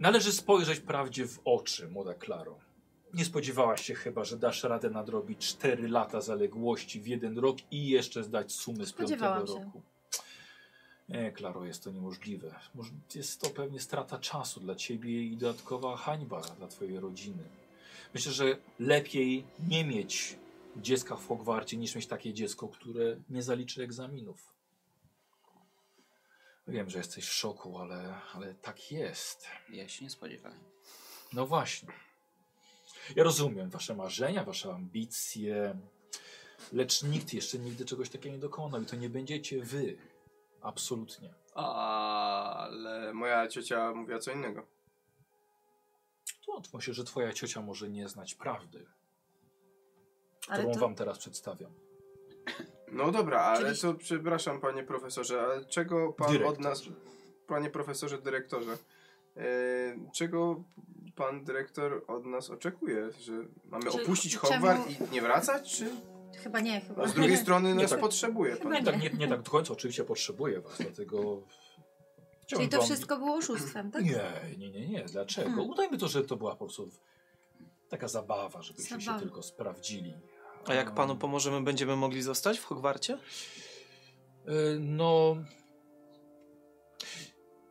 Speaker 1: należy spojrzeć prawdzie w oczy, młoda Klaro. nie spodziewałaś się chyba, że dasz radę nadrobić 4 lata zaległości w jeden rok i jeszcze zdać sumy z piątego
Speaker 2: Spodziewałam się.
Speaker 1: roku. Nie, Klaro, jest to niemożliwe. Moż- Jest to pewnie strata czasu dla ciebie i dodatkowa hańba dla twojej rodziny. Myślę, że lepiej nie mieć dziecka w Hogwarcie niż mieć takie dziecko, które nie zaliczy egzaminów. Wiem, że jesteś w szoku, ale, ale tak jest.
Speaker 4: Ja się nie spodziewałem.
Speaker 1: No właśnie. Ja rozumiem wasze marzenia, wasze ambicje, lecz nikt jeszcze nigdy czegoś takiego nie dokonał i to nie będziecie wy. Absolutnie.
Speaker 3: Ale moja ciocia mówiła co innego.
Speaker 1: To myślę, że twoja ciocia może nie znać prawdy,
Speaker 6: Ale
Speaker 1: którą
Speaker 6: to-
Speaker 1: wam teraz przedstawiam.
Speaker 3: No dobra, ale
Speaker 6: Czyli-
Speaker 3: to przepraszam panie profesorze, ale czego pan od
Speaker 1: Dyrektor.
Speaker 3: nas, panie profesorze dyrektorze, e, czego pan dyrektor od nas oczekuje? Że mamy
Speaker 6: Czy-
Speaker 3: opuścić
Speaker 6: czemu-
Speaker 3: Hogwart i nie wracać? Czy
Speaker 6: Chyba nie, chyba.
Speaker 3: z drugiej strony
Speaker 1: Nie
Speaker 3: nas
Speaker 1: tak.
Speaker 3: potrzebuje pan?
Speaker 1: Nie tak, nie, nie tak do końca oczywiście potrzebuję was, dlatego...
Speaker 6: Czyli
Speaker 1: chciałbym
Speaker 6: to
Speaker 1: wam-
Speaker 6: wszystko było oszustwem, tak? Hmm.
Speaker 1: Nie, nie, nie, nie. Dlaczego? Udajmy to, że to była po prostu taka zabawa, żebyście się
Speaker 6: Zabawa.
Speaker 1: tylko sprawdzili.
Speaker 5: A jak panu
Speaker 1: Em,
Speaker 5: pomożemy, będziemy mogli zostać w Hogwarcie?
Speaker 1: Y, No.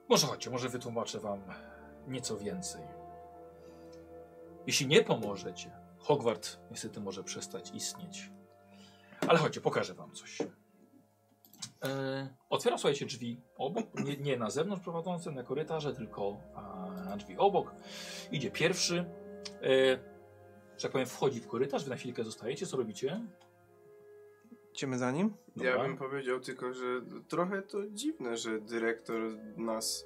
Speaker 1: Może chodźcie, może wytłumaczę wam nieco więcej. Jeśli nie pomożecie, Hogwart niestety może przestać istnieć. Ale chodźcie, pokażę wam coś. Yy, otwiera, słuchajcie, drzwi obok, nie, nie na zewnątrz prowadzące, na korytarze, tylko a, na drzwi obok. Idzie pierwszy. Yy, że tak powiem, wchodzi w korytarz, wy na chwilkę zostajecie, co robicie?
Speaker 5: Idziemy za nim?
Speaker 1: Dobra.
Speaker 3: Ja bym powiedział tylko, że trochę to dziwne, że dyrektor nas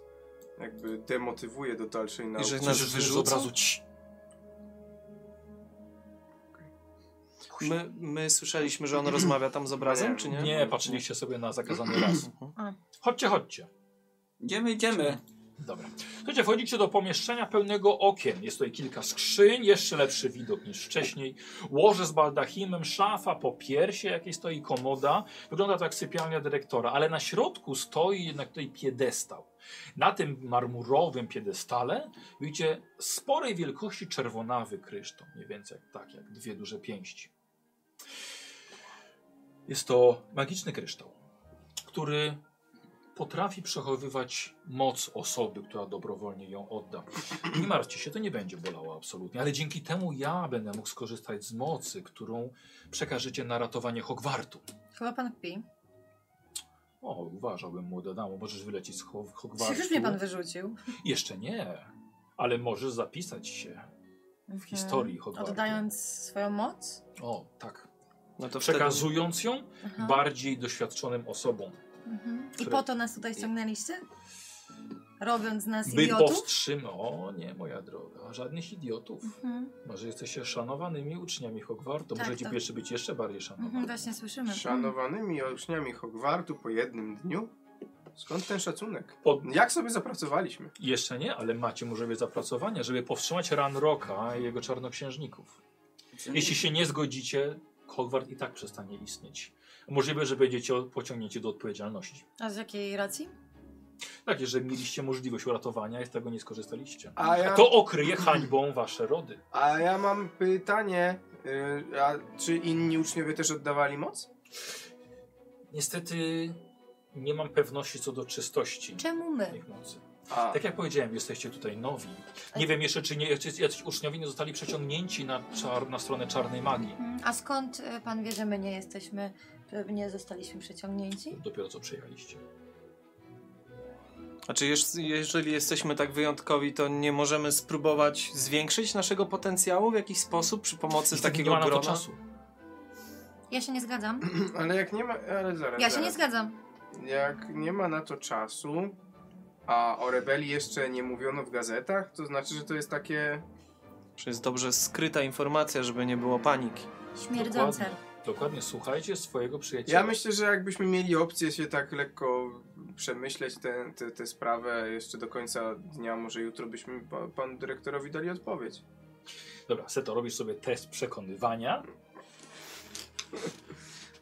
Speaker 3: jakby demotywuje do dalszej
Speaker 1: No,
Speaker 3: nauki.
Speaker 5: że nas
Speaker 1: Słyszysz, że z
Speaker 5: wyrzucą?
Speaker 1: obrazu ci.
Speaker 5: My, my słyszeliśmy, że on rozmawia tam z obrazem, czy nie?
Speaker 1: Nie, patrzyliście sobie na zakazany las. Chodźcie, chodźcie.
Speaker 4: Idziemy, idziemy.
Speaker 1: Dobra. Słuchajcie, wchodzicie do pomieszczenia pełnego okien. Jest tutaj kilka skrzyń, jeszcze lepszy widok niż wcześniej. Łoże z baldachimem, szafa po piersie, jakiej stoi komoda. Wygląda to jak sypialnia dyrektora, ale na środku stoi jednak tutaj piedestał. Na tym marmurowym piedestale widzicie sporej wielkości czerwonawy kryształ, mniej więcej jak, tak, jak dwie duże pięści. Jest to magiczny kryształ, który potrafi przechowywać moc osoby, która dobrowolnie ją odda. Nie martwcie się, to nie będzie bolało absolutnie, ale dzięki temu ja będę mógł skorzystać z mocy, którą przekażecie na ratowanie Hogwartu.
Speaker 6: Chyba pan kpi.
Speaker 1: O, uważałbym, młoda damo, możesz wylecieć z Ho- Hogwartu.
Speaker 6: Już mnie pan wyrzucił.
Speaker 1: Jeszcze nie, ale możesz zapisać się w historii Hogwartu.
Speaker 6: Mhm. Oddając swoją moc?
Speaker 1: O, tak.
Speaker 5: No to wtedy...
Speaker 1: Przekazując ją
Speaker 6: Aha.
Speaker 1: bardziej doświadczonym osobom,
Speaker 6: Mhm. I
Speaker 1: Które-
Speaker 6: po to nas tutaj ściągnęliście? Robiąc z nas
Speaker 1: by
Speaker 6: idiotów?
Speaker 1: powstrzymać... O nie, moja droga, żadnych idiotów.
Speaker 6: Mhm.
Speaker 1: Może jesteście szanowanymi uczniami Hogwartu,
Speaker 6: Tak,
Speaker 1: możecie
Speaker 6: tak.
Speaker 1: jeszcze być jeszcze bardziej szanowani.
Speaker 6: Mhm, właśnie słyszymy.
Speaker 3: Szanowanymi uczniami Hogwartu po jednym dniu? Skąd ten szacunek?
Speaker 1: Po-
Speaker 3: Jak sobie zapracowaliśmy?
Speaker 1: Jeszcze nie, ale macie możliwe zapracowania, żeby powstrzymać Ranroka i jego czarnoksiężników. Jeśli się nie zgodzicie, Hogwart i tak przestanie istnieć. Możliwe, że będziecie o- pociągnięci do odpowiedzialności.
Speaker 6: A z jakiej racji?
Speaker 1: Tak, jeżeli mieliście możliwość uratowania i z tego nie skorzystaliście.
Speaker 3: A ja,
Speaker 1: To okryje hańbą wasze rody.
Speaker 3: a ja mam pytanie, y, a czy inni uczniowie też oddawali moc?
Speaker 1: Niestety nie mam pewności co do czystości
Speaker 6: Czemu my?
Speaker 1: ich mocy.
Speaker 3: A,
Speaker 1: Tak jak powiedziałem, jesteście tutaj nowi. Nie wiem jeszcze, czy nie, jacyś jacyś uczniowie nie zostali przeciągnięci na, czar, na stronę czarnej magii.
Speaker 6: Mhm. A skąd e, pan wie, że my nie jesteśmy,
Speaker 2: e,
Speaker 6: że nie zostaliśmy przeciągnięci?
Speaker 1: Dopiero co przyjechaliście.
Speaker 5: A czy Znaczy, jeż- jeżeli jesteśmy tak wyjątkowi, to nie możemy spróbować zwiększyć naszego potencjału w jakiś sposób przy pomocy
Speaker 1: Niestety
Speaker 5: takiego
Speaker 1: tak nie ma na to
Speaker 5: grona?
Speaker 1: czasu.
Speaker 6: Ja się nie zgadzam.
Speaker 3: ale jak nie ma, ale zaraz,
Speaker 6: Ja się nie
Speaker 3: zaraz.
Speaker 6: zgadzam.
Speaker 3: Jak nie ma na to czasu, a o rebelii jeszcze nie mówiono w gazetach, to znaczy, że to jest takie...
Speaker 5: Czy jest dobrze skryta informacja, żeby nie było paniki?
Speaker 6: Śmierdzące.
Speaker 1: Dokładnie, słuchajcie swojego przyjaciela.
Speaker 3: Ja myślę, że jakbyśmy mieli opcję się tak lekko przemyśleć tę tę- tę sprawę jeszcze do końca dnia, może jutro byśmy pa, panu dyrektorowi dali odpowiedź.
Speaker 1: Dobra, Seto, robisz sobie test przekonywania.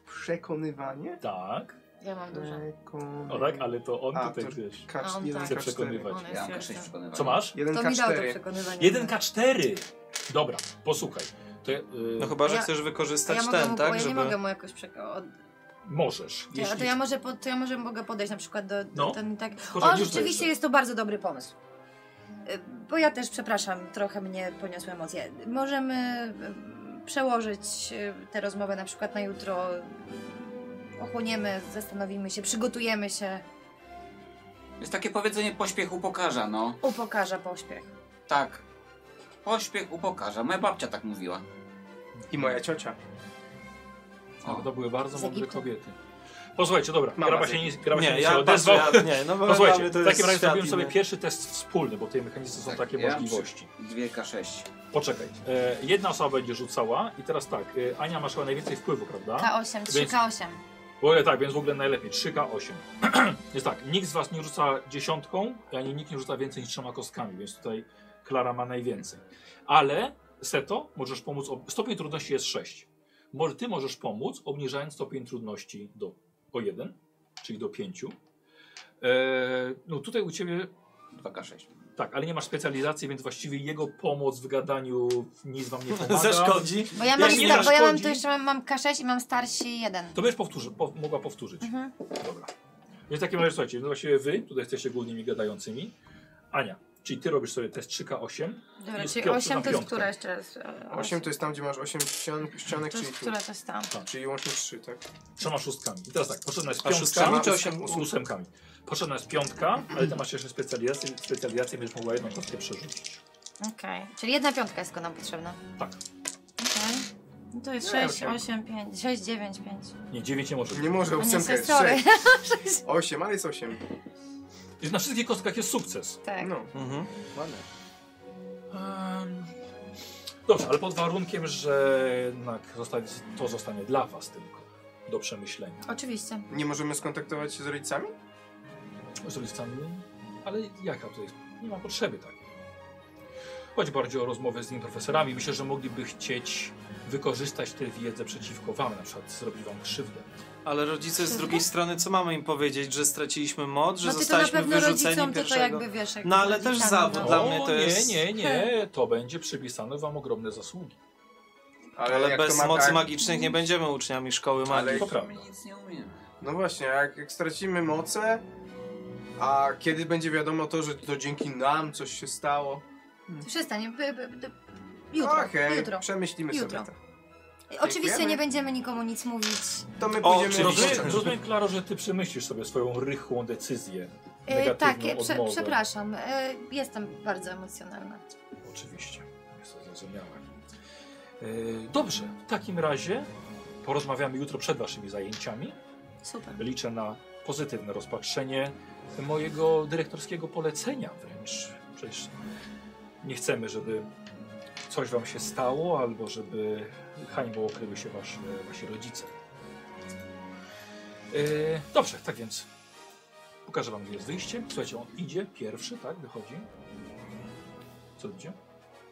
Speaker 3: Przekonywanie?
Speaker 1: Tak.
Speaker 2: Ja mam dużo.
Speaker 3: Przekonywanie.
Speaker 1: O
Speaker 5: Mm.
Speaker 1: tak, ale to on
Speaker 3: A,
Speaker 1: tutaj
Speaker 3: to-
Speaker 1: wiesz.
Speaker 3: Kacz,
Speaker 2: A on
Speaker 6: No,
Speaker 3: jeden
Speaker 2: tak.
Speaker 1: Chce
Speaker 3: K4.
Speaker 1: przekonywać.
Speaker 2: Ona
Speaker 4: Ja
Speaker 2: jest
Speaker 4: mam
Speaker 2: jeszcze.
Speaker 4: sześć przekonywań.
Speaker 1: Co masz?
Speaker 3: Jeden
Speaker 6: To mi dał to
Speaker 3: K4.
Speaker 6: przekonywanie.
Speaker 1: 1K4! Dobra, posłuchaj. To, y,
Speaker 5: No chyba, że
Speaker 2: Ja-
Speaker 5: chcesz
Speaker 2: To
Speaker 5: wykorzystać
Speaker 2: ja mogę
Speaker 5: ten,
Speaker 2: mu,
Speaker 5: tak?
Speaker 2: bo ja
Speaker 5: żeby...
Speaker 2: nie mogę mu jakoś przeka- od-
Speaker 1: Możesz.
Speaker 2: Ja,
Speaker 1: Jeśli
Speaker 2: to, ja może po, to ja może mogę podejść na przykład do, do
Speaker 1: No.
Speaker 2: ten tak.
Speaker 1: Korzeń,
Speaker 2: O,
Speaker 1: już
Speaker 2: rzeczywiście
Speaker 1: dojeżdżaj.
Speaker 2: jest to bardzo dobry pomysł. Y, Bo ja też przepraszam, trochę mnie poniosły emocje. Możemy y, przełożyć y, tę rozmowę na przykład na jutro. Ochłoniemy, zastanowimy się, przygotujemy się.
Speaker 4: Jest takie powiedzenie pośpiech upokarza, no.
Speaker 2: Upokarza pośpiech.
Speaker 4: Tak. Pośpiech upokarza. Moja babcia tak mówiła.
Speaker 10: I moja ciocia.
Speaker 1: O, No to były bardzo
Speaker 2: Z
Speaker 1: mądre
Speaker 2: Egiptu.
Speaker 1: kobiety. Posłuchajcie, dobra,
Speaker 10: Mama
Speaker 1: graba
Speaker 10: z
Speaker 1: się nie, graba się
Speaker 5: Nie,
Speaker 1: nie
Speaker 5: ja
Speaker 1: odezwał.
Speaker 5: bardzo, ja, nie, no bo
Speaker 1: Posłuchajcie,
Speaker 5: mamy, to
Speaker 1: w
Speaker 5: jest
Speaker 1: takim razie
Speaker 5: świat
Speaker 1: zrobimy sobie
Speaker 5: inny.
Speaker 1: pierwszy test wspólny, bo tutaj mechanizmy są
Speaker 4: Tak,
Speaker 1: takie
Speaker 4: ja
Speaker 1: możliwości.
Speaker 4: Dwie K6.
Speaker 1: Poczekaj, e, jedna osoba będzie rzucała i teraz tak, e, Ania masz chyba najwięcej wpływu,
Speaker 2: Tak.
Speaker 1: prawda?
Speaker 6: K8,
Speaker 1: No. Więc-
Speaker 6: 3K8.
Speaker 1: Bo, e, tak, więc w ogóle najlepiej, 3K8. Jest tak, nikt z was nie rzuca dziesiątką, ani nikt nie rzuca więcej niż trzema kostkami, więc tutaj Klara ma najwięcej. Ale Seto, możesz pomóc, ob... stopień trudności jest 6. Może, ty możesz pomóc, obniżając stopień trudności do, o 1, czyli do 5. no tutaj u ciebie
Speaker 4: 2K6.
Speaker 1: tak, ale nie masz specjalizacji, więc właściwie jego pomoc w gadaniu nic wam nie pomaga.
Speaker 5: Zaszkodzi.
Speaker 6: Bo ja
Speaker 1: Jak
Speaker 6: mam,
Speaker 1: nie
Speaker 6: sta- bo ja mam
Speaker 1: zaszkodzi-
Speaker 6: tu jeszcze mam, mam K6 i mam starsi 1.
Speaker 1: To będziesz powtórzy, po, mogła powtórzyć.
Speaker 6: Mhm.
Speaker 1: Dobra. Więc w takim razie słuchajcie, no właściwie wy tutaj jesteście głównymi gadającymi. Ania, czyli ty robisz sobie test 3K8.
Speaker 6: Dobra,
Speaker 1: Jest
Speaker 6: czyli
Speaker 1: piątka
Speaker 6: 8
Speaker 1: na
Speaker 6: to jest
Speaker 1: piątkę.
Speaker 6: która jeszcze raz? E,
Speaker 10: 8 to jest tam, gdzie masz 8 ścian, ścianek,
Speaker 6: To
Speaker 10: czyli
Speaker 6: jest
Speaker 10: tu.
Speaker 6: która to jest tam.
Speaker 10: Czyli łącznie 3, tak?
Speaker 1: Trzema szóstkami. I teraz tak, potrzebna jest
Speaker 5: A
Speaker 1: piątka
Speaker 5: szóstkami
Speaker 10: czy
Speaker 1: z ósemkami. Potrzebna jest piątka, ale ty masz jeszcze specjalizację, specjalizację będziesz mogła jedną kostkę przerzucić.
Speaker 6: Okej. Czyli jedna piątka jest tylko nam potrzebna.
Speaker 1: Tak.
Speaker 6: Okej. No to jest
Speaker 10: Nie,
Speaker 6: 6,
Speaker 10: osiem.
Speaker 6: 8, 5, 6, 9, 5.
Speaker 1: Nie, dziewięć nie może być.
Speaker 10: Nie może,
Speaker 6: No nie,
Speaker 10: ósemka jest
Speaker 6: sorry.
Speaker 10: 6. 8, ale jest 8.
Speaker 1: Jest na wszystkich kostkach jest sukces.
Speaker 6: Tak.
Speaker 10: No.
Speaker 5: Mhm.
Speaker 1: Em, Dobrze, ale pod warunkiem, że jednak zostanie, to zostanie dla was tylko do przemyślenia.
Speaker 6: Oczywiście.
Speaker 10: Nie możemy skontaktować się z rodzicami?
Speaker 1: Z rodzicami, ale jaka to jest? Nie ma potrzeby takiej. Chodzi bardziej o rozmowę z innymi profesorami. Myślę, że mogliby chcieć wykorzystać tę wiedzę przeciwko wam, na przykład zrobić wam krzywdę.
Speaker 5: Ale rodzice z drugiej strony, co mamy im powiedzieć? Że straciliśmy moc, że
Speaker 2: No ty to na
Speaker 5: zostaliśmy
Speaker 2: pewno
Speaker 5: wyrzuceni
Speaker 2: rodzicom tylko
Speaker 5: pierwszego?
Speaker 2: jakby wiesz. jak
Speaker 5: No, ale też
Speaker 2: rodzicami,
Speaker 5: zawód
Speaker 2: no.
Speaker 5: dla mnie to
Speaker 1: nie,
Speaker 5: jest-
Speaker 1: nie, nie, to będzie przypisane wam ogromne zasługi.
Speaker 10: Ale,
Speaker 5: Ale
Speaker 10: jak
Speaker 5: bez
Speaker 10: to ma
Speaker 5: mocy
Speaker 10: tak-
Speaker 5: magicznych nie będziemy uczniami szkoły magii.
Speaker 10: Ale-
Speaker 1: To prawda.
Speaker 4: nic nie umiemy.
Speaker 10: No właśnie, a jak, jak stracimy moce, a kiedy będzie wiadomo to, że to dzięki nam coś się stało?
Speaker 2: Przestań. by- by- by- Jutro,
Speaker 10: Okej,
Speaker 2: jutro.
Speaker 10: przemyślimy
Speaker 2: Jutro.
Speaker 10: sobie to.
Speaker 2: Oczywiście
Speaker 10: Dziękujemy.
Speaker 2: nie będziemy nikomu nic mówić.
Speaker 10: To my
Speaker 5: O,
Speaker 10: pójdziemy
Speaker 5: oczywiście.
Speaker 10: wieczorem.
Speaker 1: Rozumiem, rozumiem, Klaro, że ty przemyślisz sobie swoją rychłą decyzję.
Speaker 2: E,
Speaker 1: Negatywną
Speaker 2: tak, e, prze,
Speaker 1: odmowę.
Speaker 2: przepraszam. E, jestem bardzo emocjonalna.
Speaker 1: Oczywiście, jest to zrozumiałe. Yy, Dobrze, w takim razie porozmawiamy jutro przed Waszymi zajęciami.
Speaker 2: Super.
Speaker 1: Liczę na pozytywne rozpatrzenie mojego dyrektorskiego polecenia wręcz. Przecież nie chcemy, żeby coś Wam się stało, albo żeby hańbą okryły się wasze, Wasi rodzice. Yy, Dobrze, tak więc pokażę Wam, gdzie jest wyjście. Słuchajcie, on idzie pierwszy, tak? Wychodzi. Co idzie?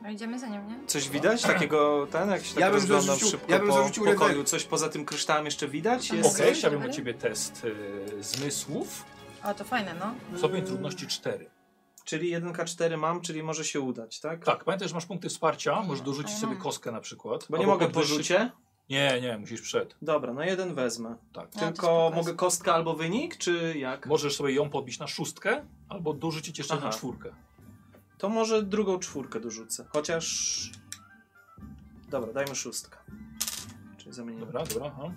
Speaker 6: No idziemy za nią, nie?
Speaker 5: Coś widać takiego, ten, jak się tak
Speaker 10: Ja bym
Speaker 5: rozglądam
Speaker 10: zarzucił-
Speaker 5: szybko
Speaker 10: ja bym
Speaker 5: po
Speaker 10: zarzucił
Speaker 5: pokoju?
Speaker 10: rewel.
Speaker 5: Coś poza tym kryształem jeszcze widać?
Speaker 6: Okej.
Speaker 5: Jest
Speaker 1: Okej,
Speaker 6: Jesteś
Speaker 1: chciałbym
Speaker 6: dobry?
Speaker 1: u Ciebie test y, zmysłów.
Speaker 6: O, to fajne, no.
Speaker 1: Stopień trudności 4.
Speaker 5: Czyli 1K4 mam, czyli może się udać, tak?
Speaker 1: Tak, pamiętaj, że masz punkty wsparcia, możesz dorzucić
Speaker 6: Aha.
Speaker 1: sobie kostkę na przykład.
Speaker 5: Bo nie
Speaker 1: albo
Speaker 5: mogę po
Speaker 1: podwyższyć-
Speaker 5: rzucie?
Speaker 1: Nie, nie, musisz przed.
Speaker 5: Dobra, no jeden wezmę.
Speaker 1: Tak.
Speaker 6: No, to
Speaker 5: Tylko
Speaker 6: spoko.
Speaker 5: mogę kostka albo wynik, czy jak?
Speaker 1: Możesz sobie ją podbić na szóstkę, albo dorzucić jeszcze na
Speaker 5: Aha.
Speaker 1: czwórkę.
Speaker 5: To może drugą czwórkę dorzucę. Chociaż... Dobra, dajmy szóstkę. Czyli zamienimy.
Speaker 1: Dobra, dobra. Aha.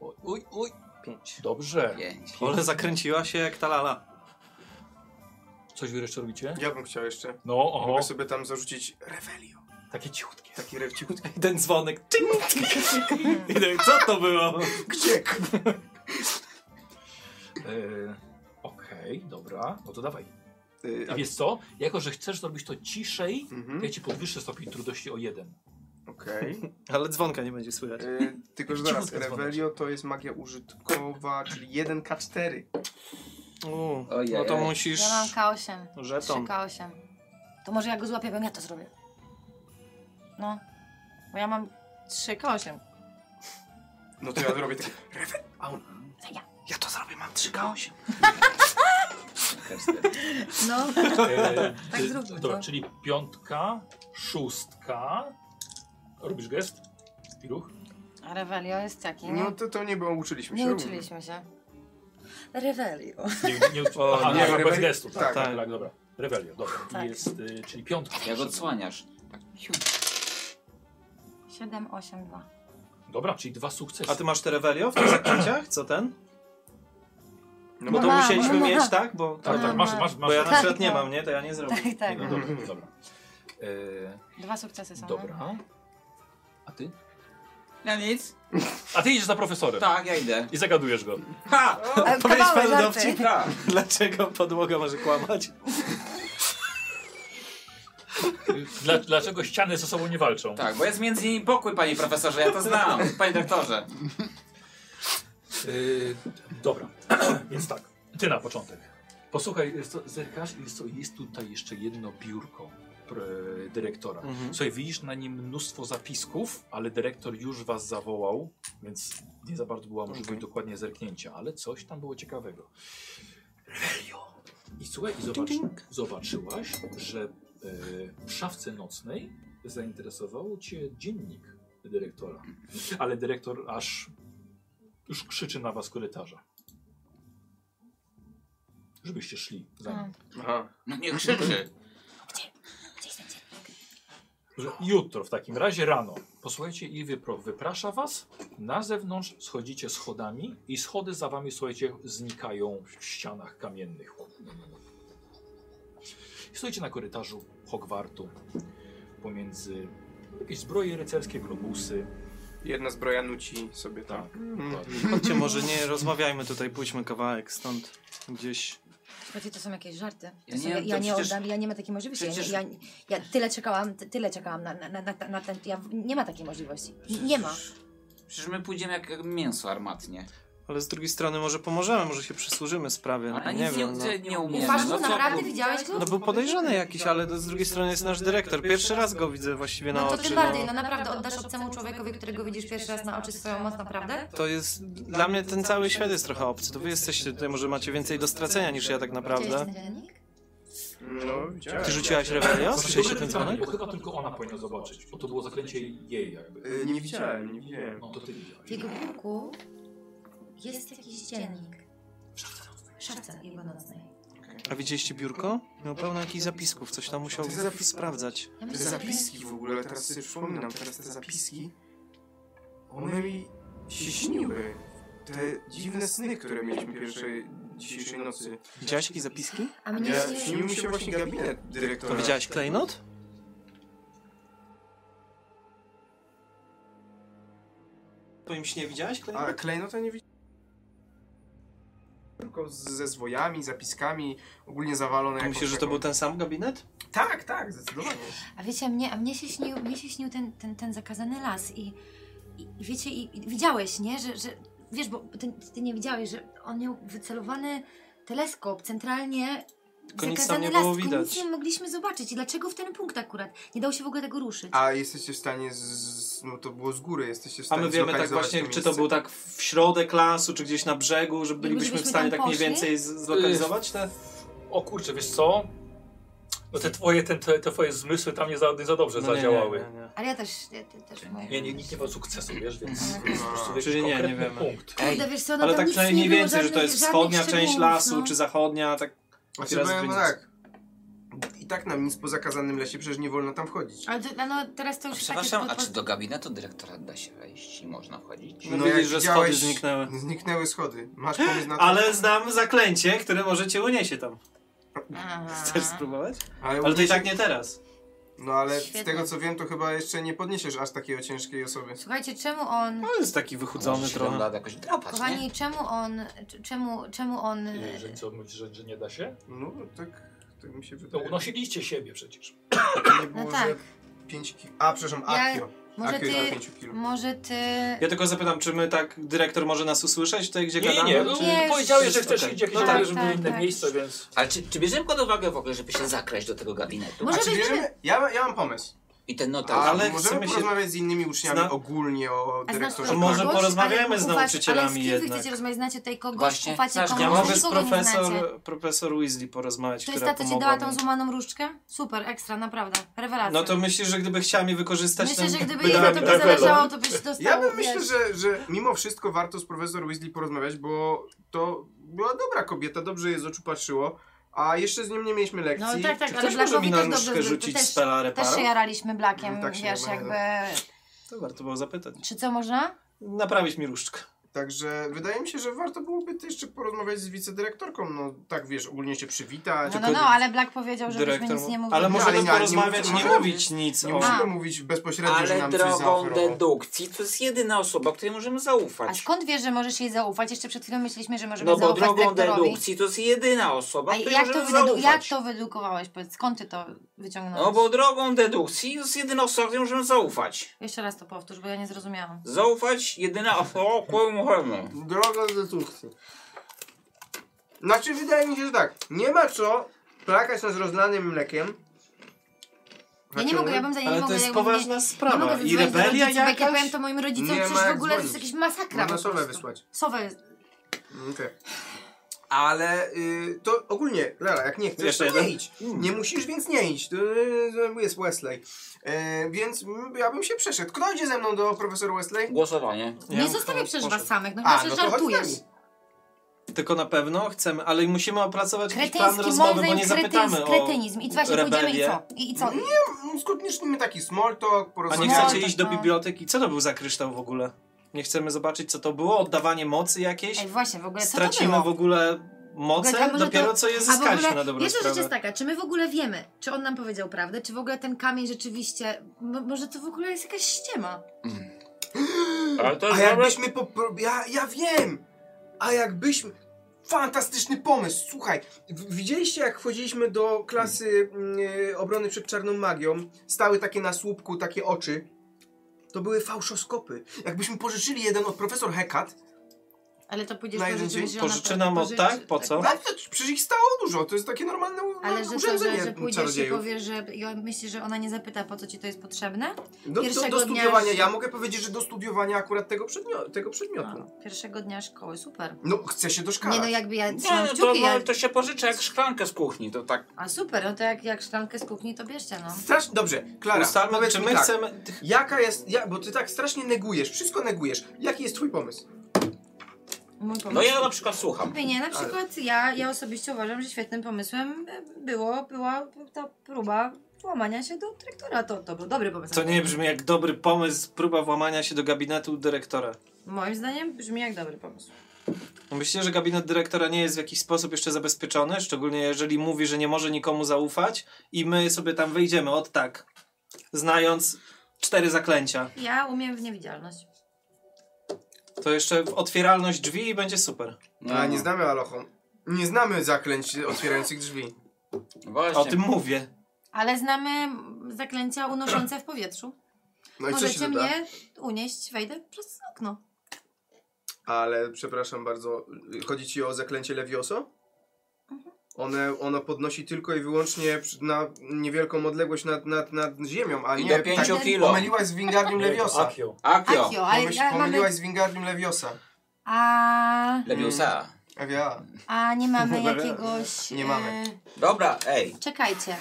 Speaker 1: Oj, oj, oj.
Speaker 5: Pięć.
Speaker 1: Dobrze.
Speaker 4: Pięć.
Speaker 5: Ole zakręciła się jak ta lala.
Speaker 1: Coś wy jeszcze robicie?
Speaker 10: Ja bym chciał jeszcze.
Speaker 1: No, oho.
Speaker 10: Mogę sobie tam zarzucić Revelio.
Speaker 1: Takie cichutkie.
Speaker 10: Taki rewciutki.
Speaker 5: I ten dzwonek. Czing, czing, czing. I tak, co to było?
Speaker 10: Gdzie?
Speaker 1: Yy, Okej, dobra. No to dawaj.
Speaker 10: Ty,
Speaker 1: I wiesz co? Jako, że chcesz zrobić to ciszej, to
Speaker 10: Y, Mhm.
Speaker 1: ja ci podwyższę stopień trudności o jeden.
Speaker 10: Okej.
Speaker 5: Ale dzwonka nie będzie słychać.
Speaker 3: E,
Speaker 10: Y, Tylko, że zaraz,
Speaker 1: Cichutko dzwonek.
Speaker 10: Revelio to jest magia użytkowa, czyli 1K4.
Speaker 5: U,
Speaker 4: Ojej,
Speaker 5: no to
Speaker 4: ojej.
Speaker 5: musisz...
Speaker 6: Ja mam K8,
Speaker 5: Żeton.
Speaker 6: 3K8.
Speaker 2: To może ja go złapię, bo ja to zrobię.
Speaker 6: No. Bo ja mam 3K8.
Speaker 10: No to ja zrobię takie.
Speaker 5: Ja to zrobię, mam 3K8.
Speaker 6: No,
Speaker 1: E,
Speaker 6: tak zróbmy
Speaker 1: Dobra,
Speaker 6: to.
Speaker 1: czyli piątka, szóstka. Robisz gest? I ruch?
Speaker 2: A Revelio jest taki, nie?
Speaker 3: No to, to nie było, uczyliśmy się.
Speaker 2: Nie
Speaker 3: równo.
Speaker 2: uczyliśmy się.
Speaker 6: Revelio.
Speaker 1: Nie, nie, aha,
Speaker 3: nie,
Speaker 1: nie, bez
Speaker 3: rebeli-
Speaker 1: gestu. Tak, tak,
Speaker 3: tak,
Speaker 1: tak,
Speaker 5: tak.
Speaker 1: dobra. Rebelio, dobra.
Speaker 6: Tak.
Speaker 1: Jest, y, czyli piątka.
Speaker 4: Jak odsłaniasz.
Speaker 2: 7, 8, 2.
Speaker 1: Dobra, czyli dwa sukcesy.
Speaker 5: A ty masz te rewelio w tych zaklęciach? Co ten?
Speaker 3: No
Speaker 5: Bo to
Speaker 2: mam,
Speaker 5: musieliśmy
Speaker 2: mam.
Speaker 5: mieć, tak? Bo,
Speaker 1: tak,
Speaker 6: No,
Speaker 1: tak, masz, masz, masz.
Speaker 5: bo ja na
Speaker 1: rację.
Speaker 5: przykład nie
Speaker 2: tak.
Speaker 5: mam, nie? To ja nie zrobię.
Speaker 2: Tak, tak.
Speaker 1: No, dobra, dobra. E,
Speaker 2: Dwa sukcesy
Speaker 6: Tak.
Speaker 2: są. no.
Speaker 1: dobra. A ty?
Speaker 4: Ja nic.
Speaker 1: A ty idziesz za profesorem.
Speaker 4: Tak, ja idę.
Speaker 1: I zagadujesz go.
Speaker 4: Ha!
Speaker 2: A,
Speaker 5: Powiedz
Speaker 2: Kawałek
Speaker 5: panu
Speaker 2: żarty.
Speaker 5: dowcip,
Speaker 4: Tak.
Speaker 5: dlaczego podłoga może kłamać?
Speaker 1: Dla, dlaczego ściany ze sobą nie walczą?
Speaker 4: Tak, bo jest między nimi pokój, panie profesorze, ja to znam. Panie doktorze.
Speaker 1: Yy, dobra, więc tak, ty na początek. Posłuchaj, jest to- zerkasz i jest, to- jest tutaj jeszcze jedno biurko pr- e, dyrektora.
Speaker 5: Mhm.
Speaker 1: Słuchaj, widzisz na nim mnóstwo zapisków, ale dyrektor już was zawołał, więc nie za bardzo była możliwość dokładnie zerknięcia, ale coś tam było ciekawego. Revelio! I słuchaj, i zobacz, zobaczyłaś, że e, w szafce nocnej zainteresował cię dziennik dyrektora. Ale dyrektor aż już krzyczy na was z korytarza. Żebyście szli za nim.
Speaker 3: Tak. Aha.
Speaker 4: No nie krzyczy.
Speaker 1: Że jutro w takim razie rano. Posłuchajcie i wypro, wyprasza was. Na zewnątrz schodzicie schodami i schody za wami, słuchajcie, znikają w ścianach kamiennych. I stoicie na korytarzu Hogwartu pomiędzy jakieś zbroje rycerskie, globusy.
Speaker 3: Jedna zbroja nuci sobie Mm, tam.
Speaker 1: Tak, tak.
Speaker 5: Chodźcie, może nie rozmawiajmy tutaj, pójdźmy kawałek stąd gdzieś.
Speaker 2: Słuchajcie, to są jakieś żarty. To
Speaker 4: Ja
Speaker 2: są-
Speaker 4: nie-
Speaker 2: ja,
Speaker 4: to
Speaker 2: ja nie
Speaker 4: przecież-
Speaker 2: oddam, ja nie ma takiej możliwości.
Speaker 4: przecież-
Speaker 2: Ja, nie- ja, ja tyle czekałam, ty- tyle czekałam na, na, na, na, na ten... Ja, nie ma takiej możliwości. N- Nie ma.
Speaker 4: Przecież my pójdziemy jak jak mięso armatnie.
Speaker 5: Ale z drugiej strony może pomożemy, może się przysłużymy sprawie. No,
Speaker 4: Ale
Speaker 5: nie
Speaker 4: nic nie,
Speaker 5: wiem. No.
Speaker 4: nie, nie umiemy.
Speaker 2: Ufasz
Speaker 4: no
Speaker 2: mu
Speaker 4: co-
Speaker 2: naprawdę? Widziałeś go?
Speaker 5: no był podejrzany jakiś, ale to z drugiej strony jest nasz dyrektor. Pierwszy raz go widzę właściwie na
Speaker 2: No to
Speaker 5: oczy.
Speaker 2: tym bardziej, no naprawdę oddasz obcemu człowiekowi, którego widzisz pierwszy raz na oczy swoją moc, naprawdę?
Speaker 5: To jest, dla mnie ten cały świat jest trochę obcy. To wy jesteście tutaj, może macie więcej do stracenia niż ja tak
Speaker 2: Widziałeś
Speaker 5: naprawdę.
Speaker 2: ten dziennik?
Speaker 3: No, widziałem.
Speaker 5: Ty rzuciłaś rewelio? Słyszeliście ten dzwonek?
Speaker 1: Bo chyba tylko ona powinna zobaczyć, bo to było zaklęcie jej jakby.
Speaker 3: Y, Nie widziałem, nie widziałem.
Speaker 1: No to ty
Speaker 2: W
Speaker 1: widziałeś.
Speaker 2: jego biurku jest jakiś dziennik. W szafce jego nocnej.
Speaker 5: A widzieliście biurko? Miał pełno jakichś zapisków, coś tam musiał sprawdzać.
Speaker 2: Ja
Speaker 3: Te
Speaker 2: myślę, że-
Speaker 3: zapiski w ogóle, teraz sobie przypominam, teraz te zapiski, one mi się śniły. Te dziwne sny, które mieliśmy pierwszej, dzisiejszej nocy.
Speaker 5: Widziałaś jakieś zapiski?
Speaker 2: A mnie
Speaker 3: Ja,
Speaker 2: się...
Speaker 3: śnił mi się właśnie gabinet dyrektora.
Speaker 5: To widziałaś klejnot? Po im śnie widziałaś klejnot?
Speaker 3: A klejnota nie widziałem. Tylko z- ze zwojami, zapiskami, ogólnie zawalone.
Speaker 5: A
Speaker 3: jakoś
Speaker 5: myślisz, że to
Speaker 3: taką-
Speaker 5: był ten sam gabinet?
Speaker 3: Tak, tak, zdecydowanie.
Speaker 2: A wiecie, a mnie, a mnie się śnił, mnie się śnił ten, ten, ten zakazany las i, i i wiecie, i, i widziałeś, nie? Że, że wiesz, bo ty, ty nie widziałeś, że on miał wycelowany teleskop centralnie
Speaker 5: Tylko nic tam
Speaker 2: zakazany
Speaker 5: nie
Speaker 2: las,
Speaker 5: było
Speaker 2: tylko nic
Speaker 5: widać.
Speaker 2: nie mogliśmy zobaczyć. I dlaczego w ten punkt akurat? Nie dało się w ogóle tego ruszyć.
Speaker 3: A jesteście w stanie, z- z, no to było z góry, jesteście w
Speaker 5: A
Speaker 3: stanie
Speaker 5: my wiemy tak
Speaker 3: zlokalizować
Speaker 5: właśnie,
Speaker 3: to
Speaker 5: czy to
Speaker 3: miejsce?
Speaker 5: był tak w środek lasu, czy gdzieś na brzegu, że bylibyśmy w
Speaker 2: gdybyśmy
Speaker 5: stanie
Speaker 2: tam
Speaker 5: tak mniej
Speaker 2: poszli?
Speaker 5: więcej z- zlokalizować te...
Speaker 1: O kurczę, wiesz co? No te twoje, te, te, te twoje zmysły tam nie za, nie za dobrze
Speaker 5: No nie, nie,
Speaker 1: zadziałały.
Speaker 5: nie, nie.
Speaker 2: Ale ja też, ja, te- też moje...
Speaker 1: Nie, nie, nikt nie ma sukcesu, wiesz, więc
Speaker 2: Mhm.
Speaker 1: więc po prostu jakiś
Speaker 5: No. Czyli nie, nie
Speaker 1: konkretny
Speaker 5: wiemy.
Speaker 1: punkt.
Speaker 2: Kurde, wiesz co, no
Speaker 5: Ale
Speaker 2: tam
Speaker 5: tak
Speaker 2: nic
Speaker 5: przynajmniej
Speaker 2: nie
Speaker 5: mniej
Speaker 2: było,
Speaker 5: więcej, że to
Speaker 2: żadnych-
Speaker 5: jest
Speaker 2: żadnych
Speaker 5: wschodnia część
Speaker 2: szczegółów,
Speaker 5: lasu,
Speaker 2: no.
Speaker 5: czy zachodnia, tak...
Speaker 3: Znaczy,
Speaker 5: Teraz
Speaker 3: powiem
Speaker 5: wyjdzie.
Speaker 3: tak. I tak nam nic po zakazanym lesie, przecież nie wolno tam wchodzić.
Speaker 2: Ale to, no, teraz to
Speaker 4: A
Speaker 2: już
Speaker 4: Przepraszam,
Speaker 2: takie...
Speaker 4: a
Speaker 2: pod-
Speaker 4: czy do gabinetu dyrektora da się wejść i można wchodzić?
Speaker 5: No
Speaker 3: jak
Speaker 5: widzisz, że schody
Speaker 3: widziałeś-
Speaker 5: zniknęły.
Speaker 3: Zniknęły schody. Masz pomysł na to?
Speaker 5: Ale znam zaklęcie, które możecie uniesie tam.
Speaker 2: Aha.
Speaker 5: Chcesz spróbować?
Speaker 3: Ale
Speaker 5: Ale to i
Speaker 3: uniesie-
Speaker 5: tak nie teraz.
Speaker 3: No ale
Speaker 2: Świetnie.
Speaker 3: z tego co wiem, to chyba jeszcze nie podniesiesz aż takiej ciężkiej osoby.
Speaker 2: Słuchajcie, czemu on...
Speaker 5: On jest taki wychudzony
Speaker 4: Może się
Speaker 5: trochę.
Speaker 4: da jakoś drapać, nie?
Speaker 2: Kochani, czemu on... cz- Czemu, czemu on...
Speaker 1: Nie, że co mówisz, że, że nie da się?
Speaker 3: No tak, tak mi się
Speaker 1: No
Speaker 3: wydaje.
Speaker 1: unosiliście siebie przecież.
Speaker 3: nie było,
Speaker 2: No tak.
Speaker 3: że 5 kilo. A, przepraszam,
Speaker 2: Ja-
Speaker 3: Akio.
Speaker 2: Może
Speaker 3: Akio jest na
Speaker 2: ty...
Speaker 3: 5 kilo.
Speaker 2: Może ty...
Speaker 5: Ja tylko zapytam, czy my tak, dyrektor może nas usłyszeć tutaj, gdzie
Speaker 1: Nie, nie,
Speaker 5: gadamy?
Speaker 1: nie.
Speaker 5: czy...
Speaker 1: no, Powiedziałeś, że chcesz
Speaker 5: Okej.
Speaker 1: iść jakieś
Speaker 5: No
Speaker 1: tak,
Speaker 5: tak,
Speaker 1: żeby
Speaker 2: tak,
Speaker 1: inne
Speaker 2: tak.
Speaker 1: miejsce, więc...
Speaker 4: Ale czy, czy bierzemy pod uwagę w ogóle, żeby się zakraść do tego gabinetu?
Speaker 2: Może
Speaker 3: A czy
Speaker 2: weźmiemy-
Speaker 3: bierzemy? Ja, ja mam pomysł.
Speaker 4: I ten notar.
Speaker 5: No tak, Ale
Speaker 3: Ale możemy
Speaker 5: chcemy się-
Speaker 3: porozmawiać z innymi uczniami
Speaker 5: Zna-
Speaker 3: ogólnie o
Speaker 2: A znasz
Speaker 3: dyrektorze.
Speaker 5: To
Speaker 2: tutaj
Speaker 5: może
Speaker 2: kogoś?
Speaker 5: porozmawiamy
Speaker 2: Ale
Speaker 5: z
Speaker 2: u was-
Speaker 5: nauczycielami
Speaker 2: ale z kim
Speaker 5: jednak.
Speaker 2: Wy chcecie rozmawiać? Znacie tutaj kogoś,
Speaker 4: Właśnie,
Speaker 2: ufacie
Speaker 4: tak,
Speaker 2: komuś,
Speaker 5: Ja mogę z
Speaker 2: nikogo nie znacie.
Speaker 5: profesor, profesor Weasley porozmawiać,
Speaker 2: To jest
Speaker 5: która
Speaker 2: ta, co ci dała tą
Speaker 5: pomogła mi.
Speaker 2: złamaną różdżkę? Super, ekstra, naprawdę. Rewelacja.
Speaker 5: No to myślisz, że gdyby chciała mnie wykorzystać...
Speaker 2: Myślę,
Speaker 5: ten-
Speaker 2: że gdyby
Speaker 5: by
Speaker 2: jej
Speaker 5: dała
Speaker 2: na
Speaker 5: mi
Speaker 2: to
Speaker 5: tak-
Speaker 2: by zależało, to byś dostał.
Speaker 3: Ja bym myślę,
Speaker 2: wiesz.
Speaker 3: że, że mimo wszystko warto z profesor Weasley porozmawiać, bo to była dobra kobieta, dobrze jej z oczu patrzyło, a jeszcze z nią nie mieliśmy lekcji.
Speaker 2: No tak, tak,
Speaker 5: Czy
Speaker 2: ale
Speaker 5: ktoś może mi
Speaker 2: Blakowi
Speaker 5: na
Speaker 2: też dobrze
Speaker 5: nóżkę
Speaker 2: zbyt-
Speaker 5: rzucić
Speaker 2: też-
Speaker 5: spela
Speaker 2: Też
Speaker 5: reparo?
Speaker 2: się jaraliśmy blakiem,
Speaker 3: No tak się
Speaker 2: wiesz,
Speaker 3: chyba nie
Speaker 2: jakby...
Speaker 5: To warto było zapytać.
Speaker 2: Czy co można?
Speaker 5: Naprawić mi różdżkę.
Speaker 3: Także wydaje mi się, że warto byłoby też jeszcze porozmawiać z wicedyrektorką. No tak, wiesz, ogólnie się przywitać.
Speaker 2: No, no, no, ale Black powiedział, żebyśmy
Speaker 5: Dyrektor
Speaker 2: nic
Speaker 5: mu-
Speaker 2: nie mówili.
Speaker 5: Ale
Speaker 3: No, ale
Speaker 5: możemy
Speaker 3: nie- nie
Speaker 5: porozmawiać,
Speaker 3: mówimy-
Speaker 5: nie mówić nic
Speaker 3: Nie
Speaker 5: o...
Speaker 3: musimy mówić bezpośrednio, że
Speaker 4: Ale
Speaker 3: nam coś
Speaker 4: drogą
Speaker 3: zaoferował.
Speaker 4: dedukcji to jest jedyna osoba, której możemy
Speaker 2: A
Speaker 4: zaufać.
Speaker 2: skąd wiesz, że możesz jej zaufać? Jeszcze przed chwilą myśleliśmy, że możemy
Speaker 4: No bo
Speaker 2: zaufać
Speaker 4: drogą
Speaker 2: dyrektorowi.
Speaker 4: dedukcji to jest jedyna
Speaker 2: A
Speaker 4: osoba, której
Speaker 2: jak to,
Speaker 4: możemy
Speaker 2: wydedu-
Speaker 4: zaufać.
Speaker 2: jak to wydedukowałeś? Powiedz, skąd ty to wyciągnąłeś?
Speaker 4: No bo drogą dedukcji to jest jedyna osoba, której możemy zaufać.
Speaker 2: Jeszcze raz to powtórz, bo ja nie zrozumiałam.
Speaker 4: Zaufać jedyna osoba, której możemy.
Speaker 3: Droga dedukcji. Znaczy, wydaje mi się, że tak. Nie ma co plakać nas rozlanym mlekiem. Znaczy,
Speaker 2: Ja nie mogę, ja bym za
Speaker 5: Znaczy,
Speaker 2: nie
Speaker 5: Ale
Speaker 2: mogła,
Speaker 5: to
Speaker 2: ja
Speaker 5: jest
Speaker 2: bym nie-
Speaker 5: poważna
Speaker 2: Nie
Speaker 5: sprawa.
Speaker 2: mogę
Speaker 5: I
Speaker 2: zadzwonić do
Speaker 5: rebelia
Speaker 2: rodziców, Jak ja powiem
Speaker 5: jakaś...
Speaker 2: to moim rodzicom,
Speaker 3: Nie
Speaker 2: przecież
Speaker 3: ma
Speaker 2: w
Speaker 3: jak
Speaker 2: ogóle to jest
Speaker 3: dzwonić.
Speaker 2: jakaś masakra.
Speaker 5: No
Speaker 3: Można
Speaker 2: po
Speaker 3: sowę
Speaker 2: prostu.
Speaker 3: wysłać.
Speaker 2: Sowę.
Speaker 3: Okej. Ale y, to ogólnie, Lara, jak nie chcesz,
Speaker 5: Jeszcze
Speaker 3: to nie
Speaker 5: jeden?
Speaker 3: idź. Nie musisz, więc nie idź. To, y, jest Wesley. Y, więc mm, ja bym się przeszedł. Kto idzie ze mną do profesora Wesley?
Speaker 4: Głosowanie.
Speaker 5: Ja
Speaker 2: Nie
Speaker 5: bym
Speaker 2: zostawię
Speaker 5: poszedł.
Speaker 2: przecież was samych, no
Speaker 3: A,
Speaker 2: chyba, że
Speaker 3: no to chodź z
Speaker 2: żartujesz.
Speaker 3: nami.
Speaker 5: Tylko na pewno chcemy, ale musimy opracować jakiś plan
Speaker 2: Kretyński
Speaker 5: rozmowy, bo
Speaker 2: mowy,
Speaker 5: nie
Speaker 2: kretyzm,
Speaker 5: zapytamy
Speaker 2: kretynizm. I
Speaker 5: o
Speaker 2: właśnie pójdziemy i
Speaker 5: rebelię.
Speaker 2: co? I, i co? I,
Speaker 3: Mm, Skutniczmy taki small talk,
Speaker 5: A nie
Speaker 3: porozmawiamy.
Speaker 5: chcecie
Speaker 2: tak,
Speaker 5: iść do
Speaker 2: no.
Speaker 5: biblioteki? Co to był za kryształ w ogóle? Nie chcemy zobaczyć, co to było? Oddawanie mocy jakiejś?
Speaker 2: ej, właśnie, w ogóle co to
Speaker 5: Stracimy
Speaker 2: było?
Speaker 5: w ogóle
Speaker 2: W ogóle, a
Speaker 5: moce?
Speaker 2: może
Speaker 5: Dopiero
Speaker 2: to-
Speaker 5: co je
Speaker 2: A w
Speaker 5: zyskaliśmy
Speaker 2: ogóle,
Speaker 5: na dobrą
Speaker 2: Jeszcze rzecz jest
Speaker 5: sprawę.
Speaker 2: taka, czy my w ogóle wiemy, czy on nam powiedział prawdę, czy w ogóle ten kamień rzeczywiście, mo- może to w ogóle jest jakaś ściema.
Speaker 4: Ale to
Speaker 3: A
Speaker 4: jest
Speaker 3: jakbyśmy po... pro- Ja, ja wiem! A jakbyśmy... Fantastyczny pomysł, słuchaj. w- Widzieliście jak wchodziliśmy do klasy mm, y, obrony przed czarną magią? Stały takie na słupku, takie oczy. To były fałszoskopy. Jakbyśmy pożyczyli jeden od profesor Hekat,
Speaker 2: Ale to pójdziesz
Speaker 3: Na
Speaker 2: po
Speaker 3: jeden dzień
Speaker 2: rzeczywiście... ona
Speaker 5: Pożyczy
Speaker 2: po-
Speaker 5: nam od
Speaker 2: pożyczy-
Speaker 5: tak? Po co?
Speaker 3: Ale to przecież ich stało dużo, to jest takie normalne u-
Speaker 2: Ale że to,
Speaker 3: urządzenie
Speaker 2: że, że pójdziesz i
Speaker 3: czarodziejów.
Speaker 2: powiesz, że i on- myślisz, że ona nie zapyta, po co ci to jest potrzebne?
Speaker 3: Do, do,
Speaker 2: pierwszego
Speaker 3: do
Speaker 2: dnia,
Speaker 3: studiowania,
Speaker 2: że-
Speaker 3: ja mogę powiedzieć, że do studiowania akurat tego, przedmio- tego przedmiotu.
Speaker 2: A, No, Pierwszego dnia szkoły, super.
Speaker 3: No, chcę się doszkalać.
Speaker 2: Nie no, jakby ja
Speaker 4: Nie,
Speaker 2: trzymam
Speaker 4: no to,
Speaker 2: kciuki, ja...
Speaker 4: no, to się pożycza jak szklankę z kuchni, to tak.
Speaker 2: A super, no to jak, jak szklankę z kuchni, to bierzcie, no.
Speaker 3: Strasz... Dobrze, Klara,
Speaker 5: Ustalmy,
Speaker 3: powiedz
Speaker 5: czy
Speaker 3: mi
Speaker 5: my
Speaker 3: tak,
Speaker 5: chcemy...
Speaker 3: Jaka jest, ja, bo ty tak strasznie negujesz, wszystko negujesz. Jaki jest twój pomysł?
Speaker 2: Mój pomysł.
Speaker 4: No ja na przykład słucham.
Speaker 2: Nie, na przykład ja, ja osobiście uważam, że świetnym pomysłem było, była ta próba włamania się do dyrektora. To, to był dobry pomysł.
Speaker 5: To nie brzmi jak dobry pomysł, próba włamania się do gabinetu dyrektora. No
Speaker 2: Moim zdaniem brzmi jak dobry pomysł.
Speaker 5: Myślicie, że gabinet dyrektora nie jest w jakiś sposób jeszcze zabezpieczony? Szczególnie jeżeli mówi, że nie może nikomu zaufać i my sobie tam wejdziemy od tak, znając cztery zaklęcia.
Speaker 2: Ja umiem w niewidzialność.
Speaker 5: To jeszcze w otwieralność drzwi i będzie super.
Speaker 4: No,
Speaker 3: A, nie znamy Alochą. Nie znamy zaklęć otwierających drzwi.
Speaker 4: Właśnie.
Speaker 5: O tym mówię.
Speaker 2: Ale znamy zaklęcia unoszące w powietrzu.
Speaker 3: No i co się
Speaker 2: Możecie
Speaker 3: doda?
Speaker 2: mnie unieść, wejdę przez okno.
Speaker 3: Ale przepraszam bardzo, chodzi ci o zaklęcie Levioso?
Speaker 2: Mhm.
Speaker 3: One, ono podnosi tylko i wyłącznie przy- na niewielką odległość nad, nad, nad ziemią, a
Speaker 4: I
Speaker 3: nie... tak-
Speaker 4: do 5 kilo.
Speaker 3: Pomyliłaś z Wingardium Leviosa.
Speaker 1: Akio.
Speaker 4: Akio.
Speaker 2: Akio, ale
Speaker 3: Pomyś,
Speaker 2: ja mamy...
Speaker 3: pomyliłaś z Wingardium Leviosa.
Speaker 2: A,
Speaker 4: Leviosa.
Speaker 3: Ewia.
Speaker 2: a nie mamy jakiegoś...
Speaker 3: Nie mamy.
Speaker 2: e,
Speaker 4: Dobra, ej.
Speaker 2: Czekajcie.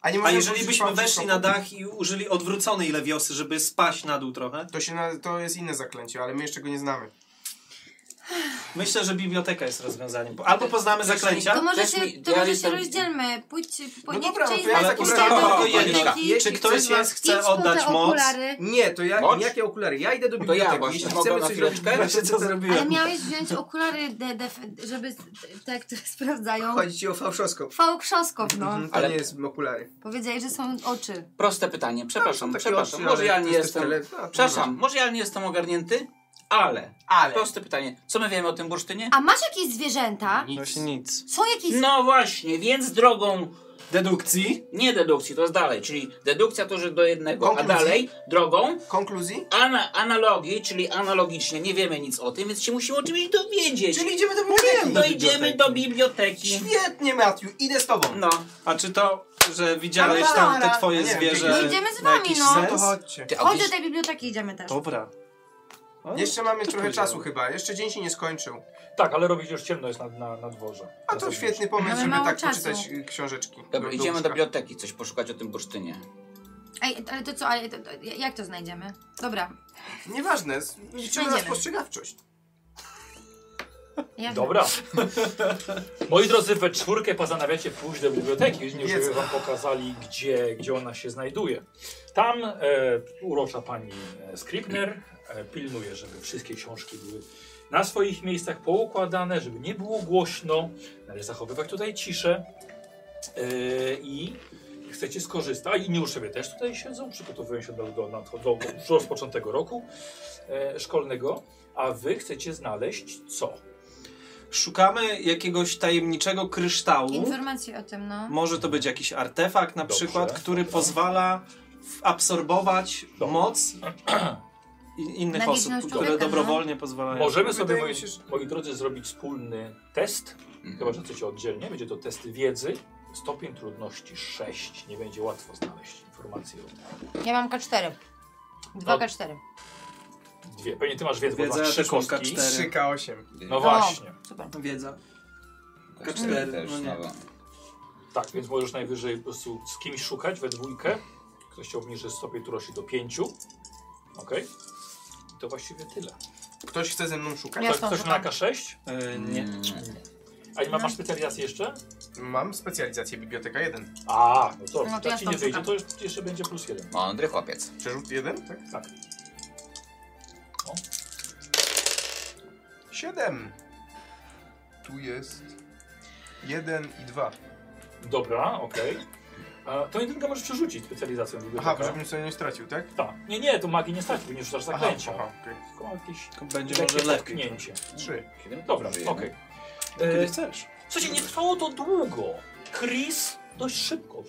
Speaker 3: A, nie
Speaker 5: A
Speaker 3: można
Speaker 5: jeżeli
Speaker 3: wrzucić
Speaker 5: byśmy
Speaker 3: pałki
Speaker 5: weszli
Speaker 3: w
Speaker 5: na
Speaker 3: kopu?
Speaker 5: dach i użyli odwróconej lewiosy, żeby spaść na dół trochę?
Speaker 3: To, się na, to jest inne zaklęcie, ale my jeszcze go nie znamy.
Speaker 5: Myślę, że biblioteka jest rozwiązaniem. Albo poznamy zaklęcia.
Speaker 2: To może
Speaker 4: Też
Speaker 2: się,
Speaker 4: mi-
Speaker 2: to
Speaker 4: ja
Speaker 2: może się
Speaker 4: jestem-
Speaker 2: rozdzielmy. Pójdźcie, po,
Speaker 3: No
Speaker 2: niech
Speaker 3: dobra,
Speaker 2: czyjś
Speaker 3: no to ja
Speaker 2: z nas
Speaker 5: Ale
Speaker 3: taki
Speaker 2: pójdzie
Speaker 5: ustawa
Speaker 2: do
Speaker 3: Dobra,
Speaker 5: tylko
Speaker 4: dobra,
Speaker 5: jedna.
Speaker 4: dobra.
Speaker 5: Czy
Speaker 3: Jeśli
Speaker 5: ktoś z
Speaker 3: chcecie-
Speaker 5: nas
Speaker 2: Idź
Speaker 5: chce
Speaker 2: po
Speaker 5: oddać
Speaker 2: te
Speaker 5: moc?
Speaker 2: okulary.
Speaker 3: Nie, to ja,
Speaker 4: Chodź.
Speaker 3: jakie okulary? Ja idę do
Speaker 4: To
Speaker 3: biblioteki.
Speaker 4: ja właśnie.
Speaker 3: Jeśli
Speaker 4: Mogę
Speaker 3: chcemy
Speaker 4: na
Speaker 3: coś robić,
Speaker 4: chwileczkę?
Speaker 5: Właśnie co
Speaker 2: Ale
Speaker 5: zrobiłem.
Speaker 2: miałeś wziąć okulary, de, de, żeby te, które sprawdzają.
Speaker 3: chodzi ci o fałszoskop.
Speaker 2: Fałszoskop, no.
Speaker 3: Mhm, to
Speaker 4: Ale-
Speaker 3: nie jest okulary.
Speaker 2: Powiedzieli, że są oczy.
Speaker 4: Proste pytanie. Przepraszam,
Speaker 3: Są takie
Speaker 4: No, przepraszam.
Speaker 3: oczy,
Speaker 4: Może
Speaker 3: ale
Speaker 4: ja
Speaker 3: No, to
Speaker 4: nie
Speaker 3: jest
Speaker 4: jestem...
Speaker 3: tyle- a, to
Speaker 4: Przepraszam, może ja nie jestem ogarnięty, ale...
Speaker 3: Ale.
Speaker 4: Proste pytanie. Co my wiemy o tym bursztynie?
Speaker 2: A masz jakieś zwierzęta?
Speaker 5: No Właśnie nic.
Speaker 2: Są jakieś...
Speaker 4: No właśnie, więc drogą
Speaker 5: Dedukcji?
Speaker 4: nie dedukcji, to jest dalej, czyli dedukcja to że do jednego, a
Speaker 3: Konkluzji.
Speaker 4: dalej drogą
Speaker 3: Konkluzji?
Speaker 4: ana analogii, czyli analogicznie nie wiemy nic o tym, więc się musimy o czymś dowiedzieć.
Speaker 3: Czyli idziemy do biblioteki. No,
Speaker 4: Dojdziemy do biblioteki.
Speaker 3: Świetnie, Matthew, idę z tobą.
Speaker 4: No,
Speaker 5: A czy to że widziałeś tam te twoje zwierzę.
Speaker 6: No idziemy z
Speaker 5: ma
Speaker 6: wami,
Speaker 5: jakiś
Speaker 6: no.
Speaker 5: sens?
Speaker 3: To chodźcie.
Speaker 4: Ty, a
Speaker 6: Chodź do
Speaker 4: gdzieś-
Speaker 6: tej biblioteki, idziemy też.
Speaker 5: Dobra. O,
Speaker 3: Jeszcze mamy trochę
Speaker 5: powiedziałem.
Speaker 3: czasu chyba, jeszcze dzień się nie skończył.
Speaker 1: Tak, ale robić już ciemno jest na, na, na dworze.
Speaker 3: A to
Speaker 1: Zasadniczo.
Speaker 3: świetny pomysł,
Speaker 6: Mamy
Speaker 3: żeby
Speaker 6: mało
Speaker 3: tak
Speaker 6: czasu.
Speaker 3: poczytać y, książeczki.
Speaker 4: Dobra, idziemy do
Speaker 3: łóżka.
Speaker 4: biblioteki coś poszukać o tym bursztynie.
Speaker 6: Ej, ale to co, ale to, to, jak to znajdziemy? Dobra.
Speaker 3: Nieważne, z- liczymy na
Speaker 6: Znajdziemy.
Speaker 3: spostrzegawczość.
Speaker 4: Yy,
Speaker 6: Jak
Speaker 1: Dobra. Moi drodzy, we czwórkę pozanawiacie pójść do biblioteki, już żeby
Speaker 3: Wiedza.
Speaker 1: wam pokazali, gdzie, gdzie ona się znajduje. Tam e, urocza pani e, Scribner e, pilnuje, żeby wszystkie książki były na swoich miejscach poukładane, żeby nie było głośno. Należy zachowywać tutaj ciszę. E, I chcecie skorzystać, a inni uczniowie też tutaj siedzą, przygotowują się do, do, nadchod- do rozpoczętego roku e, szkolnego, a wy chcecie znaleźć co?
Speaker 5: Szukamy jakiegoś tajemniczego kryształu.
Speaker 6: Informacji o tym, no.
Speaker 5: Może to być jakiś artefakt na
Speaker 1: Dobrze.
Speaker 5: przykład, który pozwala w- absorbować
Speaker 1: Dobra.
Speaker 5: moc i- innych
Speaker 6: Magiczną
Speaker 5: osób, które
Speaker 6: człowieka, no.
Speaker 5: dobrowolnie pozwalają.
Speaker 1: Możemy
Speaker 3: Wydaje
Speaker 1: sobie,
Speaker 3: mi
Speaker 1: moi,
Speaker 3: się, że-
Speaker 1: moi drodzy, zrobić wspólny test,
Speaker 5: Mhm.
Speaker 1: chyba że chcecie oddzielnie. Będzie to test wiedzy. Stopień trudności 6. Nie będzie łatwo znaleźć informacji o
Speaker 2: Ja mam K4.
Speaker 1: No.
Speaker 2: 2K4.
Speaker 1: dwie. Pewnie ty masz wiedzę, bo
Speaker 5: Wiedza,
Speaker 1: masz
Speaker 5: ja
Speaker 1: trzy
Speaker 5: też mam
Speaker 1: kostki.
Speaker 5: K4.
Speaker 3: 3K8.
Speaker 1: No właśnie.
Speaker 2: Super.
Speaker 5: Wiedza.
Speaker 4: K4
Speaker 5: K4,
Speaker 4: Tak, też,
Speaker 5: no nie.
Speaker 4: no bo-
Speaker 1: Tak, więc możesz najwyżej po prostu z kimś szukać we dwójkę. Ktoś ci obniży stopień trudności do 5. Ok. I to właściwie tyle.
Speaker 3: Ktoś chce ze mną szukać?
Speaker 2: Ja
Speaker 1: Ktoś,
Speaker 2: stąd
Speaker 1: ktoś na
Speaker 2: szukam.
Speaker 1: K6?
Speaker 5: E, nie.
Speaker 4: Mm.
Speaker 1: A nie ma, masz specjalizację jeszcze?
Speaker 3: Mam specjalizację biblioteka 1.
Speaker 1: A, no to,
Speaker 2: No to
Speaker 1: jak
Speaker 2: ja
Speaker 1: ci
Speaker 2: stąd
Speaker 1: nie wyjdzie,
Speaker 2: szukam.
Speaker 1: to już jeszcze będzie plus 1.
Speaker 4: Mądry No, chłopiec.
Speaker 3: Przerzut 1, tak?
Speaker 1: Tak. No.
Speaker 3: 7. Tu jest 1 i 2.
Speaker 1: Dobra, okej. A To jedynka możesz przerzucić specjalizacją biblioteka.
Speaker 3: Aha, żebym sobie nie stracił, tak?
Speaker 1: Tak. Nie, nie, to magii nie stać, bo nie rzucasz
Speaker 3: Aha,
Speaker 1: zaklęcia.
Speaker 3: aha okej.
Speaker 1: Tylko jakieś
Speaker 5: Będzie
Speaker 1: lekkie
Speaker 3: tak.
Speaker 5: może lepiej.
Speaker 1: potknięcie.
Speaker 3: 3.
Speaker 1: Dobra,
Speaker 4: Żyjemy.
Speaker 1: okej. E,
Speaker 5: Kiedy
Speaker 1: Okay.
Speaker 5: chcesz.
Speaker 1: Słuchajcie, nie trwało to długo. Chris dość szybko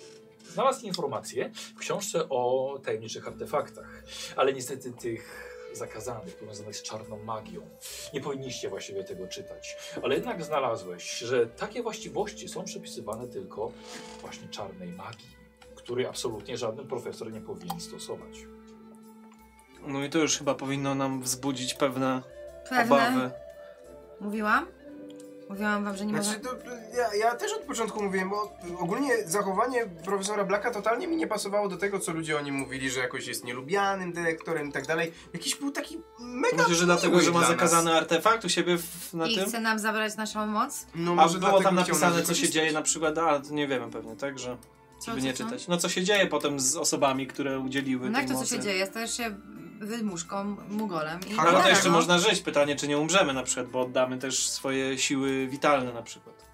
Speaker 1: znalazł informacje w książce o tajemniczych artefaktach, ale niestety tych zakazanych, powiązanych z czarną magią. Nie powinniście właściwie tego czytać, ale jednak znalazłeś, że takie właściwości są przypisywane tylko właśnie czarnej magii, której absolutnie żaden profesor nie powinien stosować.
Speaker 5: No i to już chyba powinno nam wzbudzić pewne,
Speaker 6: Pewne. Tak,
Speaker 5: obawy.
Speaker 6: Mówiłam? Mówiłam wam, że nie
Speaker 3: Znaczy,
Speaker 6: może...
Speaker 3: to, ja, ja też od początku mówiłem, bo ogólnie zachowanie profesora Blacka totalnie mi nie pasowało do tego, co ludzie o nim mówili, że jakoś jest nielubianym dyrektorem i tak dalej. Jakiś był taki mega
Speaker 5: Myślę, że dlatego,
Speaker 3: miły
Speaker 5: że ma
Speaker 3: dla
Speaker 5: zakazany
Speaker 3: nas.
Speaker 5: artefakt u siebie w, na
Speaker 6: no. I
Speaker 5: tym.
Speaker 6: chce nam zabrać naszą moc?
Speaker 3: No,
Speaker 5: A
Speaker 3: może
Speaker 5: było
Speaker 3: dlatego
Speaker 5: tam
Speaker 3: chciał nas
Speaker 5: napisane, co się
Speaker 3: wykorzystać.
Speaker 5: dzieje na przykład, a to nie wiemy pewnie, tak, że żeby nie
Speaker 6: co, co?
Speaker 5: czytać. No co się dzieje potem z osobami, które udzieliły
Speaker 6: No
Speaker 5: tej
Speaker 6: jak to, co
Speaker 5: mocy.
Speaker 6: się dzieje? Stajesz się wydmuszką, mugolem i...
Speaker 5: No ale to
Speaker 6: Tak,
Speaker 5: jeszcze
Speaker 6: no.
Speaker 5: można żyć. Pytanie, czy nie umrzemy na przykład, bo oddamy też swoje siły witalne na przykład.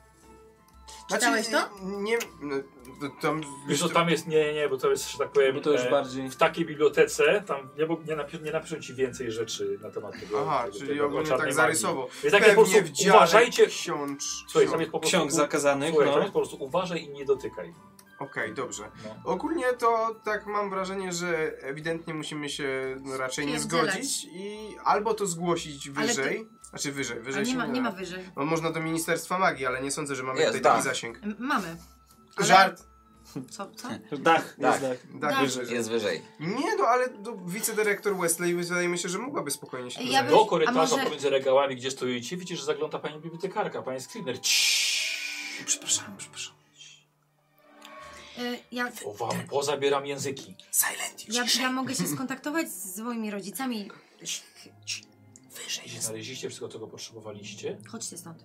Speaker 6: Znaczy, Czytałeś to?
Speaker 3: Nie, no, to tam...
Speaker 1: Wiesz, to tam jest, nie, nie, nie, bo to jest, że tak powiem,
Speaker 5: Bo to już
Speaker 1: e,
Speaker 5: bardziej-
Speaker 1: w takiej bibliotece, tam nie, bo nie, napi- nie napiszą ci więcej rzeczy na temat tego.
Speaker 3: Aha,
Speaker 1: tego,
Speaker 3: czyli
Speaker 1: tego
Speaker 3: ogólnie
Speaker 1: czarnej
Speaker 3: tak
Speaker 1: magii.
Speaker 3: zarysował.
Speaker 1: Jest takie po prostu,
Speaker 3: Pewnie w dziale
Speaker 1: uważajcie,
Speaker 3: Książ...
Speaker 1: słuchaj, tam
Speaker 3: książ-
Speaker 1: jest po prostu,
Speaker 5: Ksiąg zakazanych,
Speaker 1: słuchaj, tam
Speaker 5: no.
Speaker 3: tak?
Speaker 1: jest po prostu uważaj i nie dotykaj.
Speaker 3: Okej, dobrze.
Speaker 1: No.
Speaker 3: Ogólnie to tak mam wrażenie, że ewidentnie musimy się no, raczej nie
Speaker 6: Spierdzielać.
Speaker 3: zgodzić i albo to zgłosić
Speaker 6: Ale ty-
Speaker 3: wyżej, znaczy wyżej,
Speaker 6: A
Speaker 3: wyżej
Speaker 6: nie
Speaker 3: się
Speaker 6: ma, nie ma
Speaker 3: da.
Speaker 6: wyżej.
Speaker 3: No, można do Ministerstwa Magii, ale nie sądzę, że mamy
Speaker 4: Jest,
Speaker 3: tutaj taki
Speaker 4: tak.
Speaker 3: zasięg.
Speaker 6: M- Mamy. Ale-
Speaker 3: Żart,
Speaker 6: Co, co?
Speaker 5: Dach,
Speaker 4: Tak.
Speaker 5: jest dach.
Speaker 3: tak, wyżej.
Speaker 4: Jest wyżej.
Speaker 3: Nie no, ale do, wicedyrektor Wesley wydaje mi się, że mogłaby spokojnie się
Speaker 6: Ja
Speaker 3: rozejrzeć.
Speaker 6: bym-
Speaker 1: Do
Speaker 6: a
Speaker 1: korytarza
Speaker 6: może-
Speaker 1: pomiędzy regałami, gdzie stoicie, widzisz, że zagląda pani bibliotekarka, pani screener.
Speaker 5: Przepraszam, przepraszam.
Speaker 6: Y, Ja,
Speaker 1: O wam, pozabieram języki.
Speaker 6: ja, ja mogę się skontaktować z moimi rodzicami.
Speaker 1: Jeśli znaleźliście wszystko, czego potrzebowaliście,
Speaker 6: Chodźcie stąd.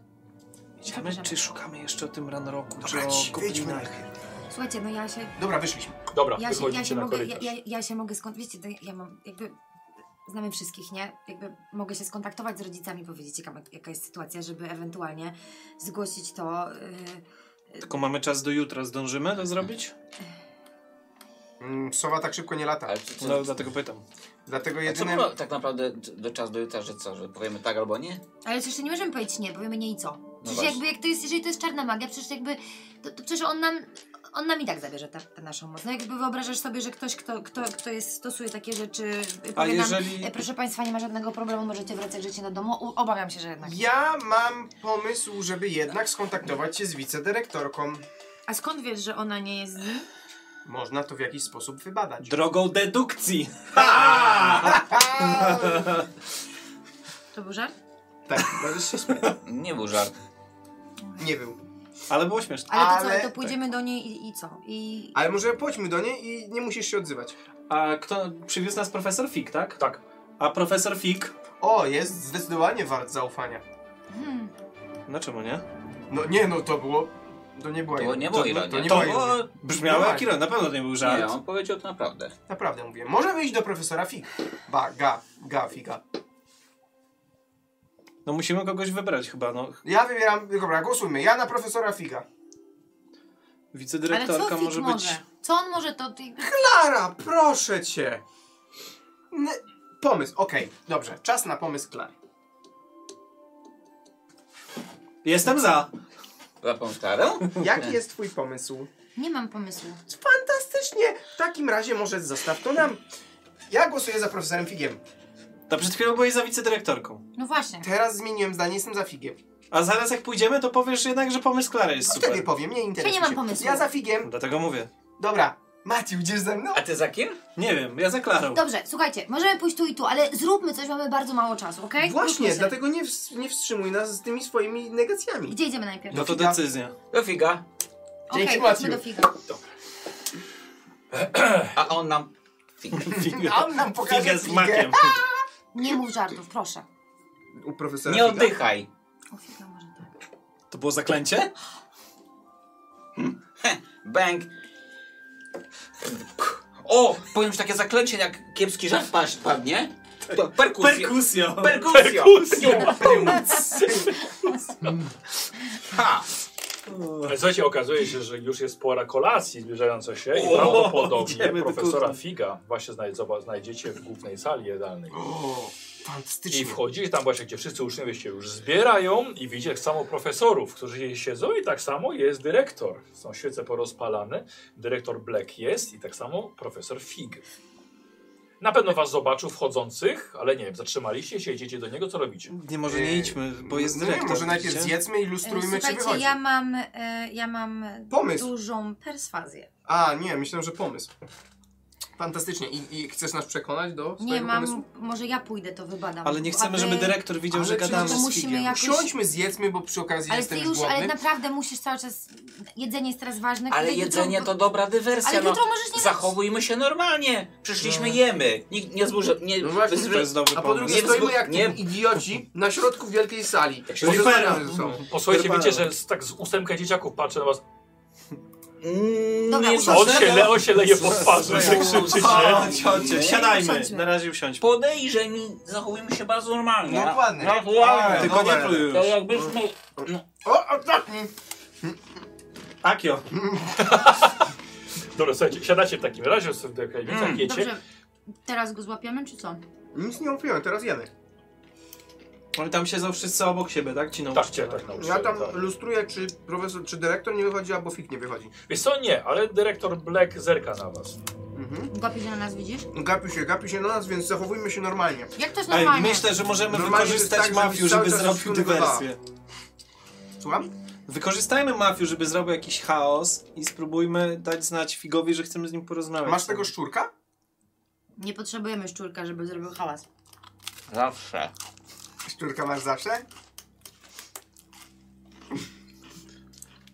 Speaker 5: Idziemy, czy szukamy jeszcze o tym ranroku, czy
Speaker 3: Dobra,
Speaker 5: o
Speaker 3: ci- wyjdźmy na
Speaker 5: goblinach?
Speaker 3: chwilę.
Speaker 6: Słuchajcie, no ja się...
Speaker 3: Dobra, wyszliśmy.
Speaker 1: dobra,
Speaker 6: Ja się,
Speaker 1: wychodzicie
Speaker 6: ja się
Speaker 1: na
Speaker 6: mogę, ja,
Speaker 1: korytarz.
Speaker 6: ja, ja się mogę skąd. Wiecie, to ja, ja mam jakby. Znamy wszystkich, nie? Jakby mogę się skontaktować z rodzicami, powiedzieć, jaka, jaka jest sytuacja, żeby ewentualnie zgłosić to. Yy,
Speaker 5: Tylko mamy czas do jutra, zdążymy to zrobić?
Speaker 3: Mm, Sowa tak szybko nie lata.
Speaker 4: Ale czy, co,
Speaker 5: No dlatego pytam.
Speaker 3: Dlatego
Speaker 4: a co
Speaker 3: jedyne...
Speaker 4: było tak naprawdę do czasu do jutra, że co, że powiemy tak albo nie?
Speaker 6: ale jeszcze nie możemy powiedzieć nie, powiemy nie i co. Przecież
Speaker 4: właśnie.
Speaker 6: jakby jak to jest, jeżeli to jest czarna magia, przecież jakby. To, to przecież on nam. On nam i tak zabierze tę tę naszą moc. No jakby wyobrażasz sobie, że ktoś, kto, kto, kto jest, stosuje takie rzeczy,
Speaker 5: A
Speaker 6: powie nam,
Speaker 5: jeżeli...
Speaker 6: "E, proszę Państwa, nie ma żadnego problemu, możecie wracać życie do domu. U, obawiam się, że jednak.
Speaker 3: Ja mam pomysł, żeby jednak skontaktować się z wicedyrektorką.
Speaker 6: A skąd wiesz, że ona nie jest z nim?
Speaker 3: Można to w jakiś sposób wybadać.
Speaker 5: Drogą dedukcji.
Speaker 6: To był żart?
Speaker 3: Tak, możesz się śmiać.
Speaker 14: Nie był żart.
Speaker 3: Nie był.
Speaker 5: Ale było śmieszne.
Speaker 6: Ale, to co,
Speaker 3: Ale-
Speaker 6: ale to pójdziemy do niej i, i co? I...
Speaker 3: Ale może pójdźmy do niej i nie musisz się odzywać.
Speaker 5: A kto przywiózł nas profesor Fig, tak? Tak. A profesor Fig?
Speaker 3: O, jest zdecydowanie wart zaufania.
Speaker 6: Hmm.
Speaker 5: No czemu nie?
Speaker 3: No nie, no to było... To nie była
Speaker 14: To
Speaker 3: ironia.
Speaker 14: nie było
Speaker 3: to,
Speaker 14: ironia.
Speaker 3: To nie
Speaker 5: To
Speaker 3: była
Speaker 5: było-
Speaker 3: ironia.
Speaker 5: Brzmiało
Speaker 3: No
Speaker 5: jak
Speaker 3: tak.
Speaker 5: ironia, na pewno to nie był żart.
Speaker 14: Nie, on powiedział to naprawdę.
Speaker 3: Naprawdę mówię. Możemy iść do profesora Fig. Ba, ga, ga, figa.
Speaker 5: No musimy kogoś wybrać chyba, no.
Speaker 3: Ja wybieram... Dobra, głosujmy. Ja na profesora Figa.
Speaker 6: Ale co
Speaker 5: Wicedyrektorka
Speaker 6: Fik może?
Speaker 5: może być...
Speaker 6: Co on może to... to jakby-
Speaker 3: Klara, proszę cię! N- pomysł, okej, dobrze. Czas na pomysł Klary.
Speaker 5: Jestem za.
Speaker 14: Za tą starą?
Speaker 3: Jaki jest twój pomysł?
Speaker 6: Nie mam pomysłu.
Speaker 3: Fantastycznie! W takim razie może zostaw to nam. Ja głosuję za profesorem Figiem.
Speaker 5: To przed chwilą byłeś za wicedyrektorką.
Speaker 6: No właśnie.
Speaker 3: Teraz zmieniłem zdanie, jestem za Figiem.
Speaker 5: A zaraz jak pójdziemy, to powiesz jednak, że pomysł Klary jest
Speaker 3: Super. Wtedy
Speaker 5: super.
Speaker 3: powiem, nie interesuje
Speaker 6: Ja nie mam
Speaker 3: się.
Speaker 6: pomysłu.
Speaker 3: Ja za Figiem.
Speaker 5: Dlatego mówię.
Speaker 3: Dobra, Maciu, idziesz ze mną?
Speaker 14: A ty za kim?
Speaker 5: Nie wiem, ja za Klarą.
Speaker 6: Dobrze, słuchajcie, możemy pójść tu i tu, ale zróbmy coś, mamy bardzo mało czasu, okej? Zróbmy
Speaker 3: Właśnie,
Speaker 6: się.
Speaker 3: dlatego nie, ws- nie wstrzymuj nas z tymi swoimi negacjami.
Speaker 6: Gdzie idziemy najpierw?
Speaker 5: No to
Speaker 3: Figa.
Speaker 5: decyzja.
Speaker 14: Do figa.
Speaker 6: Okej,
Speaker 3: Dzięki,
Speaker 6: chodźmy
Speaker 3: Maciu.
Speaker 6: do figa.
Speaker 14: A on nam...
Speaker 3: A on nam pokaże
Speaker 5: Figa z
Speaker 3: figę.
Speaker 5: makiem.
Speaker 6: Nie mów żartów, proszę.
Speaker 3: U profesora
Speaker 14: Nie
Speaker 3: Figa.
Speaker 14: oddychaj.
Speaker 6: O figa może tak.
Speaker 5: To było zaklęcie?
Speaker 14: Bang. O! Powiem, że takie zaklęcie jak kiepski żart pasz- padnie. To perkusja.
Speaker 5: Perkusjo.
Speaker 14: Perkusja. Ha!
Speaker 1: Ale Słuchajcie, okazuje się, że już jest pora kolacji zbliżająca się i
Speaker 5: O,
Speaker 1: prawdopodobnie
Speaker 5: idziemy do
Speaker 1: profesora
Speaker 5: kuchni.
Speaker 1: Figa właśnie znaj- zoba- znajdziecie w głównej sali jadalnej.
Speaker 3: O,
Speaker 1: I
Speaker 3: fantastycznie.
Speaker 1: wchodzicie tam właśnie, gdzie wszyscy uczniowie się już zbierają i widzicie tak samo profesorów, którzy siedzą i tak samo jest dyrektor. Są świece porozpalane, dyrektor Black jest i tak samo profesor Fig. Na pewno was zobaczył wchodzących, ale nie wiem, zatrzymaliście się, idziecie do niego, co robicie?
Speaker 5: Nie, może nie idźmy, bo jest
Speaker 3: No nie,
Speaker 5: dyrektor.
Speaker 3: Może najpierw
Speaker 5: widzicie?
Speaker 3: zjedzmy i
Speaker 6: E,
Speaker 3: lustrujmy, czy
Speaker 6: Słuchajcie,
Speaker 3: wychodzi.
Speaker 6: ja mam, e, ja mam
Speaker 3: Pomysł.
Speaker 6: dużą perswazję.
Speaker 3: A, nie, myślałem, że pomysł. Fantastycznie. I, i chcesz nas przekonać do swojego
Speaker 6: Nie mam,
Speaker 3: pomysłu?
Speaker 6: może ja pójdę, to wybadam.
Speaker 5: Ale nie chcemy,
Speaker 6: A wy-
Speaker 5: żeby dyrektor widział,
Speaker 3: Ale
Speaker 5: że
Speaker 3: przecież
Speaker 5: gadamy
Speaker 6: to
Speaker 5: z
Speaker 6: musimy
Speaker 5: Figiem.
Speaker 6: jakoś-
Speaker 3: Siądźmy, zjedzmy, bo przy okazji
Speaker 6: Ale ty
Speaker 3: jestem
Speaker 6: już,
Speaker 3: głodny.
Speaker 6: ale naprawdę musisz cały czas, jedzenie jest teraz ważne.
Speaker 14: Ale
Speaker 6: Kiedy jutro-
Speaker 14: jedzenie to dobra dywersja.
Speaker 6: Ale
Speaker 14: No.
Speaker 6: jutro możesz nie
Speaker 14: Zachowujmy się normalnie. Przyszliśmy, jemy. Nikt nie zburza. Nie,
Speaker 3: No właśnie,
Speaker 14: wyzwy-
Speaker 5: To jest dobry
Speaker 3: A po
Speaker 5: pomysł.
Speaker 3: drugie
Speaker 14: Nie,
Speaker 3: stoimy
Speaker 14: bo-
Speaker 3: jak
Speaker 14: nie.
Speaker 3: nie. idioci na środku wielkiej sali.
Speaker 14: Jak się
Speaker 3: Bo się
Speaker 5: super.
Speaker 3: zgadzamy ze sobą.
Speaker 1: Posłuchajcie,
Speaker 5: Normalnie.
Speaker 1: wiecie, że z, tak z ósemka dzieciaków patrzę na was,
Speaker 14: Mm,
Speaker 6: Dobra,
Speaker 14: nie
Speaker 6: usiądź.
Speaker 1: a on się,
Speaker 14: zastanawia-
Speaker 1: le, on się leje po twarzy, tak że krzyczycie.
Speaker 5: Chodź, chodźcie, siadajmy.
Speaker 6: Siądźmy.
Speaker 5: Na razie usiądźmy.
Speaker 14: Podejrzeń i zachowujmy się bardzo normalnie.
Speaker 3: Dokładnie.
Speaker 14: Naturalnie.
Speaker 5: Tylko nie
Speaker 3: dobra.
Speaker 5: pluj
Speaker 14: To
Speaker 5: już.
Speaker 14: jakbyśmy...
Speaker 3: O, o, tak.
Speaker 5: Akio.
Speaker 1: Dobra, słuchajcie, siadacie w takim razie, sobie
Speaker 14: Mm.
Speaker 1: mm,
Speaker 6: Dobrze, teraz go złapiemy, czy co?
Speaker 3: Nic nie mówiłem, teraz jemy.
Speaker 5: Oni tam siedzą wszyscy obok siebie, tak? Ci
Speaker 1: Tak, cię
Speaker 5: nauczyciele.
Speaker 1: tak nauczyłem.
Speaker 3: Ja tam
Speaker 1: tak.
Speaker 3: lustruję, czy profesor, czy dyrektor nie wychodzi, albo fik nie wychodzi.
Speaker 1: Wiesz co, nie, ale dyrektor Black zerka na was.
Speaker 3: Mhm.
Speaker 6: Gapi się na nas, widzisz?
Speaker 3: Gapi się, gapi się na nas, więc zachowujmy się normalnie.
Speaker 6: Jak to jest
Speaker 5: Ej,
Speaker 6: normalnie?
Speaker 5: myślę, że możemy
Speaker 3: Normalnie to jest
Speaker 5: wykorzystać
Speaker 3: tak, żeby
Speaker 5: mafiu,
Speaker 3: cały
Speaker 5: żeby
Speaker 3: czas
Speaker 5: zrobił
Speaker 3: wszystko wyglądało.
Speaker 5: dywersję.
Speaker 3: Słucham?
Speaker 5: Wykorzystajmy mafiu, żeby zrobił jakiś chaos i spróbujmy dać znać Figowi, że chcemy z nim porozmawiać.
Speaker 3: Masz tego szczurka?
Speaker 6: Nie potrzebujemy szczurka, żeby zrobił hałas.
Speaker 14: Zawsze.
Speaker 3: Szczurka masz zawsze?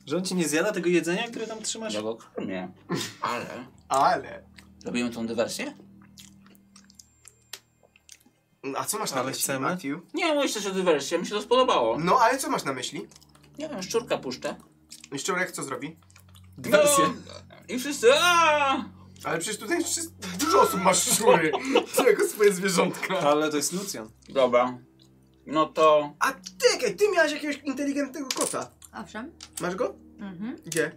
Speaker 5: Że on ci nie zjada tego jedzenia, które tam trzymasz?
Speaker 4: No
Speaker 14: Ja go karmię. No Ale...
Speaker 3: Ale.
Speaker 14: Robimy tą dywersję?
Speaker 3: A co masz na
Speaker 5: Ale
Speaker 3: myśli,
Speaker 5: chcemy?
Speaker 3: Matthew?
Speaker 14: Nie, myślę, że dywersja. Mi się to spodobało.
Speaker 3: No, ale co masz na myśli?
Speaker 14: Nie wiem, szczurka puszczę.
Speaker 3: Szczurek co zrobi? No.
Speaker 4: No,
Speaker 5: Dywersję.
Speaker 14: I wszyscy... aaa!
Speaker 3: Ale przecież tutaj wszyscy, dużo osób ma szczury. Jako swoje zwierzątka.
Speaker 5: Ale to jest Lucjan.
Speaker 14: Dobra. No to...
Speaker 3: A ty, jakie- ty miałeś jakiegoś inteligentnego kota.
Speaker 6: Owszem.
Speaker 3: Masz go?
Speaker 6: Mhm.
Speaker 3: Gdzie?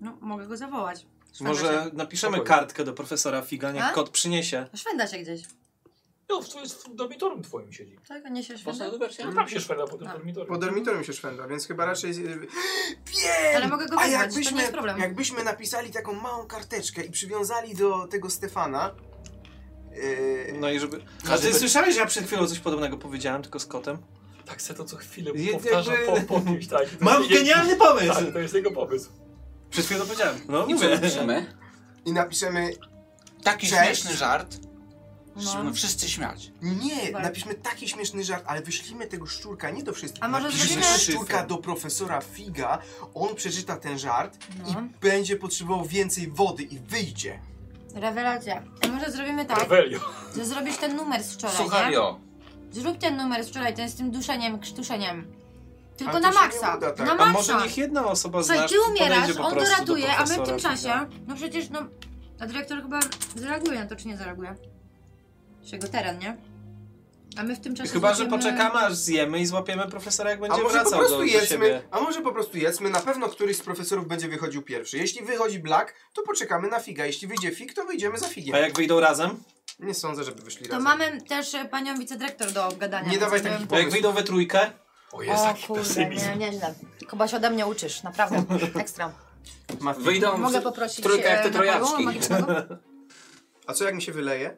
Speaker 6: No, mogę go zawołać. Szwenda
Speaker 5: Może napiszemy
Speaker 1: Spokojnie.
Speaker 5: kartkę do profesora Figa, niech
Speaker 2: Tak?
Speaker 6: A?
Speaker 5: kot przyniesie.
Speaker 6: się- Szwenda się gdzieś.
Speaker 1: No, w, twoim- w dormitorium twoim siedzi.
Speaker 6: Tak, nie się
Speaker 14: Mocna
Speaker 6: szwenda.
Speaker 14: dywersja?
Speaker 1: No, tam się szwenda po tym
Speaker 6: A.
Speaker 1: dormitorium.
Speaker 3: Po dormitorium się szwenda, więc chyba raczej... z- Wiem!
Speaker 6: Ale mogę go wybrać,
Speaker 3: A
Speaker 6: to nie
Speaker 3: jakbyśmy,
Speaker 6: jest problem.
Speaker 3: jakbyśmy napisali taką małą karteczkę i przywiązali do tego Stefana... Yy,
Speaker 5: No i żeby... A ty
Speaker 1: żeby-
Speaker 5: słyszałeś, że ja przed chwilą coś podobnego powiedziałem, tylko z kotem?
Speaker 1: Tak se to co chwilę
Speaker 5: Je-
Speaker 1: powtarza
Speaker 5: jakby-
Speaker 1: po, po kimś, tak.
Speaker 5: Mam
Speaker 1: Je-
Speaker 5: genialny pomysł!
Speaker 1: Tak, to jest jego pomysł.
Speaker 5: Przed chwilą to powiedziałem. No,
Speaker 4: I co
Speaker 5: mówię.
Speaker 4: napiszemy?
Speaker 3: I napiszemy
Speaker 14: Taki
Speaker 3: Cześć.
Speaker 14: śmieszny żart, że
Speaker 2: No.
Speaker 14: będą wszyscy śmiać.
Speaker 3: Nie,
Speaker 2: Super.
Speaker 3: napiszmy taki śmieszny żart, ale wyślijmy tego szczurka nie do wszystkich.
Speaker 2: A może
Speaker 3: Napiszmy
Speaker 2: zrobimy-
Speaker 3: szczurka do profesora Figa, on przeczyta ten żart
Speaker 2: No.
Speaker 3: i będzie potrzebował więcej wody i wyjdzie.
Speaker 2: Rewelacja.
Speaker 6: E,
Speaker 2: A może zrobimy tak,
Speaker 1: Revelio.
Speaker 2: że zrobisz ten numer z wczoraj,
Speaker 14: Słuchaj,
Speaker 2: nie?
Speaker 14: jo.
Speaker 2: Zrób ten numer z wczoraj, ten z tym duszeniem, krztuszeniem. Tylko
Speaker 3: Ale
Speaker 2: na
Speaker 3: to się nie
Speaker 2: maksa.
Speaker 3: uda, tak.
Speaker 2: Na
Speaker 3: A
Speaker 5: A
Speaker 2: maksa.
Speaker 5: może niech jedna osoba z
Speaker 2: No Słuchaj,
Speaker 5: nas
Speaker 2: ty umierasz,
Speaker 5: podejdzie po
Speaker 2: on
Speaker 5: prostu do
Speaker 2: doratuje, a my w tym
Speaker 5: profesora,
Speaker 2: czasie, no przecież no, a dyrektor chyba zareaguje na to, czy nie zareaguje. Z jego teren, nie? A my w tym czasie
Speaker 5: Chyba, że
Speaker 2: zrobimy-
Speaker 5: poczekamy aż zjemy i złapiemy profesora jak
Speaker 3: A
Speaker 5: będzie
Speaker 3: może po
Speaker 5: wracał do,
Speaker 3: prostu
Speaker 5: do
Speaker 3: jedzmy,
Speaker 5: siebie.
Speaker 3: a może po prostu jedzmy, na pewno któryś z profesorów będzie wychodził pierwszy. Jeśli wychodzi Black, to poczekamy na Figa, jeśli wyjdzie Fig, to wyjdziemy za Figiem.
Speaker 5: A jak wyjdą razem?
Speaker 3: Nie sądzę, żeby wyszli
Speaker 2: To
Speaker 3: razem.
Speaker 2: mamy też e, panią wicedyrektor do obgadania.
Speaker 3: Nie
Speaker 2: więc
Speaker 3: dawaj
Speaker 2: bym-
Speaker 3: takich
Speaker 5: Bo jak wyjdą we trójkę?
Speaker 1: O
Speaker 2: O
Speaker 1: jaki
Speaker 2: kurde, nie, nieźle. Kuba się ode mnie uczysz, naprawdę. Ekstra.
Speaker 3: Mafii.
Speaker 4: Wyjdą
Speaker 2: Mogę
Speaker 4: Mogę
Speaker 2: poprosić
Speaker 4: trójka jak te
Speaker 2: e, napoju
Speaker 4: trojaczki.
Speaker 2: magicznego?
Speaker 3: A co jak mi się wyleje?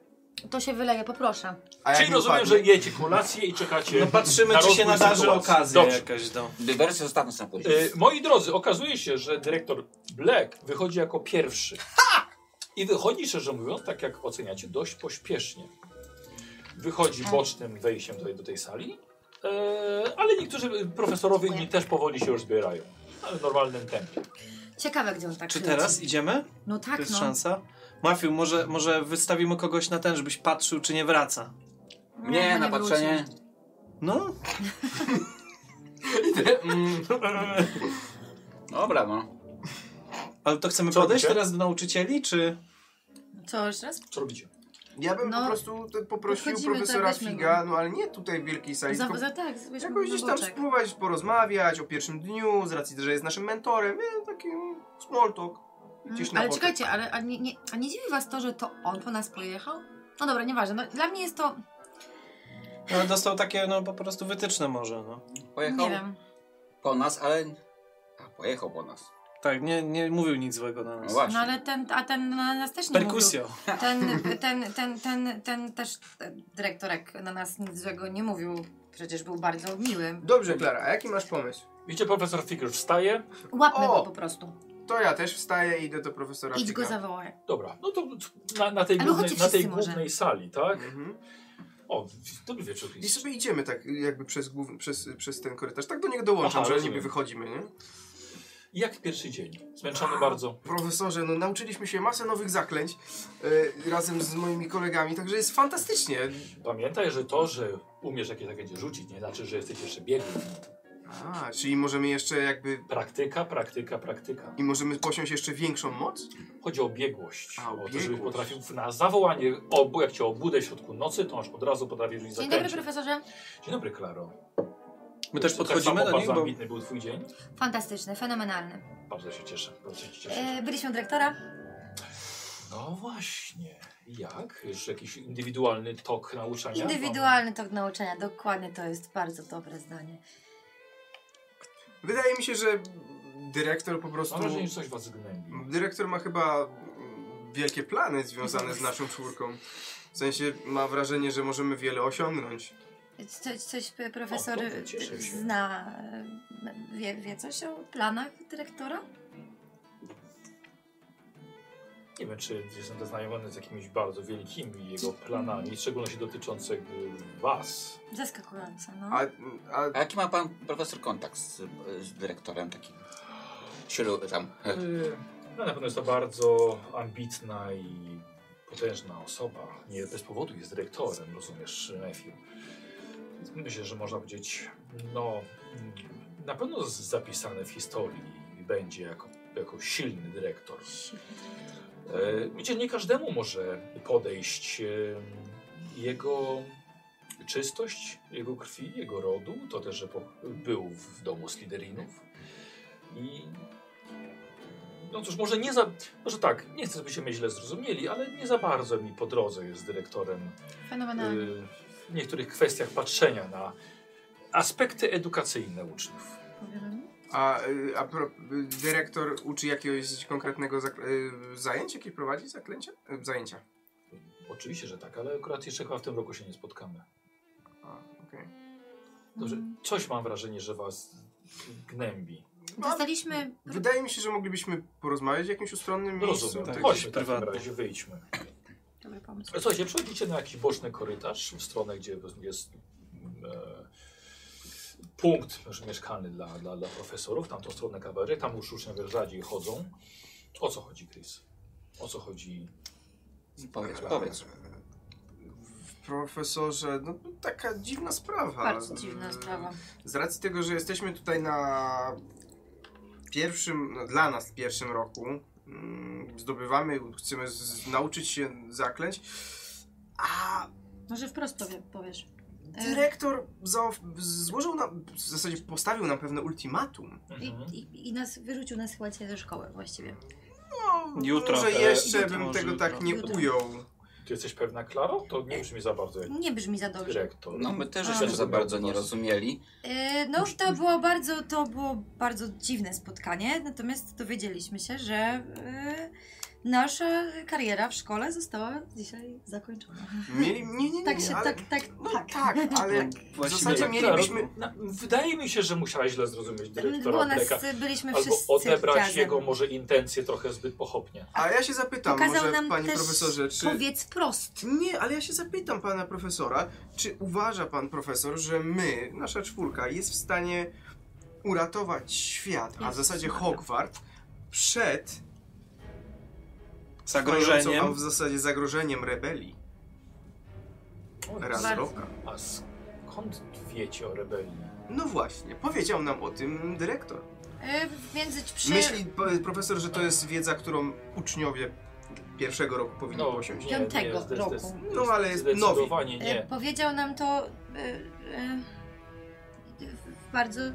Speaker 2: To się wyleje, poproszę.
Speaker 3: A jak
Speaker 1: Czyli
Speaker 3: mi
Speaker 1: rozumiem,
Speaker 3: upadnie?
Speaker 1: że jecie kolację i czekacie.
Speaker 5: No patrzymy,
Speaker 1: na
Speaker 5: czy się
Speaker 1: rozwój
Speaker 5: nadarzy
Speaker 1: sytuacji.
Speaker 5: okazja
Speaker 1: Dobrze.
Speaker 5: jakaś do...
Speaker 4: Dywersję zostawmy sobie na później.
Speaker 1: Y, moi drodzy, okazuje się, że dyrektor Black wychodzi jako pierwszy. I wychodzi, szczerze mówiąc, tak jak oceniacie, dość pośpiesznie. Wychodzi
Speaker 2: Tak.
Speaker 1: bocznym wejściem tutaj do tej sali, e, ale niektórzy profesorowie inni też powoli się już zbierają. Ale w normalnym tempie.
Speaker 2: Ciekawe, gdzie on tak
Speaker 5: Czy
Speaker 2: leci.
Speaker 5: teraz idziemy?
Speaker 2: No
Speaker 5: To
Speaker 2: tak,
Speaker 5: jest
Speaker 2: no.
Speaker 5: szansa? Mafiu, może, może wystawimy kogoś na ten, żebyś patrzył, czy nie wraca.
Speaker 2: No,
Speaker 4: Nie,
Speaker 2: no
Speaker 4: na patrzenie.
Speaker 2: wróci.
Speaker 5: No,
Speaker 4: Dobra, no.
Speaker 5: ale to chcemy
Speaker 1: Co
Speaker 5: podejść
Speaker 1: robicie?
Speaker 5: teraz do nauczycieli, czy...
Speaker 2: Co, jeszcze raz?
Speaker 1: Co robicie?
Speaker 3: Ja bym
Speaker 2: No,
Speaker 3: po prostu te- poprosił
Speaker 2: podchodzimy,
Speaker 3: profesora
Speaker 2: tak, weźmy go.
Speaker 3: Figa, no ale nie tutaj w wielkiej sali,
Speaker 2: Za,
Speaker 3: tylko
Speaker 2: za tak, weźmy
Speaker 3: jakoś
Speaker 2: go na
Speaker 3: gdzieś tam
Speaker 2: boczek.
Speaker 3: spróbować porozmawiać o pierwszym dniu, z racji, że jest naszym mentorem, nie, taki mm, small talk. Gdzieś
Speaker 2: Mm,
Speaker 3: na
Speaker 2: ale
Speaker 3: boku.
Speaker 2: czekajcie, ale a nie, nie, a nie dziwi was to, że to on po nas pojechał? No dobra, nieważne. No, dla mnie jest to.
Speaker 5: No, dostał takie, no po prostu wytyczne może, no.
Speaker 4: Pojechał
Speaker 2: Nie wiem.
Speaker 4: po nas, ale... A, pojechał po nas.
Speaker 5: Tak, nie, nie mówił nic złego na
Speaker 4: No
Speaker 5: nas.
Speaker 4: właśnie.
Speaker 2: No ale ten, a ten na nas też nie
Speaker 5: Perkusjo.
Speaker 2: mówił. Ten, ten, ten, ten, ten też e, dyrektorek na nas nic złego nie mówił. Przecież był bardzo miły.
Speaker 3: Dobrze, Klara, a jaki masz pomysł?
Speaker 1: Widzicie, profesor Fig już wstaje.
Speaker 2: Łapmy
Speaker 3: O!
Speaker 2: go po prostu.
Speaker 3: To ja też wstaję i idę do profesora
Speaker 2: Idź
Speaker 3: Figa.
Speaker 2: go zawołaj.
Speaker 1: Dobra, no to na, na tej,
Speaker 2: Albo
Speaker 1: głównej,
Speaker 2: chodźcie
Speaker 1: na tej
Speaker 2: wszyscy może.
Speaker 1: głównej sali, tak?
Speaker 3: Mhm.
Speaker 1: O, dobry wieczór.
Speaker 3: I sobie idziemy tak jakby przez, główny, przez, przez ten korytarz. Tak do niego dołączam,
Speaker 1: Aha,
Speaker 3: że
Speaker 1: rozumiem.
Speaker 3: niby wychodzimy, nie?
Speaker 1: Jak pierwszy dzień? Zmęczony bardzo.
Speaker 3: Profesorze, no nauczyliśmy się masę nowych zaklęć e, razem z moimi kolegami, także jest fantastycznie.
Speaker 1: Pamiętaj, że to, że umiesz jakieś zaklęcie rzucić, nie znaczy, że jesteś jeszcze biegły.
Speaker 3: A, czyli możemy jeszcze jakby...
Speaker 1: Praktyka, praktyka, praktyka.
Speaker 3: I możemy posiąść jeszcze większą moc?
Speaker 1: Chodzi o biegłość.
Speaker 3: A, o
Speaker 1: o to,
Speaker 3: biegłość.
Speaker 1: żebyś potrafił na zawołanie, obu, jak cię obudę w środku nocy, to aż od razu potrafisz rzucić
Speaker 2: Dzień dobry,
Speaker 1: zaklęcie.
Speaker 2: profesorze.
Speaker 1: Dzień dobry, Klaro.
Speaker 5: My też
Speaker 1: Tak
Speaker 5: podchodzimy
Speaker 1: samo
Speaker 5: do nich,
Speaker 1: bardzo
Speaker 5: bo...
Speaker 1: ambitny był twój dzień.
Speaker 2: Fantastyczny, fenomenalny.
Speaker 1: Bardzo się cieszę, bardzo się cieszę.
Speaker 2: E, byliśmy u dyrektora.
Speaker 1: No właśnie. Jak? Jeszcze jakiś indywidualny tok nauczania?
Speaker 2: Indywidualny tok nauczania, dokładnie to jest bardzo dobre zdanie.
Speaker 3: Wydaje mi się, że dyrektor po prostu...
Speaker 1: Mam wrażenie, że coś was gnębi.
Speaker 3: Dyrektor ma chyba mm, wielkie plany związane z naszą czwórką. W sensie ma wrażenie, że możemy wiele osiągnąć.
Speaker 2: Coś, coś p- profesor
Speaker 1: O, dobrze, cieszę się.
Speaker 2: zna, e, wie, wie coś o planach dyrektora?
Speaker 1: Nie wiem, czy jestem zaznajomiony z jakimiś bardzo wielkimi jego planami, w szczególności dotyczących y, was.
Speaker 2: Zaskakujące, no.
Speaker 3: A, a
Speaker 4: A jaki ma pan profesor kontakt z, z dyrektorem takim? Silu, tam.
Speaker 1: Y, No, na pewno jest to bardzo ambitna i potężna osoba. Nie bez powodu jest dyrektorem, rozumiesz, Nefiu. Myślę, że można powiedzieć, no, mm, na pewno z- zapisane w historii będzie jako, jako silny dyrektor. E, Wiecie, nie każdemu może podejść e, jego czystość, jego krwi, jego rodu, to też, że po, był w domu Sliderinów. I no cóż, może nie za. Może tak, nie chcę, żebyście mnie źle zrozumieli, ale nie za bardzo mi po drodze jest z dyrektorem
Speaker 3: No.
Speaker 2: Fenomenalnie.
Speaker 1: y, w niektórych kwestiach patrzenia na aspekty edukacyjne uczniów.
Speaker 2: Powiem.
Speaker 3: A, y, a pro, y, dyrektor uczy jakiegoś konkretnego zakl- y, zajęć, jakie prowadzi zaklęcia? Y, Zajęcia.
Speaker 1: Oczywiście, że tak, ale akurat jeszcze chyba w tym roku się nie spotkamy.
Speaker 3: A, okej. Mm.
Speaker 1: Dobrze, coś mam wrażenie, że was gnębi.
Speaker 6: Dostaliśmy...
Speaker 3: Wydaje mi się, że moglibyśmy porozmawiać w jakimś ustronnym miejscu.
Speaker 1: Rozumiem.
Speaker 3: Tak,
Speaker 1: Chodźmy w
Speaker 3: żeby-
Speaker 1: takim razie, wyjdźmy.
Speaker 6: Dobry pomysł.
Speaker 1: Słuchajcie, przechodzicie na jakiś boczny korytarz w stronę, gdzie jest e, punkt że mieszkalny dla, dla, dla profesorów, tamtą stronę kawery, tam już uczniowie rzadziej chodzą. O co chodzi, Chris? O co chodzi?
Speaker 4: Powiedz, powiedz.
Speaker 3: Tak. Profesorze, no taka dziwna sprawa.
Speaker 6: Bardzo dziwna sprawa.
Speaker 3: Z racji tego, że jesteśmy tutaj na pierwszym, no, dla nas pierwszym roku, mm, zdobywamy, chcemy z- z, nauczyć się zaklęć, a
Speaker 6: Może No, wprost powie, powiesz. E.
Speaker 3: dyrektor zaof- złożył nam, w zasadzie postawił nam pewne ultimatum.
Speaker 6: I,
Speaker 1: Mhm.
Speaker 6: i, I nas wyrzucił nas chyba dzisiaj ze szkoły właściwie.
Speaker 3: No,
Speaker 5: Jutro.
Speaker 3: może
Speaker 5: E,
Speaker 3: jeszcze
Speaker 5: jutro,
Speaker 3: bym
Speaker 5: może
Speaker 3: tego
Speaker 5: jutro.
Speaker 3: tak nie
Speaker 6: Jutro.
Speaker 3: ujął.
Speaker 1: Ty jesteś pewna, Klaro? To nie brzmi za bardzo jak
Speaker 6: Nie brzmi za dobrze.
Speaker 1: dyrektor.
Speaker 4: No my też
Speaker 6: A.
Speaker 4: żeśmy za bardzo nie rozumieli.
Speaker 6: E, No, to było bardzo, to było bardzo dziwne spotkanie, natomiast dowiedzieliśmy się, że e, nasza kariera w szkole została dzisiaj zakończona.
Speaker 3: Mieli, nie, nie, nie,
Speaker 6: Tak się,
Speaker 3: ale,
Speaker 6: tak, tak,
Speaker 3: No
Speaker 6: tak.
Speaker 3: tak, ale w
Speaker 5: Właściwie
Speaker 3: zasadzie
Speaker 6: Znaczy,
Speaker 5: tak,
Speaker 3: mielibyśmy...
Speaker 1: Na, wydaje mi się, że musiałeś źle zrozumieć
Speaker 6: Było
Speaker 1: dyrektora
Speaker 6: nas,
Speaker 1: Bleka.
Speaker 6: byliśmy
Speaker 1: Albo
Speaker 6: wszyscy
Speaker 1: odebrać
Speaker 6: razem.
Speaker 1: jego może intencje trochę zbyt pochopnie.
Speaker 3: A ja się zapytam,
Speaker 6: Pokazał
Speaker 3: może
Speaker 6: nam
Speaker 3: panie
Speaker 6: też,
Speaker 3: profesorze, czy...
Speaker 6: powiedz prost.
Speaker 3: Nie, ale ja się zapytam pana profesora, czy uważa pan profesor, że my, nasza czwórka, jest w stanie uratować świat, a w zasadzie Hogwart, przed trwającą, a
Speaker 5: Zagrożeniem.
Speaker 3: w zasadzie zagrożeniem rebelii raz
Speaker 6: Bardzo.
Speaker 3: roka.
Speaker 1: A skąd wiecie o rebelii?
Speaker 3: No właśnie, powiedział nam o tym dyrektor.
Speaker 6: E, Więc przy...
Speaker 3: Myśli po- profesor, że to jest wiedza, którą uczowie pierwszego roku powinni
Speaker 1: No,
Speaker 3: posiąść.
Speaker 1: nie,
Speaker 6: Piątego
Speaker 1: nie, zde-
Speaker 6: roku.
Speaker 1: zde-
Speaker 3: No, ale jest
Speaker 1: Zdecydowanie
Speaker 6: E,
Speaker 1: nie.
Speaker 6: Powiedział nam to e, e, w bardzo e,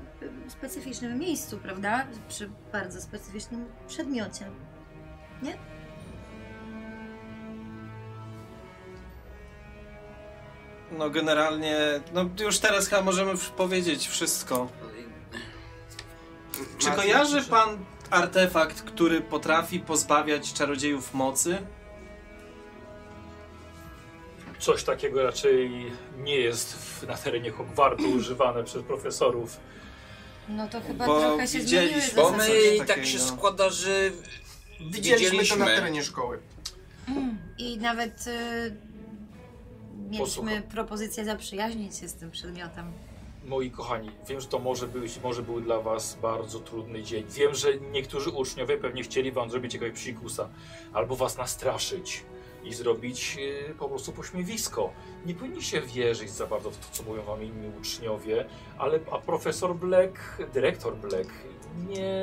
Speaker 6: specyficznym miejscu, prawda? Przy bardzo specyficznym przedmiocie.
Speaker 5: No generalnie, no już teraz chyba możemy w- powiedzieć wszystko. Czy
Speaker 3: Macie-
Speaker 5: kojarzy pan artefakt, który potrafi pozbawiać czarodziejów mocy?
Speaker 1: Coś takiego raczej nie jest w, na terenie Hogwartu używane przez profesorów.
Speaker 2: No to chyba
Speaker 5: Bo
Speaker 2: trochę się zmieniły
Speaker 5: widzieliśmy-
Speaker 4: Bo
Speaker 5: Coś
Speaker 4: my
Speaker 5: takiego.
Speaker 4: tak się składa, że
Speaker 3: Widzieliśmy, to na
Speaker 4: widzieliśmy.
Speaker 3: terenie szkoły.
Speaker 6: I nawet e, mieliśmy
Speaker 1: Posłucham.
Speaker 6: propozycję zaprzyjaźnić się z tym przedmiotem.
Speaker 1: Moi kochani, wiem, że to może był, może był dla was bardzo trudny dzień. Wiem, że niektórzy uczniowie pewnie chcieli wam zrobić jakiegoś psikusa albo was nastraszyć i zrobić e, po prostu pośmiewisko. Nie powinniście wierzyć za bardzo w to, co mówią wam inni uczniowie, ale a profesor Black, dyrektor Black nie,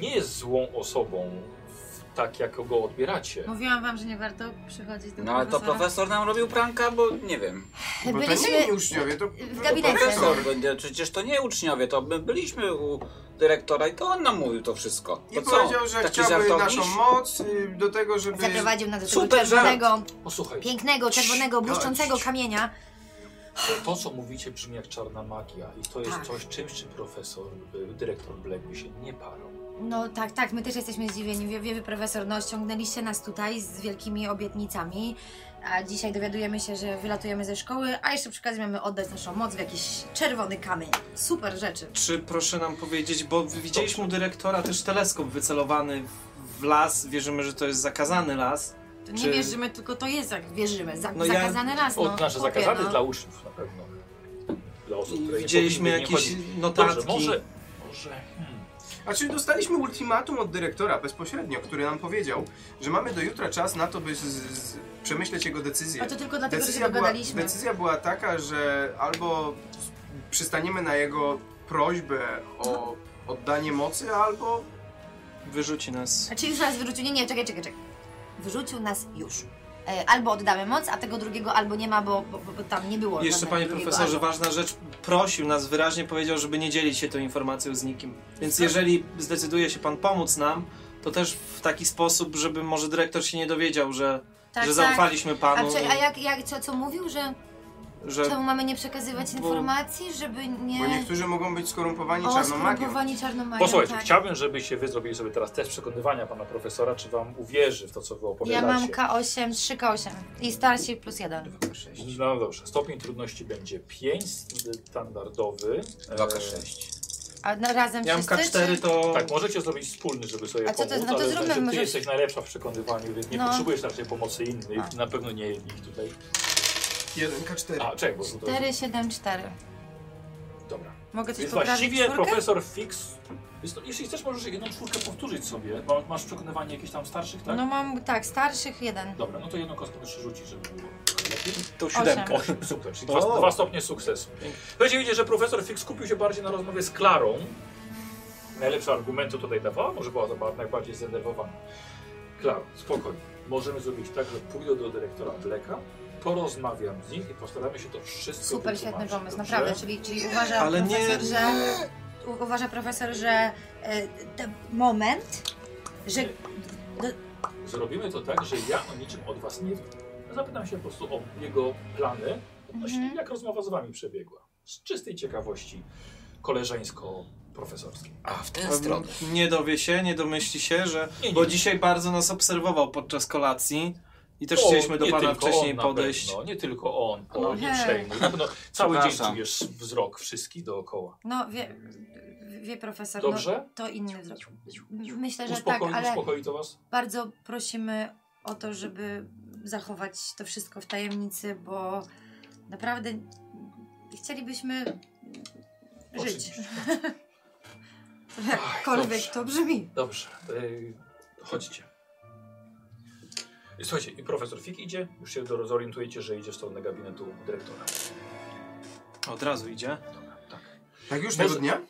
Speaker 1: nie jest złą osobą, w- tak jak go odbieracie.
Speaker 6: Mówiłam wam, że nie warto przychodzić do
Speaker 4: No ale to
Speaker 6: profesora.
Speaker 4: profesor nam robił pranka, bo nie wiem.
Speaker 3: Bo to nie
Speaker 2: Byliśmy-
Speaker 3: byli uczniowie, to...
Speaker 6: W
Speaker 3: to
Speaker 6: gabinecie.
Speaker 4: Profesor, będzie- przecież to nie uczniowie, to my byliśmy u dyrektora i to on nam mówił to wszystko.
Speaker 3: I
Speaker 4: To
Speaker 3: powiedział, że
Speaker 4: taki
Speaker 3: chciałby
Speaker 4: żartowniś?
Speaker 3: naszą moc y, do tego, żeby...
Speaker 2: Zaprowadził nas do tego
Speaker 4: Super żart.
Speaker 2: czerwonego,
Speaker 1: Posłuchaj,
Speaker 2: pięknego, czerwonego, błyszczącego kamienia.
Speaker 1: To, co mówicie, brzmi jak czarna magia i to jest
Speaker 2: Tak.
Speaker 1: coś, czymś czym profesor, y, dyrektor Black by się nie parał.
Speaker 2: No tak, tak, my też jesteśmy zdziwieni. Wie, wie profesor, no ściągnęliście nas tutaj z wielkimi obietnicami, a dzisiaj dowiadujemy się, że wylatujemy ze szkoły, a jeszcze przy okazji mamy oddać naszą moc w jakiś czerwony kamień. Super rzeczy.
Speaker 5: Czy proszę nam powiedzieć, bo widzieliśmy u dyrektora też teleskop wycelowany w- w las, wierzymy, że to jest zakazany las.
Speaker 2: To nie
Speaker 5: Czy-
Speaker 2: wierzymy, tylko to jest, jak wierzymy. Za,
Speaker 5: No ja-
Speaker 2: zakazany raz,
Speaker 1: O,
Speaker 2: no.
Speaker 1: znaczy
Speaker 2: chłopie,
Speaker 1: zakazany
Speaker 2: no.
Speaker 1: dla uczniów na pewno. Dla osób, które nie
Speaker 5: Widzieliśmy
Speaker 1: powinny
Speaker 5: jakieś
Speaker 1: nie chodzić.
Speaker 5: notatki.
Speaker 1: Dobrze, może... może hmm,
Speaker 3: A czyli dostaliśmy ultimatum od dyrektora bezpośrednio, który nam powiedział, że mamy do jutra czas na to, by z, z, przemyśleć jego decyzję.
Speaker 2: A to tylko dlatego, że się
Speaker 3: była,
Speaker 2: dogadaliśmy.
Speaker 3: decyzja była taka, że albo s- przystaniemy na jego prośbę o oddanie mocy, albo...
Speaker 5: Wyrzuci nas.
Speaker 2: A czy już nas wyrzucił? Nie, nie, czekaj, czekaj, czekaj. Wyrzucił nas już. E, Albo oddamy moc, a tego drugiego albo nie ma, bo, bo, bo tam nie było.
Speaker 5: Jeszcze
Speaker 2: żadnego
Speaker 5: panie
Speaker 2: drugiego
Speaker 5: profesorze, ważna rzecz, prosił nas wyraźnie, powiedział, żeby nie dzielić się tą informacją z nikim. Więc jeżeli zdecyduje się pan pomóc nam, to też w taki sposób, żeby może dyrektor się nie dowiedział, że,
Speaker 2: Tak,
Speaker 5: że
Speaker 2: tak.
Speaker 5: zaufaliśmy
Speaker 2: albo.
Speaker 5: panu.
Speaker 2: A, czy, a jak, jak co, co mówił, że
Speaker 5: że
Speaker 2: czemu mamy nie przekazywać
Speaker 5: Bo-
Speaker 2: informacji, żeby
Speaker 3: Bo
Speaker 2: nie...
Speaker 3: niektórzy mogą być skorumpowani
Speaker 2: O,
Speaker 3: czarną magią.
Speaker 2: skorumpowani czarną magią,
Speaker 1: Posłuchajcie,
Speaker 2: tak.
Speaker 1: chciałbym, żebyście wy zrobili sobie teraz test przekonywania pana profesora, czy wam uwierzy w to, co wy
Speaker 2: Ja
Speaker 1: opowiadacie.
Speaker 2: mam K8, 3K8 i starsi plus 1.
Speaker 1: No dobrze, stopień trudności będzie 5, standardowy.
Speaker 4: 2K6.
Speaker 2: A na razem
Speaker 5: Ja mam
Speaker 2: wszyscy,
Speaker 5: K4,
Speaker 2: czy-
Speaker 5: to...
Speaker 1: Tak, możecie zrobić wspólny, żeby sobie
Speaker 2: A co to
Speaker 1: pomóc,
Speaker 2: jest? No to
Speaker 1: ale
Speaker 2: zróbmy
Speaker 1: że ty
Speaker 2: może-
Speaker 1: jesteś najlepsza w przekonywaniu, więc nie
Speaker 2: No.
Speaker 1: potrzebujesz raczej pomocy innych,
Speaker 2: A.
Speaker 1: na pewno nie jednych tutaj.
Speaker 3: 1K4.
Speaker 1: A, czekaj, bo to...
Speaker 2: 4, 7, 4.
Speaker 1: Dobra.
Speaker 2: Mogę coś
Speaker 1: Więc
Speaker 2: poprawić
Speaker 1: właściwie
Speaker 2: czwórkę?
Speaker 1: profesor Fix... Jest to, jeśli chcesz, możesz jedną czwórkę powtórzyć sobie, bo masz przekonywanie jakichś tam starszych, tak?
Speaker 2: No mam, tak, starszych jeden.
Speaker 1: Dobra, no to jedną kostkę jeszcze rzucić, żeby było lepiej.
Speaker 5: To
Speaker 2: siódemka.
Speaker 1: Osiem, super, czyli dwa, dwa stopnie sukcesu. Będzie widzieć, że profesor Fix skupił się bardziej na rozmowie z Klarą. Najlepsze argumenty tutaj dawała, może była to najbardziej zdenerwowana. Klaro, spokojnie. Możemy zrobić tak, że pójdę do dyrektora Bleka, porozmawiam z nich i postaramy się to wszystko
Speaker 2: Super, świetny
Speaker 1: wytłumaczyć,
Speaker 2: pomysł,
Speaker 1: dobrze?
Speaker 2: naprawdę. Czyli, czyli uważa
Speaker 5: Ale nie-
Speaker 2: profesor, że... u- Uważa profesor, że
Speaker 6: E, ten moment, że
Speaker 1: Zrobimy to tak, że ja o niczym od was nie wiem. Zapytam się po prostu o jego plany odnośnie
Speaker 2: Mhm.
Speaker 1: jak rozmowa z wami przebiegła. Z czystej ciekawości koleżeńsko-profesorskiej.
Speaker 14: A, w tę
Speaker 5: Em,
Speaker 14: stronę.
Speaker 5: Nie dowie się, nie domyśli się, że.
Speaker 1: Nie, nie.
Speaker 5: Bo dzisiaj bardzo nas obserwował podczas kolacji i też
Speaker 1: O,
Speaker 5: chcieliśmy do
Speaker 1: nie
Speaker 5: pana
Speaker 1: tylko
Speaker 5: wcześniej
Speaker 1: on na
Speaker 5: podejść.
Speaker 1: Pewno, nie tylko on, o,
Speaker 6: No.
Speaker 1: nie przejmuj. Na pewno cały dzień
Speaker 4: Przepraszam.
Speaker 1: czujesz wzrok wszystkich dookoła.
Speaker 2: No wie, wie profesor,
Speaker 1: Dobrze?
Speaker 2: No, to inny zrobił. Myślę, że
Speaker 1: Uspokoi,
Speaker 2: tak, ale
Speaker 1: uspokoi to was?
Speaker 2: bardzo prosimy o to, żeby zachować to wszystko w tajemnicy, bo naprawdę chcielibyśmy żyć.
Speaker 1: Oczywiście.
Speaker 2: Jakkolwiek
Speaker 1: Dobrze.
Speaker 2: to brzmi.
Speaker 1: Dobrze, yy, chodźcie. Słuchajcie, i profesor Fik idzie, już się do- zorientujecie, że idzie w stronę gabinetu dyrektora.
Speaker 5: Od razu idzie.
Speaker 3: Tak już
Speaker 1: Może-
Speaker 3: tego dnia?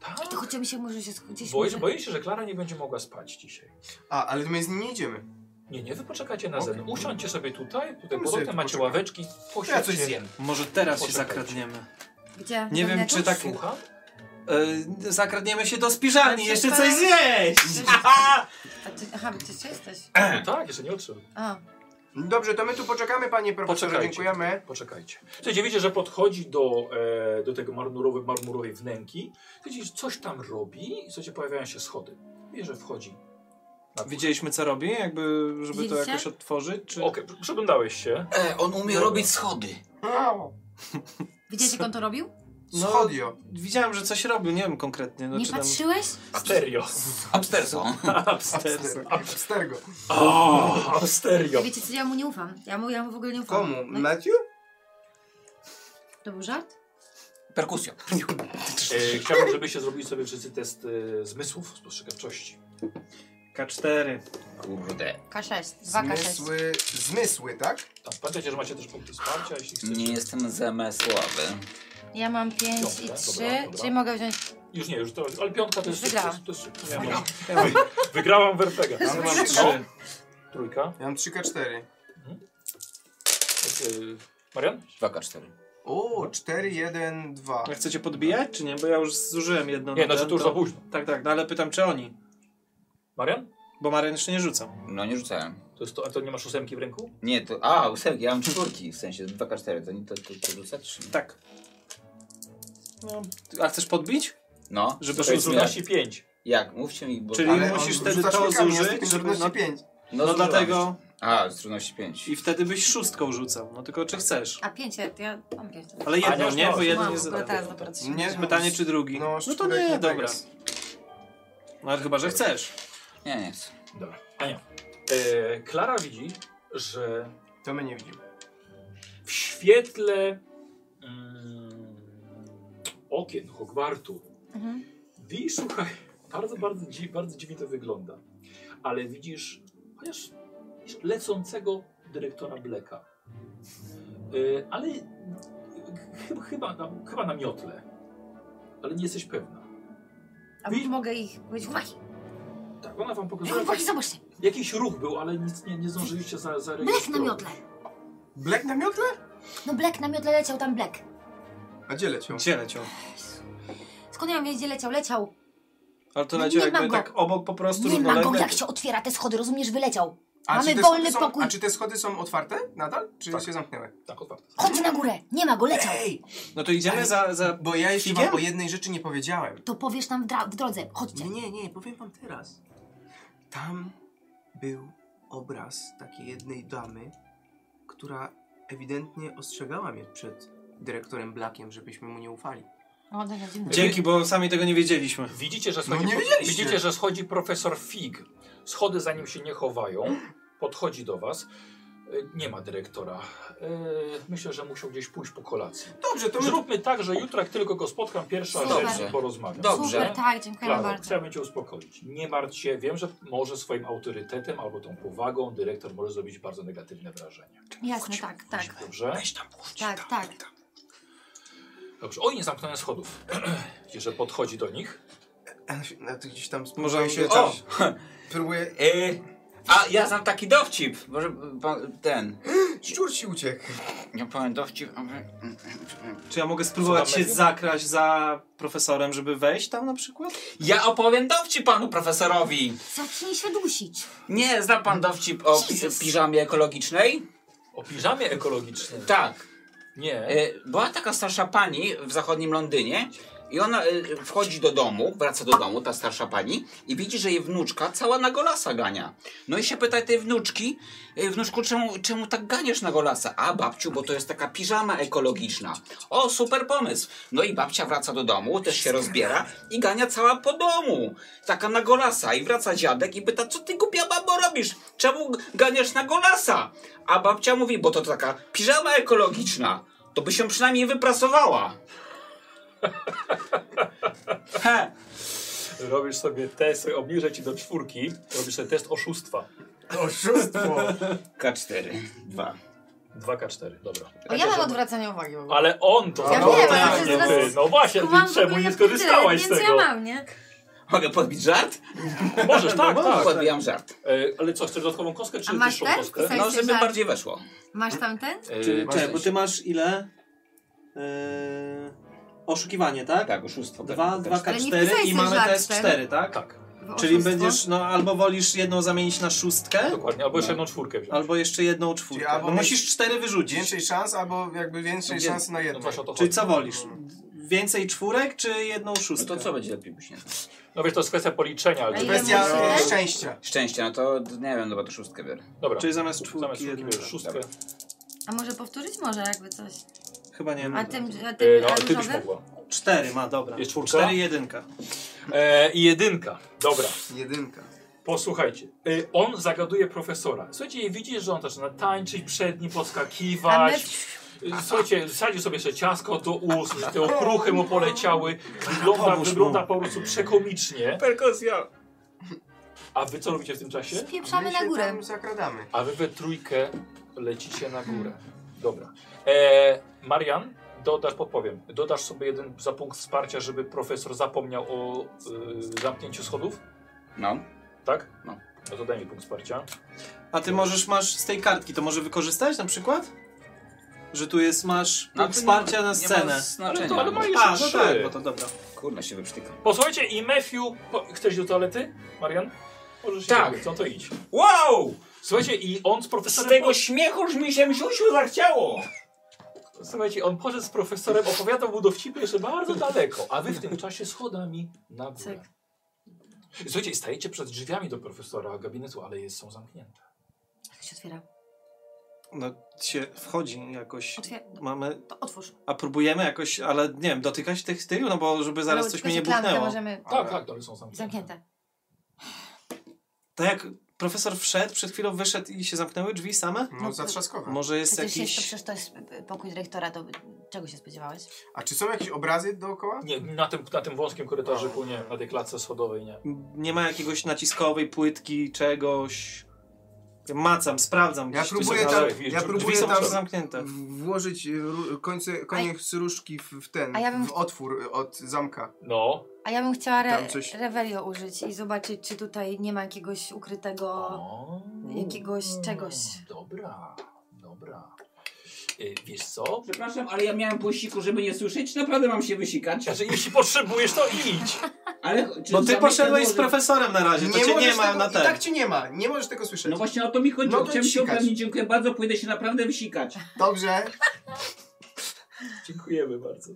Speaker 1: Tak,
Speaker 2: To chociaż się może się skudzić.
Speaker 1: boję, boję się, że Klara nie będzie mogła spać dzisiaj.
Speaker 3: A, ale my z nim nie idziemy.
Speaker 1: Nie, nie, wy poczekajcie na zen.
Speaker 3: Okej. No,
Speaker 1: Usiądźcie sobie tutaj, tutaj
Speaker 3: My
Speaker 1: pod
Speaker 3: sobie
Speaker 1: oknem
Speaker 3: tu
Speaker 1: macie
Speaker 3: poczekamy.
Speaker 1: ławeczki,
Speaker 3: Ja coś
Speaker 1: posiedźcie.
Speaker 3: zjem.
Speaker 5: Może teraz się
Speaker 1: Poczekajcie.
Speaker 5: zakradniemy.
Speaker 2: Gdzie?
Speaker 5: Nie
Speaker 2: Do
Speaker 5: wiem,
Speaker 2: mleku?
Speaker 5: czy tak.
Speaker 1: Słucham?
Speaker 5: E, zakradniemy się do spiżarni,
Speaker 2: Ale
Speaker 5: jeszcze
Speaker 2: przecież
Speaker 5: coś
Speaker 2: pan-
Speaker 5: zjeść!
Speaker 2: A ty, aha, ty jeszcze jesteś.
Speaker 1: No tak, jeszcze nie odszedł.
Speaker 2: A,
Speaker 3: Dobrze, to my tu poczekamy, panie profesorze.
Speaker 1: Poczekajcie.
Speaker 3: Dziękujemy.
Speaker 1: Poczekajcie. Słuchajcie, wiecie, że podchodzi do, e, do tego marmurowej, marmurowej wnęki. Widzicie, że coś tam robi i słuchajcie, pojawiają się schody. Wiecie, że wchodzi. na górę.
Speaker 5: Widzieliśmy co robi, jakby, żeby to
Speaker 2: Widzieliście?
Speaker 5: jakoś odtworzyć, czy...
Speaker 1: Okej, pr- przyglądałeś się.
Speaker 14: E, on umie
Speaker 1: Dobra.
Speaker 14: robić schody.
Speaker 5: No.
Speaker 2: widziałeś jak on to robił?
Speaker 3: Schodio.
Speaker 5: Widziałem, że coś robił, nie wiem konkretnie. No,
Speaker 2: Nie
Speaker 5: czy tam...
Speaker 2: patrzyłeś?
Speaker 1: Absterio.
Speaker 14: Upsterso.
Speaker 5: Upstairs.
Speaker 3: Abstergo.
Speaker 1: O, absterio.
Speaker 2: Wiecie co, ja mu nie ufam. Ja mu, ja mu w ogóle nie ufam.
Speaker 3: Komu?
Speaker 2: No,
Speaker 3: Matthew?
Speaker 2: to był żart?
Speaker 14: Perkusją.
Speaker 1: E, chciałbym, żebyście zrobili sobie wszyscy test e, zmysłów, spostrzegawczości.
Speaker 5: K4.
Speaker 14: Kurde.
Speaker 2: K6, 2K6.
Speaker 3: Zmysły. Zmysły, tak?
Speaker 1: Tak, pamiętajcie, że macie też punkty wsparcia, jeśli chcecie.
Speaker 14: Nie jestem zamysłowy.
Speaker 2: Ja mam 5 i
Speaker 1: Piątka,
Speaker 2: 3,
Speaker 1: dobra, dobra.
Speaker 2: czyli mogę wziąć.
Speaker 1: Już nie, już to, ale piątka to jest
Speaker 2: Wygrałam.
Speaker 1: sukces, To jest, sukces. ja mam, wygrałam Werfega.
Speaker 3: Ja mam
Speaker 5: Mam
Speaker 3: trzy.
Speaker 5: trzy.
Speaker 1: tak? Trójka.
Speaker 3: Ja mam 3K4.
Speaker 1: Jest, e, Marian?
Speaker 14: 2K4.
Speaker 3: O, 4, 1, 2.
Speaker 5: A Chcecie podbijać, czy nie? Bo ja już zużyłem jedno.
Speaker 1: Nie,
Speaker 5: na
Speaker 1: znaczy
Speaker 5: ten,
Speaker 1: to już za późno.
Speaker 5: Tak, tak, no ale pytam, czy oni?
Speaker 1: Marian?
Speaker 5: Bo Marian jeszcze nie rzucał.
Speaker 14: No nie rzucałem.
Speaker 1: To jest to, a to nie masz ósemki w ręku?
Speaker 14: Nie, to... A, ósemki, ja mam czwórki. W sensie 2K4, to nie to, to, to rzuca trzy.
Speaker 5: Tak. No, a chcesz podbić?
Speaker 14: No.
Speaker 5: Żeby
Speaker 14: to
Speaker 1: To jest
Speaker 14: jest
Speaker 1: trudności 5.
Speaker 14: Jak? Mówcie mi, bo...
Speaker 5: Czyli
Speaker 14: Ale-
Speaker 3: on
Speaker 5: musisz
Speaker 3: rzuca
Speaker 5: wtedy to
Speaker 3: szóstkami, jest
Speaker 5: zużyć, żeby-
Speaker 3: 55.
Speaker 5: No,
Speaker 14: zużyłam
Speaker 5: dlatego...
Speaker 14: jeszcze. A, z trudności 5.
Speaker 5: I wtedy byś szóstką rzucał. No tylko czy chcesz?
Speaker 2: A 5, ja, ja mam 5.
Speaker 5: Ale
Speaker 1: A, nie,
Speaker 5: jedną,
Speaker 1: już
Speaker 5: nie?
Speaker 1: masz.
Speaker 5: Bo jedną
Speaker 2: Mam, tak.
Speaker 5: nie
Speaker 2: w ogóle
Speaker 5: zadałem.
Speaker 2: teraz dopiero trzy.
Speaker 3: Nie, no,
Speaker 5: Pytanie, czy drugi?
Speaker 3: no,
Speaker 5: No, to
Speaker 3: szczurek
Speaker 5: nie,
Speaker 3: nie
Speaker 5: dobra.
Speaker 3: jest.
Speaker 5: No ale chyba, że chcesz.
Speaker 14: Nie, nie chcę.
Speaker 1: Dobra. Ania. E, Klara widzi, że
Speaker 3: To my nie widzimy.
Speaker 1: w świetle mm, okien Hogwartu
Speaker 2: Mhm.
Speaker 1: widzisz, słuchaj, bardzo, bardzo, dzi- bardzo dziwnie to wygląda, ale widzisz, chociaż widzisz lecącego dyrektora Bleka, e, ale chyba, chyba, na, chyba na miotle, ale nie jesteś pewna.
Speaker 2: A
Speaker 1: Wi-
Speaker 2: mogę ich powiedzieć, uwagi,
Speaker 1: Tak, ona wam pokazuje,
Speaker 2: uwagi, zobaczcie,
Speaker 1: jakiś ruch był, ale nic nie, nie zdążyliście za,
Speaker 2: Black na
Speaker 1: zarejestrować.
Speaker 2: miotle.
Speaker 3: Black na miotle?
Speaker 2: No Black na miotle leciał tam Black.
Speaker 3: A gdzie leciał?
Speaker 5: Gdzie leciał?
Speaker 2: Skąd ja mam wiedzieć, gdzie leciał? Leciał.
Speaker 5: Ale to
Speaker 2: No,
Speaker 5: leciał
Speaker 2: nie
Speaker 5: jakby
Speaker 2: mam go.
Speaker 5: tak obok po prostu.
Speaker 2: Nie ma go,
Speaker 5: równolegle.
Speaker 2: jak się otwiera te schody, rozumiesz, wyleciał.
Speaker 3: A
Speaker 2: Mamy
Speaker 3: czy te
Speaker 2: wolny
Speaker 3: schody są,
Speaker 2: pokój.
Speaker 3: A czy te schody są otwarte nadal? Czy
Speaker 1: Tak.
Speaker 3: się zamknęły?
Speaker 1: Tak, otwarte.
Speaker 2: Chodź na górę, nie ma go, leciał.
Speaker 3: Ej!
Speaker 5: No to idziemy za... za...
Speaker 3: Bo ja jeszcze
Speaker 5: Figiem?
Speaker 3: wam o jednej rzeczy nie powiedziałem.
Speaker 2: To powiesz nam w, dra- w drodze, chodźcie.
Speaker 3: Nie, nie, nie, powiem wam teraz. Tam był obraz takiej jednej damy, która ewidentnie ostrzegała mnie przed dyrektorem Blackiem, żebyśmy mu nie ufali.
Speaker 2: No,
Speaker 6: O, dobra, dziękuję.
Speaker 5: Dzięki, bo sami tego nie wiedzieliśmy.
Speaker 1: Widzicie, że schodzi,
Speaker 5: nie
Speaker 1: pro-
Speaker 5: wiedzieliście.
Speaker 1: widzicie, że schodzi profesor Fig. Schody za nim się nie chowają. Podchodzi do was. Y, Nie ma dyrektora. Y, Myślę, że musiał gdzieś pójść po kolacji.
Speaker 10: Dobrze, to my-
Speaker 1: Zróbmy tak, że jutro, jak tylko go spotkam, pierwsza
Speaker 6: Super.
Speaker 1: rzecz porozmawiam.
Speaker 6: Dobrze. Super, tak, dziękujemy bardzo.
Speaker 1: Trzeba będzie uspokoić. Nie martw się, wiem, że może swoim autorytetem albo tą powagą dyrektor może zrobić bardzo negatywne wrażenie.
Speaker 6: Jasne, tak, tak.
Speaker 1: Dobrze?
Speaker 6: Tak, tak.
Speaker 1: Dobrze. O, nie zamknąłem schodów. Widzicie, że podchodzi do nich.
Speaker 10: No to gdzieś tam
Speaker 1: Może się
Speaker 10: O!
Speaker 1: coś-
Speaker 10: Próbuję...
Speaker 4: E, a ja znam taki dowcip. Może pan, ten.
Speaker 10: Szczur ci uciekł.
Speaker 4: Ja powiem dowcip, ale...
Speaker 5: Czy ja mogę spróbować
Speaker 4: Co tam
Speaker 5: się
Speaker 4: będzie?
Speaker 5: zakraść za profesorem, żeby wejść tam na przykład?
Speaker 4: Ja opowiem dowcip panu profesorowi.
Speaker 6: Zacznij się dusić.
Speaker 4: Nie, zna pan dowcip o pi piżamie ekologicznej?
Speaker 1: O piżamie ekologicznej?
Speaker 4: Tak.
Speaker 1: Nie.
Speaker 4: E, Była taka starsza pani w zachodnim Londynie i ona e, wchodzi do domu, wraca do domu, ta starsza pani i widzi, że jej wnuczka cała na golasa gania. No i się pyta tej wnuczki, e, wnuczku, czemu, czemu tak ganiesz na golasa? A babciu, bo to jest taka piżama ekologiczna. O, super pomysł. No i babcia wraca do domu, też się rozbiera i gania cała po domu. Taka na golasa i wraca dziadek i pyta, co ty głupia babo robisz? Czemu g- ganiasz na golasa? A babcia mówi, bo to taka piżama ekologiczna. To by się przynajmniej wyprasowała. He.
Speaker 1: Robisz sobie test, obniżę ci do czwórki. Robisz sobie test oszustwa.
Speaker 10: Oszustwo!
Speaker 4: K4. 2.
Speaker 1: 2K4, dobra.
Speaker 2: O, ja mam odwracanie uwagi w ogóle.
Speaker 1: Ale on to
Speaker 2: Ja
Speaker 1: zrobił,
Speaker 2: wiem,
Speaker 1: tak,
Speaker 2: ale
Speaker 1: nie
Speaker 2: to jest
Speaker 1: ty.
Speaker 2: zaraz-
Speaker 1: No właśnie, ty
Speaker 2: Kumam w
Speaker 1: czemu
Speaker 2: ogóle
Speaker 1: nie
Speaker 2: jak tyle,
Speaker 1: skorzystałaś z
Speaker 6: Więc
Speaker 1: tego?
Speaker 6: ja mam, nie?
Speaker 4: Mogę podbić żart?
Speaker 1: Możesz, tak,
Speaker 4: No,
Speaker 1: tak.
Speaker 4: Podbijam żart.
Speaker 1: E, ale co, chcesz dodatkową kostkę, czy
Speaker 2: A masz
Speaker 1: wyższą
Speaker 2: ten?
Speaker 1: kostkę? E,
Speaker 4: No,
Speaker 2: Pisałeś sobie
Speaker 4: żeby
Speaker 2: żart?
Speaker 4: bardziej weszło.
Speaker 2: Masz tamten?
Speaker 5: Ty,
Speaker 1: masz
Speaker 5: czekaj,
Speaker 1: coś.
Speaker 5: bo ty masz ile? Eee, oszukiwanie, tak?
Speaker 4: Tak, oszustwo.
Speaker 5: Dwa,
Speaker 4: tak,
Speaker 5: dwa
Speaker 4: tak.
Speaker 2: Ale nie
Speaker 5: K4 i
Speaker 2: pisałeś sobie
Speaker 5: mamy
Speaker 2: żartem.
Speaker 5: test 4, tak?
Speaker 1: Tak.
Speaker 5: Czyli
Speaker 2: oszustwo?
Speaker 5: będziesz, no albo wolisz jedną zamienić na szóstkę,
Speaker 1: Dokładnie, albo jeszcze
Speaker 5: No.
Speaker 1: jedną czwórkę wziąć.
Speaker 5: albo jeszcze jedną czwórkę.
Speaker 10: Czyli albo
Speaker 5: Bo
Speaker 10: mieć-
Speaker 5: musisz cztery wyrzucić.
Speaker 10: Więcej szans, albo jakby więcej
Speaker 1: No,
Speaker 10: szans na
Speaker 1: No
Speaker 10: jedno.
Speaker 1: właśnie o to
Speaker 5: Czyli
Speaker 1: chodzi.
Speaker 5: co wolisz? Więcej czwórek, czy jedną
Speaker 4: No
Speaker 5: szóstkę?
Speaker 4: to co będzie lepiej później?
Speaker 1: No wiesz, to jest kwestia policzenia, ale...
Speaker 6: A ile
Speaker 10: Kwestia
Speaker 6: musi
Speaker 10: e,
Speaker 6: być?
Speaker 10: szczęścia.
Speaker 4: Szczęście, no to nie wiem, dobra, to szóstkę biorę.
Speaker 1: Dobra,
Speaker 5: Czyli zamiast
Speaker 1: zamiast
Speaker 5: czwórki
Speaker 1: czwórki
Speaker 5: jedną.
Speaker 1: bierzesz szóstkę.
Speaker 6: A może powtórzyć może jakby coś?
Speaker 5: Chyba nie
Speaker 6: A
Speaker 5: wiem.
Speaker 6: tym, a tym
Speaker 1: E, no,
Speaker 6: a
Speaker 1: ale ty byś
Speaker 6: różowym?
Speaker 1: mogła.
Speaker 5: Cztery ma, dobra.
Speaker 1: Jest czwórka?
Speaker 5: Cztery jedynka.
Speaker 1: E, I jedynka, dobra.
Speaker 10: Jedynka.
Speaker 1: Posłuchajcie, y, on zagaduje profesora. Słuchajcie, i widzisz, że on zaczyna tańczyć przed nim,
Speaker 2: A
Speaker 1: podskakiwać.
Speaker 2: my...
Speaker 1: Y, Słuchajcie, wsadził sobie jeszcze ciasko do ust, że te okruchy mu poleciały. Wygląda,
Speaker 5: pomóż mu.
Speaker 1: wygląda po prostu przekomicznie.
Speaker 4: Perkusja!
Speaker 1: A wy co robicie w tym czasie?
Speaker 2: Spieprzamy
Speaker 10: My się
Speaker 2: na górę.
Speaker 3: No,
Speaker 10: tam zakradamy.
Speaker 1: A wy we trójkę lecicie na górę. Dobra. E, Marian, dodasz, podpowiem, dodasz sobie jeden za punkt wsparcia, żeby profesor zapomniał o y, zamknięciu schodów,
Speaker 4: No.
Speaker 1: tak?
Speaker 4: No.
Speaker 1: No to daj mi punkt wsparcia.
Speaker 5: A ty możesz, masz z tej kartki, to może wykorzystać na przykład? Że tu jest, masz
Speaker 4: No to
Speaker 5: punkt wsparcia
Speaker 4: nie ma-
Speaker 5: na
Speaker 4: nie ma
Speaker 5: scenę.
Speaker 1: Ale,
Speaker 4: Znaczenia.
Speaker 1: to, ale ma jeszcze
Speaker 5: A, no
Speaker 1: trzy.
Speaker 5: tak, bo to dobra.
Speaker 4: Kurna się wyprztyka.
Speaker 1: Posłuchajcie, i Matthew. Po, chcesz do toalety, Marian? Możesz
Speaker 4: Tak.
Speaker 1: iść, no to idź.
Speaker 4: Wow!
Speaker 1: Słuchajcie, i on z
Speaker 4: Z
Speaker 1: profesorem.
Speaker 4: tego śmiechu już mi się siusiu zachciało!
Speaker 1: po- Słuchajcie, on poszedł z profesorem, opowiadał mu dowcipy jeszcze bardzo daleko, a wy w tym czasie schodami na górę. Słuchajcie, stajecie przed drzwiami do profesora gabinetu, ale jest, są zamknięte.
Speaker 6: Jak się otwiera?
Speaker 5: No się wchodzi jakoś.
Speaker 6: Otwier-
Speaker 5: Mamy.
Speaker 6: To otwórz.
Speaker 5: A próbujemy jakoś, ale nie wiem, dotykać tych tył, no bo żeby zaraz
Speaker 2: Ale
Speaker 5: coś
Speaker 2: tylko
Speaker 5: mnie nie
Speaker 2: się klamkę
Speaker 5: buchnęło.
Speaker 2: możemy...
Speaker 1: Tak, tak, to są zamknięte.
Speaker 6: Zamknięte.
Speaker 5: Tak jak profesor wszedł, przed chwilą wyszedł i się zamknęły drzwi same?
Speaker 10: No zatrzaskowe.
Speaker 5: Może jest
Speaker 2: Przecież jest to,
Speaker 5: jakiś.
Speaker 2: przecież to jest y, pokój dyrektora, to czego się spodziewałeś?
Speaker 10: A czy są jakieś obrazy dookoła?
Speaker 1: Nie, na tym, na tym wąskim korytarzyku nie, na tej klatce schodowej nie.
Speaker 5: Nie ma jakiegoś naciskowej płytki, czegoś. Ja Macam, sprawdzam.
Speaker 10: Ja
Speaker 5: gdzieś tu
Speaker 10: próbuję
Speaker 5: są-
Speaker 10: tam,
Speaker 1: ale wiesz,
Speaker 10: ja
Speaker 1: drzwi
Speaker 5: Drzwi
Speaker 10: próbuję
Speaker 5: są Tak.
Speaker 10: tam
Speaker 5: tam zamknięte.
Speaker 10: włożyć e, ru- końce, koniec różdżki w, w ten,
Speaker 2: A ja bym-
Speaker 10: w otwór e, od zamka.
Speaker 1: No.
Speaker 2: A ja bym chciała re
Speaker 10: Tam coś-
Speaker 2: Revelio użyć i zobaczyć, czy tutaj nie ma jakiegoś ukrytego...
Speaker 1: O,
Speaker 2: jakiegoś czegoś.
Speaker 1: Dobra, dobra. Y, Wiesz co?
Speaker 4: Przepraszam, ale ja miałem po siku, żeby nie słyszeć. Naprawdę mam się wysikać.
Speaker 1: Znaczy, jeśli potrzebujesz, to idź.
Speaker 4: Ale czy
Speaker 5: Bo ty
Speaker 4: zamykam
Speaker 5: poszedłeś
Speaker 4: może-
Speaker 5: z profesorem na razie, to cię nie
Speaker 10: możesz
Speaker 5: ma
Speaker 10: tego,
Speaker 5: na
Speaker 10: I
Speaker 5: ten.
Speaker 10: tak cię nie ma, nie możesz tego słyszeć.
Speaker 4: No właśnie o to mi chodziło.
Speaker 10: No to
Speaker 4: Chciałem się
Speaker 10: sikać.
Speaker 4: upewnić. Dziękuję bardzo. Pójdę się naprawdę wysikać.
Speaker 10: Dobrze,
Speaker 1: Dziękujemy bardzo.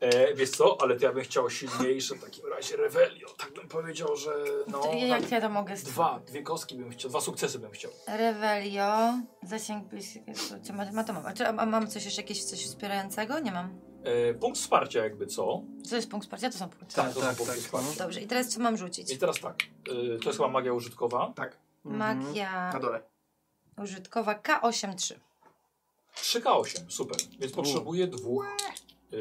Speaker 1: E, wiesz co, ale to ja bym chciał silniejsze w takim razie Revelio. Tak bym powiedział, że no.
Speaker 2: To
Speaker 1: na-
Speaker 2: Jak ja to mogę... z-
Speaker 1: Dwa, dwie kostki bym chciał, dwa sukcesy bym chciał.
Speaker 2: Revelio, zasięg... blis- co- co ma- ma to mowa? Czy a- a mam coś jeszcze, jakieś coś wspierającego? Nie mam.
Speaker 1: E, punkt wsparcia jakby co?
Speaker 2: Co jest punkt wsparcia? To są punkty.
Speaker 1: Tak, to są punkty wsparcia.
Speaker 2: Dobrze, i teraz co mam rzucić?
Speaker 1: I teraz tak, e, to jest chyba magia użytkowa.
Speaker 3: Tak.
Speaker 2: Magia
Speaker 3: Na dole.
Speaker 2: użytkowa K83.
Speaker 1: 3K8, super. Więc potrzebuję dwóch e,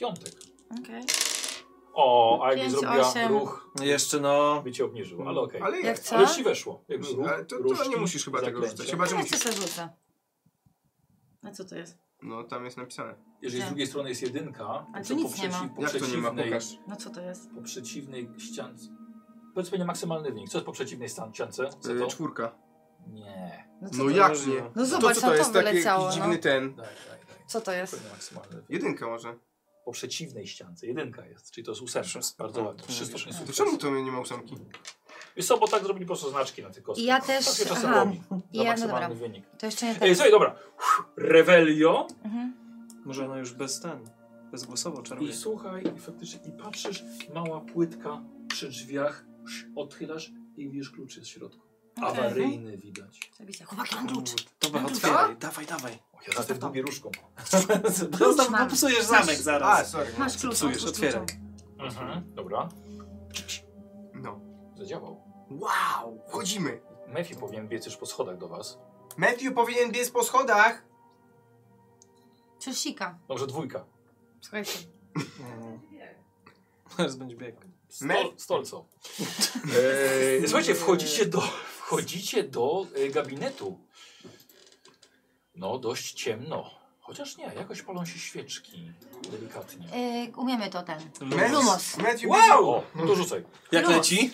Speaker 1: piątek.
Speaker 2: Okej.
Speaker 1: O, a jakby
Speaker 2: Pięć,
Speaker 1: zrobiła
Speaker 2: osiem.
Speaker 1: ruch,
Speaker 5: Jeszcze no.
Speaker 1: by cię obniżył, ale okej.
Speaker 3: Mm, Ale
Speaker 2: Jak
Speaker 3: jest.
Speaker 2: co?
Speaker 1: Ale ci weszło. Jakby ruch,
Speaker 3: Ale to, to
Speaker 1: ruszki,
Speaker 3: nie musisz chyba tego
Speaker 1: zaklęcie.
Speaker 3: rzucać. Chyba, że
Speaker 2: Teraz co
Speaker 3: musisz.
Speaker 2: sobie rzucę? A co to jest?
Speaker 3: No tam jest napisane.
Speaker 1: Jeżeli z
Speaker 2: Nie.
Speaker 1: drugiej strony jest jedynka,
Speaker 2: Ale
Speaker 1: to
Speaker 2: tu
Speaker 1: po,
Speaker 2: nic nie ma.
Speaker 1: przeci- po
Speaker 3: Jak to nie ma?
Speaker 1: przeciwnej,
Speaker 3: Pokaż.
Speaker 2: No co to jest?
Speaker 1: po przeciwnej ściance. Powiedz pewnie maksymalny wynik. Co jest po przeciwnej ściance? Co
Speaker 3: Y,
Speaker 1: to?
Speaker 3: czwórka.
Speaker 1: Nie.
Speaker 2: co
Speaker 3: No
Speaker 2: to-
Speaker 3: jak nie?
Speaker 2: No
Speaker 3: To
Speaker 2: zobacz,
Speaker 3: co
Speaker 2: no
Speaker 3: to
Speaker 2: to
Speaker 3: jest taki
Speaker 2: wyleciało,
Speaker 3: jakiś dziwny
Speaker 2: no.
Speaker 3: ten.
Speaker 1: Daj, daj, daj.
Speaker 2: Co to jest?
Speaker 1: Pewnie maksymalny wynik.
Speaker 3: Jedynka może.
Speaker 1: Po przeciwnej ściance. Jedynka jest, czyli to jest ósemka. Bardzo ładnie. Trzy stopnie
Speaker 3: To
Speaker 1: sukcesu.
Speaker 3: czemu to nie ma ósemki?
Speaker 1: Wiesz co, bo tak zrobili po prostu znaczki na tych
Speaker 2: I
Speaker 1: kostkach.
Speaker 2: ja
Speaker 1: Tak się
Speaker 2: też...
Speaker 1: czasem
Speaker 2: Aha,
Speaker 1: robi.
Speaker 2: I ja-
Speaker 1: Na
Speaker 2: no
Speaker 1: maksymalny
Speaker 2: dobra.
Speaker 1: wynik.
Speaker 2: to jeszcze nie
Speaker 1: Ej,
Speaker 2: teraz.
Speaker 1: słuchaj, dobra. Revelio.
Speaker 2: Mhm.
Speaker 5: Może ona już bez ten, bezgłosowo czaruje.
Speaker 1: I słuchaj, i faktycznie, i patrzysz, mała płytka przy drzwiach, psz, otchylasz i widzisz klucz jest w środku. Awaryjny widać.
Speaker 2: Zabicie. Chłopaki, mam klucz.
Speaker 5: Dobra, otwieraj, dawaj, dawaj.
Speaker 1: O, ja za tym długie różką.
Speaker 5: Zostaw,
Speaker 2: mam.
Speaker 5: bo psujesz zamek
Speaker 3: A,
Speaker 5: zaraz.
Speaker 3: sorry. no.
Speaker 2: Masz klucz,
Speaker 5: Psujesz,
Speaker 2: otwórz
Speaker 5: otwieraj.
Speaker 2: kluczem.
Speaker 1: Mhm. Dobra,
Speaker 3: No.
Speaker 1: zadziałał.
Speaker 3: Wow! Wchodzimy!
Speaker 1: Mefi powinien biec już po schodach do was.
Speaker 3: Matthew powinien biec po schodach!
Speaker 2: Czy sika?
Speaker 1: Dobrze, dwójka.
Speaker 2: Słuchajcie.
Speaker 5: Mm. Teraz będzie bieg.
Speaker 1: Stol, stolco. Eee, słuchajcie, wchodzicie do, wchodzicie do e, gabinetu. No, dość ciemno. Chociaż nie, jakoś palą się świeczki. Delikatnie.
Speaker 2: Yy, umiemy to ten.
Speaker 3: Matthew, Matthew
Speaker 1: Wow! No to rzucaj.
Speaker 5: Jak leci?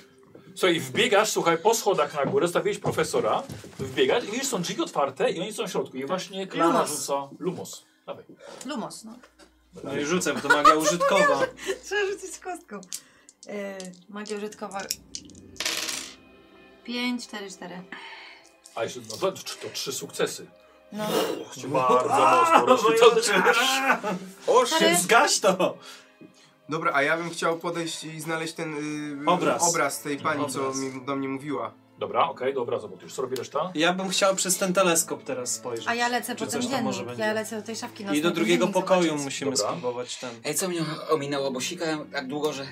Speaker 1: Słuchaj, wbiegasz, słuchaj, po schodach na górę, zostawiłeś profesora, wbiegasz i widzisz, są drzwi otwarte i oni są w środku. I właśnie Klara
Speaker 2: Lumos.
Speaker 1: rzuca Lumos. Dawaj.
Speaker 2: Lumos, no.
Speaker 5: No i rzucę, bo to magia użytkowa.
Speaker 2: Trzeba rzucić kostką. Yy, magia użytkowa. 5, 4, 4.
Speaker 1: A jeszcze, no to, to trzy sukcesy.
Speaker 2: No.
Speaker 1: Och, cię Bardzo mocno rozrzucone.
Speaker 2: Stary,
Speaker 5: Zgaś to!
Speaker 3: Dobra, a ja bym chciał podejść i znaleźć ten y,
Speaker 5: Obraz.
Speaker 3: obraz tej pani,
Speaker 5: Obraz.
Speaker 3: co mi, do mnie mówiła.
Speaker 1: Dobra, okej, dobra, zobacz, już co robi reszta?
Speaker 5: Ja bym chciał przez ten teleskop teraz spojrzeć.
Speaker 2: a ja lecę
Speaker 5: Czy
Speaker 2: po ten
Speaker 5: coś tam może
Speaker 2: dziennik.
Speaker 5: będzie?
Speaker 2: Ja lecę do tej szafki nocnej.
Speaker 5: I do
Speaker 2: ten
Speaker 5: drugiego
Speaker 2: dziennik
Speaker 5: pokoju
Speaker 2: zobaczyć.
Speaker 5: musimy
Speaker 1: Dobra.
Speaker 5: spróbować ten.
Speaker 4: Ej, co mnie ominęło, bo sikałem tak długo, że...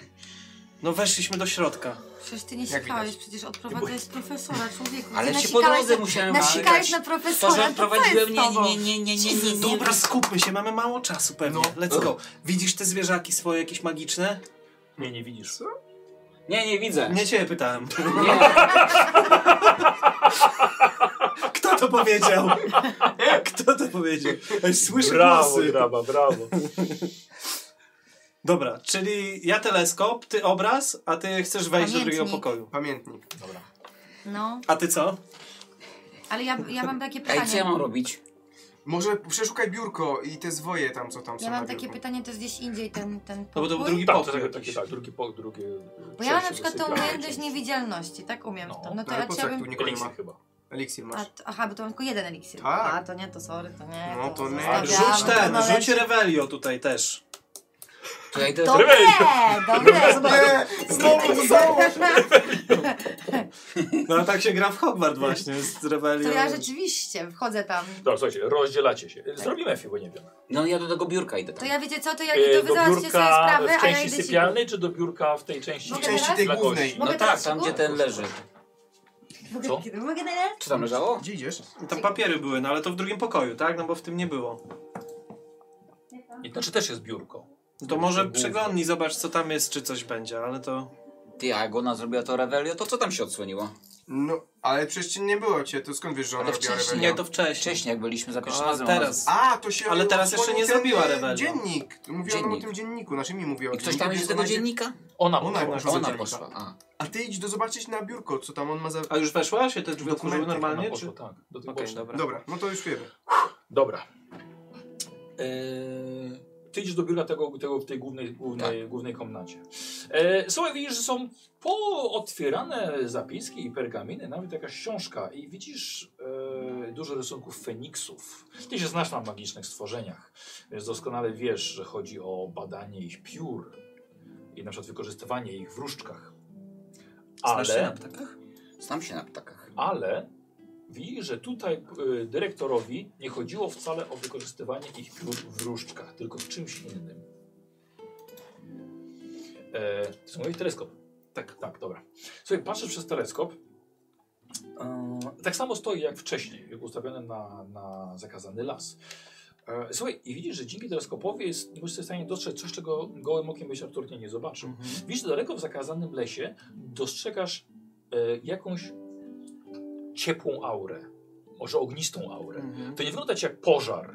Speaker 5: No weszliśmy do środka.
Speaker 2: Przecież ty nie
Speaker 3: Jak
Speaker 2: sikałeś,
Speaker 3: widać.
Speaker 2: przecież odprowadzałeś profesora, człowieku.
Speaker 4: Ale
Speaker 2: Ty
Speaker 4: się po
Speaker 2: nasikałeś
Speaker 4: drodze
Speaker 2: na-
Speaker 4: musiałem
Speaker 2: Nasikałeś
Speaker 4: walczyć.
Speaker 2: na
Speaker 4: To,
Speaker 2: profesora,
Speaker 4: że
Speaker 2: to co jest
Speaker 4: prowadziłem...
Speaker 2: z
Speaker 4: Nie, nie,
Speaker 2: tobą?
Speaker 4: nie, nie, nie, nie, nie.
Speaker 5: Dobra, skupmy się, mamy mało czasu pewnie.
Speaker 1: No.
Speaker 5: Let's go. Widzisz te zwierzaki swoje jakieś magiczne?
Speaker 1: Nie, nie widzisz.
Speaker 4: Nie, nie widzę.
Speaker 5: Nie ciebie pytałem.
Speaker 4: Nie.
Speaker 5: Kto to powiedział? Kto to powiedział? Ej, Słyszę
Speaker 1: Brawo,
Speaker 5: głosy.
Speaker 1: graba, brawo.
Speaker 5: Dobra, czyli ja teleskop, ty obraz, a ty chcesz wejść do drugiego
Speaker 2: Pamiętnik.
Speaker 5: pokoju.
Speaker 3: Pamiętnik.
Speaker 1: Dobra.
Speaker 2: No,
Speaker 5: A ty co?
Speaker 2: ale ja, ja mam takie pytanie.
Speaker 4: Ej, co ja mam robić?
Speaker 3: Może przeszukaj biurko i te zwoje tam, co tam są
Speaker 2: Ja mam
Speaker 3: na
Speaker 2: takie
Speaker 3: biurku.
Speaker 2: pytanie, to jest gdzieś indziej ten, ten
Speaker 5: No bo
Speaker 2: pokój?
Speaker 5: to był drugi
Speaker 1: Tak, to
Speaker 5: pokój.
Speaker 1: tak, taki,
Speaker 5: jakiś.
Speaker 1: tak, drugi po, drugie...
Speaker 2: Bo ja mam na przykład tą umiejętność niewidzialności, tak? Umiem
Speaker 1: No,
Speaker 2: to. No to
Speaker 3: Ale
Speaker 2: ja
Speaker 3: po co, jak
Speaker 2: chciałabym...
Speaker 3: tu nikogo nie
Speaker 1: Eliksir
Speaker 3: ma?
Speaker 1: chyba.
Speaker 3: Eliksir
Speaker 2: A,
Speaker 3: masz.
Speaker 2: t- aha, bo to mam tylko jeden eliksir.
Speaker 3: Tak.
Speaker 2: A, to nie, to sorry, to nie.
Speaker 3: No, to nie.
Speaker 2: zostawiamy,
Speaker 5: Rzuć ten,
Speaker 2: to
Speaker 5: rzuć
Speaker 2: należy-
Speaker 5: Revelio tutaj też.
Speaker 4: To ja idę...
Speaker 2: To nie, dobre,
Speaker 3: Nie! Znowu, znowu!
Speaker 5: No a tak się gra w Hogwarts właśnie, z Revelio.
Speaker 2: To ja rzeczywiście wchodzę tam.
Speaker 1: Dobra, słuchajcie, rozdzielacie się.
Speaker 2: Tak.
Speaker 1: Zrobimy Efi, bo nie wiem.
Speaker 4: No ja do tego biurka idę
Speaker 2: To
Speaker 4: tam.
Speaker 2: ja wiecie co, to ja
Speaker 1: E,
Speaker 2: Tak, to wy
Speaker 1: do
Speaker 2: załatwcie sobie
Speaker 1: biurka
Speaker 2: sprawę,
Speaker 1: w
Speaker 2: a ja
Speaker 1: części
Speaker 2: idę ci...
Speaker 1: sypialnej, czy do biurka w tej części...
Speaker 2: Mogę
Speaker 1: dla
Speaker 2: teraz?
Speaker 1: gości?
Speaker 3: Tej głównej.
Speaker 1: No,
Speaker 4: No
Speaker 2: Mogę
Speaker 4: tak,
Speaker 2: teraz
Speaker 4: tam gdzie
Speaker 2: szybko?
Speaker 4: ten leży.
Speaker 2: Mogę-
Speaker 1: Co?
Speaker 2: Mogę teraz?
Speaker 4: Co tam leżało?
Speaker 3: Gdzie idziesz?
Speaker 5: Tam papiery były, no ale to w drugim pokoju, tak? No bo w tym nie było.
Speaker 1: I to czy też jest biurko?
Speaker 5: No To może przeglądnij, zobacz co tam jest, czy coś będzie, ale to...
Speaker 4: Ty, jak ona zrobiła to Revelio, to co tam się odsłoniło?
Speaker 3: No, ale przecież nie było cię, to skąd wiesz, że ona
Speaker 4: Ale
Speaker 3: robiła
Speaker 4: wcześniej,
Speaker 3: rewelę?
Speaker 5: Nie, to wcześniej.
Speaker 4: Wcześniej jak byliśmy za pierwszym
Speaker 5: A
Speaker 4: razem.
Speaker 5: teraz.
Speaker 3: A, to się...
Speaker 5: Ale teraz jeszcze nie
Speaker 3: ten,
Speaker 5: zrobiła
Speaker 3: e,
Speaker 5: rewelii.
Speaker 3: Dziennik. Mówiła nam o
Speaker 4: Dziennik.
Speaker 3: tym dzienniku, znaczy mi mówiła o
Speaker 4: I ktoś
Speaker 3: dzienniku,
Speaker 4: tam jest
Speaker 3: więc
Speaker 4: do tego
Speaker 3: ona idzie-
Speaker 4: dziennika?
Speaker 1: Ona,
Speaker 3: Ona
Speaker 1: ona,
Speaker 3: poszła.
Speaker 1: ona,
Speaker 4: Ona
Speaker 3: dziennika.
Speaker 4: poszła. A.
Speaker 3: A ty idź do zobaczyć na biurko, co tam on ma za...
Speaker 5: A już weszła się te drzwi otworzyły
Speaker 3: Dokumenty,
Speaker 5: normalnie? Czy...
Speaker 1: poszła,
Speaker 5: Okej,
Speaker 1: tak. Do tych okay,
Speaker 5: dobra.
Speaker 3: Dobra, no to już wiemy.
Speaker 1: Dobra. Eee, ty idziesz do biura tego, tego w tej głównej, głównej, głównej komnacie. Eee, słuchaj, widzisz, że są pootwierane zapiski i pergaminy, nawet jakaś książka i widzisz eee, dużo rysunków feniksów. Ty się znasz na magicznych stworzeniach, więc doskonale wiesz, że chodzi o badanie ich piór i na przykład wykorzystywanie ich w różdżkach.
Speaker 5: Znasz się na
Speaker 1: Ale,
Speaker 5: ptakach?
Speaker 4: Znam się na ptakach.
Speaker 1: ale Widzisz, że tutaj y, dyrektorowi nie chodziło wcale o wykorzystywanie ich piór w różdżkach, tylko w czymś innym. E, to jest teleskop. Tak. Tak, dobra. Słuchaj, patrzysz przez teleskop. E, tak samo stoi jak wcześniej, jak ustawione na, na zakazany las. E, słuchaj, i widzisz, że dzięki teleskopowi jest, jesteś w stanie dostrzec coś, czego gołym okiem byś absolutnie nie zobaczył.
Speaker 5: Mhm.
Speaker 1: Widzisz, że daleko w zakazanym lesie dostrzegasz e, jakąś ciepłą aurę. Może ognistą aurę.
Speaker 2: Mhm.
Speaker 1: To nie wygląda ci jak pożar.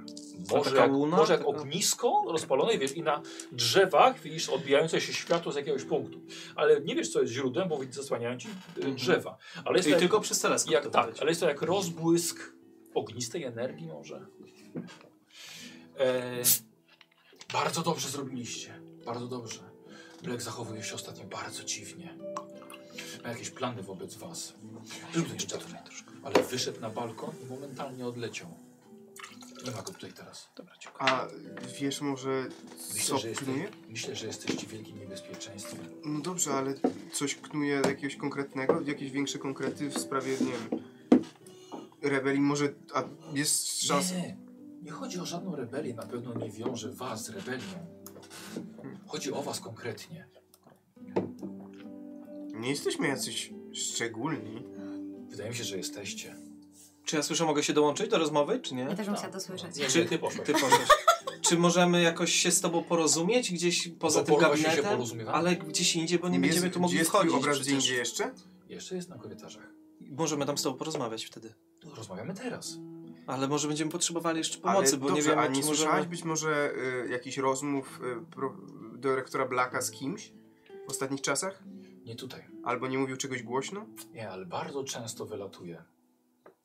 Speaker 1: Może
Speaker 5: taka
Speaker 1: jak,
Speaker 5: łuna?
Speaker 1: może jak
Speaker 5: Taka-
Speaker 1: ognisko rozpalone, wiesz, i na drzewach widzisz odbijające się światło z jakiegoś punktu. Ale nie wiesz, co jest źródłem, bo widzisz, zasłaniają ci e, drzewa. Ale jest
Speaker 5: Mhm. Czyli
Speaker 1: to jak,
Speaker 5: tylko przez teleskop.
Speaker 1: jak,
Speaker 5: to
Speaker 1: tak,
Speaker 5: widać.
Speaker 1: ale jest to jak rozbłysk ognistej energii może. E, bardzo dobrze zrobiliście. Bardzo dobrze. Black zachowuje się ostatnio bardzo dziwnie. Ma jakieś plany wobec was. Był tu jeszcze trochę, ale wyszedł na balkon i momentalnie odleciał. Nie ma go tutaj teraz. Dobra, dziękuję.
Speaker 3: A wiesz może co
Speaker 1: Myślę, że, jeste,
Speaker 3: knuje?
Speaker 1: myślę, że jesteście w wielkim niebezpieczeństwie.
Speaker 3: No dobrze, ale coś knuje jakiegoś konkretnego? Jakieś większe konkrety w sprawie, nie wiem, rebelii? Może a jest szansa...
Speaker 1: Nie, nie chodzi o żadną rebelię. Na pewno nie wiąże was z rebelią. Chodzi o was konkretnie.
Speaker 3: Nie jesteśmy jacyś szczególni.
Speaker 1: Wydaje mi się, że jesteście.
Speaker 5: Czy ja słyszę, mogę się dołączyć do rozmowy, czy nie?
Speaker 6: Ja też bym chciała dosłyszeć.
Speaker 1: Nie,
Speaker 5: Czy- Tak,
Speaker 1: nie, ty poszłeś.
Speaker 5: Ty poszłaś.
Speaker 2: tak-
Speaker 5: Czy możemy jakoś się z tobą porozumieć gdzieś poza
Speaker 1: No,
Speaker 5: tym
Speaker 1: porwa się, się
Speaker 5: gabinetem?
Speaker 1: porozumiewamy.
Speaker 5: ale gdzieś indziej, bo nie
Speaker 3: Jest-
Speaker 5: będziemy tu mogli
Speaker 3: gdzie jest twój
Speaker 5: wchodzić.
Speaker 3: obraz gdzie
Speaker 5: przecież.
Speaker 3: indziej jeszcze?
Speaker 1: Jeszcze jest na korytarzach.
Speaker 5: Możemy tam z tobą porozmawiać wtedy.
Speaker 1: Rozmawiamy teraz.
Speaker 5: Ale może będziemy potrzebowali jeszcze pomocy,
Speaker 3: ale
Speaker 5: bo
Speaker 3: dobrze,
Speaker 5: nie wiemy,
Speaker 3: a
Speaker 5: czy
Speaker 3: nie
Speaker 5: możemy...
Speaker 3: słyszałaś być może y, jakichś rozmów y, pro, dyrektora Blacka z kimś w ostatnich czasach?
Speaker 1: Nie tutaj.
Speaker 3: Albo nie mówił czegoś głośno?
Speaker 1: Nie, ale bardzo często wylatuje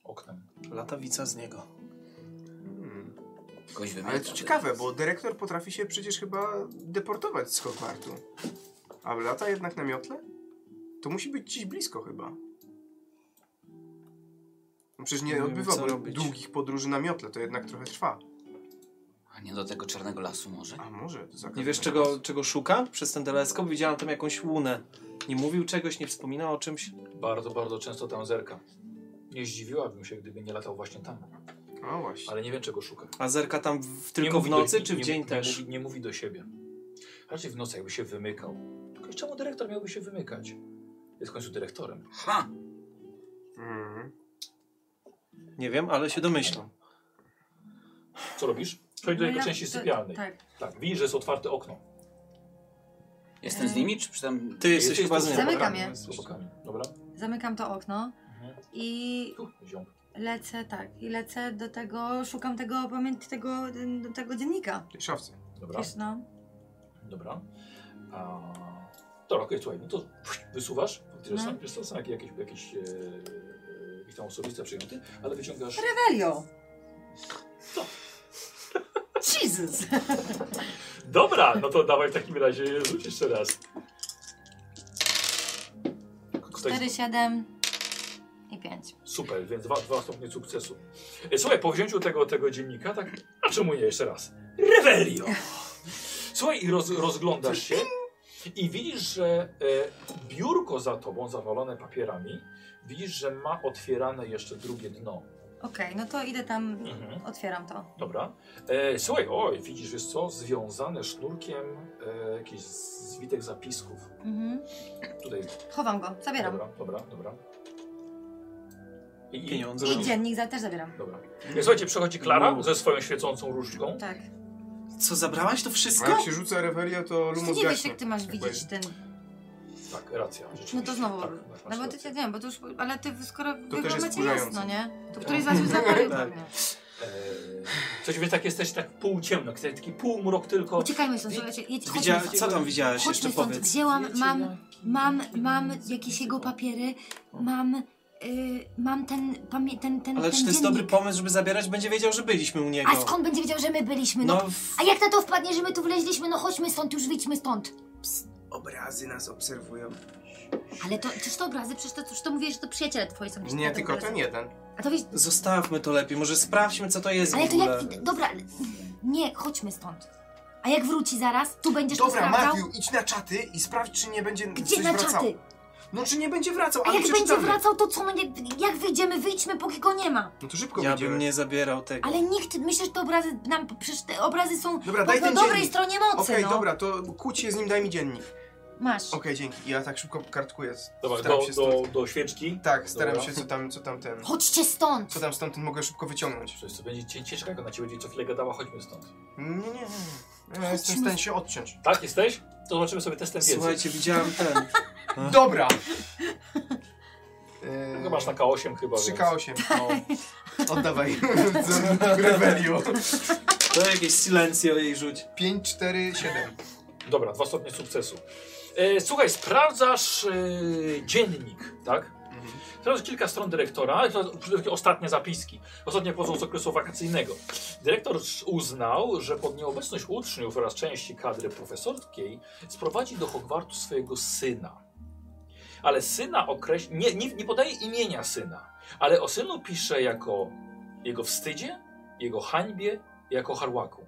Speaker 1: oknem.
Speaker 5: Latawica z niego.
Speaker 3: Hmm.
Speaker 4: Kogoś
Speaker 3: Ale
Speaker 4: wymiata,
Speaker 3: to ciekawe, bo dyrektor potrafi się przecież chyba deportować z Hogwartu. A lata jednak na miotle? To musi być gdzieś blisko chyba. No Przecież
Speaker 5: Nie
Speaker 3: nie
Speaker 5: wiem, co
Speaker 3: odbywałby
Speaker 5: robić.
Speaker 3: długich podróży na miotle, to jednak trochę trwa.
Speaker 4: A nie do tego czarnego lasu może?
Speaker 3: A może to zakaz
Speaker 5: Nie wiesz, czego, czego szuka przez ten teleskop? Widziałam tam jakąś łunę. Nie mówił czegoś, nie wspominał o czymś.
Speaker 1: Bardzo, bardzo często tam zerka. Nie zdziwiłabym się, gdyby nie latał właśnie tam.
Speaker 3: No właśnie.
Speaker 1: Ale nie wiem, czego szuka.
Speaker 5: A zerka tam w,
Speaker 1: nie
Speaker 5: tylko
Speaker 1: mówi
Speaker 5: w
Speaker 1: do-
Speaker 5: nocy,
Speaker 1: nie-
Speaker 5: czy w
Speaker 1: nie-
Speaker 5: dzień
Speaker 1: nie
Speaker 5: też?
Speaker 1: Mówi, nie mówi do siebie. Raczej w nocy, jakby się wymykał. Tylko czemu dyrektor miałby się wymykać? Jest w końcu dyrektorem.
Speaker 4: Ha!
Speaker 3: Mm.
Speaker 5: Nie wiem, ale się domyślam.
Speaker 1: Co robisz? Przejdź do
Speaker 6: No
Speaker 1: jego
Speaker 6: ja-
Speaker 1: części
Speaker 6: to-
Speaker 1: sypialnej.
Speaker 6: Tak.
Speaker 1: Tak, widzisz, że jest otwarte okno.
Speaker 4: Jestem z nimi, czy tam...
Speaker 5: Ty jesteś
Speaker 1: Jesteś
Speaker 5: chyba z
Speaker 1: tu
Speaker 5: nią.
Speaker 6: Zamykam
Speaker 1: obokami.
Speaker 6: je.
Speaker 1: Jesteś z obokami. Dobra.
Speaker 6: Zamykam to okno
Speaker 1: Mhm.
Speaker 6: i
Speaker 1: Tu, ziąb.
Speaker 6: lecę, tak, i lecę do tego, szukam tego, pamięci tego, do tego dziennika.
Speaker 3: W tej szafce.
Speaker 1: Dobra.
Speaker 6: Wiesz, no.
Speaker 1: Dobra. A... Dobra, okej, słuchaj, no to pff, wysuwasz. Ty
Speaker 6: No.
Speaker 1: sam, wiesz co, są jakieś, jakieś, jakieś, e, jakieś tam osobiste przyjęty, ale wyciągasz...
Speaker 6: Helio!
Speaker 1: Co?
Speaker 6: Jesus!
Speaker 1: Dobra, no to dawaj w takim razie rzuć jeszcze raz. Ktoś-
Speaker 6: 4, 7 i 5.
Speaker 1: Super, więc dwa, dwa stopnie sukcesu. E, Słuchaj, po wzięciu tego, tego dziennika, tak, a czemu nie jeszcze raz? Revelio! Słuchaj, i roz, rozglądasz się i widzisz, że e, biurko za tobą, zawalone papierami, widzisz, że ma otwierane jeszcze drugie dno.
Speaker 6: Okej, no to idę tam,
Speaker 1: Mhm.
Speaker 6: otwieram to.
Speaker 1: Dobra. E, słuchaj, oj, widzisz, wiesz co, związane sznurkiem e, jakiś zwitek zapisków.
Speaker 6: Mhm.
Speaker 1: Tutaj,
Speaker 6: Chowam go, zabieram.
Speaker 1: dobra, dobra, dobra. I,
Speaker 5: Pieniądze.
Speaker 6: I dziennik za, też zabieram.
Speaker 1: Dobra. E, Słuchajcie, przychodzi Klara ze swoją świecącą różdżką.
Speaker 6: Tak.
Speaker 5: Co, zabrałaś to
Speaker 3: A jak
Speaker 5: wszystko?
Speaker 3: się rzuca rewelia, to
Speaker 6: Ty
Speaker 3: lumus
Speaker 6: nie wiesz,
Speaker 3: gaśnie.
Speaker 6: jak ty masz
Speaker 3: Jakby-
Speaker 6: widzieć ten...
Speaker 1: Tak, racja.
Speaker 6: No
Speaker 1: rzeczywiście.
Speaker 6: to znowu...
Speaker 1: Tak,
Speaker 6: No
Speaker 1: masz
Speaker 6: bo
Speaker 1: rację.
Speaker 6: ty, nie wiem, bo to już... Ale ty, skoro wy
Speaker 3: też jest
Speaker 6: macie jasno,
Speaker 3: wkurzające.
Speaker 6: nie? To któryś z was
Speaker 3: Mhm.
Speaker 6: już
Speaker 3: Tak.
Speaker 6: zakłada pewnie.
Speaker 1: Eee, Coś więc tak jesteś tak półciemno, taki- taki półmrok tylko.
Speaker 6: Uciekajmy stąd, słuchajcie, jedź, chodźmy
Speaker 5: Widzia...
Speaker 6: stąd.
Speaker 5: Co tam widziałaś jeszcze,
Speaker 6: Chodźmy stąd,
Speaker 5: powiedz?
Speaker 6: wzięłam, mam, mam, mam jakieś jego papiery, mam, y, mam ten, pamię- ten, ten,
Speaker 5: Ale
Speaker 6: ten
Speaker 5: czy to
Speaker 6: dziennik.
Speaker 5: jest dobry pomysł, żeby zabierać? Będzie wiedział, że byliśmy u niego.
Speaker 2: A skąd będzie wiedział, że my byliśmy? No,
Speaker 5: No, w-
Speaker 2: A jak na to wpadnie, że my tu wleźliśmy? No chodźmy stąd, już wyjdźmy stąd.
Speaker 3: Obrazy nas obserwują.
Speaker 2: Ale to, czyż to obrazy? Przecież to, przecież to mówiłeś, że to przyjaciele twoi są. gdzieś na
Speaker 3: Nie,
Speaker 2: tych
Speaker 3: tylko
Speaker 2: obrazach.
Speaker 3: ten jeden.
Speaker 2: A to wiesz,
Speaker 5: zostawmy to lepiej, może sprawdźmy, co to jest
Speaker 2: ale
Speaker 5: w
Speaker 2: to
Speaker 5: ogóle.
Speaker 2: jak... Dobra, ale- nie, chodźmy stąd. A jak wróci zaraz, tu będziesz to
Speaker 3: Dobra,
Speaker 2: sprawdzał?
Speaker 3: Mawiu, idź na czaty i sprawdź, czy nie będzie
Speaker 2: Gdzie
Speaker 3: coś
Speaker 2: na
Speaker 3: wracało.
Speaker 2: czaty?
Speaker 3: No czy nie będzie wracał,
Speaker 15: A
Speaker 3: ale
Speaker 15: jak będzie
Speaker 3: przeczytamy.
Speaker 15: wracał, to co? No jak, jak wyjdziemy, wyjdźmy, póki go nie ma.
Speaker 3: No to szybko
Speaker 5: Ja
Speaker 3: będziemy.
Speaker 5: bym nie zabierał tego.
Speaker 15: Ale nikt, myślę, że te obrazy nam, przecież te obrazy są
Speaker 2: No
Speaker 3: Dobra,
Speaker 15: po,
Speaker 3: daj
Speaker 15: po
Speaker 3: ten
Speaker 15: dobrej
Speaker 3: dziennik.
Speaker 15: stronie mocy,
Speaker 3: Okej,
Speaker 15: no.
Speaker 3: dobra, to kłóć się z nim, daj mi dziennik.
Speaker 15: Masz.
Speaker 3: Okej, dzięki. Ja tak szybko kartkuję.
Speaker 1: Dobra,
Speaker 3: staram
Speaker 1: do-
Speaker 3: się
Speaker 1: do-
Speaker 3: stąd-
Speaker 1: do świeczki?
Speaker 3: Tak, staram
Speaker 1: Dobra.
Speaker 3: się, co tam, co tam ten...
Speaker 15: Chodźcie stąd!
Speaker 3: Co tam stąd ten mogę szybko wyciągnąć.
Speaker 1: Przecież to będzie cie- ciężko, jak ona ci będzie co chwilę gadała, chodźmy stąd.
Speaker 3: Nie, nie, nie. nie. Ja jestem w stanie się odciąć.
Speaker 1: Tak, jesteś? To zobaczymy sobie testem wiedzy.
Speaker 5: Słuchajcie, widziałem ten.
Speaker 3: Dobra!
Speaker 1: Tylko masz na K8 chyba.
Speaker 3: 3K8. No. Oddawaj.
Speaker 5: Rebelio. To jakieś silencio jej rzuć.
Speaker 3: 5, 4, 7.
Speaker 1: Dobra, dwa stopnie sukcesu. E, słuchaj, sprawdzasz e, dziennik, tak? Sprawdzasz kilka stron dyrektora, ale to przede wszystkim ostatnie zapiski. Ostatnie pochodzą z okresu wakacyjnego. Dyrektor uznał, że pod nieobecność uczniów oraz części kadry profesorskiej sprowadzi do Hogwartu swojego syna. Ale syna określa. Nie, nie, nie podaje imienia syna, ale o synu pisze jako jego wstydzie, jego hańbie, jako harłaku.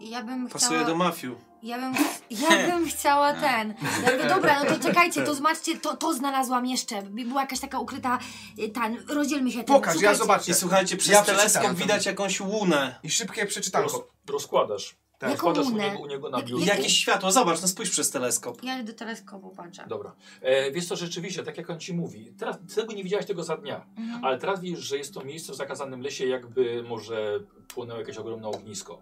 Speaker 15: Ja bym
Speaker 5: Pasuje
Speaker 15: chciała...
Speaker 5: do mafiu.
Speaker 15: Ja bym, ja bym chciała ten. Ja mówię, dobra, no to czekajcie, to zobaczcie, to, to znalazłam jeszcze. Była jakaś taka ukryta. y, Ta, rozdzielmy się tym. Szukajcie.
Speaker 5: I słuchajcie, przez
Speaker 3: Ja
Speaker 5: teleskop
Speaker 3: przeczytam.
Speaker 5: widać jakąś łunę.
Speaker 3: I szybkie przeczytanko.
Speaker 1: Rozkładasz.
Speaker 5: Tak.
Speaker 15: Jaką Rozkładasz u łunę? niego- u
Speaker 1: niego
Speaker 15: na Jak- biurku.
Speaker 5: Jakieś światło, zobacz, no spójrz przez teleskop.
Speaker 6: Ja do teleskopu patrzę.
Speaker 1: Dobra. E, wiesz co, rzeczywiście, tak jak on ci mówi, teraz ty tego nie widziałeś tego za dnia,
Speaker 6: Mhm.
Speaker 1: ale teraz widzisz, że jest to miejsce w zakazanym lesie, jakby może płynęło jakieś ogromne ognisko.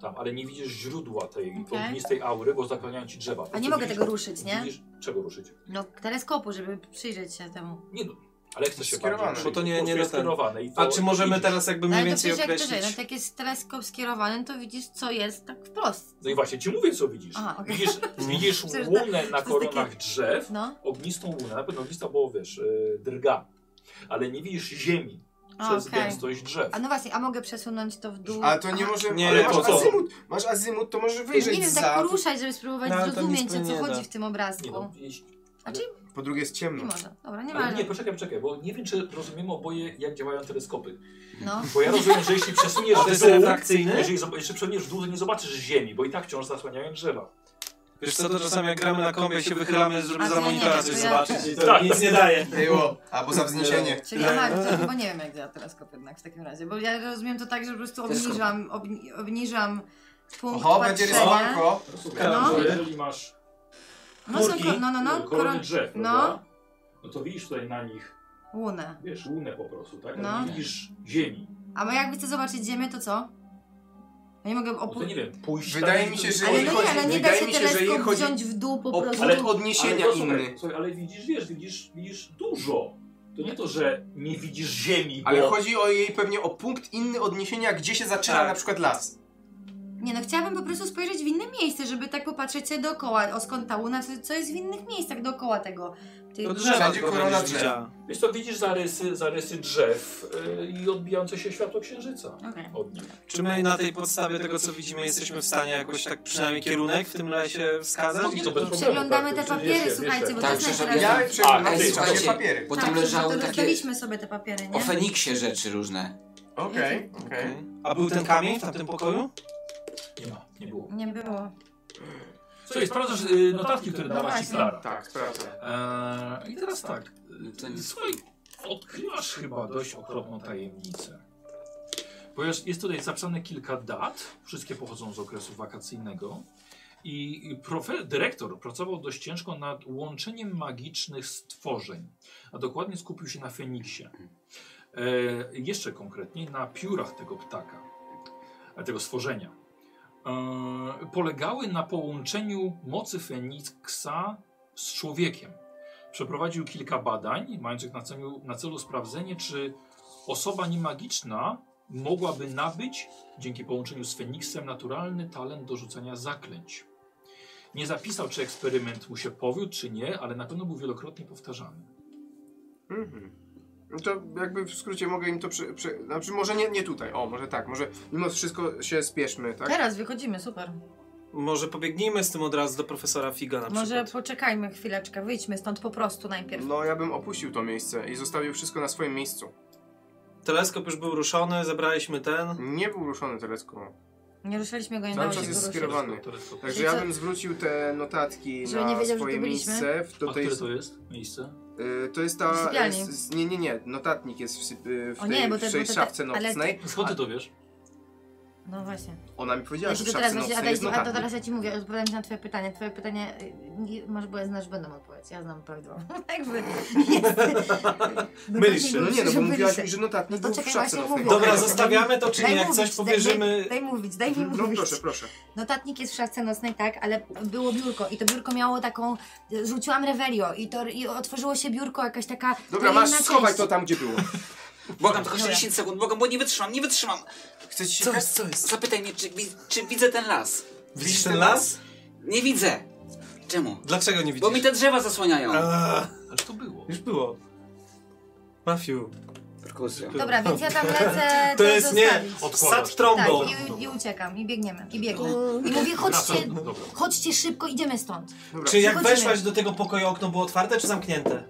Speaker 1: Tam, ale nie widzisz źródła tej
Speaker 6: Okej.
Speaker 1: ognistej aury, bo zapełniają ci drzewa. Po
Speaker 6: A nie
Speaker 1: prostu
Speaker 6: mogę
Speaker 1: widzisz-
Speaker 6: tego ruszyć, nie?
Speaker 1: Widzisz, czego ruszyć?
Speaker 6: No, teleskopu, żeby przyjrzeć się temu.
Speaker 1: Nie no, ale chcesz się
Speaker 5: Skierowane.
Speaker 1: bardziej
Speaker 5: Bo to nie-
Speaker 1: po prostu
Speaker 5: nie
Speaker 1: jest
Speaker 5: do ten-
Speaker 1: skierowane. I to,
Speaker 5: A czy możemy
Speaker 1: widzisz.
Speaker 5: teraz jakby
Speaker 6: Ale
Speaker 5: mniej
Speaker 6: to
Speaker 5: więcej
Speaker 6: przecież jak to
Speaker 5: określić?
Speaker 6: żyje, no, jak jest teleskop skierowany, to widzisz, co jest tak wprost.
Speaker 1: No i właśnie ci mówię, co widzisz.
Speaker 6: Aha, okej.
Speaker 1: Widzisz, widzisz
Speaker 6: Przecież to-
Speaker 1: łunę na
Speaker 6: to jest takie-
Speaker 1: koronach drzew,
Speaker 6: No.
Speaker 1: ognistą łunę, na pewno ognista, bo wiesz, yy, drga, ale nie widzisz ziemi
Speaker 6: A,
Speaker 1: przez
Speaker 6: okej.
Speaker 1: gęstość drzew.
Speaker 6: A no właśnie, a mogę przesunąć to w dół.
Speaker 3: A to nie
Speaker 6: Aha.
Speaker 3: może.
Speaker 1: Nie,
Speaker 3: ale
Speaker 1: to
Speaker 3: masz
Speaker 1: co?
Speaker 3: azymut, masz azymut, to może
Speaker 6: Nie
Speaker 3: wyjrzeć
Speaker 6: wiem,
Speaker 3: za.
Speaker 6: tak poruszać, żeby spróbować
Speaker 3: No, ale to nic
Speaker 6: zrozumieć, o
Speaker 3: pewnie
Speaker 6: co
Speaker 3: nie
Speaker 6: chodzi
Speaker 3: da.
Speaker 6: w tym obrazku.
Speaker 1: Nie no, jeśli-
Speaker 6: a czy
Speaker 3: Po drugie jest
Speaker 6: nie
Speaker 3: ciemno.
Speaker 6: może? Dobra, nie ma.
Speaker 1: Ale nie, poczekaj, poczekaj, bo nie wiem, czy rozumiemy oboje, jak działają teleskopy.
Speaker 6: No.
Speaker 1: Bo ja rozumiem, że jeśli przesuniesz
Speaker 5: A to jest
Speaker 1: dół,
Speaker 5: refrakcyjny?
Speaker 1: jeżeli zob- jeszcze przesuniesz w dół, to nie zobaczysz ziemi, bo i tak wciąż zasłaniają drzewa.
Speaker 5: Wiesz co, to czasami jak gramy na kompie się wychylamy, żeby
Speaker 6: A,
Speaker 5: za
Speaker 6: nie, nie,
Speaker 5: monitora
Speaker 6: to
Speaker 5: coś
Speaker 6: ja-
Speaker 5: zobaczyć i to
Speaker 1: Tak.
Speaker 5: nic nie daje.
Speaker 3: Było. Albo za wzniesienie.
Speaker 6: Czyli aha, to, bo nie wiem jak działa teleskop jednak w takim razie, bo ja rozumiem to tak, że po prostu
Speaker 3: Teleskop.
Speaker 6: obniżam, obni obniżam punkt
Speaker 3: Oho, będzie
Speaker 6: patrzenia.
Speaker 3: rysowanko.
Speaker 1: No.
Speaker 6: No.
Speaker 1: Że jeżeli masz
Speaker 6: No są ko-
Speaker 1: korki,
Speaker 6: no, no, no,
Speaker 1: korony
Speaker 6: koron-
Speaker 1: drzew,
Speaker 6: no,
Speaker 1: no. no to widzisz tutaj na nich,
Speaker 6: łunę.
Speaker 1: wiesz, łunę po prostu, tak?
Speaker 6: No.
Speaker 1: No. Nie widzisz ziemi.
Speaker 6: A bo jakby chcę zobaczyć ziemię, to co? Ja nie mogę
Speaker 1: No to nie
Speaker 6: opuścić.
Speaker 1: wiem, pójść
Speaker 3: Wydaje
Speaker 1: tam-
Speaker 3: mi się, że
Speaker 6: Ale
Speaker 3: jeżeli
Speaker 6: no nie,
Speaker 3: chodzi-
Speaker 6: ale nie da
Speaker 3: wydaje
Speaker 6: się
Speaker 3: mi się, że jeżeli
Speaker 6: teleskop
Speaker 3: chodzi
Speaker 6: wziąć w dół po
Speaker 3: o-
Speaker 6: prostu.
Speaker 3: ale odniesienia
Speaker 1: ale to, słuchaj,
Speaker 3: inny.
Speaker 1: Słuchaj, ale widzisz, wiesz, widzisz, widzisz dużo. To nie to, że nie widzisz ziemi,
Speaker 3: Ale
Speaker 1: bo...
Speaker 3: chodzi o jej pewnie o punkt inny odniesienia, gdzie się zaczyna
Speaker 5: Tak.
Speaker 3: na przykład las.
Speaker 6: Nie no, chciałabym po prostu spojrzeć w inne miejsce, żeby tak popatrzeć się dookoła, o skąd ta łuna, co, co jest w innych miejscach dookoła tego. Tych
Speaker 5: No To
Speaker 6: drzew.
Speaker 5: drzewa
Speaker 3: Wszędzie
Speaker 5: trochę
Speaker 3: korona
Speaker 5: będziesz
Speaker 3: drzew.
Speaker 5: widziała.
Speaker 1: Wiesz co, widzisz zarysy, zarysy drzew yy, i odbijające się światło księżyca
Speaker 6: Okej.
Speaker 1: od nich.
Speaker 5: Czy my na tej podstawie tego, co widzimy, jesteśmy w stanie jakoś tak przynajmniej kierunek w tym lesie wskazać?
Speaker 1: No, to bez problemu,
Speaker 6: Przeglądamy
Speaker 1: tak,
Speaker 6: te
Speaker 1: to
Speaker 6: papiery,
Speaker 1: wiecie,
Speaker 6: słuchajcie,
Speaker 1: wiecie.
Speaker 6: bo
Speaker 14: Tak,
Speaker 6: to jest
Speaker 14: przecież
Speaker 6: najprawdopodobniej.
Speaker 3: Ja przeglądam
Speaker 1: ale
Speaker 3: sobie
Speaker 1: słuchajcie,
Speaker 3: papiery.
Speaker 14: Bo tam
Speaker 6: Tak,
Speaker 14: leżały
Speaker 6: to
Speaker 14: takie
Speaker 6: rozdaliśmy sobie te papiery, nie?
Speaker 14: o Feniksie rzeczy różne.
Speaker 3: Okej, okej.
Speaker 5: Okej. A był ten kamień w tamtym pokoju?
Speaker 1: Nie ma, nie było.
Speaker 6: Nie było.
Speaker 1: Słuchaj, sprawdzasz yy, notatki, które dała ci
Speaker 6: właśnie.
Speaker 1: Klara.
Speaker 3: Tak, sprawdzam.
Speaker 1: Eee, I teraz tak.
Speaker 14: No To nie-
Speaker 1: Słuchaj, odkrywasz chyba dość okropną tajemnicę. Ponieważ jest tutaj zapisane kilka dat, wszystkie pochodzą z okresu wakacyjnego. I i profe, dyrektor pracował dość ciężko nad łączeniem magicznych stworzeń, a dokładnie skupił się na Feniksie. E, jeszcze konkretniej na piórach tego ptaka, e, tego stworzenia. E, polegały na połączeniu mocy Feniksa z człowiekiem. Przeprowadził kilka badań, mających na celu, na celu sprawdzenie, czy osoba niemagiczna mogłaby nabyć, dzięki połączeniu z Feniksem, naturalny talent do rzucania zaklęć. Nie zapisał, czy eksperyment mu się powiódł, czy nie, ale na pewno był wielokrotnie powtarzany.
Speaker 3: Mhm. No to jakby w skrócie mogę im to przy, przy, znaczy może nie, nie tutaj, o może tak, może mimo wszystko się spieszmy, tak?
Speaker 6: Teraz wychodzimy, super.
Speaker 5: Może pobiegnijmy z tym od razu do profesora Figa na
Speaker 6: Może
Speaker 5: przykład.
Speaker 6: poczekajmy chwileczkę, wyjdźmy stąd po prostu najpierw.
Speaker 3: No ja bym opuścił to miejsce i zostawił wszystko na swoim miejscu.
Speaker 5: Teleskop już był ruszony, zebraliśmy ten.
Speaker 3: Nie był ruszony teleskop.
Speaker 6: Nie ruszaliśmy go, nie
Speaker 3: Cały
Speaker 6: dało
Speaker 3: czas
Speaker 6: się
Speaker 3: jest
Speaker 6: go
Speaker 3: skierowany. Tak,
Speaker 6: ruszyć.
Speaker 3: Także ja bym zwrócił te notatki
Speaker 6: Żeby
Speaker 3: na
Speaker 6: nie wiedział, że
Speaker 3: swoje
Speaker 6: tu byliśmy.
Speaker 3: miejsce. W, do
Speaker 1: A
Speaker 3: tej-
Speaker 1: które to jest miejsce?
Speaker 3: Y, to jest
Speaker 6: W
Speaker 3: ta...
Speaker 6: sypialni.
Speaker 3: s- s- nie, nie, nie. Notatnik jest w, syp- y, w
Speaker 6: O
Speaker 3: tej,
Speaker 6: nie, bo te-
Speaker 3: w tej
Speaker 6: bo te-
Speaker 3: szafce
Speaker 6: ale-
Speaker 3: nocnej.
Speaker 1: Skąd ty to wiesz?
Speaker 6: No właśnie.
Speaker 3: Ona mi powiedziała,
Speaker 2: Jeśli
Speaker 3: że tak w
Speaker 2: to
Speaker 3: szafce
Speaker 2: teraz właśnie,
Speaker 3: nocnej
Speaker 2: a,
Speaker 3: jest
Speaker 2: daj- a to
Speaker 3: notatnik.
Speaker 2: teraz ja ci mówię, odpowiadam ci na twoje pytanie. Twoje pytanie, y, nie- może bo ja znasz, będą odpowiedź. Ja znam Tak, prawidłową. Jakby
Speaker 3: Mylisz się. No nie, no bo
Speaker 2: Mylisz
Speaker 3: mówiłaś
Speaker 2: się.
Speaker 3: mi, że notatnik
Speaker 2: No
Speaker 3: był
Speaker 2: to
Speaker 3: w
Speaker 2: czekaj,
Speaker 3: szafce
Speaker 2: właśnie
Speaker 3: nocnej.
Speaker 2: mówię.
Speaker 5: Dobra, zostawiamy to, czy
Speaker 2: Daj
Speaker 5: nie? Jak
Speaker 2: mówić,
Speaker 5: coś powierzymy...
Speaker 2: Daj, daj, daj mówić, daj mi
Speaker 3: No
Speaker 2: mówić.
Speaker 3: proszę, proszę.
Speaker 2: Notatnik jest w szafce nocnej, tak, ale było biurko i to biurko miało taką, y, rzuciłam rewelio i to i otworzyło się biurko, jakaś taka
Speaker 3: Dobra,
Speaker 2: tajemna
Speaker 3: masz
Speaker 2: część.
Speaker 3: schować to tam, gdzie było.
Speaker 14: Błagam, tylko 60 sekund, błagam, bo nie wytrzymam, nie wytrzymam.
Speaker 3: Chcę ci
Speaker 14: się co jest, co jest? Zapytaj mnie, czy, wi- czy widzę ten las.
Speaker 5: Widzisz ten las?
Speaker 14: Nie widzę. Czemu?
Speaker 5: Dlaczego nie widzisz?
Speaker 14: Bo mi te drzewa zasłaniają.
Speaker 5: Eee,
Speaker 1: Ale to było.
Speaker 5: Już było. Mafiu.
Speaker 14: Perkusja.
Speaker 2: Dobra, więc ja tam lecę
Speaker 5: To
Speaker 2: to
Speaker 5: jest nie.
Speaker 2: zostawić.
Speaker 5: Sad trąbą.
Speaker 2: Tak, i, i uciekam, i biegniemy, i biegnę. I mówię, chodźcie, chodźcie szybko, idziemy stąd.
Speaker 5: Czy jak
Speaker 2: Wychodzimy.
Speaker 5: weszłaś do tego pokoju, okno było otwarte czy zamknięte?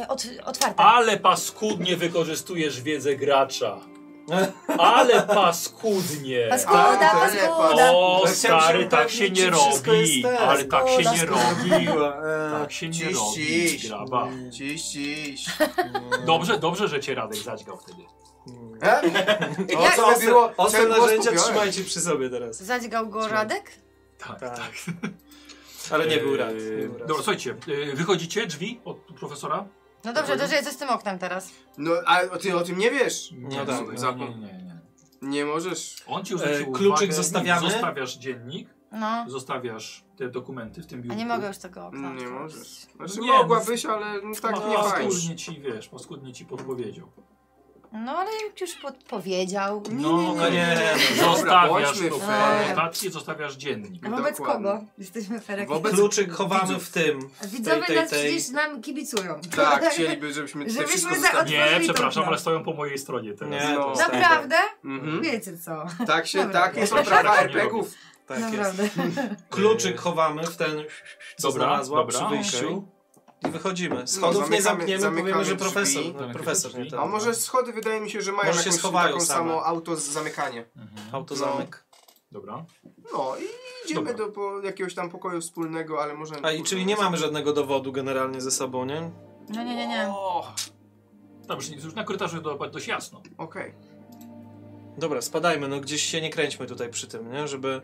Speaker 2: E, ot, otwarte.
Speaker 1: Ale paskudnie wykorzystujesz wiedzę gracza. Ale paskudnie.
Speaker 2: Paskuda,
Speaker 1: Tak,
Speaker 2: paskuda.
Speaker 1: O,
Speaker 5: Tak chciałem się
Speaker 1: stary, tak
Speaker 5: upewnić,
Speaker 1: się nie
Speaker 5: czy wszystko
Speaker 1: robi.
Speaker 5: jest ten.
Speaker 1: Ale tak się nie robi.
Speaker 5: Eee,
Speaker 1: Tak się nie
Speaker 3: ciś,
Speaker 1: robi.
Speaker 3: ciś.
Speaker 1: Graba.
Speaker 3: Ciś, ciś.
Speaker 1: Dobrze, dobrze, że cię Radek zadźgał wtedy.
Speaker 3: E?
Speaker 5: O,
Speaker 2: Jak
Speaker 5: co,
Speaker 2: to
Speaker 5: ostre,
Speaker 3: było?
Speaker 5: ostre
Speaker 3: Czemu było
Speaker 5: narzędzia
Speaker 3: skupione?
Speaker 5: trzymajcie przy sobie teraz.
Speaker 2: Zadźgał go Radek?
Speaker 1: Tak,
Speaker 5: Tak.
Speaker 1: tak.
Speaker 5: Ale nie był
Speaker 1: Eee,
Speaker 5: rad. nie był rad.
Speaker 1: Dobra, słuchajcie, e, wychodzicie drzwi od profesora?
Speaker 2: No dobrze, to że jest z tym oknem teraz.
Speaker 3: No, a o- ty o tym nie wiesz.
Speaker 5: No tak.
Speaker 3: Za-
Speaker 1: nie, nie, nie.
Speaker 3: Nie możesz.
Speaker 1: On ci już
Speaker 5: E,
Speaker 1: zwrócił
Speaker 5: kluczyk
Speaker 1: uwagę,
Speaker 5: zostawiamy?
Speaker 1: Zostawiasz dziennik,
Speaker 2: No,
Speaker 1: zostawiasz te dokumenty w tym
Speaker 2: a
Speaker 1: biurku.
Speaker 2: nie mogę już tego okna
Speaker 3: Nie
Speaker 2: otworzyć.
Speaker 3: możesz. Znaczy
Speaker 1: No nie,
Speaker 3: mogłabyś, ale no, tak
Speaker 1: Pa-
Speaker 3: nie fajnie.
Speaker 1: Paskudnie ci, wiesz, paskudnie ci podpowiedział.
Speaker 2: No ale jak już podpowiedział.
Speaker 1: No,
Speaker 5: No nie.
Speaker 1: Zostawiasz
Speaker 3: bądźmy
Speaker 1: to w
Speaker 2: Eee.
Speaker 3: fair.
Speaker 1: anotację, zostawiasz dziennik.
Speaker 2: A wobec
Speaker 3: Dokładnie.
Speaker 2: kogo? Jesteśmy ferek.
Speaker 3: Wobec-
Speaker 5: Kluczyk chowamy w tym. w
Speaker 2: Widzowie
Speaker 5: tej, tej,
Speaker 2: nas
Speaker 5: tej.
Speaker 2: przecież nam kibicują.
Speaker 3: Tak, chcieliby, żebyśmy tutaj
Speaker 2: Żebyśmy
Speaker 3: wszystko
Speaker 2: za-
Speaker 3: zostawili.
Speaker 1: Nie,
Speaker 2: Otworzyli
Speaker 1: przepraszam,
Speaker 2: to.
Speaker 1: ale stoją po mojej stronie teraz.
Speaker 5: Nie,
Speaker 3: No.
Speaker 5: to stare.
Speaker 2: Naprawdę?
Speaker 3: Mhm.
Speaker 2: Wiecie co.
Speaker 3: Tak się,
Speaker 2: Dobra.
Speaker 3: tak, są
Speaker 1: Dobra.
Speaker 3: prawa
Speaker 1: Dobra.
Speaker 3: RPGów.
Speaker 5: Tak jest.
Speaker 2: Naprawdę.
Speaker 5: Kluczyk chowamy w ten, co
Speaker 1: Yy, Dobra,
Speaker 5: znalazła
Speaker 1: dobra,
Speaker 5: przy wyjściu. I wychodzimy. Schodów
Speaker 3: No, zamykamy-
Speaker 5: nie zamkniemy, powiemy,
Speaker 3: zamykamy No,
Speaker 5: że
Speaker 3: drzwi.
Speaker 5: profesor.
Speaker 1: Zamykamy
Speaker 5: profesor,
Speaker 1: drzwi.
Speaker 5: nie ten.
Speaker 3: A może schody wydaje mi się, że mają
Speaker 5: Może się
Speaker 3: jakąś
Speaker 5: schowają
Speaker 3: taką
Speaker 5: same.
Speaker 3: samo auto z zamykanie.
Speaker 1: Mhm.
Speaker 5: Autozamek.
Speaker 1: Dobra.
Speaker 3: No i idziemy
Speaker 1: Dobra.
Speaker 3: do po, jakiegoś tam pokoju wspólnego, ale może...
Speaker 5: A i czyli nie mamy żadnego dowodu generalnie ze sobą, nie?
Speaker 2: No nie, nie, nie.
Speaker 1: O, Dobrze, już na korytarzu do, dość jasno.
Speaker 3: Okej.
Speaker 5: Dobra, spadajmy, no gdzieś się nie kręćmy tutaj przy tym, nie? Żeby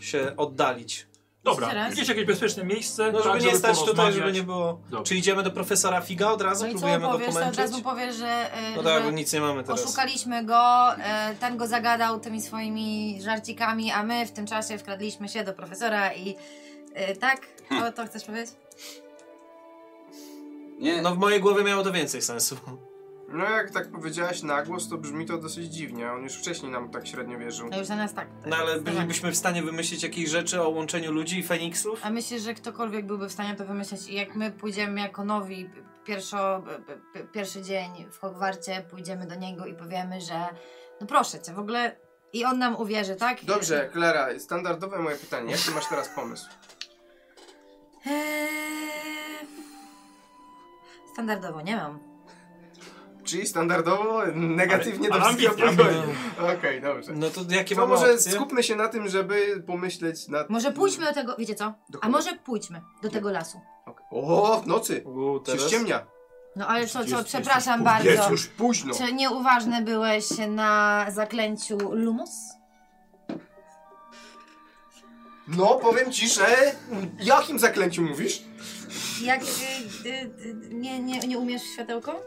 Speaker 5: się oddalić.
Speaker 1: Dobra,
Speaker 2: Teraz?
Speaker 1: gdzieś jakieś bezpieczne miejsce.
Speaker 5: No żeby
Speaker 1: tak,
Speaker 5: nie stać tutaj,
Speaker 1: porozmawiać.
Speaker 5: żeby nie było...
Speaker 1: Dobra.
Speaker 5: Czy idziemy do profesora Figa od razu?
Speaker 2: No i co
Speaker 5: Próbujemy go
Speaker 2: powiesz? To od
Speaker 5: pomęczyć?
Speaker 2: razu powiesz, że, y,
Speaker 5: No
Speaker 2: że
Speaker 5: tak, bo nic nie mamy teraz.
Speaker 2: oszukaliśmy go, y, ten go zagadał tymi swoimi żarcikami, a my w tym czasie wkradliśmy się do profesora i y, tak? To, to chcesz powiedzieć?
Speaker 14: Nie,
Speaker 5: No w mojej głowie miało to więcej sensu.
Speaker 3: No jak tak powiedziałaś na głos, to brzmi to dosyć dziwnie. On już wcześniej nam tak średnio wierzył.
Speaker 2: No już za nas tak.
Speaker 5: No ale bylibyśmy w stanie wymyślić jakieś rzeczy o łączeniu ludzi i feniksów?
Speaker 2: A myślisz, że ktokolwiek byłby w stanie to wymyśleć i jak my pójdziemy jako nowi p- pierwszo, p- p- pierwszy dzień w Hogwarcie, pójdziemy do niego i powiemy, że no proszę cię, w ogóle i on nam uwierzy, tak?
Speaker 3: Dobrze, Klara, standardowe moje pytanie. Jaki masz teraz pomysł?
Speaker 2: Eee... Standardowo nie mam.
Speaker 3: Czyli standardowo negatywnie
Speaker 1: Ale-
Speaker 3: do
Speaker 1: ale
Speaker 3: wszystkiego
Speaker 1: ambitnie,
Speaker 3: podchodzi. Okej, dobrze.
Speaker 5: No to jakie
Speaker 3: To
Speaker 5: mamy
Speaker 3: może
Speaker 5: opcje?
Speaker 3: skupmy się na tym, żeby pomyśleć nad...
Speaker 2: Może pójdźmy do tego, wiecie co?
Speaker 3: Do
Speaker 2: A
Speaker 3: kogo?
Speaker 2: może pójdźmy do tego lasu.
Speaker 3: Okej. O, w nocy!
Speaker 5: U,
Speaker 3: Się
Speaker 5: teraz...
Speaker 3: ściemnia.
Speaker 2: No ale co,
Speaker 1: Jest-
Speaker 2: co,
Speaker 1: jest-
Speaker 2: przepraszam
Speaker 1: jest-
Speaker 2: bardzo.
Speaker 3: Jest już no. późno.
Speaker 2: Czy nieuważny byłeś na zaklęciu Lumos?
Speaker 3: No, powiem ci, że... Jakim zaklęciu mówisz?
Speaker 2: Jak y, y, y, nie, nie, nie umiesz w światełko?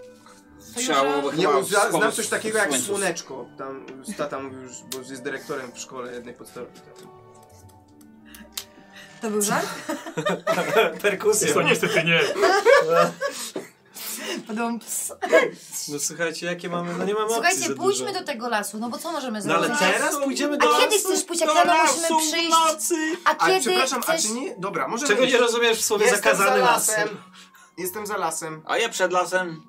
Speaker 14: Ciało
Speaker 3: Nie,
Speaker 14: chyba
Speaker 3: za-
Speaker 14: schowa-
Speaker 3: znam coś takiego jak
Speaker 14: słońcu.
Speaker 3: słoneczko. Tam y, tata mówił już, bo jest dyrektorem w szkole jednej podstawowej.
Speaker 2: To był żart?
Speaker 5: Tak, Perkusja.
Speaker 1: To niestety nie.
Speaker 2: Podobno ps.
Speaker 5: No słuchajcie, jakie mamy... No nie mamy opcji
Speaker 2: Słuchajcie,
Speaker 5: za
Speaker 2: pójdźmy
Speaker 5: dużo.
Speaker 2: do tego lasu, no bo co możemy
Speaker 5: No
Speaker 2: zrobić?
Speaker 5: ale teraz pójdziemy do
Speaker 2: A kiedy
Speaker 5: lasu?
Speaker 2: chcesz pójść? Jak
Speaker 5: Do
Speaker 2: rano
Speaker 5: lasu
Speaker 2: musimy
Speaker 5: w
Speaker 2: przyjść?
Speaker 5: nocy!
Speaker 2: A
Speaker 3: A
Speaker 2: kiedy
Speaker 3: przepraszam,
Speaker 2: chcesz...
Speaker 3: a czy nie? Dobra, może
Speaker 5: Czego nie rozumiesz w słowie
Speaker 3: Jestem za
Speaker 5: zakazany las?
Speaker 3: lasem. Jestem za lasem.
Speaker 14: A ja przed lasem.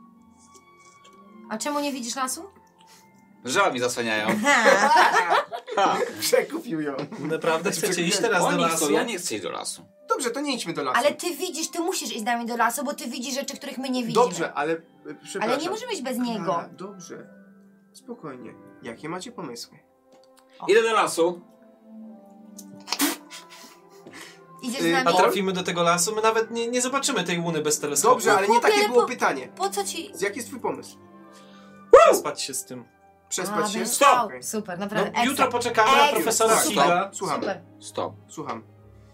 Speaker 2: a czemu nie widzisz lasu?
Speaker 14: Drzewa mi zasłaniają.
Speaker 3: Przekupił ją.
Speaker 5: Naprawdę chcecie iść teraz do
Speaker 14: Oni chcą,
Speaker 5: lasu?
Speaker 14: ja nie chcę iść do lasu.
Speaker 3: Dobrze, to nie idźmy do lasu.
Speaker 2: Ale ty widzisz, ty musisz iść z nami do lasu, bo ty widzisz rzeczy, których my nie widzimy.
Speaker 3: Dobrze, ale y, przepraszam.
Speaker 2: Ale nie możemy iść bez niego.
Speaker 3: Klara, dobrze. Spokojnie. Jakie macie pomysły?
Speaker 14: Idę do lasu.
Speaker 3: y-
Speaker 2: Idziesz
Speaker 3: E,
Speaker 2: z nami.
Speaker 5: A trafimy do tego lasu, my nawet nie, nie zobaczymy tej łuny bez teleskopu.
Speaker 3: Dobrze, ale nie takie było pytanie.
Speaker 15: Po co ci...
Speaker 3: Jaki jest twój pomysł?
Speaker 5: Przespać się z tym.
Speaker 3: Przespać się?
Speaker 2: będziesz chciał. Super, naprawdę.
Speaker 5: No, jutro
Speaker 2: ekstra.
Speaker 5: poczekamy na
Speaker 2: Ekstra.
Speaker 5: profesora
Speaker 2: Super.
Speaker 5: Siga.
Speaker 3: Słucham.
Speaker 2: Tak. Super.
Speaker 4: Stop.
Speaker 3: Słucham.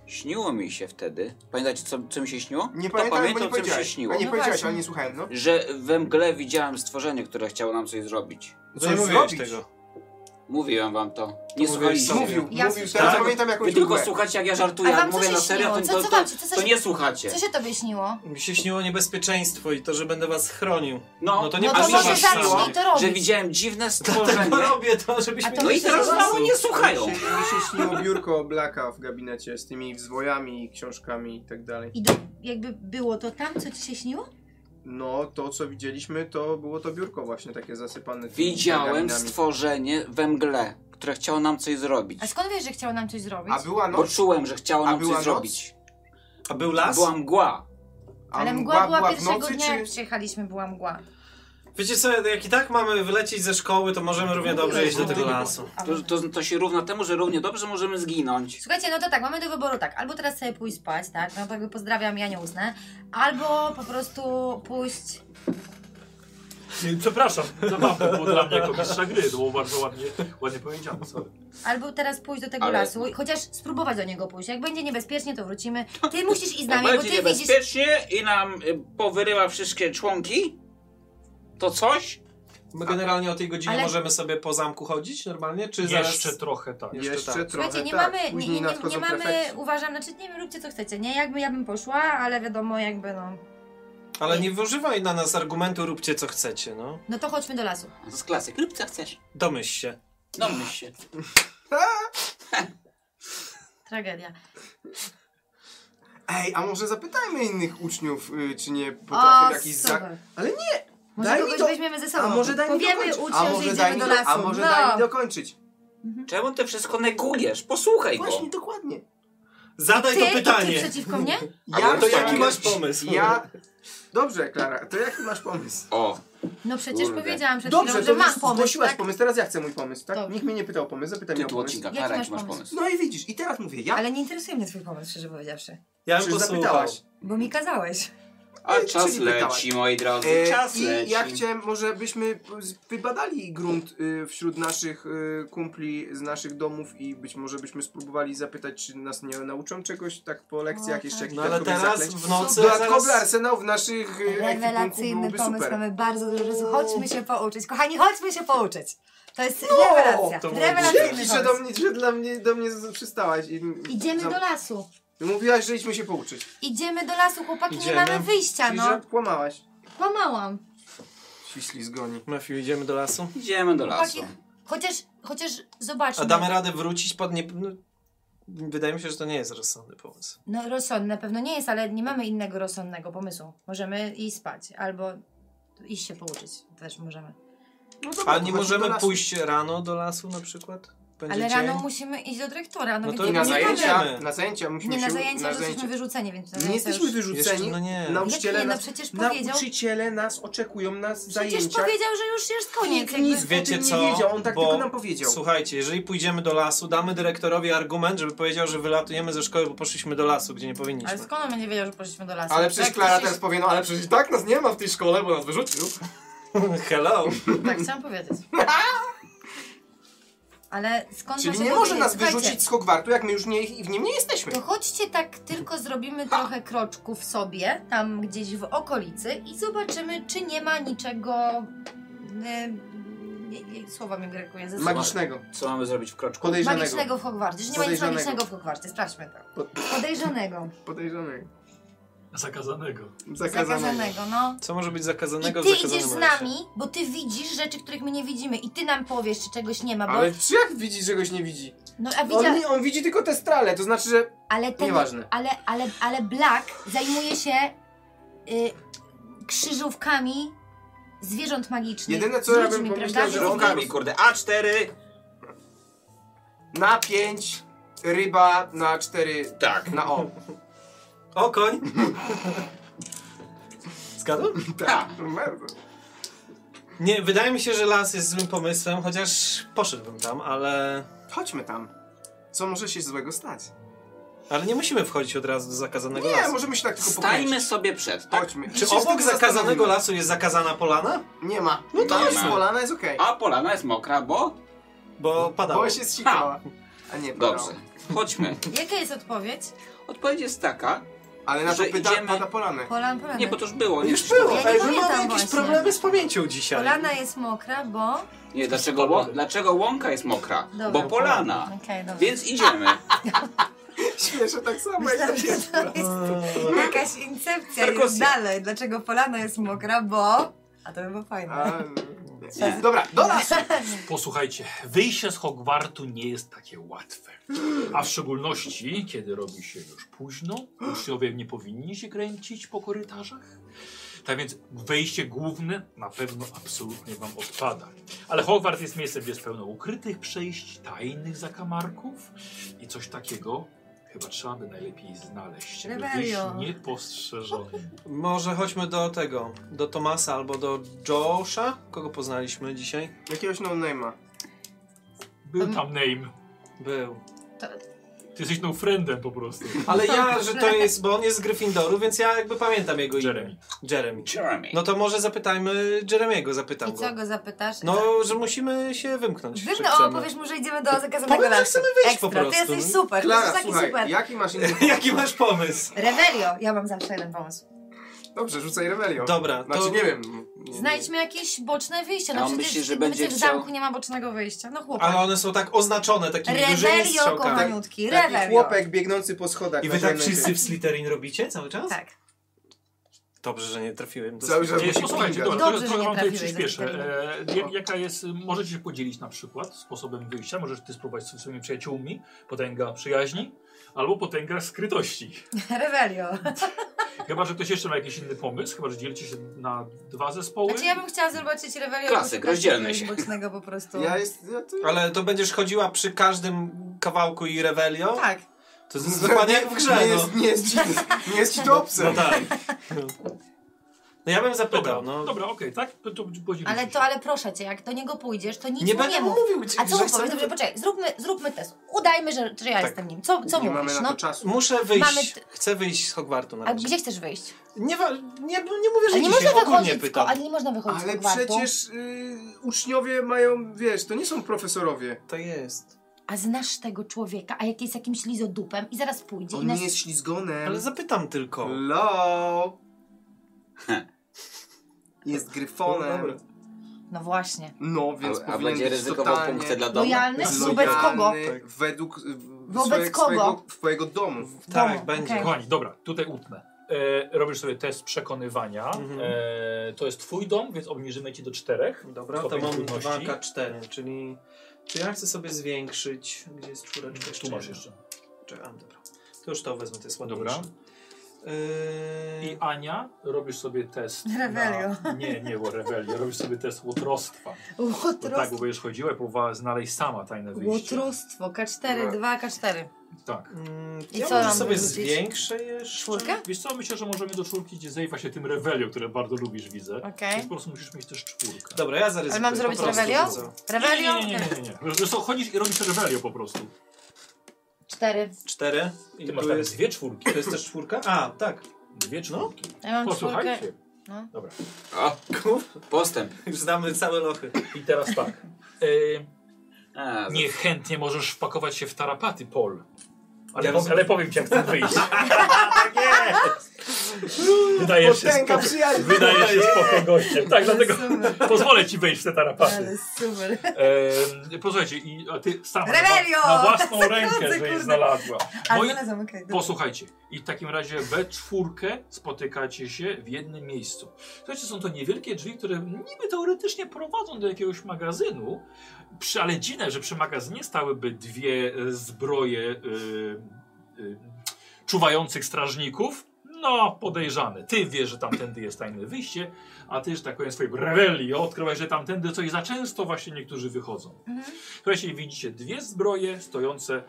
Speaker 4: Śniło mi się wtedy. Pamiętacie, co, co mi się śniło?
Speaker 3: Nie
Speaker 4: Kto
Speaker 3: pamiętam, bo nie
Speaker 4: co mi się
Speaker 3: powiedziałeś.
Speaker 4: śniło.
Speaker 3: A nie
Speaker 2: No
Speaker 3: powiedziałeś,
Speaker 2: właśnie.
Speaker 3: ale nie słuchałem, no.
Speaker 4: Że we mgle widziałem stworzenie, które chciało nam coś zrobić.
Speaker 3: Co Co No nie mówiłeś zrobić?
Speaker 5: No tego?
Speaker 4: Mówiłem wam to. Nie
Speaker 3: To
Speaker 4: słuchaliście.
Speaker 3: mówiłeś sobie. Mówił,
Speaker 2: Ja
Speaker 3: mówił,
Speaker 2: słyszałam.
Speaker 3: teraz pamiętam jakąś
Speaker 4: Wy tylko
Speaker 3: mgłę.
Speaker 4: słuchacie, jak ja
Speaker 2: A
Speaker 4: żartuję.
Speaker 2: wam
Speaker 4: Jak
Speaker 2: co
Speaker 4: mówię
Speaker 2: się
Speaker 4: na serio, to,
Speaker 2: śniło? Co-
Speaker 4: to,
Speaker 2: co
Speaker 4: to,
Speaker 2: wam się- co- co
Speaker 4: to
Speaker 2: się-
Speaker 4: nie słuchacie.
Speaker 2: Co się tobie śniło?
Speaker 5: Mi się śniło niebezpieczeństwo i to, że będę was chronił.
Speaker 4: No,
Speaker 5: no to nie
Speaker 2: no to
Speaker 5: potrzeba
Speaker 2: może
Speaker 5: szans.
Speaker 2: zacznij to robić.
Speaker 4: Że widziałem dziwne stworzenie.
Speaker 5: Dlatego robię to,
Speaker 2: A
Speaker 5: żebyśmy...
Speaker 2: to
Speaker 4: No i
Speaker 2: myślę,
Speaker 4: teraz
Speaker 2: że-
Speaker 4: mało nie słuchają.
Speaker 3: Mi się, mi się śniło biurko Blacka w gabinecie z tymi wzwojami, książkami i tak dalej.
Speaker 6: I do, jakby było to tam, co ci się śniło?
Speaker 3: No, to co widzieliśmy, to było to biurko właśnie takie zasypane. tymi
Speaker 4: Widziałem
Speaker 3: pergaminami.
Speaker 4: stworzenie we mgle, które chciało nam coś zrobić.
Speaker 2: A skąd wiesz, że chciał nam coś zrobić?
Speaker 3: A była
Speaker 4: Bo
Speaker 3: noc?
Speaker 4: czułem, że chciało
Speaker 3: A
Speaker 4: nam
Speaker 3: była
Speaker 4: coś
Speaker 3: noc?
Speaker 4: zrobić.
Speaker 5: A był las?
Speaker 4: Była mgła.
Speaker 3: A
Speaker 2: Ale mgła była
Speaker 3: w
Speaker 2: pierwszego
Speaker 3: nocy,
Speaker 2: dnia, jak
Speaker 3: czy-
Speaker 2: przyjechaliśmy, była mgła.
Speaker 5: Wiecie co, jak i tak mamy wylecieć ze szkoły, to możemy równie dobrze iść do tego lasu.
Speaker 4: To, to, to się równa temu, że równie dobrze możemy zginąć.
Speaker 2: Słuchajcie, no to tak, mamy do wyboru tak, albo teraz sobie pójść spać, tak, no to jakby pozdrawiam, ja nie usnę, albo po prostu pójść...
Speaker 1: Przepraszam, zabawne było dla mnie jako mistrza gry, to było bardzo ładnie, ładnie powiedziane, sorry.
Speaker 2: Albo teraz pójść do tego
Speaker 4: Ale-
Speaker 2: lasu, i chociaż spróbować do niego pójść. Jak będzie niebezpiecznie, to wrócimy. Ty musisz iść
Speaker 4: Jak
Speaker 2: z nami, bo
Speaker 4: będzie
Speaker 2: ty widzisz...
Speaker 4: niebezpiecznie i nam y, powyrywa wszystkie członki, to coś?
Speaker 5: My generalnie o tej godzinie
Speaker 2: Ale-
Speaker 5: możemy sobie po zamku chodzić normalnie, czy
Speaker 1: Jeszcze
Speaker 5: zaraz...
Speaker 1: trochę tak.
Speaker 5: Jeszcze
Speaker 3: Jeszcze
Speaker 5: tak.
Speaker 3: trochę,
Speaker 2: Słuchajcie, nie
Speaker 3: tak.
Speaker 2: mamy, nie,
Speaker 3: Później
Speaker 2: nie, nie, nie
Speaker 3: nadchodzą
Speaker 2: mamy,
Speaker 3: prefekci.
Speaker 2: uważam, znaczy nie wiem, róbcie co chcecie, nie? Jakby ja bym poszła, ale wiadomo, jakby no...
Speaker 5: Ale nie wyużywaj na nas argumentu, róbcie co chcecie, no.
Speaker 2: No to chodźmy do lasu.
Speaker 4: To jest klasyk. Lub co chcesz.
Speaker 5: Domyśl się.
Speaker 4: Domyśl się.
Speaker 2: Tragedia.
Speaker 3: Ej, a może zapytajmy innych uczniów, y, czy nie potrafią jakiś
Speaker 2: super.
Speaker 3: zak... Ale nie!
Speaker 2: Może
Speaker 3: daj mi
Speaker 2: kogoś
Speaker 3: do-
Speaker 2: weźmiemy ze sobą.
Speaker 3: A może daj mi
Speaker 2: Powiemy
Speaker 3: dokończyć.
Speaker 2: uczniom,
Speaker 3: a
Speaker 2: że
Speaker 3: może
Speaker 2: idziemy
Speaker 3: daj mi
Speaker 2: do
Speaker 3: do-
Speaker 2: lasu.
Speaker 3: A może
Speaker 2: No.
Speaker 3: daj mi dokończyć.
Speaker 4: Czemu ty wszystko negujesz? Posłuchaj go.
Speaker 3: Właśnie, dokładnie.
Speaker 5: Zadaj
Speaker 2: Ty
Speaker 5: to
Speaker 2: i ty
Speaker 5: pytanie.
Speaker 2: przeciwko mnie?
Speaker 3: Ja,
Speaker 5: to
Speaker 3: chciałem-
Speaker 5: jaki masz pomysł?
Speaker 3: Ja... Dobrze, Klara, to jaki masz pomysł?
Speaker 4: O,
Speaker 2: No przecież
Speaker 4: Kurde.
Speaker 2: powiedziałam przed
Speaker 3: Dobrze,
Speaker 2: chwilą,
Speaker 3: to
Speaker 2: że
Speaker 3: już
Speaker 2: mam pomysł,
Speaker 3: zgłosiłaś
Speaker 2: tak?
Speaker 3: pomysł, teraz ja chcę mój pomysł, tak?
Speaker 2: Dobrze.
Speaker 3: Nikt mnie nie pytał o pomysł, zapytaj mnie o
Speaker 4: tytuł
Speaker 3: pomysł.
Speaker 4: odcinka.
Speaker 2: Jaki
Speaker 4: Kara,
Speaker 2: masz
Speaker 4: jaki masz
Speaker 2: pomysł?
Speaker 4: pomysł?
Speaker 3: No i widzisz, i teraz mówię, ja...
Speaker 2: Ale nie interesuje mnie twój pomysł, szczerze powiedziawszy.
Speaker 5: Ja bym
Speaker 3: Przecież
Speaker 5: posłuchał.
Speaker 3: zapytałaś.
Speaker 2: Bo mi kazałeś.
Speaker 4: A
Speaker 3: Czyli
Speaker 4: czas
Speaker 3: pytałaś.
Speaker 4: leci, moi drodzy.
Speaker 2: Y,
Speaker 3: E,
Speaker 4: czas
Speaker 3: I
Speaker 4: leci.
Speaker 3: ja chciałem, może byśmy z- wybadali grunt y, wśród naszych y, kumpli z naszych domów i być może byśmy spróbowali zapytać, czy nas nie nauczą czegoś tak po lekcjach jeszcze jakichś
Speaker 5: No ale
Speaker 3: dodatkowych
Speaker 5: teraz
Speaker 3: zaklęć.
Speaker 5: w nocy
Speaker 3: Dodatkowy
Speaker 5: zaraz...
Speaker 3: arsenał w naszych y, ekwipunku
Speaker 2: Rewelacyjny
Speaker 3: byłby
Speaker 2: pomysł,
Speaker 3: super.
Speaker 2: mamy bardzo dużo czasu. Chodźmy się pouczyć. Kochani, chodźmy się pouczyć. To jest rewelacja.
Speaker 5: to
Speaker 2: rewelacyjny
Speaker 3: No, Dzięki, że do
Speaker 2: pomysł.
Speaker 3: mnie, że dla mnie, do mnie z- przystałaś. I,
Speaker 2: Idziemy do lasu.
Speaker 3: Mówiłaś, że idźmy się pouczyć.
Speaker 2: Idziemy do lasu, chłopaki,
Speaker 5: Idziemy.
Speaker 2: nie mamy wyjścia,
Speaker 3: I że
Speaker 2: no.
Speaker 3: kłamałaś.
Speaker 2: Kłamałam.
Speaker 3: Świśli zgoni.
Speaker 5: Matthew, idziemy do lasu?
Speaker 4: Idziemy do lasu.
Speaker 2: Chłopaki, chociaż, chociaż zobaczmy.
Speaker 5: A damy radę wrócić pod nie... no, Wydaje mi się, że to nie jest rozsądny pomysł.
Speaker 2: No rozsądne na pewno nie jest, ale nie mamy innego rozsądnego pomysłu. Możemy iść spać, albo iść się pouczyć. Też możemy.
Speaker 3: No dobra,
Speaker 5: A
Speaker 3: to chodźmy
Speaker 5: nie
Speaker 3: do
Speaker 5: możemy
Speaker 3: lasu.
Speaker 5: pójść rano do lasu na przykład? Będzie
Speaker 2: Ale
Speaker 5: dzień?
Speaker 2: rano musimy iść do dyrektora.
Speaker 5: No
Speaker 2: No, więc
Speaker 5: to
Speaker 2: nie
Speaker 3: na
Speaker 2: mamy-
Speaker 3: zajęcia,
Speaker 5: możemy.
Speaker 3: na zajęcia musimy
Speaker 2: Nie, na
Speaker 3: się
Speaker 2: zajęcia, już jesteśmy wyrzuceni, więc na
Speaker 3: Nie
Speaker 2: zajęcia
Speaker 3: jesteśmy
Speaker 2: już...
Speaker 3: wyrzuceni.
Speaker 5: Jeszcze, no nie.
Speaker 3: Nauczyciele
Speaker 2: Jak nie, no
Speaker 3: nas,
Speaker 2: przecież powiedział-
Speaker 3: nauczyciele nas oczekują na z-
Speaker 2: Przecież
Speaker 3: zajęciach.
Speaker 2: powiedział, że już jest koniec.
Speaker 3: Nikt
Speaker 2: Jakby...
Speaker 3: nic o
Speaker 5: Wiecie
Speaker 3: tym
Speaker 5: co?
Speaker 3: nie wiedział, on tak
Speaker 5: Bo-
Speaker 3: tylko nam powiedział.
Speaker 5: Słuchajcie, jeżeli pójdziemy do lasu, damy dyrektorowi argument, żeby powiedział, że wylatujemy ze szkoły, bo poszliśmy do lasu, gdzie nie powinniśmy.
Speaker 2: Ale skąd on będzie wiedział, że poszliśmy do lasu?
Speaker 3: ale przecież
Speaker 2: Tak,
Speaker 3: Klara teraz powie, no ale przecież i tak nas nie ma w tej szkole, bo nas wyrzucił.
Speaker 5: Hello!
Speaker 2: Tak, chciałam powiedzieć. Ale skąd
Speaker 3: Czyli
Speaker 2: właśnie
Speaker 3: nie może
Speaker 2: powiedzieć?
Speaker 3: nas
Speaker 2: Słuchajcie,
Speaker 3: wyrzucić z Hogwartu, jak my już nie, i w nim nie jesteśmy.
Speaker 2: To chodźcie tak, tylko zrobimy trochę kroczków sobie, tam gdzieś w okolicy i zobaczymy, czy nie ma niczego... E, nie, nie, słowa mi brakuje ze sobą.
Speaker 3: Magicznego,
Speaker 4: Co mamy zrobić w kroczku?
Speaker 3: podejrzanego.
Speaker 2: Magicznego w Hogwarcie, że nie ma nic
Speaker 3: Podejrzanego.
Speaker 2: magicznego w Hogwarcie, sprawdźmy to.
Speaker 3: Pod-
Speaker 2: Podejrzanego,
Speaker 3: Podejrzanego.
Speaker 1: Zakazanego.
Speaker 3: Zakazanego.
Speaker 2: zakazanego, no.
Speaker 5: Co może być
Speaker 2: I
Speaker 5: zakazanego
Speaker 2: ty
Speaker 5: w zakazanym
Speaker 2: idziesz z
Speaker 5: momencie?
Speaker 2: nami, bo ty widzisz rzeczy, których my nie widzimy i ty nam powiesz, czy czegoś nie ma, bo...
Speaker 3: Ale czy jak widzi, że goś nie widzi?
Speaker 2: No a
Speaker 3: On,
Speaker 2: widzia...
Speaker 3: nie, on widzi tylko te strale, to znaczy, że
Speaker 2: Ale ten...
Speaker 3: Nieważne.
Speaker 2: Ale, ale, ale Black zajmuje się y, krzyżówkami zwierząt magicznych.
Speaker 3: Jedyne, co
Speaker 2: z
Speaker 3: ja bym
Speaker 2: ludźmi,
Speaker 3: pomyślał,
Speaker 2: prawda?
Speaker 3: że on-
Speaker 4: Żołkami, kurde. A4!
Speaker 3: na pięć, ryba na cztery,
Speaker 4: Tak.
Speaker 3: na o.
Speaker 5: O, koń! Zgadłem?
Speaker 3: Tak, no bardzo.
Speaker 5: Nie, wydaje mi się, że las jest złym pomysłem, chociaż poszedłbym tam, ale...
Speaker 3: Chodźmy tam. Co może się złego stać?
Speaker 5: Ale nie musimy wchodzić od razu do zakazanego
Speaker 3: Nie,
Speaker 5: lasu.
Speaker 3: możemy się tak tylko
Speaker 4: Stańmy
Speaker 3: pochylić.
Speaker 4: sobie przed, tak?
Speaker 3: Chodźmy.
Speaker 5: Czy obok zakazanego lasu jest zakazana polana?
Speaker 3: Nie ma.
Speaker 4: No to
Speaker 3: Tam
Speaker 4: nie
Speaker 3: jest
Speaker 4: ma.
Speaker 3: polana, jest okej.
Speaker 4: A polana jest mokra, bo?
Speaker 5: Bo padało.
Speaker 3: Bo się zsikała. A nie, padało.
Speaker 4: Dobrze, chodźmy.
Speaker 2: Jaka jest odpowiedź?
Speaker 4: Odpowiedź jest taka,
Speaker 3: Ale na to
Speaker 4: Że
Speaker 3: pyta,
Speaker 4: idziemy-
Speaker 3: pada polany.
Speaker 2: Polan, polany.
Speaker 4: nie, bo to już było. Nie,
Speaker 5: Już było,
Speaker 2: Ja No nie
Speaker 5: ale my
Speaker 2: pamiętam
Speaker 5: mamy jakieś
Speaker 2: właśnie.
Speaker 5: problemy z pamięcią dzisiaj.
Speaker 2: Polana jest mokra, bo...
Speaker 4: nie dlaczego, ło, dlaczego łąka jest mokra?
Speaker 2: Dobra,
Speaker 4: bo polana.
Speaker 2: Okej, dobra.
Speaker 4: Więc idziemy.
Speaker 3: Śmieszę tak samo jak
Speaker 2: Myślałam,
Speaker 3: to
Speaker 2: że tak.
Speaker 3: jest.
Speaker 2: to
Speaker 5: Mm.
Speaker 2: jest jakaś incepcja jest
Speaker 4: Perkusja.
Speaker 2: dalej. Dlaczego polana jest mokra, bo... A to by było fajne.
Speaker 3: A, nie. Dobra, do lasu.
Speaker 1: Posłuchajcie, wyjście z Hogwartu nie jest takie łatwe. A w szczególności, kiedy robi się już późno, uczniowie nie powinni się kręcić po korytarzach. Tak więc wejście główne na pewno absolutnie Wam odpada. Ale Hogwart jest miejscem, gdzie jest pełno ukrytych przejść, tajnych zakamarków i coś takiego chyba trzeba by najlepiej znaleźć, żeby wyjść
Speaker 2: Rebelio.
Speaker 1: niepostrzeżonym.
Speaker 5: Może chodźmy do tego, do Tomasa albo do Josha, kogo poznaliśmy dzisiaj.
Speaker 3: Jakiegoś no-name'a.
Speaker 1: Był tam name.
Speaker 5: Był.
Speaker 1: Ty jesteś no friendem po prostu.
Speaker 5: Ale ja, że to jest, bo on jest z Gryffindoru, więc ja jakby pamiętam jego
Speaker 1: Jeremy.
Speaker 5: imię. Jeremy.
Speaker 4: Jeremy.
Speaker 5: No to może zapytajmy Jeremiego, zapytam
Speaker 2: I co
Speaker 5: go.
Speaker 2: go zapytasz?
Speaker 5: No, że musimy się wymknąć. że
Speaker 2: Wybno, o,
Speaker 5: chcemy.
Speaker 2: powiesz mu, że idziemy do zakazanego
Speaker 5: Powiem, że
Speaker 2: lasu.
Speaker 5: chcemy wyjść
Speaker 2: Ekstra,
Speaker 5: po prostu.
Speaker 2: ty jesteś super, ty
Speaker 3: Klara,
Speaker 2: jesteś taki
Speaker 3: słuchaj,
Speaker 2: super.
Speaker 3: jaki masz inny...
Speaker 5: Jaki masz pomysł?
Speaker 2: Revelio, ja mam zawsze jeden pomysł.
Speaker 3: Dobrze, rzucaj rebelią.
Speaker 5: Dobra,
Speaker 3: Znaczy,
Speaker 5: to-
Speaker 3: nie wiem.
Speaker 2: Znajdźmy jakieś boczne wyjście.
Speaker 4: A
Speaker 2: No
Speaker 4: on
Speaker 2: przecież
Speaker 4: myśli, że
Speaker 2: w-
Speaker 4: będzie
Speaker 2: w
Speaker 4: chciał-
Speaker 2: zamku nie ma bocznego wyjścia. No chłopak.
Speaker 5: Ale one są tak oznaczone takimi dużymi
Speaker 2: Revelio,
Speaker 5: strzałkami.
Speaker 2: kochaniutki,
Speaker 3: Taki
Speaker 2: revelio.
Speaker 3: chłopek biegnący po schodach.
Speaker 5: I wy
Speaker 3: na
Speaker 5: tak
Speaker 3: zielonej
Speaker 5: wszyscy
Speaker 3: ziemi.
Speaker 5: w Slytherin robicie cały czas?
Speaker 2: Tak.
Speaker 5: Dobrze, że nie trafiłem. Do
Speaker 3: Cały
Speaker 5: Slytherin.
Speaker 3: czas-
Speaker 1: Nie, Posłuchajcie,
Speaker 3: Dobrze,
Speaker 1: dobra, to,
Speaker 2: że
Speaker 1: to
Speaker 2: nie
Speaker 1: wam tutaj
Speaker 2: trafiłeś do
Speaker 1: przyspieszę.
Speaker 2: Twitterina.
Speaker 1: E, jak, jaka jest, możecie się podzielić na przykład sposobem wyjścia, możesz ty spróbować z swoimi przyjaciółmi, potęga przyjaźni, albo potęga skrytości.
Speaker 2: Revelio.
Speaker 1: Chyba, że ktoś jeszcze ma jakiś inny pomysł, chyba, że dzielicie się na dwa zespoły.
Speaker 2: Znaczy ja bym chciała zobaczyć Revelio.
Speaker 4: Klasyk,
Speaker 2: poszukać
Speaker 4: rozdzielmy
Speaker 2: jakiegoś
Speaker 4: się.
Speaker 2: Bocznego po prostu.
Speaker 3: Ja jest... Ja to...
Speaker 5: Ale to będziesz chodziła przy każdym kawałku i Revelio?
Speaker 2: Tak.
Speaker 5: To jest dokładnie jak w grze,
Speaker 3: Nie
Speaker 5: no.
Speaker 3: jest, nie jest, ci, nie jest ci to obce.
Speaker 5: No tak. No ja bym zapytał,
Speaker 1: Dobra,
Speaker 5: no.
Speaker 1: dobra, okej, tak? To, to podzieliliśmy
Speaker 2: Ale
Speaker 1: się.
Speaker 2: to, ale proszę cię, jak do niego pójdziesz, to nic
Speaker 5: Nie
Speaker 2: mu nie
Speaker 5: będę
Speaker 2: mów.
Speaker 5: mówił, gdzie-
Speaker 2: A co
Speaker 5: że
Speaker 2: mu powiesz?
Speaker 5: chcemy-
Speaker 2: Dobrze, poczekaj, zróbmy, zróbmy test. Udajmy, że, że ja jestem nim. Co, co
Speaker 3: nie
Speaker 2: mówisz?
Speaker 3: mamy na
Speaker 2: No,
Speaker 3: to czasu.
Speaker 5: Muszę wyjść.
Speaker 2: Mamy t-
Speaker 5: Chcę wyjść z Hogwartu na
Speaker 2: a
Speaker 5: razie.
Speaker 2: gdzie chcesz wyjść?
Speaker 5: Nie, wa- nie, no nie mówię, że
Speaker 2: Ale nie
Speaker 5: dzisiaj,
Speaker 2: można
Speaker 5: ogólnie
Speaker 2: wychodzić, z ko-
Speaker 5: pytam.
Speaker 2: ale nie można wychodzić z
Speaker 3: Ale
Speaker 2: Hogwartu.
Speaker 3: przecież y, uczniowie mają, wiesz, to nie są profesorowie.
Speaker 5: To jest.
Speaker 2: A znasz tego człowieka, a jak jest jakimś lizodupem i zaraz pójdzie i
Speaker 3: On
Speaker 2: nas...
Speaker 3: nie jest ślizgonem.
Speaker 5: Ale zapytam tylko.
Speaker 3: Hello. Jest gryfonem.
Speaker 5: Dobra.
Speaker 2: No właśnie.
Speaker 3: No, więc
Speaker 4: A, a
Speaker 3: powinien
Speaker 4: będzie
Speaker 3: być
Speaker 4: ryzykował
Speaker 3: totalnie
Speaker 4: punkty
Speaker 2: No
Speaker 4: dla domu.
Speaker 2: Lojalny?
Speaker 3: lojalny No
Speaker 2: Wobec kogo?
Speaker 3: Według y,
Speaker 2: Wobec
Speaker 3: swojego,
Speaker 2: kogo?
Speaker 3: Swojego, swojego domu.
Speaker 5: Tak,
Speaker 2: Domu,
Speaker 5: będzie.
Speaker 2: okej.
Speaker 1: Kochani, dobra, tutaj utnę. E, robisz sobie test przekonywania.
Speaker 5: Mhm.
Speaker 1: E, to jest twój dom, więc obniżymy ci do czterech.
Speaker 5: Dobra, to
Speaker 1: Stopień
Speaker 5: mam
Speaker 1: trudności.
Speaker 5: 2K4, czyli... Czy ja chcę sobie zwiększyć... Gdzie jest czwóreczka?
Speaker 1: Tu masz
Speaker 5: jedna.
Speaker 1: jeszcze.
Speaker 5: Czekaj, a, dobra. To już to wezmę, to jest ładniejsze.
Speaker 1: Dobra.
Speaker 5: Yy...
Speaker 1: I Ania, robisz sobie test. na-
Speaker 2: Revelio.
Speaker 1: Nie, nie, bo rebelio. Robisz sobie test łotrostwa. Bo tak,
Speaker 2: Łotrostwo.
Speaker 1: bo będziesz chodziła i próbowała znaleźć sama tajne wyjście.
Speaker 2: Łotrostwo. K4, 2, K4.
Speaker 1: Tak.
Speaker 5: Mm,
Speaker 2: I
Speaker 5: ja
Speaker 2: co
Speaker 5: może
Speaker 2: mam
Speaker 5: sobie
Speaker 2: wyrzucić?
Speaker 5: zwiększę jeszcze.
Speaker 2: Czwórkę?
Speaker 1: Wiesz co, myślę, że możemy do czwórki, gdzie zajwa się tym rewelio, które bardzo lubisz, widzę.
Speaker 2: Okej.
Speaker 1: Więc po prostu musisz mieć też czwórkę.
Speaker 5: Dobra, ja zaryzykuję.
Speaker 2: Ale mam
Speaker 5: po
Speaker 2: zrobić
Speaker 5: prostu
Speaker 2: Revelio?
Speaker 5: rzucę.
Speaker 2: Revelio?
Speaker 1: Nie, nie, nie, nie, nie, nie. Zresztą chodzisz i robisz rewelio po prostu.
Speaker 2: 4.
Speaker 5: Cztery. I
Speaker 1: Ty
Speaker 5: tu
Speaker 1: masz tam
Speaker 5: jest...
Speaker 1: dwie czwórki.
Speaker 5: To jest też czwórka? A, tak.
Speaker 1: Dwie czwórki.
Speaker 2: Ja mam czwórkę.
Speaker 1: Posłuchajcie.
Speaker 2: No.
Speaker 1: Dobra.
Speaker 4: O, postęp.
Speaker 5: Już znamy całe lochy.
Speaker 1: I teraz tak. Y,
Speaker 4: A,
Speaker 1: niechętnie możesz wpakować się w tarapaty, Pol. Ale,
Speaker 5: Ja
Speaker 1: po-
Speaker 5: rozumiem.
Speaker 1: ale powiem ci, jak chcę wyjść. tak jest! Wydajesz się,
Speaker 3: Potęga
Speaker 1: spoko,
Speaker 3: przyjaźń.
Speaker 1: wydajesz się spoko gościem. Tak, dlatego pozwolę ci wejść w te tarapaty.
Speaker 2: Ale super.
Speaker 1: Ehm, posłuchajcie, i, a ty sama na,
Speaker 2: Revelio!
Speaker 1: wa- na własną rękę,
Speaker 2: kurde.
Speaker 1: że je znalazła.
Speaker 2: Ale
Speaker 1: Moi,
Speaker 2: znalazłam, okej. dobra.
Speaker 1: posłuchajcie, i w takim razie we czwórkę spotykacie się w jednym miejscu. Słuchajcie, są to niewielkie drzwi, które niby teoretycznie prowadzą do jakiegoś magazynu, przy, ale dziwne, że przy magazynie stałyby dwie e, zbroje y, y, czuwających strażników. No, podejrzane. Ty wiesz, że tamtędy jest tajne wyjście, a ty, że tak powiem, swojej rewelii odkrywasz, że tamtędy coś za często właśnie niektórzy wychodzą. Słuchajcie, i widzicie dwie zbroje stojące e,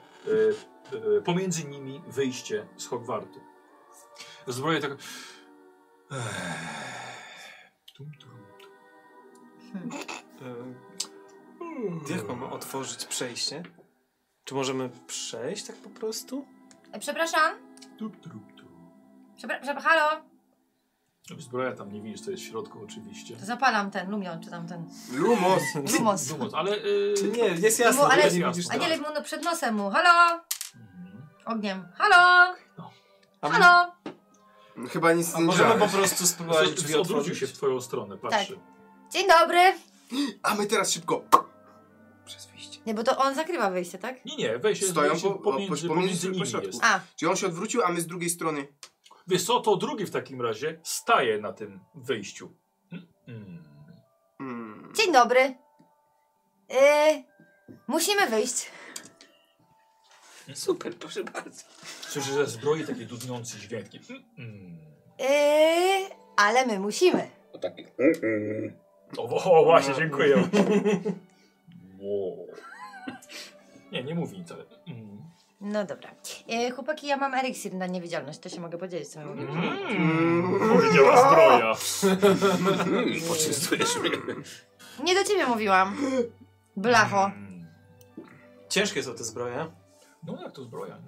Speaker 1: e, pomiędzy nimi wyjście z Hogwartu. Zbroje tak... Ech. Tum, tum, tum. E, Hmm.
Speaker 5: Yy, Jak mam otworzyć przejście? Czy możemy przejść tak po prostu?
Speaker 2: E, Przepraszam? Przepraszam, halo?
Speaker 1: No, Zbroja tam nie widzisz, co jest w środku oczywiście.
Speaker 2: To zapalam ten lumion, czy tam ten...
Speaker 1: Lumos!
Speaker 2: Lumos.
Speaker 1: Lumos, ale... y,
Speaker 5: Nie, jest jasne.
Speaker 2: Mu- ale,
Speaker 1: jest jasne.
Speaker 2: a nie leć mu no przed nosem mu. Halo?
Speaker 3: Mhm.
Speaker 2: Ogniem. Halo?
Speaker 1: A
Speaker 2: Halo?
Speaker 3: Chyba nic
Speaker 5: A możemy po prostu spróbować
Speaker 1: Coś-
Speaker 5: drzwi
Speaker 1: Odwrócił
Speaker 5: otworzyć?
Speaker 1: się w twoją stronę, patrzy.
Speaker 2: Dzień dobry.
Speaker 3: A my teraz szybko.
Speaker 2: Nie, bo to on zakrywa wyjście, tak?
Speaker 1: Nie, nie, weź
Speaker 3: Stoją
Speaker 1: weź
Speaker 3: po,
Speaker 1: pomiędzy,
Speaker 3: pomiędzy, pomiędzy,
Speaker 1: pomiędzy
Speaker 3: po
Speaker 1: nimi
Speaker 3: środku.
Speaker 1: jest.
Speaker 2: A.
Speaker 3: Czyli on się odwrócił, a my z drugiej strony.
Speaker 1: Wiesz co, to drugi w takim razie staje na tym wyjściu.
Speaker 3: Hmm.
Speaker 2: Dzień dobry. Yy, musimy wyjść.
Speaker 1: Super, proszę bardzo. Słyszę ze zbroi takie dudniące dźwięki.
Speaker 2: Yy, ale my musimy.
Speaker 1: O, o właśnie,
Speaker 5: No.
Speaker 1: dziękuję. Wow. Nie, nie mówi nic, ale... Mm.
Speaker 2: No dobra. Yy, chłopaki, ja mam eliksir na niewidzialność, to się mogę podzielić z tym.
Speaker 5: Mm.
Speaker 1: Powiedziała zbroja.
Speaker 14: Poczystujesz mnie.
Speaker 2: Nie do ciebie mówiłam. Blacho.
Speaker 5: Ciężkie są te zbroje.
Speaker 1: Mm. No jak to zbroja?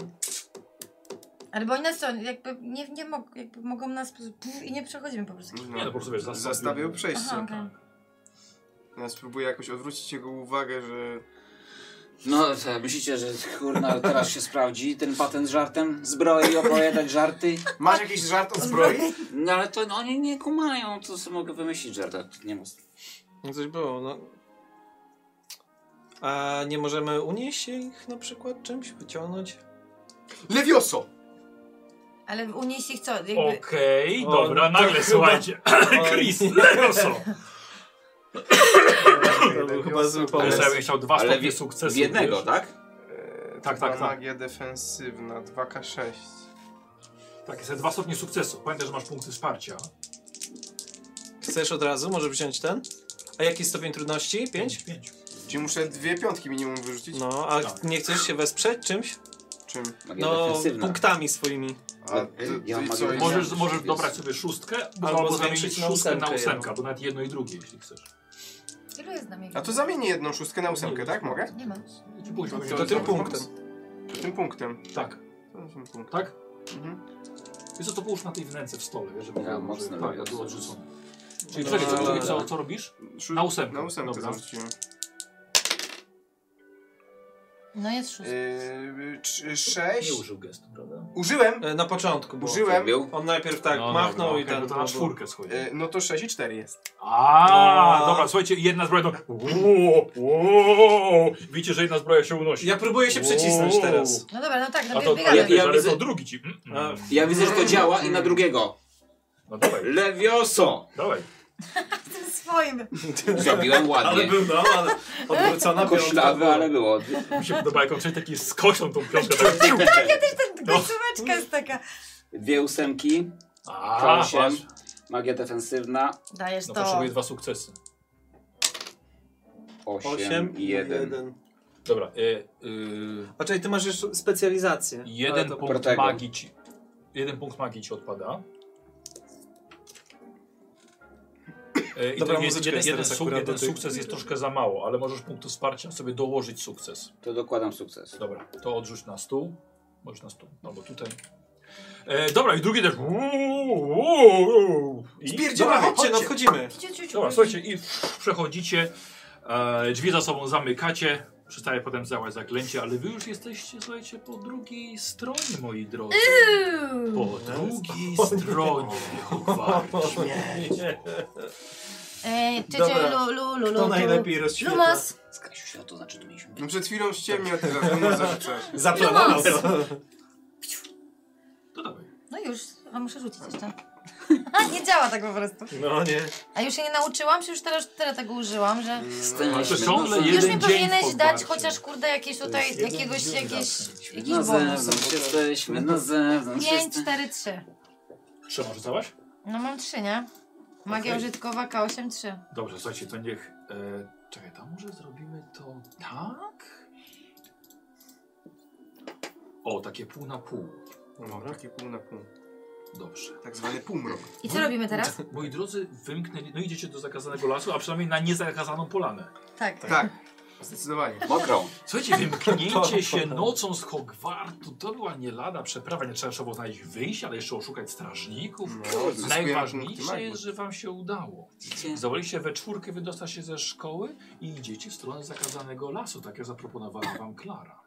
Speaker 2: Ale bo oni nas są, jakby nie, nie mog, jakby mogą nas pff, i nie przechodzimy po prostu.
Speaker 1: Nie, no po prostu wiesz, zastawił-
Speaker 3: zastawił przejście.
Speaker 2: Aha, okej.
Speaker 3: Ja spróbuję jakoś odwrócić jego uwagę, że...
Speaker 4: No, to myślicie, że kurna teraz się sprawdzi ten patent z żartem? Zbroi, opowiadać żarty?
Speaker 3: Masz jakiś żart o zbroi?
Speaker 4: No ale to no, oni nie kumają, to sobie mogę wymyślić żart, ale to nie ma...
Speaker 5: No coś było, no. A nie możemy unieść ich na przykład czymś, wyciągnąć?
Speaker 3: Lewioso!
Speaker 2: Ale unieść ich co? Jakby...
Speaker 1: Okej,
Speaker 5: O, no
Speaker 1: dobra,
Speaker 5: to
Speaker 1: nagle
Speaker 5: chyba-
Speaker 1: słuchajcie.
Speaker 5: Oj.
Speaker 1: Chris, Levioso.
Speaker 5: To był chyba zły
Speaker 1: Ale
Speaker 5: pomysł.
Speaker 1: ja bym chciał dwa
Speaker 14: Ale
Speaker 1: stopnie
Speaker 14: w-
Speaker 1: sukcesu.
Speaker 14: w jednego,
Speaker 1: wiesz.
Speaker 14: tak?
Speaker 1: Tak,
Speaker 3: Chyba
Speaker 1: tak, tak.
Speaker 3: Magia defensywna, 2K6.
Speaker 1: Tak, jest dwa stopnie sukcesu. Pamiętaj, że masz punkty wsparcia.
Speaker 5: Chcesz od razu? Może wziąć ten? A jaki stopień trudności? Pięć?
Speaker 1: Pięć.
Speaker 3: Czyli muszę dwie piątki minimum wyrzucić?
Speaker 5: No, a
Speaker 3: Tak.
Speaker 5: nie chcesz się wesprzeć czymś?
Speaker 3: Czym?
Speaker 4: Magia
Speaker 5: No,
Speaker 4: defensywna.
Speaker 5: punktami swoimi.
Speaker 3: A, d-
Speaker 4: Ja mam
Speaker 3: i
Speaker 4: magię
Speaker 3: co,
Speaker 1: Możesz,
Speaker 4: Jest.
Speaker 1: możesz dobrać sobie szóstkę, albo,
Speaker 5: Albo
Speaker 1: albo zamienić
Speaker 5: zwiększyć na
Speaker 1: szóstkę na
Speaker 5: ósemkę
Speaker 1: ósemkę,
Speaker 5: jedną.
Speaker 1: bo nawet jedno i drugie, jeśli chcesz.
Speaker 2: Ilu jest na mnie?
Speaker 3: a to zamienię jedną szóstkę na ósemkę, tak? Mogę?
Speaker 2: Nie ma.
Speaker 1: Czy pójdź,
Speaker 3: To
Speaker 5: To tym
Speaker 3: dobry
Speaker 5: punktem.
Speaker 3: To Tym punktem.
Speaker 1: Tak,
Speaker 3: To Tym punktem.
Speaker 1: tak?
Speaker 3: Mhm.
Speaker 1: Wiesz co, to połóż na tej wnęce w stole, wiesz, żeby
Speaker 4: Ja
Speaker 1: było
Speaker 4: mocno
Speaker 1: może-
Speaker 4: lubię
Speaker 1: tak, było
Speaker 4: to.
Speaker 1: odrzucone. Czyli
Speaker 5: No,
Speaker 1: czekaj, co,
Speaker 5: dobra.
Speaker 1: co, co, co robisz?
Speaker 3: Szó-
Speaker 1: Na ósemkę.
Speaker 3: Na ósemkę
Speaker 1: Dobra.
Speaker 3: zarzuciłem.
Speaker 2: No jest szóstka.
Speaker 3: Yy, cz-
Speaker 1: Nie
Speaker 3: sześć.
Speaker 1: użył gestu, prawda?
Speaker 3: Użyłem!
Speaker 5: E, Na początku było.
Speaker 3: Użyłem.
Speaker 14: Był?
Speaker 5: On najpierw tak
Speaker 1: No,
Speaker 5: machnął
Speaker 1: dobra,
Speaker 5: i
Speaker 1: okej,
Speaker 5: ten... E,
Speaker 1: no to na czwórkę schodzi.
Speaker 3: Yy, no to 6 i 4 jest.
Speaker 1: A,
Speaker 5: No.
Speaker 1: dobra, słuchajcie, jedna zbroja to... Wow, wow. Widzicie, że jedna zbroja się unosi.
Speaker 5: Ja próbuję się przycisnąć
Speaker 1: Wow.
Speaker 5: teraz.
Speaker 2: No dobra, no tak,
Speaker 1: A
Speaker 2: no
Speaker 1: to,
Speaker 2: bie-
Speaker 1: a
Speaker 2: biegamy.
Speaker 1: ja,
Speaker 4: ja
Speaker 1: ale
Speaker 4: widzę-
Speaker 1: to drugi ci... Mm, mm.
Speaker 4: Ja widzę, że to działa i na drugiego.
Speaker 1: No dawaj,
Speaker 4: Lewioso!
Speaker 1: dawaj.
Speaker 2: Tym swoim.
Speaker 4: Zrobiłem
Speaker 5: Ale
Speaker 4: ładnie.
Speaker 5: był, no, ale odwrócona
Speaker 4: Koślawy,
Speaker 5: piątka.
Speaker 4: ale było.
Speaker 1: Mi się podoba, jak on czuje taki z kością tą piątkę.
Speaker 2: Końcóweczka jest taka.
Speaker 4: Dwie ósemki,
Speaker 1: A,
Speaker 4: K8,
Speaker 1: patrz.
Speaker 4: magia defensywna,
Speaker 2: Dajesz
Speaker 1: No
Speaker 2: to.
Speaker 1: potrzebuję dwa sukcesy.
Speaker 4: 8
Speaker 5: Osiem
Speaker 4: i 1.
Speaker 1: Dobra, y, y,
Speaker 5: A czyli ty masz już specjalizację. Ale
Speaker 1: jeden
Speaker 5: to-
Speaker 1: punkt
Speaker 4: Protego.
Speaker 1: magii ci... Jeden punkt magii ci odpada. E, I
Speaker 5: Dobra,
Speaker 1: to jest jeden,
Speaker 5: muzyczka jest
Speaker 1: jeden,
Speaker 5: teraz
Speaker 1: suk-
Speaker 5: akurat
Speaker 1: jeden
Speaker 5: do tych-
Speaker 1: sukces jest troszkę za mało, ale możesz punktu wsparcia sobie dołożyć sukces.
Speaker 4: To dokładam sukces.
Speaker 1: Dobra, to odrzuć na stół. Możesz na stół, albo tutaj. E, dobra, i drugi też. I-
Speaker 5: Dobra,
Speaker 1: Dobra,
Speaker 5: chodźcie, no wchodzimy.
Speaker 2: Ciu, ciu, ciu.
Speaker 1: Dobra, słuchajcie, i przechodzicie. E, drzwi za sobą zamykacie. Przestaje potem całe zaklęcie, ale wy już jesteście, słuchajcie, po drugiej stronie, moi drodzy. Po drugiej stronie, Hogwarcie.
Speaker 5: No
Speaker 2: Ej, ciu, ciu,
Speaker 5: Dobra.
Speaker 2: E, lu, lu,
Speaker 1: No
Speaker 2: lu, lu,
Speaker 5: Kto
Speaker 2: tu.
Speaker 5: najlepiej rozświetla?
Speaker 2: Lumos.
Speaker 4: Z Kasiu światło znaczy to mieliśmy.
Speaker 3: No przed chwilą ściemniał, ty zaraz zarzucasz.
Speaker 5: Zaplanował to.
Speaker 1: To dawaj.
Speaker 2: No już, a muszę rzucić jeszcze. nie działa tak po prostu.
Speaker 5: No nie.
Speaker 2: A już się nie nauczyłam, czy już teraz tyle tego użyłam, że...
Speaker 1: Ale to
Speaker 4: Stęliśmy
Speaker 1: ciągle
Speaker 4: nosem.
Speaker 2: Już
Speaker 1: jeden
Speaker 2: mi
Speaker 1: dzień
Speaker 2: powinieneś
Speaker 1: w
Speaker 2: dać
Speaker 1: Hogwarcie.
Speaker 2: chociaż kurde jakieś tutaj,
Speaker 5: jeden
Speaker 2: jakiegoś,
Speaker 5: dzień
Speaker 2: jakieś,
Speaker 5: zawsze.
Speaker 2: jakiś
Speaker 4: Na
Speaker 2: bonus.
Speaker 4: zewnątrz jesteśmy, na zewnątrz
Speaker 2: 5,
Speaker 4: jesteśmy.
Speaker 2: 4, 3.
Speaker 1: Trzyma rzucałaś?
Speaker 2: No mam 3, nie? Magia
Speaker 1: Okej.
Speaker 2: użytkowa K8, 3.
Speaker 1: Dobrze, słuchajcie, to niech. E, czekaj, tam może zrobimy to tak? O, takie pół na pół.
Speaker 3: No, takie pół na pół.
Speaker 1: Dobrze.
Speaker 3: Tak zwany półmrok.
Speaker 2: I
Speaker 5: No.
Speaker 2: co robimy teraz?
Speaker 1: Moi drodzy, wymknęli. No idziecie do zakazanego lasu, a przynajmniej na niezakazaną polanę.
Speaker 2: Tak.
Speaker 3: Tak. Zdecydowanie.
Speaker 14: Mokrą.
Speaker 1: Słuchajcie, wymknięcie się nocą z Hogwartu, to była nie lada przeprawa. Nie trzeba było znaleźć wyjść, ale jeszcze oszukać strażników.
Speaker 14: No, punkty
Speaker 1: Najważniejsze
Speaker 14: magii.
Speaker 1: jest, że wam się udało.
Speaker 14: Widzicie?
Speaker 1: Zdołaliście we czwórkę wydostać się ze szkoły i idziecie w stronę zakazanego lasu, tak jak zaproponowała wam Klara.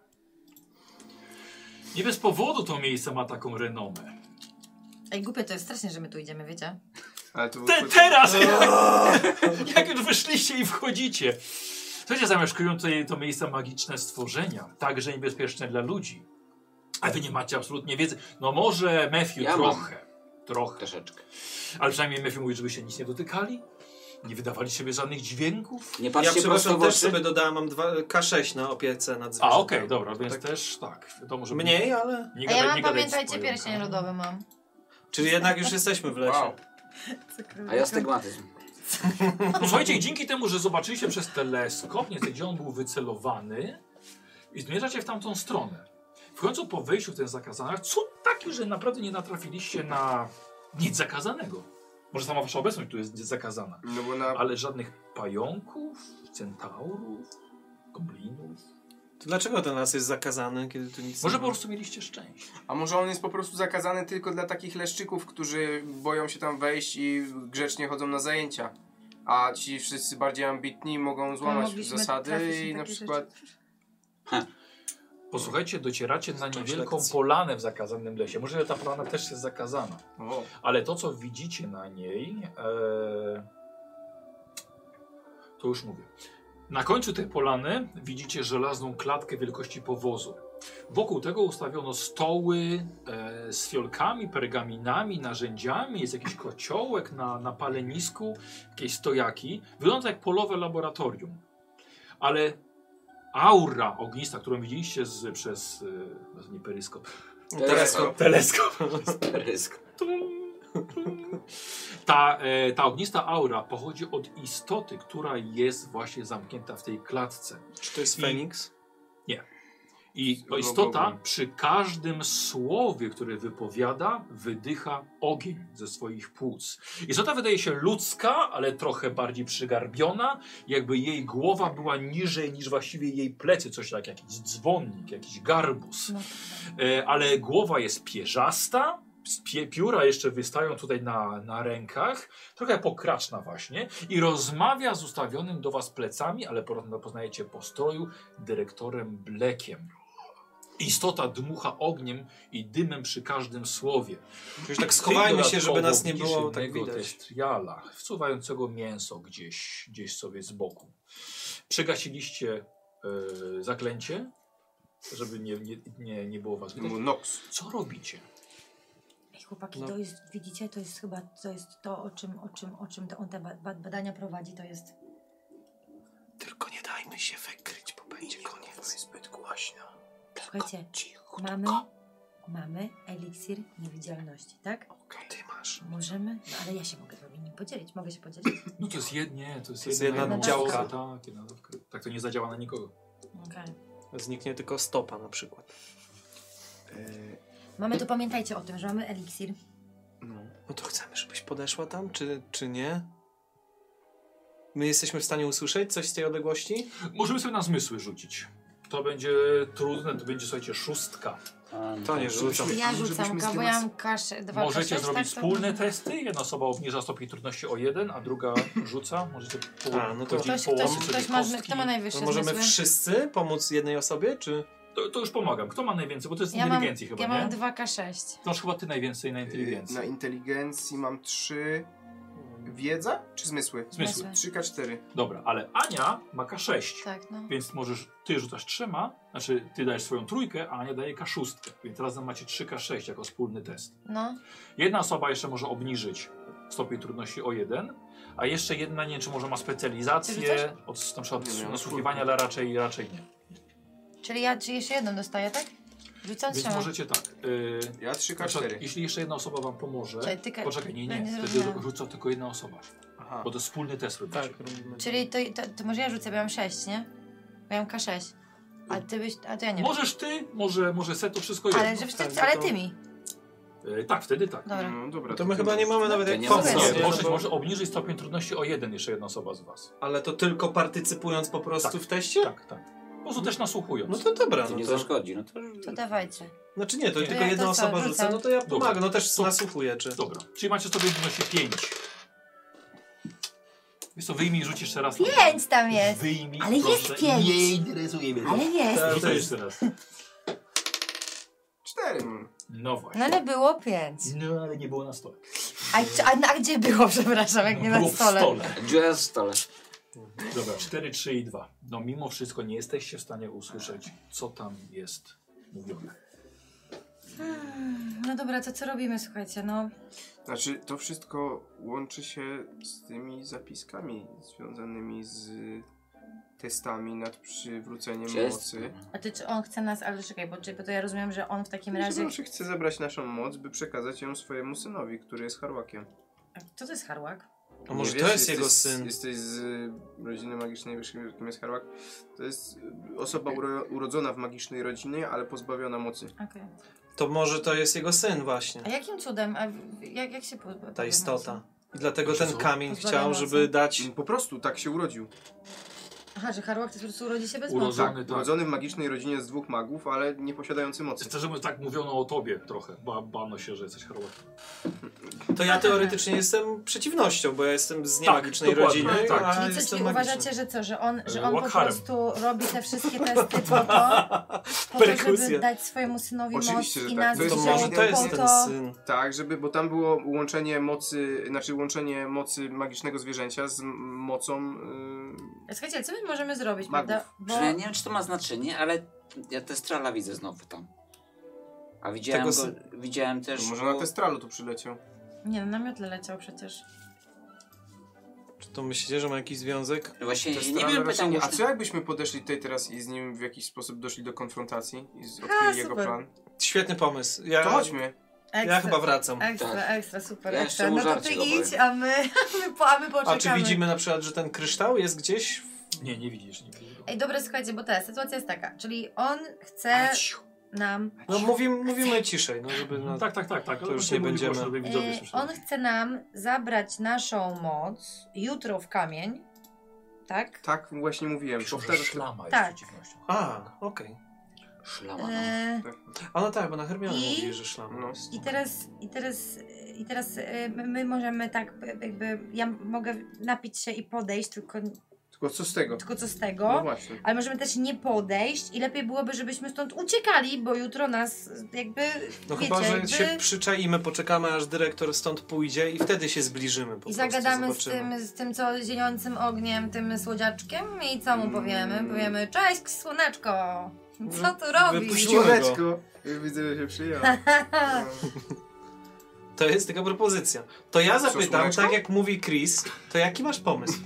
Speaker 1: Nie bez powodu to miejsce ma taką renomę.
Speaker 2: Ej, głupie to jest strasznie, że my tu idziemy, wiecie?
Speaker 3: Ale to
Speaker 1: Te, teraz! jak już wyszliście i wchodzicie. Słuchajcie, zamieszkują tutaj to miejsca magiczne stworzenia, także niebezpieczne dla ludzi. A wy nie macie absolutnie wiedzy. No może Matthew
Speaker 14: Ja mam.
Speaker 1: trochę. Trochę.
Speaker 14: Troszeczkę.
Speaker 1: Ale przynajmniej Matthew mówi, żeby się nic nie dotykali. Nie wydawali sobie żadnych dźwięków.
Speaker 14: Nie
Speaker 5: ja przepraszam, też sobie dodałem, mam dwa, K6 na opiece nad
Speaker 1: A
Speaker 5: zwierzętami.
Speaker 1: okej, dobra, więc też tak. To może
Speaker 5: tak. Mniej, ale...
Speaker 1: Nie
Speaker 2: A ja
Speaker 1: gadaj-
Speaker 2: mam,
Speaker 1: nie gadaj
Speaker 2: pamiętajcie,
Speaker 1: z
Speaker 2: pierścień rodowy mam.
Speaker 5: Czyli jednak już jesteśmy w lesie.
Speaker 14: A ja stygmatyzm.
Speaker 1: No Słuchajcie, i dzięki temu, że zobaczyliście przez teleskop, nie gdzie on był wycelowany, i zmierzacie w tamtą stronę. W końcu po wyjściu w ten zakazany, co taki, że naprawdę nie natrafiliście na nic zakazanego. Może sama wasza obecność tu jest zakazana.
Speaker 3: No bo na...
Speaker 1: Ale żadnych pająków, centaurów, goblinów.
Speaker 5: To dlaczego ten las jest zakazany, kiedy tu nic
Speaker 1: Może
Speaker 5: nie
Speaker 1: po prostu mieliście szczęście.
Speaker 3: A może on jest po prostu zakazany tylko dla takich leszczyków, którzy boją się tam wejść i grzecznie chodzą na zajęcia. A ci wszyscy bardziej ambitni mogą złamać
Speaker 6: mogliśmy
Speaker 3: zasady
Speaker 6: trafić na
Speaker 3: i na
Speaker 6: takie
Speaker 3: przykład...
Speaker 1: Posłuchajcie, docieracie na niewielką polanę w zakazanym lesie. Może ta polana też jest zakazana.
Speaker 3: O,
Speaker 1: Ale to, co widzicie na niej, e, to już mówię. Na końcu tej polany widzicie żelazną klatkę wielkości powozu. Wokół tego ustawiono stoły e, z fiolkami, pergaminami, narzędziami. Jest jakiś kociołek na, na palenisku, jakieś stojaki. Wygląda jak polowe laboratorium. Ale aura ognista, którą widzieliście z, przez. E, nie peryskop.
Speaker 5: No Teleskop.
Speaker 1: Teleskop.
Speaker 14: Perysk.
Speaker 1: Ta, e, ta ognista aura pochodzi od istoty, która jest właśnie zamknięta w tej klatce.
Speaker 5: Czy to jest
Speaker 1: I-
Speaker 5: Feniks?
Speaker 1: I
Speaker 3: Logo
Speaker 1: istota
Speaker 3: ogień.
Speaker 1: przy każdym słowie, które wypowiada, wydycha ogień ze swoich płuc. Istota wydaje się ludzka, ale trochę bardziej przygarbiona, jakby jej głowa była niżej niż właściwie jej plecy, coś tak jak jakiś dzwonnik, jakiś garbus. E, ale głowa jest pierzasta, z pie, pióra jeszcze wystają tutaj na, na rękach, trochę pokraczna właśnie i rozmawia z ustawionym do was plecami, ale po- poznajecie po stroju, dyrektorem Blekiem. Istota dmucha ogniem i dymem przy każdym słowie.
Speaker 5: Już tak
Speaker 1: Ty
Speaker 5: schowajmy się,
Speaker 1: dodatkowo
Speaker 5: żeby nas nie
Speaker 1: widzisz
Speaker 5: było tak
Speaker 1: innego
Speaker 5: widać.
Speaker 1: testriala, wsuwającego mięso gdzieś, gdzieś sobie z boku. Przegasiliście e, zaklęcie, żeby nie, nie, nie, nie było was widać.
Speaker 3: no, Nox.
Speaker 1: Co robicie?
Speaker 15: Ej, chłopaki,
Speaker 5: No.
Speaker 15: to jest, widzicie, to jest chyba, to jest to, o czym, o czym, o czym to on te ba- ba- badania prowadzi, to jest...
Speaker 5: Tylko nie dajmy się wykryć, bo będzie koniec. jest zbyt głośno.
Speaker 15: Słuchajcie, mamy, mamy eliksir niewidzialności, tak?
Speaker 5: Ty masz.
Speaker 15: Możemy, no ale ja się mogę z wami nim podzielić, mogę się podzielić?
Speaker 1: No to jest jednie, to jest,
Speaker 5: To jest
Speaker 1: jedna,
Speaker 5: jedna
Speaker 1: dawka,
Speaker 5: działka.
Speaker 1: Tak, jedna dawka. tak, to nie zadziała na nikogo.
Speaker 15: Okej.
Speaker 5: Zniknie tylko stopa na przykład.
Speaker 15: Mamy to, pamiętajcie o tym, że mamy eliksir.
Speaker 5: No to chcemy, żebyś podeszła tam, czy, czy nie? My jesteśmy w stanie usłyszeć coś z tej odległości?
Speaker 1: Możemy sobie na zmysły rzucić. To będzie trudne, to będzie, słuchajcie, szóstka.
Speaker 5: To nie rzucam.
Speaker 2: Ja
Speaker 3: Żebyśmy
Speaker 2: rzucam
Speaker 3: z
Speaker 2: go, bo
Speaker 3: dymas-
Speaker 2: ja mam kaszę, dwa
Speaker 1: Możecie
Speaker 2: K6,
Speaker 1: zrobić
Speaker 2: tak, to-
Speaker 1: wspólne testy. Jedna osoba obniża stopień trudności o jeden, a druga rzuca. Możecie po,
Speaker 5: A, no to-
Speaker 1: podzielić
Speaker 2: Ktoś,
Speaker 1: połowy
Speaker 2: ktoś,
Speaker 1: sobie
Speaker 2: ktoś ma,
Speaker 1: kostki.
Speaker 2: kto ma
Speaker 5: To
Speaker 2: najwyższe
Speaker 5: możemy
Speaker 2: zmysły?
Speaker 5: wszyscy pomóc jednej osobie, czy...
Speaker 1: to, to już pomagam. Kto ma najwięcej? Bo to jest
Speaker 2: Ja mam,
Speaker 1: inteligencji chyba,
Speaker 2: ja
Speaker 1: nie?
Speaker 2: mam 2K6.
Speaker 1: To już chyba ty najwięcej
Speaker 5: Y,
Speaker 1: na inteligencji.
Speaker 5: no
Speaker 3: Na inteligencji mam trzy... Wiedza czy zmysły?
Speaker 1: Zmysły.
Speaker 3: 3K4.
Speaker 1: Dobra, ale Ania ma K6.
Speaker 2: Tak, no.
Speaker 1: Więc możesz, ty rzucasz trzema, znaczy ty dajesz swoją trójkę, a Ania daje K6. Więc razem macie 3K6 jako wspólny test.
Speaker 2: No,
Speaker 1: Jedna osoba jeszcze może obniżyć stopień trudności o jeden, a jeszcze jedna nie wiem, czy może ma
Speaker 2: Ty
Speaker 1: specjalizację
Speaker 2: rzucasz?
Speaker 1: od na przykład
Speaker 5: no
Speaker 3: Nie wiem,
Speaker 1: nasłuchiwania, ale raczej, raczej nie.
Speaker 2: czyli ja czy jeszcze jedną dostaję, tak? Rzucam
Speaker 1: Więc
Speaker 2: trzema.
Speaker 1: możecie tak. Yy,
Speaker 3: Ja
Speaker 1: na przykład,
Speaker 3: 3K4.
Speaker 1: jeśli jeszcze jedna osoba wam pomoże.
Speaker 2: Czekaj, No, ty ka-
Speaker 1: Poczekaj, nie, nie.
Speaker 2: będzie
Speaker 1: Wtedy
Speaker 2: zrozumiałe.
Speaker 1: rzuca tylko jedna osoba.
Speaker 3: Aha.
Speaker 1: Bo to wspólny test robicie.
Speaker 5: Tak, robimy.
Speaker 2: Czyli to, to, to może ja rzucę, bo ja mam 6, nie? Bo ja mam K6. A ty byś, a to ja nie.
Speaker 1: Możesz ty, może, może set to wszystko jedno.
Speaker 2: ale że wszyscy,
Speaker 5: Tak,
Speaker 2: ale
Speaker 5: to-
Speaker 2: ty mi.
Speaker 1: E, tak, wtedy tak.
Speaker 5: Dobra.
Speaker 1: No,
Speaker 5: To my chyba nie mamy nawet jak
Speaker 1: nie,
Speaker 5: pomóc.
Speaker 1: nie,
Speaker 5: Nie,
Speaker 1: możesz,
Speaker 5: no bo-
Speaker 1: możesz obniżyć stopień trudności o jeden jeszcze jedna osoba z was.
Speaker 5: Ale to tylko partycypując po prostu w teście?
Speaker 1: Tak, tak. Po prostu też nasłuchując.
Speaker 5: No to dobra. no to...
Speaker 4: no to...
Speaker 6: To
Speaker 1: Mm.
Speaker 6: dawajcie.
Speaker 5: Znaczy nie, to
Speaker 1: Nie.
Speaker 5: tylko
Speaker 6: Ja
Speaker 5: jedna
Speaker 6: to co,
Speaker 5: osoba
Speaker 6: rzucam?
Speaker 5: rzuca, no to ja
Speaker 1: Dobra.
Speaker 5: pomagam, no też nasłuchuję, czy...
Speaker 1: Dobra, czyli macie sobie wynosi 5. Wiesz co, wyjmij i rzuć jeszcze raz.
Speaker 6: Pięć tam jest.
Speaker 1: Wyjmij,
Speaker 6: Ale jest
Speaker 1: proszę.
Speaker 6: pięć.
Speaker 1: Nie interesuje mnie to.
Speaker 6: Ale jest.
Speaker 1: Tak,
Speaker 6: To
Speaker 1: To
Speaker 6: jest.
Speaker 1: jeszcze raz.
Speaker 3: Cztery.
Speaker 1: No właśnie.
Speaker 6: No ale było pięć.
Speaker 1: No ale nie było na stole.
Speaker 6: A, czy- a, a gdzie było, przepraszam, jak nie na
Speaker 1: Było w
Speaker 6: stole?
Speaker 1: Gdzie jest stole? Dobra, 4, 3 i 2. No mimo wszystko nie jesteście w stanie usłyszeć, co tam jest mówione.
Speaker 2: Hmm, No dobra, to co robimy, słuchajcie, no.
Speaker 3: Znaczy, to wszystko łączy się z tymi zapiskami związanymi z testami nad przywróceniem
Speaker 2: Przez-
Speaker 3: mocy.
Speaker 2: A ty, czy on chce nas, ale czekaj, bo, czy- bo to ja rozumiem, że on w takim
Speaker 3: Razie...
Speaker 2: razie...
Speaker 3: Zawsze chce zabrać naszą moc, by przekazać ją swojemu synowi, który jest harłakiem.
Speaker 2: A Co to jest harłak?
Speaker 5: A może to jest jego
Speaker 3: jesteś,
Speaker 5: syn?
Speaker 3: Jesteś z y, rodziny magicznej, wiesz kim jest harłak. To jest y, osoba uro urodzona w magicznej rodzinie, ale pozbawiona mocy.
Speaker 2: Okej.
Speaker 1: Tak.
Speaker 5: To może to jest jego syn właśnie,
Speaker 2: A jakim cudem? A w- jak, jak się... po-
Speaker 5: ta
Speaker 2: po-
Speaker 5: istota. I dlatego ten
Speaker 3: co?
Speaker 5: kamień
Speaker 2: Pozbawiam
Speaker 5: chciał,
Speaker 2: mocy.
Speaker 5: żeby dać...
Speaker 3: Po prostu tak się urodził.
Speaker 2: Aha, że harłak to po prostu urodzi się bez
Speaker 3: Urodzony,
Speaker 2: mocy.
Speaker 3: tak, urodzony w magicznej rodzinie z dwóch magów, ale nie posiadający mocy.
Speaker 1: Chcę, żeby tak mówiono o tobie trochę. Ba, bano się, że jesteś harłakiem.
Speaker 5: To ja teoretycznie jestem przeciwnością, bo ja jestem z
Speaker 1: Tak,
Speaker 5: niemagicznej
Speaker 1: dokładnie,
Speaker 5: rodziny,
Speaker 1: tak.
Speaker 5: a
Speaker 2: Czyli co,
Speaker 5: jestem
Speaker 2: czyli uważacie, że co, że on, że
Speaker 5: E,
Speaker 2: on po
Speaker 5: Wakharem.
Speaker 2: prostu robi te wszystkie testy po to, po to żeby
Speaker 3: Perkusja.
Speaker 2: dać swojemu synowi
Speaker 3: Oczywiście,
Speaker 2: moc
Speaker 3: że
Speaker 2: i
Speaker 3: tak.
Speaker 2: nas wziął po to...
Speaker 3: Tak, żeby, bo tam było łączenie mocy, znaczy łączenie mocy magicznego zwierzęcia z m- mocą. y,
Speaker 2: Słuchajcie, co my możemy zrobić,
Speaker 3: Magów.
Speaker 2: prawda? Bo...
Speaker 4: Że ja nie wiem, czy to ma znaczenie, ale ja Testrala widzę znowu tam. A widziałem,
Speaker 3: Tego
Speaker 4: go,
Speaker 3: sy-
Speaker 4: widziałem też...
Speaker 3: To no może
Speaker 4: bo-
Speaker 3: na Testralu tu przyleciał.
Speaker 2: Nie, no, na miotle leciał przecież.
Speaker 5: Czy to myślicie, że ma jakiś związek?
Speaker 4: No Właśnie
Speaker 3: Testral raczej A co jakbyśmy podeszli tutaj teraz i z nim w jakiś sposób doszli do konfrontacji i z- odkryli
Speaker 2: A,
Speaker 3: jego
Speaker 2: super.
Speaker 3: plan?
Speaker 5: Świetny pomysł. Ja,
Speaker 3: To chodźmy.
Speaker 5: Ja chyba wracam.
Speaker 2: Ekstra, ekstra, super,
Speaker 5: Ja
Speaker 2: ekstra.
Speaker 5: jeszcze
Speaker 2: No to
Speaker 5: żarcie
Speaker 2: ty
Speaker 5: dowiem.
Speaker 2: idź, a my, a my, po, a my poczekamy.
Speaker 5: A czy widzimy na przykład, że ten kryształ jest gdzieś?
Speaker 1: Nie, nie widzisz. Nie widzisz.
Speaker 2: Ej, dobra, słuchajcie, bo ta sytuacja jest taka, czyli on chce nam...
Speaker 5: No mówimy, mówimy ciszej, no żeby... No,
Speaker 1: Tak, tak, tak, tak.
Speaker 5: To już
Speaker 1: Tutaj
Speaker 5: nie
Speaker 1: mówię
Speaker 5: będziemy...
Speaker 1: głośno, żeby
Speaker 2: E, on chce nam zabrać naszą moc jutro w kamień, tak?
Speaker 3: Tak, właśnie mówiłem. Powtarzam.
Speaker 1: Szlama
Speaker 2: Tak.
Speaker 5: A, okej. Szlama,
Speaker 2: E,
Speaker 5: A no tak, bo na Hermiona
Speaker 2: I-
Speaker 5: mówi, że szlama
Speaker 1: No.
Speaker 5: jest.
Speaker 2: I teraz, i teraz, i teraz e, my- my możemy tak e, jakby, ja mogę napić się i podejść, tylko,
Speaker 3: Tylko co z tego?
Speaker 2: tylko co z tego?
Speaker 3: No właśnie.
Speaker 2: Ale możemy też nie podejść i lepiej byłoby, żebyśmy stąd uciekali, bo jutro nas jakby,
Speaker 5: No
Speaker 2: wiecie,
Speaker 5: chyba, że
Speaker 2: jakby...
Speaker 5: się przyczaimy, poczekamy aż dyrektor stąd pójdzie i wtedy się zbliżymy po
Speaker 2: I
Speaker 5: prostu,
Speaker 2: zagadamy z
Speaker 5: zobaczymy.
Speaker 2: tym, z tym, co zielącym ogniem, tym słodziaczkiem i co mu powiemy? Powiemy, cześć słoneczko, co tu robisz?
Speaker 3: Słoneczko. Widzę, że się przyjęło.
Speaker 5: To jest taka propozycja. To ja
Speaker 3: Co,
Speaker 5: zapytam,
Speaker 3: słoneczko?
Speaker 5: tak jak mówi Chris, to jaki masz pomysł?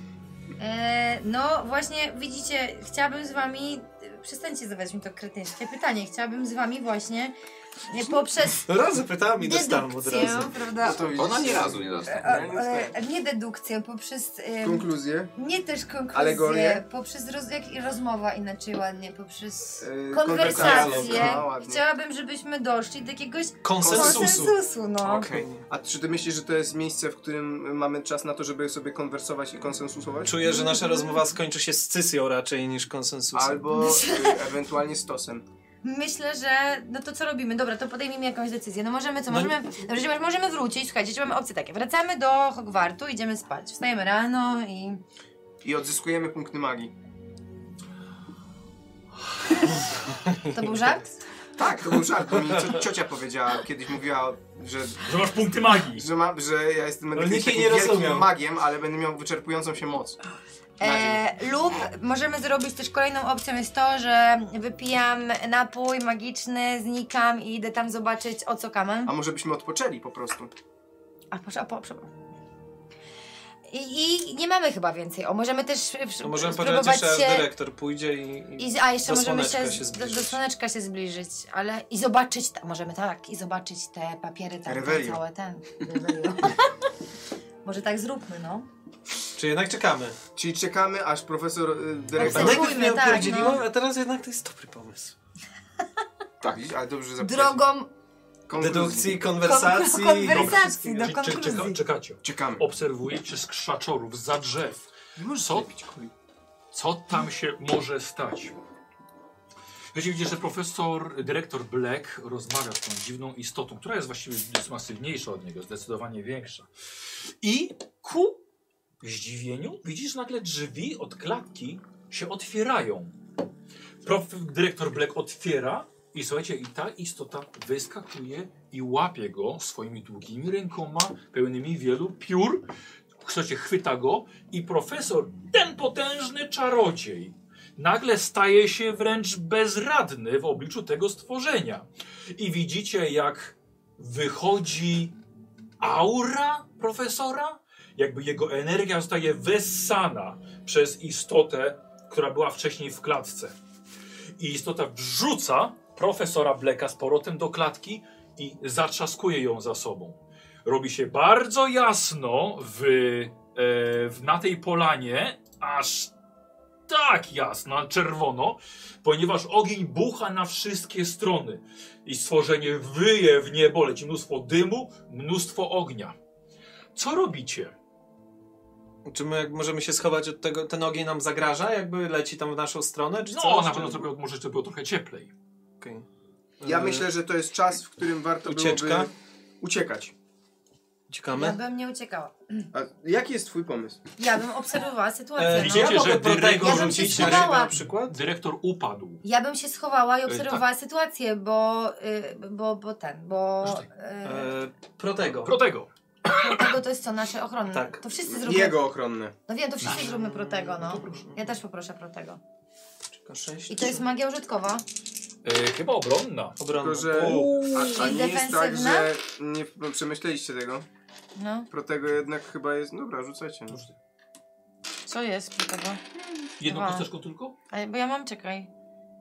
Speaker 2: E, no właśnie, widzicie, chciałabym z wami, przestańcie zadawać mi to kretyńskie pytanie, chciałabym z wami właśnie e, poprzez
Speaker 5: No raz zapytałam i dostałam od
Speaker 2: dedukcję,
Speaker 5: razu. No
Speaker 2: prawda?
Speaker 3: No
Speaker 4: no.
Speaker 5: Eee.
Speaker 16: Ona nie razu nie dostała.
Speaker 2: E, e, e, nie dedukcję, poprzez... em,
Speaker 3: Konkluzje.
Speaker 2: Nie też konkluzję,
Speaker 3: Alegorię?
Speaker 2: poprzez roz, jak, i rozmowa inaczej ładnie, poprzez
Speaker 3: Yy,
Speaker 2: konwersację.
Speaker 5: No,
Speaker 3: konwersację. A, ładnie.
Speaker 2: Chciałabym, żebyśmy doszli do jakiegoś
Speaker 3: Konsensusu.
Speaker 2: konsensusu no.
Speaker 3: Okej. A czy ty myślisz, że to jest miejsce, w którym mamy czas na to, żeby sobie konwersować i konsensusować?
Speaker 5: Czuję, że nasza rozmowa skończy się scysją raczej niż konsensusem.
Speaker 3: Albo y, ewentualnie stosem.
Speaker 2: Myślę, że no to co robimy? Dobra, to podejmijmy jakąś decyzję. No możemy co, możemy, dobrze, że możemy wrócić, słuchajcie, czy mamy opcje takie. Wracamy do Hogwartu, idziemy spać. Wstajemy rano i...
Speaker 3: I odzyskujemy punkty magii.
Speaker 2: To był żart?
Speaker 3: Tak, to był żart. bo Mi cio- ciocia powiedziała, kiedyś mówiła, że...
Speaker 1: Że masz punkty magii.
Speaker 3: Że, ma, że ja jestem będę
Speaker 5: Ale
Speaker 3: kiedyś
Speaker 5: nikt jej
Speaker 3: takim
Speaker 5: nie
Speaker 3: wielkim
Speaker 5: rozumiał.
Speaker 3: magiem, ale będę miał wyczerpującą się moc.
Speaker 2: E, lub możemy zrobić też kolejną opcją jest to, że wypijam napój magiczny, znikam i idę tam zobaczyć o co kamem.
Speaker 3: A może byśmy odpoczęli po prostu?
Speaker 2: A proszę, a po, przepraszam. I, I nie mamy chyba więcej. O, możemy też w- w-
Speaker 5: To możemy poczekać,
Speaker 2: spróbować
Speaker 5: jeszcze aż
Speaker 2: się.
Speaker 5: dyrektor pójdzie i,
Speaker 2: I, a jeszcze
Speaker 5: do
Speaker 2: możemy się,
Speaker 5: słoneczka
Speaker 2: z- do,
Speaker 5: zbliżyć.
Speaker 2: do słoneczka się zbliżyć, ale i zobaczyć, ta, możemy tak, i zobaczyć te papiery tam, te
Speaker 5: Revelio.
Speaker 2: całe ten. Revelio. Może tak zróbmy, no.
Speaker 5: Czy jednak czekamy?
Speaker 3: Czyli czekamy, aż profesor y, dyrektor...
Speaker 2: Obserwujmy, Najpierw mnie tak, opierdzieliło, no.
Speaker 5: a teraz jednak to jest dobry pomysł.
Speaker 3: Tak, ale dobrze, Tak, że zapytałeś.
Speaker 2: Drogą
Speaker 5: Dedukcji, konwersacji.
Speaker 1: Kon- konwersacji, do Czyli czy- konkluzji. czeka- czekacie.
Speaker 3: Czekamy.
Speaker 1: Obserwujecie z krzaczorów, za drzew. Co, co tam się może stać? Wiecie, widzicie, że profesor, dyrektor Black rozmawia z tą dziwną istotą, która jest właściwie jest masywniejsza od niego, zdecydowanie większa. I ku zdziwieniu widzisz nagle drzwi od klatki się otwierają. Prof, dyrektor Black otwiera i słuchajcie, i ta istota wyskakuje i łapie go swoimi długimi rękoma, pełnymi wielu piór. Słuchajcie, chwyta go i profesor, ten potężny czarodziej, nagle staje się wręcz bezradny w obliczu tego stworzenia. I widzicie, jak wychodzi aura profesora, jakby jego energia zostaje wessana przez istotę, która była wcześniej w klatce. I istota wrzuca profesora Bleka z powrotem do klatki i zatrzaskuje ją za sobą. Robi się bardzo jasno w, e, w, na tej polanie, aż tak jasno, czerwono, ponieważ ogień bucha na wszystkie strony i stworzenie wyje w niebo, leci mnóstwo dymu, mnóstwo ognia. Co robicie?
Speaker 5: Czy my jak możemy się schować od tego, ten ogień nam zagraża, jakby leci tam w naszą stronę, czy
Speaker 1: No,
Speaker 5: coś?
Speaker 1: na
Speaker 5: Czy-
Speaker 1: pewno trochę, może to było trochę cieplej.
Speaker 5: Okej.
Speaker 3: Ja
Speaker 5: Y,
Speaker 3: myślę, że to jest czas, w którym warto
Speaker 5: Ucieczka?
Speaker 3: byłoby uciekać.
Speaker 2: Ja
Speaker 5: Uciekamy?
Speaker 2: bym nie uciekała.
Speaker 3: A jaki jest twój pomysł?
Speaker 2: Ja bym obserwowała sytuację.
Speaker 1: E,
Speaker 2: no.
Speaker 1: widzicie,
Speaker 2: ja,
Speaker 1: że
Speaker 2: bym
Speaker 1: dyrektor,
Speaker 2: ja bym się schowała.
Speaker 5: przykład?
Speaker 1: dyrektor upadł.
Speaker 2: Ja bym się schowała i
Speaker 1: E,
Speaker 2: obserwowała sytuację, bo, y, bo, bo ten, bo y,
Speaker 5: E, protego.
Speaker 1: Protego.
Speaker 2: Protego to jest co, nasze ochronne.
Speaker 5: Tak.
Speaker 2: To wszyscy zróbmy.
Speaker 3: Jego ochronne.
Speaker 2: No wiem, to wszyscy zróbmy Protego, no. Ja też poproszę Protego. I to jest magia użytkowa.
Speaker 1: E, chyba obronna.
Speaker 5: Obronna.
Speaker 3: Tylko, że a, a
Speaker 2: Czyli
Speaker 3: nie jest tak,
Speaker 2: defensywna?
Speaker 3: że nie no, przemyśleliście tego.
Speaker 2: No.
Speaker 3: Protego jednak chyba jest. Dobra, rzucacie. No.
Speaker 2: Co jest Protego?
Speaker 1: Jedną
Speaker 2: Dwa.
Speaker 1: kosteczką tylko?
Speaker 2: A, bo ja mam, czekaj.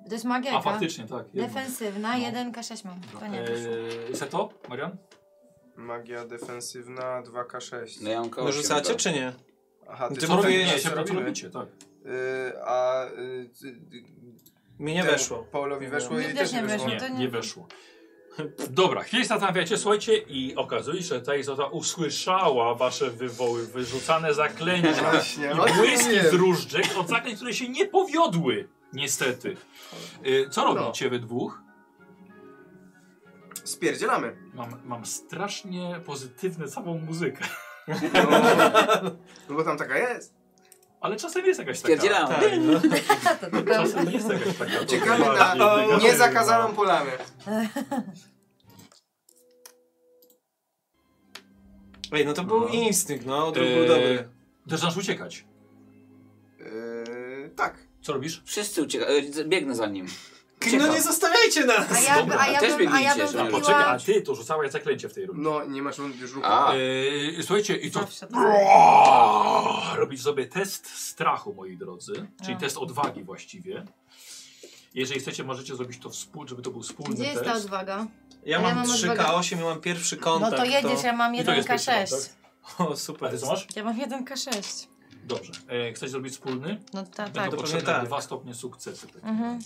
Speaker 2: To jest magia.
Speaker 1: A faktycznie, tak. jedną.
Speaker 2: Defensywna, 1k6 mam. To nie proszę.
Speaker 1: Eee, Seto, Marian?
Speaker 3: Magia defensywna 2K6.
Speaker 4: No ja mam
Speaker 5: No rzucacie, czy nie?
Speaker 3: Aha, ty
Speaker 5: Ty
Speaker 3: co
Speaker 5: mówisz-
Speaker 3: robisz?
Speaker 5: nie,
Speaker 3: Co
Speaker 1: się
Speaker 3: robimy?
Speaker 1: co robicie, tak.
Speaker 3: Y, a y, ty-
Speaker 5: Mi nie
Speaker 3: temu
Speaker 5: weszło.
Speaker 3: Paulowi weszło
Speaker 2: Mi
Speaker 3: i też
Speaker 2: też nie
Speaker 3: nie weszło.
Speaker 2: weszło.
Speaker 1: Nie,
Speaker 2: to nie-
Speaker 1: nie weszło. Dobra, chwilę zastanawiacie, słuchajcie, i okazuje się, że ta istota usłyszała wasze wywoły, wyrzucane zaklęcia
Speaker 3: Właśnie, o
Speaker 1: i
Speaker 3: tym
Speaker 1: błyski
Speaker 3: mówiłem.
Speaker 1: z różdżek od zaklęć, które się nie powiodły, niestety. E, Co
Speaker 3: No.
Speaker 1: robicie wy dwóch?
Speaker 3: Spierdzielamy.
Speaker 1: Mam, mam strasznie pozytywną całą muzykę,
Speaker 3: No bo tam taka jest.
Speaker 1: ale czasem jest jakaś taka.
Speaker 4: Pierdzielam.
Speaker 5: Tak, no.
Speaker 1: Czasem jest jakaś taka.
Speaker 3: Czekamy na
Speaker 1: Bardziej negatywna.
Speaker 3: niezakazaną polanę.
Speaker 5: Ej, no to był
Speaker 1: No.
Speaker 5: instynkt, no, to był
Speaker 1: Eee,
Speaker 5: dobry.
Speaker 1: Zaczynasz uciekać.
Speaker 3: Y, tak.
Speaker 1: Co robisz?
Speaker 4: Wszyscy uciekają, biegnę za nim.
Speaker 5: No nie zostawiajcie nas!
Speaker 2: A ja,
Speaker 1: Dobra,
Speaker 2: a ja
Speaker 4: też
Speaker 2: bym, a ja
Speaker 4: biegnijcie,
Speaker 2: bym
Speaker 4: żeby-
Speaker 1: Poczekaj, a
Speaker 2: wypiła...
Speaker 1: ty to rzucałeś zaklęcie w tej rundzie.
Speaker 3: No, nie masz już ruchu.
Speaker 4: A,
Speaker 1: Eee, słuchajcie, i to.
Speaker 2: Zawsze tak.
Speaker 1: Robić sobie test strachu, moi drodzy, czyli
Speaker 2: A.
Speaker 1: test odwagi właściwie. Jeżeli chcecie, możecie zrobić to wspólnie, żeby to był wspólny
Speaker 2: Gdzie jest ta
Speaker 1: test.
Speaker 2: odwaga?
Speaker 5: Ja
Speaker 2: A ja
Speaker 5: mam
Speaker 2: mam
Speaker 5: 3K8 i mam pierwszy
Speaker 2: No
Speaker 5: kontakt.
Speaker 2: to jedziesz, ja mam
Speaker 1: I No tak, to jest
Speaker 2: 1k6.
Speaker 1: pierwszy tak?
Speaker 5: O,
Speaker 1: A
Speaker 5: super.
Speaker 1: ty co masz?
Speaker 2: Ja mam 1k6.
Speaker 1: Dobrze. E, chcesz zrobić wspólny?
Speaker 2: No ta, tak.
Speaker 1: Będą
Speaker 5: to
Speaker 1: potrzebne
Speaker 5: pewnie tak.
Speaker 1: dwa stopnie sukcesu. Tak.
Speaker 2: Mhm.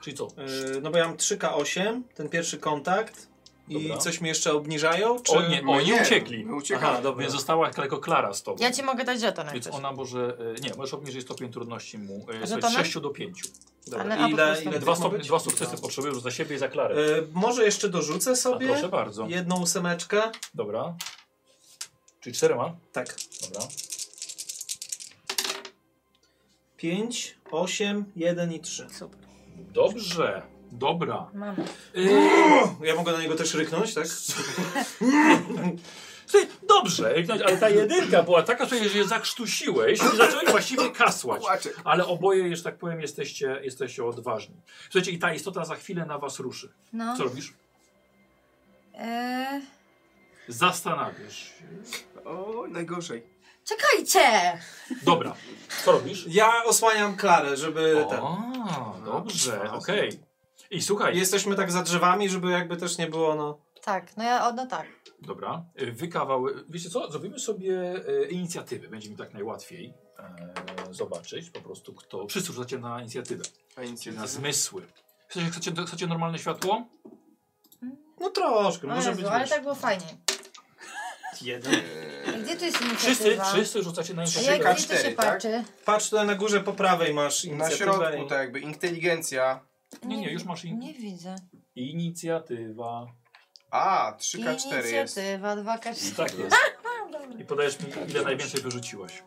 Speaker 1: Czyli co?
Speaker 5: Yy, No bo ja mam 3K8, ten pierwszy kontakt. I
Speaker 1: Dobra.
Speaker 5: coś mi jeszcze obniżają? Czy...
Speaker 1: O, nie,
Speaker 3: My
Speaker 1: oni
Speaker 3: nie, No,
Speaker 1: uciekli.
Speaker 3: my uciekamy.
Speaker 5: Aha, dobra.
Speaker 1: Więc została tylko Klara z tobą.
Speaker 2: Ja ci mogę dać żeton jak
Speaker 1: Więc
Speaker 2: chcesz.
Speaker 1: ona może. e, Nie, możesz obniżyć stopień trudności mu e,
Speaker 2: że
Speaker 1: słuchaj,
Speaker 2: to
Speaker 1: z
Speaker 2: na-
Speaker 1: 6 do 5.
Speaker 5: Dobra.
Speaker 2: Ale- a po
Speaker 5: Ile,
Speaker 2: prostu-
Speaker 5: ile
Speaker 1: Dwa,
Speaker 5: tych ma
Speaker 1: stopnie,
Speaker 5: być?
Speaker 1: dwa sukcesy
Speaker 5: Dobra.
Speaker 1: potrzebujesz za siebie i za Klarę.
Speaker 5: Yy, Może jeszcze dorzucę
Speaker 1: A,
Speaker 5: sobie
Speaker 1: proszę bardzo.
Speaker 5: jedną ósemeczkę.
Speaker 1: Dobra. Czyli czterema?
Speaker 5: Tak.
Speaker 1: Dobra.
Speaker 5: 5, 8, 1 i 3.
Speaker 1: Dobrze, dobra. Yy,
Speaker 2: Mamy.
Speaker 5: Ja mogę na niego też ryknąć, tak?
Speaker 1: Słuchaj, dobrze, ale ta jedynka była taka, słuchaj, że je zakrztusiłeś i zacząłeś właściwie kasłać.
Speaker 3: Kłaczek.
Speaker 1: Ale oboje, że tak powiem, jesteście, jesteście odważni. Słuchajcie, i ta istota za chwilę na was ruszy.
Speaker 2: No.
Speaker 1: Co robisz?
Speaker 2: Eee,
Speaker 1: Zastanawiasz się.
Speaker 3: O, najgorzej.
Speaker 2: czekajcie!
Speaker 1: Dobra, co robisz?
Speaker 5: Ja osłaniam Klarę,
Speaker 1: Yy,
Speaker 5: żeby
Speaker 1: tak.
Speaker 5: ten.
Speaker 1: O, dobrze, okej. I słuchaj,
Speaker 5: Jesteśmy tak za drzewami, żeby jakby też nie było, no.
Speaker 2: Tak, no ja, o, no tak.
Speaker 1: dobra, Y, wy kawały, wiecie co, zrobimy sobie e, inicjatywy, będzie mi tak najłatwiej e, zobaczyć po prostu kto, wszyscy rzucacie na inicjatywę.
Speaker 3: A nic nie
Speaker 1: Czyli na zmysły. Chcecie, chcecie, chcecie normalne światło?
Speaker 5: No troszkę,
Speaker 2: O
Speaker 5: może
Speaker 2: Jezu,
Speaker 5: być
Speaker 2: ale
Speaker 5: wiesz.
Speaker 2: tak było fajnie.
Speaker 5: Jeden.
Speaker 2: A E, Gdzie tu jest inicjatywa?
Speaker 5: Wszyscy, wszyscy rzucacie na
Speaker 2: A jak
Speaker 5: inicjatywę.
Speaker 2: gdzie to się patrzy?
Speaker 5: Patrz tutaj na górze po prawej masz
Speaker 3: Na
Speaker 5: inicjatywę.
Speaker 3: środku tak jakby inteligencja.
Speaker 1: Nie, nie, już masz in...
Speaker 2: Nie widzę.
Speaker 1: inicjatywa.
Speaker 3: A,
Speaker 2: Inicjatywa, 2K4.
Speaker 1: Tak jest. I podajesz mi, ile najwięcej wyrzuciłaś.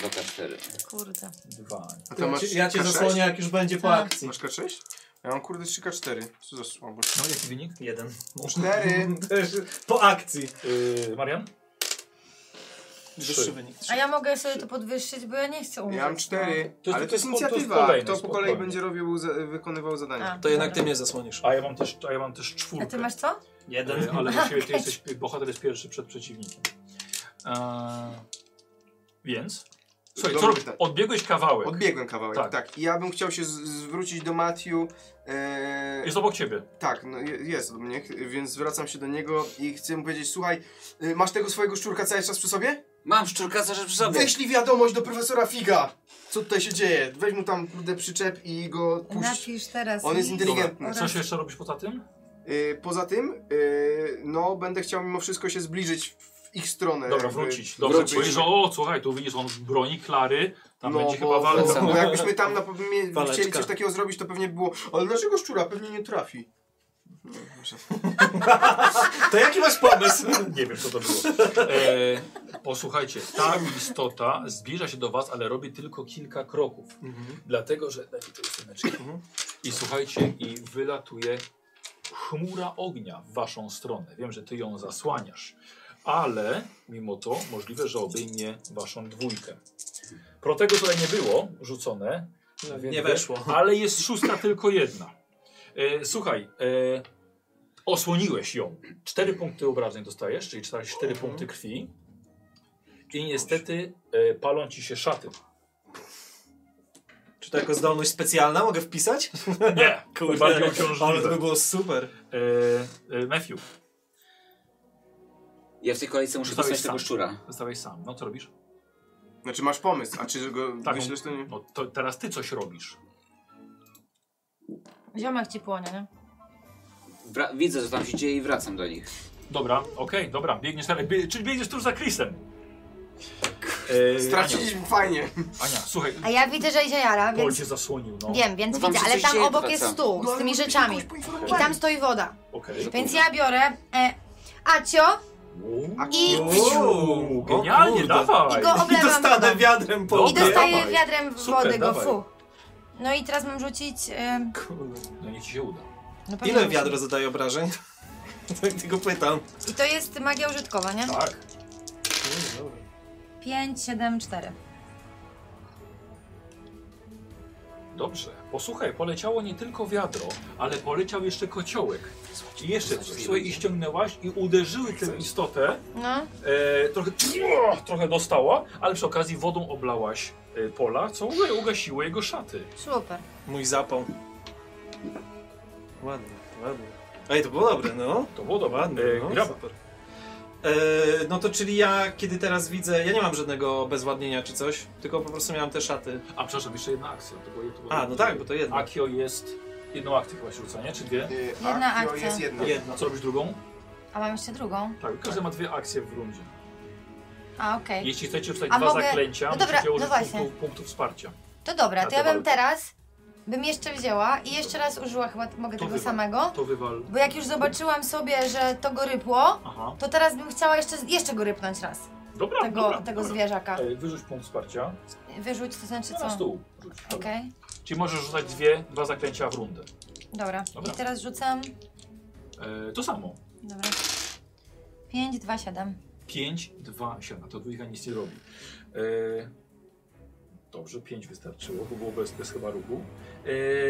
Speaker 14: Dwa K4.
Speaker 2: Kurde.
Speaker 1: Dwa.
Speaker 3: A to masz K6?
Speaker 2: Tak.
Speaker 3: Masz K6? Ja mam kurde 3K4. Co za słabo.
Speaker 1: No jaki wynik?
Speaker 5: Jeden.
Speaker 3: Cztery.
Speaker 5: po akcji.
Speaker 1: Y, Marian?
Speaker 5: Wyższy wynik.
Speaker 2: A ja mogę sobie to podwyższyć, bo ja nie chcę umrzeć. no.
Speaker 3: Ja mam cztery.
Speaker 1: No. To-
Speaker 3: ale
Speaker 1: to
Speaker 3: to jest
Speaker 1: jest po- to jest
Speaker 3: inicjatywa.
Speaker 1: kolejne,
Speaker 3: Kto po
Speaker 1: spokojnie. Tak.
Speaker 3: kolei będzie robił, za, wykonywał zadanie.
Speaker 2: A, To jednak dobra. ty mnie
Speaker 5: zasłonisz.
Speaker 1: A ja mam też, a ja mam też czwórkę.
Speaker 2: A ty masz co?
Speaker 1: Jeden. Ale
Speaker 2: Aha,
Speaker 1: właściwie ty
Speaker 2: okej.
Speaker 1: jesteś, bohater jest pierwszy przed przeciwnikiem. Eee, więc? Słuchaj, co
Speaker 3: Dobra,
Speaker 1: robisz?
Speaker 3: tak.
Speaker 1: Odbiegłeś kawałek.
Speaker 3: Odbiegłem kawałek,
Speaker 1: Tak.
Speaker 3: tak. I ja bym chciał się z- zwrócić do Matthew. e,
Speaker 1: Jest obok ciebie.
Speaker 3: Tak, no, je- jest od mnie, ch- więc zwracam się do niego i chcę mu powiedzieć, słuchaj, e, masz tego swojego szczurka cały czas przy sobie?
Speaker 4: Mam szczurka cały czas przy sobie.
Speaker 3: Wyślij wiadomość do profesora Figa, co tutaj się dzieje. Weź mu tam kurde przyczep i go
Speaker 1: Znaczy-
Speaker 3: puść.
Speaker 2: Napisz teraz.
Speaker 3: On jest
Speaker 2: mi
Speaker 3: inteligentny.
Speaker 2: oraz-
Speaker 1: jeszcze robisz poza tym?
Speaker 3: E, poza tym, y, no będę chciał mimo wszystko się zbliżyć w ich stronę.
Speaker 1: Dobra,
Speaker 3: jakby.
Speaker 1: wrócić. Dobrze,
Speaker 3: Wrócić.
Speaker 1: powiesz, że o, słuchaj, tu widzisz, on broni Klary, tam
Speaker 3: No,
Speaker 1: będzie chyba
Speaker 3: bo,
Speaker 1: walka.
Speaker 3: bo jakbyśmy tam na pewno mieli-
Speaker 1: Waleczka.
Speaker 3: chcieli coś takiego zrobić, to pewnie by było, ale dlaczego szczura pewnie nie trafi? No, muszę-
Speaker 5: To jaki masz pomysł?
Speaker 1: Nie wiem, co to było. E, posłuchajcie, ta istota zbliża się do was, ale robi tylko kilka kroków. Dlatego, że... Dajcie tu ósemeczkę. Mhm. I słuchajcie, i wylatuje chmura ognia w waszą stronę. Wiem, że ty ją zasłaniasz, ale mimo to możliwe, że obejmie waszą dwójkę. Protego tutaj nie było rzucone.
Speaker 5: No,
Speaker 1: więc
Speaker 5: nie weszło.
Speaker 1: Ale jest szósta tylko jedna. E, słuchaj, e, osłoniłeś ją. Cztery punkty obrażeń dostajesz, czyli cztery, cztery
Speaker 5: Mhm.
Speaker 1: punkty krwi. I niestety e, palą ci się szaty.
Speaker 5: Czy to jako zdolność specjalna mogę wpisać?
Speaker 1: Nie,
Speaker 5: Kurde,
Speaker 1: bardziej uciążliwe.
Speaker 5: ale to by było super.
Speaker 1: E, e, Matthew.
Speaker 4: Ja w tej kolejce muszę
Speaker 1: Zostałeś
Speaker 4: dostać tego
Speaker 1: sam.
Speaker 4: szczura.
Speaker 1: Zostałeś sam. No co robisz?
Speaker 3: Znaczy masz pomysł, a czy go
Speaker 1: Tak,
Speaker 3: wyślesz to nie?
Speaker 1: No to teraz ty coś robisz.
Speaker 2: Ziomek ci płonie, nie?
Speaker 4: Wra- widzę, co tam się dzieje i wracam do nich.
Speaker 1: Dobra, okej, dobra, biegniesz dalej. Bie czyli biegniesz tuż za Chrisem. E,
Speaker 3: Straciliśmy fajnie.
Speaker 1: Ania, słuchaj,
Speaker 2: A ja widzę, że idzie Jara,
Speaker 1: Paul
Speaker 2: więc
Speaker 1: cię zasłonił, no.
Speaker 2: wiem, więc
Speaker 1: No wam
Speaker 2: widzę,
Speaker 1: się
Speaker 2: ale
Speaker 1: coś
Speaker 2: tam
Speaker 1: dzieje,
Speaker 2: obok
Speaker 1: wraca.
Speaker 2: jest stół
Speaker 1: No, ale
Speaker 2: z tymi
Speaker 1: musimy
Speaker 2: rzeczami. I tam stoi woda.
Speaker 1: Okej.
Speaker 2: Więc ja biorę e, Acio i,
Speaker 5: Uuu,
Speaker 1: genialnie, dawaj.
Speaker 2: I go oblewam
Speaker 5: dostanę
Speaker 2: wodą.
Speaker 5: wiadrem po
Speaker 2: i dostaję wiadrem
Speaker 1: Super,
Speaker 2: wody go,
Speaker 1: dawaj.
Speaker 2: fu. No i teraz mam rzucić... E,
Speaker 1: No niech ci się uda.
Speaker 2: no pewnie
Speaker 5: Ile
Speaker 2: muszę.
Speaker 5: wiadro zadaje obrażeń? Tak tylko pytam.
Speaker 2: I to jest magia użytkowa, nie?
Speaker 1: Tak.
Speaker 2: 5, 7, 4.
Speaker 1: Dobrze, posłuchaj, poleciało nie tylko wiadro, ale poleciał jeszcze kociołek. I jeszcze coś. Słuchaj, i ściągnęłaś i uderzyły tę istotę.
Speaker 2: No.
Speaker 1: E, trochę, trochę dostała, ale przy okazji wodą oblałaś e, pola, co uga- ugasiło jego szaty.
Speaker 2: Super.
Speaker 5: Mój zapał. Ładnie, ładnie. Ej, to było dobre, no.
Speaker 1: To było dobre.
Speaker 5: Ładnie,
Speaker 1: E,
Speaker 5: no,
Speaker 1: graba.
Speaker 5: super. E, no to czyli ja, kiedy teraz widzę, ja nie mam żadnego obezwładnienia czy coś, tylko po prostu miałem te szaty.
Speaker 1: A przepraszam, jeszcze jedna akcja. To było, to było,
Speaker 5: A, no tak, bo to jedno.
Speaker 1: Akio jest jedną akcję chyba się rzuca, nie? Czy dwie?
Speaker 2: Jedna akcja. jest
Speaker 3: jedna.
Speaker 1: jedna. Co robisz drugą?
Speaker 2: A mam jeszcze drugą.
Speaker 1: Tak, każdy ma dwie akcje w rundzie.
Speaker 2: A, okej.
Speaker 1: Jeśli chcecie wstać
Speaker 2: A
Speaker 1: dwa
Speaker 2: mogę-
Speaker 1: zaklęcia,
Speaker 2: no dobra,
Speaker 1: musicie
Speaker 2: no
Speaker 1: użyć
Speaker 2: właśnie.
Speaker 1: punktu, punktu wsparcia.
Speaker 2: To dobra,
Speaker 1: Na
Speaker 2: to
Speaker 1: te
Speaker 2: ja bym
Speaker 1: walki.
Speaker 2: teraz... Bym jeszcze wzięła i jeszcze raz użyła chyba mogę
Speaker 1: To
Speaker 2: tego
Speaker 1: wywal.
Speaker 2: samego.
Speaker 1: To wywal.
Speaker 2: Bo jak już zobaczyłam sobie, że to go rypło,
Speaker 1: Aha.
Speaker 2: to teraz bym chciała jeszcze, jeszcze go rypnąć raz.
Speaker 1: Dobra,
Speaker 2: tego
Speaker 1: dobra,
Speaker 2: tego
Speaker 1: dobra.
Speaker 2: zwierzaka.
Speaker 1: E, Wyrzuć punkt wsparcia.
Speaker 2: Wyrzuć, to znaczy co?
Speaker 1: Na stół.
Speaker 2: Okej,
Speaker 1: Czyli możesz rzucać dwie, dwa zaklęcia w rundę.
Speaker 2: dobra.
Speaker 1: Dobra.
Speaker 2: I teraz rzucam.
Speaker 1: E, to samo.
Speaker 2: Dobra. 5, 2, 7.
Speaker 1: 5, 2, 7. To dwójka nic nie robi. E, dobrze, 5 wystarczyło, bo było bez, bez chyba ruchu.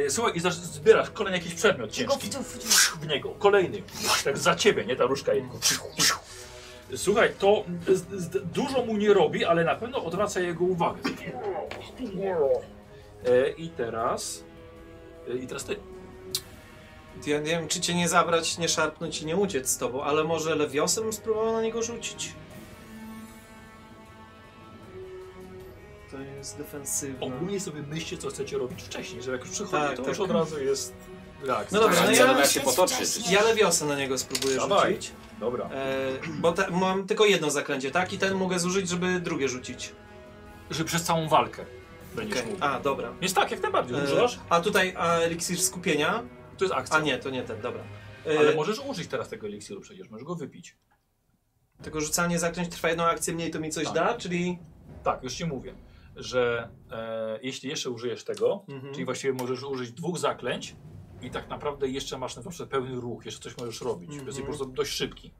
Speaker 1: E, słuchaj, i zasz- zbierasz kolejny jakiś przedmiot ciężki. W niego, kolejny. Tak za ciebie, nie? Ta różka jego. Słuchaj, to z, z, dużo mu nie robi, ale na pewno odwraca jego uwagę. E, I teraz... E, I teraz ty.
Speaker 5: Ja nie wiem, czy cię nie zabrać, nie szarpnąć i nie uciec z tobą, ale może lewiosem spróbował na niego rzucić? To jest defensywne.
Speaker 1: Ogólnie sobie myślcie, co chcecie robić wcześniej, że jak już przychodzi,
Speaker 5: Tak,
Speaker 1: to
Speaker 5: tak.
Speaker 1: już od razu jest Tak,
Speaker 5: No dobrze, no
Speaker 1: zobaczymy,
Speaker 5: ja,
Speaker 1: jak się potoczy.
Speaker 5: ja lewiosę na niego spróbuję
Speaker 1: Dawaj.
Speaker 5: rzucić.
Speaker 1: Dobra.
Speaker 5: E, bo ta, mam tylko jedno zaklęcie, tak? I ten mogę zużyć, żeby drugie rzucić.
Speaker 1: Że przez całą walkę będziesz
Speaker 5: Okej.
Speaker 1: mógł.
Speaker 5: A, E, dobra.
Speaker 1: Więc tak, jak najbardziej. Używasz?
Speaker 5: A tutaj a, eliksir skupienia.
Speaker 1: To jest akcja.
Speaker 5: A nie, e- to nie ten, dobra.
Speaker 1: Ale możesz użyć teraz tego eliksiru przecież, możesz go wypić.
Speaker 5: Tylko rzucanie zaklęć trwa jedną akcję mniej, to mi coś
Speaker 1: Tak.
Speaker 5: da, czyli...
Speaker 1: Tak, już ci mówię, że e, jeśli jeszcze użyjesz tego,
Speaker 5: Mhm.
Speaker 1: czyli właściwie możesz użyć dwóch zaklęć i tak naprawdę jeszcze masz na przykład pełny ruch, jeszcze coś możesz robić. Więc
Speaker 5: Mhm.
Speaker 1: jesteś po prostu dość szybki.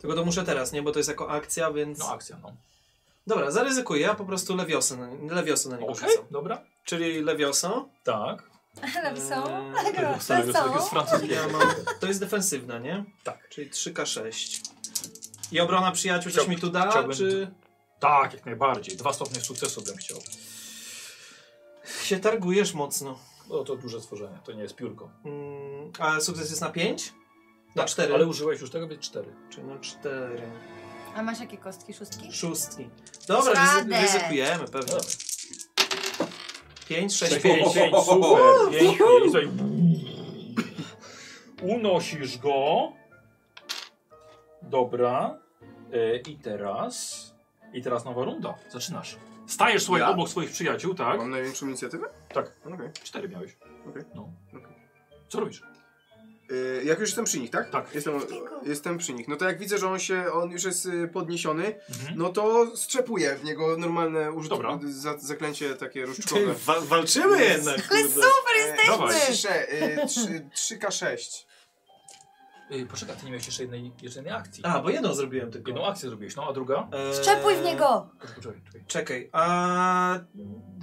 Speaker 5: Tylko to muszę teraz, nie? Bo to jest jako akcja, więc... No
Speaker 1: akcja, no.
Speaker 5: Dobra, zaryzykuję, ja po prostu lewiosę na, lewiosę na niego
Speaker 1: Okej,
Speaker 5: rzucam.
Speaker 1: dobra.
Speaker 5: Czyli lewioso.
Speaker 1: Tak.
Speaker 6: Lewsą?
Speaker 5: Lewioso,
Speaker 6: Lewsą?
Speaker 5: Ja mam, to jest defensywna, nie?
Speaker 1: Tak.
Speaker 5: Czyli 3K6. I obrona przyjaciół coś mi tu da,
Speaker 1: chciałbym-
Speaker 5: czy...
Speaker 1: Tak, jak najbardziej. Dwa stopnie sukcesu bym chciał.
Speaker 5: Się targujesz mocno.
Speaker 1: No to duże stworzenie, to nie jest piórko.
Speaker 5: Mm, a sukces jest na 5? Na
Speaker 1: Tak,
Speaker 5: 4.
Speaker 1: Ale użyłeś już tego, więc cztery.
Speaker 5: Czyli na 4.
Speaker 2: A masz jakie kostki? Szóstki?
Speaker 5: Szóstki. Dobra, ryzy
Speaker 2: Radę.
Speaker 5: ryzykujemy, pewnie. 5, 6,
Speaker 1: Pięć, pięć, super, pięć, pięć, tutaj. Unosisz go. Dobra. E, I teraz. I teraz nowa runda. Zaczynasz. Stajesz słuchaj,
Speaker 3: Ja?
Speaker 1: obok swoich przyjaciół, tak?
Speaker 3: Mam największą inicjatywę?
Speaker 1: Tak.
Speaker 3: Okej.
Speaker 1: Cztery miałeś.
Speaker 3: Okej.
Speaker 1: No. Co robisz?
Speaker 3: Y, Jak już jestem przy nich, tak?
Speaker 1: Tak.
Speaker 3: Jestem, jestem przy nich. No to jak widzę, że on się, on już jest y, podniesiony,
Speaker 1: Mhm.
Speaker 3: no to strzepuję w niego normalne użyt... za, zaklęcie takie różdżkowe.
Speaker 1: tak.
Speaker 5: Wa- walczymy jednak, Ale kurde. super jesteśmy!
Speaker 3: Ciszę, y, trzy- 3K6.
Speaker 1: Yy, poczekaj, ty nie miałeś jeszcze jednej, jeszcze jednej akcji.
Speaker 5: A, bo jedną zrobiłem tylko. Eee,
Speaker 1: Jedną akcję zrobiłeś, no a druga?
Speaker 2: Szczepuj w niego!
Speaker 1: Poczekaj, czekaj.
Speaker 5: Czekaj, a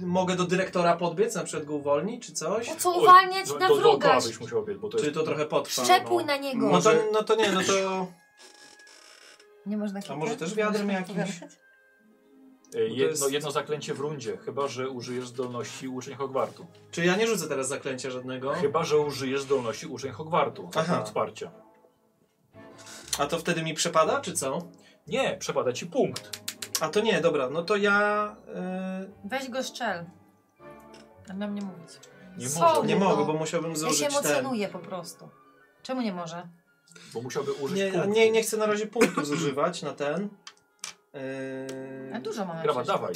Speaker 5: mogę do dyrektora podbiec, na przykład go uwolnić, czy coś?
Speaker 15: Po co uwalniać
Speaker 1: do-
Speaker 15: na
Speaker 1: do- dookoła
Speaker 15: wroga?
Speaker 1: byś musiał biec, bo to
Speaker 5: Czyli
Speaker 1: jest- E,
Speaker 5: to trochę potrwa.
Speaker 15: Szczepuj na niego.
Speaker 5: No to,
Speaker 15: Może-
Speaker 5: no to nie, no to...
Speaker 2: Nie można
Speaker 5: A może też wiadrem jakimś?
Speaker 1: Yy,
Speaker 5: to
Speaker 1: jedno,
Speaker 5: jest-
Speaker 1: jedno zaklęcie w rundzie, chyba że użyjesz zdolności uczeń Hogwartu.
Speaker 5: Czyli ja nie rzucę teraz zaklęcia żadnego?
Speaker 1: Chyba, że użyjesz zdolności uczeń Hogwartu.
Speaker 5: Aha.
Speaker 1: Aha. Wsparcia.
Speaker 5: A to wtedy mi przepada, czy co?
Speaker 1: Nie, przepada ci punkt.
Speaker 5: A to nie, dobra, no to ja... y,
Speaker 2: Weź go szczel. A miałam nie mówić.
Speaker 5: Nie
Speaker 2: Co
Speaker 5: może.
Speaker 2: wy,
Speaker 5: Nie
Speaker 2: no?
Speaker 5: mogę, bo musiałbym
Speaker 2: Ja
Speaker 5: zużyć
Speaker 2: się emocjonuję po prostu. Czemu nie może?
Speaker 1: Bo musiałby użyć
Speaker 5: nie,
Speaker 1: punktu.
Speaker 5: nie, nie chcę na razie punktów zużywać na ten. Yy...
Speaker 2: A dużo mamy
Speaker 1: Grawa,
Speaker 2: przecież.
Speaker 1: dawaj.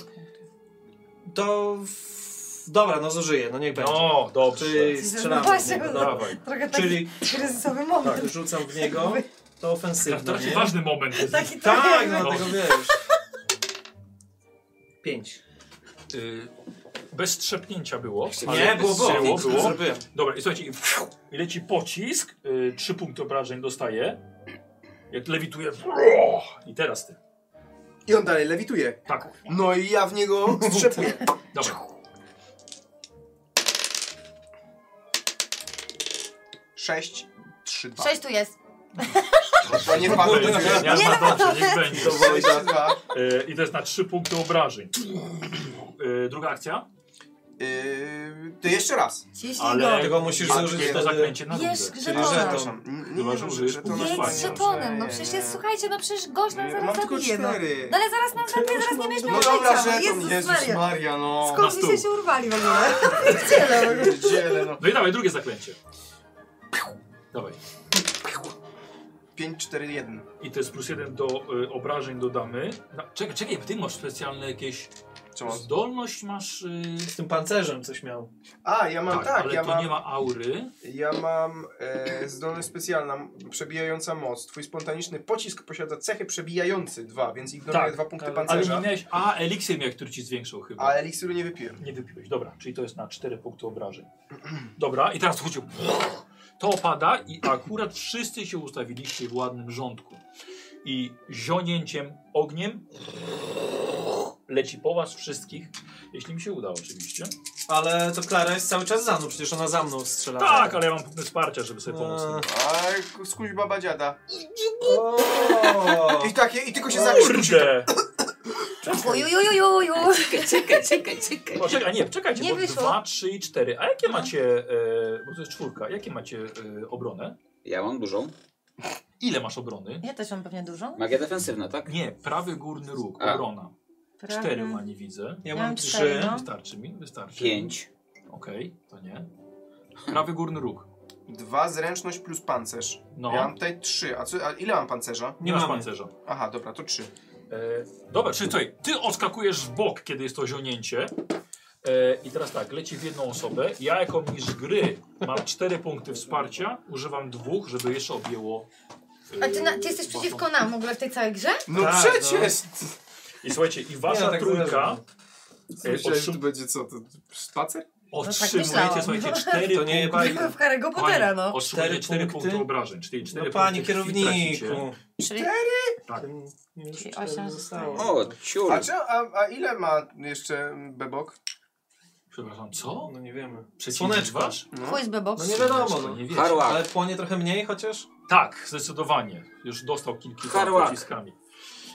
Speaker 5: To... w- Dobra, no zużyję, no niech będzie.
Speaker 1: No, dobrze.
Speaker 5: Czyli
Speaker 2: No
Speaker 5: strzelam w
Speaker 2: właśnie,
Speaker 5: niego,
Speaker 2: no,
Speaker 5: dawaj.
Speaker 2: trochę taki
Speaker 5: Czyli
Speaker 2: kryzysowy moment.
Speaker 5: tak, rzucam w niego, to ofensywne.
Speaker 1: Tak, To taki
Speaker 5: no nie?
Speaker 1: ważny moment.
Speaker 2: Taki
Speaker 5: Tak,
Speaker 2: trochę-
Speaker 5: no
Speaker 1: No.
Speaker 5: tego wiesz. Pięć.
Speaker 1: Y, bez strzepnięcia było.
Speaker 5: Nie,
Speaker 1: ale
Speaker 5: było, było.
Speaker 1: było, było.
Speaker 5: Zrobiłem.
Speaker 1: Dobra, i słuchajcie, i fiu, i leci pocisk, y, trzy punkty obrażeń dostaje. Jak lewituje. bro, I teraz ty.
Speaker 3: I on dalej lewituje.
Speaker 1: Tak.
Speaker 3: No i ja w niego strzepuję.
Speaker 1: Dobra.
Speaker 3: Sześć, trzy, dwa.
Speaker 2: Sześć tu jest.
Speaker 3: To nie wpadło do
Speaker 1: Nie,
Speaker 3: ciebie.
Speaker 1: nie, nie,
Speaker 5: no,
Speaker 1: dobrze, niech będzie.
Speaker 3: To było i tak.
Speaker 1: Y, I to jest na trzy punkty obrażeń. Y, druga akcja?
Speaker 3: Yy, Ty jeszcze raz.
Speaker 2: Ciśnij Ale go.
Speaker 5: tego musisz zużyć
Speaker 1: to
Speaker 5: wtedy-
Speaker 1: zaklęcie na
Speaker 15: Bierz
Speaker 1: rundę.
Speaker 15: żetona.
Speaker 3: Przepraszam.
Speaker 1: Chyba, że użyjesz punktu
Speaker 15: Jedź z
Speaker 1: wsparcia.
Speaker 15: żetonem, no przecież jest, słuchajcie, no przecież gość nam
Speaker 3: Nie,
Speaker 15: zaraz
Speaker 3: mam tylko
Speaker 15: zabije, no.
Speaker 3: cztery.
Speaker 15: no ale zaraz nam zabije, zaraz nie będziemy
Speaker 3: No dobra,
Speaker 15: życia, no.
Speaker 3: żeton. Jezus Maria, no.
Speaker 15: Skąd
Speaker 1: Na
Speaker 15: mi się
Speaker 1: stół.
Speaker 15: się urwali w ogóle?
Speaker 3: Dzielę, no.
Speaker 1: No i dawaj, drugie zaklęcie. Dawaj.
Speaker 3: 5, 4, 1.
Speaker 1: I to jest plus jeden do y, obrażeń dodamy. No, czekaj, czekaj, ty masz specjalne jakieś...
Speaker 3: Co mam?
Speaker 1: Zdolność masz... Y...
Speaker 5: Z tym pancerzem coś miał.
Speaker 3: A, ja mam tak,
Speaker 1: ale
Speaker 3: ja
Speaker 1: to
Speaker 3: mam...
Speaker 1: nie ma aury.
Speaker 3: Ja mam e, zdolność specjalna, m- przebijająca moc. Twój spontaniczny pocisk posiada cechy przebijający dwa, więc ignoruję dwa punkty
Speaker 1: Tak, ale,
Speaker 3: pancerza.
Speaker 1: Ale nie miałeś, a eliksir miał, który ci zwiększył chyba.
Speaker 3: A eliksiru nie wypiłem.
Speaker 1: Nie wypiłeś, dobra, czyli to jest na 4 punkty obrażeń. Dobra, i teraz chodził. To opada i akurat wszyscy się ustawiliście w ładnym rządku. I zionięciem ogniem leci po was wszystkich, jeśli mi się uda oczywiście.
Speaker 5: Ale to Klara jest cały czas za mną, przecież ona za mną strzela.
Speaker 1: Tak, ale ja mam punkty wsparcia, żeby sobie pomóc.
Speaker 5: Eee,
Speaker 3: A skuś baba dziada.
Speaker 5: o,
Speaker 3: I takie, i tylko się zakrztusi.
Speaker 1: Kurde!
Speaker 2: Ujujujujuju.
Speaker 14: Czekaj, czekaj, czekaj.
Speaker 1: Poczekaj, nie, czekajcie,
Speaker 2: Nie
Speaker 1: bo
Speaker 2: wyszło.
Speaker 1: 2, 3 i 4. A jakie macie, e, bo to jest czwórka, jakie macie e, obronę?
Speaker 4: Ja mam dużą.
Speaker 1: Ile masz obrony?
Speaker 2: Ja też mam pewnie dużo.
Speaker 4: Magia defensywna, tak?
Speaker 1: Nie, prawy górny róg,
Speaker 4: A.
Speaker 1: obrona.
Speaker 2: Prawy.
Speaker 1: Cztery ma, nie widzę.
Speaker 5: Ja
Speaker 2: mam
Speaker 5: mam
Speaker 2: cztery,
Speaker 5: trzy.
Speaker 2: no.
Speaker 1: Wystarczy mi, wystarczy.
Speaker 4: Pięć.
Speaker 1: Okej, to nie. Prawy górny róg.
Speaker 3: Dwa zręczność plus pancerz.
Speaker 1: No.
Speaker 3: Ja mam tutaj trzy. A, co, a ile mam pancerza?
Speaker 1: Nie masz pancerza.
Speaker 3: Aha, dobra, to trzy.
Speaker 1: E, dobra, czyli tutaj, ty odskakujesz w bok, kiedy jest to zionięcie. E, I teraz tak, leci w jedną osobę. Ja jako mistrz gry mam cztery punkty wsparcia, używam dwóch, żeby jeszcze objęło. e,
Speaker 2: A ty, na, ty jesteś
Speaker 1: waszą-
Speaker 2: przeciwko nam w ogóle w tej całej grze?
Speaker 3: No
Speaker 1: Tak,
Speaker 3: przecież!
Speaker 1: I słuchajcie, i wasza
Speaker 3: Nie, no tak
Speaker 1: trójka. e,
Speaker 3: Myślałem, że
Speaker 1: otrzym-
Speaker 3: to będzie co, to spacer?
Speaker 1: Otrzymujecie,
Speaker 2: No tak myślałam.
Speaker 1: słuchajcie, cztery
Speaker 5: To
Speaker 1: punkty.
Speaker 5: nie bajka.
Speaker 2: W Harry'ego Pottera, no.
Speaker 1: Otrzymujecie cztery punkty obrażeń, czyli cztery
Speaker 5: No panie
Speaker 1: punkty krwi
Speaker 5: kierowniku.
Speaker 2: Czyli...
Speaker 1: Tak.
Speaker 2: Czyli osiem zostało.
Speaker 4: O, ciul.
Speaker 3: A, czy, a, a ile ma jeszcze Bebok?
Speaker 1: Przepraszam, co?
Speaker 5: No nie wiemy.
Speaker 1: Słoneczko.
Speaker 2: Chuj z beboks.
Speaker 5: No nie wiadomo, no.
Speaker 1: Nie wiecie.
Speaker 5: Ale płonie trochę mniej chociaż?
Speaker 1: Tak, zdecydowanie. Już dostał kilki
Speaker 5: Harłak.
Speaker 1: pociskami.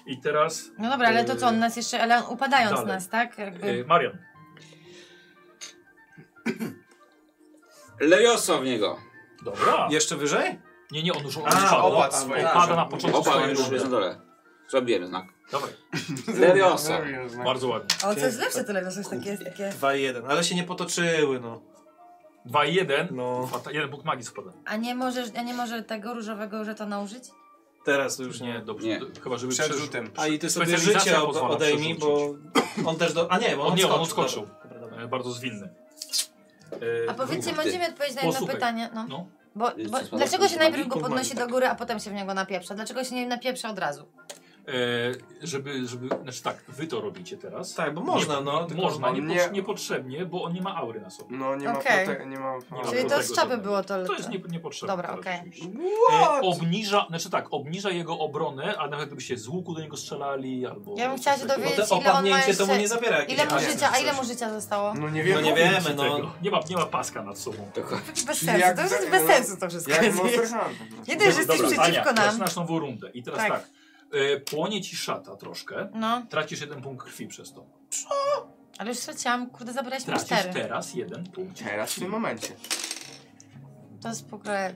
Speaker 1: I teraz.
Speaker 2: No dobra, ale to co, on nas jeszcze, ale on upadając
Speaker 1: Eee, dalej.
Speaker 2: nas, tak? Jakby...
Speaker 1: E, Marian.
Speaker 4: Lejosła w niego.
Speaker 1: Dobra.
Speaker 5: Jeszcze wyżej?
Speaker 1: Nie, nie, on już on
Speaker 4: A,
Speaker 1: opadł.
Speaker 4: opadł
Speaker 1: On
Speaker 4: swoje.
Speaker 1: Opada na początku
Speaker 4: Opadł,
Speaker 1: swojej
Speaker 4: już
Speaker 1: rundy.
Speaker 4: jest na dole. Zrobiłem znak.
Speaker 1: Dawaj.
Speaker 4: Lejosła.
Speaker 1: Bardzo ładnie.
Speaker 2: O, co jest lepsze tyle, to jest takie, jest takie...
Speaker 5: 2-1, ale się nie potoczyły, no.
Speaker 1: 2-1. No. Jeden punkt magii spada.
Speaker 2: A nie możesz, a nie może tego różowego żetona użyć?
Speaker 1: Eee,
Speaker 5: Teraz już
Speaker 1: nie. Dobrze,
Speaker 4: Nie.
Speaker 1: d- chyba żeby
Speaker 3: Przed
Speaker 1: przeżył-
Speaker 3: rzutem.
Speaker 5: A i ty sobie
Speaker 1: Specjalizacja
Speaker 5: życie ob-
Speaker 1: pozwala
Speaker 5: odejmij, bo on też do... A nie, bo on,
Speaker 1: On nie, on
Speaker 5: odskoczył.
Speaker 1: odskoczył. E, Bardzo zwinny. E,
Speaker 2: A powiedzcie, będziemy odpowiedzieć na jedno
Speaker 1: Posłuchaj.
Speaker 2: pytanie, no.
Speaker 1: No.
Speaker 2: Bo,
Speaker 1: Jest
Speaker 2: bo
Speaker 1: to spada-
Speaker 2: dlaczego się
Speaker 1: spada-
Speaker 2: najpierw go
Speaker 1: spada-
Speaker 2: podnosi
Speaker 1: tak.
Speaker 2: do góry, a potem się w niego napieprza? Dlaczego się nie napieprza od razu?
Speaker 1: E, żeby, żeby, znaczy tak, wy to robicie teraz.
Speaker 5: Tak, bo można,
Speaker 1: nie,
Speaker 5: no, tylko
Speaker 1: Można,
Speaker 5: on
Speaker 1: nie,
Speaker 5: nie-
Speaker 1: niepotrzebnie, bo on nie ma aury na sobie.
Speaker 3: No nie ma
Speaker 2: Okej.
Speaker 3: prote- No nie ma
Speaker 1: Nie ma
Speaker 2: Czyli to z
Speaker 1: prostego
Speaker 2: czapy
Speaker 1: żadnego.
Speaker 2: było to
Speaker 1: To jest nie,
Speaker 2: lepsze.
Speaker 1: niepotrzebne.
Speaker 2: tak. Dobra,
Speaker 1: teraz
Speaker 2: okej.
Speaker 1: oczywiście. E, obniża, znaczy tak, obniża jego obronę, a nawet gdybyście z łuku do niego strzelali albo...
Speaker 2: Ja bym chciała się
Speaker 1: coś takiego.
Speaker 2: dowiedzieć,
Speaker 5: Bo to
Speaker 2: ile on ma
Speaker 5: opadnięcie
Speaker 2: jeszcze...
Speaker 5: to mu nie zabiera jakiejś
Speaker 2: ile mu
Speaker 5: akcji
Speaker 2: życia,
Speaker 5: czy
Speaker 2: A ile
Speaker 5: coś.
Speaker 2: mu życia zostało?
Speaker 3: No nie
Speaker 5: No nie wiemy,
Speaker 1: Ci tego.
Speaker 5: no.
Speaker 1: Nie ma, nie ma paska nad sobą.
Speaker 2: Bez sensu, to już jest bez sensu to wszystko.
Speaker 3: Jak
Speaker 2: jest.
Speaker 3: Monster Hunter.
Speaker 2: Nie dość, że jesteś
Speaker 1: Dobra,
Speaker 2: przeciwko
Speaker 1: Ania,
Speaker 2: nam.
Speaker 1: zaczynasz nową rundę i teraz
Speaker 2: Tak.
Speaker 1: tak, e, płonie ci szata troszkę,
Speaker 2: No,
Speaker 1: tracisz jeden punkt krwi przez to.
Speaker 2: ale już straciłam, kurde, zabrałeś mi
Speaker 1: Tracisz
Speaker 2: cztery.
Speaker 1: teraz jeden punkt.
Speaker 3: Teraz w tym momencie.
Speaker 2: To jest w ogóle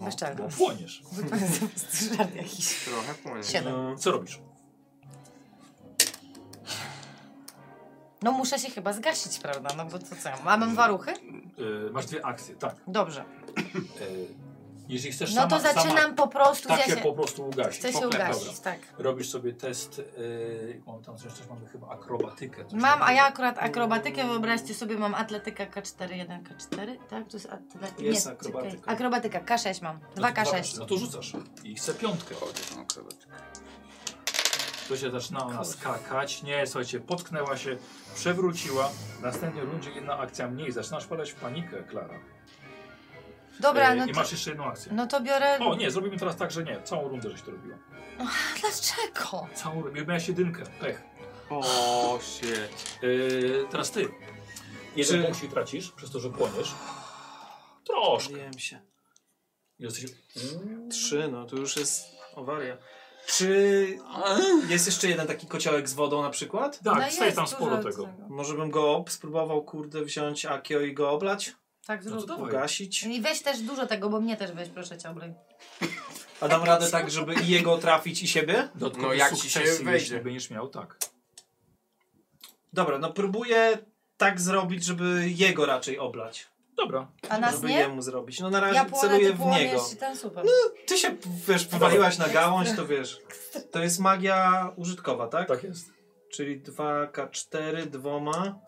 Speaker 2: bezczelne.
Speaker 1: Bo płoniesz.
Speaker 2: Żart jakiś.
Speaker 3: Trochę płonie.
Speaker 2: Siedem.
Speaker 1: Co robisz?
Speaker 2: No muszę się chyba zgasić, prawda? No bo to co, ja mam? A mam dwa ruchy?
Speaker 1: E, masz dwie akcje, tak.
Speaker 2: Dobrze.
Speaker 1: E, jeżeli chcesz
Speaker 2: No to
Speaker 1: sama,
Speaker 2: zaczynam
Speaker 1: sama,
Speaker 2: po prostu,
Speaker 1: Tak
Speaker 2: ja
Speaker 1: się
Speaker 2: się-
Speaker 1: po prostu ugasić.
Speaker 2: Chcę się
Speaker 1: Dobra.
Speaker 2: ugasić, tak.
Speaker 1: Robisz sobie test, e, mam tam coś, coś mamy chyba akrobatykę. Coś
Speaker 2: Mam, a
Speaker 1: takiego. No
Speaker 2: ja akurat akrobatykę, wyobraźcie sobie, mam atletyka K4, 1 K4, tak? To jest atletyka.
Speaker 5: Jest akrobatyka.
Speaker 2: Akrobatyka, K6 mam,
Speaker 1: No to
Speaker 2: 2 K6.
Speaker 1: No to rzucasz. I chcę piątkę.
Speaker 4: no,
Speaker 1: To się zaczyna ona skakać. Nie, słuchajcie, potknęła się, przewróciła. W następnej rundzie jedna akcja mniej. Zaczynasz padać w panikę, Klara.
Speaker 2: Dobra,
Speaker 1: E,
Speaker 2: no
Speaker 1: I
Speaker 2: to,
Speaker 1: masz jeszcze jedną akcję.
Speaker 2: no to biorę...
Speaker 1: O nie, zrobimy teraz tak, że nie. Całą rundę żeś to robiła.
Speaker 2: Dlaczego?
Speaker 1: Całą rundę. Miałaś jedynkę. Pech.
Speaker 3: O się.
Speaker 1: E, teraz ty. Jeden
Speaker 5: Czy-
Speaker 1: punkt się tracisz, przez to, że płoniesz. Troszkę.
Speaker 5: Wiem się.
Speaker 1: Jesteś...
Speaker 5: Trzy, no to już jest awaria. Czy jest jeszcze jeden taki kociołek z wodą na przykład?
Speaker 1: Tak,
Speaker 2: No
Speaker 1: staje
Speaker 2: jest
Speaker 1: tam
Speaker 2: dużo
Speaker 1: sporo
Speaker 2: od
Speaker 1: tego.
Speaker 2: tego.
Speaker 5: Może bym go ob- spróbował, kurde, wziąć Akio i go oblać?
Speaker 2: Tak, zrób.
Speaker 1: No dawaj.
Speaker 5: Ugasić?
Speaker 2: I weź też dużo tego, bo mnie też weź, proszę cię, oblej.
Speaker 5: A dam radę tak, żeby i jego trafić i siebie?
Speaker 1: Dodatkowe
Speaker 3: No, jak ci się
Speaker 1: sukcesy,
Speaker 3: wejdzie.
Speaker 1: Jeśli będziesz miał, tak.
Speaker 5: Dobra, no próbuję tak zrobić, żeby jego raczej oblać.
Speaker 1: Dobra.
Speaker 2: A nas
Speaker 5: żeby
Speaker 2: nie?
Speaker 5: jemu zrobić. No na razie
Speaker 2: Ja płonę,
Speaker 5: celuję
Speaker 2: ty
Speaker 5: w niego.
Speaker 2: płoniesz i ten super.
Speaker 1: No.
Speaker 5: Ty się, wiesz, powaliłaś na gałąź, to wiesz. To jest magia użytkowa, tak?
Speaker 1: Tak jest.
Speaker 5: Czyli 2K4 dwoma.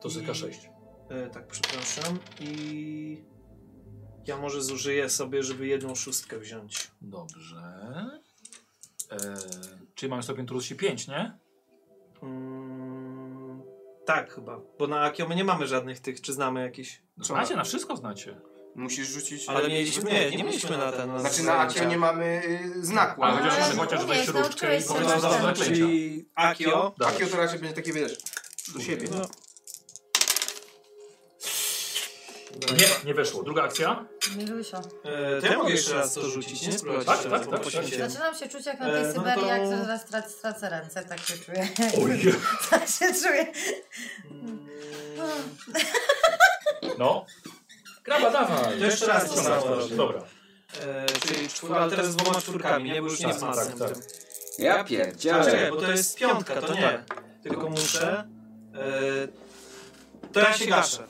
Speaker 1: To
Speaker 5: I-
Speaker 3: Mm.
Speaker 1: ZK6.
Speaker 5: E, tak, przepraszam. I ja może zużyję sobie, żeby jedną szóstkę wziąć.
Speaker 1: Dobrze. E, czyli mamy stopień trudności 5, nie?
Speaker 5: Mm, tak, chyba. Bo na Akio my nie mamy żadnych tych, czy znamy jakieś.
Speaker 1: Znacie, na wszystko znacie.
Speaker 3: Musisz rzucić.
Speaker 5: Ale mieliśmy-
Speaker 3: znaku.
Speaker 5: nie, nie mieliśmy na ten- Tak.
Speaker 3: Znaczy na Akio nie mamy y, znaku.
Speaker 1: Ale
Speaker 3: Ale
Speaker 1: chociaż,
Speaker 2: Ale
Speaker 1: chociaż
Speaker 2: mówię,
Speaker 1: weź różdżkę i
Speaker 2: nauczyłeś się
Speaker 1: powiedz
Speaker 2: właśnie.
Speaker 1: za zaklęcia.
Speaker 5: Czyli Akio.
Speaker 1: Dobra.
Speaker 3: Akio to raczej będzie takie wiesz. Do siebie.
Speaker 5: No.
Speaker 1: Nie, nie weszło. Druga akcja?
Speaker 2: Milusio.
Speaker 5: E, to ja mogę jeszcze raz to rzucić, nie? Spróbować
Speaker 1: Tak,
Speaker 5: jeszcze
Speaker 1: tak,
Speaker 5: raz,
Speaker 1: tak,
Speaker 5: bo
Speaker 1: tak.
Speaker 5: poświęciłem.
Speaker 2: Zaczynam się czuć jak na tej
Speaker 5: E, no
Speaker 2: Syberii,
Speaker 5: to-
Speaker 2: jak zaraz trac, stracę ręce, tak się czuję.
Speaker 1: Ojej.
Speaker 2: tak się czuję.
Speaker 1: No. Graba, dawaj.
Speaker 5: To jeszcze raz to samo.
Speaker 1: Dobra.
Speaker 5: E, czyli czwór, ale teraz z dwoma czwórkami, nie? Bo już nie jest
Speaker 1: Tak,
Speaker 5: masem.
Speaker 1: tak.
Speaker 4: Ja
Speaker 5: Ale
Speaker 4: pierdzielę.
Speaker 5: czekaj, bo to jest piątka, Tak. to nie. Tylko muszę... E, to ja się gaszę.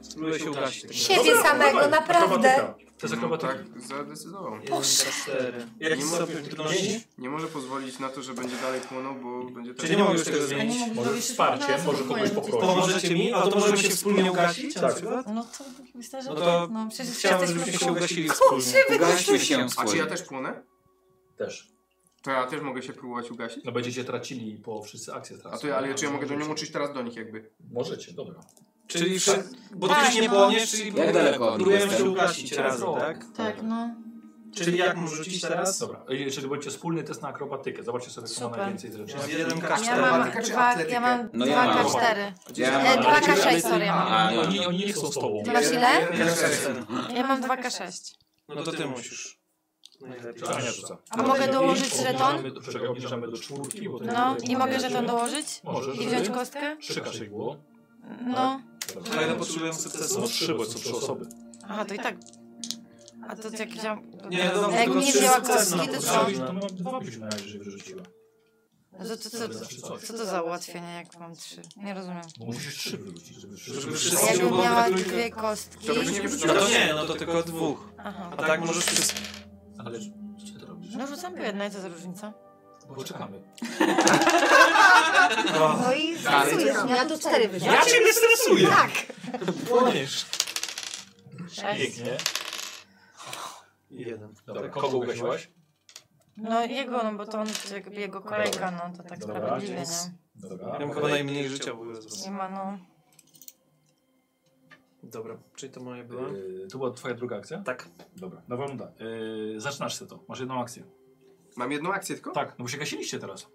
Speaker 5: Spróbuję się ugasić.
Speaker 2: Siebie samego, naprawdę.
Speaker 1: To jest akrobatyka.
Speaker 3: tak, zadecydował.
Speaker 5: Boże. cztery. Jak
Speaker 3: Nie
Speaker 5: stopień
Speaker 3: może-
Speaker 5: trudności?
Speaker 3: Nie może pozwolić na to, że będzie dalej płonął, bo będzie tak-
Speaker 5: Czyli nie mogę już tego zmienić?
Speaker 1: Może wsparcie, może kogoś poprosić.
Speaker 5: Pomożecie mi? A to możemy się wspólnie ugasić?
Speaker 1: Tak.
Speaker 2: No to myślę, że
Speaker 5: No
Speaker 2: no,
Speaker 5: to
Speaker 2: no przecież
Speaker 5: chciałem,
Speaker 2: jesteśmy
Speaker 5: żebyśmy się
Speaker 2: kumpli.
Speaker 5: ugasili
Speaker 2: Kumpli,
Speaker 5: wspólnie.
Speaker 2: wy-
Speaker 5: Ugaśmy się
Speaker 3: A czy
Speaker 5: wspólnie.
Speaker 3: ja
Speaker 4: tak
Speaker 3: też płonę? tak.
Speaker 1: Też.
Speaker 3: To ja też mogę się próbować ugasić?
Speaker 1: No będziecie tracili po wszyscy akcje teraz.
Speaker 3: A to ja, ale czy ja mogę do nią uczyć teraz do nich jakby?
Speaker 1: Możecie, dobra.
Speaker 5: Czyli wszy- bo ty
Speaker 2: Tak,
Speaker 5: się nie
Speaker 2: no.
Speaker 5: płoniesz, czyli
Speaker 4: Jak daleko oni
Speaker 5: próbujemy się
Speaker 4: jestem?
Speaker 5: ugasić razem, tak?
Speaker 2: Tak, no.
Speaker 5: Czyli jak mu rzucić teraz?
Speaker 1: Dobra, jeżeli będziecie wspólny test na akrobatykę, zobaczcie sobie, kto ma
Speaker 2: Super.
Speaker 1: najwięcej zręczności.
Speaker 5: Ja mam
Speaker 1: K4.
Speaker 2: Ja mam
Speaker 3: czy
Speaker 2: dwa,
Speaker 3: atletykę?
Speaker 2: ja mam
Speaker 4: No ja
Speaker 2: dwa
Speaker 4: mam.
Speaker 2: K4.
Speaker 4: Ja
Speaker 2: E,
Speaker 4: mam.
Speaker 2: dwa
Speaker 4: Ale ty-
Speaker 2: K6, sorry, ja mam.
Speaker 4: A, nie.
Speaker 1: Oni, oni nie są z tobą.
Speaker 2: Ty masz ile?
Speaker 5: K4.
Speaker 2: Ja mam dwa K6.
Speaker 5: No to ty musisz. No Najlepiej.
Speaker 1: Ania rzuca.
Speaker 2: A mogę dołożyć żeton?
Speaker 1: Obniżamy do- Czekaj, obniżamy do czwórki, bo to
Speaker 2: No,
Speaker 1: jest-
Speaker 2: i mogę żeton dołożyć?
Speaker 1: Możesz,
Speaker 2: I wziąć
Speaker 1: żeby-
Speaker 2: kostkę?
Speaker 1: Trzy kasze było.
Speaker 2: No.
Speaker 5: A ile potrzebuję sukcesu?
Speaker 1: No trzy, bo są trzy osoby.
Speaker 2: Aha, to i tak. A to jak wziąłem...
Speaker 5: Nie, no
Speaker 2: A jak
Speaker 5: tylko
Speaker 2: nie
Speaker 5: trzy
Speaker 2: wzięła
Speaker 5: sukcesy
Speaker 2: kostki,
Speaker 5: na
Speaker 2: to co?
Speaker 5: potrzeby.
Speaker 1: No mam dwa byś na razie wyrzuciła.
Speaker 2: To, to, to, to, co to za ułatwienie, jak mam trzy? Nie rozumiem.
Speaker 1: Bo musisz trzy wyrzucić, żeby
Speaker 5: Żeby
Speaker 1: wszyscy...
Speaker 5: wszyscy-
Speaker 2: A jakbym
Speaker 5: Znowu
Speaker 2: miała
Speaker 5: trójkę.
Speaker 2: dwie kostki...
Speaker 5: No to nie, no to tylko dwóch.
Speaker 2: Aha.
Speaker 5: A tak możesz wszystko.
Speaker 1: Ale co ty robisz?
Speaker 2: No rzucam po jednej, co za różnica?
Speaker 1: Bo czekamy.
Speaker 2: No i stresujesz mnie, a to cztery wyszło.
Speaker 5: Ja cię nie stresuję!
Speaker 2: Tak!
Speaker 5: Płoniesz.
Speaker 2: Sześć.
Speaker 1: Pięknie.
Speaker 5: Jeden.
Speaker 1: Dobra, kogo ugasiłaś?
Speaker 2: No jego, no bo to on, jakby jego kolejka, no to tak
Speaker 1: Dobra,
Speaker 2: sprawiedliwie,
Speaker 5: więc-
Speaker 2: nie?
Speaker 1: Dobra.
Speaker 5: Ja mam chyba najmniej życia w ogóle z was.
Speaker 2: Nie ma, no...
Speaker 5: Dobra, czyli to moje było.
Speaker 1: Yy, To była twoja druga akcja?
Speaker 5: Tak.
Speaker 1: Dobra, nowa runda. Yy, zaczynasz się to. Masz jedną akcję.
Speaker 3: Mam jedną akcję tylko?
Speaker 1: Tak, no bo się gasiliście teraz.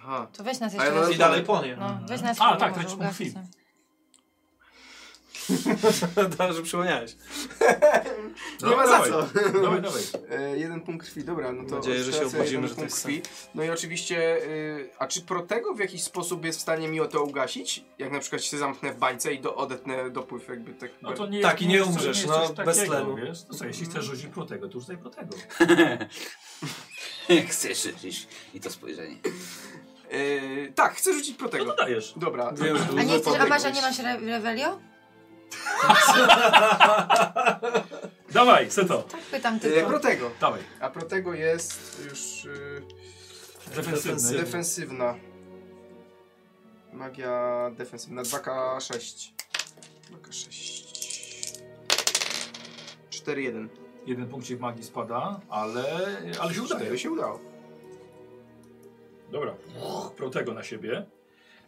Speaker 3: Aha.
Speaker 2: To weź nas
Speaker 3: A
Speaker 2: jeszcze
Speaker 3: ja
Speaker 2: raz.
Speaker 5: I dalej płonie.
Speaker 2: No, weź nas
Speaker 1: A,
Speaker 2: jeszcze
Speaker 1: tak,
Speaker 2: może
Speaker 1: to ci mówił.
Speaker 2: ugasnę.
Speaker 5: Dobrze przypomniałeś.
Speaker 3: Nie ma za
Speaker 1: dawaj.
Speaker 3: co.
Speaker 1: Dawaj, dawaj.
Speaker 3: E, jeden punkt krwi, dobra, no to...
Speaker 5: Mam nadzieję, że się
Speaker 3: stracę
Speaker 5: obudzimy,
Speaker 3: jeden
Speaker 5: że to
Speaker 3: punkt
Speaker 5: jest
Speaker 3: krwi. No i oczywiście, y, a czy Protego w jakiś sposób jest w stanie mi o to ugasić? Jak na przykład się zamknę w bańce i do, odetnę dopływ jakby tak...
Speaker 1: No to nie,
Speaker 5: Tak, i nie
Speaker 1: jest-
Speaker 5: umrzesz,
Speaker 1: jest
Speaker 5: no,
Speaker 1: coś
Speaker 5: bez
Speaker 1: takiego,
Speaker 5: tlenu.
Speaker 1: Wiesz? No co, jeśli chcesz rzucić protego, to już daj protego.
Speaker 4: Chcesz rzucić. I to spojrzenie.
Speaker 3: Y, tak, chcę rzucić
Speaker 1: No to
Speaker 3: Protego.
Speaker 1: dajesz.
Speaker 3: Dobra.
Speaker 5: Wiem, że
Speaker 2: A
Speaker 5: dużo.
Speaker 2: nie chcesz, a
Speaker 5: tak
Speaker 2: masz, a nie
Speaker 3: podbiegłeś.
Speaker 2: masz re Revelio?
Speaker 1: Dawaj, chcę to.
Speaker 2: Tak pytam
Speaker 3: E,
Speaker 2: tylko.
Speaker 3: Protego.
Speaker 1: Dawaj.
Speaker 3: A Protego jest już y,
Speaker 1: Defensywny.
Speaker 3: defensywna. Magia defensywna 2K6. 2K6. 4-1.
Speaker 1: Jeden punkcik magii spada, ale, ale się udaje.
Speaker 3: Cztery się udało.
Speaker 1: Dobra, protego na siebie.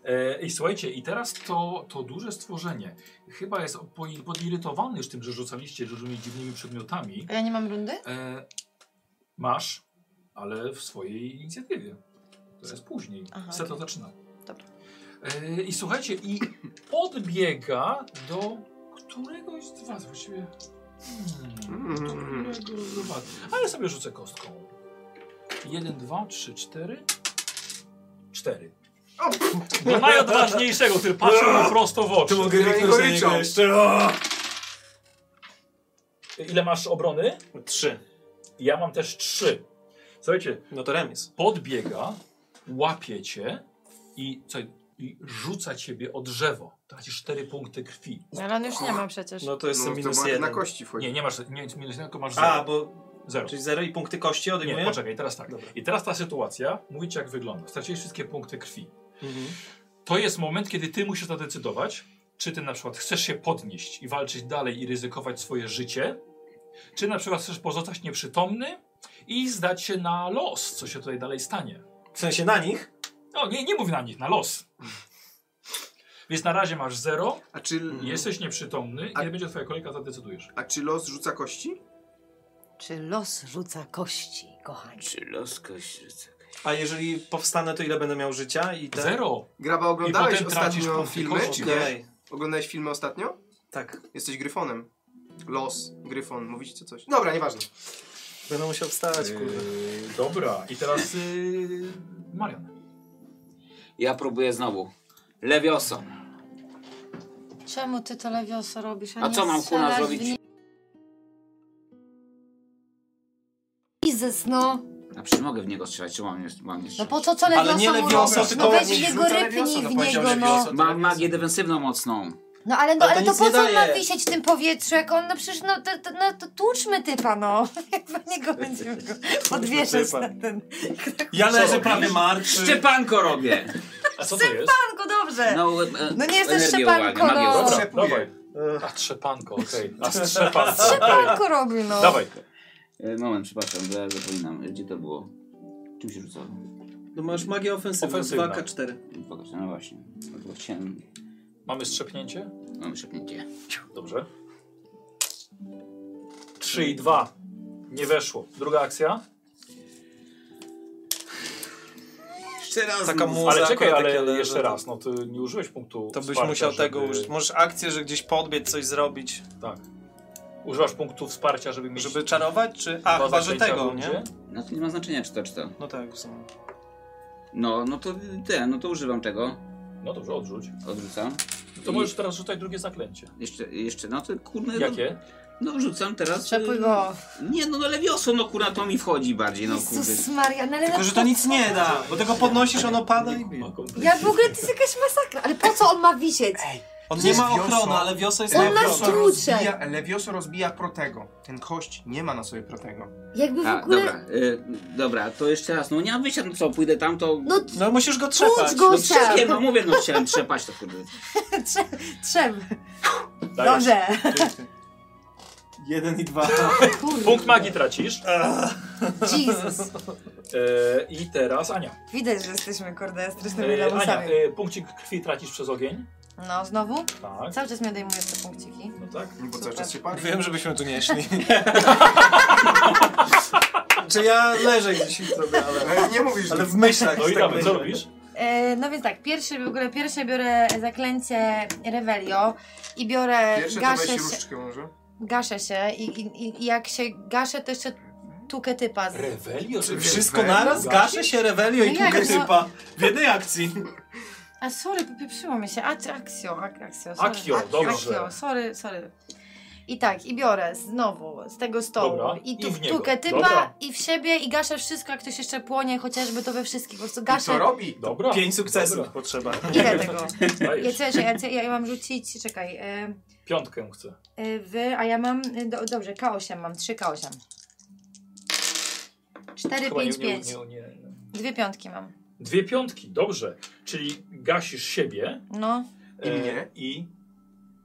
Speaker 1: E, I słuchajcie, i teraz to, to duże stworzenie chyba jest poi- podirytowany już tym, że rzucaliście różnymi dziwnymi przedmiotami.
Speaker 2: A ja nie mam rundy?
Speaker 1: E, masz, ale w swojej inicjatywie. To jest później.
Speaker 2: Aha.
Speaker 1: Seto zaczyna.
Speaker 2: Dobra.
Speaker 1: E, I słuchajcie, i podbiega do któregoś z was właściwie. Hmm, do
Speaker 3: Mm.
Speaker 1: którego z was. Ale sobie rzucę kostką. Jeden, dwa, trzy, cztery. Cztery. Do najodważniejszego, który patrzył mu prosto w oczy.
Speaker 5: To mogę ryknąć na niego
Speaker 3: Goryczą.
Speaker 5: jeszcze. O!
Speaker 1: E, Ile masz obrony?
Speaker 5: Trzy.
Speaker 1: Ja mam też trzy. Słuchajcie,
Speaker 5: No to remis.
Speaker 1: podbiega, łapie cię i, co, i rzuca ciebie o drzewo. Tracisz cztery punkty krwi.
Speaker 2: Ale on już nie ma przecież.
Speaker 5: No to jest
Speaker 3: No,
Speaker 5: minus
Speaker 3: to ma- na
Speaker 5: jeden.
Speaker 3: kości wchodzi.
Speaker 1: Nie, nie masz nie, minus jeden, tylko masz zero.
Speaker 5: A, bo...
Speaker 1: zero.
Speaker 5: Czyli zero i punkty kości
Speaker 1: Nie,
Speaker 5: odejmuję?
Speaker 1: poczekaj, teraz tak.
Speaker 5: Dobra.
Speaker 1: I teraz ta sytuacja, mówię ci jak wygląda. Straciłeś wszystkie punkty krwi.
Speaker 5: Mhm.
Speaker 1: To jest moment, kiedy ty musisz zadecydować, czy ty na przykład chcesz się podnieść i walczyć dalej i ryzykować swoje życie, czy na przykład chcesz pozostać nieprzytomny i zdać się na los, co się tutaj dalej stanie.
Speaker 5: W sensie na nich?
Speaker 1: No, nie, nie mów na nich, na los. Więc na razie masz zero,
Speaker 3: A czy,
Speaker 5: Mhm.
Speaker 1: jesteś nieprzytomny,
Speaker 3: A-
Speaker 1: kiedy będzie twoja kolejka, zadecydujesz.
Speaker 3: a czy los rzuca kości?
Speaker 2: Czy los rzuca kości, kochani?
Speaker 4: Czy los kość rzuca?
Speaker 5: A jeżeli powstanę, to ile będę miał życia? I te...
Speaker 1: Zero.
Speaker 3: Graba,
Speaker 1: I
Speaker 3: oglądałeś
Speaker 1: potem tracisz
Speaker 3: ostatnio
Speaker 1: punkty
Speaker 3: filmy?
Speaker 1: kości.
Speaker 3: Czy
Speaker 5: Okej.
Speaker 3: nie? Oglądałeś filmy ostatnio?
Speaker 5: Tak.
Speaker 3: Jesteś gryfonem. Los, gryfon, mówicie coś. Dobra, nieważne.
Speaker 5: Będę musiał wstać, kurde.
Speaker 1: Yy, dobra, i teraz yy, Marian.
Speaker 4: Ja próbuję znowu. Lewioso.
Speaker 2: Czemu ty to lewioso robisz?
Speaker 4: A
Speaker 2: nie
Speaker 4: co mam kuna
Speaker 2: strzelasz w
Speaker 4: zrobić?
Speaker 2: nie-
Speaker 15: Jezus, no.
Speaker 4: A przecież mogę w niego strzelać, czy mam jeszcze? Mam, jeszcze?
Speaker 2: No po co co
Speaker 5: Ale
Speaker 2: lewioso
Speaker 5: nie
Speaker 2: mu
Speaker 5: lewioso,
Speaker 2: robisz?
Speaker 5: tylko
Speaker 2: No weź
Speaker 5: nie
Speaker 2: w niego
Speaker 5: rzuca
Speaker 2: rypnij
Speaker 5: lewioso, no
Speaker 2: w
Speaker 5: powiedział
Speaker 2: niego,
Speaker 5: lewioso.
Speaker 2: no.
Speaker 4: mam magię defensywną mocną.
Speaker 2: No ale, no,
Speaker 5: Ale
Speaker 2: ale,
Speaker 5: to
Speaker 2: to
Speaker 5: nic
Speaker 2: po
Speaker 5: nie
Speaker 2: co on ma
Speaker 5: daje.
Speaker 2: wisieć w tym powietrzu, jak on, no przecież, no to, to, no, to tłuczmy typa, no. Jak niego będziemy go podwieszać
Speaker 5: typa.
Speaker 2: na ten...
Speaker 5: Ja
Speaker 4: Co
Speaker 5: leżę
Speaker 4: robisz?
Speaker 5: prawie martwy.
Speaker 4: Szczepanko robię.
Speaker 1: A co
Speaker 2: Jestem panko, dobrze.
Speaker 4: No, e,
Speaker 2: No nie jesteś
Speaker 4: energię
Speaker 2: szczepanko,
Speaker 4: uwagę, magię
Speaker 2: no.
Speaker 4: uwagę.
Speaker 1: Dobra, dawaj. A trzepanko, okej. A strzepanko.
Speaker 2: Strzepanko robi, no.
Speaker 1: Dawaj.
Speaker 4: E, Moment, przepraszam, bo ja zapominam. e, Gdzie to było? Czym się rzucało?
Speaker 5: No masz magię ofensywną,
Speaker 1: Ofensywna.
Speaker 5: 2K4.
Speaker 4: Pokażę, no właśnie. No to chciałem...
Speaker 1: Mamy strzepnięcie?
Speaker 4: Mam szepnięcie.
Speaker 1: Dobrze. 3 i 2. Nie weszło. Druga akcja.
Speaker 10: Jeszcze raz.
Speaker 5: Taka
Speaker 10: mów.
Speaker 5: mu-
Speaker 1: Ale
Speaker 5: Muza,
Speaker 1: czekaj,
Speaker 5: akurat
Speaker 1: ale
Speaker 5: takie-
Speaker 1: jeszcze raz. No ty nie użyłeś punktu
Speaker 5: To byś
Speaker 1: wsparcia,
Speaker 5: musiał tego
Speaker 1: żeby-
Speaker 5: użyć. Możesz akcję, że gdzieś podbiec, coś zrobić.
Speaker 1: Tak. Używasz punktu wsparcia, żeby mieć...
Speaker 5: Żeby czarować, czy... A,
Speaker 1: dwa
Speaker 5: chyba, że
Speaker 1: zaklęcia w
Speaker 5: tego,
Speaker 1: rundzie.
Speaker 5: nie?
Speaker 4: No to nie ma znaczenia, czy to, czy to.
Speaker 5: No tak, w sumie.
Speaker 4: No, no to ten, no to używam tego.
Speaker 1: No dobrze, odrzuć.
Speaker 4: Odrzucam.
Speaker 1: To
Speaker 4: I
Speaker 1: możesz teraz rzucać drugie zaklęcie.
Speaker 4: Jeszcze, jeszcze, no to kurde...
Speaker 1: Jakie?
Speaker 4: No, no rzucam teraz...
Speaker 2: Strzepuj
Speaker 4: y,
Speaker 2: go.
Speaker 4: Nie, no, no lewioso, no kurna, to mi wchodzi bardziej, no kurde.
Speaker 2: Jezus Maria, no ale...
Speaker 5: Tylko, że to nic nie da, bo tego podnosisz, ono pada i...
Speaker 2: Ja w ogóle, to jest jakaś masakra. Ale po co on ma wisieć?
Speaker 5: On nie ma
Speaker 10: Lewioso-
Speaker 5: ochrony, ale wiosa jest
Speaker 2: On
Speaker 5: na
Speaker 2: ma
Speaker 5: ochronę.
Speaker 2: strój. Kurczę.
Speaker 10: rozbija, Lewioso rozbija protego. Ten kość nie ma na sobie protego.
Speaker 2: Jakby w
Speaker 4: A,
Speaker 2: ogóle...
Speaker 4: dobra, y, dobra, to jeszcze raz, no nie mam wyjścia, no co, pójdę tam, to...
Speaker 2: No
Speaker 5: No musisz go trzepać.
Speaker 2: tłucz go,
Speaker 4: No
Speaker 2: trzep.
Speaker 4: trzepie, no mówię, no chciałem trzepać, to kurde.
Speaker 2: Trzep. Trzep.
Speaker 1: Dajesz.
Speaker 2: Dobrze.
Speaker 5: Jeden i dwa. no-
Speaker 1: Punkt magii tracisz.
Speaker 2: Jesus.
Speaker 1: E, I teraz Ania.
Speaker 2: Widać, że jesteśmy, kurde, strasznymi
Speaker 1: E, Ania,
Speaker 2: lamusami.
Speaker 1: e, punkcik krwi tracisz przez ogień.
Speaker 2: No, znowu?
Speaker 1: Tak.
Speaker 2: Cały czas mi odejmujesz te punkciki.
Speaker 1: No tak.
Speaker 10: Bo cały
Speaker 2: Super.
Speaker 10: czas się pali.
Speaker 5: Wiem, żebyśmy tu nie szli. Czy ja leżę gdzieś i sobie, ale...
Speaker 10: Ale No nie mówisz,
Speaker 5: Ale
Speaker 10: ale
Speaker 5: w myślach
Speaker 1: No i
Speaker 5: tak
Speaker 1: damy, co
Speaker 5: myślę.
Speaker 1: robisz?
Speaker 2: E, no więc tak, pierwszy, w ogóle pierwsze biorę zaklęcie Revelio i biorę,
Speaker 10: Pierwsze to
Speaker 2: gaszę
Speaker 10: weź
Speaker 2: się,
Speaker 10: różdżkę może.
Speaker 2: gaszę się i, i, i- i jak się gaszę, to jeszcze tukę typa. Z...
Speaker 1: Rewelio, że
Speaker 5: Wszystko naraz? Gaszę się, rewelio i
Speaker 2: No jak,
Speaker 5: kółkę
Speaker 2: no-
Speaker 5: typa. W jednej akcji.
Speaker 2: A sorry, popieprzyło mi się. A, czy Axio, ak, Axio. Sorry.
Speaker 1: Akio, dobrze.
Speaker 2: Akio, sorry, sorry. I tak, i biorę znowu z tego stołu
Speaker 1: Dobra,
Speaker 2: i
Speaker 1: i
Speaker 2: tu
Speaker 1: w niego.
Speaker 2: tukę typa
Speaker 1: Dobra.
Speaker 2: i w siebie i gaszę wszystko, jak ktoś jeszcze płonie, chociażby to we wszystkich, po prostu
Speaker 10: I co
Speaker 2: gaszę.
Speaker 10: robi?
Speaker 1: Dobra.
Speaker 5: Pięć sukcesów
Speaker 1: Dobra.
Speaker 5: potrzeba.
Speaker 2: Ile tego? Ja,
Speaker 1: Dajesz.
Speaker 2: co, ja, ja, ja mam rzucić, czekaj. E,
Speaker 1: Piątkę chcę.
Speaker 2: Y, Wy, a ja mam, y, do, dobrze, K8 mam, 3 K8. 4,
Speaker 1: Chyba
Speaker 2: 5,
Speaker 1: nie- nie-
Speaker 2: 5.
Speaker 1: nie- nie- nie.
Speaker 2: Dwie piątki mam.
Speaker 1: Dwie piątki, dobrze. Czyli gasisz siebie
Speaker 2: No,
Speaker 10: I mnie.
Speaker 1: i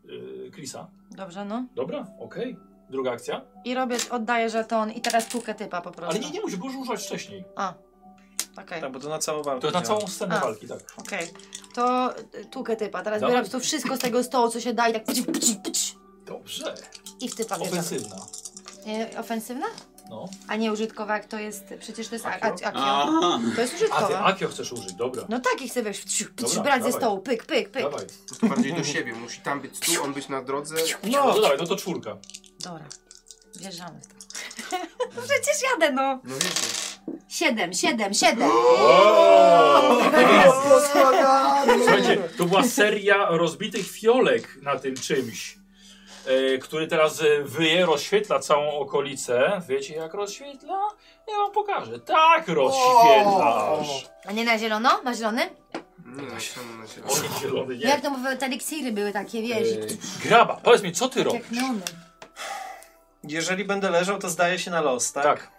Speaker 1: e, Krisa.
Speaker 2: dobrze, no.
Speaker 1: Dobra, okej. Druga akcja.
Speaker 2: I robię, oddaję żeton i teraz pukę typa po
Speaker 1: Ale
Speaker 2: prostu.
Speaker 5: Znaczy-
Speaker 1: nie, nie musisz, możesz używać wcześniej.
Speaker 2: A, okej,
Speaker 5: Tak, bo to na całą walkę.
Speaker 1: To jest na
Speaker 5: działa.
Speaker 1: całą scenę
Speaker 2: A.
Speaker 1: walki, tak.
Speaker 2: okej. To y, tukę typa, teraz
Speaker 1: Dawaj.
Speaker 2: biorę po prostu wszystko z tego stołu, co się da i tak pci, pci, pci,
Speaker 1: Dobrze.
Speaker 2: i w typa wjeżdżam.
Speaker 1: Ofensywna.
Speaker 2: Y, Ofensywna?
Speaker 1: No.
Speaker 2: A nie użytkowa, jak to jest, przecież to jest ak-
Speaker 1: Akio?
Speaker 2: ak- akio.
Speaker 4: Aha.
Speaker 2: To jest
Speaker 1: A ty
Speaker 2: użytkowa.
Speaker 1: Akio chcesz użyć, dobra.
Speaker 2: No tak, i chcę wiesz, pci, pci,
Speaker 1: Dobra,
Speaker 2: brać ze
Speaker 1: dawaj.
Speaker 2: stołu, pyk, pyk, pyk.
Speaker 1: Dawaj.
Speaker 10: Po prostu bardziej do siebie. Musi tam być tu, on być na drodze.
Speaker 1: No, no to dawaj, no to czwórka.
Speaker 2: Dobra, wjeżdżamy w to. No Przecież jadę, no.
Speaker 10: No wiecie.
Speaker 2: Siedem, siedem, siedem.
Speaker 1: Słuchajcie, to była seria rozbitych fiolek na tym czymś, e, który teraz e, wyje, rozświetla całą okolicę. Wiecie jak rozświetla? Ja wam pokażę. Tak rozświetlasz.
Speaker 2: A nie na zielono? Na zielony?
Speaker 10: Nie, na ścianę, na ścianę.
Speaker 1: Ogień zielony,
Speaker 2: Jak
Speaker 1: nie.
Speaker 2: to mówię, te eliksiry były takie,
Speaker 1: E,
Speaker 2: wiesz,
Speaker 1: graba, powiedz mi, co ty
Speaker 2: i-
Speaker 1: robisz?
Speaker 2: jak no- neony.
Speaker 5: Jeżeli będę leżał, to zdaje się na los, tak?
Speaker 1: Tak.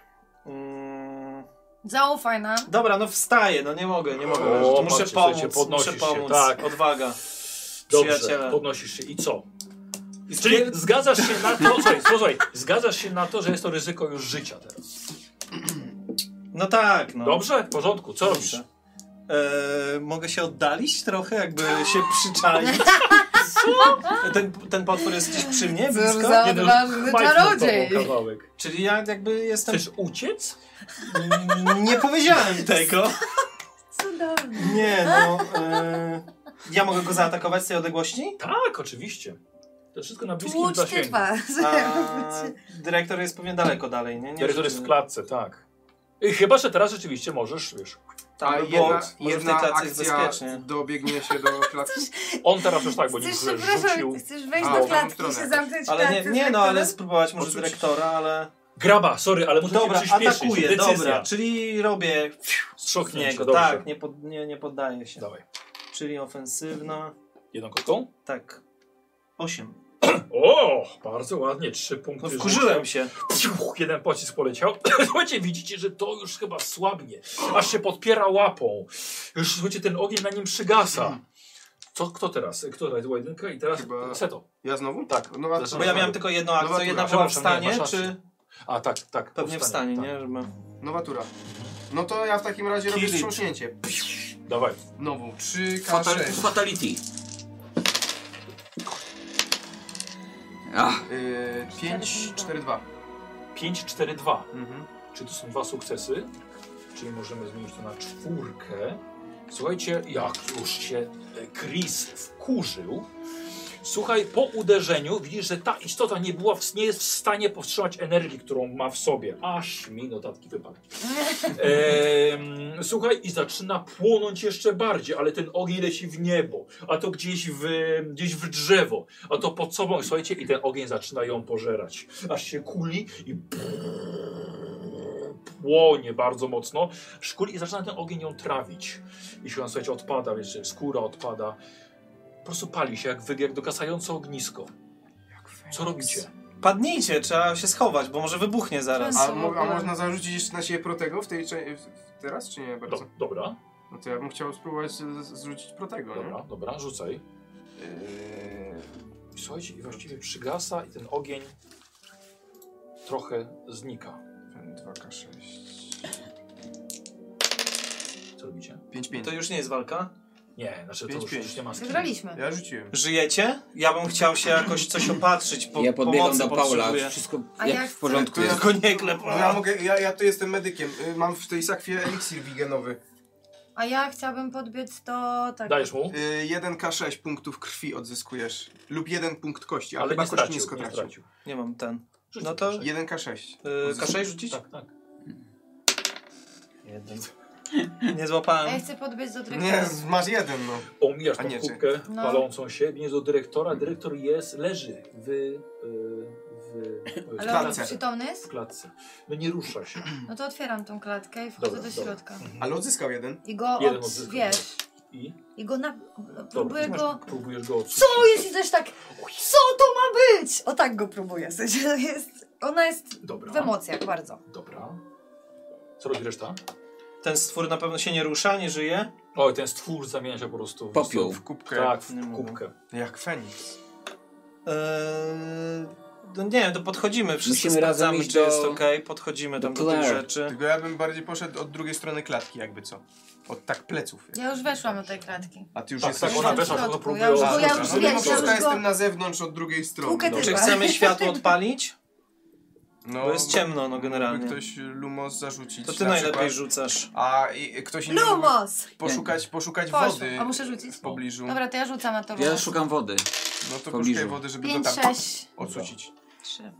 Speaker 5: Mm,
Speaker 2: Zaufaj nam.
Speaker 5: dobra, no wstaję, no nie mogę, nie mogę
Speaker 1: O,
Speaker 5: leżeć. To muszę
Speaker 1: patrzcie,
Speaker 5: pomóc,
Speaker 1: słuchajcie, podnosisz
Speaker 5: muszę
Speaker 1: się,
Speaker 5: pomóc.
Speaker 1: tak.
Speaker 5: Odwaga.
Speaker 1: Dobrze,
Speaker 5: Przyjaciele.
Speaker 1: podnosisz się i co?
Speaker 5: I
Speaker 1: Czyli
Speaker 5: spier-
Speaker 1: zgadzasz się na to, słuchaj, słuchaj, zgadzasz się na to, że jest to ryzyko już życia teraz.
Speaker 5: No tak, no.
Speaker 1: Dobrze? W porządku, co robisz?
Speaker 5: Eee, mogę się oddalić trochę, jakby się przyczaić. ten, ten potwór jest gdzieś przy mnie, blisko?
Speaker 2: za-
Speaker 1: Nie, no,
Speaker 2: Odważny
Speaker 1: majtnął
Speaker 2: czarodziej.
Speaker 1: tobą kawałek.
Speaker 5: Czyli ja jakby jestem...
Speaker 1: Chcesz uciec?
Speaker 5: Nie powiedziałem tego.
Speaker 2: Cudownie.
Speaker 5: Nie, no. E, ja mogę go zaatakować z tej odległości?
Speaker 1: Tak, oczywiście. To wszystko na bliskim
Speaker 2: Tłucz
Speaker 1: zasięgu.
Speaker 2: typa.
Speaker 5: A, dyrektor jest pewnie daleko dalej, nie? nie
Speaker 1: Dyrektor jest w
Speaker 5: żeby-
Speaker 1: klatce, tak. I chyba, że teraz rzeczywiście możesz, wiesz.
Speaker 5: Tak,
Speaker 10: Ale
Speaker 5: by było,
Speaker 10: jedna,
Speaker 5: może w tej
Speaker 10: jedna
Speaker 5: klatce jest
Speaker 10: akcja
Speaker 5: bezpiecznie.
Speaker 10: dobiegnie się do klatki.
Speaker 1: On teraz już tak, bo nie
Speaker 2: Chcesz,
Speaker 1: rzucił.
Speaker 2: przepraszam, chcesz wejść
Speaker 10: A, w
Speaker 2: do
Speaker 10: drugą
Speaker 2: klatki i
Speaker 10: stronę.
Speaker 2: się zamknąć w
Speaker 5: Ale nie,
Speaker 2: klatce tak? z
Speaker 5: nie no, ale
Speaker 2: rektorem?
Speaker 5: spróbować może
Speaker 10: Oczywiście.
Speaker 5: dyrektora, ale...
Speaker 1: Graba, sorry, ale muszę
Speaker 5: Dobra,
Speaker 1: się przyspieszyć.
Speaker 5: atakuję,
Speaker 1: Decyzja.
Speaker 5: dobra. Czyli robię w
Speaker 1: Strzoknięcie,
Speaker 5: niego.
Speaker 1: dobrze.
Speaker 5: Tak, nie, pod, nie, nie poddaję się.
Speaker 1: Dawaj.
Speaker 5: Czyli ofensywna.
Speaker 1: Jedną kostką?
Speaker 5: Tak. Osiem.
Speaker 1: O, bardzo ładnie, trzy punkty.
Speaker 5: No wkurzyłem
Speaker 1: życia. Psiuch, jeden pocisk poleciał. Słuchajcie, widzicie, że to już chyba słabnie. Aż się podpiera łapą. Już słuchajcie, ten ogień na nim przygasa. Co, kto teraz? Kto teraz była jedynka i teraz
Speaker 3: Hmm. Chyba-
Speaker 1: Seto.
Speaker 3: Ja znowu? Tak. No, a co?
Speaker 5: Bo ja miałem tylko jedną
Speaker 3: Nowa
Speaker 5: akcję,
Speaker 3: tura.
Speaker 5: jedna była
Speaker 3: Przepraszam,
Speaker 5: w stanie,
Speaker 3: nie, masz
Speaker 5: czy-
Speaker 3: rację.
Speaker 1: A tak, tak.
Speaker 5: Pewnie wstanie,
Speaker 3: tak.
Speaker 5: nie? Żeby...
Speaker 3: Nowa tura. No to ja w takim razie robię
Speaker 5: Kill it.
Speaker 3: wstrząśnięcie.
Speaker 1: tak. Dawaj.
Speaker 3: Nową. 3 k
Speaker 4: Fatal, fatality. Ach,
Speaker 10: Y,
Speaker 3: 5, 4, 2.
Speaker 1: 5, 4, 2. Czy to są dwa sukcesy? Czyli możemy zmienić to na czwórkę. Słuchajcie, jak już się e, Chris wkurzył. Słuchaj, po uderzeniu widzisz, że ta istota nie, była w, nie jest w stanie powstrzymać energii, którą ma w sobie. Aż mi notatki wypadły. Em, słuchaj, i zaczyna płonąć jeszcze bardziej, ale ten ogień leci w niebo, a to gdzieś w, gdzieś w drzewo, a to pod sobą, słuchajcie, i ten ogień zaczyna ją pożerać. Aż się kuli i płonie bardzo mocno. Szkuli i zaczyna ten ogień ją trawić. I się ona, słuchajcie, odpada, wiecie, skóra odpada. Po prostu pali się jak, wy- jak dogasające ognisko. Co robicie?
Speaker 5: Padnijcie, trzeba się schować, bo może wybuchnie zaraz.
Speaker 3: A, mo- a można zarzucić jeszcze na siebie protego w tej cze- w- teraz, czy nie bardzo?
Speaker 1: dobra.
Speaker 3: No to ja bym chciał spróbować z- z- zrzucić protego,
Speaker 1: Dobra,
Speaker 3: nie? Y,
Speaker 1: dobra, rzucaj. I Słuchajcie, i właściwie przygasa i ten ogień trochę znika.
Speaker 3: 2K6.
Speaker 1: Co robicie?
Speaker 3: 5, 5.
Speaker 5: To już nie jest walka?
Speaker 1: Nie, znaczy to już, już nie ma sensu.
Speaker 2: Wygraliśmy.
Speaker 3: Ja rzuciłem.
Speaker 5: Żyjecie? Ja bym chciał się jakoś coś opatrzyć, po,
Speaker 4: ja podbiegam
Speaker 5: pomocy
Speaker 4: do Paula,
Speaker 5: potrzebuję.
Speaker 4: wszystko
Speaker 2: A
Speaker 4: jak
Speaker 2: ja
Speaker 4: w porządku
Speaker 3: To ja-
Speaker 4: jest.
Speaker 5: Tylko nie klep.
Speaker 3: No ja mogę, ja, ja tu jestem medykiem. Y, Mam w tej sakwie eliksir wigenowy.
Speaker 2: A ja chciałabym podbiec to tak.
Speaker 1: mu?
Speaker 3: Y, 1K6 punktów krwi odzyskujesz. Lub 1 punkt kości, ale
Speaker 1: Ale
Speaker 3: chyba
Speaker 1: nie
Speaker 3: kości
Speaker 1: stracił,
Speaker 3: nie
Speaker 1: nie
Speaker 3: stracił.
Speaker 1: stracił.
Speaker 5: Nie mam ten.
Speaker 1: Rzuć
Speaker 5: No to
Speaker 3: 1K6.
Speaker 5: yy, K6 rzucić?
Speaker 1: Tak, tak.
Speaker 5: Jeden. Nie
Speaker 2: A ja
Speaker 5: złapałem.
Speaker 2: chcę podbiec do dyrektora.
Speaker 3: Nie, z- masz jeden, no.
Speaker 1: Omijasz
Speaker 3: A
Speaker 1: tą
Speaker 3: nie,
Speaker 1: kubkę
Speaker 2: No.
Speaker 1: palącą się, biegniesz do dyrektora. Dyrektor jest, leży w, y, w, e, w
Speaker 2: Ale on przytomny jest?
Speaker 1: W klatce. No nie rusza się.
Speaker 2: No to otwieram tą klatkę i wchodzę
Speaker 1: Dobra,
Speaker 2: do środka.
Speaker 3: Ale odzyskał jeden.
Speaker 2: I go
Speaker 1: Jeden
Speaker 2: od,
Speaker 1: odzyskał.
Speaker 2: wiesz,
Speaker 1: I
Speaker 2: i go na... no,
Speaker 1: Dobra,
Speaker 2: próbuję go...
Speaker 1: próbujesz go odsunąć.
Speaker 2: Co jest? I też tak, co to ma być? O tak go próbuję, w sensie to jest... Ona jest
Speaker 1: Dobra.
Speaker 2: w emocjach bardzo.
Speaker 1: Dobra. Co robi reszta?
Speaker 5: Ten stwór na pewno się nie rusza, nie żyje.
Speaker 1: Oj, ten stwór zamienia się po prostu w
Speaker 4: Popiół.
Speaker 1: w
Speaker 3: kubkę.
Speaker 1: Tak, w kubkę.
Speaker 3: No Jak Feniks.
Speaker 5: Eee, no nie wiem, to podchodzimy, wszystko
Speaker 4: Musimy razem
Speaker 5: sprawdzamy,
Speaker 4: iść
Speaker 5: czy
Speaker 4: do-
Speaker 5: jest ok, podchodzimy tam do, tych
Speaker 4: Claire.
Speaker 5: rzeczy.
Speaker 3: Tylko ja bym bardziej poszedł od drugiej strony klatki, jakby co. Od tak pleców.
Speaker 2: Ja już weszłam do tej klatki.
Speaker 3: A ty już
Speaker 1: Tak,
Speaker 3: jesteś...
Speaker 1: tak, ona
Speaker 2: Jestem w
Speaker 1: weszła, tylko
Speaker 2: środku,
Speaker 1: próbuje
Speaker 2: ja już-
Speaker 3: A,
Speaker 2: bo ja
Speaker 3: dobra,
Speaker 2: już
Speaker 3: no
Speaker 2: wiem,
Speaker 3: mimo
Speaker 2: ja
Speaker 3: wszystko
Speaker 2: już
Speaker 3: jestem
Speaker 2: go...
Speaker 3: na zewnątrz od drugiej strony.
Speaker 2: Tłukę
Speaker 3: Dobrze.
Speaker 5: Czy
Speaker 2: Chyba.
Speaker 5: chcemy światło odpalić?
Speaker 3: No,
Speaker 5: Bo jest ciemno, no generalnie.
Speaker 3: Mógłby ktoś Lumos zarzucić.
Speaker 5: To ty
Speaker 3: na
Speaker 5: najlepiej
Speaker 3: przykład.
Speaker 5: rzucasz.
Speaker 3: A i, ktoś inny mógłby
Speaker 2: Lumos!
Speaker 3: poszukać, poszukać
Speaker 2: Poszło.
Speaker 3: wody
Speaker 2: A muszę rzucić?
Speaker 3: w pobliżu.
Speaker 2: Dobra, to ja rzucam na to
Speaker 4: Ja
Speaker 2: Lumos.
Speaker 4: szukam wody.
Speaker 3: No to
Speaker 4: pobliżu.
Speaker 3: poszukaj wody, żeby
Speaker 2: Pięć,
Speaker 3: to tam
Speaker 2: sześć,
Speaker 3: odsucić.
Speaker 2: trzy.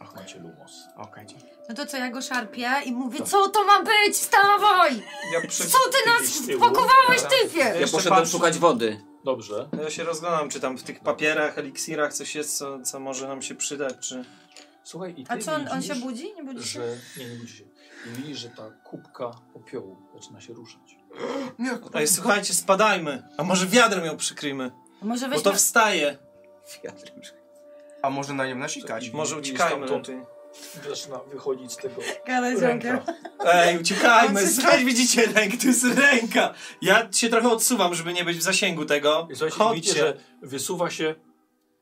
Speaker 1: Ach, macie lumos.
Speaker 3: Okej, dzięki.
Speaker 2: No to co, ja go szarpię i mówię, co to ma być? Wstawaj!
Speaker 5: Ja, przy...
Speaker 2: Co No ty nas
Speaker 1: Gdzieś z tyłu.
Speaker 2: wpakowałeś,
Speaker 1: Tak.
Speaker 2: typie?
Speaker 4: Ja
Speaker 5: Jeszcze
Speaker 4: poszedłem
Speaker 5: patrzę.
Speaker 4: szukać wody.
Speaker 1: Dobrze.
Speaker 5: ja się rozglądam, czy tam w tych papierach, eliksirach coś jest, co, co może nam się przydać, czy...
Speaker 1: Słuchaj, i ty
Speaker 2: A co, on, on się
Speaker 1: widzisz,
Speaker 2: budzi? Nie budzi się?
Speaker 1: Że... Nie, nie budzi się. I widzisz, że ta kubka popiołu zaczyna się ruszać.
Speaker 5: Ej, No słuchajcie, spadajmy. A może wiadrem ją przykryjmy?
Speaker 2: Może
Speaker 5: Bo
Speaker 2: weźmy...
Speaker 5: to wstaje.
Speaker 3: A może na nią nasikać?
Speaker 5: Może
Speaker 1: I
Speaker 5: uciekajmy
Speaker 1: stamtąd
Speaker 5: lepiej.
Speaker 1: Zaczyna wychodzić z tego
Speaker 2: Gadaj z ziomkiem.
Speaker 1: ręka.
Speaker 5: Ej, uciekajmy!
Speaker 2: On się
Speaker 5: Słuchaj, widzicie, ręk, to jest ręka! Ja się trochę odsuwam, żeby nie być w zasięgu tego.
Speaker 1: I słuchajcie,
Speaker 5: Chodźcie.
Speaker 1: widzicie, że wysuwa się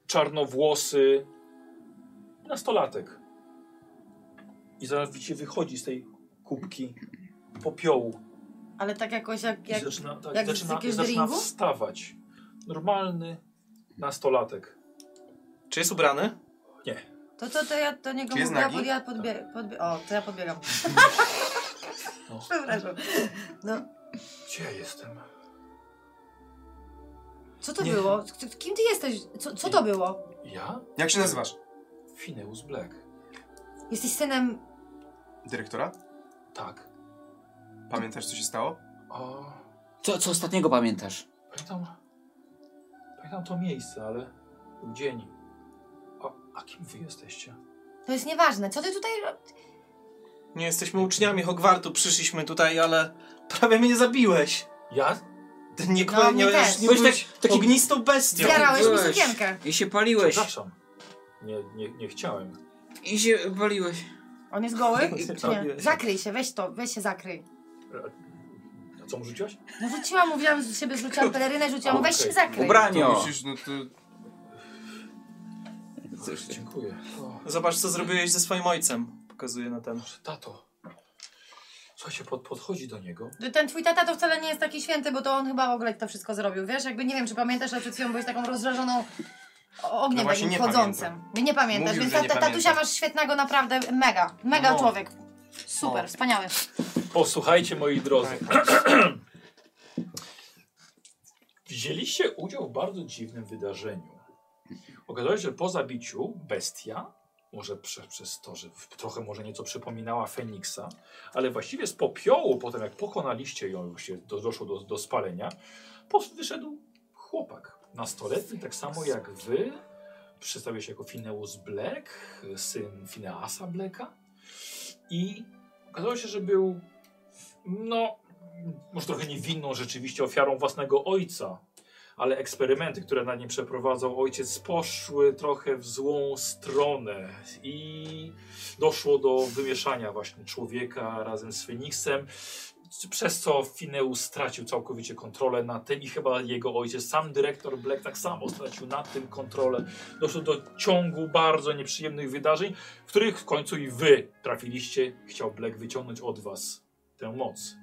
Speaker 1: czarnowłosy nastolatek. I zaraz widzicie, wychodzi z tej kubki popiołu.
Speaker 2: Ale tak jakoś jak... jak...
Speaker 1: I zaczyna, tak,
Speaker 2: jak z
Speaker 1: zaczyna,
Speaker 2: jakiegoś
Speaker 1: zaczyna
Speaker 2: dringu?
Speaker 1: wstawać. Normalny nastolatek.
Speaker 5: Czy jest ubrany?
Speaker 1: Nie.
Speaker 2: To, to, to ja do niego
Speaker 3: Czy jest
Speaker 2: mówię, ja,
Speaker 3: nagi?
Speaker 2: pod, ja podbie... Podbie... O, to ja podbiegam.
Speaker 1: No.
Speaker 2: Przepraszam. No,
Speaker 1: Gdzie ja jestem?
Speaker 2: co to
Speaker 1: Nie.
Speaker 2: było? K- Kim ty jesteś? Co, co to było?
Speaker 1: Ja?
Speaker 3: Jak się nazywasz?
Speaker 1: Fineus Black.
Speaker 2: Jesteś synem...
Speaker 3: Dyrektora?
Speaker 1: Tak.
Speaker 3: Pamiętasz, co się stało?
Speaker 1: O,
Speaker 4: Co, co ostatniego pamiętasz?
Speaker 1: pamiętam... Pamiętam to miejsce, ale... był Dzień. A, a kim wy jesteście?
Speaker 2: To jest nieważne. Co ty tutaj... ro-
Speaker 5: Nie jesteśmy uczniami Hogwartu, przyszliśmy tutaj, ale prawie mnie zabiłeś.
Speaker 1: Ja?
Speaker 5: Nie,
Speaker 2: No,
Speaker 5: nie,
Speaker 2: mnie
Speaker 5: nie,
Speaker 2: też.
Speaker 5: nie
Speaker 2: Byłeś
Speaker 5: byłeś
Speaker 2: tak-
Speaker 5: taki ognistą bestią.
Speaker 2: Zjarałeś mi sukienkę.
Speaker 4: I się paliłeś.
Speaker 1: Przepraszam. Nie, nie, nie chciałem.
Speaker 4: I się paliłeś.
Speaker 2: On jest goły? Czy
Speaker 1: Tak.
Speaker 2: nie? Zakryj się, weź to, weś się zakryj.
Speaker 1: A co mu rzuciłaś?
Speaker 2: No rzuciłam, mówiłam z siebie, rzuciłam pelerynę, rzuciłam,
Speaker 1: Okej.
Speaker 2: weź się zakryj.
Speaker 4: Ubranio.
Speaker 3: To musisz, no to...
Speaker 1: Dziękuję. O,
Speaker 5: Zobacz, co zrobiłeś ze swoim ojcem. Pokazuje na ten.
Speaker 1: Tato. Słuchajcie, pod, podchodzi do niego.
Speaker 2: Ten twój tata to wcale nie jest taki święty, bo to on chyba w ogóle to wszystko zrobił, wiesz? Jakby nie wiem, czy pamiętasz, ale przed chwilą byłeś taką rozrażoną o-
Speaker 3: No
Speaker 2: ogniem
Speaker 3: właśnie
Speaker 2: takim
Speaker 3: nie
Speaker 2: chodzącym. Nie, nie pamiętasz,
Speaker 3: Mówił,
Speaker 2: więc
Speaker 3: że
Speaker 2: ta,
Speaker 3: nie
Speaker 2: ta, tatusia
Speaker 3: pamięta.
Speaker 2: masz świetnego naprawdę, mega, mega
Speaker 1: No.
Speaker 2: człowiek. Super, wspaniały.
Speaker 1: Posłuchajcie, moi drodzy. Wzięliście udział w bardzo dziwnym wydarzeniu. Okazało się, że po zabiciu bestia, może prze, przez to, że w- trochę może nieco przypominała Feniksa, ale właściwie z popiołu, potem jak pokonaliście ją, już się do, doszło do, do spalenia, pos- wyszedł chłopak nastoletni, tak samo jak wy. Przedstawia się jako Fineus Black, syn Fineasa Blacka. I okazało się, że był, no, może trochę niewinną rzeczywiście ofiarą własnego ojca, ale eksperymenty, które na nim przeprowadzał ojciec, poszły trochę w złą stronę i doszło do wymieszania właśnie człowieka razem z Feniksem, przez co Fineus stracił całkowicie kontrolę nad tym i chyba jego ojciec, sam dyrektor Black tak samo stracił nad tym kontrolę. Doszło do ciągu bardzo nieprzyjemnych wydarzeń, w których w końcu i wy trafiliście, chciał Black wyciągnąć od was tę moc.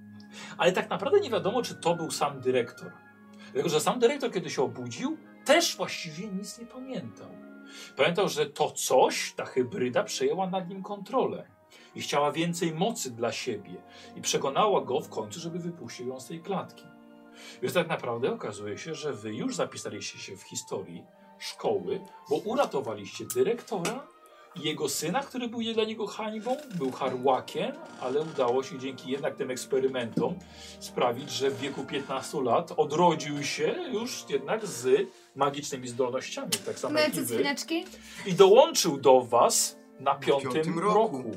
Speaker 1: Ale tak naprawdę nie wiadomo, czy to był sam dyrektor. Dlatego, że sam dyrektor, kiedy się obudził, też właściwie nic nie pamiętał. Pamiętał, że to coś, ta hybryda, przejęła nad nim kontrolę i chciała więcej mocy dla siebie i przekonała go w końcu, żeby wypuścił ją z tej klatki. Więc tak naprawdę okazuje się, że wy już zapisaliście się w historii szkoły, bo uratowaliście dyrektora i jego syna, który był dla niego hańbą, był harłakiem, ale udało się dzięki jednak tym eksperymentom sprawić, że w wieku 15 lat odrodził się już jednak z magicznymi zdolnościami, tak samo
Speaker 2: No
Speaker 1: jak i
Speaker 15: Męcy
Speaker 1: wy
Speaker 15: cwineczki?
Speaker 1: i dołączył do was na piątym,
Speaker 3: piątym
Speaker 1: roku.
Speaker 3: roku.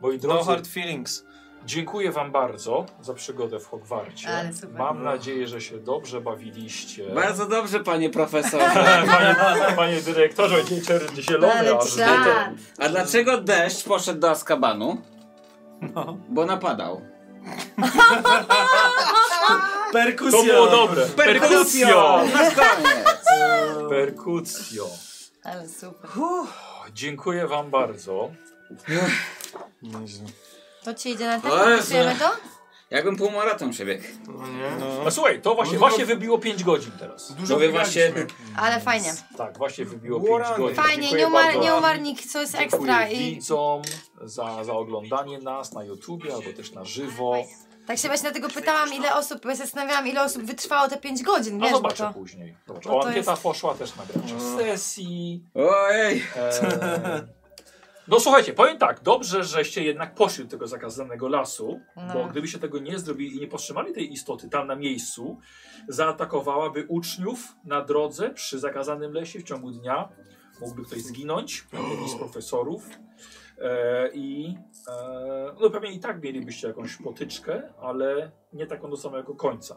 Speaker 1: Moi
Speaker 5: No
Speaker 1: drodzy,
Speaker 5: hard feelings.
Speaker 1: dziękuję wam bardzo za przygodę w Hogwarcie.
Speaker 2: Ale super.
Speaker 1: Mam nadzieję, że się dobrze bawiliście.
Speaker 4: Bardzo dobrze, panie profesorze.
Speaker 1: panie, panie dyrektorze, dziecier zielony
Speaker 2: Ale
Speaker 1: aż
Speaker 2: czad.
Speaker 4: A dlaczego deszcz poszedł do Azkabanu?
Speaker 3: No.
Speaker 4: Bo napadał.
Speaker 5: Perkusja.
Speaker 2: Tak.
Speaker 1: To było dobre. Perkusjo!
Speaker 3: no
Speaker 4: Na koniec.
Speaker 1: Perkucjo.
Speaker 2: Ale super.
Speaker 1: Dziękuję wam bardzo.
Speaker 2: To ci idzie na
Speaker 4: O
Speaker 1: No,
Speaker 2: ten,
Speaker 4: Jezu.
Speaker 2: Popisujemy to?
Speaker 4: Jakbym półmaraton przebiegł.
Speaker 3: No nie?
Speaker 1: No słuchaj, to właśnie, właśnie wybiło 5 godzin teraz.
Speaker 3: Dużo
Speaker 4: Mówię właśnie-
Speaker 3: wygraliśmy.
Speaker 2: Ale fajnie.
Speaker 1: Tak, właśnie wybiło 5
Speaker 3: Łorany.
Speaker 1: godzin.
Speaker 2: Fajnie,
Speaker 1: Dziękuję
Speaker 2: nie umarł,
Speaker 1: bardzo.
Speaker 2: nie umarł nikt, co jest ekstra.
Speaker 1: Dziękuję
Speaker 2: I
Speaker 1: widzom za, za oglądanie nas na YouTubie albo też na żywo.
Speaker 2: tak się właśnie dlatego pytałam, ile osób, bo ja się zastanawiałam, ile osób wytrwało te 5 godzin,
Speaker 1: A
Speaker 2: wiesz, bo
Speaker 1: No, zobaczę
Speaker 2: to...
Speaker 1: później. Zobacz.
Speaker 2: bo
Speaker 1: O,
Speaker 2: to
Speaker 1: ankieta
Speaker 2: jest-
Speaker 1: poszła też na graczy sesji.
Speaker 4: Ojej.
Speaker 1: E... No słuchajcie, powiem tak, dobrze, żeście jednak poszli do tego zakazanego lasu,
Speaker 2: No.
Speaker 1: bo gdybyście tego nie zrobili i nie powstrzymali tej istoty tam na miejscu, zaatakowałaby uczniów na drodze przy zakazanym lesie w ciągu dnia. Mógłby ktoś zginąć, jakiś z profesorów. E, I e, no pewnie i tak mielibyście jakąś potyczkę, ale nie taką do samego końca.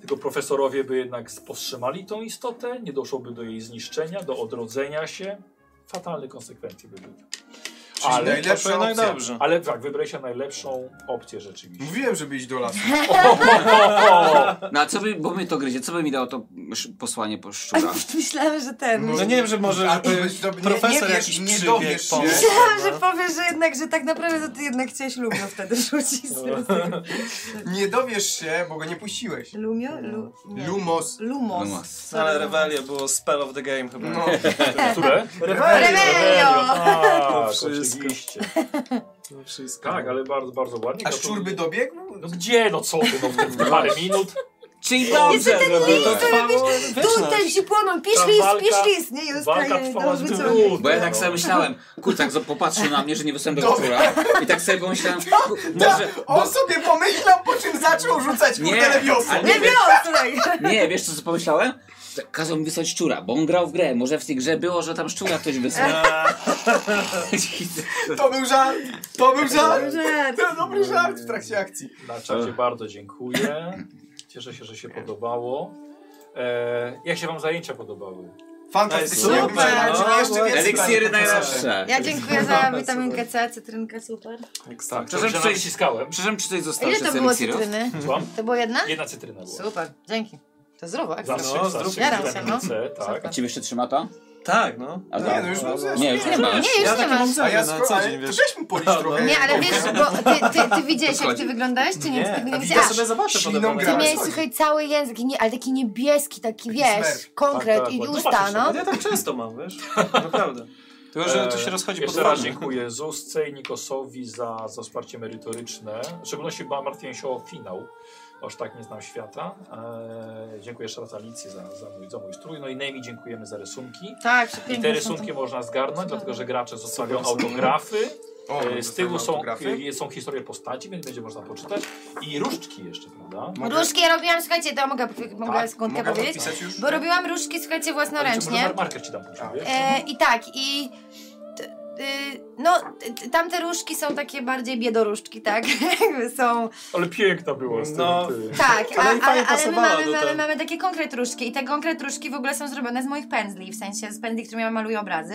Speaker 1: Tylko profesorowie by jednak powstrzymali tą istotę, nie doszłoby do jej zniszczenia, do odrodzenia się. Fatalne konsekwencje by były.
Speaker 3: Czyli
Speaker 1: Ale,
Speaker 3: najlepsza
Speaker 5: to jednak
Speaker 3: opcja.
Speaker 5: dobrze.
Speaker 1: ale tak, wybraliście najlepszą opcję rzeczywiście.
Speaker 3: Mówiłem, żeby iść do lasu.
Speaker 4: No a co by, bo my to gryzie, co by mi dało to sz- posłanie po szczura?
Speaker 2: Myślałam, że ten...
Speaker 5: No nie wiem, że może
Speaker 3: A to
Speaker 5: żeby
Speaker 3: byś dob- nie-
Speaker 5: profesor
Speaker 3: nie wiesz,
Speaker 5: jakiś
Speaker 3: nie
Speaker 5: przybiegł
Speaker 3: dowiesz się.
Speaker 5: pomógł.
Speaker 2: Myślałam, że powiesz, że jednak, że tak naprawdę to ty jednak chciałeś Lumio wtedy rzucić.
Speaker 3: Nie dowiesz się, bo go nie puściłeś.
Speaker 2: Lumio? Lu... nie.
Speaker 3: Lumos.
Speaker 2: Lumos.
Speaker 4: Lumos.
Speaker 2: Sorry.
Speaker 5: Ale rewelia było spell of the game chyba.
Speaker 3: No.
Speaker 1: Które?
Speaker 2: Rebelio!
Speaker 1: Tak,
Speaker 5: wszystko.
Speaker 1: oczywiście.
Speaker 5: To wszystko.
Speaker 1: Tak, ale bardzo, bardzo ładnie.
Speaker 3: A szczur by dobiegł?
Speaker 1: No gdzie? No co ty? No w tym parę minut.
Speaker 4: Czyli dobrze
Speaker 5: To
Speaker 4: zrobiłem.
Speaker 5: trwało
Speaker 2: Tu ten
Speaker 5: wieczność.
Speaker 2: się płonął, pisz
Speaker 1: Ta
Speaker 2: list,
Speaker 1: walka-
Speaker 2: pisz list, nie? Już
Speaker 1: Walka
Speaker 2: tak,
Speaker 1: trwała
Speaker 2: dobrze,
Speaker 1: z
Speaker 2: co?
Speaker 1: minut.
Speaker 4: Bo ja
Speaker 1: no.
Speaker 4: tak sobie myślałem, kurczę, tak zo- popatrzył na mnie, że nie wysłem do szczura. I tak sobie pomyślałem, ku- może...
Speaker 3: On sobie pomyślał, po czym zaczął rzucać
Speaker 4: Nie,
Speaker 3: kurde
Speaker 4: ale
Speaker 3: lewiosą.
Speaker 4: nie, wiesz,
Speaker 2: Lewiosek!
Speaker 4: nie, wiesz co sobie pomyślałem? Tak Kazał mi wysłać szczura, bo on grał w grę, może w tej grze było, że tam szczura ktoś wysłał.
Speaker 3: To był żart! To był żart!
Speaker 2: Dobrze.
Speaker 3: To dobry żart w trakcie akcji.
Speaker 1: Na czacie bardzo dziękuję. Cieszę się, że się podobało. E, jak się wam zajęcia podobały?
Speaker 3: Fantastycznie. Ej, super! Myślałem, że jeszcze więcej Eliksiry najlepsze.
Speaker 2: Ja dziękuję za witaminkę C, cytrynkę, super.
Speaker 1: Tak,
Speaker 4: Przepraszam,
Speaker 1: przepraszam,
Speaker 4: czy-
Speaker 1: naciskałem.
Speaker 4: Przepraszam, czy coś
Speaker 2: A
Speaker 4: zostało
Speaker 2: ile
Speaker 4: jeszcze
Speaker 2: to
Speaker 4: z
Speaker 2: było
Speaker 4: eliksirów?
Speaker 2: cytryny?
Speaker 1: Słucham?
Speaker 2: To było jedna?
Speaker 1: Jedna cytryna była.
Speaker 2: Super, dzięki. To zdrowo, jak
Speaker 1: Zawsze,
Speaker 2: zawsze.
Speaker 1: zawsze
Speaker 2: Jaram się,
Speaker 1: witaminę
Speaker 2: no.
Speaker 1: C, tak.
Speaker 4: A ciebie jeszcze trzyma ta?
Speaker 5: Tak, no.
Speaker 4: A
Speaker 5: Nie,
Speaker 4: ta?
Speaker 5: no już mam zero.
Speaker 4: Nie, już nie
Speaker 5: Nie,
Speaker 4: masz.
Speaker 2: nie, już Ja nie takie mam masz. zero,
Speaker 4: A ja
Speaker 5: no,
Speaker 4: sko-
Speaker 5: co
Speaker 4: ale
Speaker 5: dzień,
Speaker 4: to
Speaker 5: wiesz.
Speaker 4: weź
Speaker 3: mu polisz trochę.
Speaker 2: Nie, ale wiesz, bo ty, ty, ty widziałeś, jak ty
Speaker 4: Dokładnie.
Speaker 2: wyglądałeś, czy nie?
Speaker 5: Nie,
Speaker 2: Ty
Speaker 5: a
Speaker 2: widziałeś-
Speaker 5: ja sobie
Speaker 2: A,
Speaker 5: zobaczę
Speaker 2: śliną
Speaker 5: podobno.
Speaker 2: grę.
Speaker 15: Ty miałeś,
Speaker 2: chodzi.
Speaker 15: słuchaj, cały język, nie, ale taki niebieski, taki wiesz,
Speaker 5: smerf.
Speaker 15: konkret
Speaker 1: Tak, tak,
Speaker 15: i
Speaker 1: ładnie.
Speaker 15: usta, no.
Speaker 5: Ja tak często mam, wiesz? Naprawdę. Tylko,
Speaker 4: E,
Speaker 5: że to się rozchodzi
Speaker 1: Jeszcze
Speaker 5: pod
Speaker 1: raz
Speaker 5: wodę.
Speaker 1: dziękuję Zusce i Nikosowi za, za wsparcie merytoryczne. W szczególności ba- martwiłem się o finał. Aż tak nie znam świata. Eee, dziękuję jeszcze raz Alicji za, za, mój, za mój strój. No i Nemi dziękujemy za rysunki.
Speaker 2: Tak,
Speaker 1: I
Speaker 2: przepiękne
Speaker 1: te
Speaker 2: są
Speaker 1: rysunki
Speaker 2: to.
Speaker 1: można zgarnąć, dlatego że gracze zostawią
Speaker 3: Super.
Speaker 1: autografy.
Speaker 3: O,
Speaker 2: y,
Speaker 1: Eee, Z tyłu są, e,
Speaker 3: autografy?
Speaker 1: są historie postaci, więc będzie można poczytać. I różdżki jeszcze,
Speaker 2: No
Speaker 1: prawda?
Speaker 2: Różki ja robiłam, słuchajcie, to mogę, mogę
Speaker 1: Tak,
Speaker 2: skądkę
Speaker 1: mogę
Speaker 2: powiedzieć?
Speaker 1: zapisać już?
Speaker 2: Bo robiłam różki, słuchajcie, własnoręcznie.
Speaker 1: Może marker ci dam później. wiesz?
Speaker 2: E, I tak, i. t- y, No, t- t- tamte różki są takie bardziej biedoróżdżki, tak? Jakby są.
Speaker 1: Ale piękna była z tym.
Speaker 5: No.
Speaker 1: ty.
Speaker 2: Tak, a,
Speaker 5: Ale i
Speaker 2: ale,
Speaker 5: fajnie
Speaker 2: ale, my,
Speaker 5: pasowała
Speaker 2: mamy,
Speaker 5: do
Speaker 2: mamy,
Speaker 5: tego.
Speaker 2: mamy takie konkret różki i te konkret różki w ogóle są zrobione z moich pędzli, w sensie z pędzli, którymi ja maluję obrazy.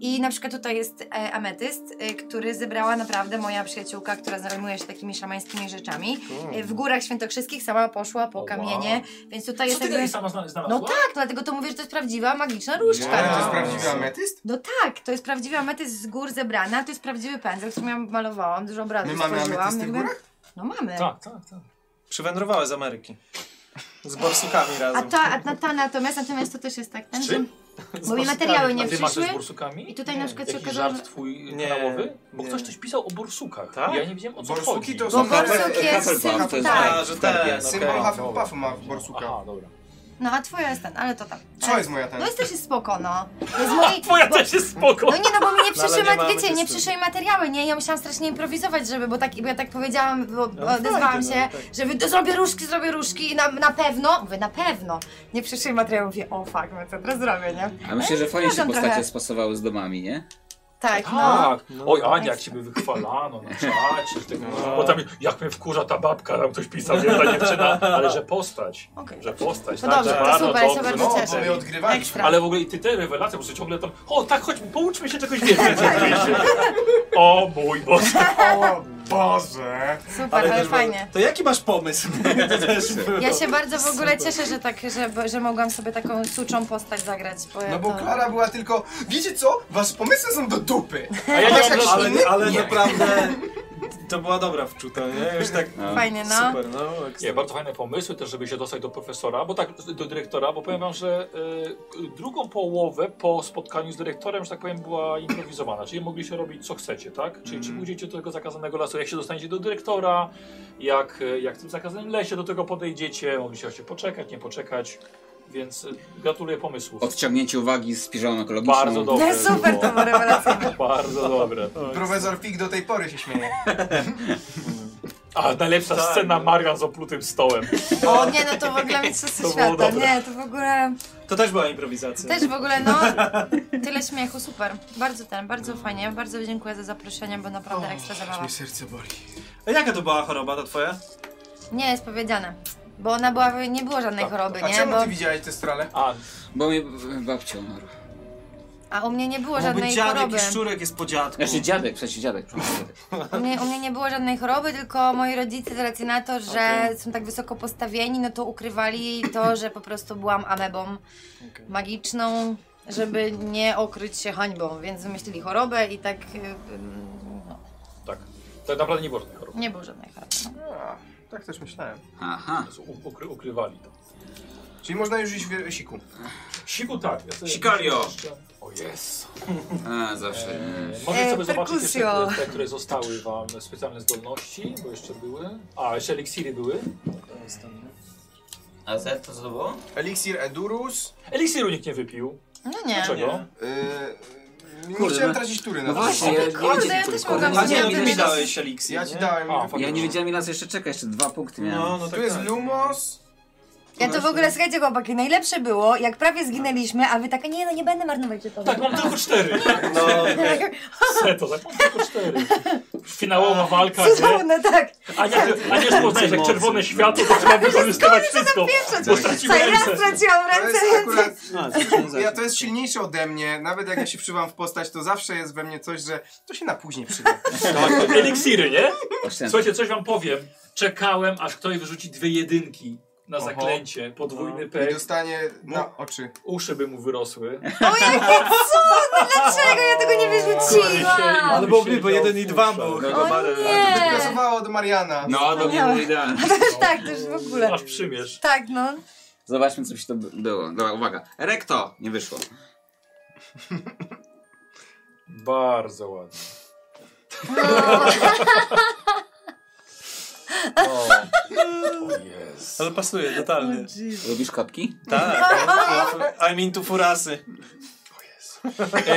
Speaker 2: I na przykład tutaj jest e, ametyst, e, który zebrała naprawdę moja przyjaciółka, która zajmuje się takimi szamańskimi rzeczami. E, w górach świętokrzyskich sama poszła po
Speaker 1: wow.
Speaker 2: kamienie, więc tutaj
Speaker 1: Co
Speaker 2: jest
Speaker 1: ty
Speaker 2: jakby-
Speaker 1: dalej sama zna- znalazła?
Speaker 2: No tak, dlatego to mówię, że to jest prawdziwa magiczna różdżka.
Speaker 3: Ale E, to
Speaker 2: no.
Speaker 3: jest prawdziwy ametyst?
Speaker 2: No tak, to jest prawdziwy ametyst z gór zebrana, to jest prawdziwy pędzel, którym ja malowałam, dużo obrazów
Speaker 3: My mamy
Speaker 2: stworzyłam,
Speaker 3: ametysty w
Speaker 2: jakby-
Speaker 3: górach?
Speaker 2: No mamy.
Speaker 1: Tak, tak, tak.
Speaker 5: Przywędrowały z Ameryki. Z borsukami
Speaker 2: A
Speaker 5: razem.
Speaker 2: ta, a na ta natomiast, natomiast to też jest tak ten,
Speaker 1: Z czym?
Speaker 5: Z
Speaker 2: bo mi
Speaker 5: borsukami.
Speaker 2: materiały nie
Speaker 1: A ty masz
Speaker 2: przyszły.
Speaker 1: coś z bursukami?
Speaker 2: I tutaj na przykład się
Speaker 1: Jakiś
Speaker 2: okazało,
Speaker 1: żart
Speaker 2: że-
Speaker 1: twój e,
Speaker 5: Nie,
Speaker 1: kanałowy? Bo
Speaker 5: nie.
Speaker 1: ktoś coś pisał o borsukach.
Speaker 5: Tak?
Speaker 1: Ja nie wiedziałem o co
Speaker 3: Borsuki
Speaker 1: chodzi.
Speaker 3: to
Speaker 2: Bo
Speaker 3: są
Speaker 2: borsuk jest
Speaker 4: Hufflepuff,
Speaker 2: sym...
Speaker 4: to jest-
Speaker 2: Tak.
Speaker 5: A, że ten,
Speaker 3: Symbol
Speaker 5: okej.
Speaker 3: Hufflepuffa ma w Borsuka.
Speaker 1: Aha, dobra.
Speaker 2: No a twoja jest ten, ale to tam.
Speaker 3: Co jest moja ten?
Speaker 2: No jest też jest spoko, no. To Jest mojej...
Speaker 1: Twoja też jest spoko!
Speaker 2: No nie, no bo mi nie
Speaker 5: No, ale
Speaker 2: przyszły,
Speaker 5: nie
Speaker 2: mat-
Speaker 5: mamy
Speaker 2: wiecie, nie
Speaker 5: testu.
Speaker 2: przyszły materiały, nie? Ja musiałam strasznie improwizować, żeby, bo, tak, bo ja tak powiedziałam, bo bo odezwałam
Speaker 5: fajnie,
Speaker 2: się,
Speaker 5: no, tak.
Speaker 2: że wy, "To zrobię różdżki, zrobię różdżki i na, na pewno, mówię, na pewno, nie przyszły materiały, mówię, o fuck, no co teraz zrobię, nie?
Speaker 4: A myślę, że fajnie się
Speaker 2: Przepraszam trochę.
Speaker 4: postacie spasowały z domami, nie?
Speaker 2: Tak, no.
Speaker 1: Tak. Oj, Ania, jak ciebie wychwalano na czacie. w Tego,
Speaker 3: No.
Speaker 1: Bo tam, jak mnie wkurza ta babka, tam ktoś pisał, nie, ta dziewczyna, ale że postać.
Speaker 2: Okej.
Speaker 1: Że postać.
Speaker 2: No
Speaker 1: tak,
Speaker 2: dobrze,
Speaker 1: że
Speaker 2: to
Speaker 1: bardzo
Speaker 2: super, ja się
Speaker 1: dobrze,
Speaker 2: bardzo
Speaker 1: no.
Speaker 3: No, bo my
Speaker 2: cieszę.
Speaker 3: odgrywaliśmy.
Speaker 2: Ekstra.
Speaker 1: Ale w ogóle i ty te rewelacje, bo że ciągle tam, o tak, chodź, pouczmy się czegoś więcej. Wiecie. o mój Boże.
Speaker 3: O Boże!
Speaker 2: Super, ale,
Speaker 5: też było-
Speaker 2: fajnie.
Speaker 5: To jaki masz pomysł? To też było.
Speaker 2: Ja się bardzo w ogóle cieszę, że tak, że, że mogłam sobie taką suczą postać zagrać. Bo ja
Speaker 3: No bo
Speaker 2: to...
Speaker 3: Klara była tylko, wiecie co? Wasze pomysły są do dupy!
Speaker 1: A ja nie mam
Speaker 2: tak
Speaker 3: Jakiś
Speaker 5: ale,
Speaker 3: inny?
Speaker 5: ale naprawdę to była dobra wczuta, nie? Już tak
Speaker 2: Fajnie, no.
Speaker 5: super, no. ekstra.
Speaker 1: Nie, bardzo fajne pomysły też, żeby się dostać do profesora, bo tak, do dyrektora, bo powiem wam, że y, drugą połowę po spotkaniu z dyrektorem, że tak powiem, była improwizowana, czyli mogliście robić co chcecie, tak? Czyli czy pójdziecie do tego zakazanego lasu, jak się dostaniecie do dyrektora, jak, y, jak w tym zakazanym lesie do tego podejdziecie, mogliście się poczekać, nie poczekać, więc y, gratuluję pomysłów.
Speaker 4: Odciągnięcie uwagi z piżamą ekologiczną.
Speaker 1: Bardzo dobre.
Speaker 2: Nie, No, super, to
Speaker 1: było.
Speaker 2: było rewelacyjne.
Speaker 1: Bardzo dobre.
Speaker 3: Profesor Pik do tej pory się śmieje.
Speaker 1: A najlepsza
Speaker 5: Tak,
Speaker 1: scena
Speaker 5: no.
Speaker 1: Marian z oplutym stołem.
Speaker 2: O nie, no to w ogóle mistrzostwo
Speaker 1: To było
Speaker 2: świata.
Speaker 1: dobre.
Speaker 2: Nie, to w ogóle...
Speaker 5: To też była improwizacja.
Speaker 2: Też w ogóle, no... Tyle śmiechu, super. Bardzo ten, bardzo fajnie. Bardzo dziękuję za zaproszenie, bo naprawdę ekstra zabawa.
Speaker 3: serce boli.
Speaker 5: A jaka to była choroba, ta twoja?
Speaker 2: Nie, jest powiedziane. Bo ona była, nie było żadnej choroby,
Speaker 3: Tak. A
Speaker 2: nie?
Speaker 3: czemu
Speaker 2: Bo,
Speaker 3: ty widziałeś te strale?
Speaker 1: A,
Speaker 4: Bo mnie babcia umarła.
Speaker 2: a u mnie nie było
Speaker 5: Bo
Speaker 2: żadnej
Speaker 5: dziadek
Speaker 2: choroby.
Speaker 5: i szczurek jest po dziadku. no,
Speaker 4: Znaczy dziadek, przecież dziadek. przepraszam, dziadek.
Speaker 2: U mnie, u mnie nie było żadnej choroby, tylko moi rodzice z racji na to, że są tak wysoko postawieni, no to ukrywali to, że po prostu byłam amebą magiczną, żeby nie okryć się hańbą, więc wymyślili chorobę i tak y, no,
Speaker 1: tak. Tak naprawdę nie było żadnych chorób.
Speaker 2: nie było żadnej choroby. No.
Speaker 3: A, tak też myślałem.
Speaker 4: Aha.
Speaker 1: U- Ukry, ukrywali to.
Speaker 3: Czyli można już iść w siku.
Speaker 1: Siku tak. Ja sobie-
Speaker 4: Sikario!
Speaker 1: O jest.
Speaker 4: A, zawsze. nie.
Speaker 1: Możecie
Speaker 2: E,
Speaker 1: sobie zobaczyć jeszcze
Speaker 2: perkusjo.
Speaker 1: te, te, które zostały wam e, specjalne zdolności, bo jeszcze były. A, jeszcze eliksiry były.
Speaker 14: A Z to co to było?
Speaker 3: Eliksir Edurus.
Speaker 1: Eliksiru nikt nie wypił.
Speaker 2: No nie.
Speaker 1: Dlaczego?
Speaker 3: Yy, nie
Speaker 4: Kurde,
Speaker 3: chciałem
Speaker 4: no-
Speaker 3: tracić tury
Speaker 4: No
Speaker 3: na to.
Speaker 4: właśnie, ja nie
Speaker 2: Kurde,
Speaker 4: wiedziałem,
Speaker 2: ja
Speaker 4: co-
Speaker 2: też
Speaker 4: kurde,
Speaker 2: mogłam
Speaker 5: A nie, no
Speaker 2: Ja
Speaker 5: ty
Speaker 2: też-
Speaker 5: mi dałeś eliksir,
Speaker 3: Ja
Speaker 5: nie?
Speaker 3: ci dałem.
Speaker 1: A,
Speaker 3: A,
Speaker 1: faktycznie.
Speaker 4: Ja nie wiedziałem ile nas jeszcze czekać, jeszcze dwa punkty
Speaker 5: No,
Speaker 4: miałem.
Speaker 5: no
Speaker 3: tu
Speaker 5: tak,
Speaker 3: jest
Speaker 5: tak.
Speaker 3: Lumos.
Speaker 2: Ja to w ogóle, słuchajcie chłopaki, najlepsze było, jak prawie zginęliśmy, a wy tak, nie no, nie będę marnować czasu.
Speaker 1: Tak, mam tylko cztery. No, Seto, tak, mam tylko cztery. Finałowa walka, nie?
Speaker 2: Cudowne, tak.
Speaker 1: A nie, a nie było tak, jak czerwone światło, to trzeba wykorzystywać wszystko, bo straciłem
Speaker 2: Słuchaj,
Speaker 1: ręce.
Speaker 2: raz Tak, straciłam
Speaker 3: To
Speaker 2: ręce,
Speaker 3: jest akurat,
Speaker 5: A,
Speaker 3: ja to jest silniejsze ode mnie, nawet jak ja się przybam w postać, to zawsze jest we mnie coś, że to się na później przyda.
Speaker 1: Tak, Eliksiry, nie?
Speaker 4: Oszczędzam.
Speaker 1: Słuchajcie, coś wam powiem. Czekałem, aż ktoś wyrzuci dwie jedynki na
Speaker 3: Oho. No.
Speaker 1: zaklęcie, podwójny
Speaker 3: I
Speaker 1: pek.
Speaker 3: dostanie
Speaker 2: No.
Speaker 3: na oczy.
Speaker 1: Uszy by mu wyrosły.
Speaker 2: O jakie cudne, dlaczego ja tego nie wyrzuciłam?
Speaker 5: Ale byłoby, bo jeden i dwa było
Speaker 1: No
Speaker 5: chyba.
Speaker 2: Nie.
Speaker 3: Pasowało do Mariana.
Speaker 4: No, to było idealne.
Speaker 2: To już tak, to już w ogóle.
Speaker 1: Aż przymierz.
Speaker 2: Tak, no.
Speaker 4: Zobaczmy, co by się to by- było. Dobra, uwaga. Rekto! Nie wyszło.
Speaker 1: Bardzo ładnie. O. O jest.
Speaker 5: Ale pasuje, totalnie.
Speaker 4: Lubisz kotki?
Speaker 5: Tak. I mean tu furasy.
Speaker 1: E,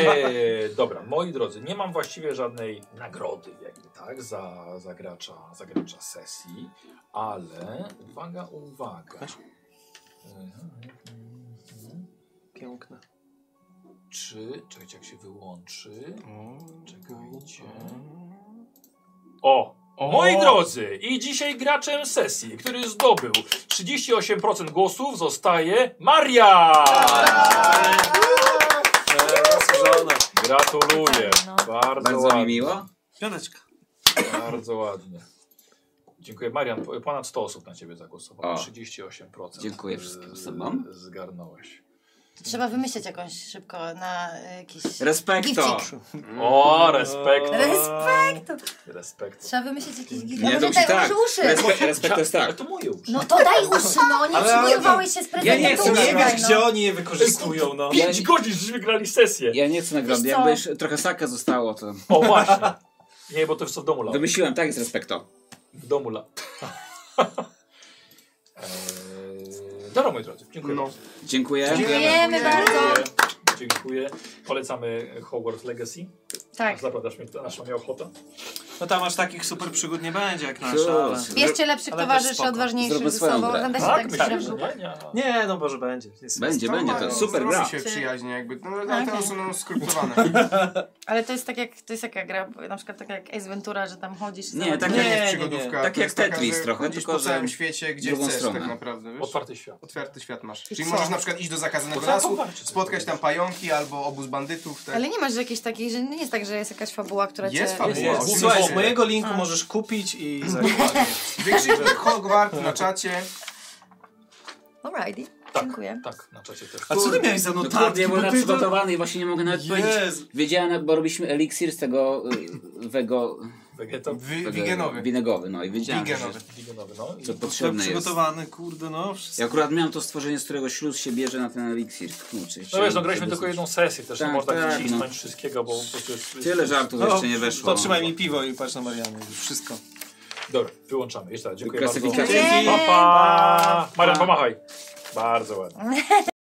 Speaker 1: dobra, moi drodzy, nie mam właściwie żadnej nagrody jakby, tak, za, za, gracza, za gracza sesji, ale uwaga, uwaga.
Speaker 5: Piękna.
Speaker 1: Czy, czekajcie, jak się wyłączy, czekajcie. O! Moi drodzy, i dzisiaj graczem sesji, który zdobył 38% głosów, zostaje Maria!
Speaker 5: E,
Speaker 1: Gratuluję. Bardzo,
Speaker 4: Bardzo mi
Speaker 1: ładnie.
Speaker 4: miło.
Speaker 5: Piąteczka.
Speaker 1: Bardzo ładnie. Dziękuję. Marian, po- ponad 100 osób na Ciebie zagłosowało.
Speaker 4: O.
Speaker 1: 38%.
Speaker 4: Dziękuję
Speaker 1: z-
Speaker 4: wszystkim osobom.
Speaker 1: Y, Zgarnąłeś.
Speaker 2: Trzeba wymyśleć jakąś szybko na y, jakiś...
Speaker 4: Respekto!
Speaker 2: gifcik.
Speaker 1: O, respekt.
Speaker 2: Respekt!
Speaker 1: Respekt.
Speaker 2: Trzeba wymyślić jakiś gift.
Speaker 4: Nie, to
Speaker 2: może
Speaker 4: musi
Speaker 2: daj
Speaker 4: tak.
Speaker 2: może uszy.
Speaker 4: Respekt, respekt to jest
Speaker 1: Ale
Speaker 4: tak.
Speaker 1: to moje już.
Speaker 15: No to daj uszy, no nie
Speaker 5: Ale- ale-
Speaker 15: przygotowałeś się z
Speaker 4: Ja
Speaker 15: prezentem,
Speaker 4: nie
Speaker 15: to
Speaker 4: chcę
Speaker 15: uciekaj,
Speaker 5: Wiesz,
Speaker 15: no.
Speaker 5: gdzie oni je wykorzystują, no.
Speaker 1: 5 godzin, żeśmy grali sesję.
Speaker 4: Ja nie chcę nagrody.
Speaker 15: Wiesz co?
Speaker 4: Jakby jeszcze trochę saka zostało, to...
Speaker 1: O, właśnie. Nie, bo to już co w domu lał.
Speaker 4: Wymyśliłem, tak jest respekto.
Speaker 1: W domu lał. Eee, E, Dobra, moi drodzy. Dziękuję.
Speaker 3: No.
Speaker 1: bardzo.
Speaker 4: Dziękuję.
Speaker 2: Dziękujemy bardzo.
Speaker 1: Dziękuję. Polecamy Hogwarts Legacy.
Speaker 2: Tak.
Speaker 1: Zapradasz mnie, nasza miała ochota.
Speaker 5: No tam aż takich super przygód nie będzie jak
Speaker 4: Cóż.
Speaker 5: nasza, ale...
Speaker 2: Bierzcie lepszych
Speaker 5: Ale też
Speaker 2: towarzyszy,
Speaker 5: spoko.
Speaker 2: odważniejszych
Speaker 4: Zróbmy
Speaker 2: ze
Speaker 4: swoją
Speaker 2: sobą.
Speaker 4: grę.
Speaker 2: Będę się
Speaker 1: Tak,
Speaker 2: tak
Speaker 1: myślę,
Speaker 2: sprawdzić.
Speaker 1: że nie, nie.
Speaker 5: Nie, no Boże, będzie. Jest-
Speaker 4: Będzie, będzie, to jest super
Speaker 3: Zdroży
Speaker 4: gra.
Speaker 3: się przyjaźnie, jakby, no, ale
Speaker 2: Okej.
Speaker 3: te osoby są skryptowane.
Speaker 2: Ale to jest tak jak, to jest jaka gra, bo na przykład taka jak Ace Ventura, że tam chodzisz i
Speaker 4: Nie,
Speaker 2: załatwiasz.
Speaker 4: tak
Speaker 3: To nie
Speaker 5: nie,
Speaker 3: jest
Speaker 5: nie.
Speaker 3: przygodówka.
Speaker 4: Tak
Speaker 3: to
Speaker 4: jak
Speaker 3: jest taka,
Speaker 4: Tetris
Speaker 3: że
Speaker 4: trochę,
Speaker 3: chodzisz
Speaker 4: tylko
Speaker 3: po
Speaker 4: że
Speaker 3: całym świecie, gdzie
Speaker 4: drugą
Speaker 3: chcesz
Speaker 4: stronę.
Speaker 3: tak naprawdę, wiesz?
Speaker 1: Otwarty świat.
Speaker 3: Otwarty świat masz.
Speaker 2: I
Speaker 3: Czyli
Speaker 2: co?
Speaker 3: możesz na przykład iść do zakazanego
Speaker 1: Bo trzeba
Speaker 3: lasu,
Speaker 1: popatrzeć, co
Speaker 3: spotkać
Speaker 1: to
Speaker 3: tam pająki albo obóz bandytów, tak?
Speaker 2: Ale nie masz jakiejś takiej, że nie jest tak, że jest jakaś fabuła, która
Speaker 3: Jest
Speaker 2: cię...
Speaker 3: fabuła.
Speaker 5: Jest.
Speaker 3: Oczywiście.
Speaker 5: Słuchaj, z mojego linku
Speaker 4: Tak.
Speaker 5: możesz kupić i zakupić.
Speaker 3: Wykrzyknik Hogwart na czacie.
Speaker 2: Alrighty,
Speaker 1: Tak.
Speaker 2: dziękuję.
Speaker 1: Tak, na czacie też.
Speaker 5: A co ty miałeś za notatki?
Speaker 4: Dokładnie,
Speaker 5: No
Speaker 4: bo
Speaker 5: tak, Bo ty
Speaker 4: na
Speaker 5: to-
Speaker 4: przygotowany i właśnie nie mogę nawet powiedzieć.
Speaker 5: Jezu.
Speaker 4: Wiedziałem, jak- bo robiliśmy eliksir z tego y, wego...
Speaker 1: Wegeto,
Speaker 3: Wi-
Speaker 4: tego-
Speaker 3: Wigenowy.
Speaker 4: Winegowy, no i wiedziałem, Tak, że,
Speaker 3: Wigenowy.
Speaker 1: Digenowy, no.
Speaker 4: co
Speaker 5: To
Speaker 4: potrzebne jest.
Speaker 5: Tak, przygotowany, kurde, no. Wszystko.
Speaker 4: Ja akurat miałem to stworzenie, z którego śluz się bierze na ten eliksir. Kurczę,
Speaker 1: No
Speaker 4: chciałem
Speaker 1: wiesz, no graliśmy
Speaker 4: sobie
Speaker 1: tylko
Speaker 4: coś-
Speaker 1: jedną sesję, też nie
Speaker 4: Tak,
Speaker 1: można
Speaker 4: tak,
Speaker 1: wcisnąć
Speaker 4: no.
Speaker 1: wszystkiego, bo po prostu jest...
Speaker 4: Tyle żartów
Speaker 5: No,
Speaker 4: jeszcze nie weszło.
Speaker 5: Potrzymaj mi piwo i patrz na Marianę. już Wszystko.
Speaker 1: Dobra, wyłączamy. Jeszcze raz, dziękuję bardzo.
Speaker 4: Klasyfikacja.
Speaker 1: Pa, pa. Marian, pomachaj. Bardzo ładnie.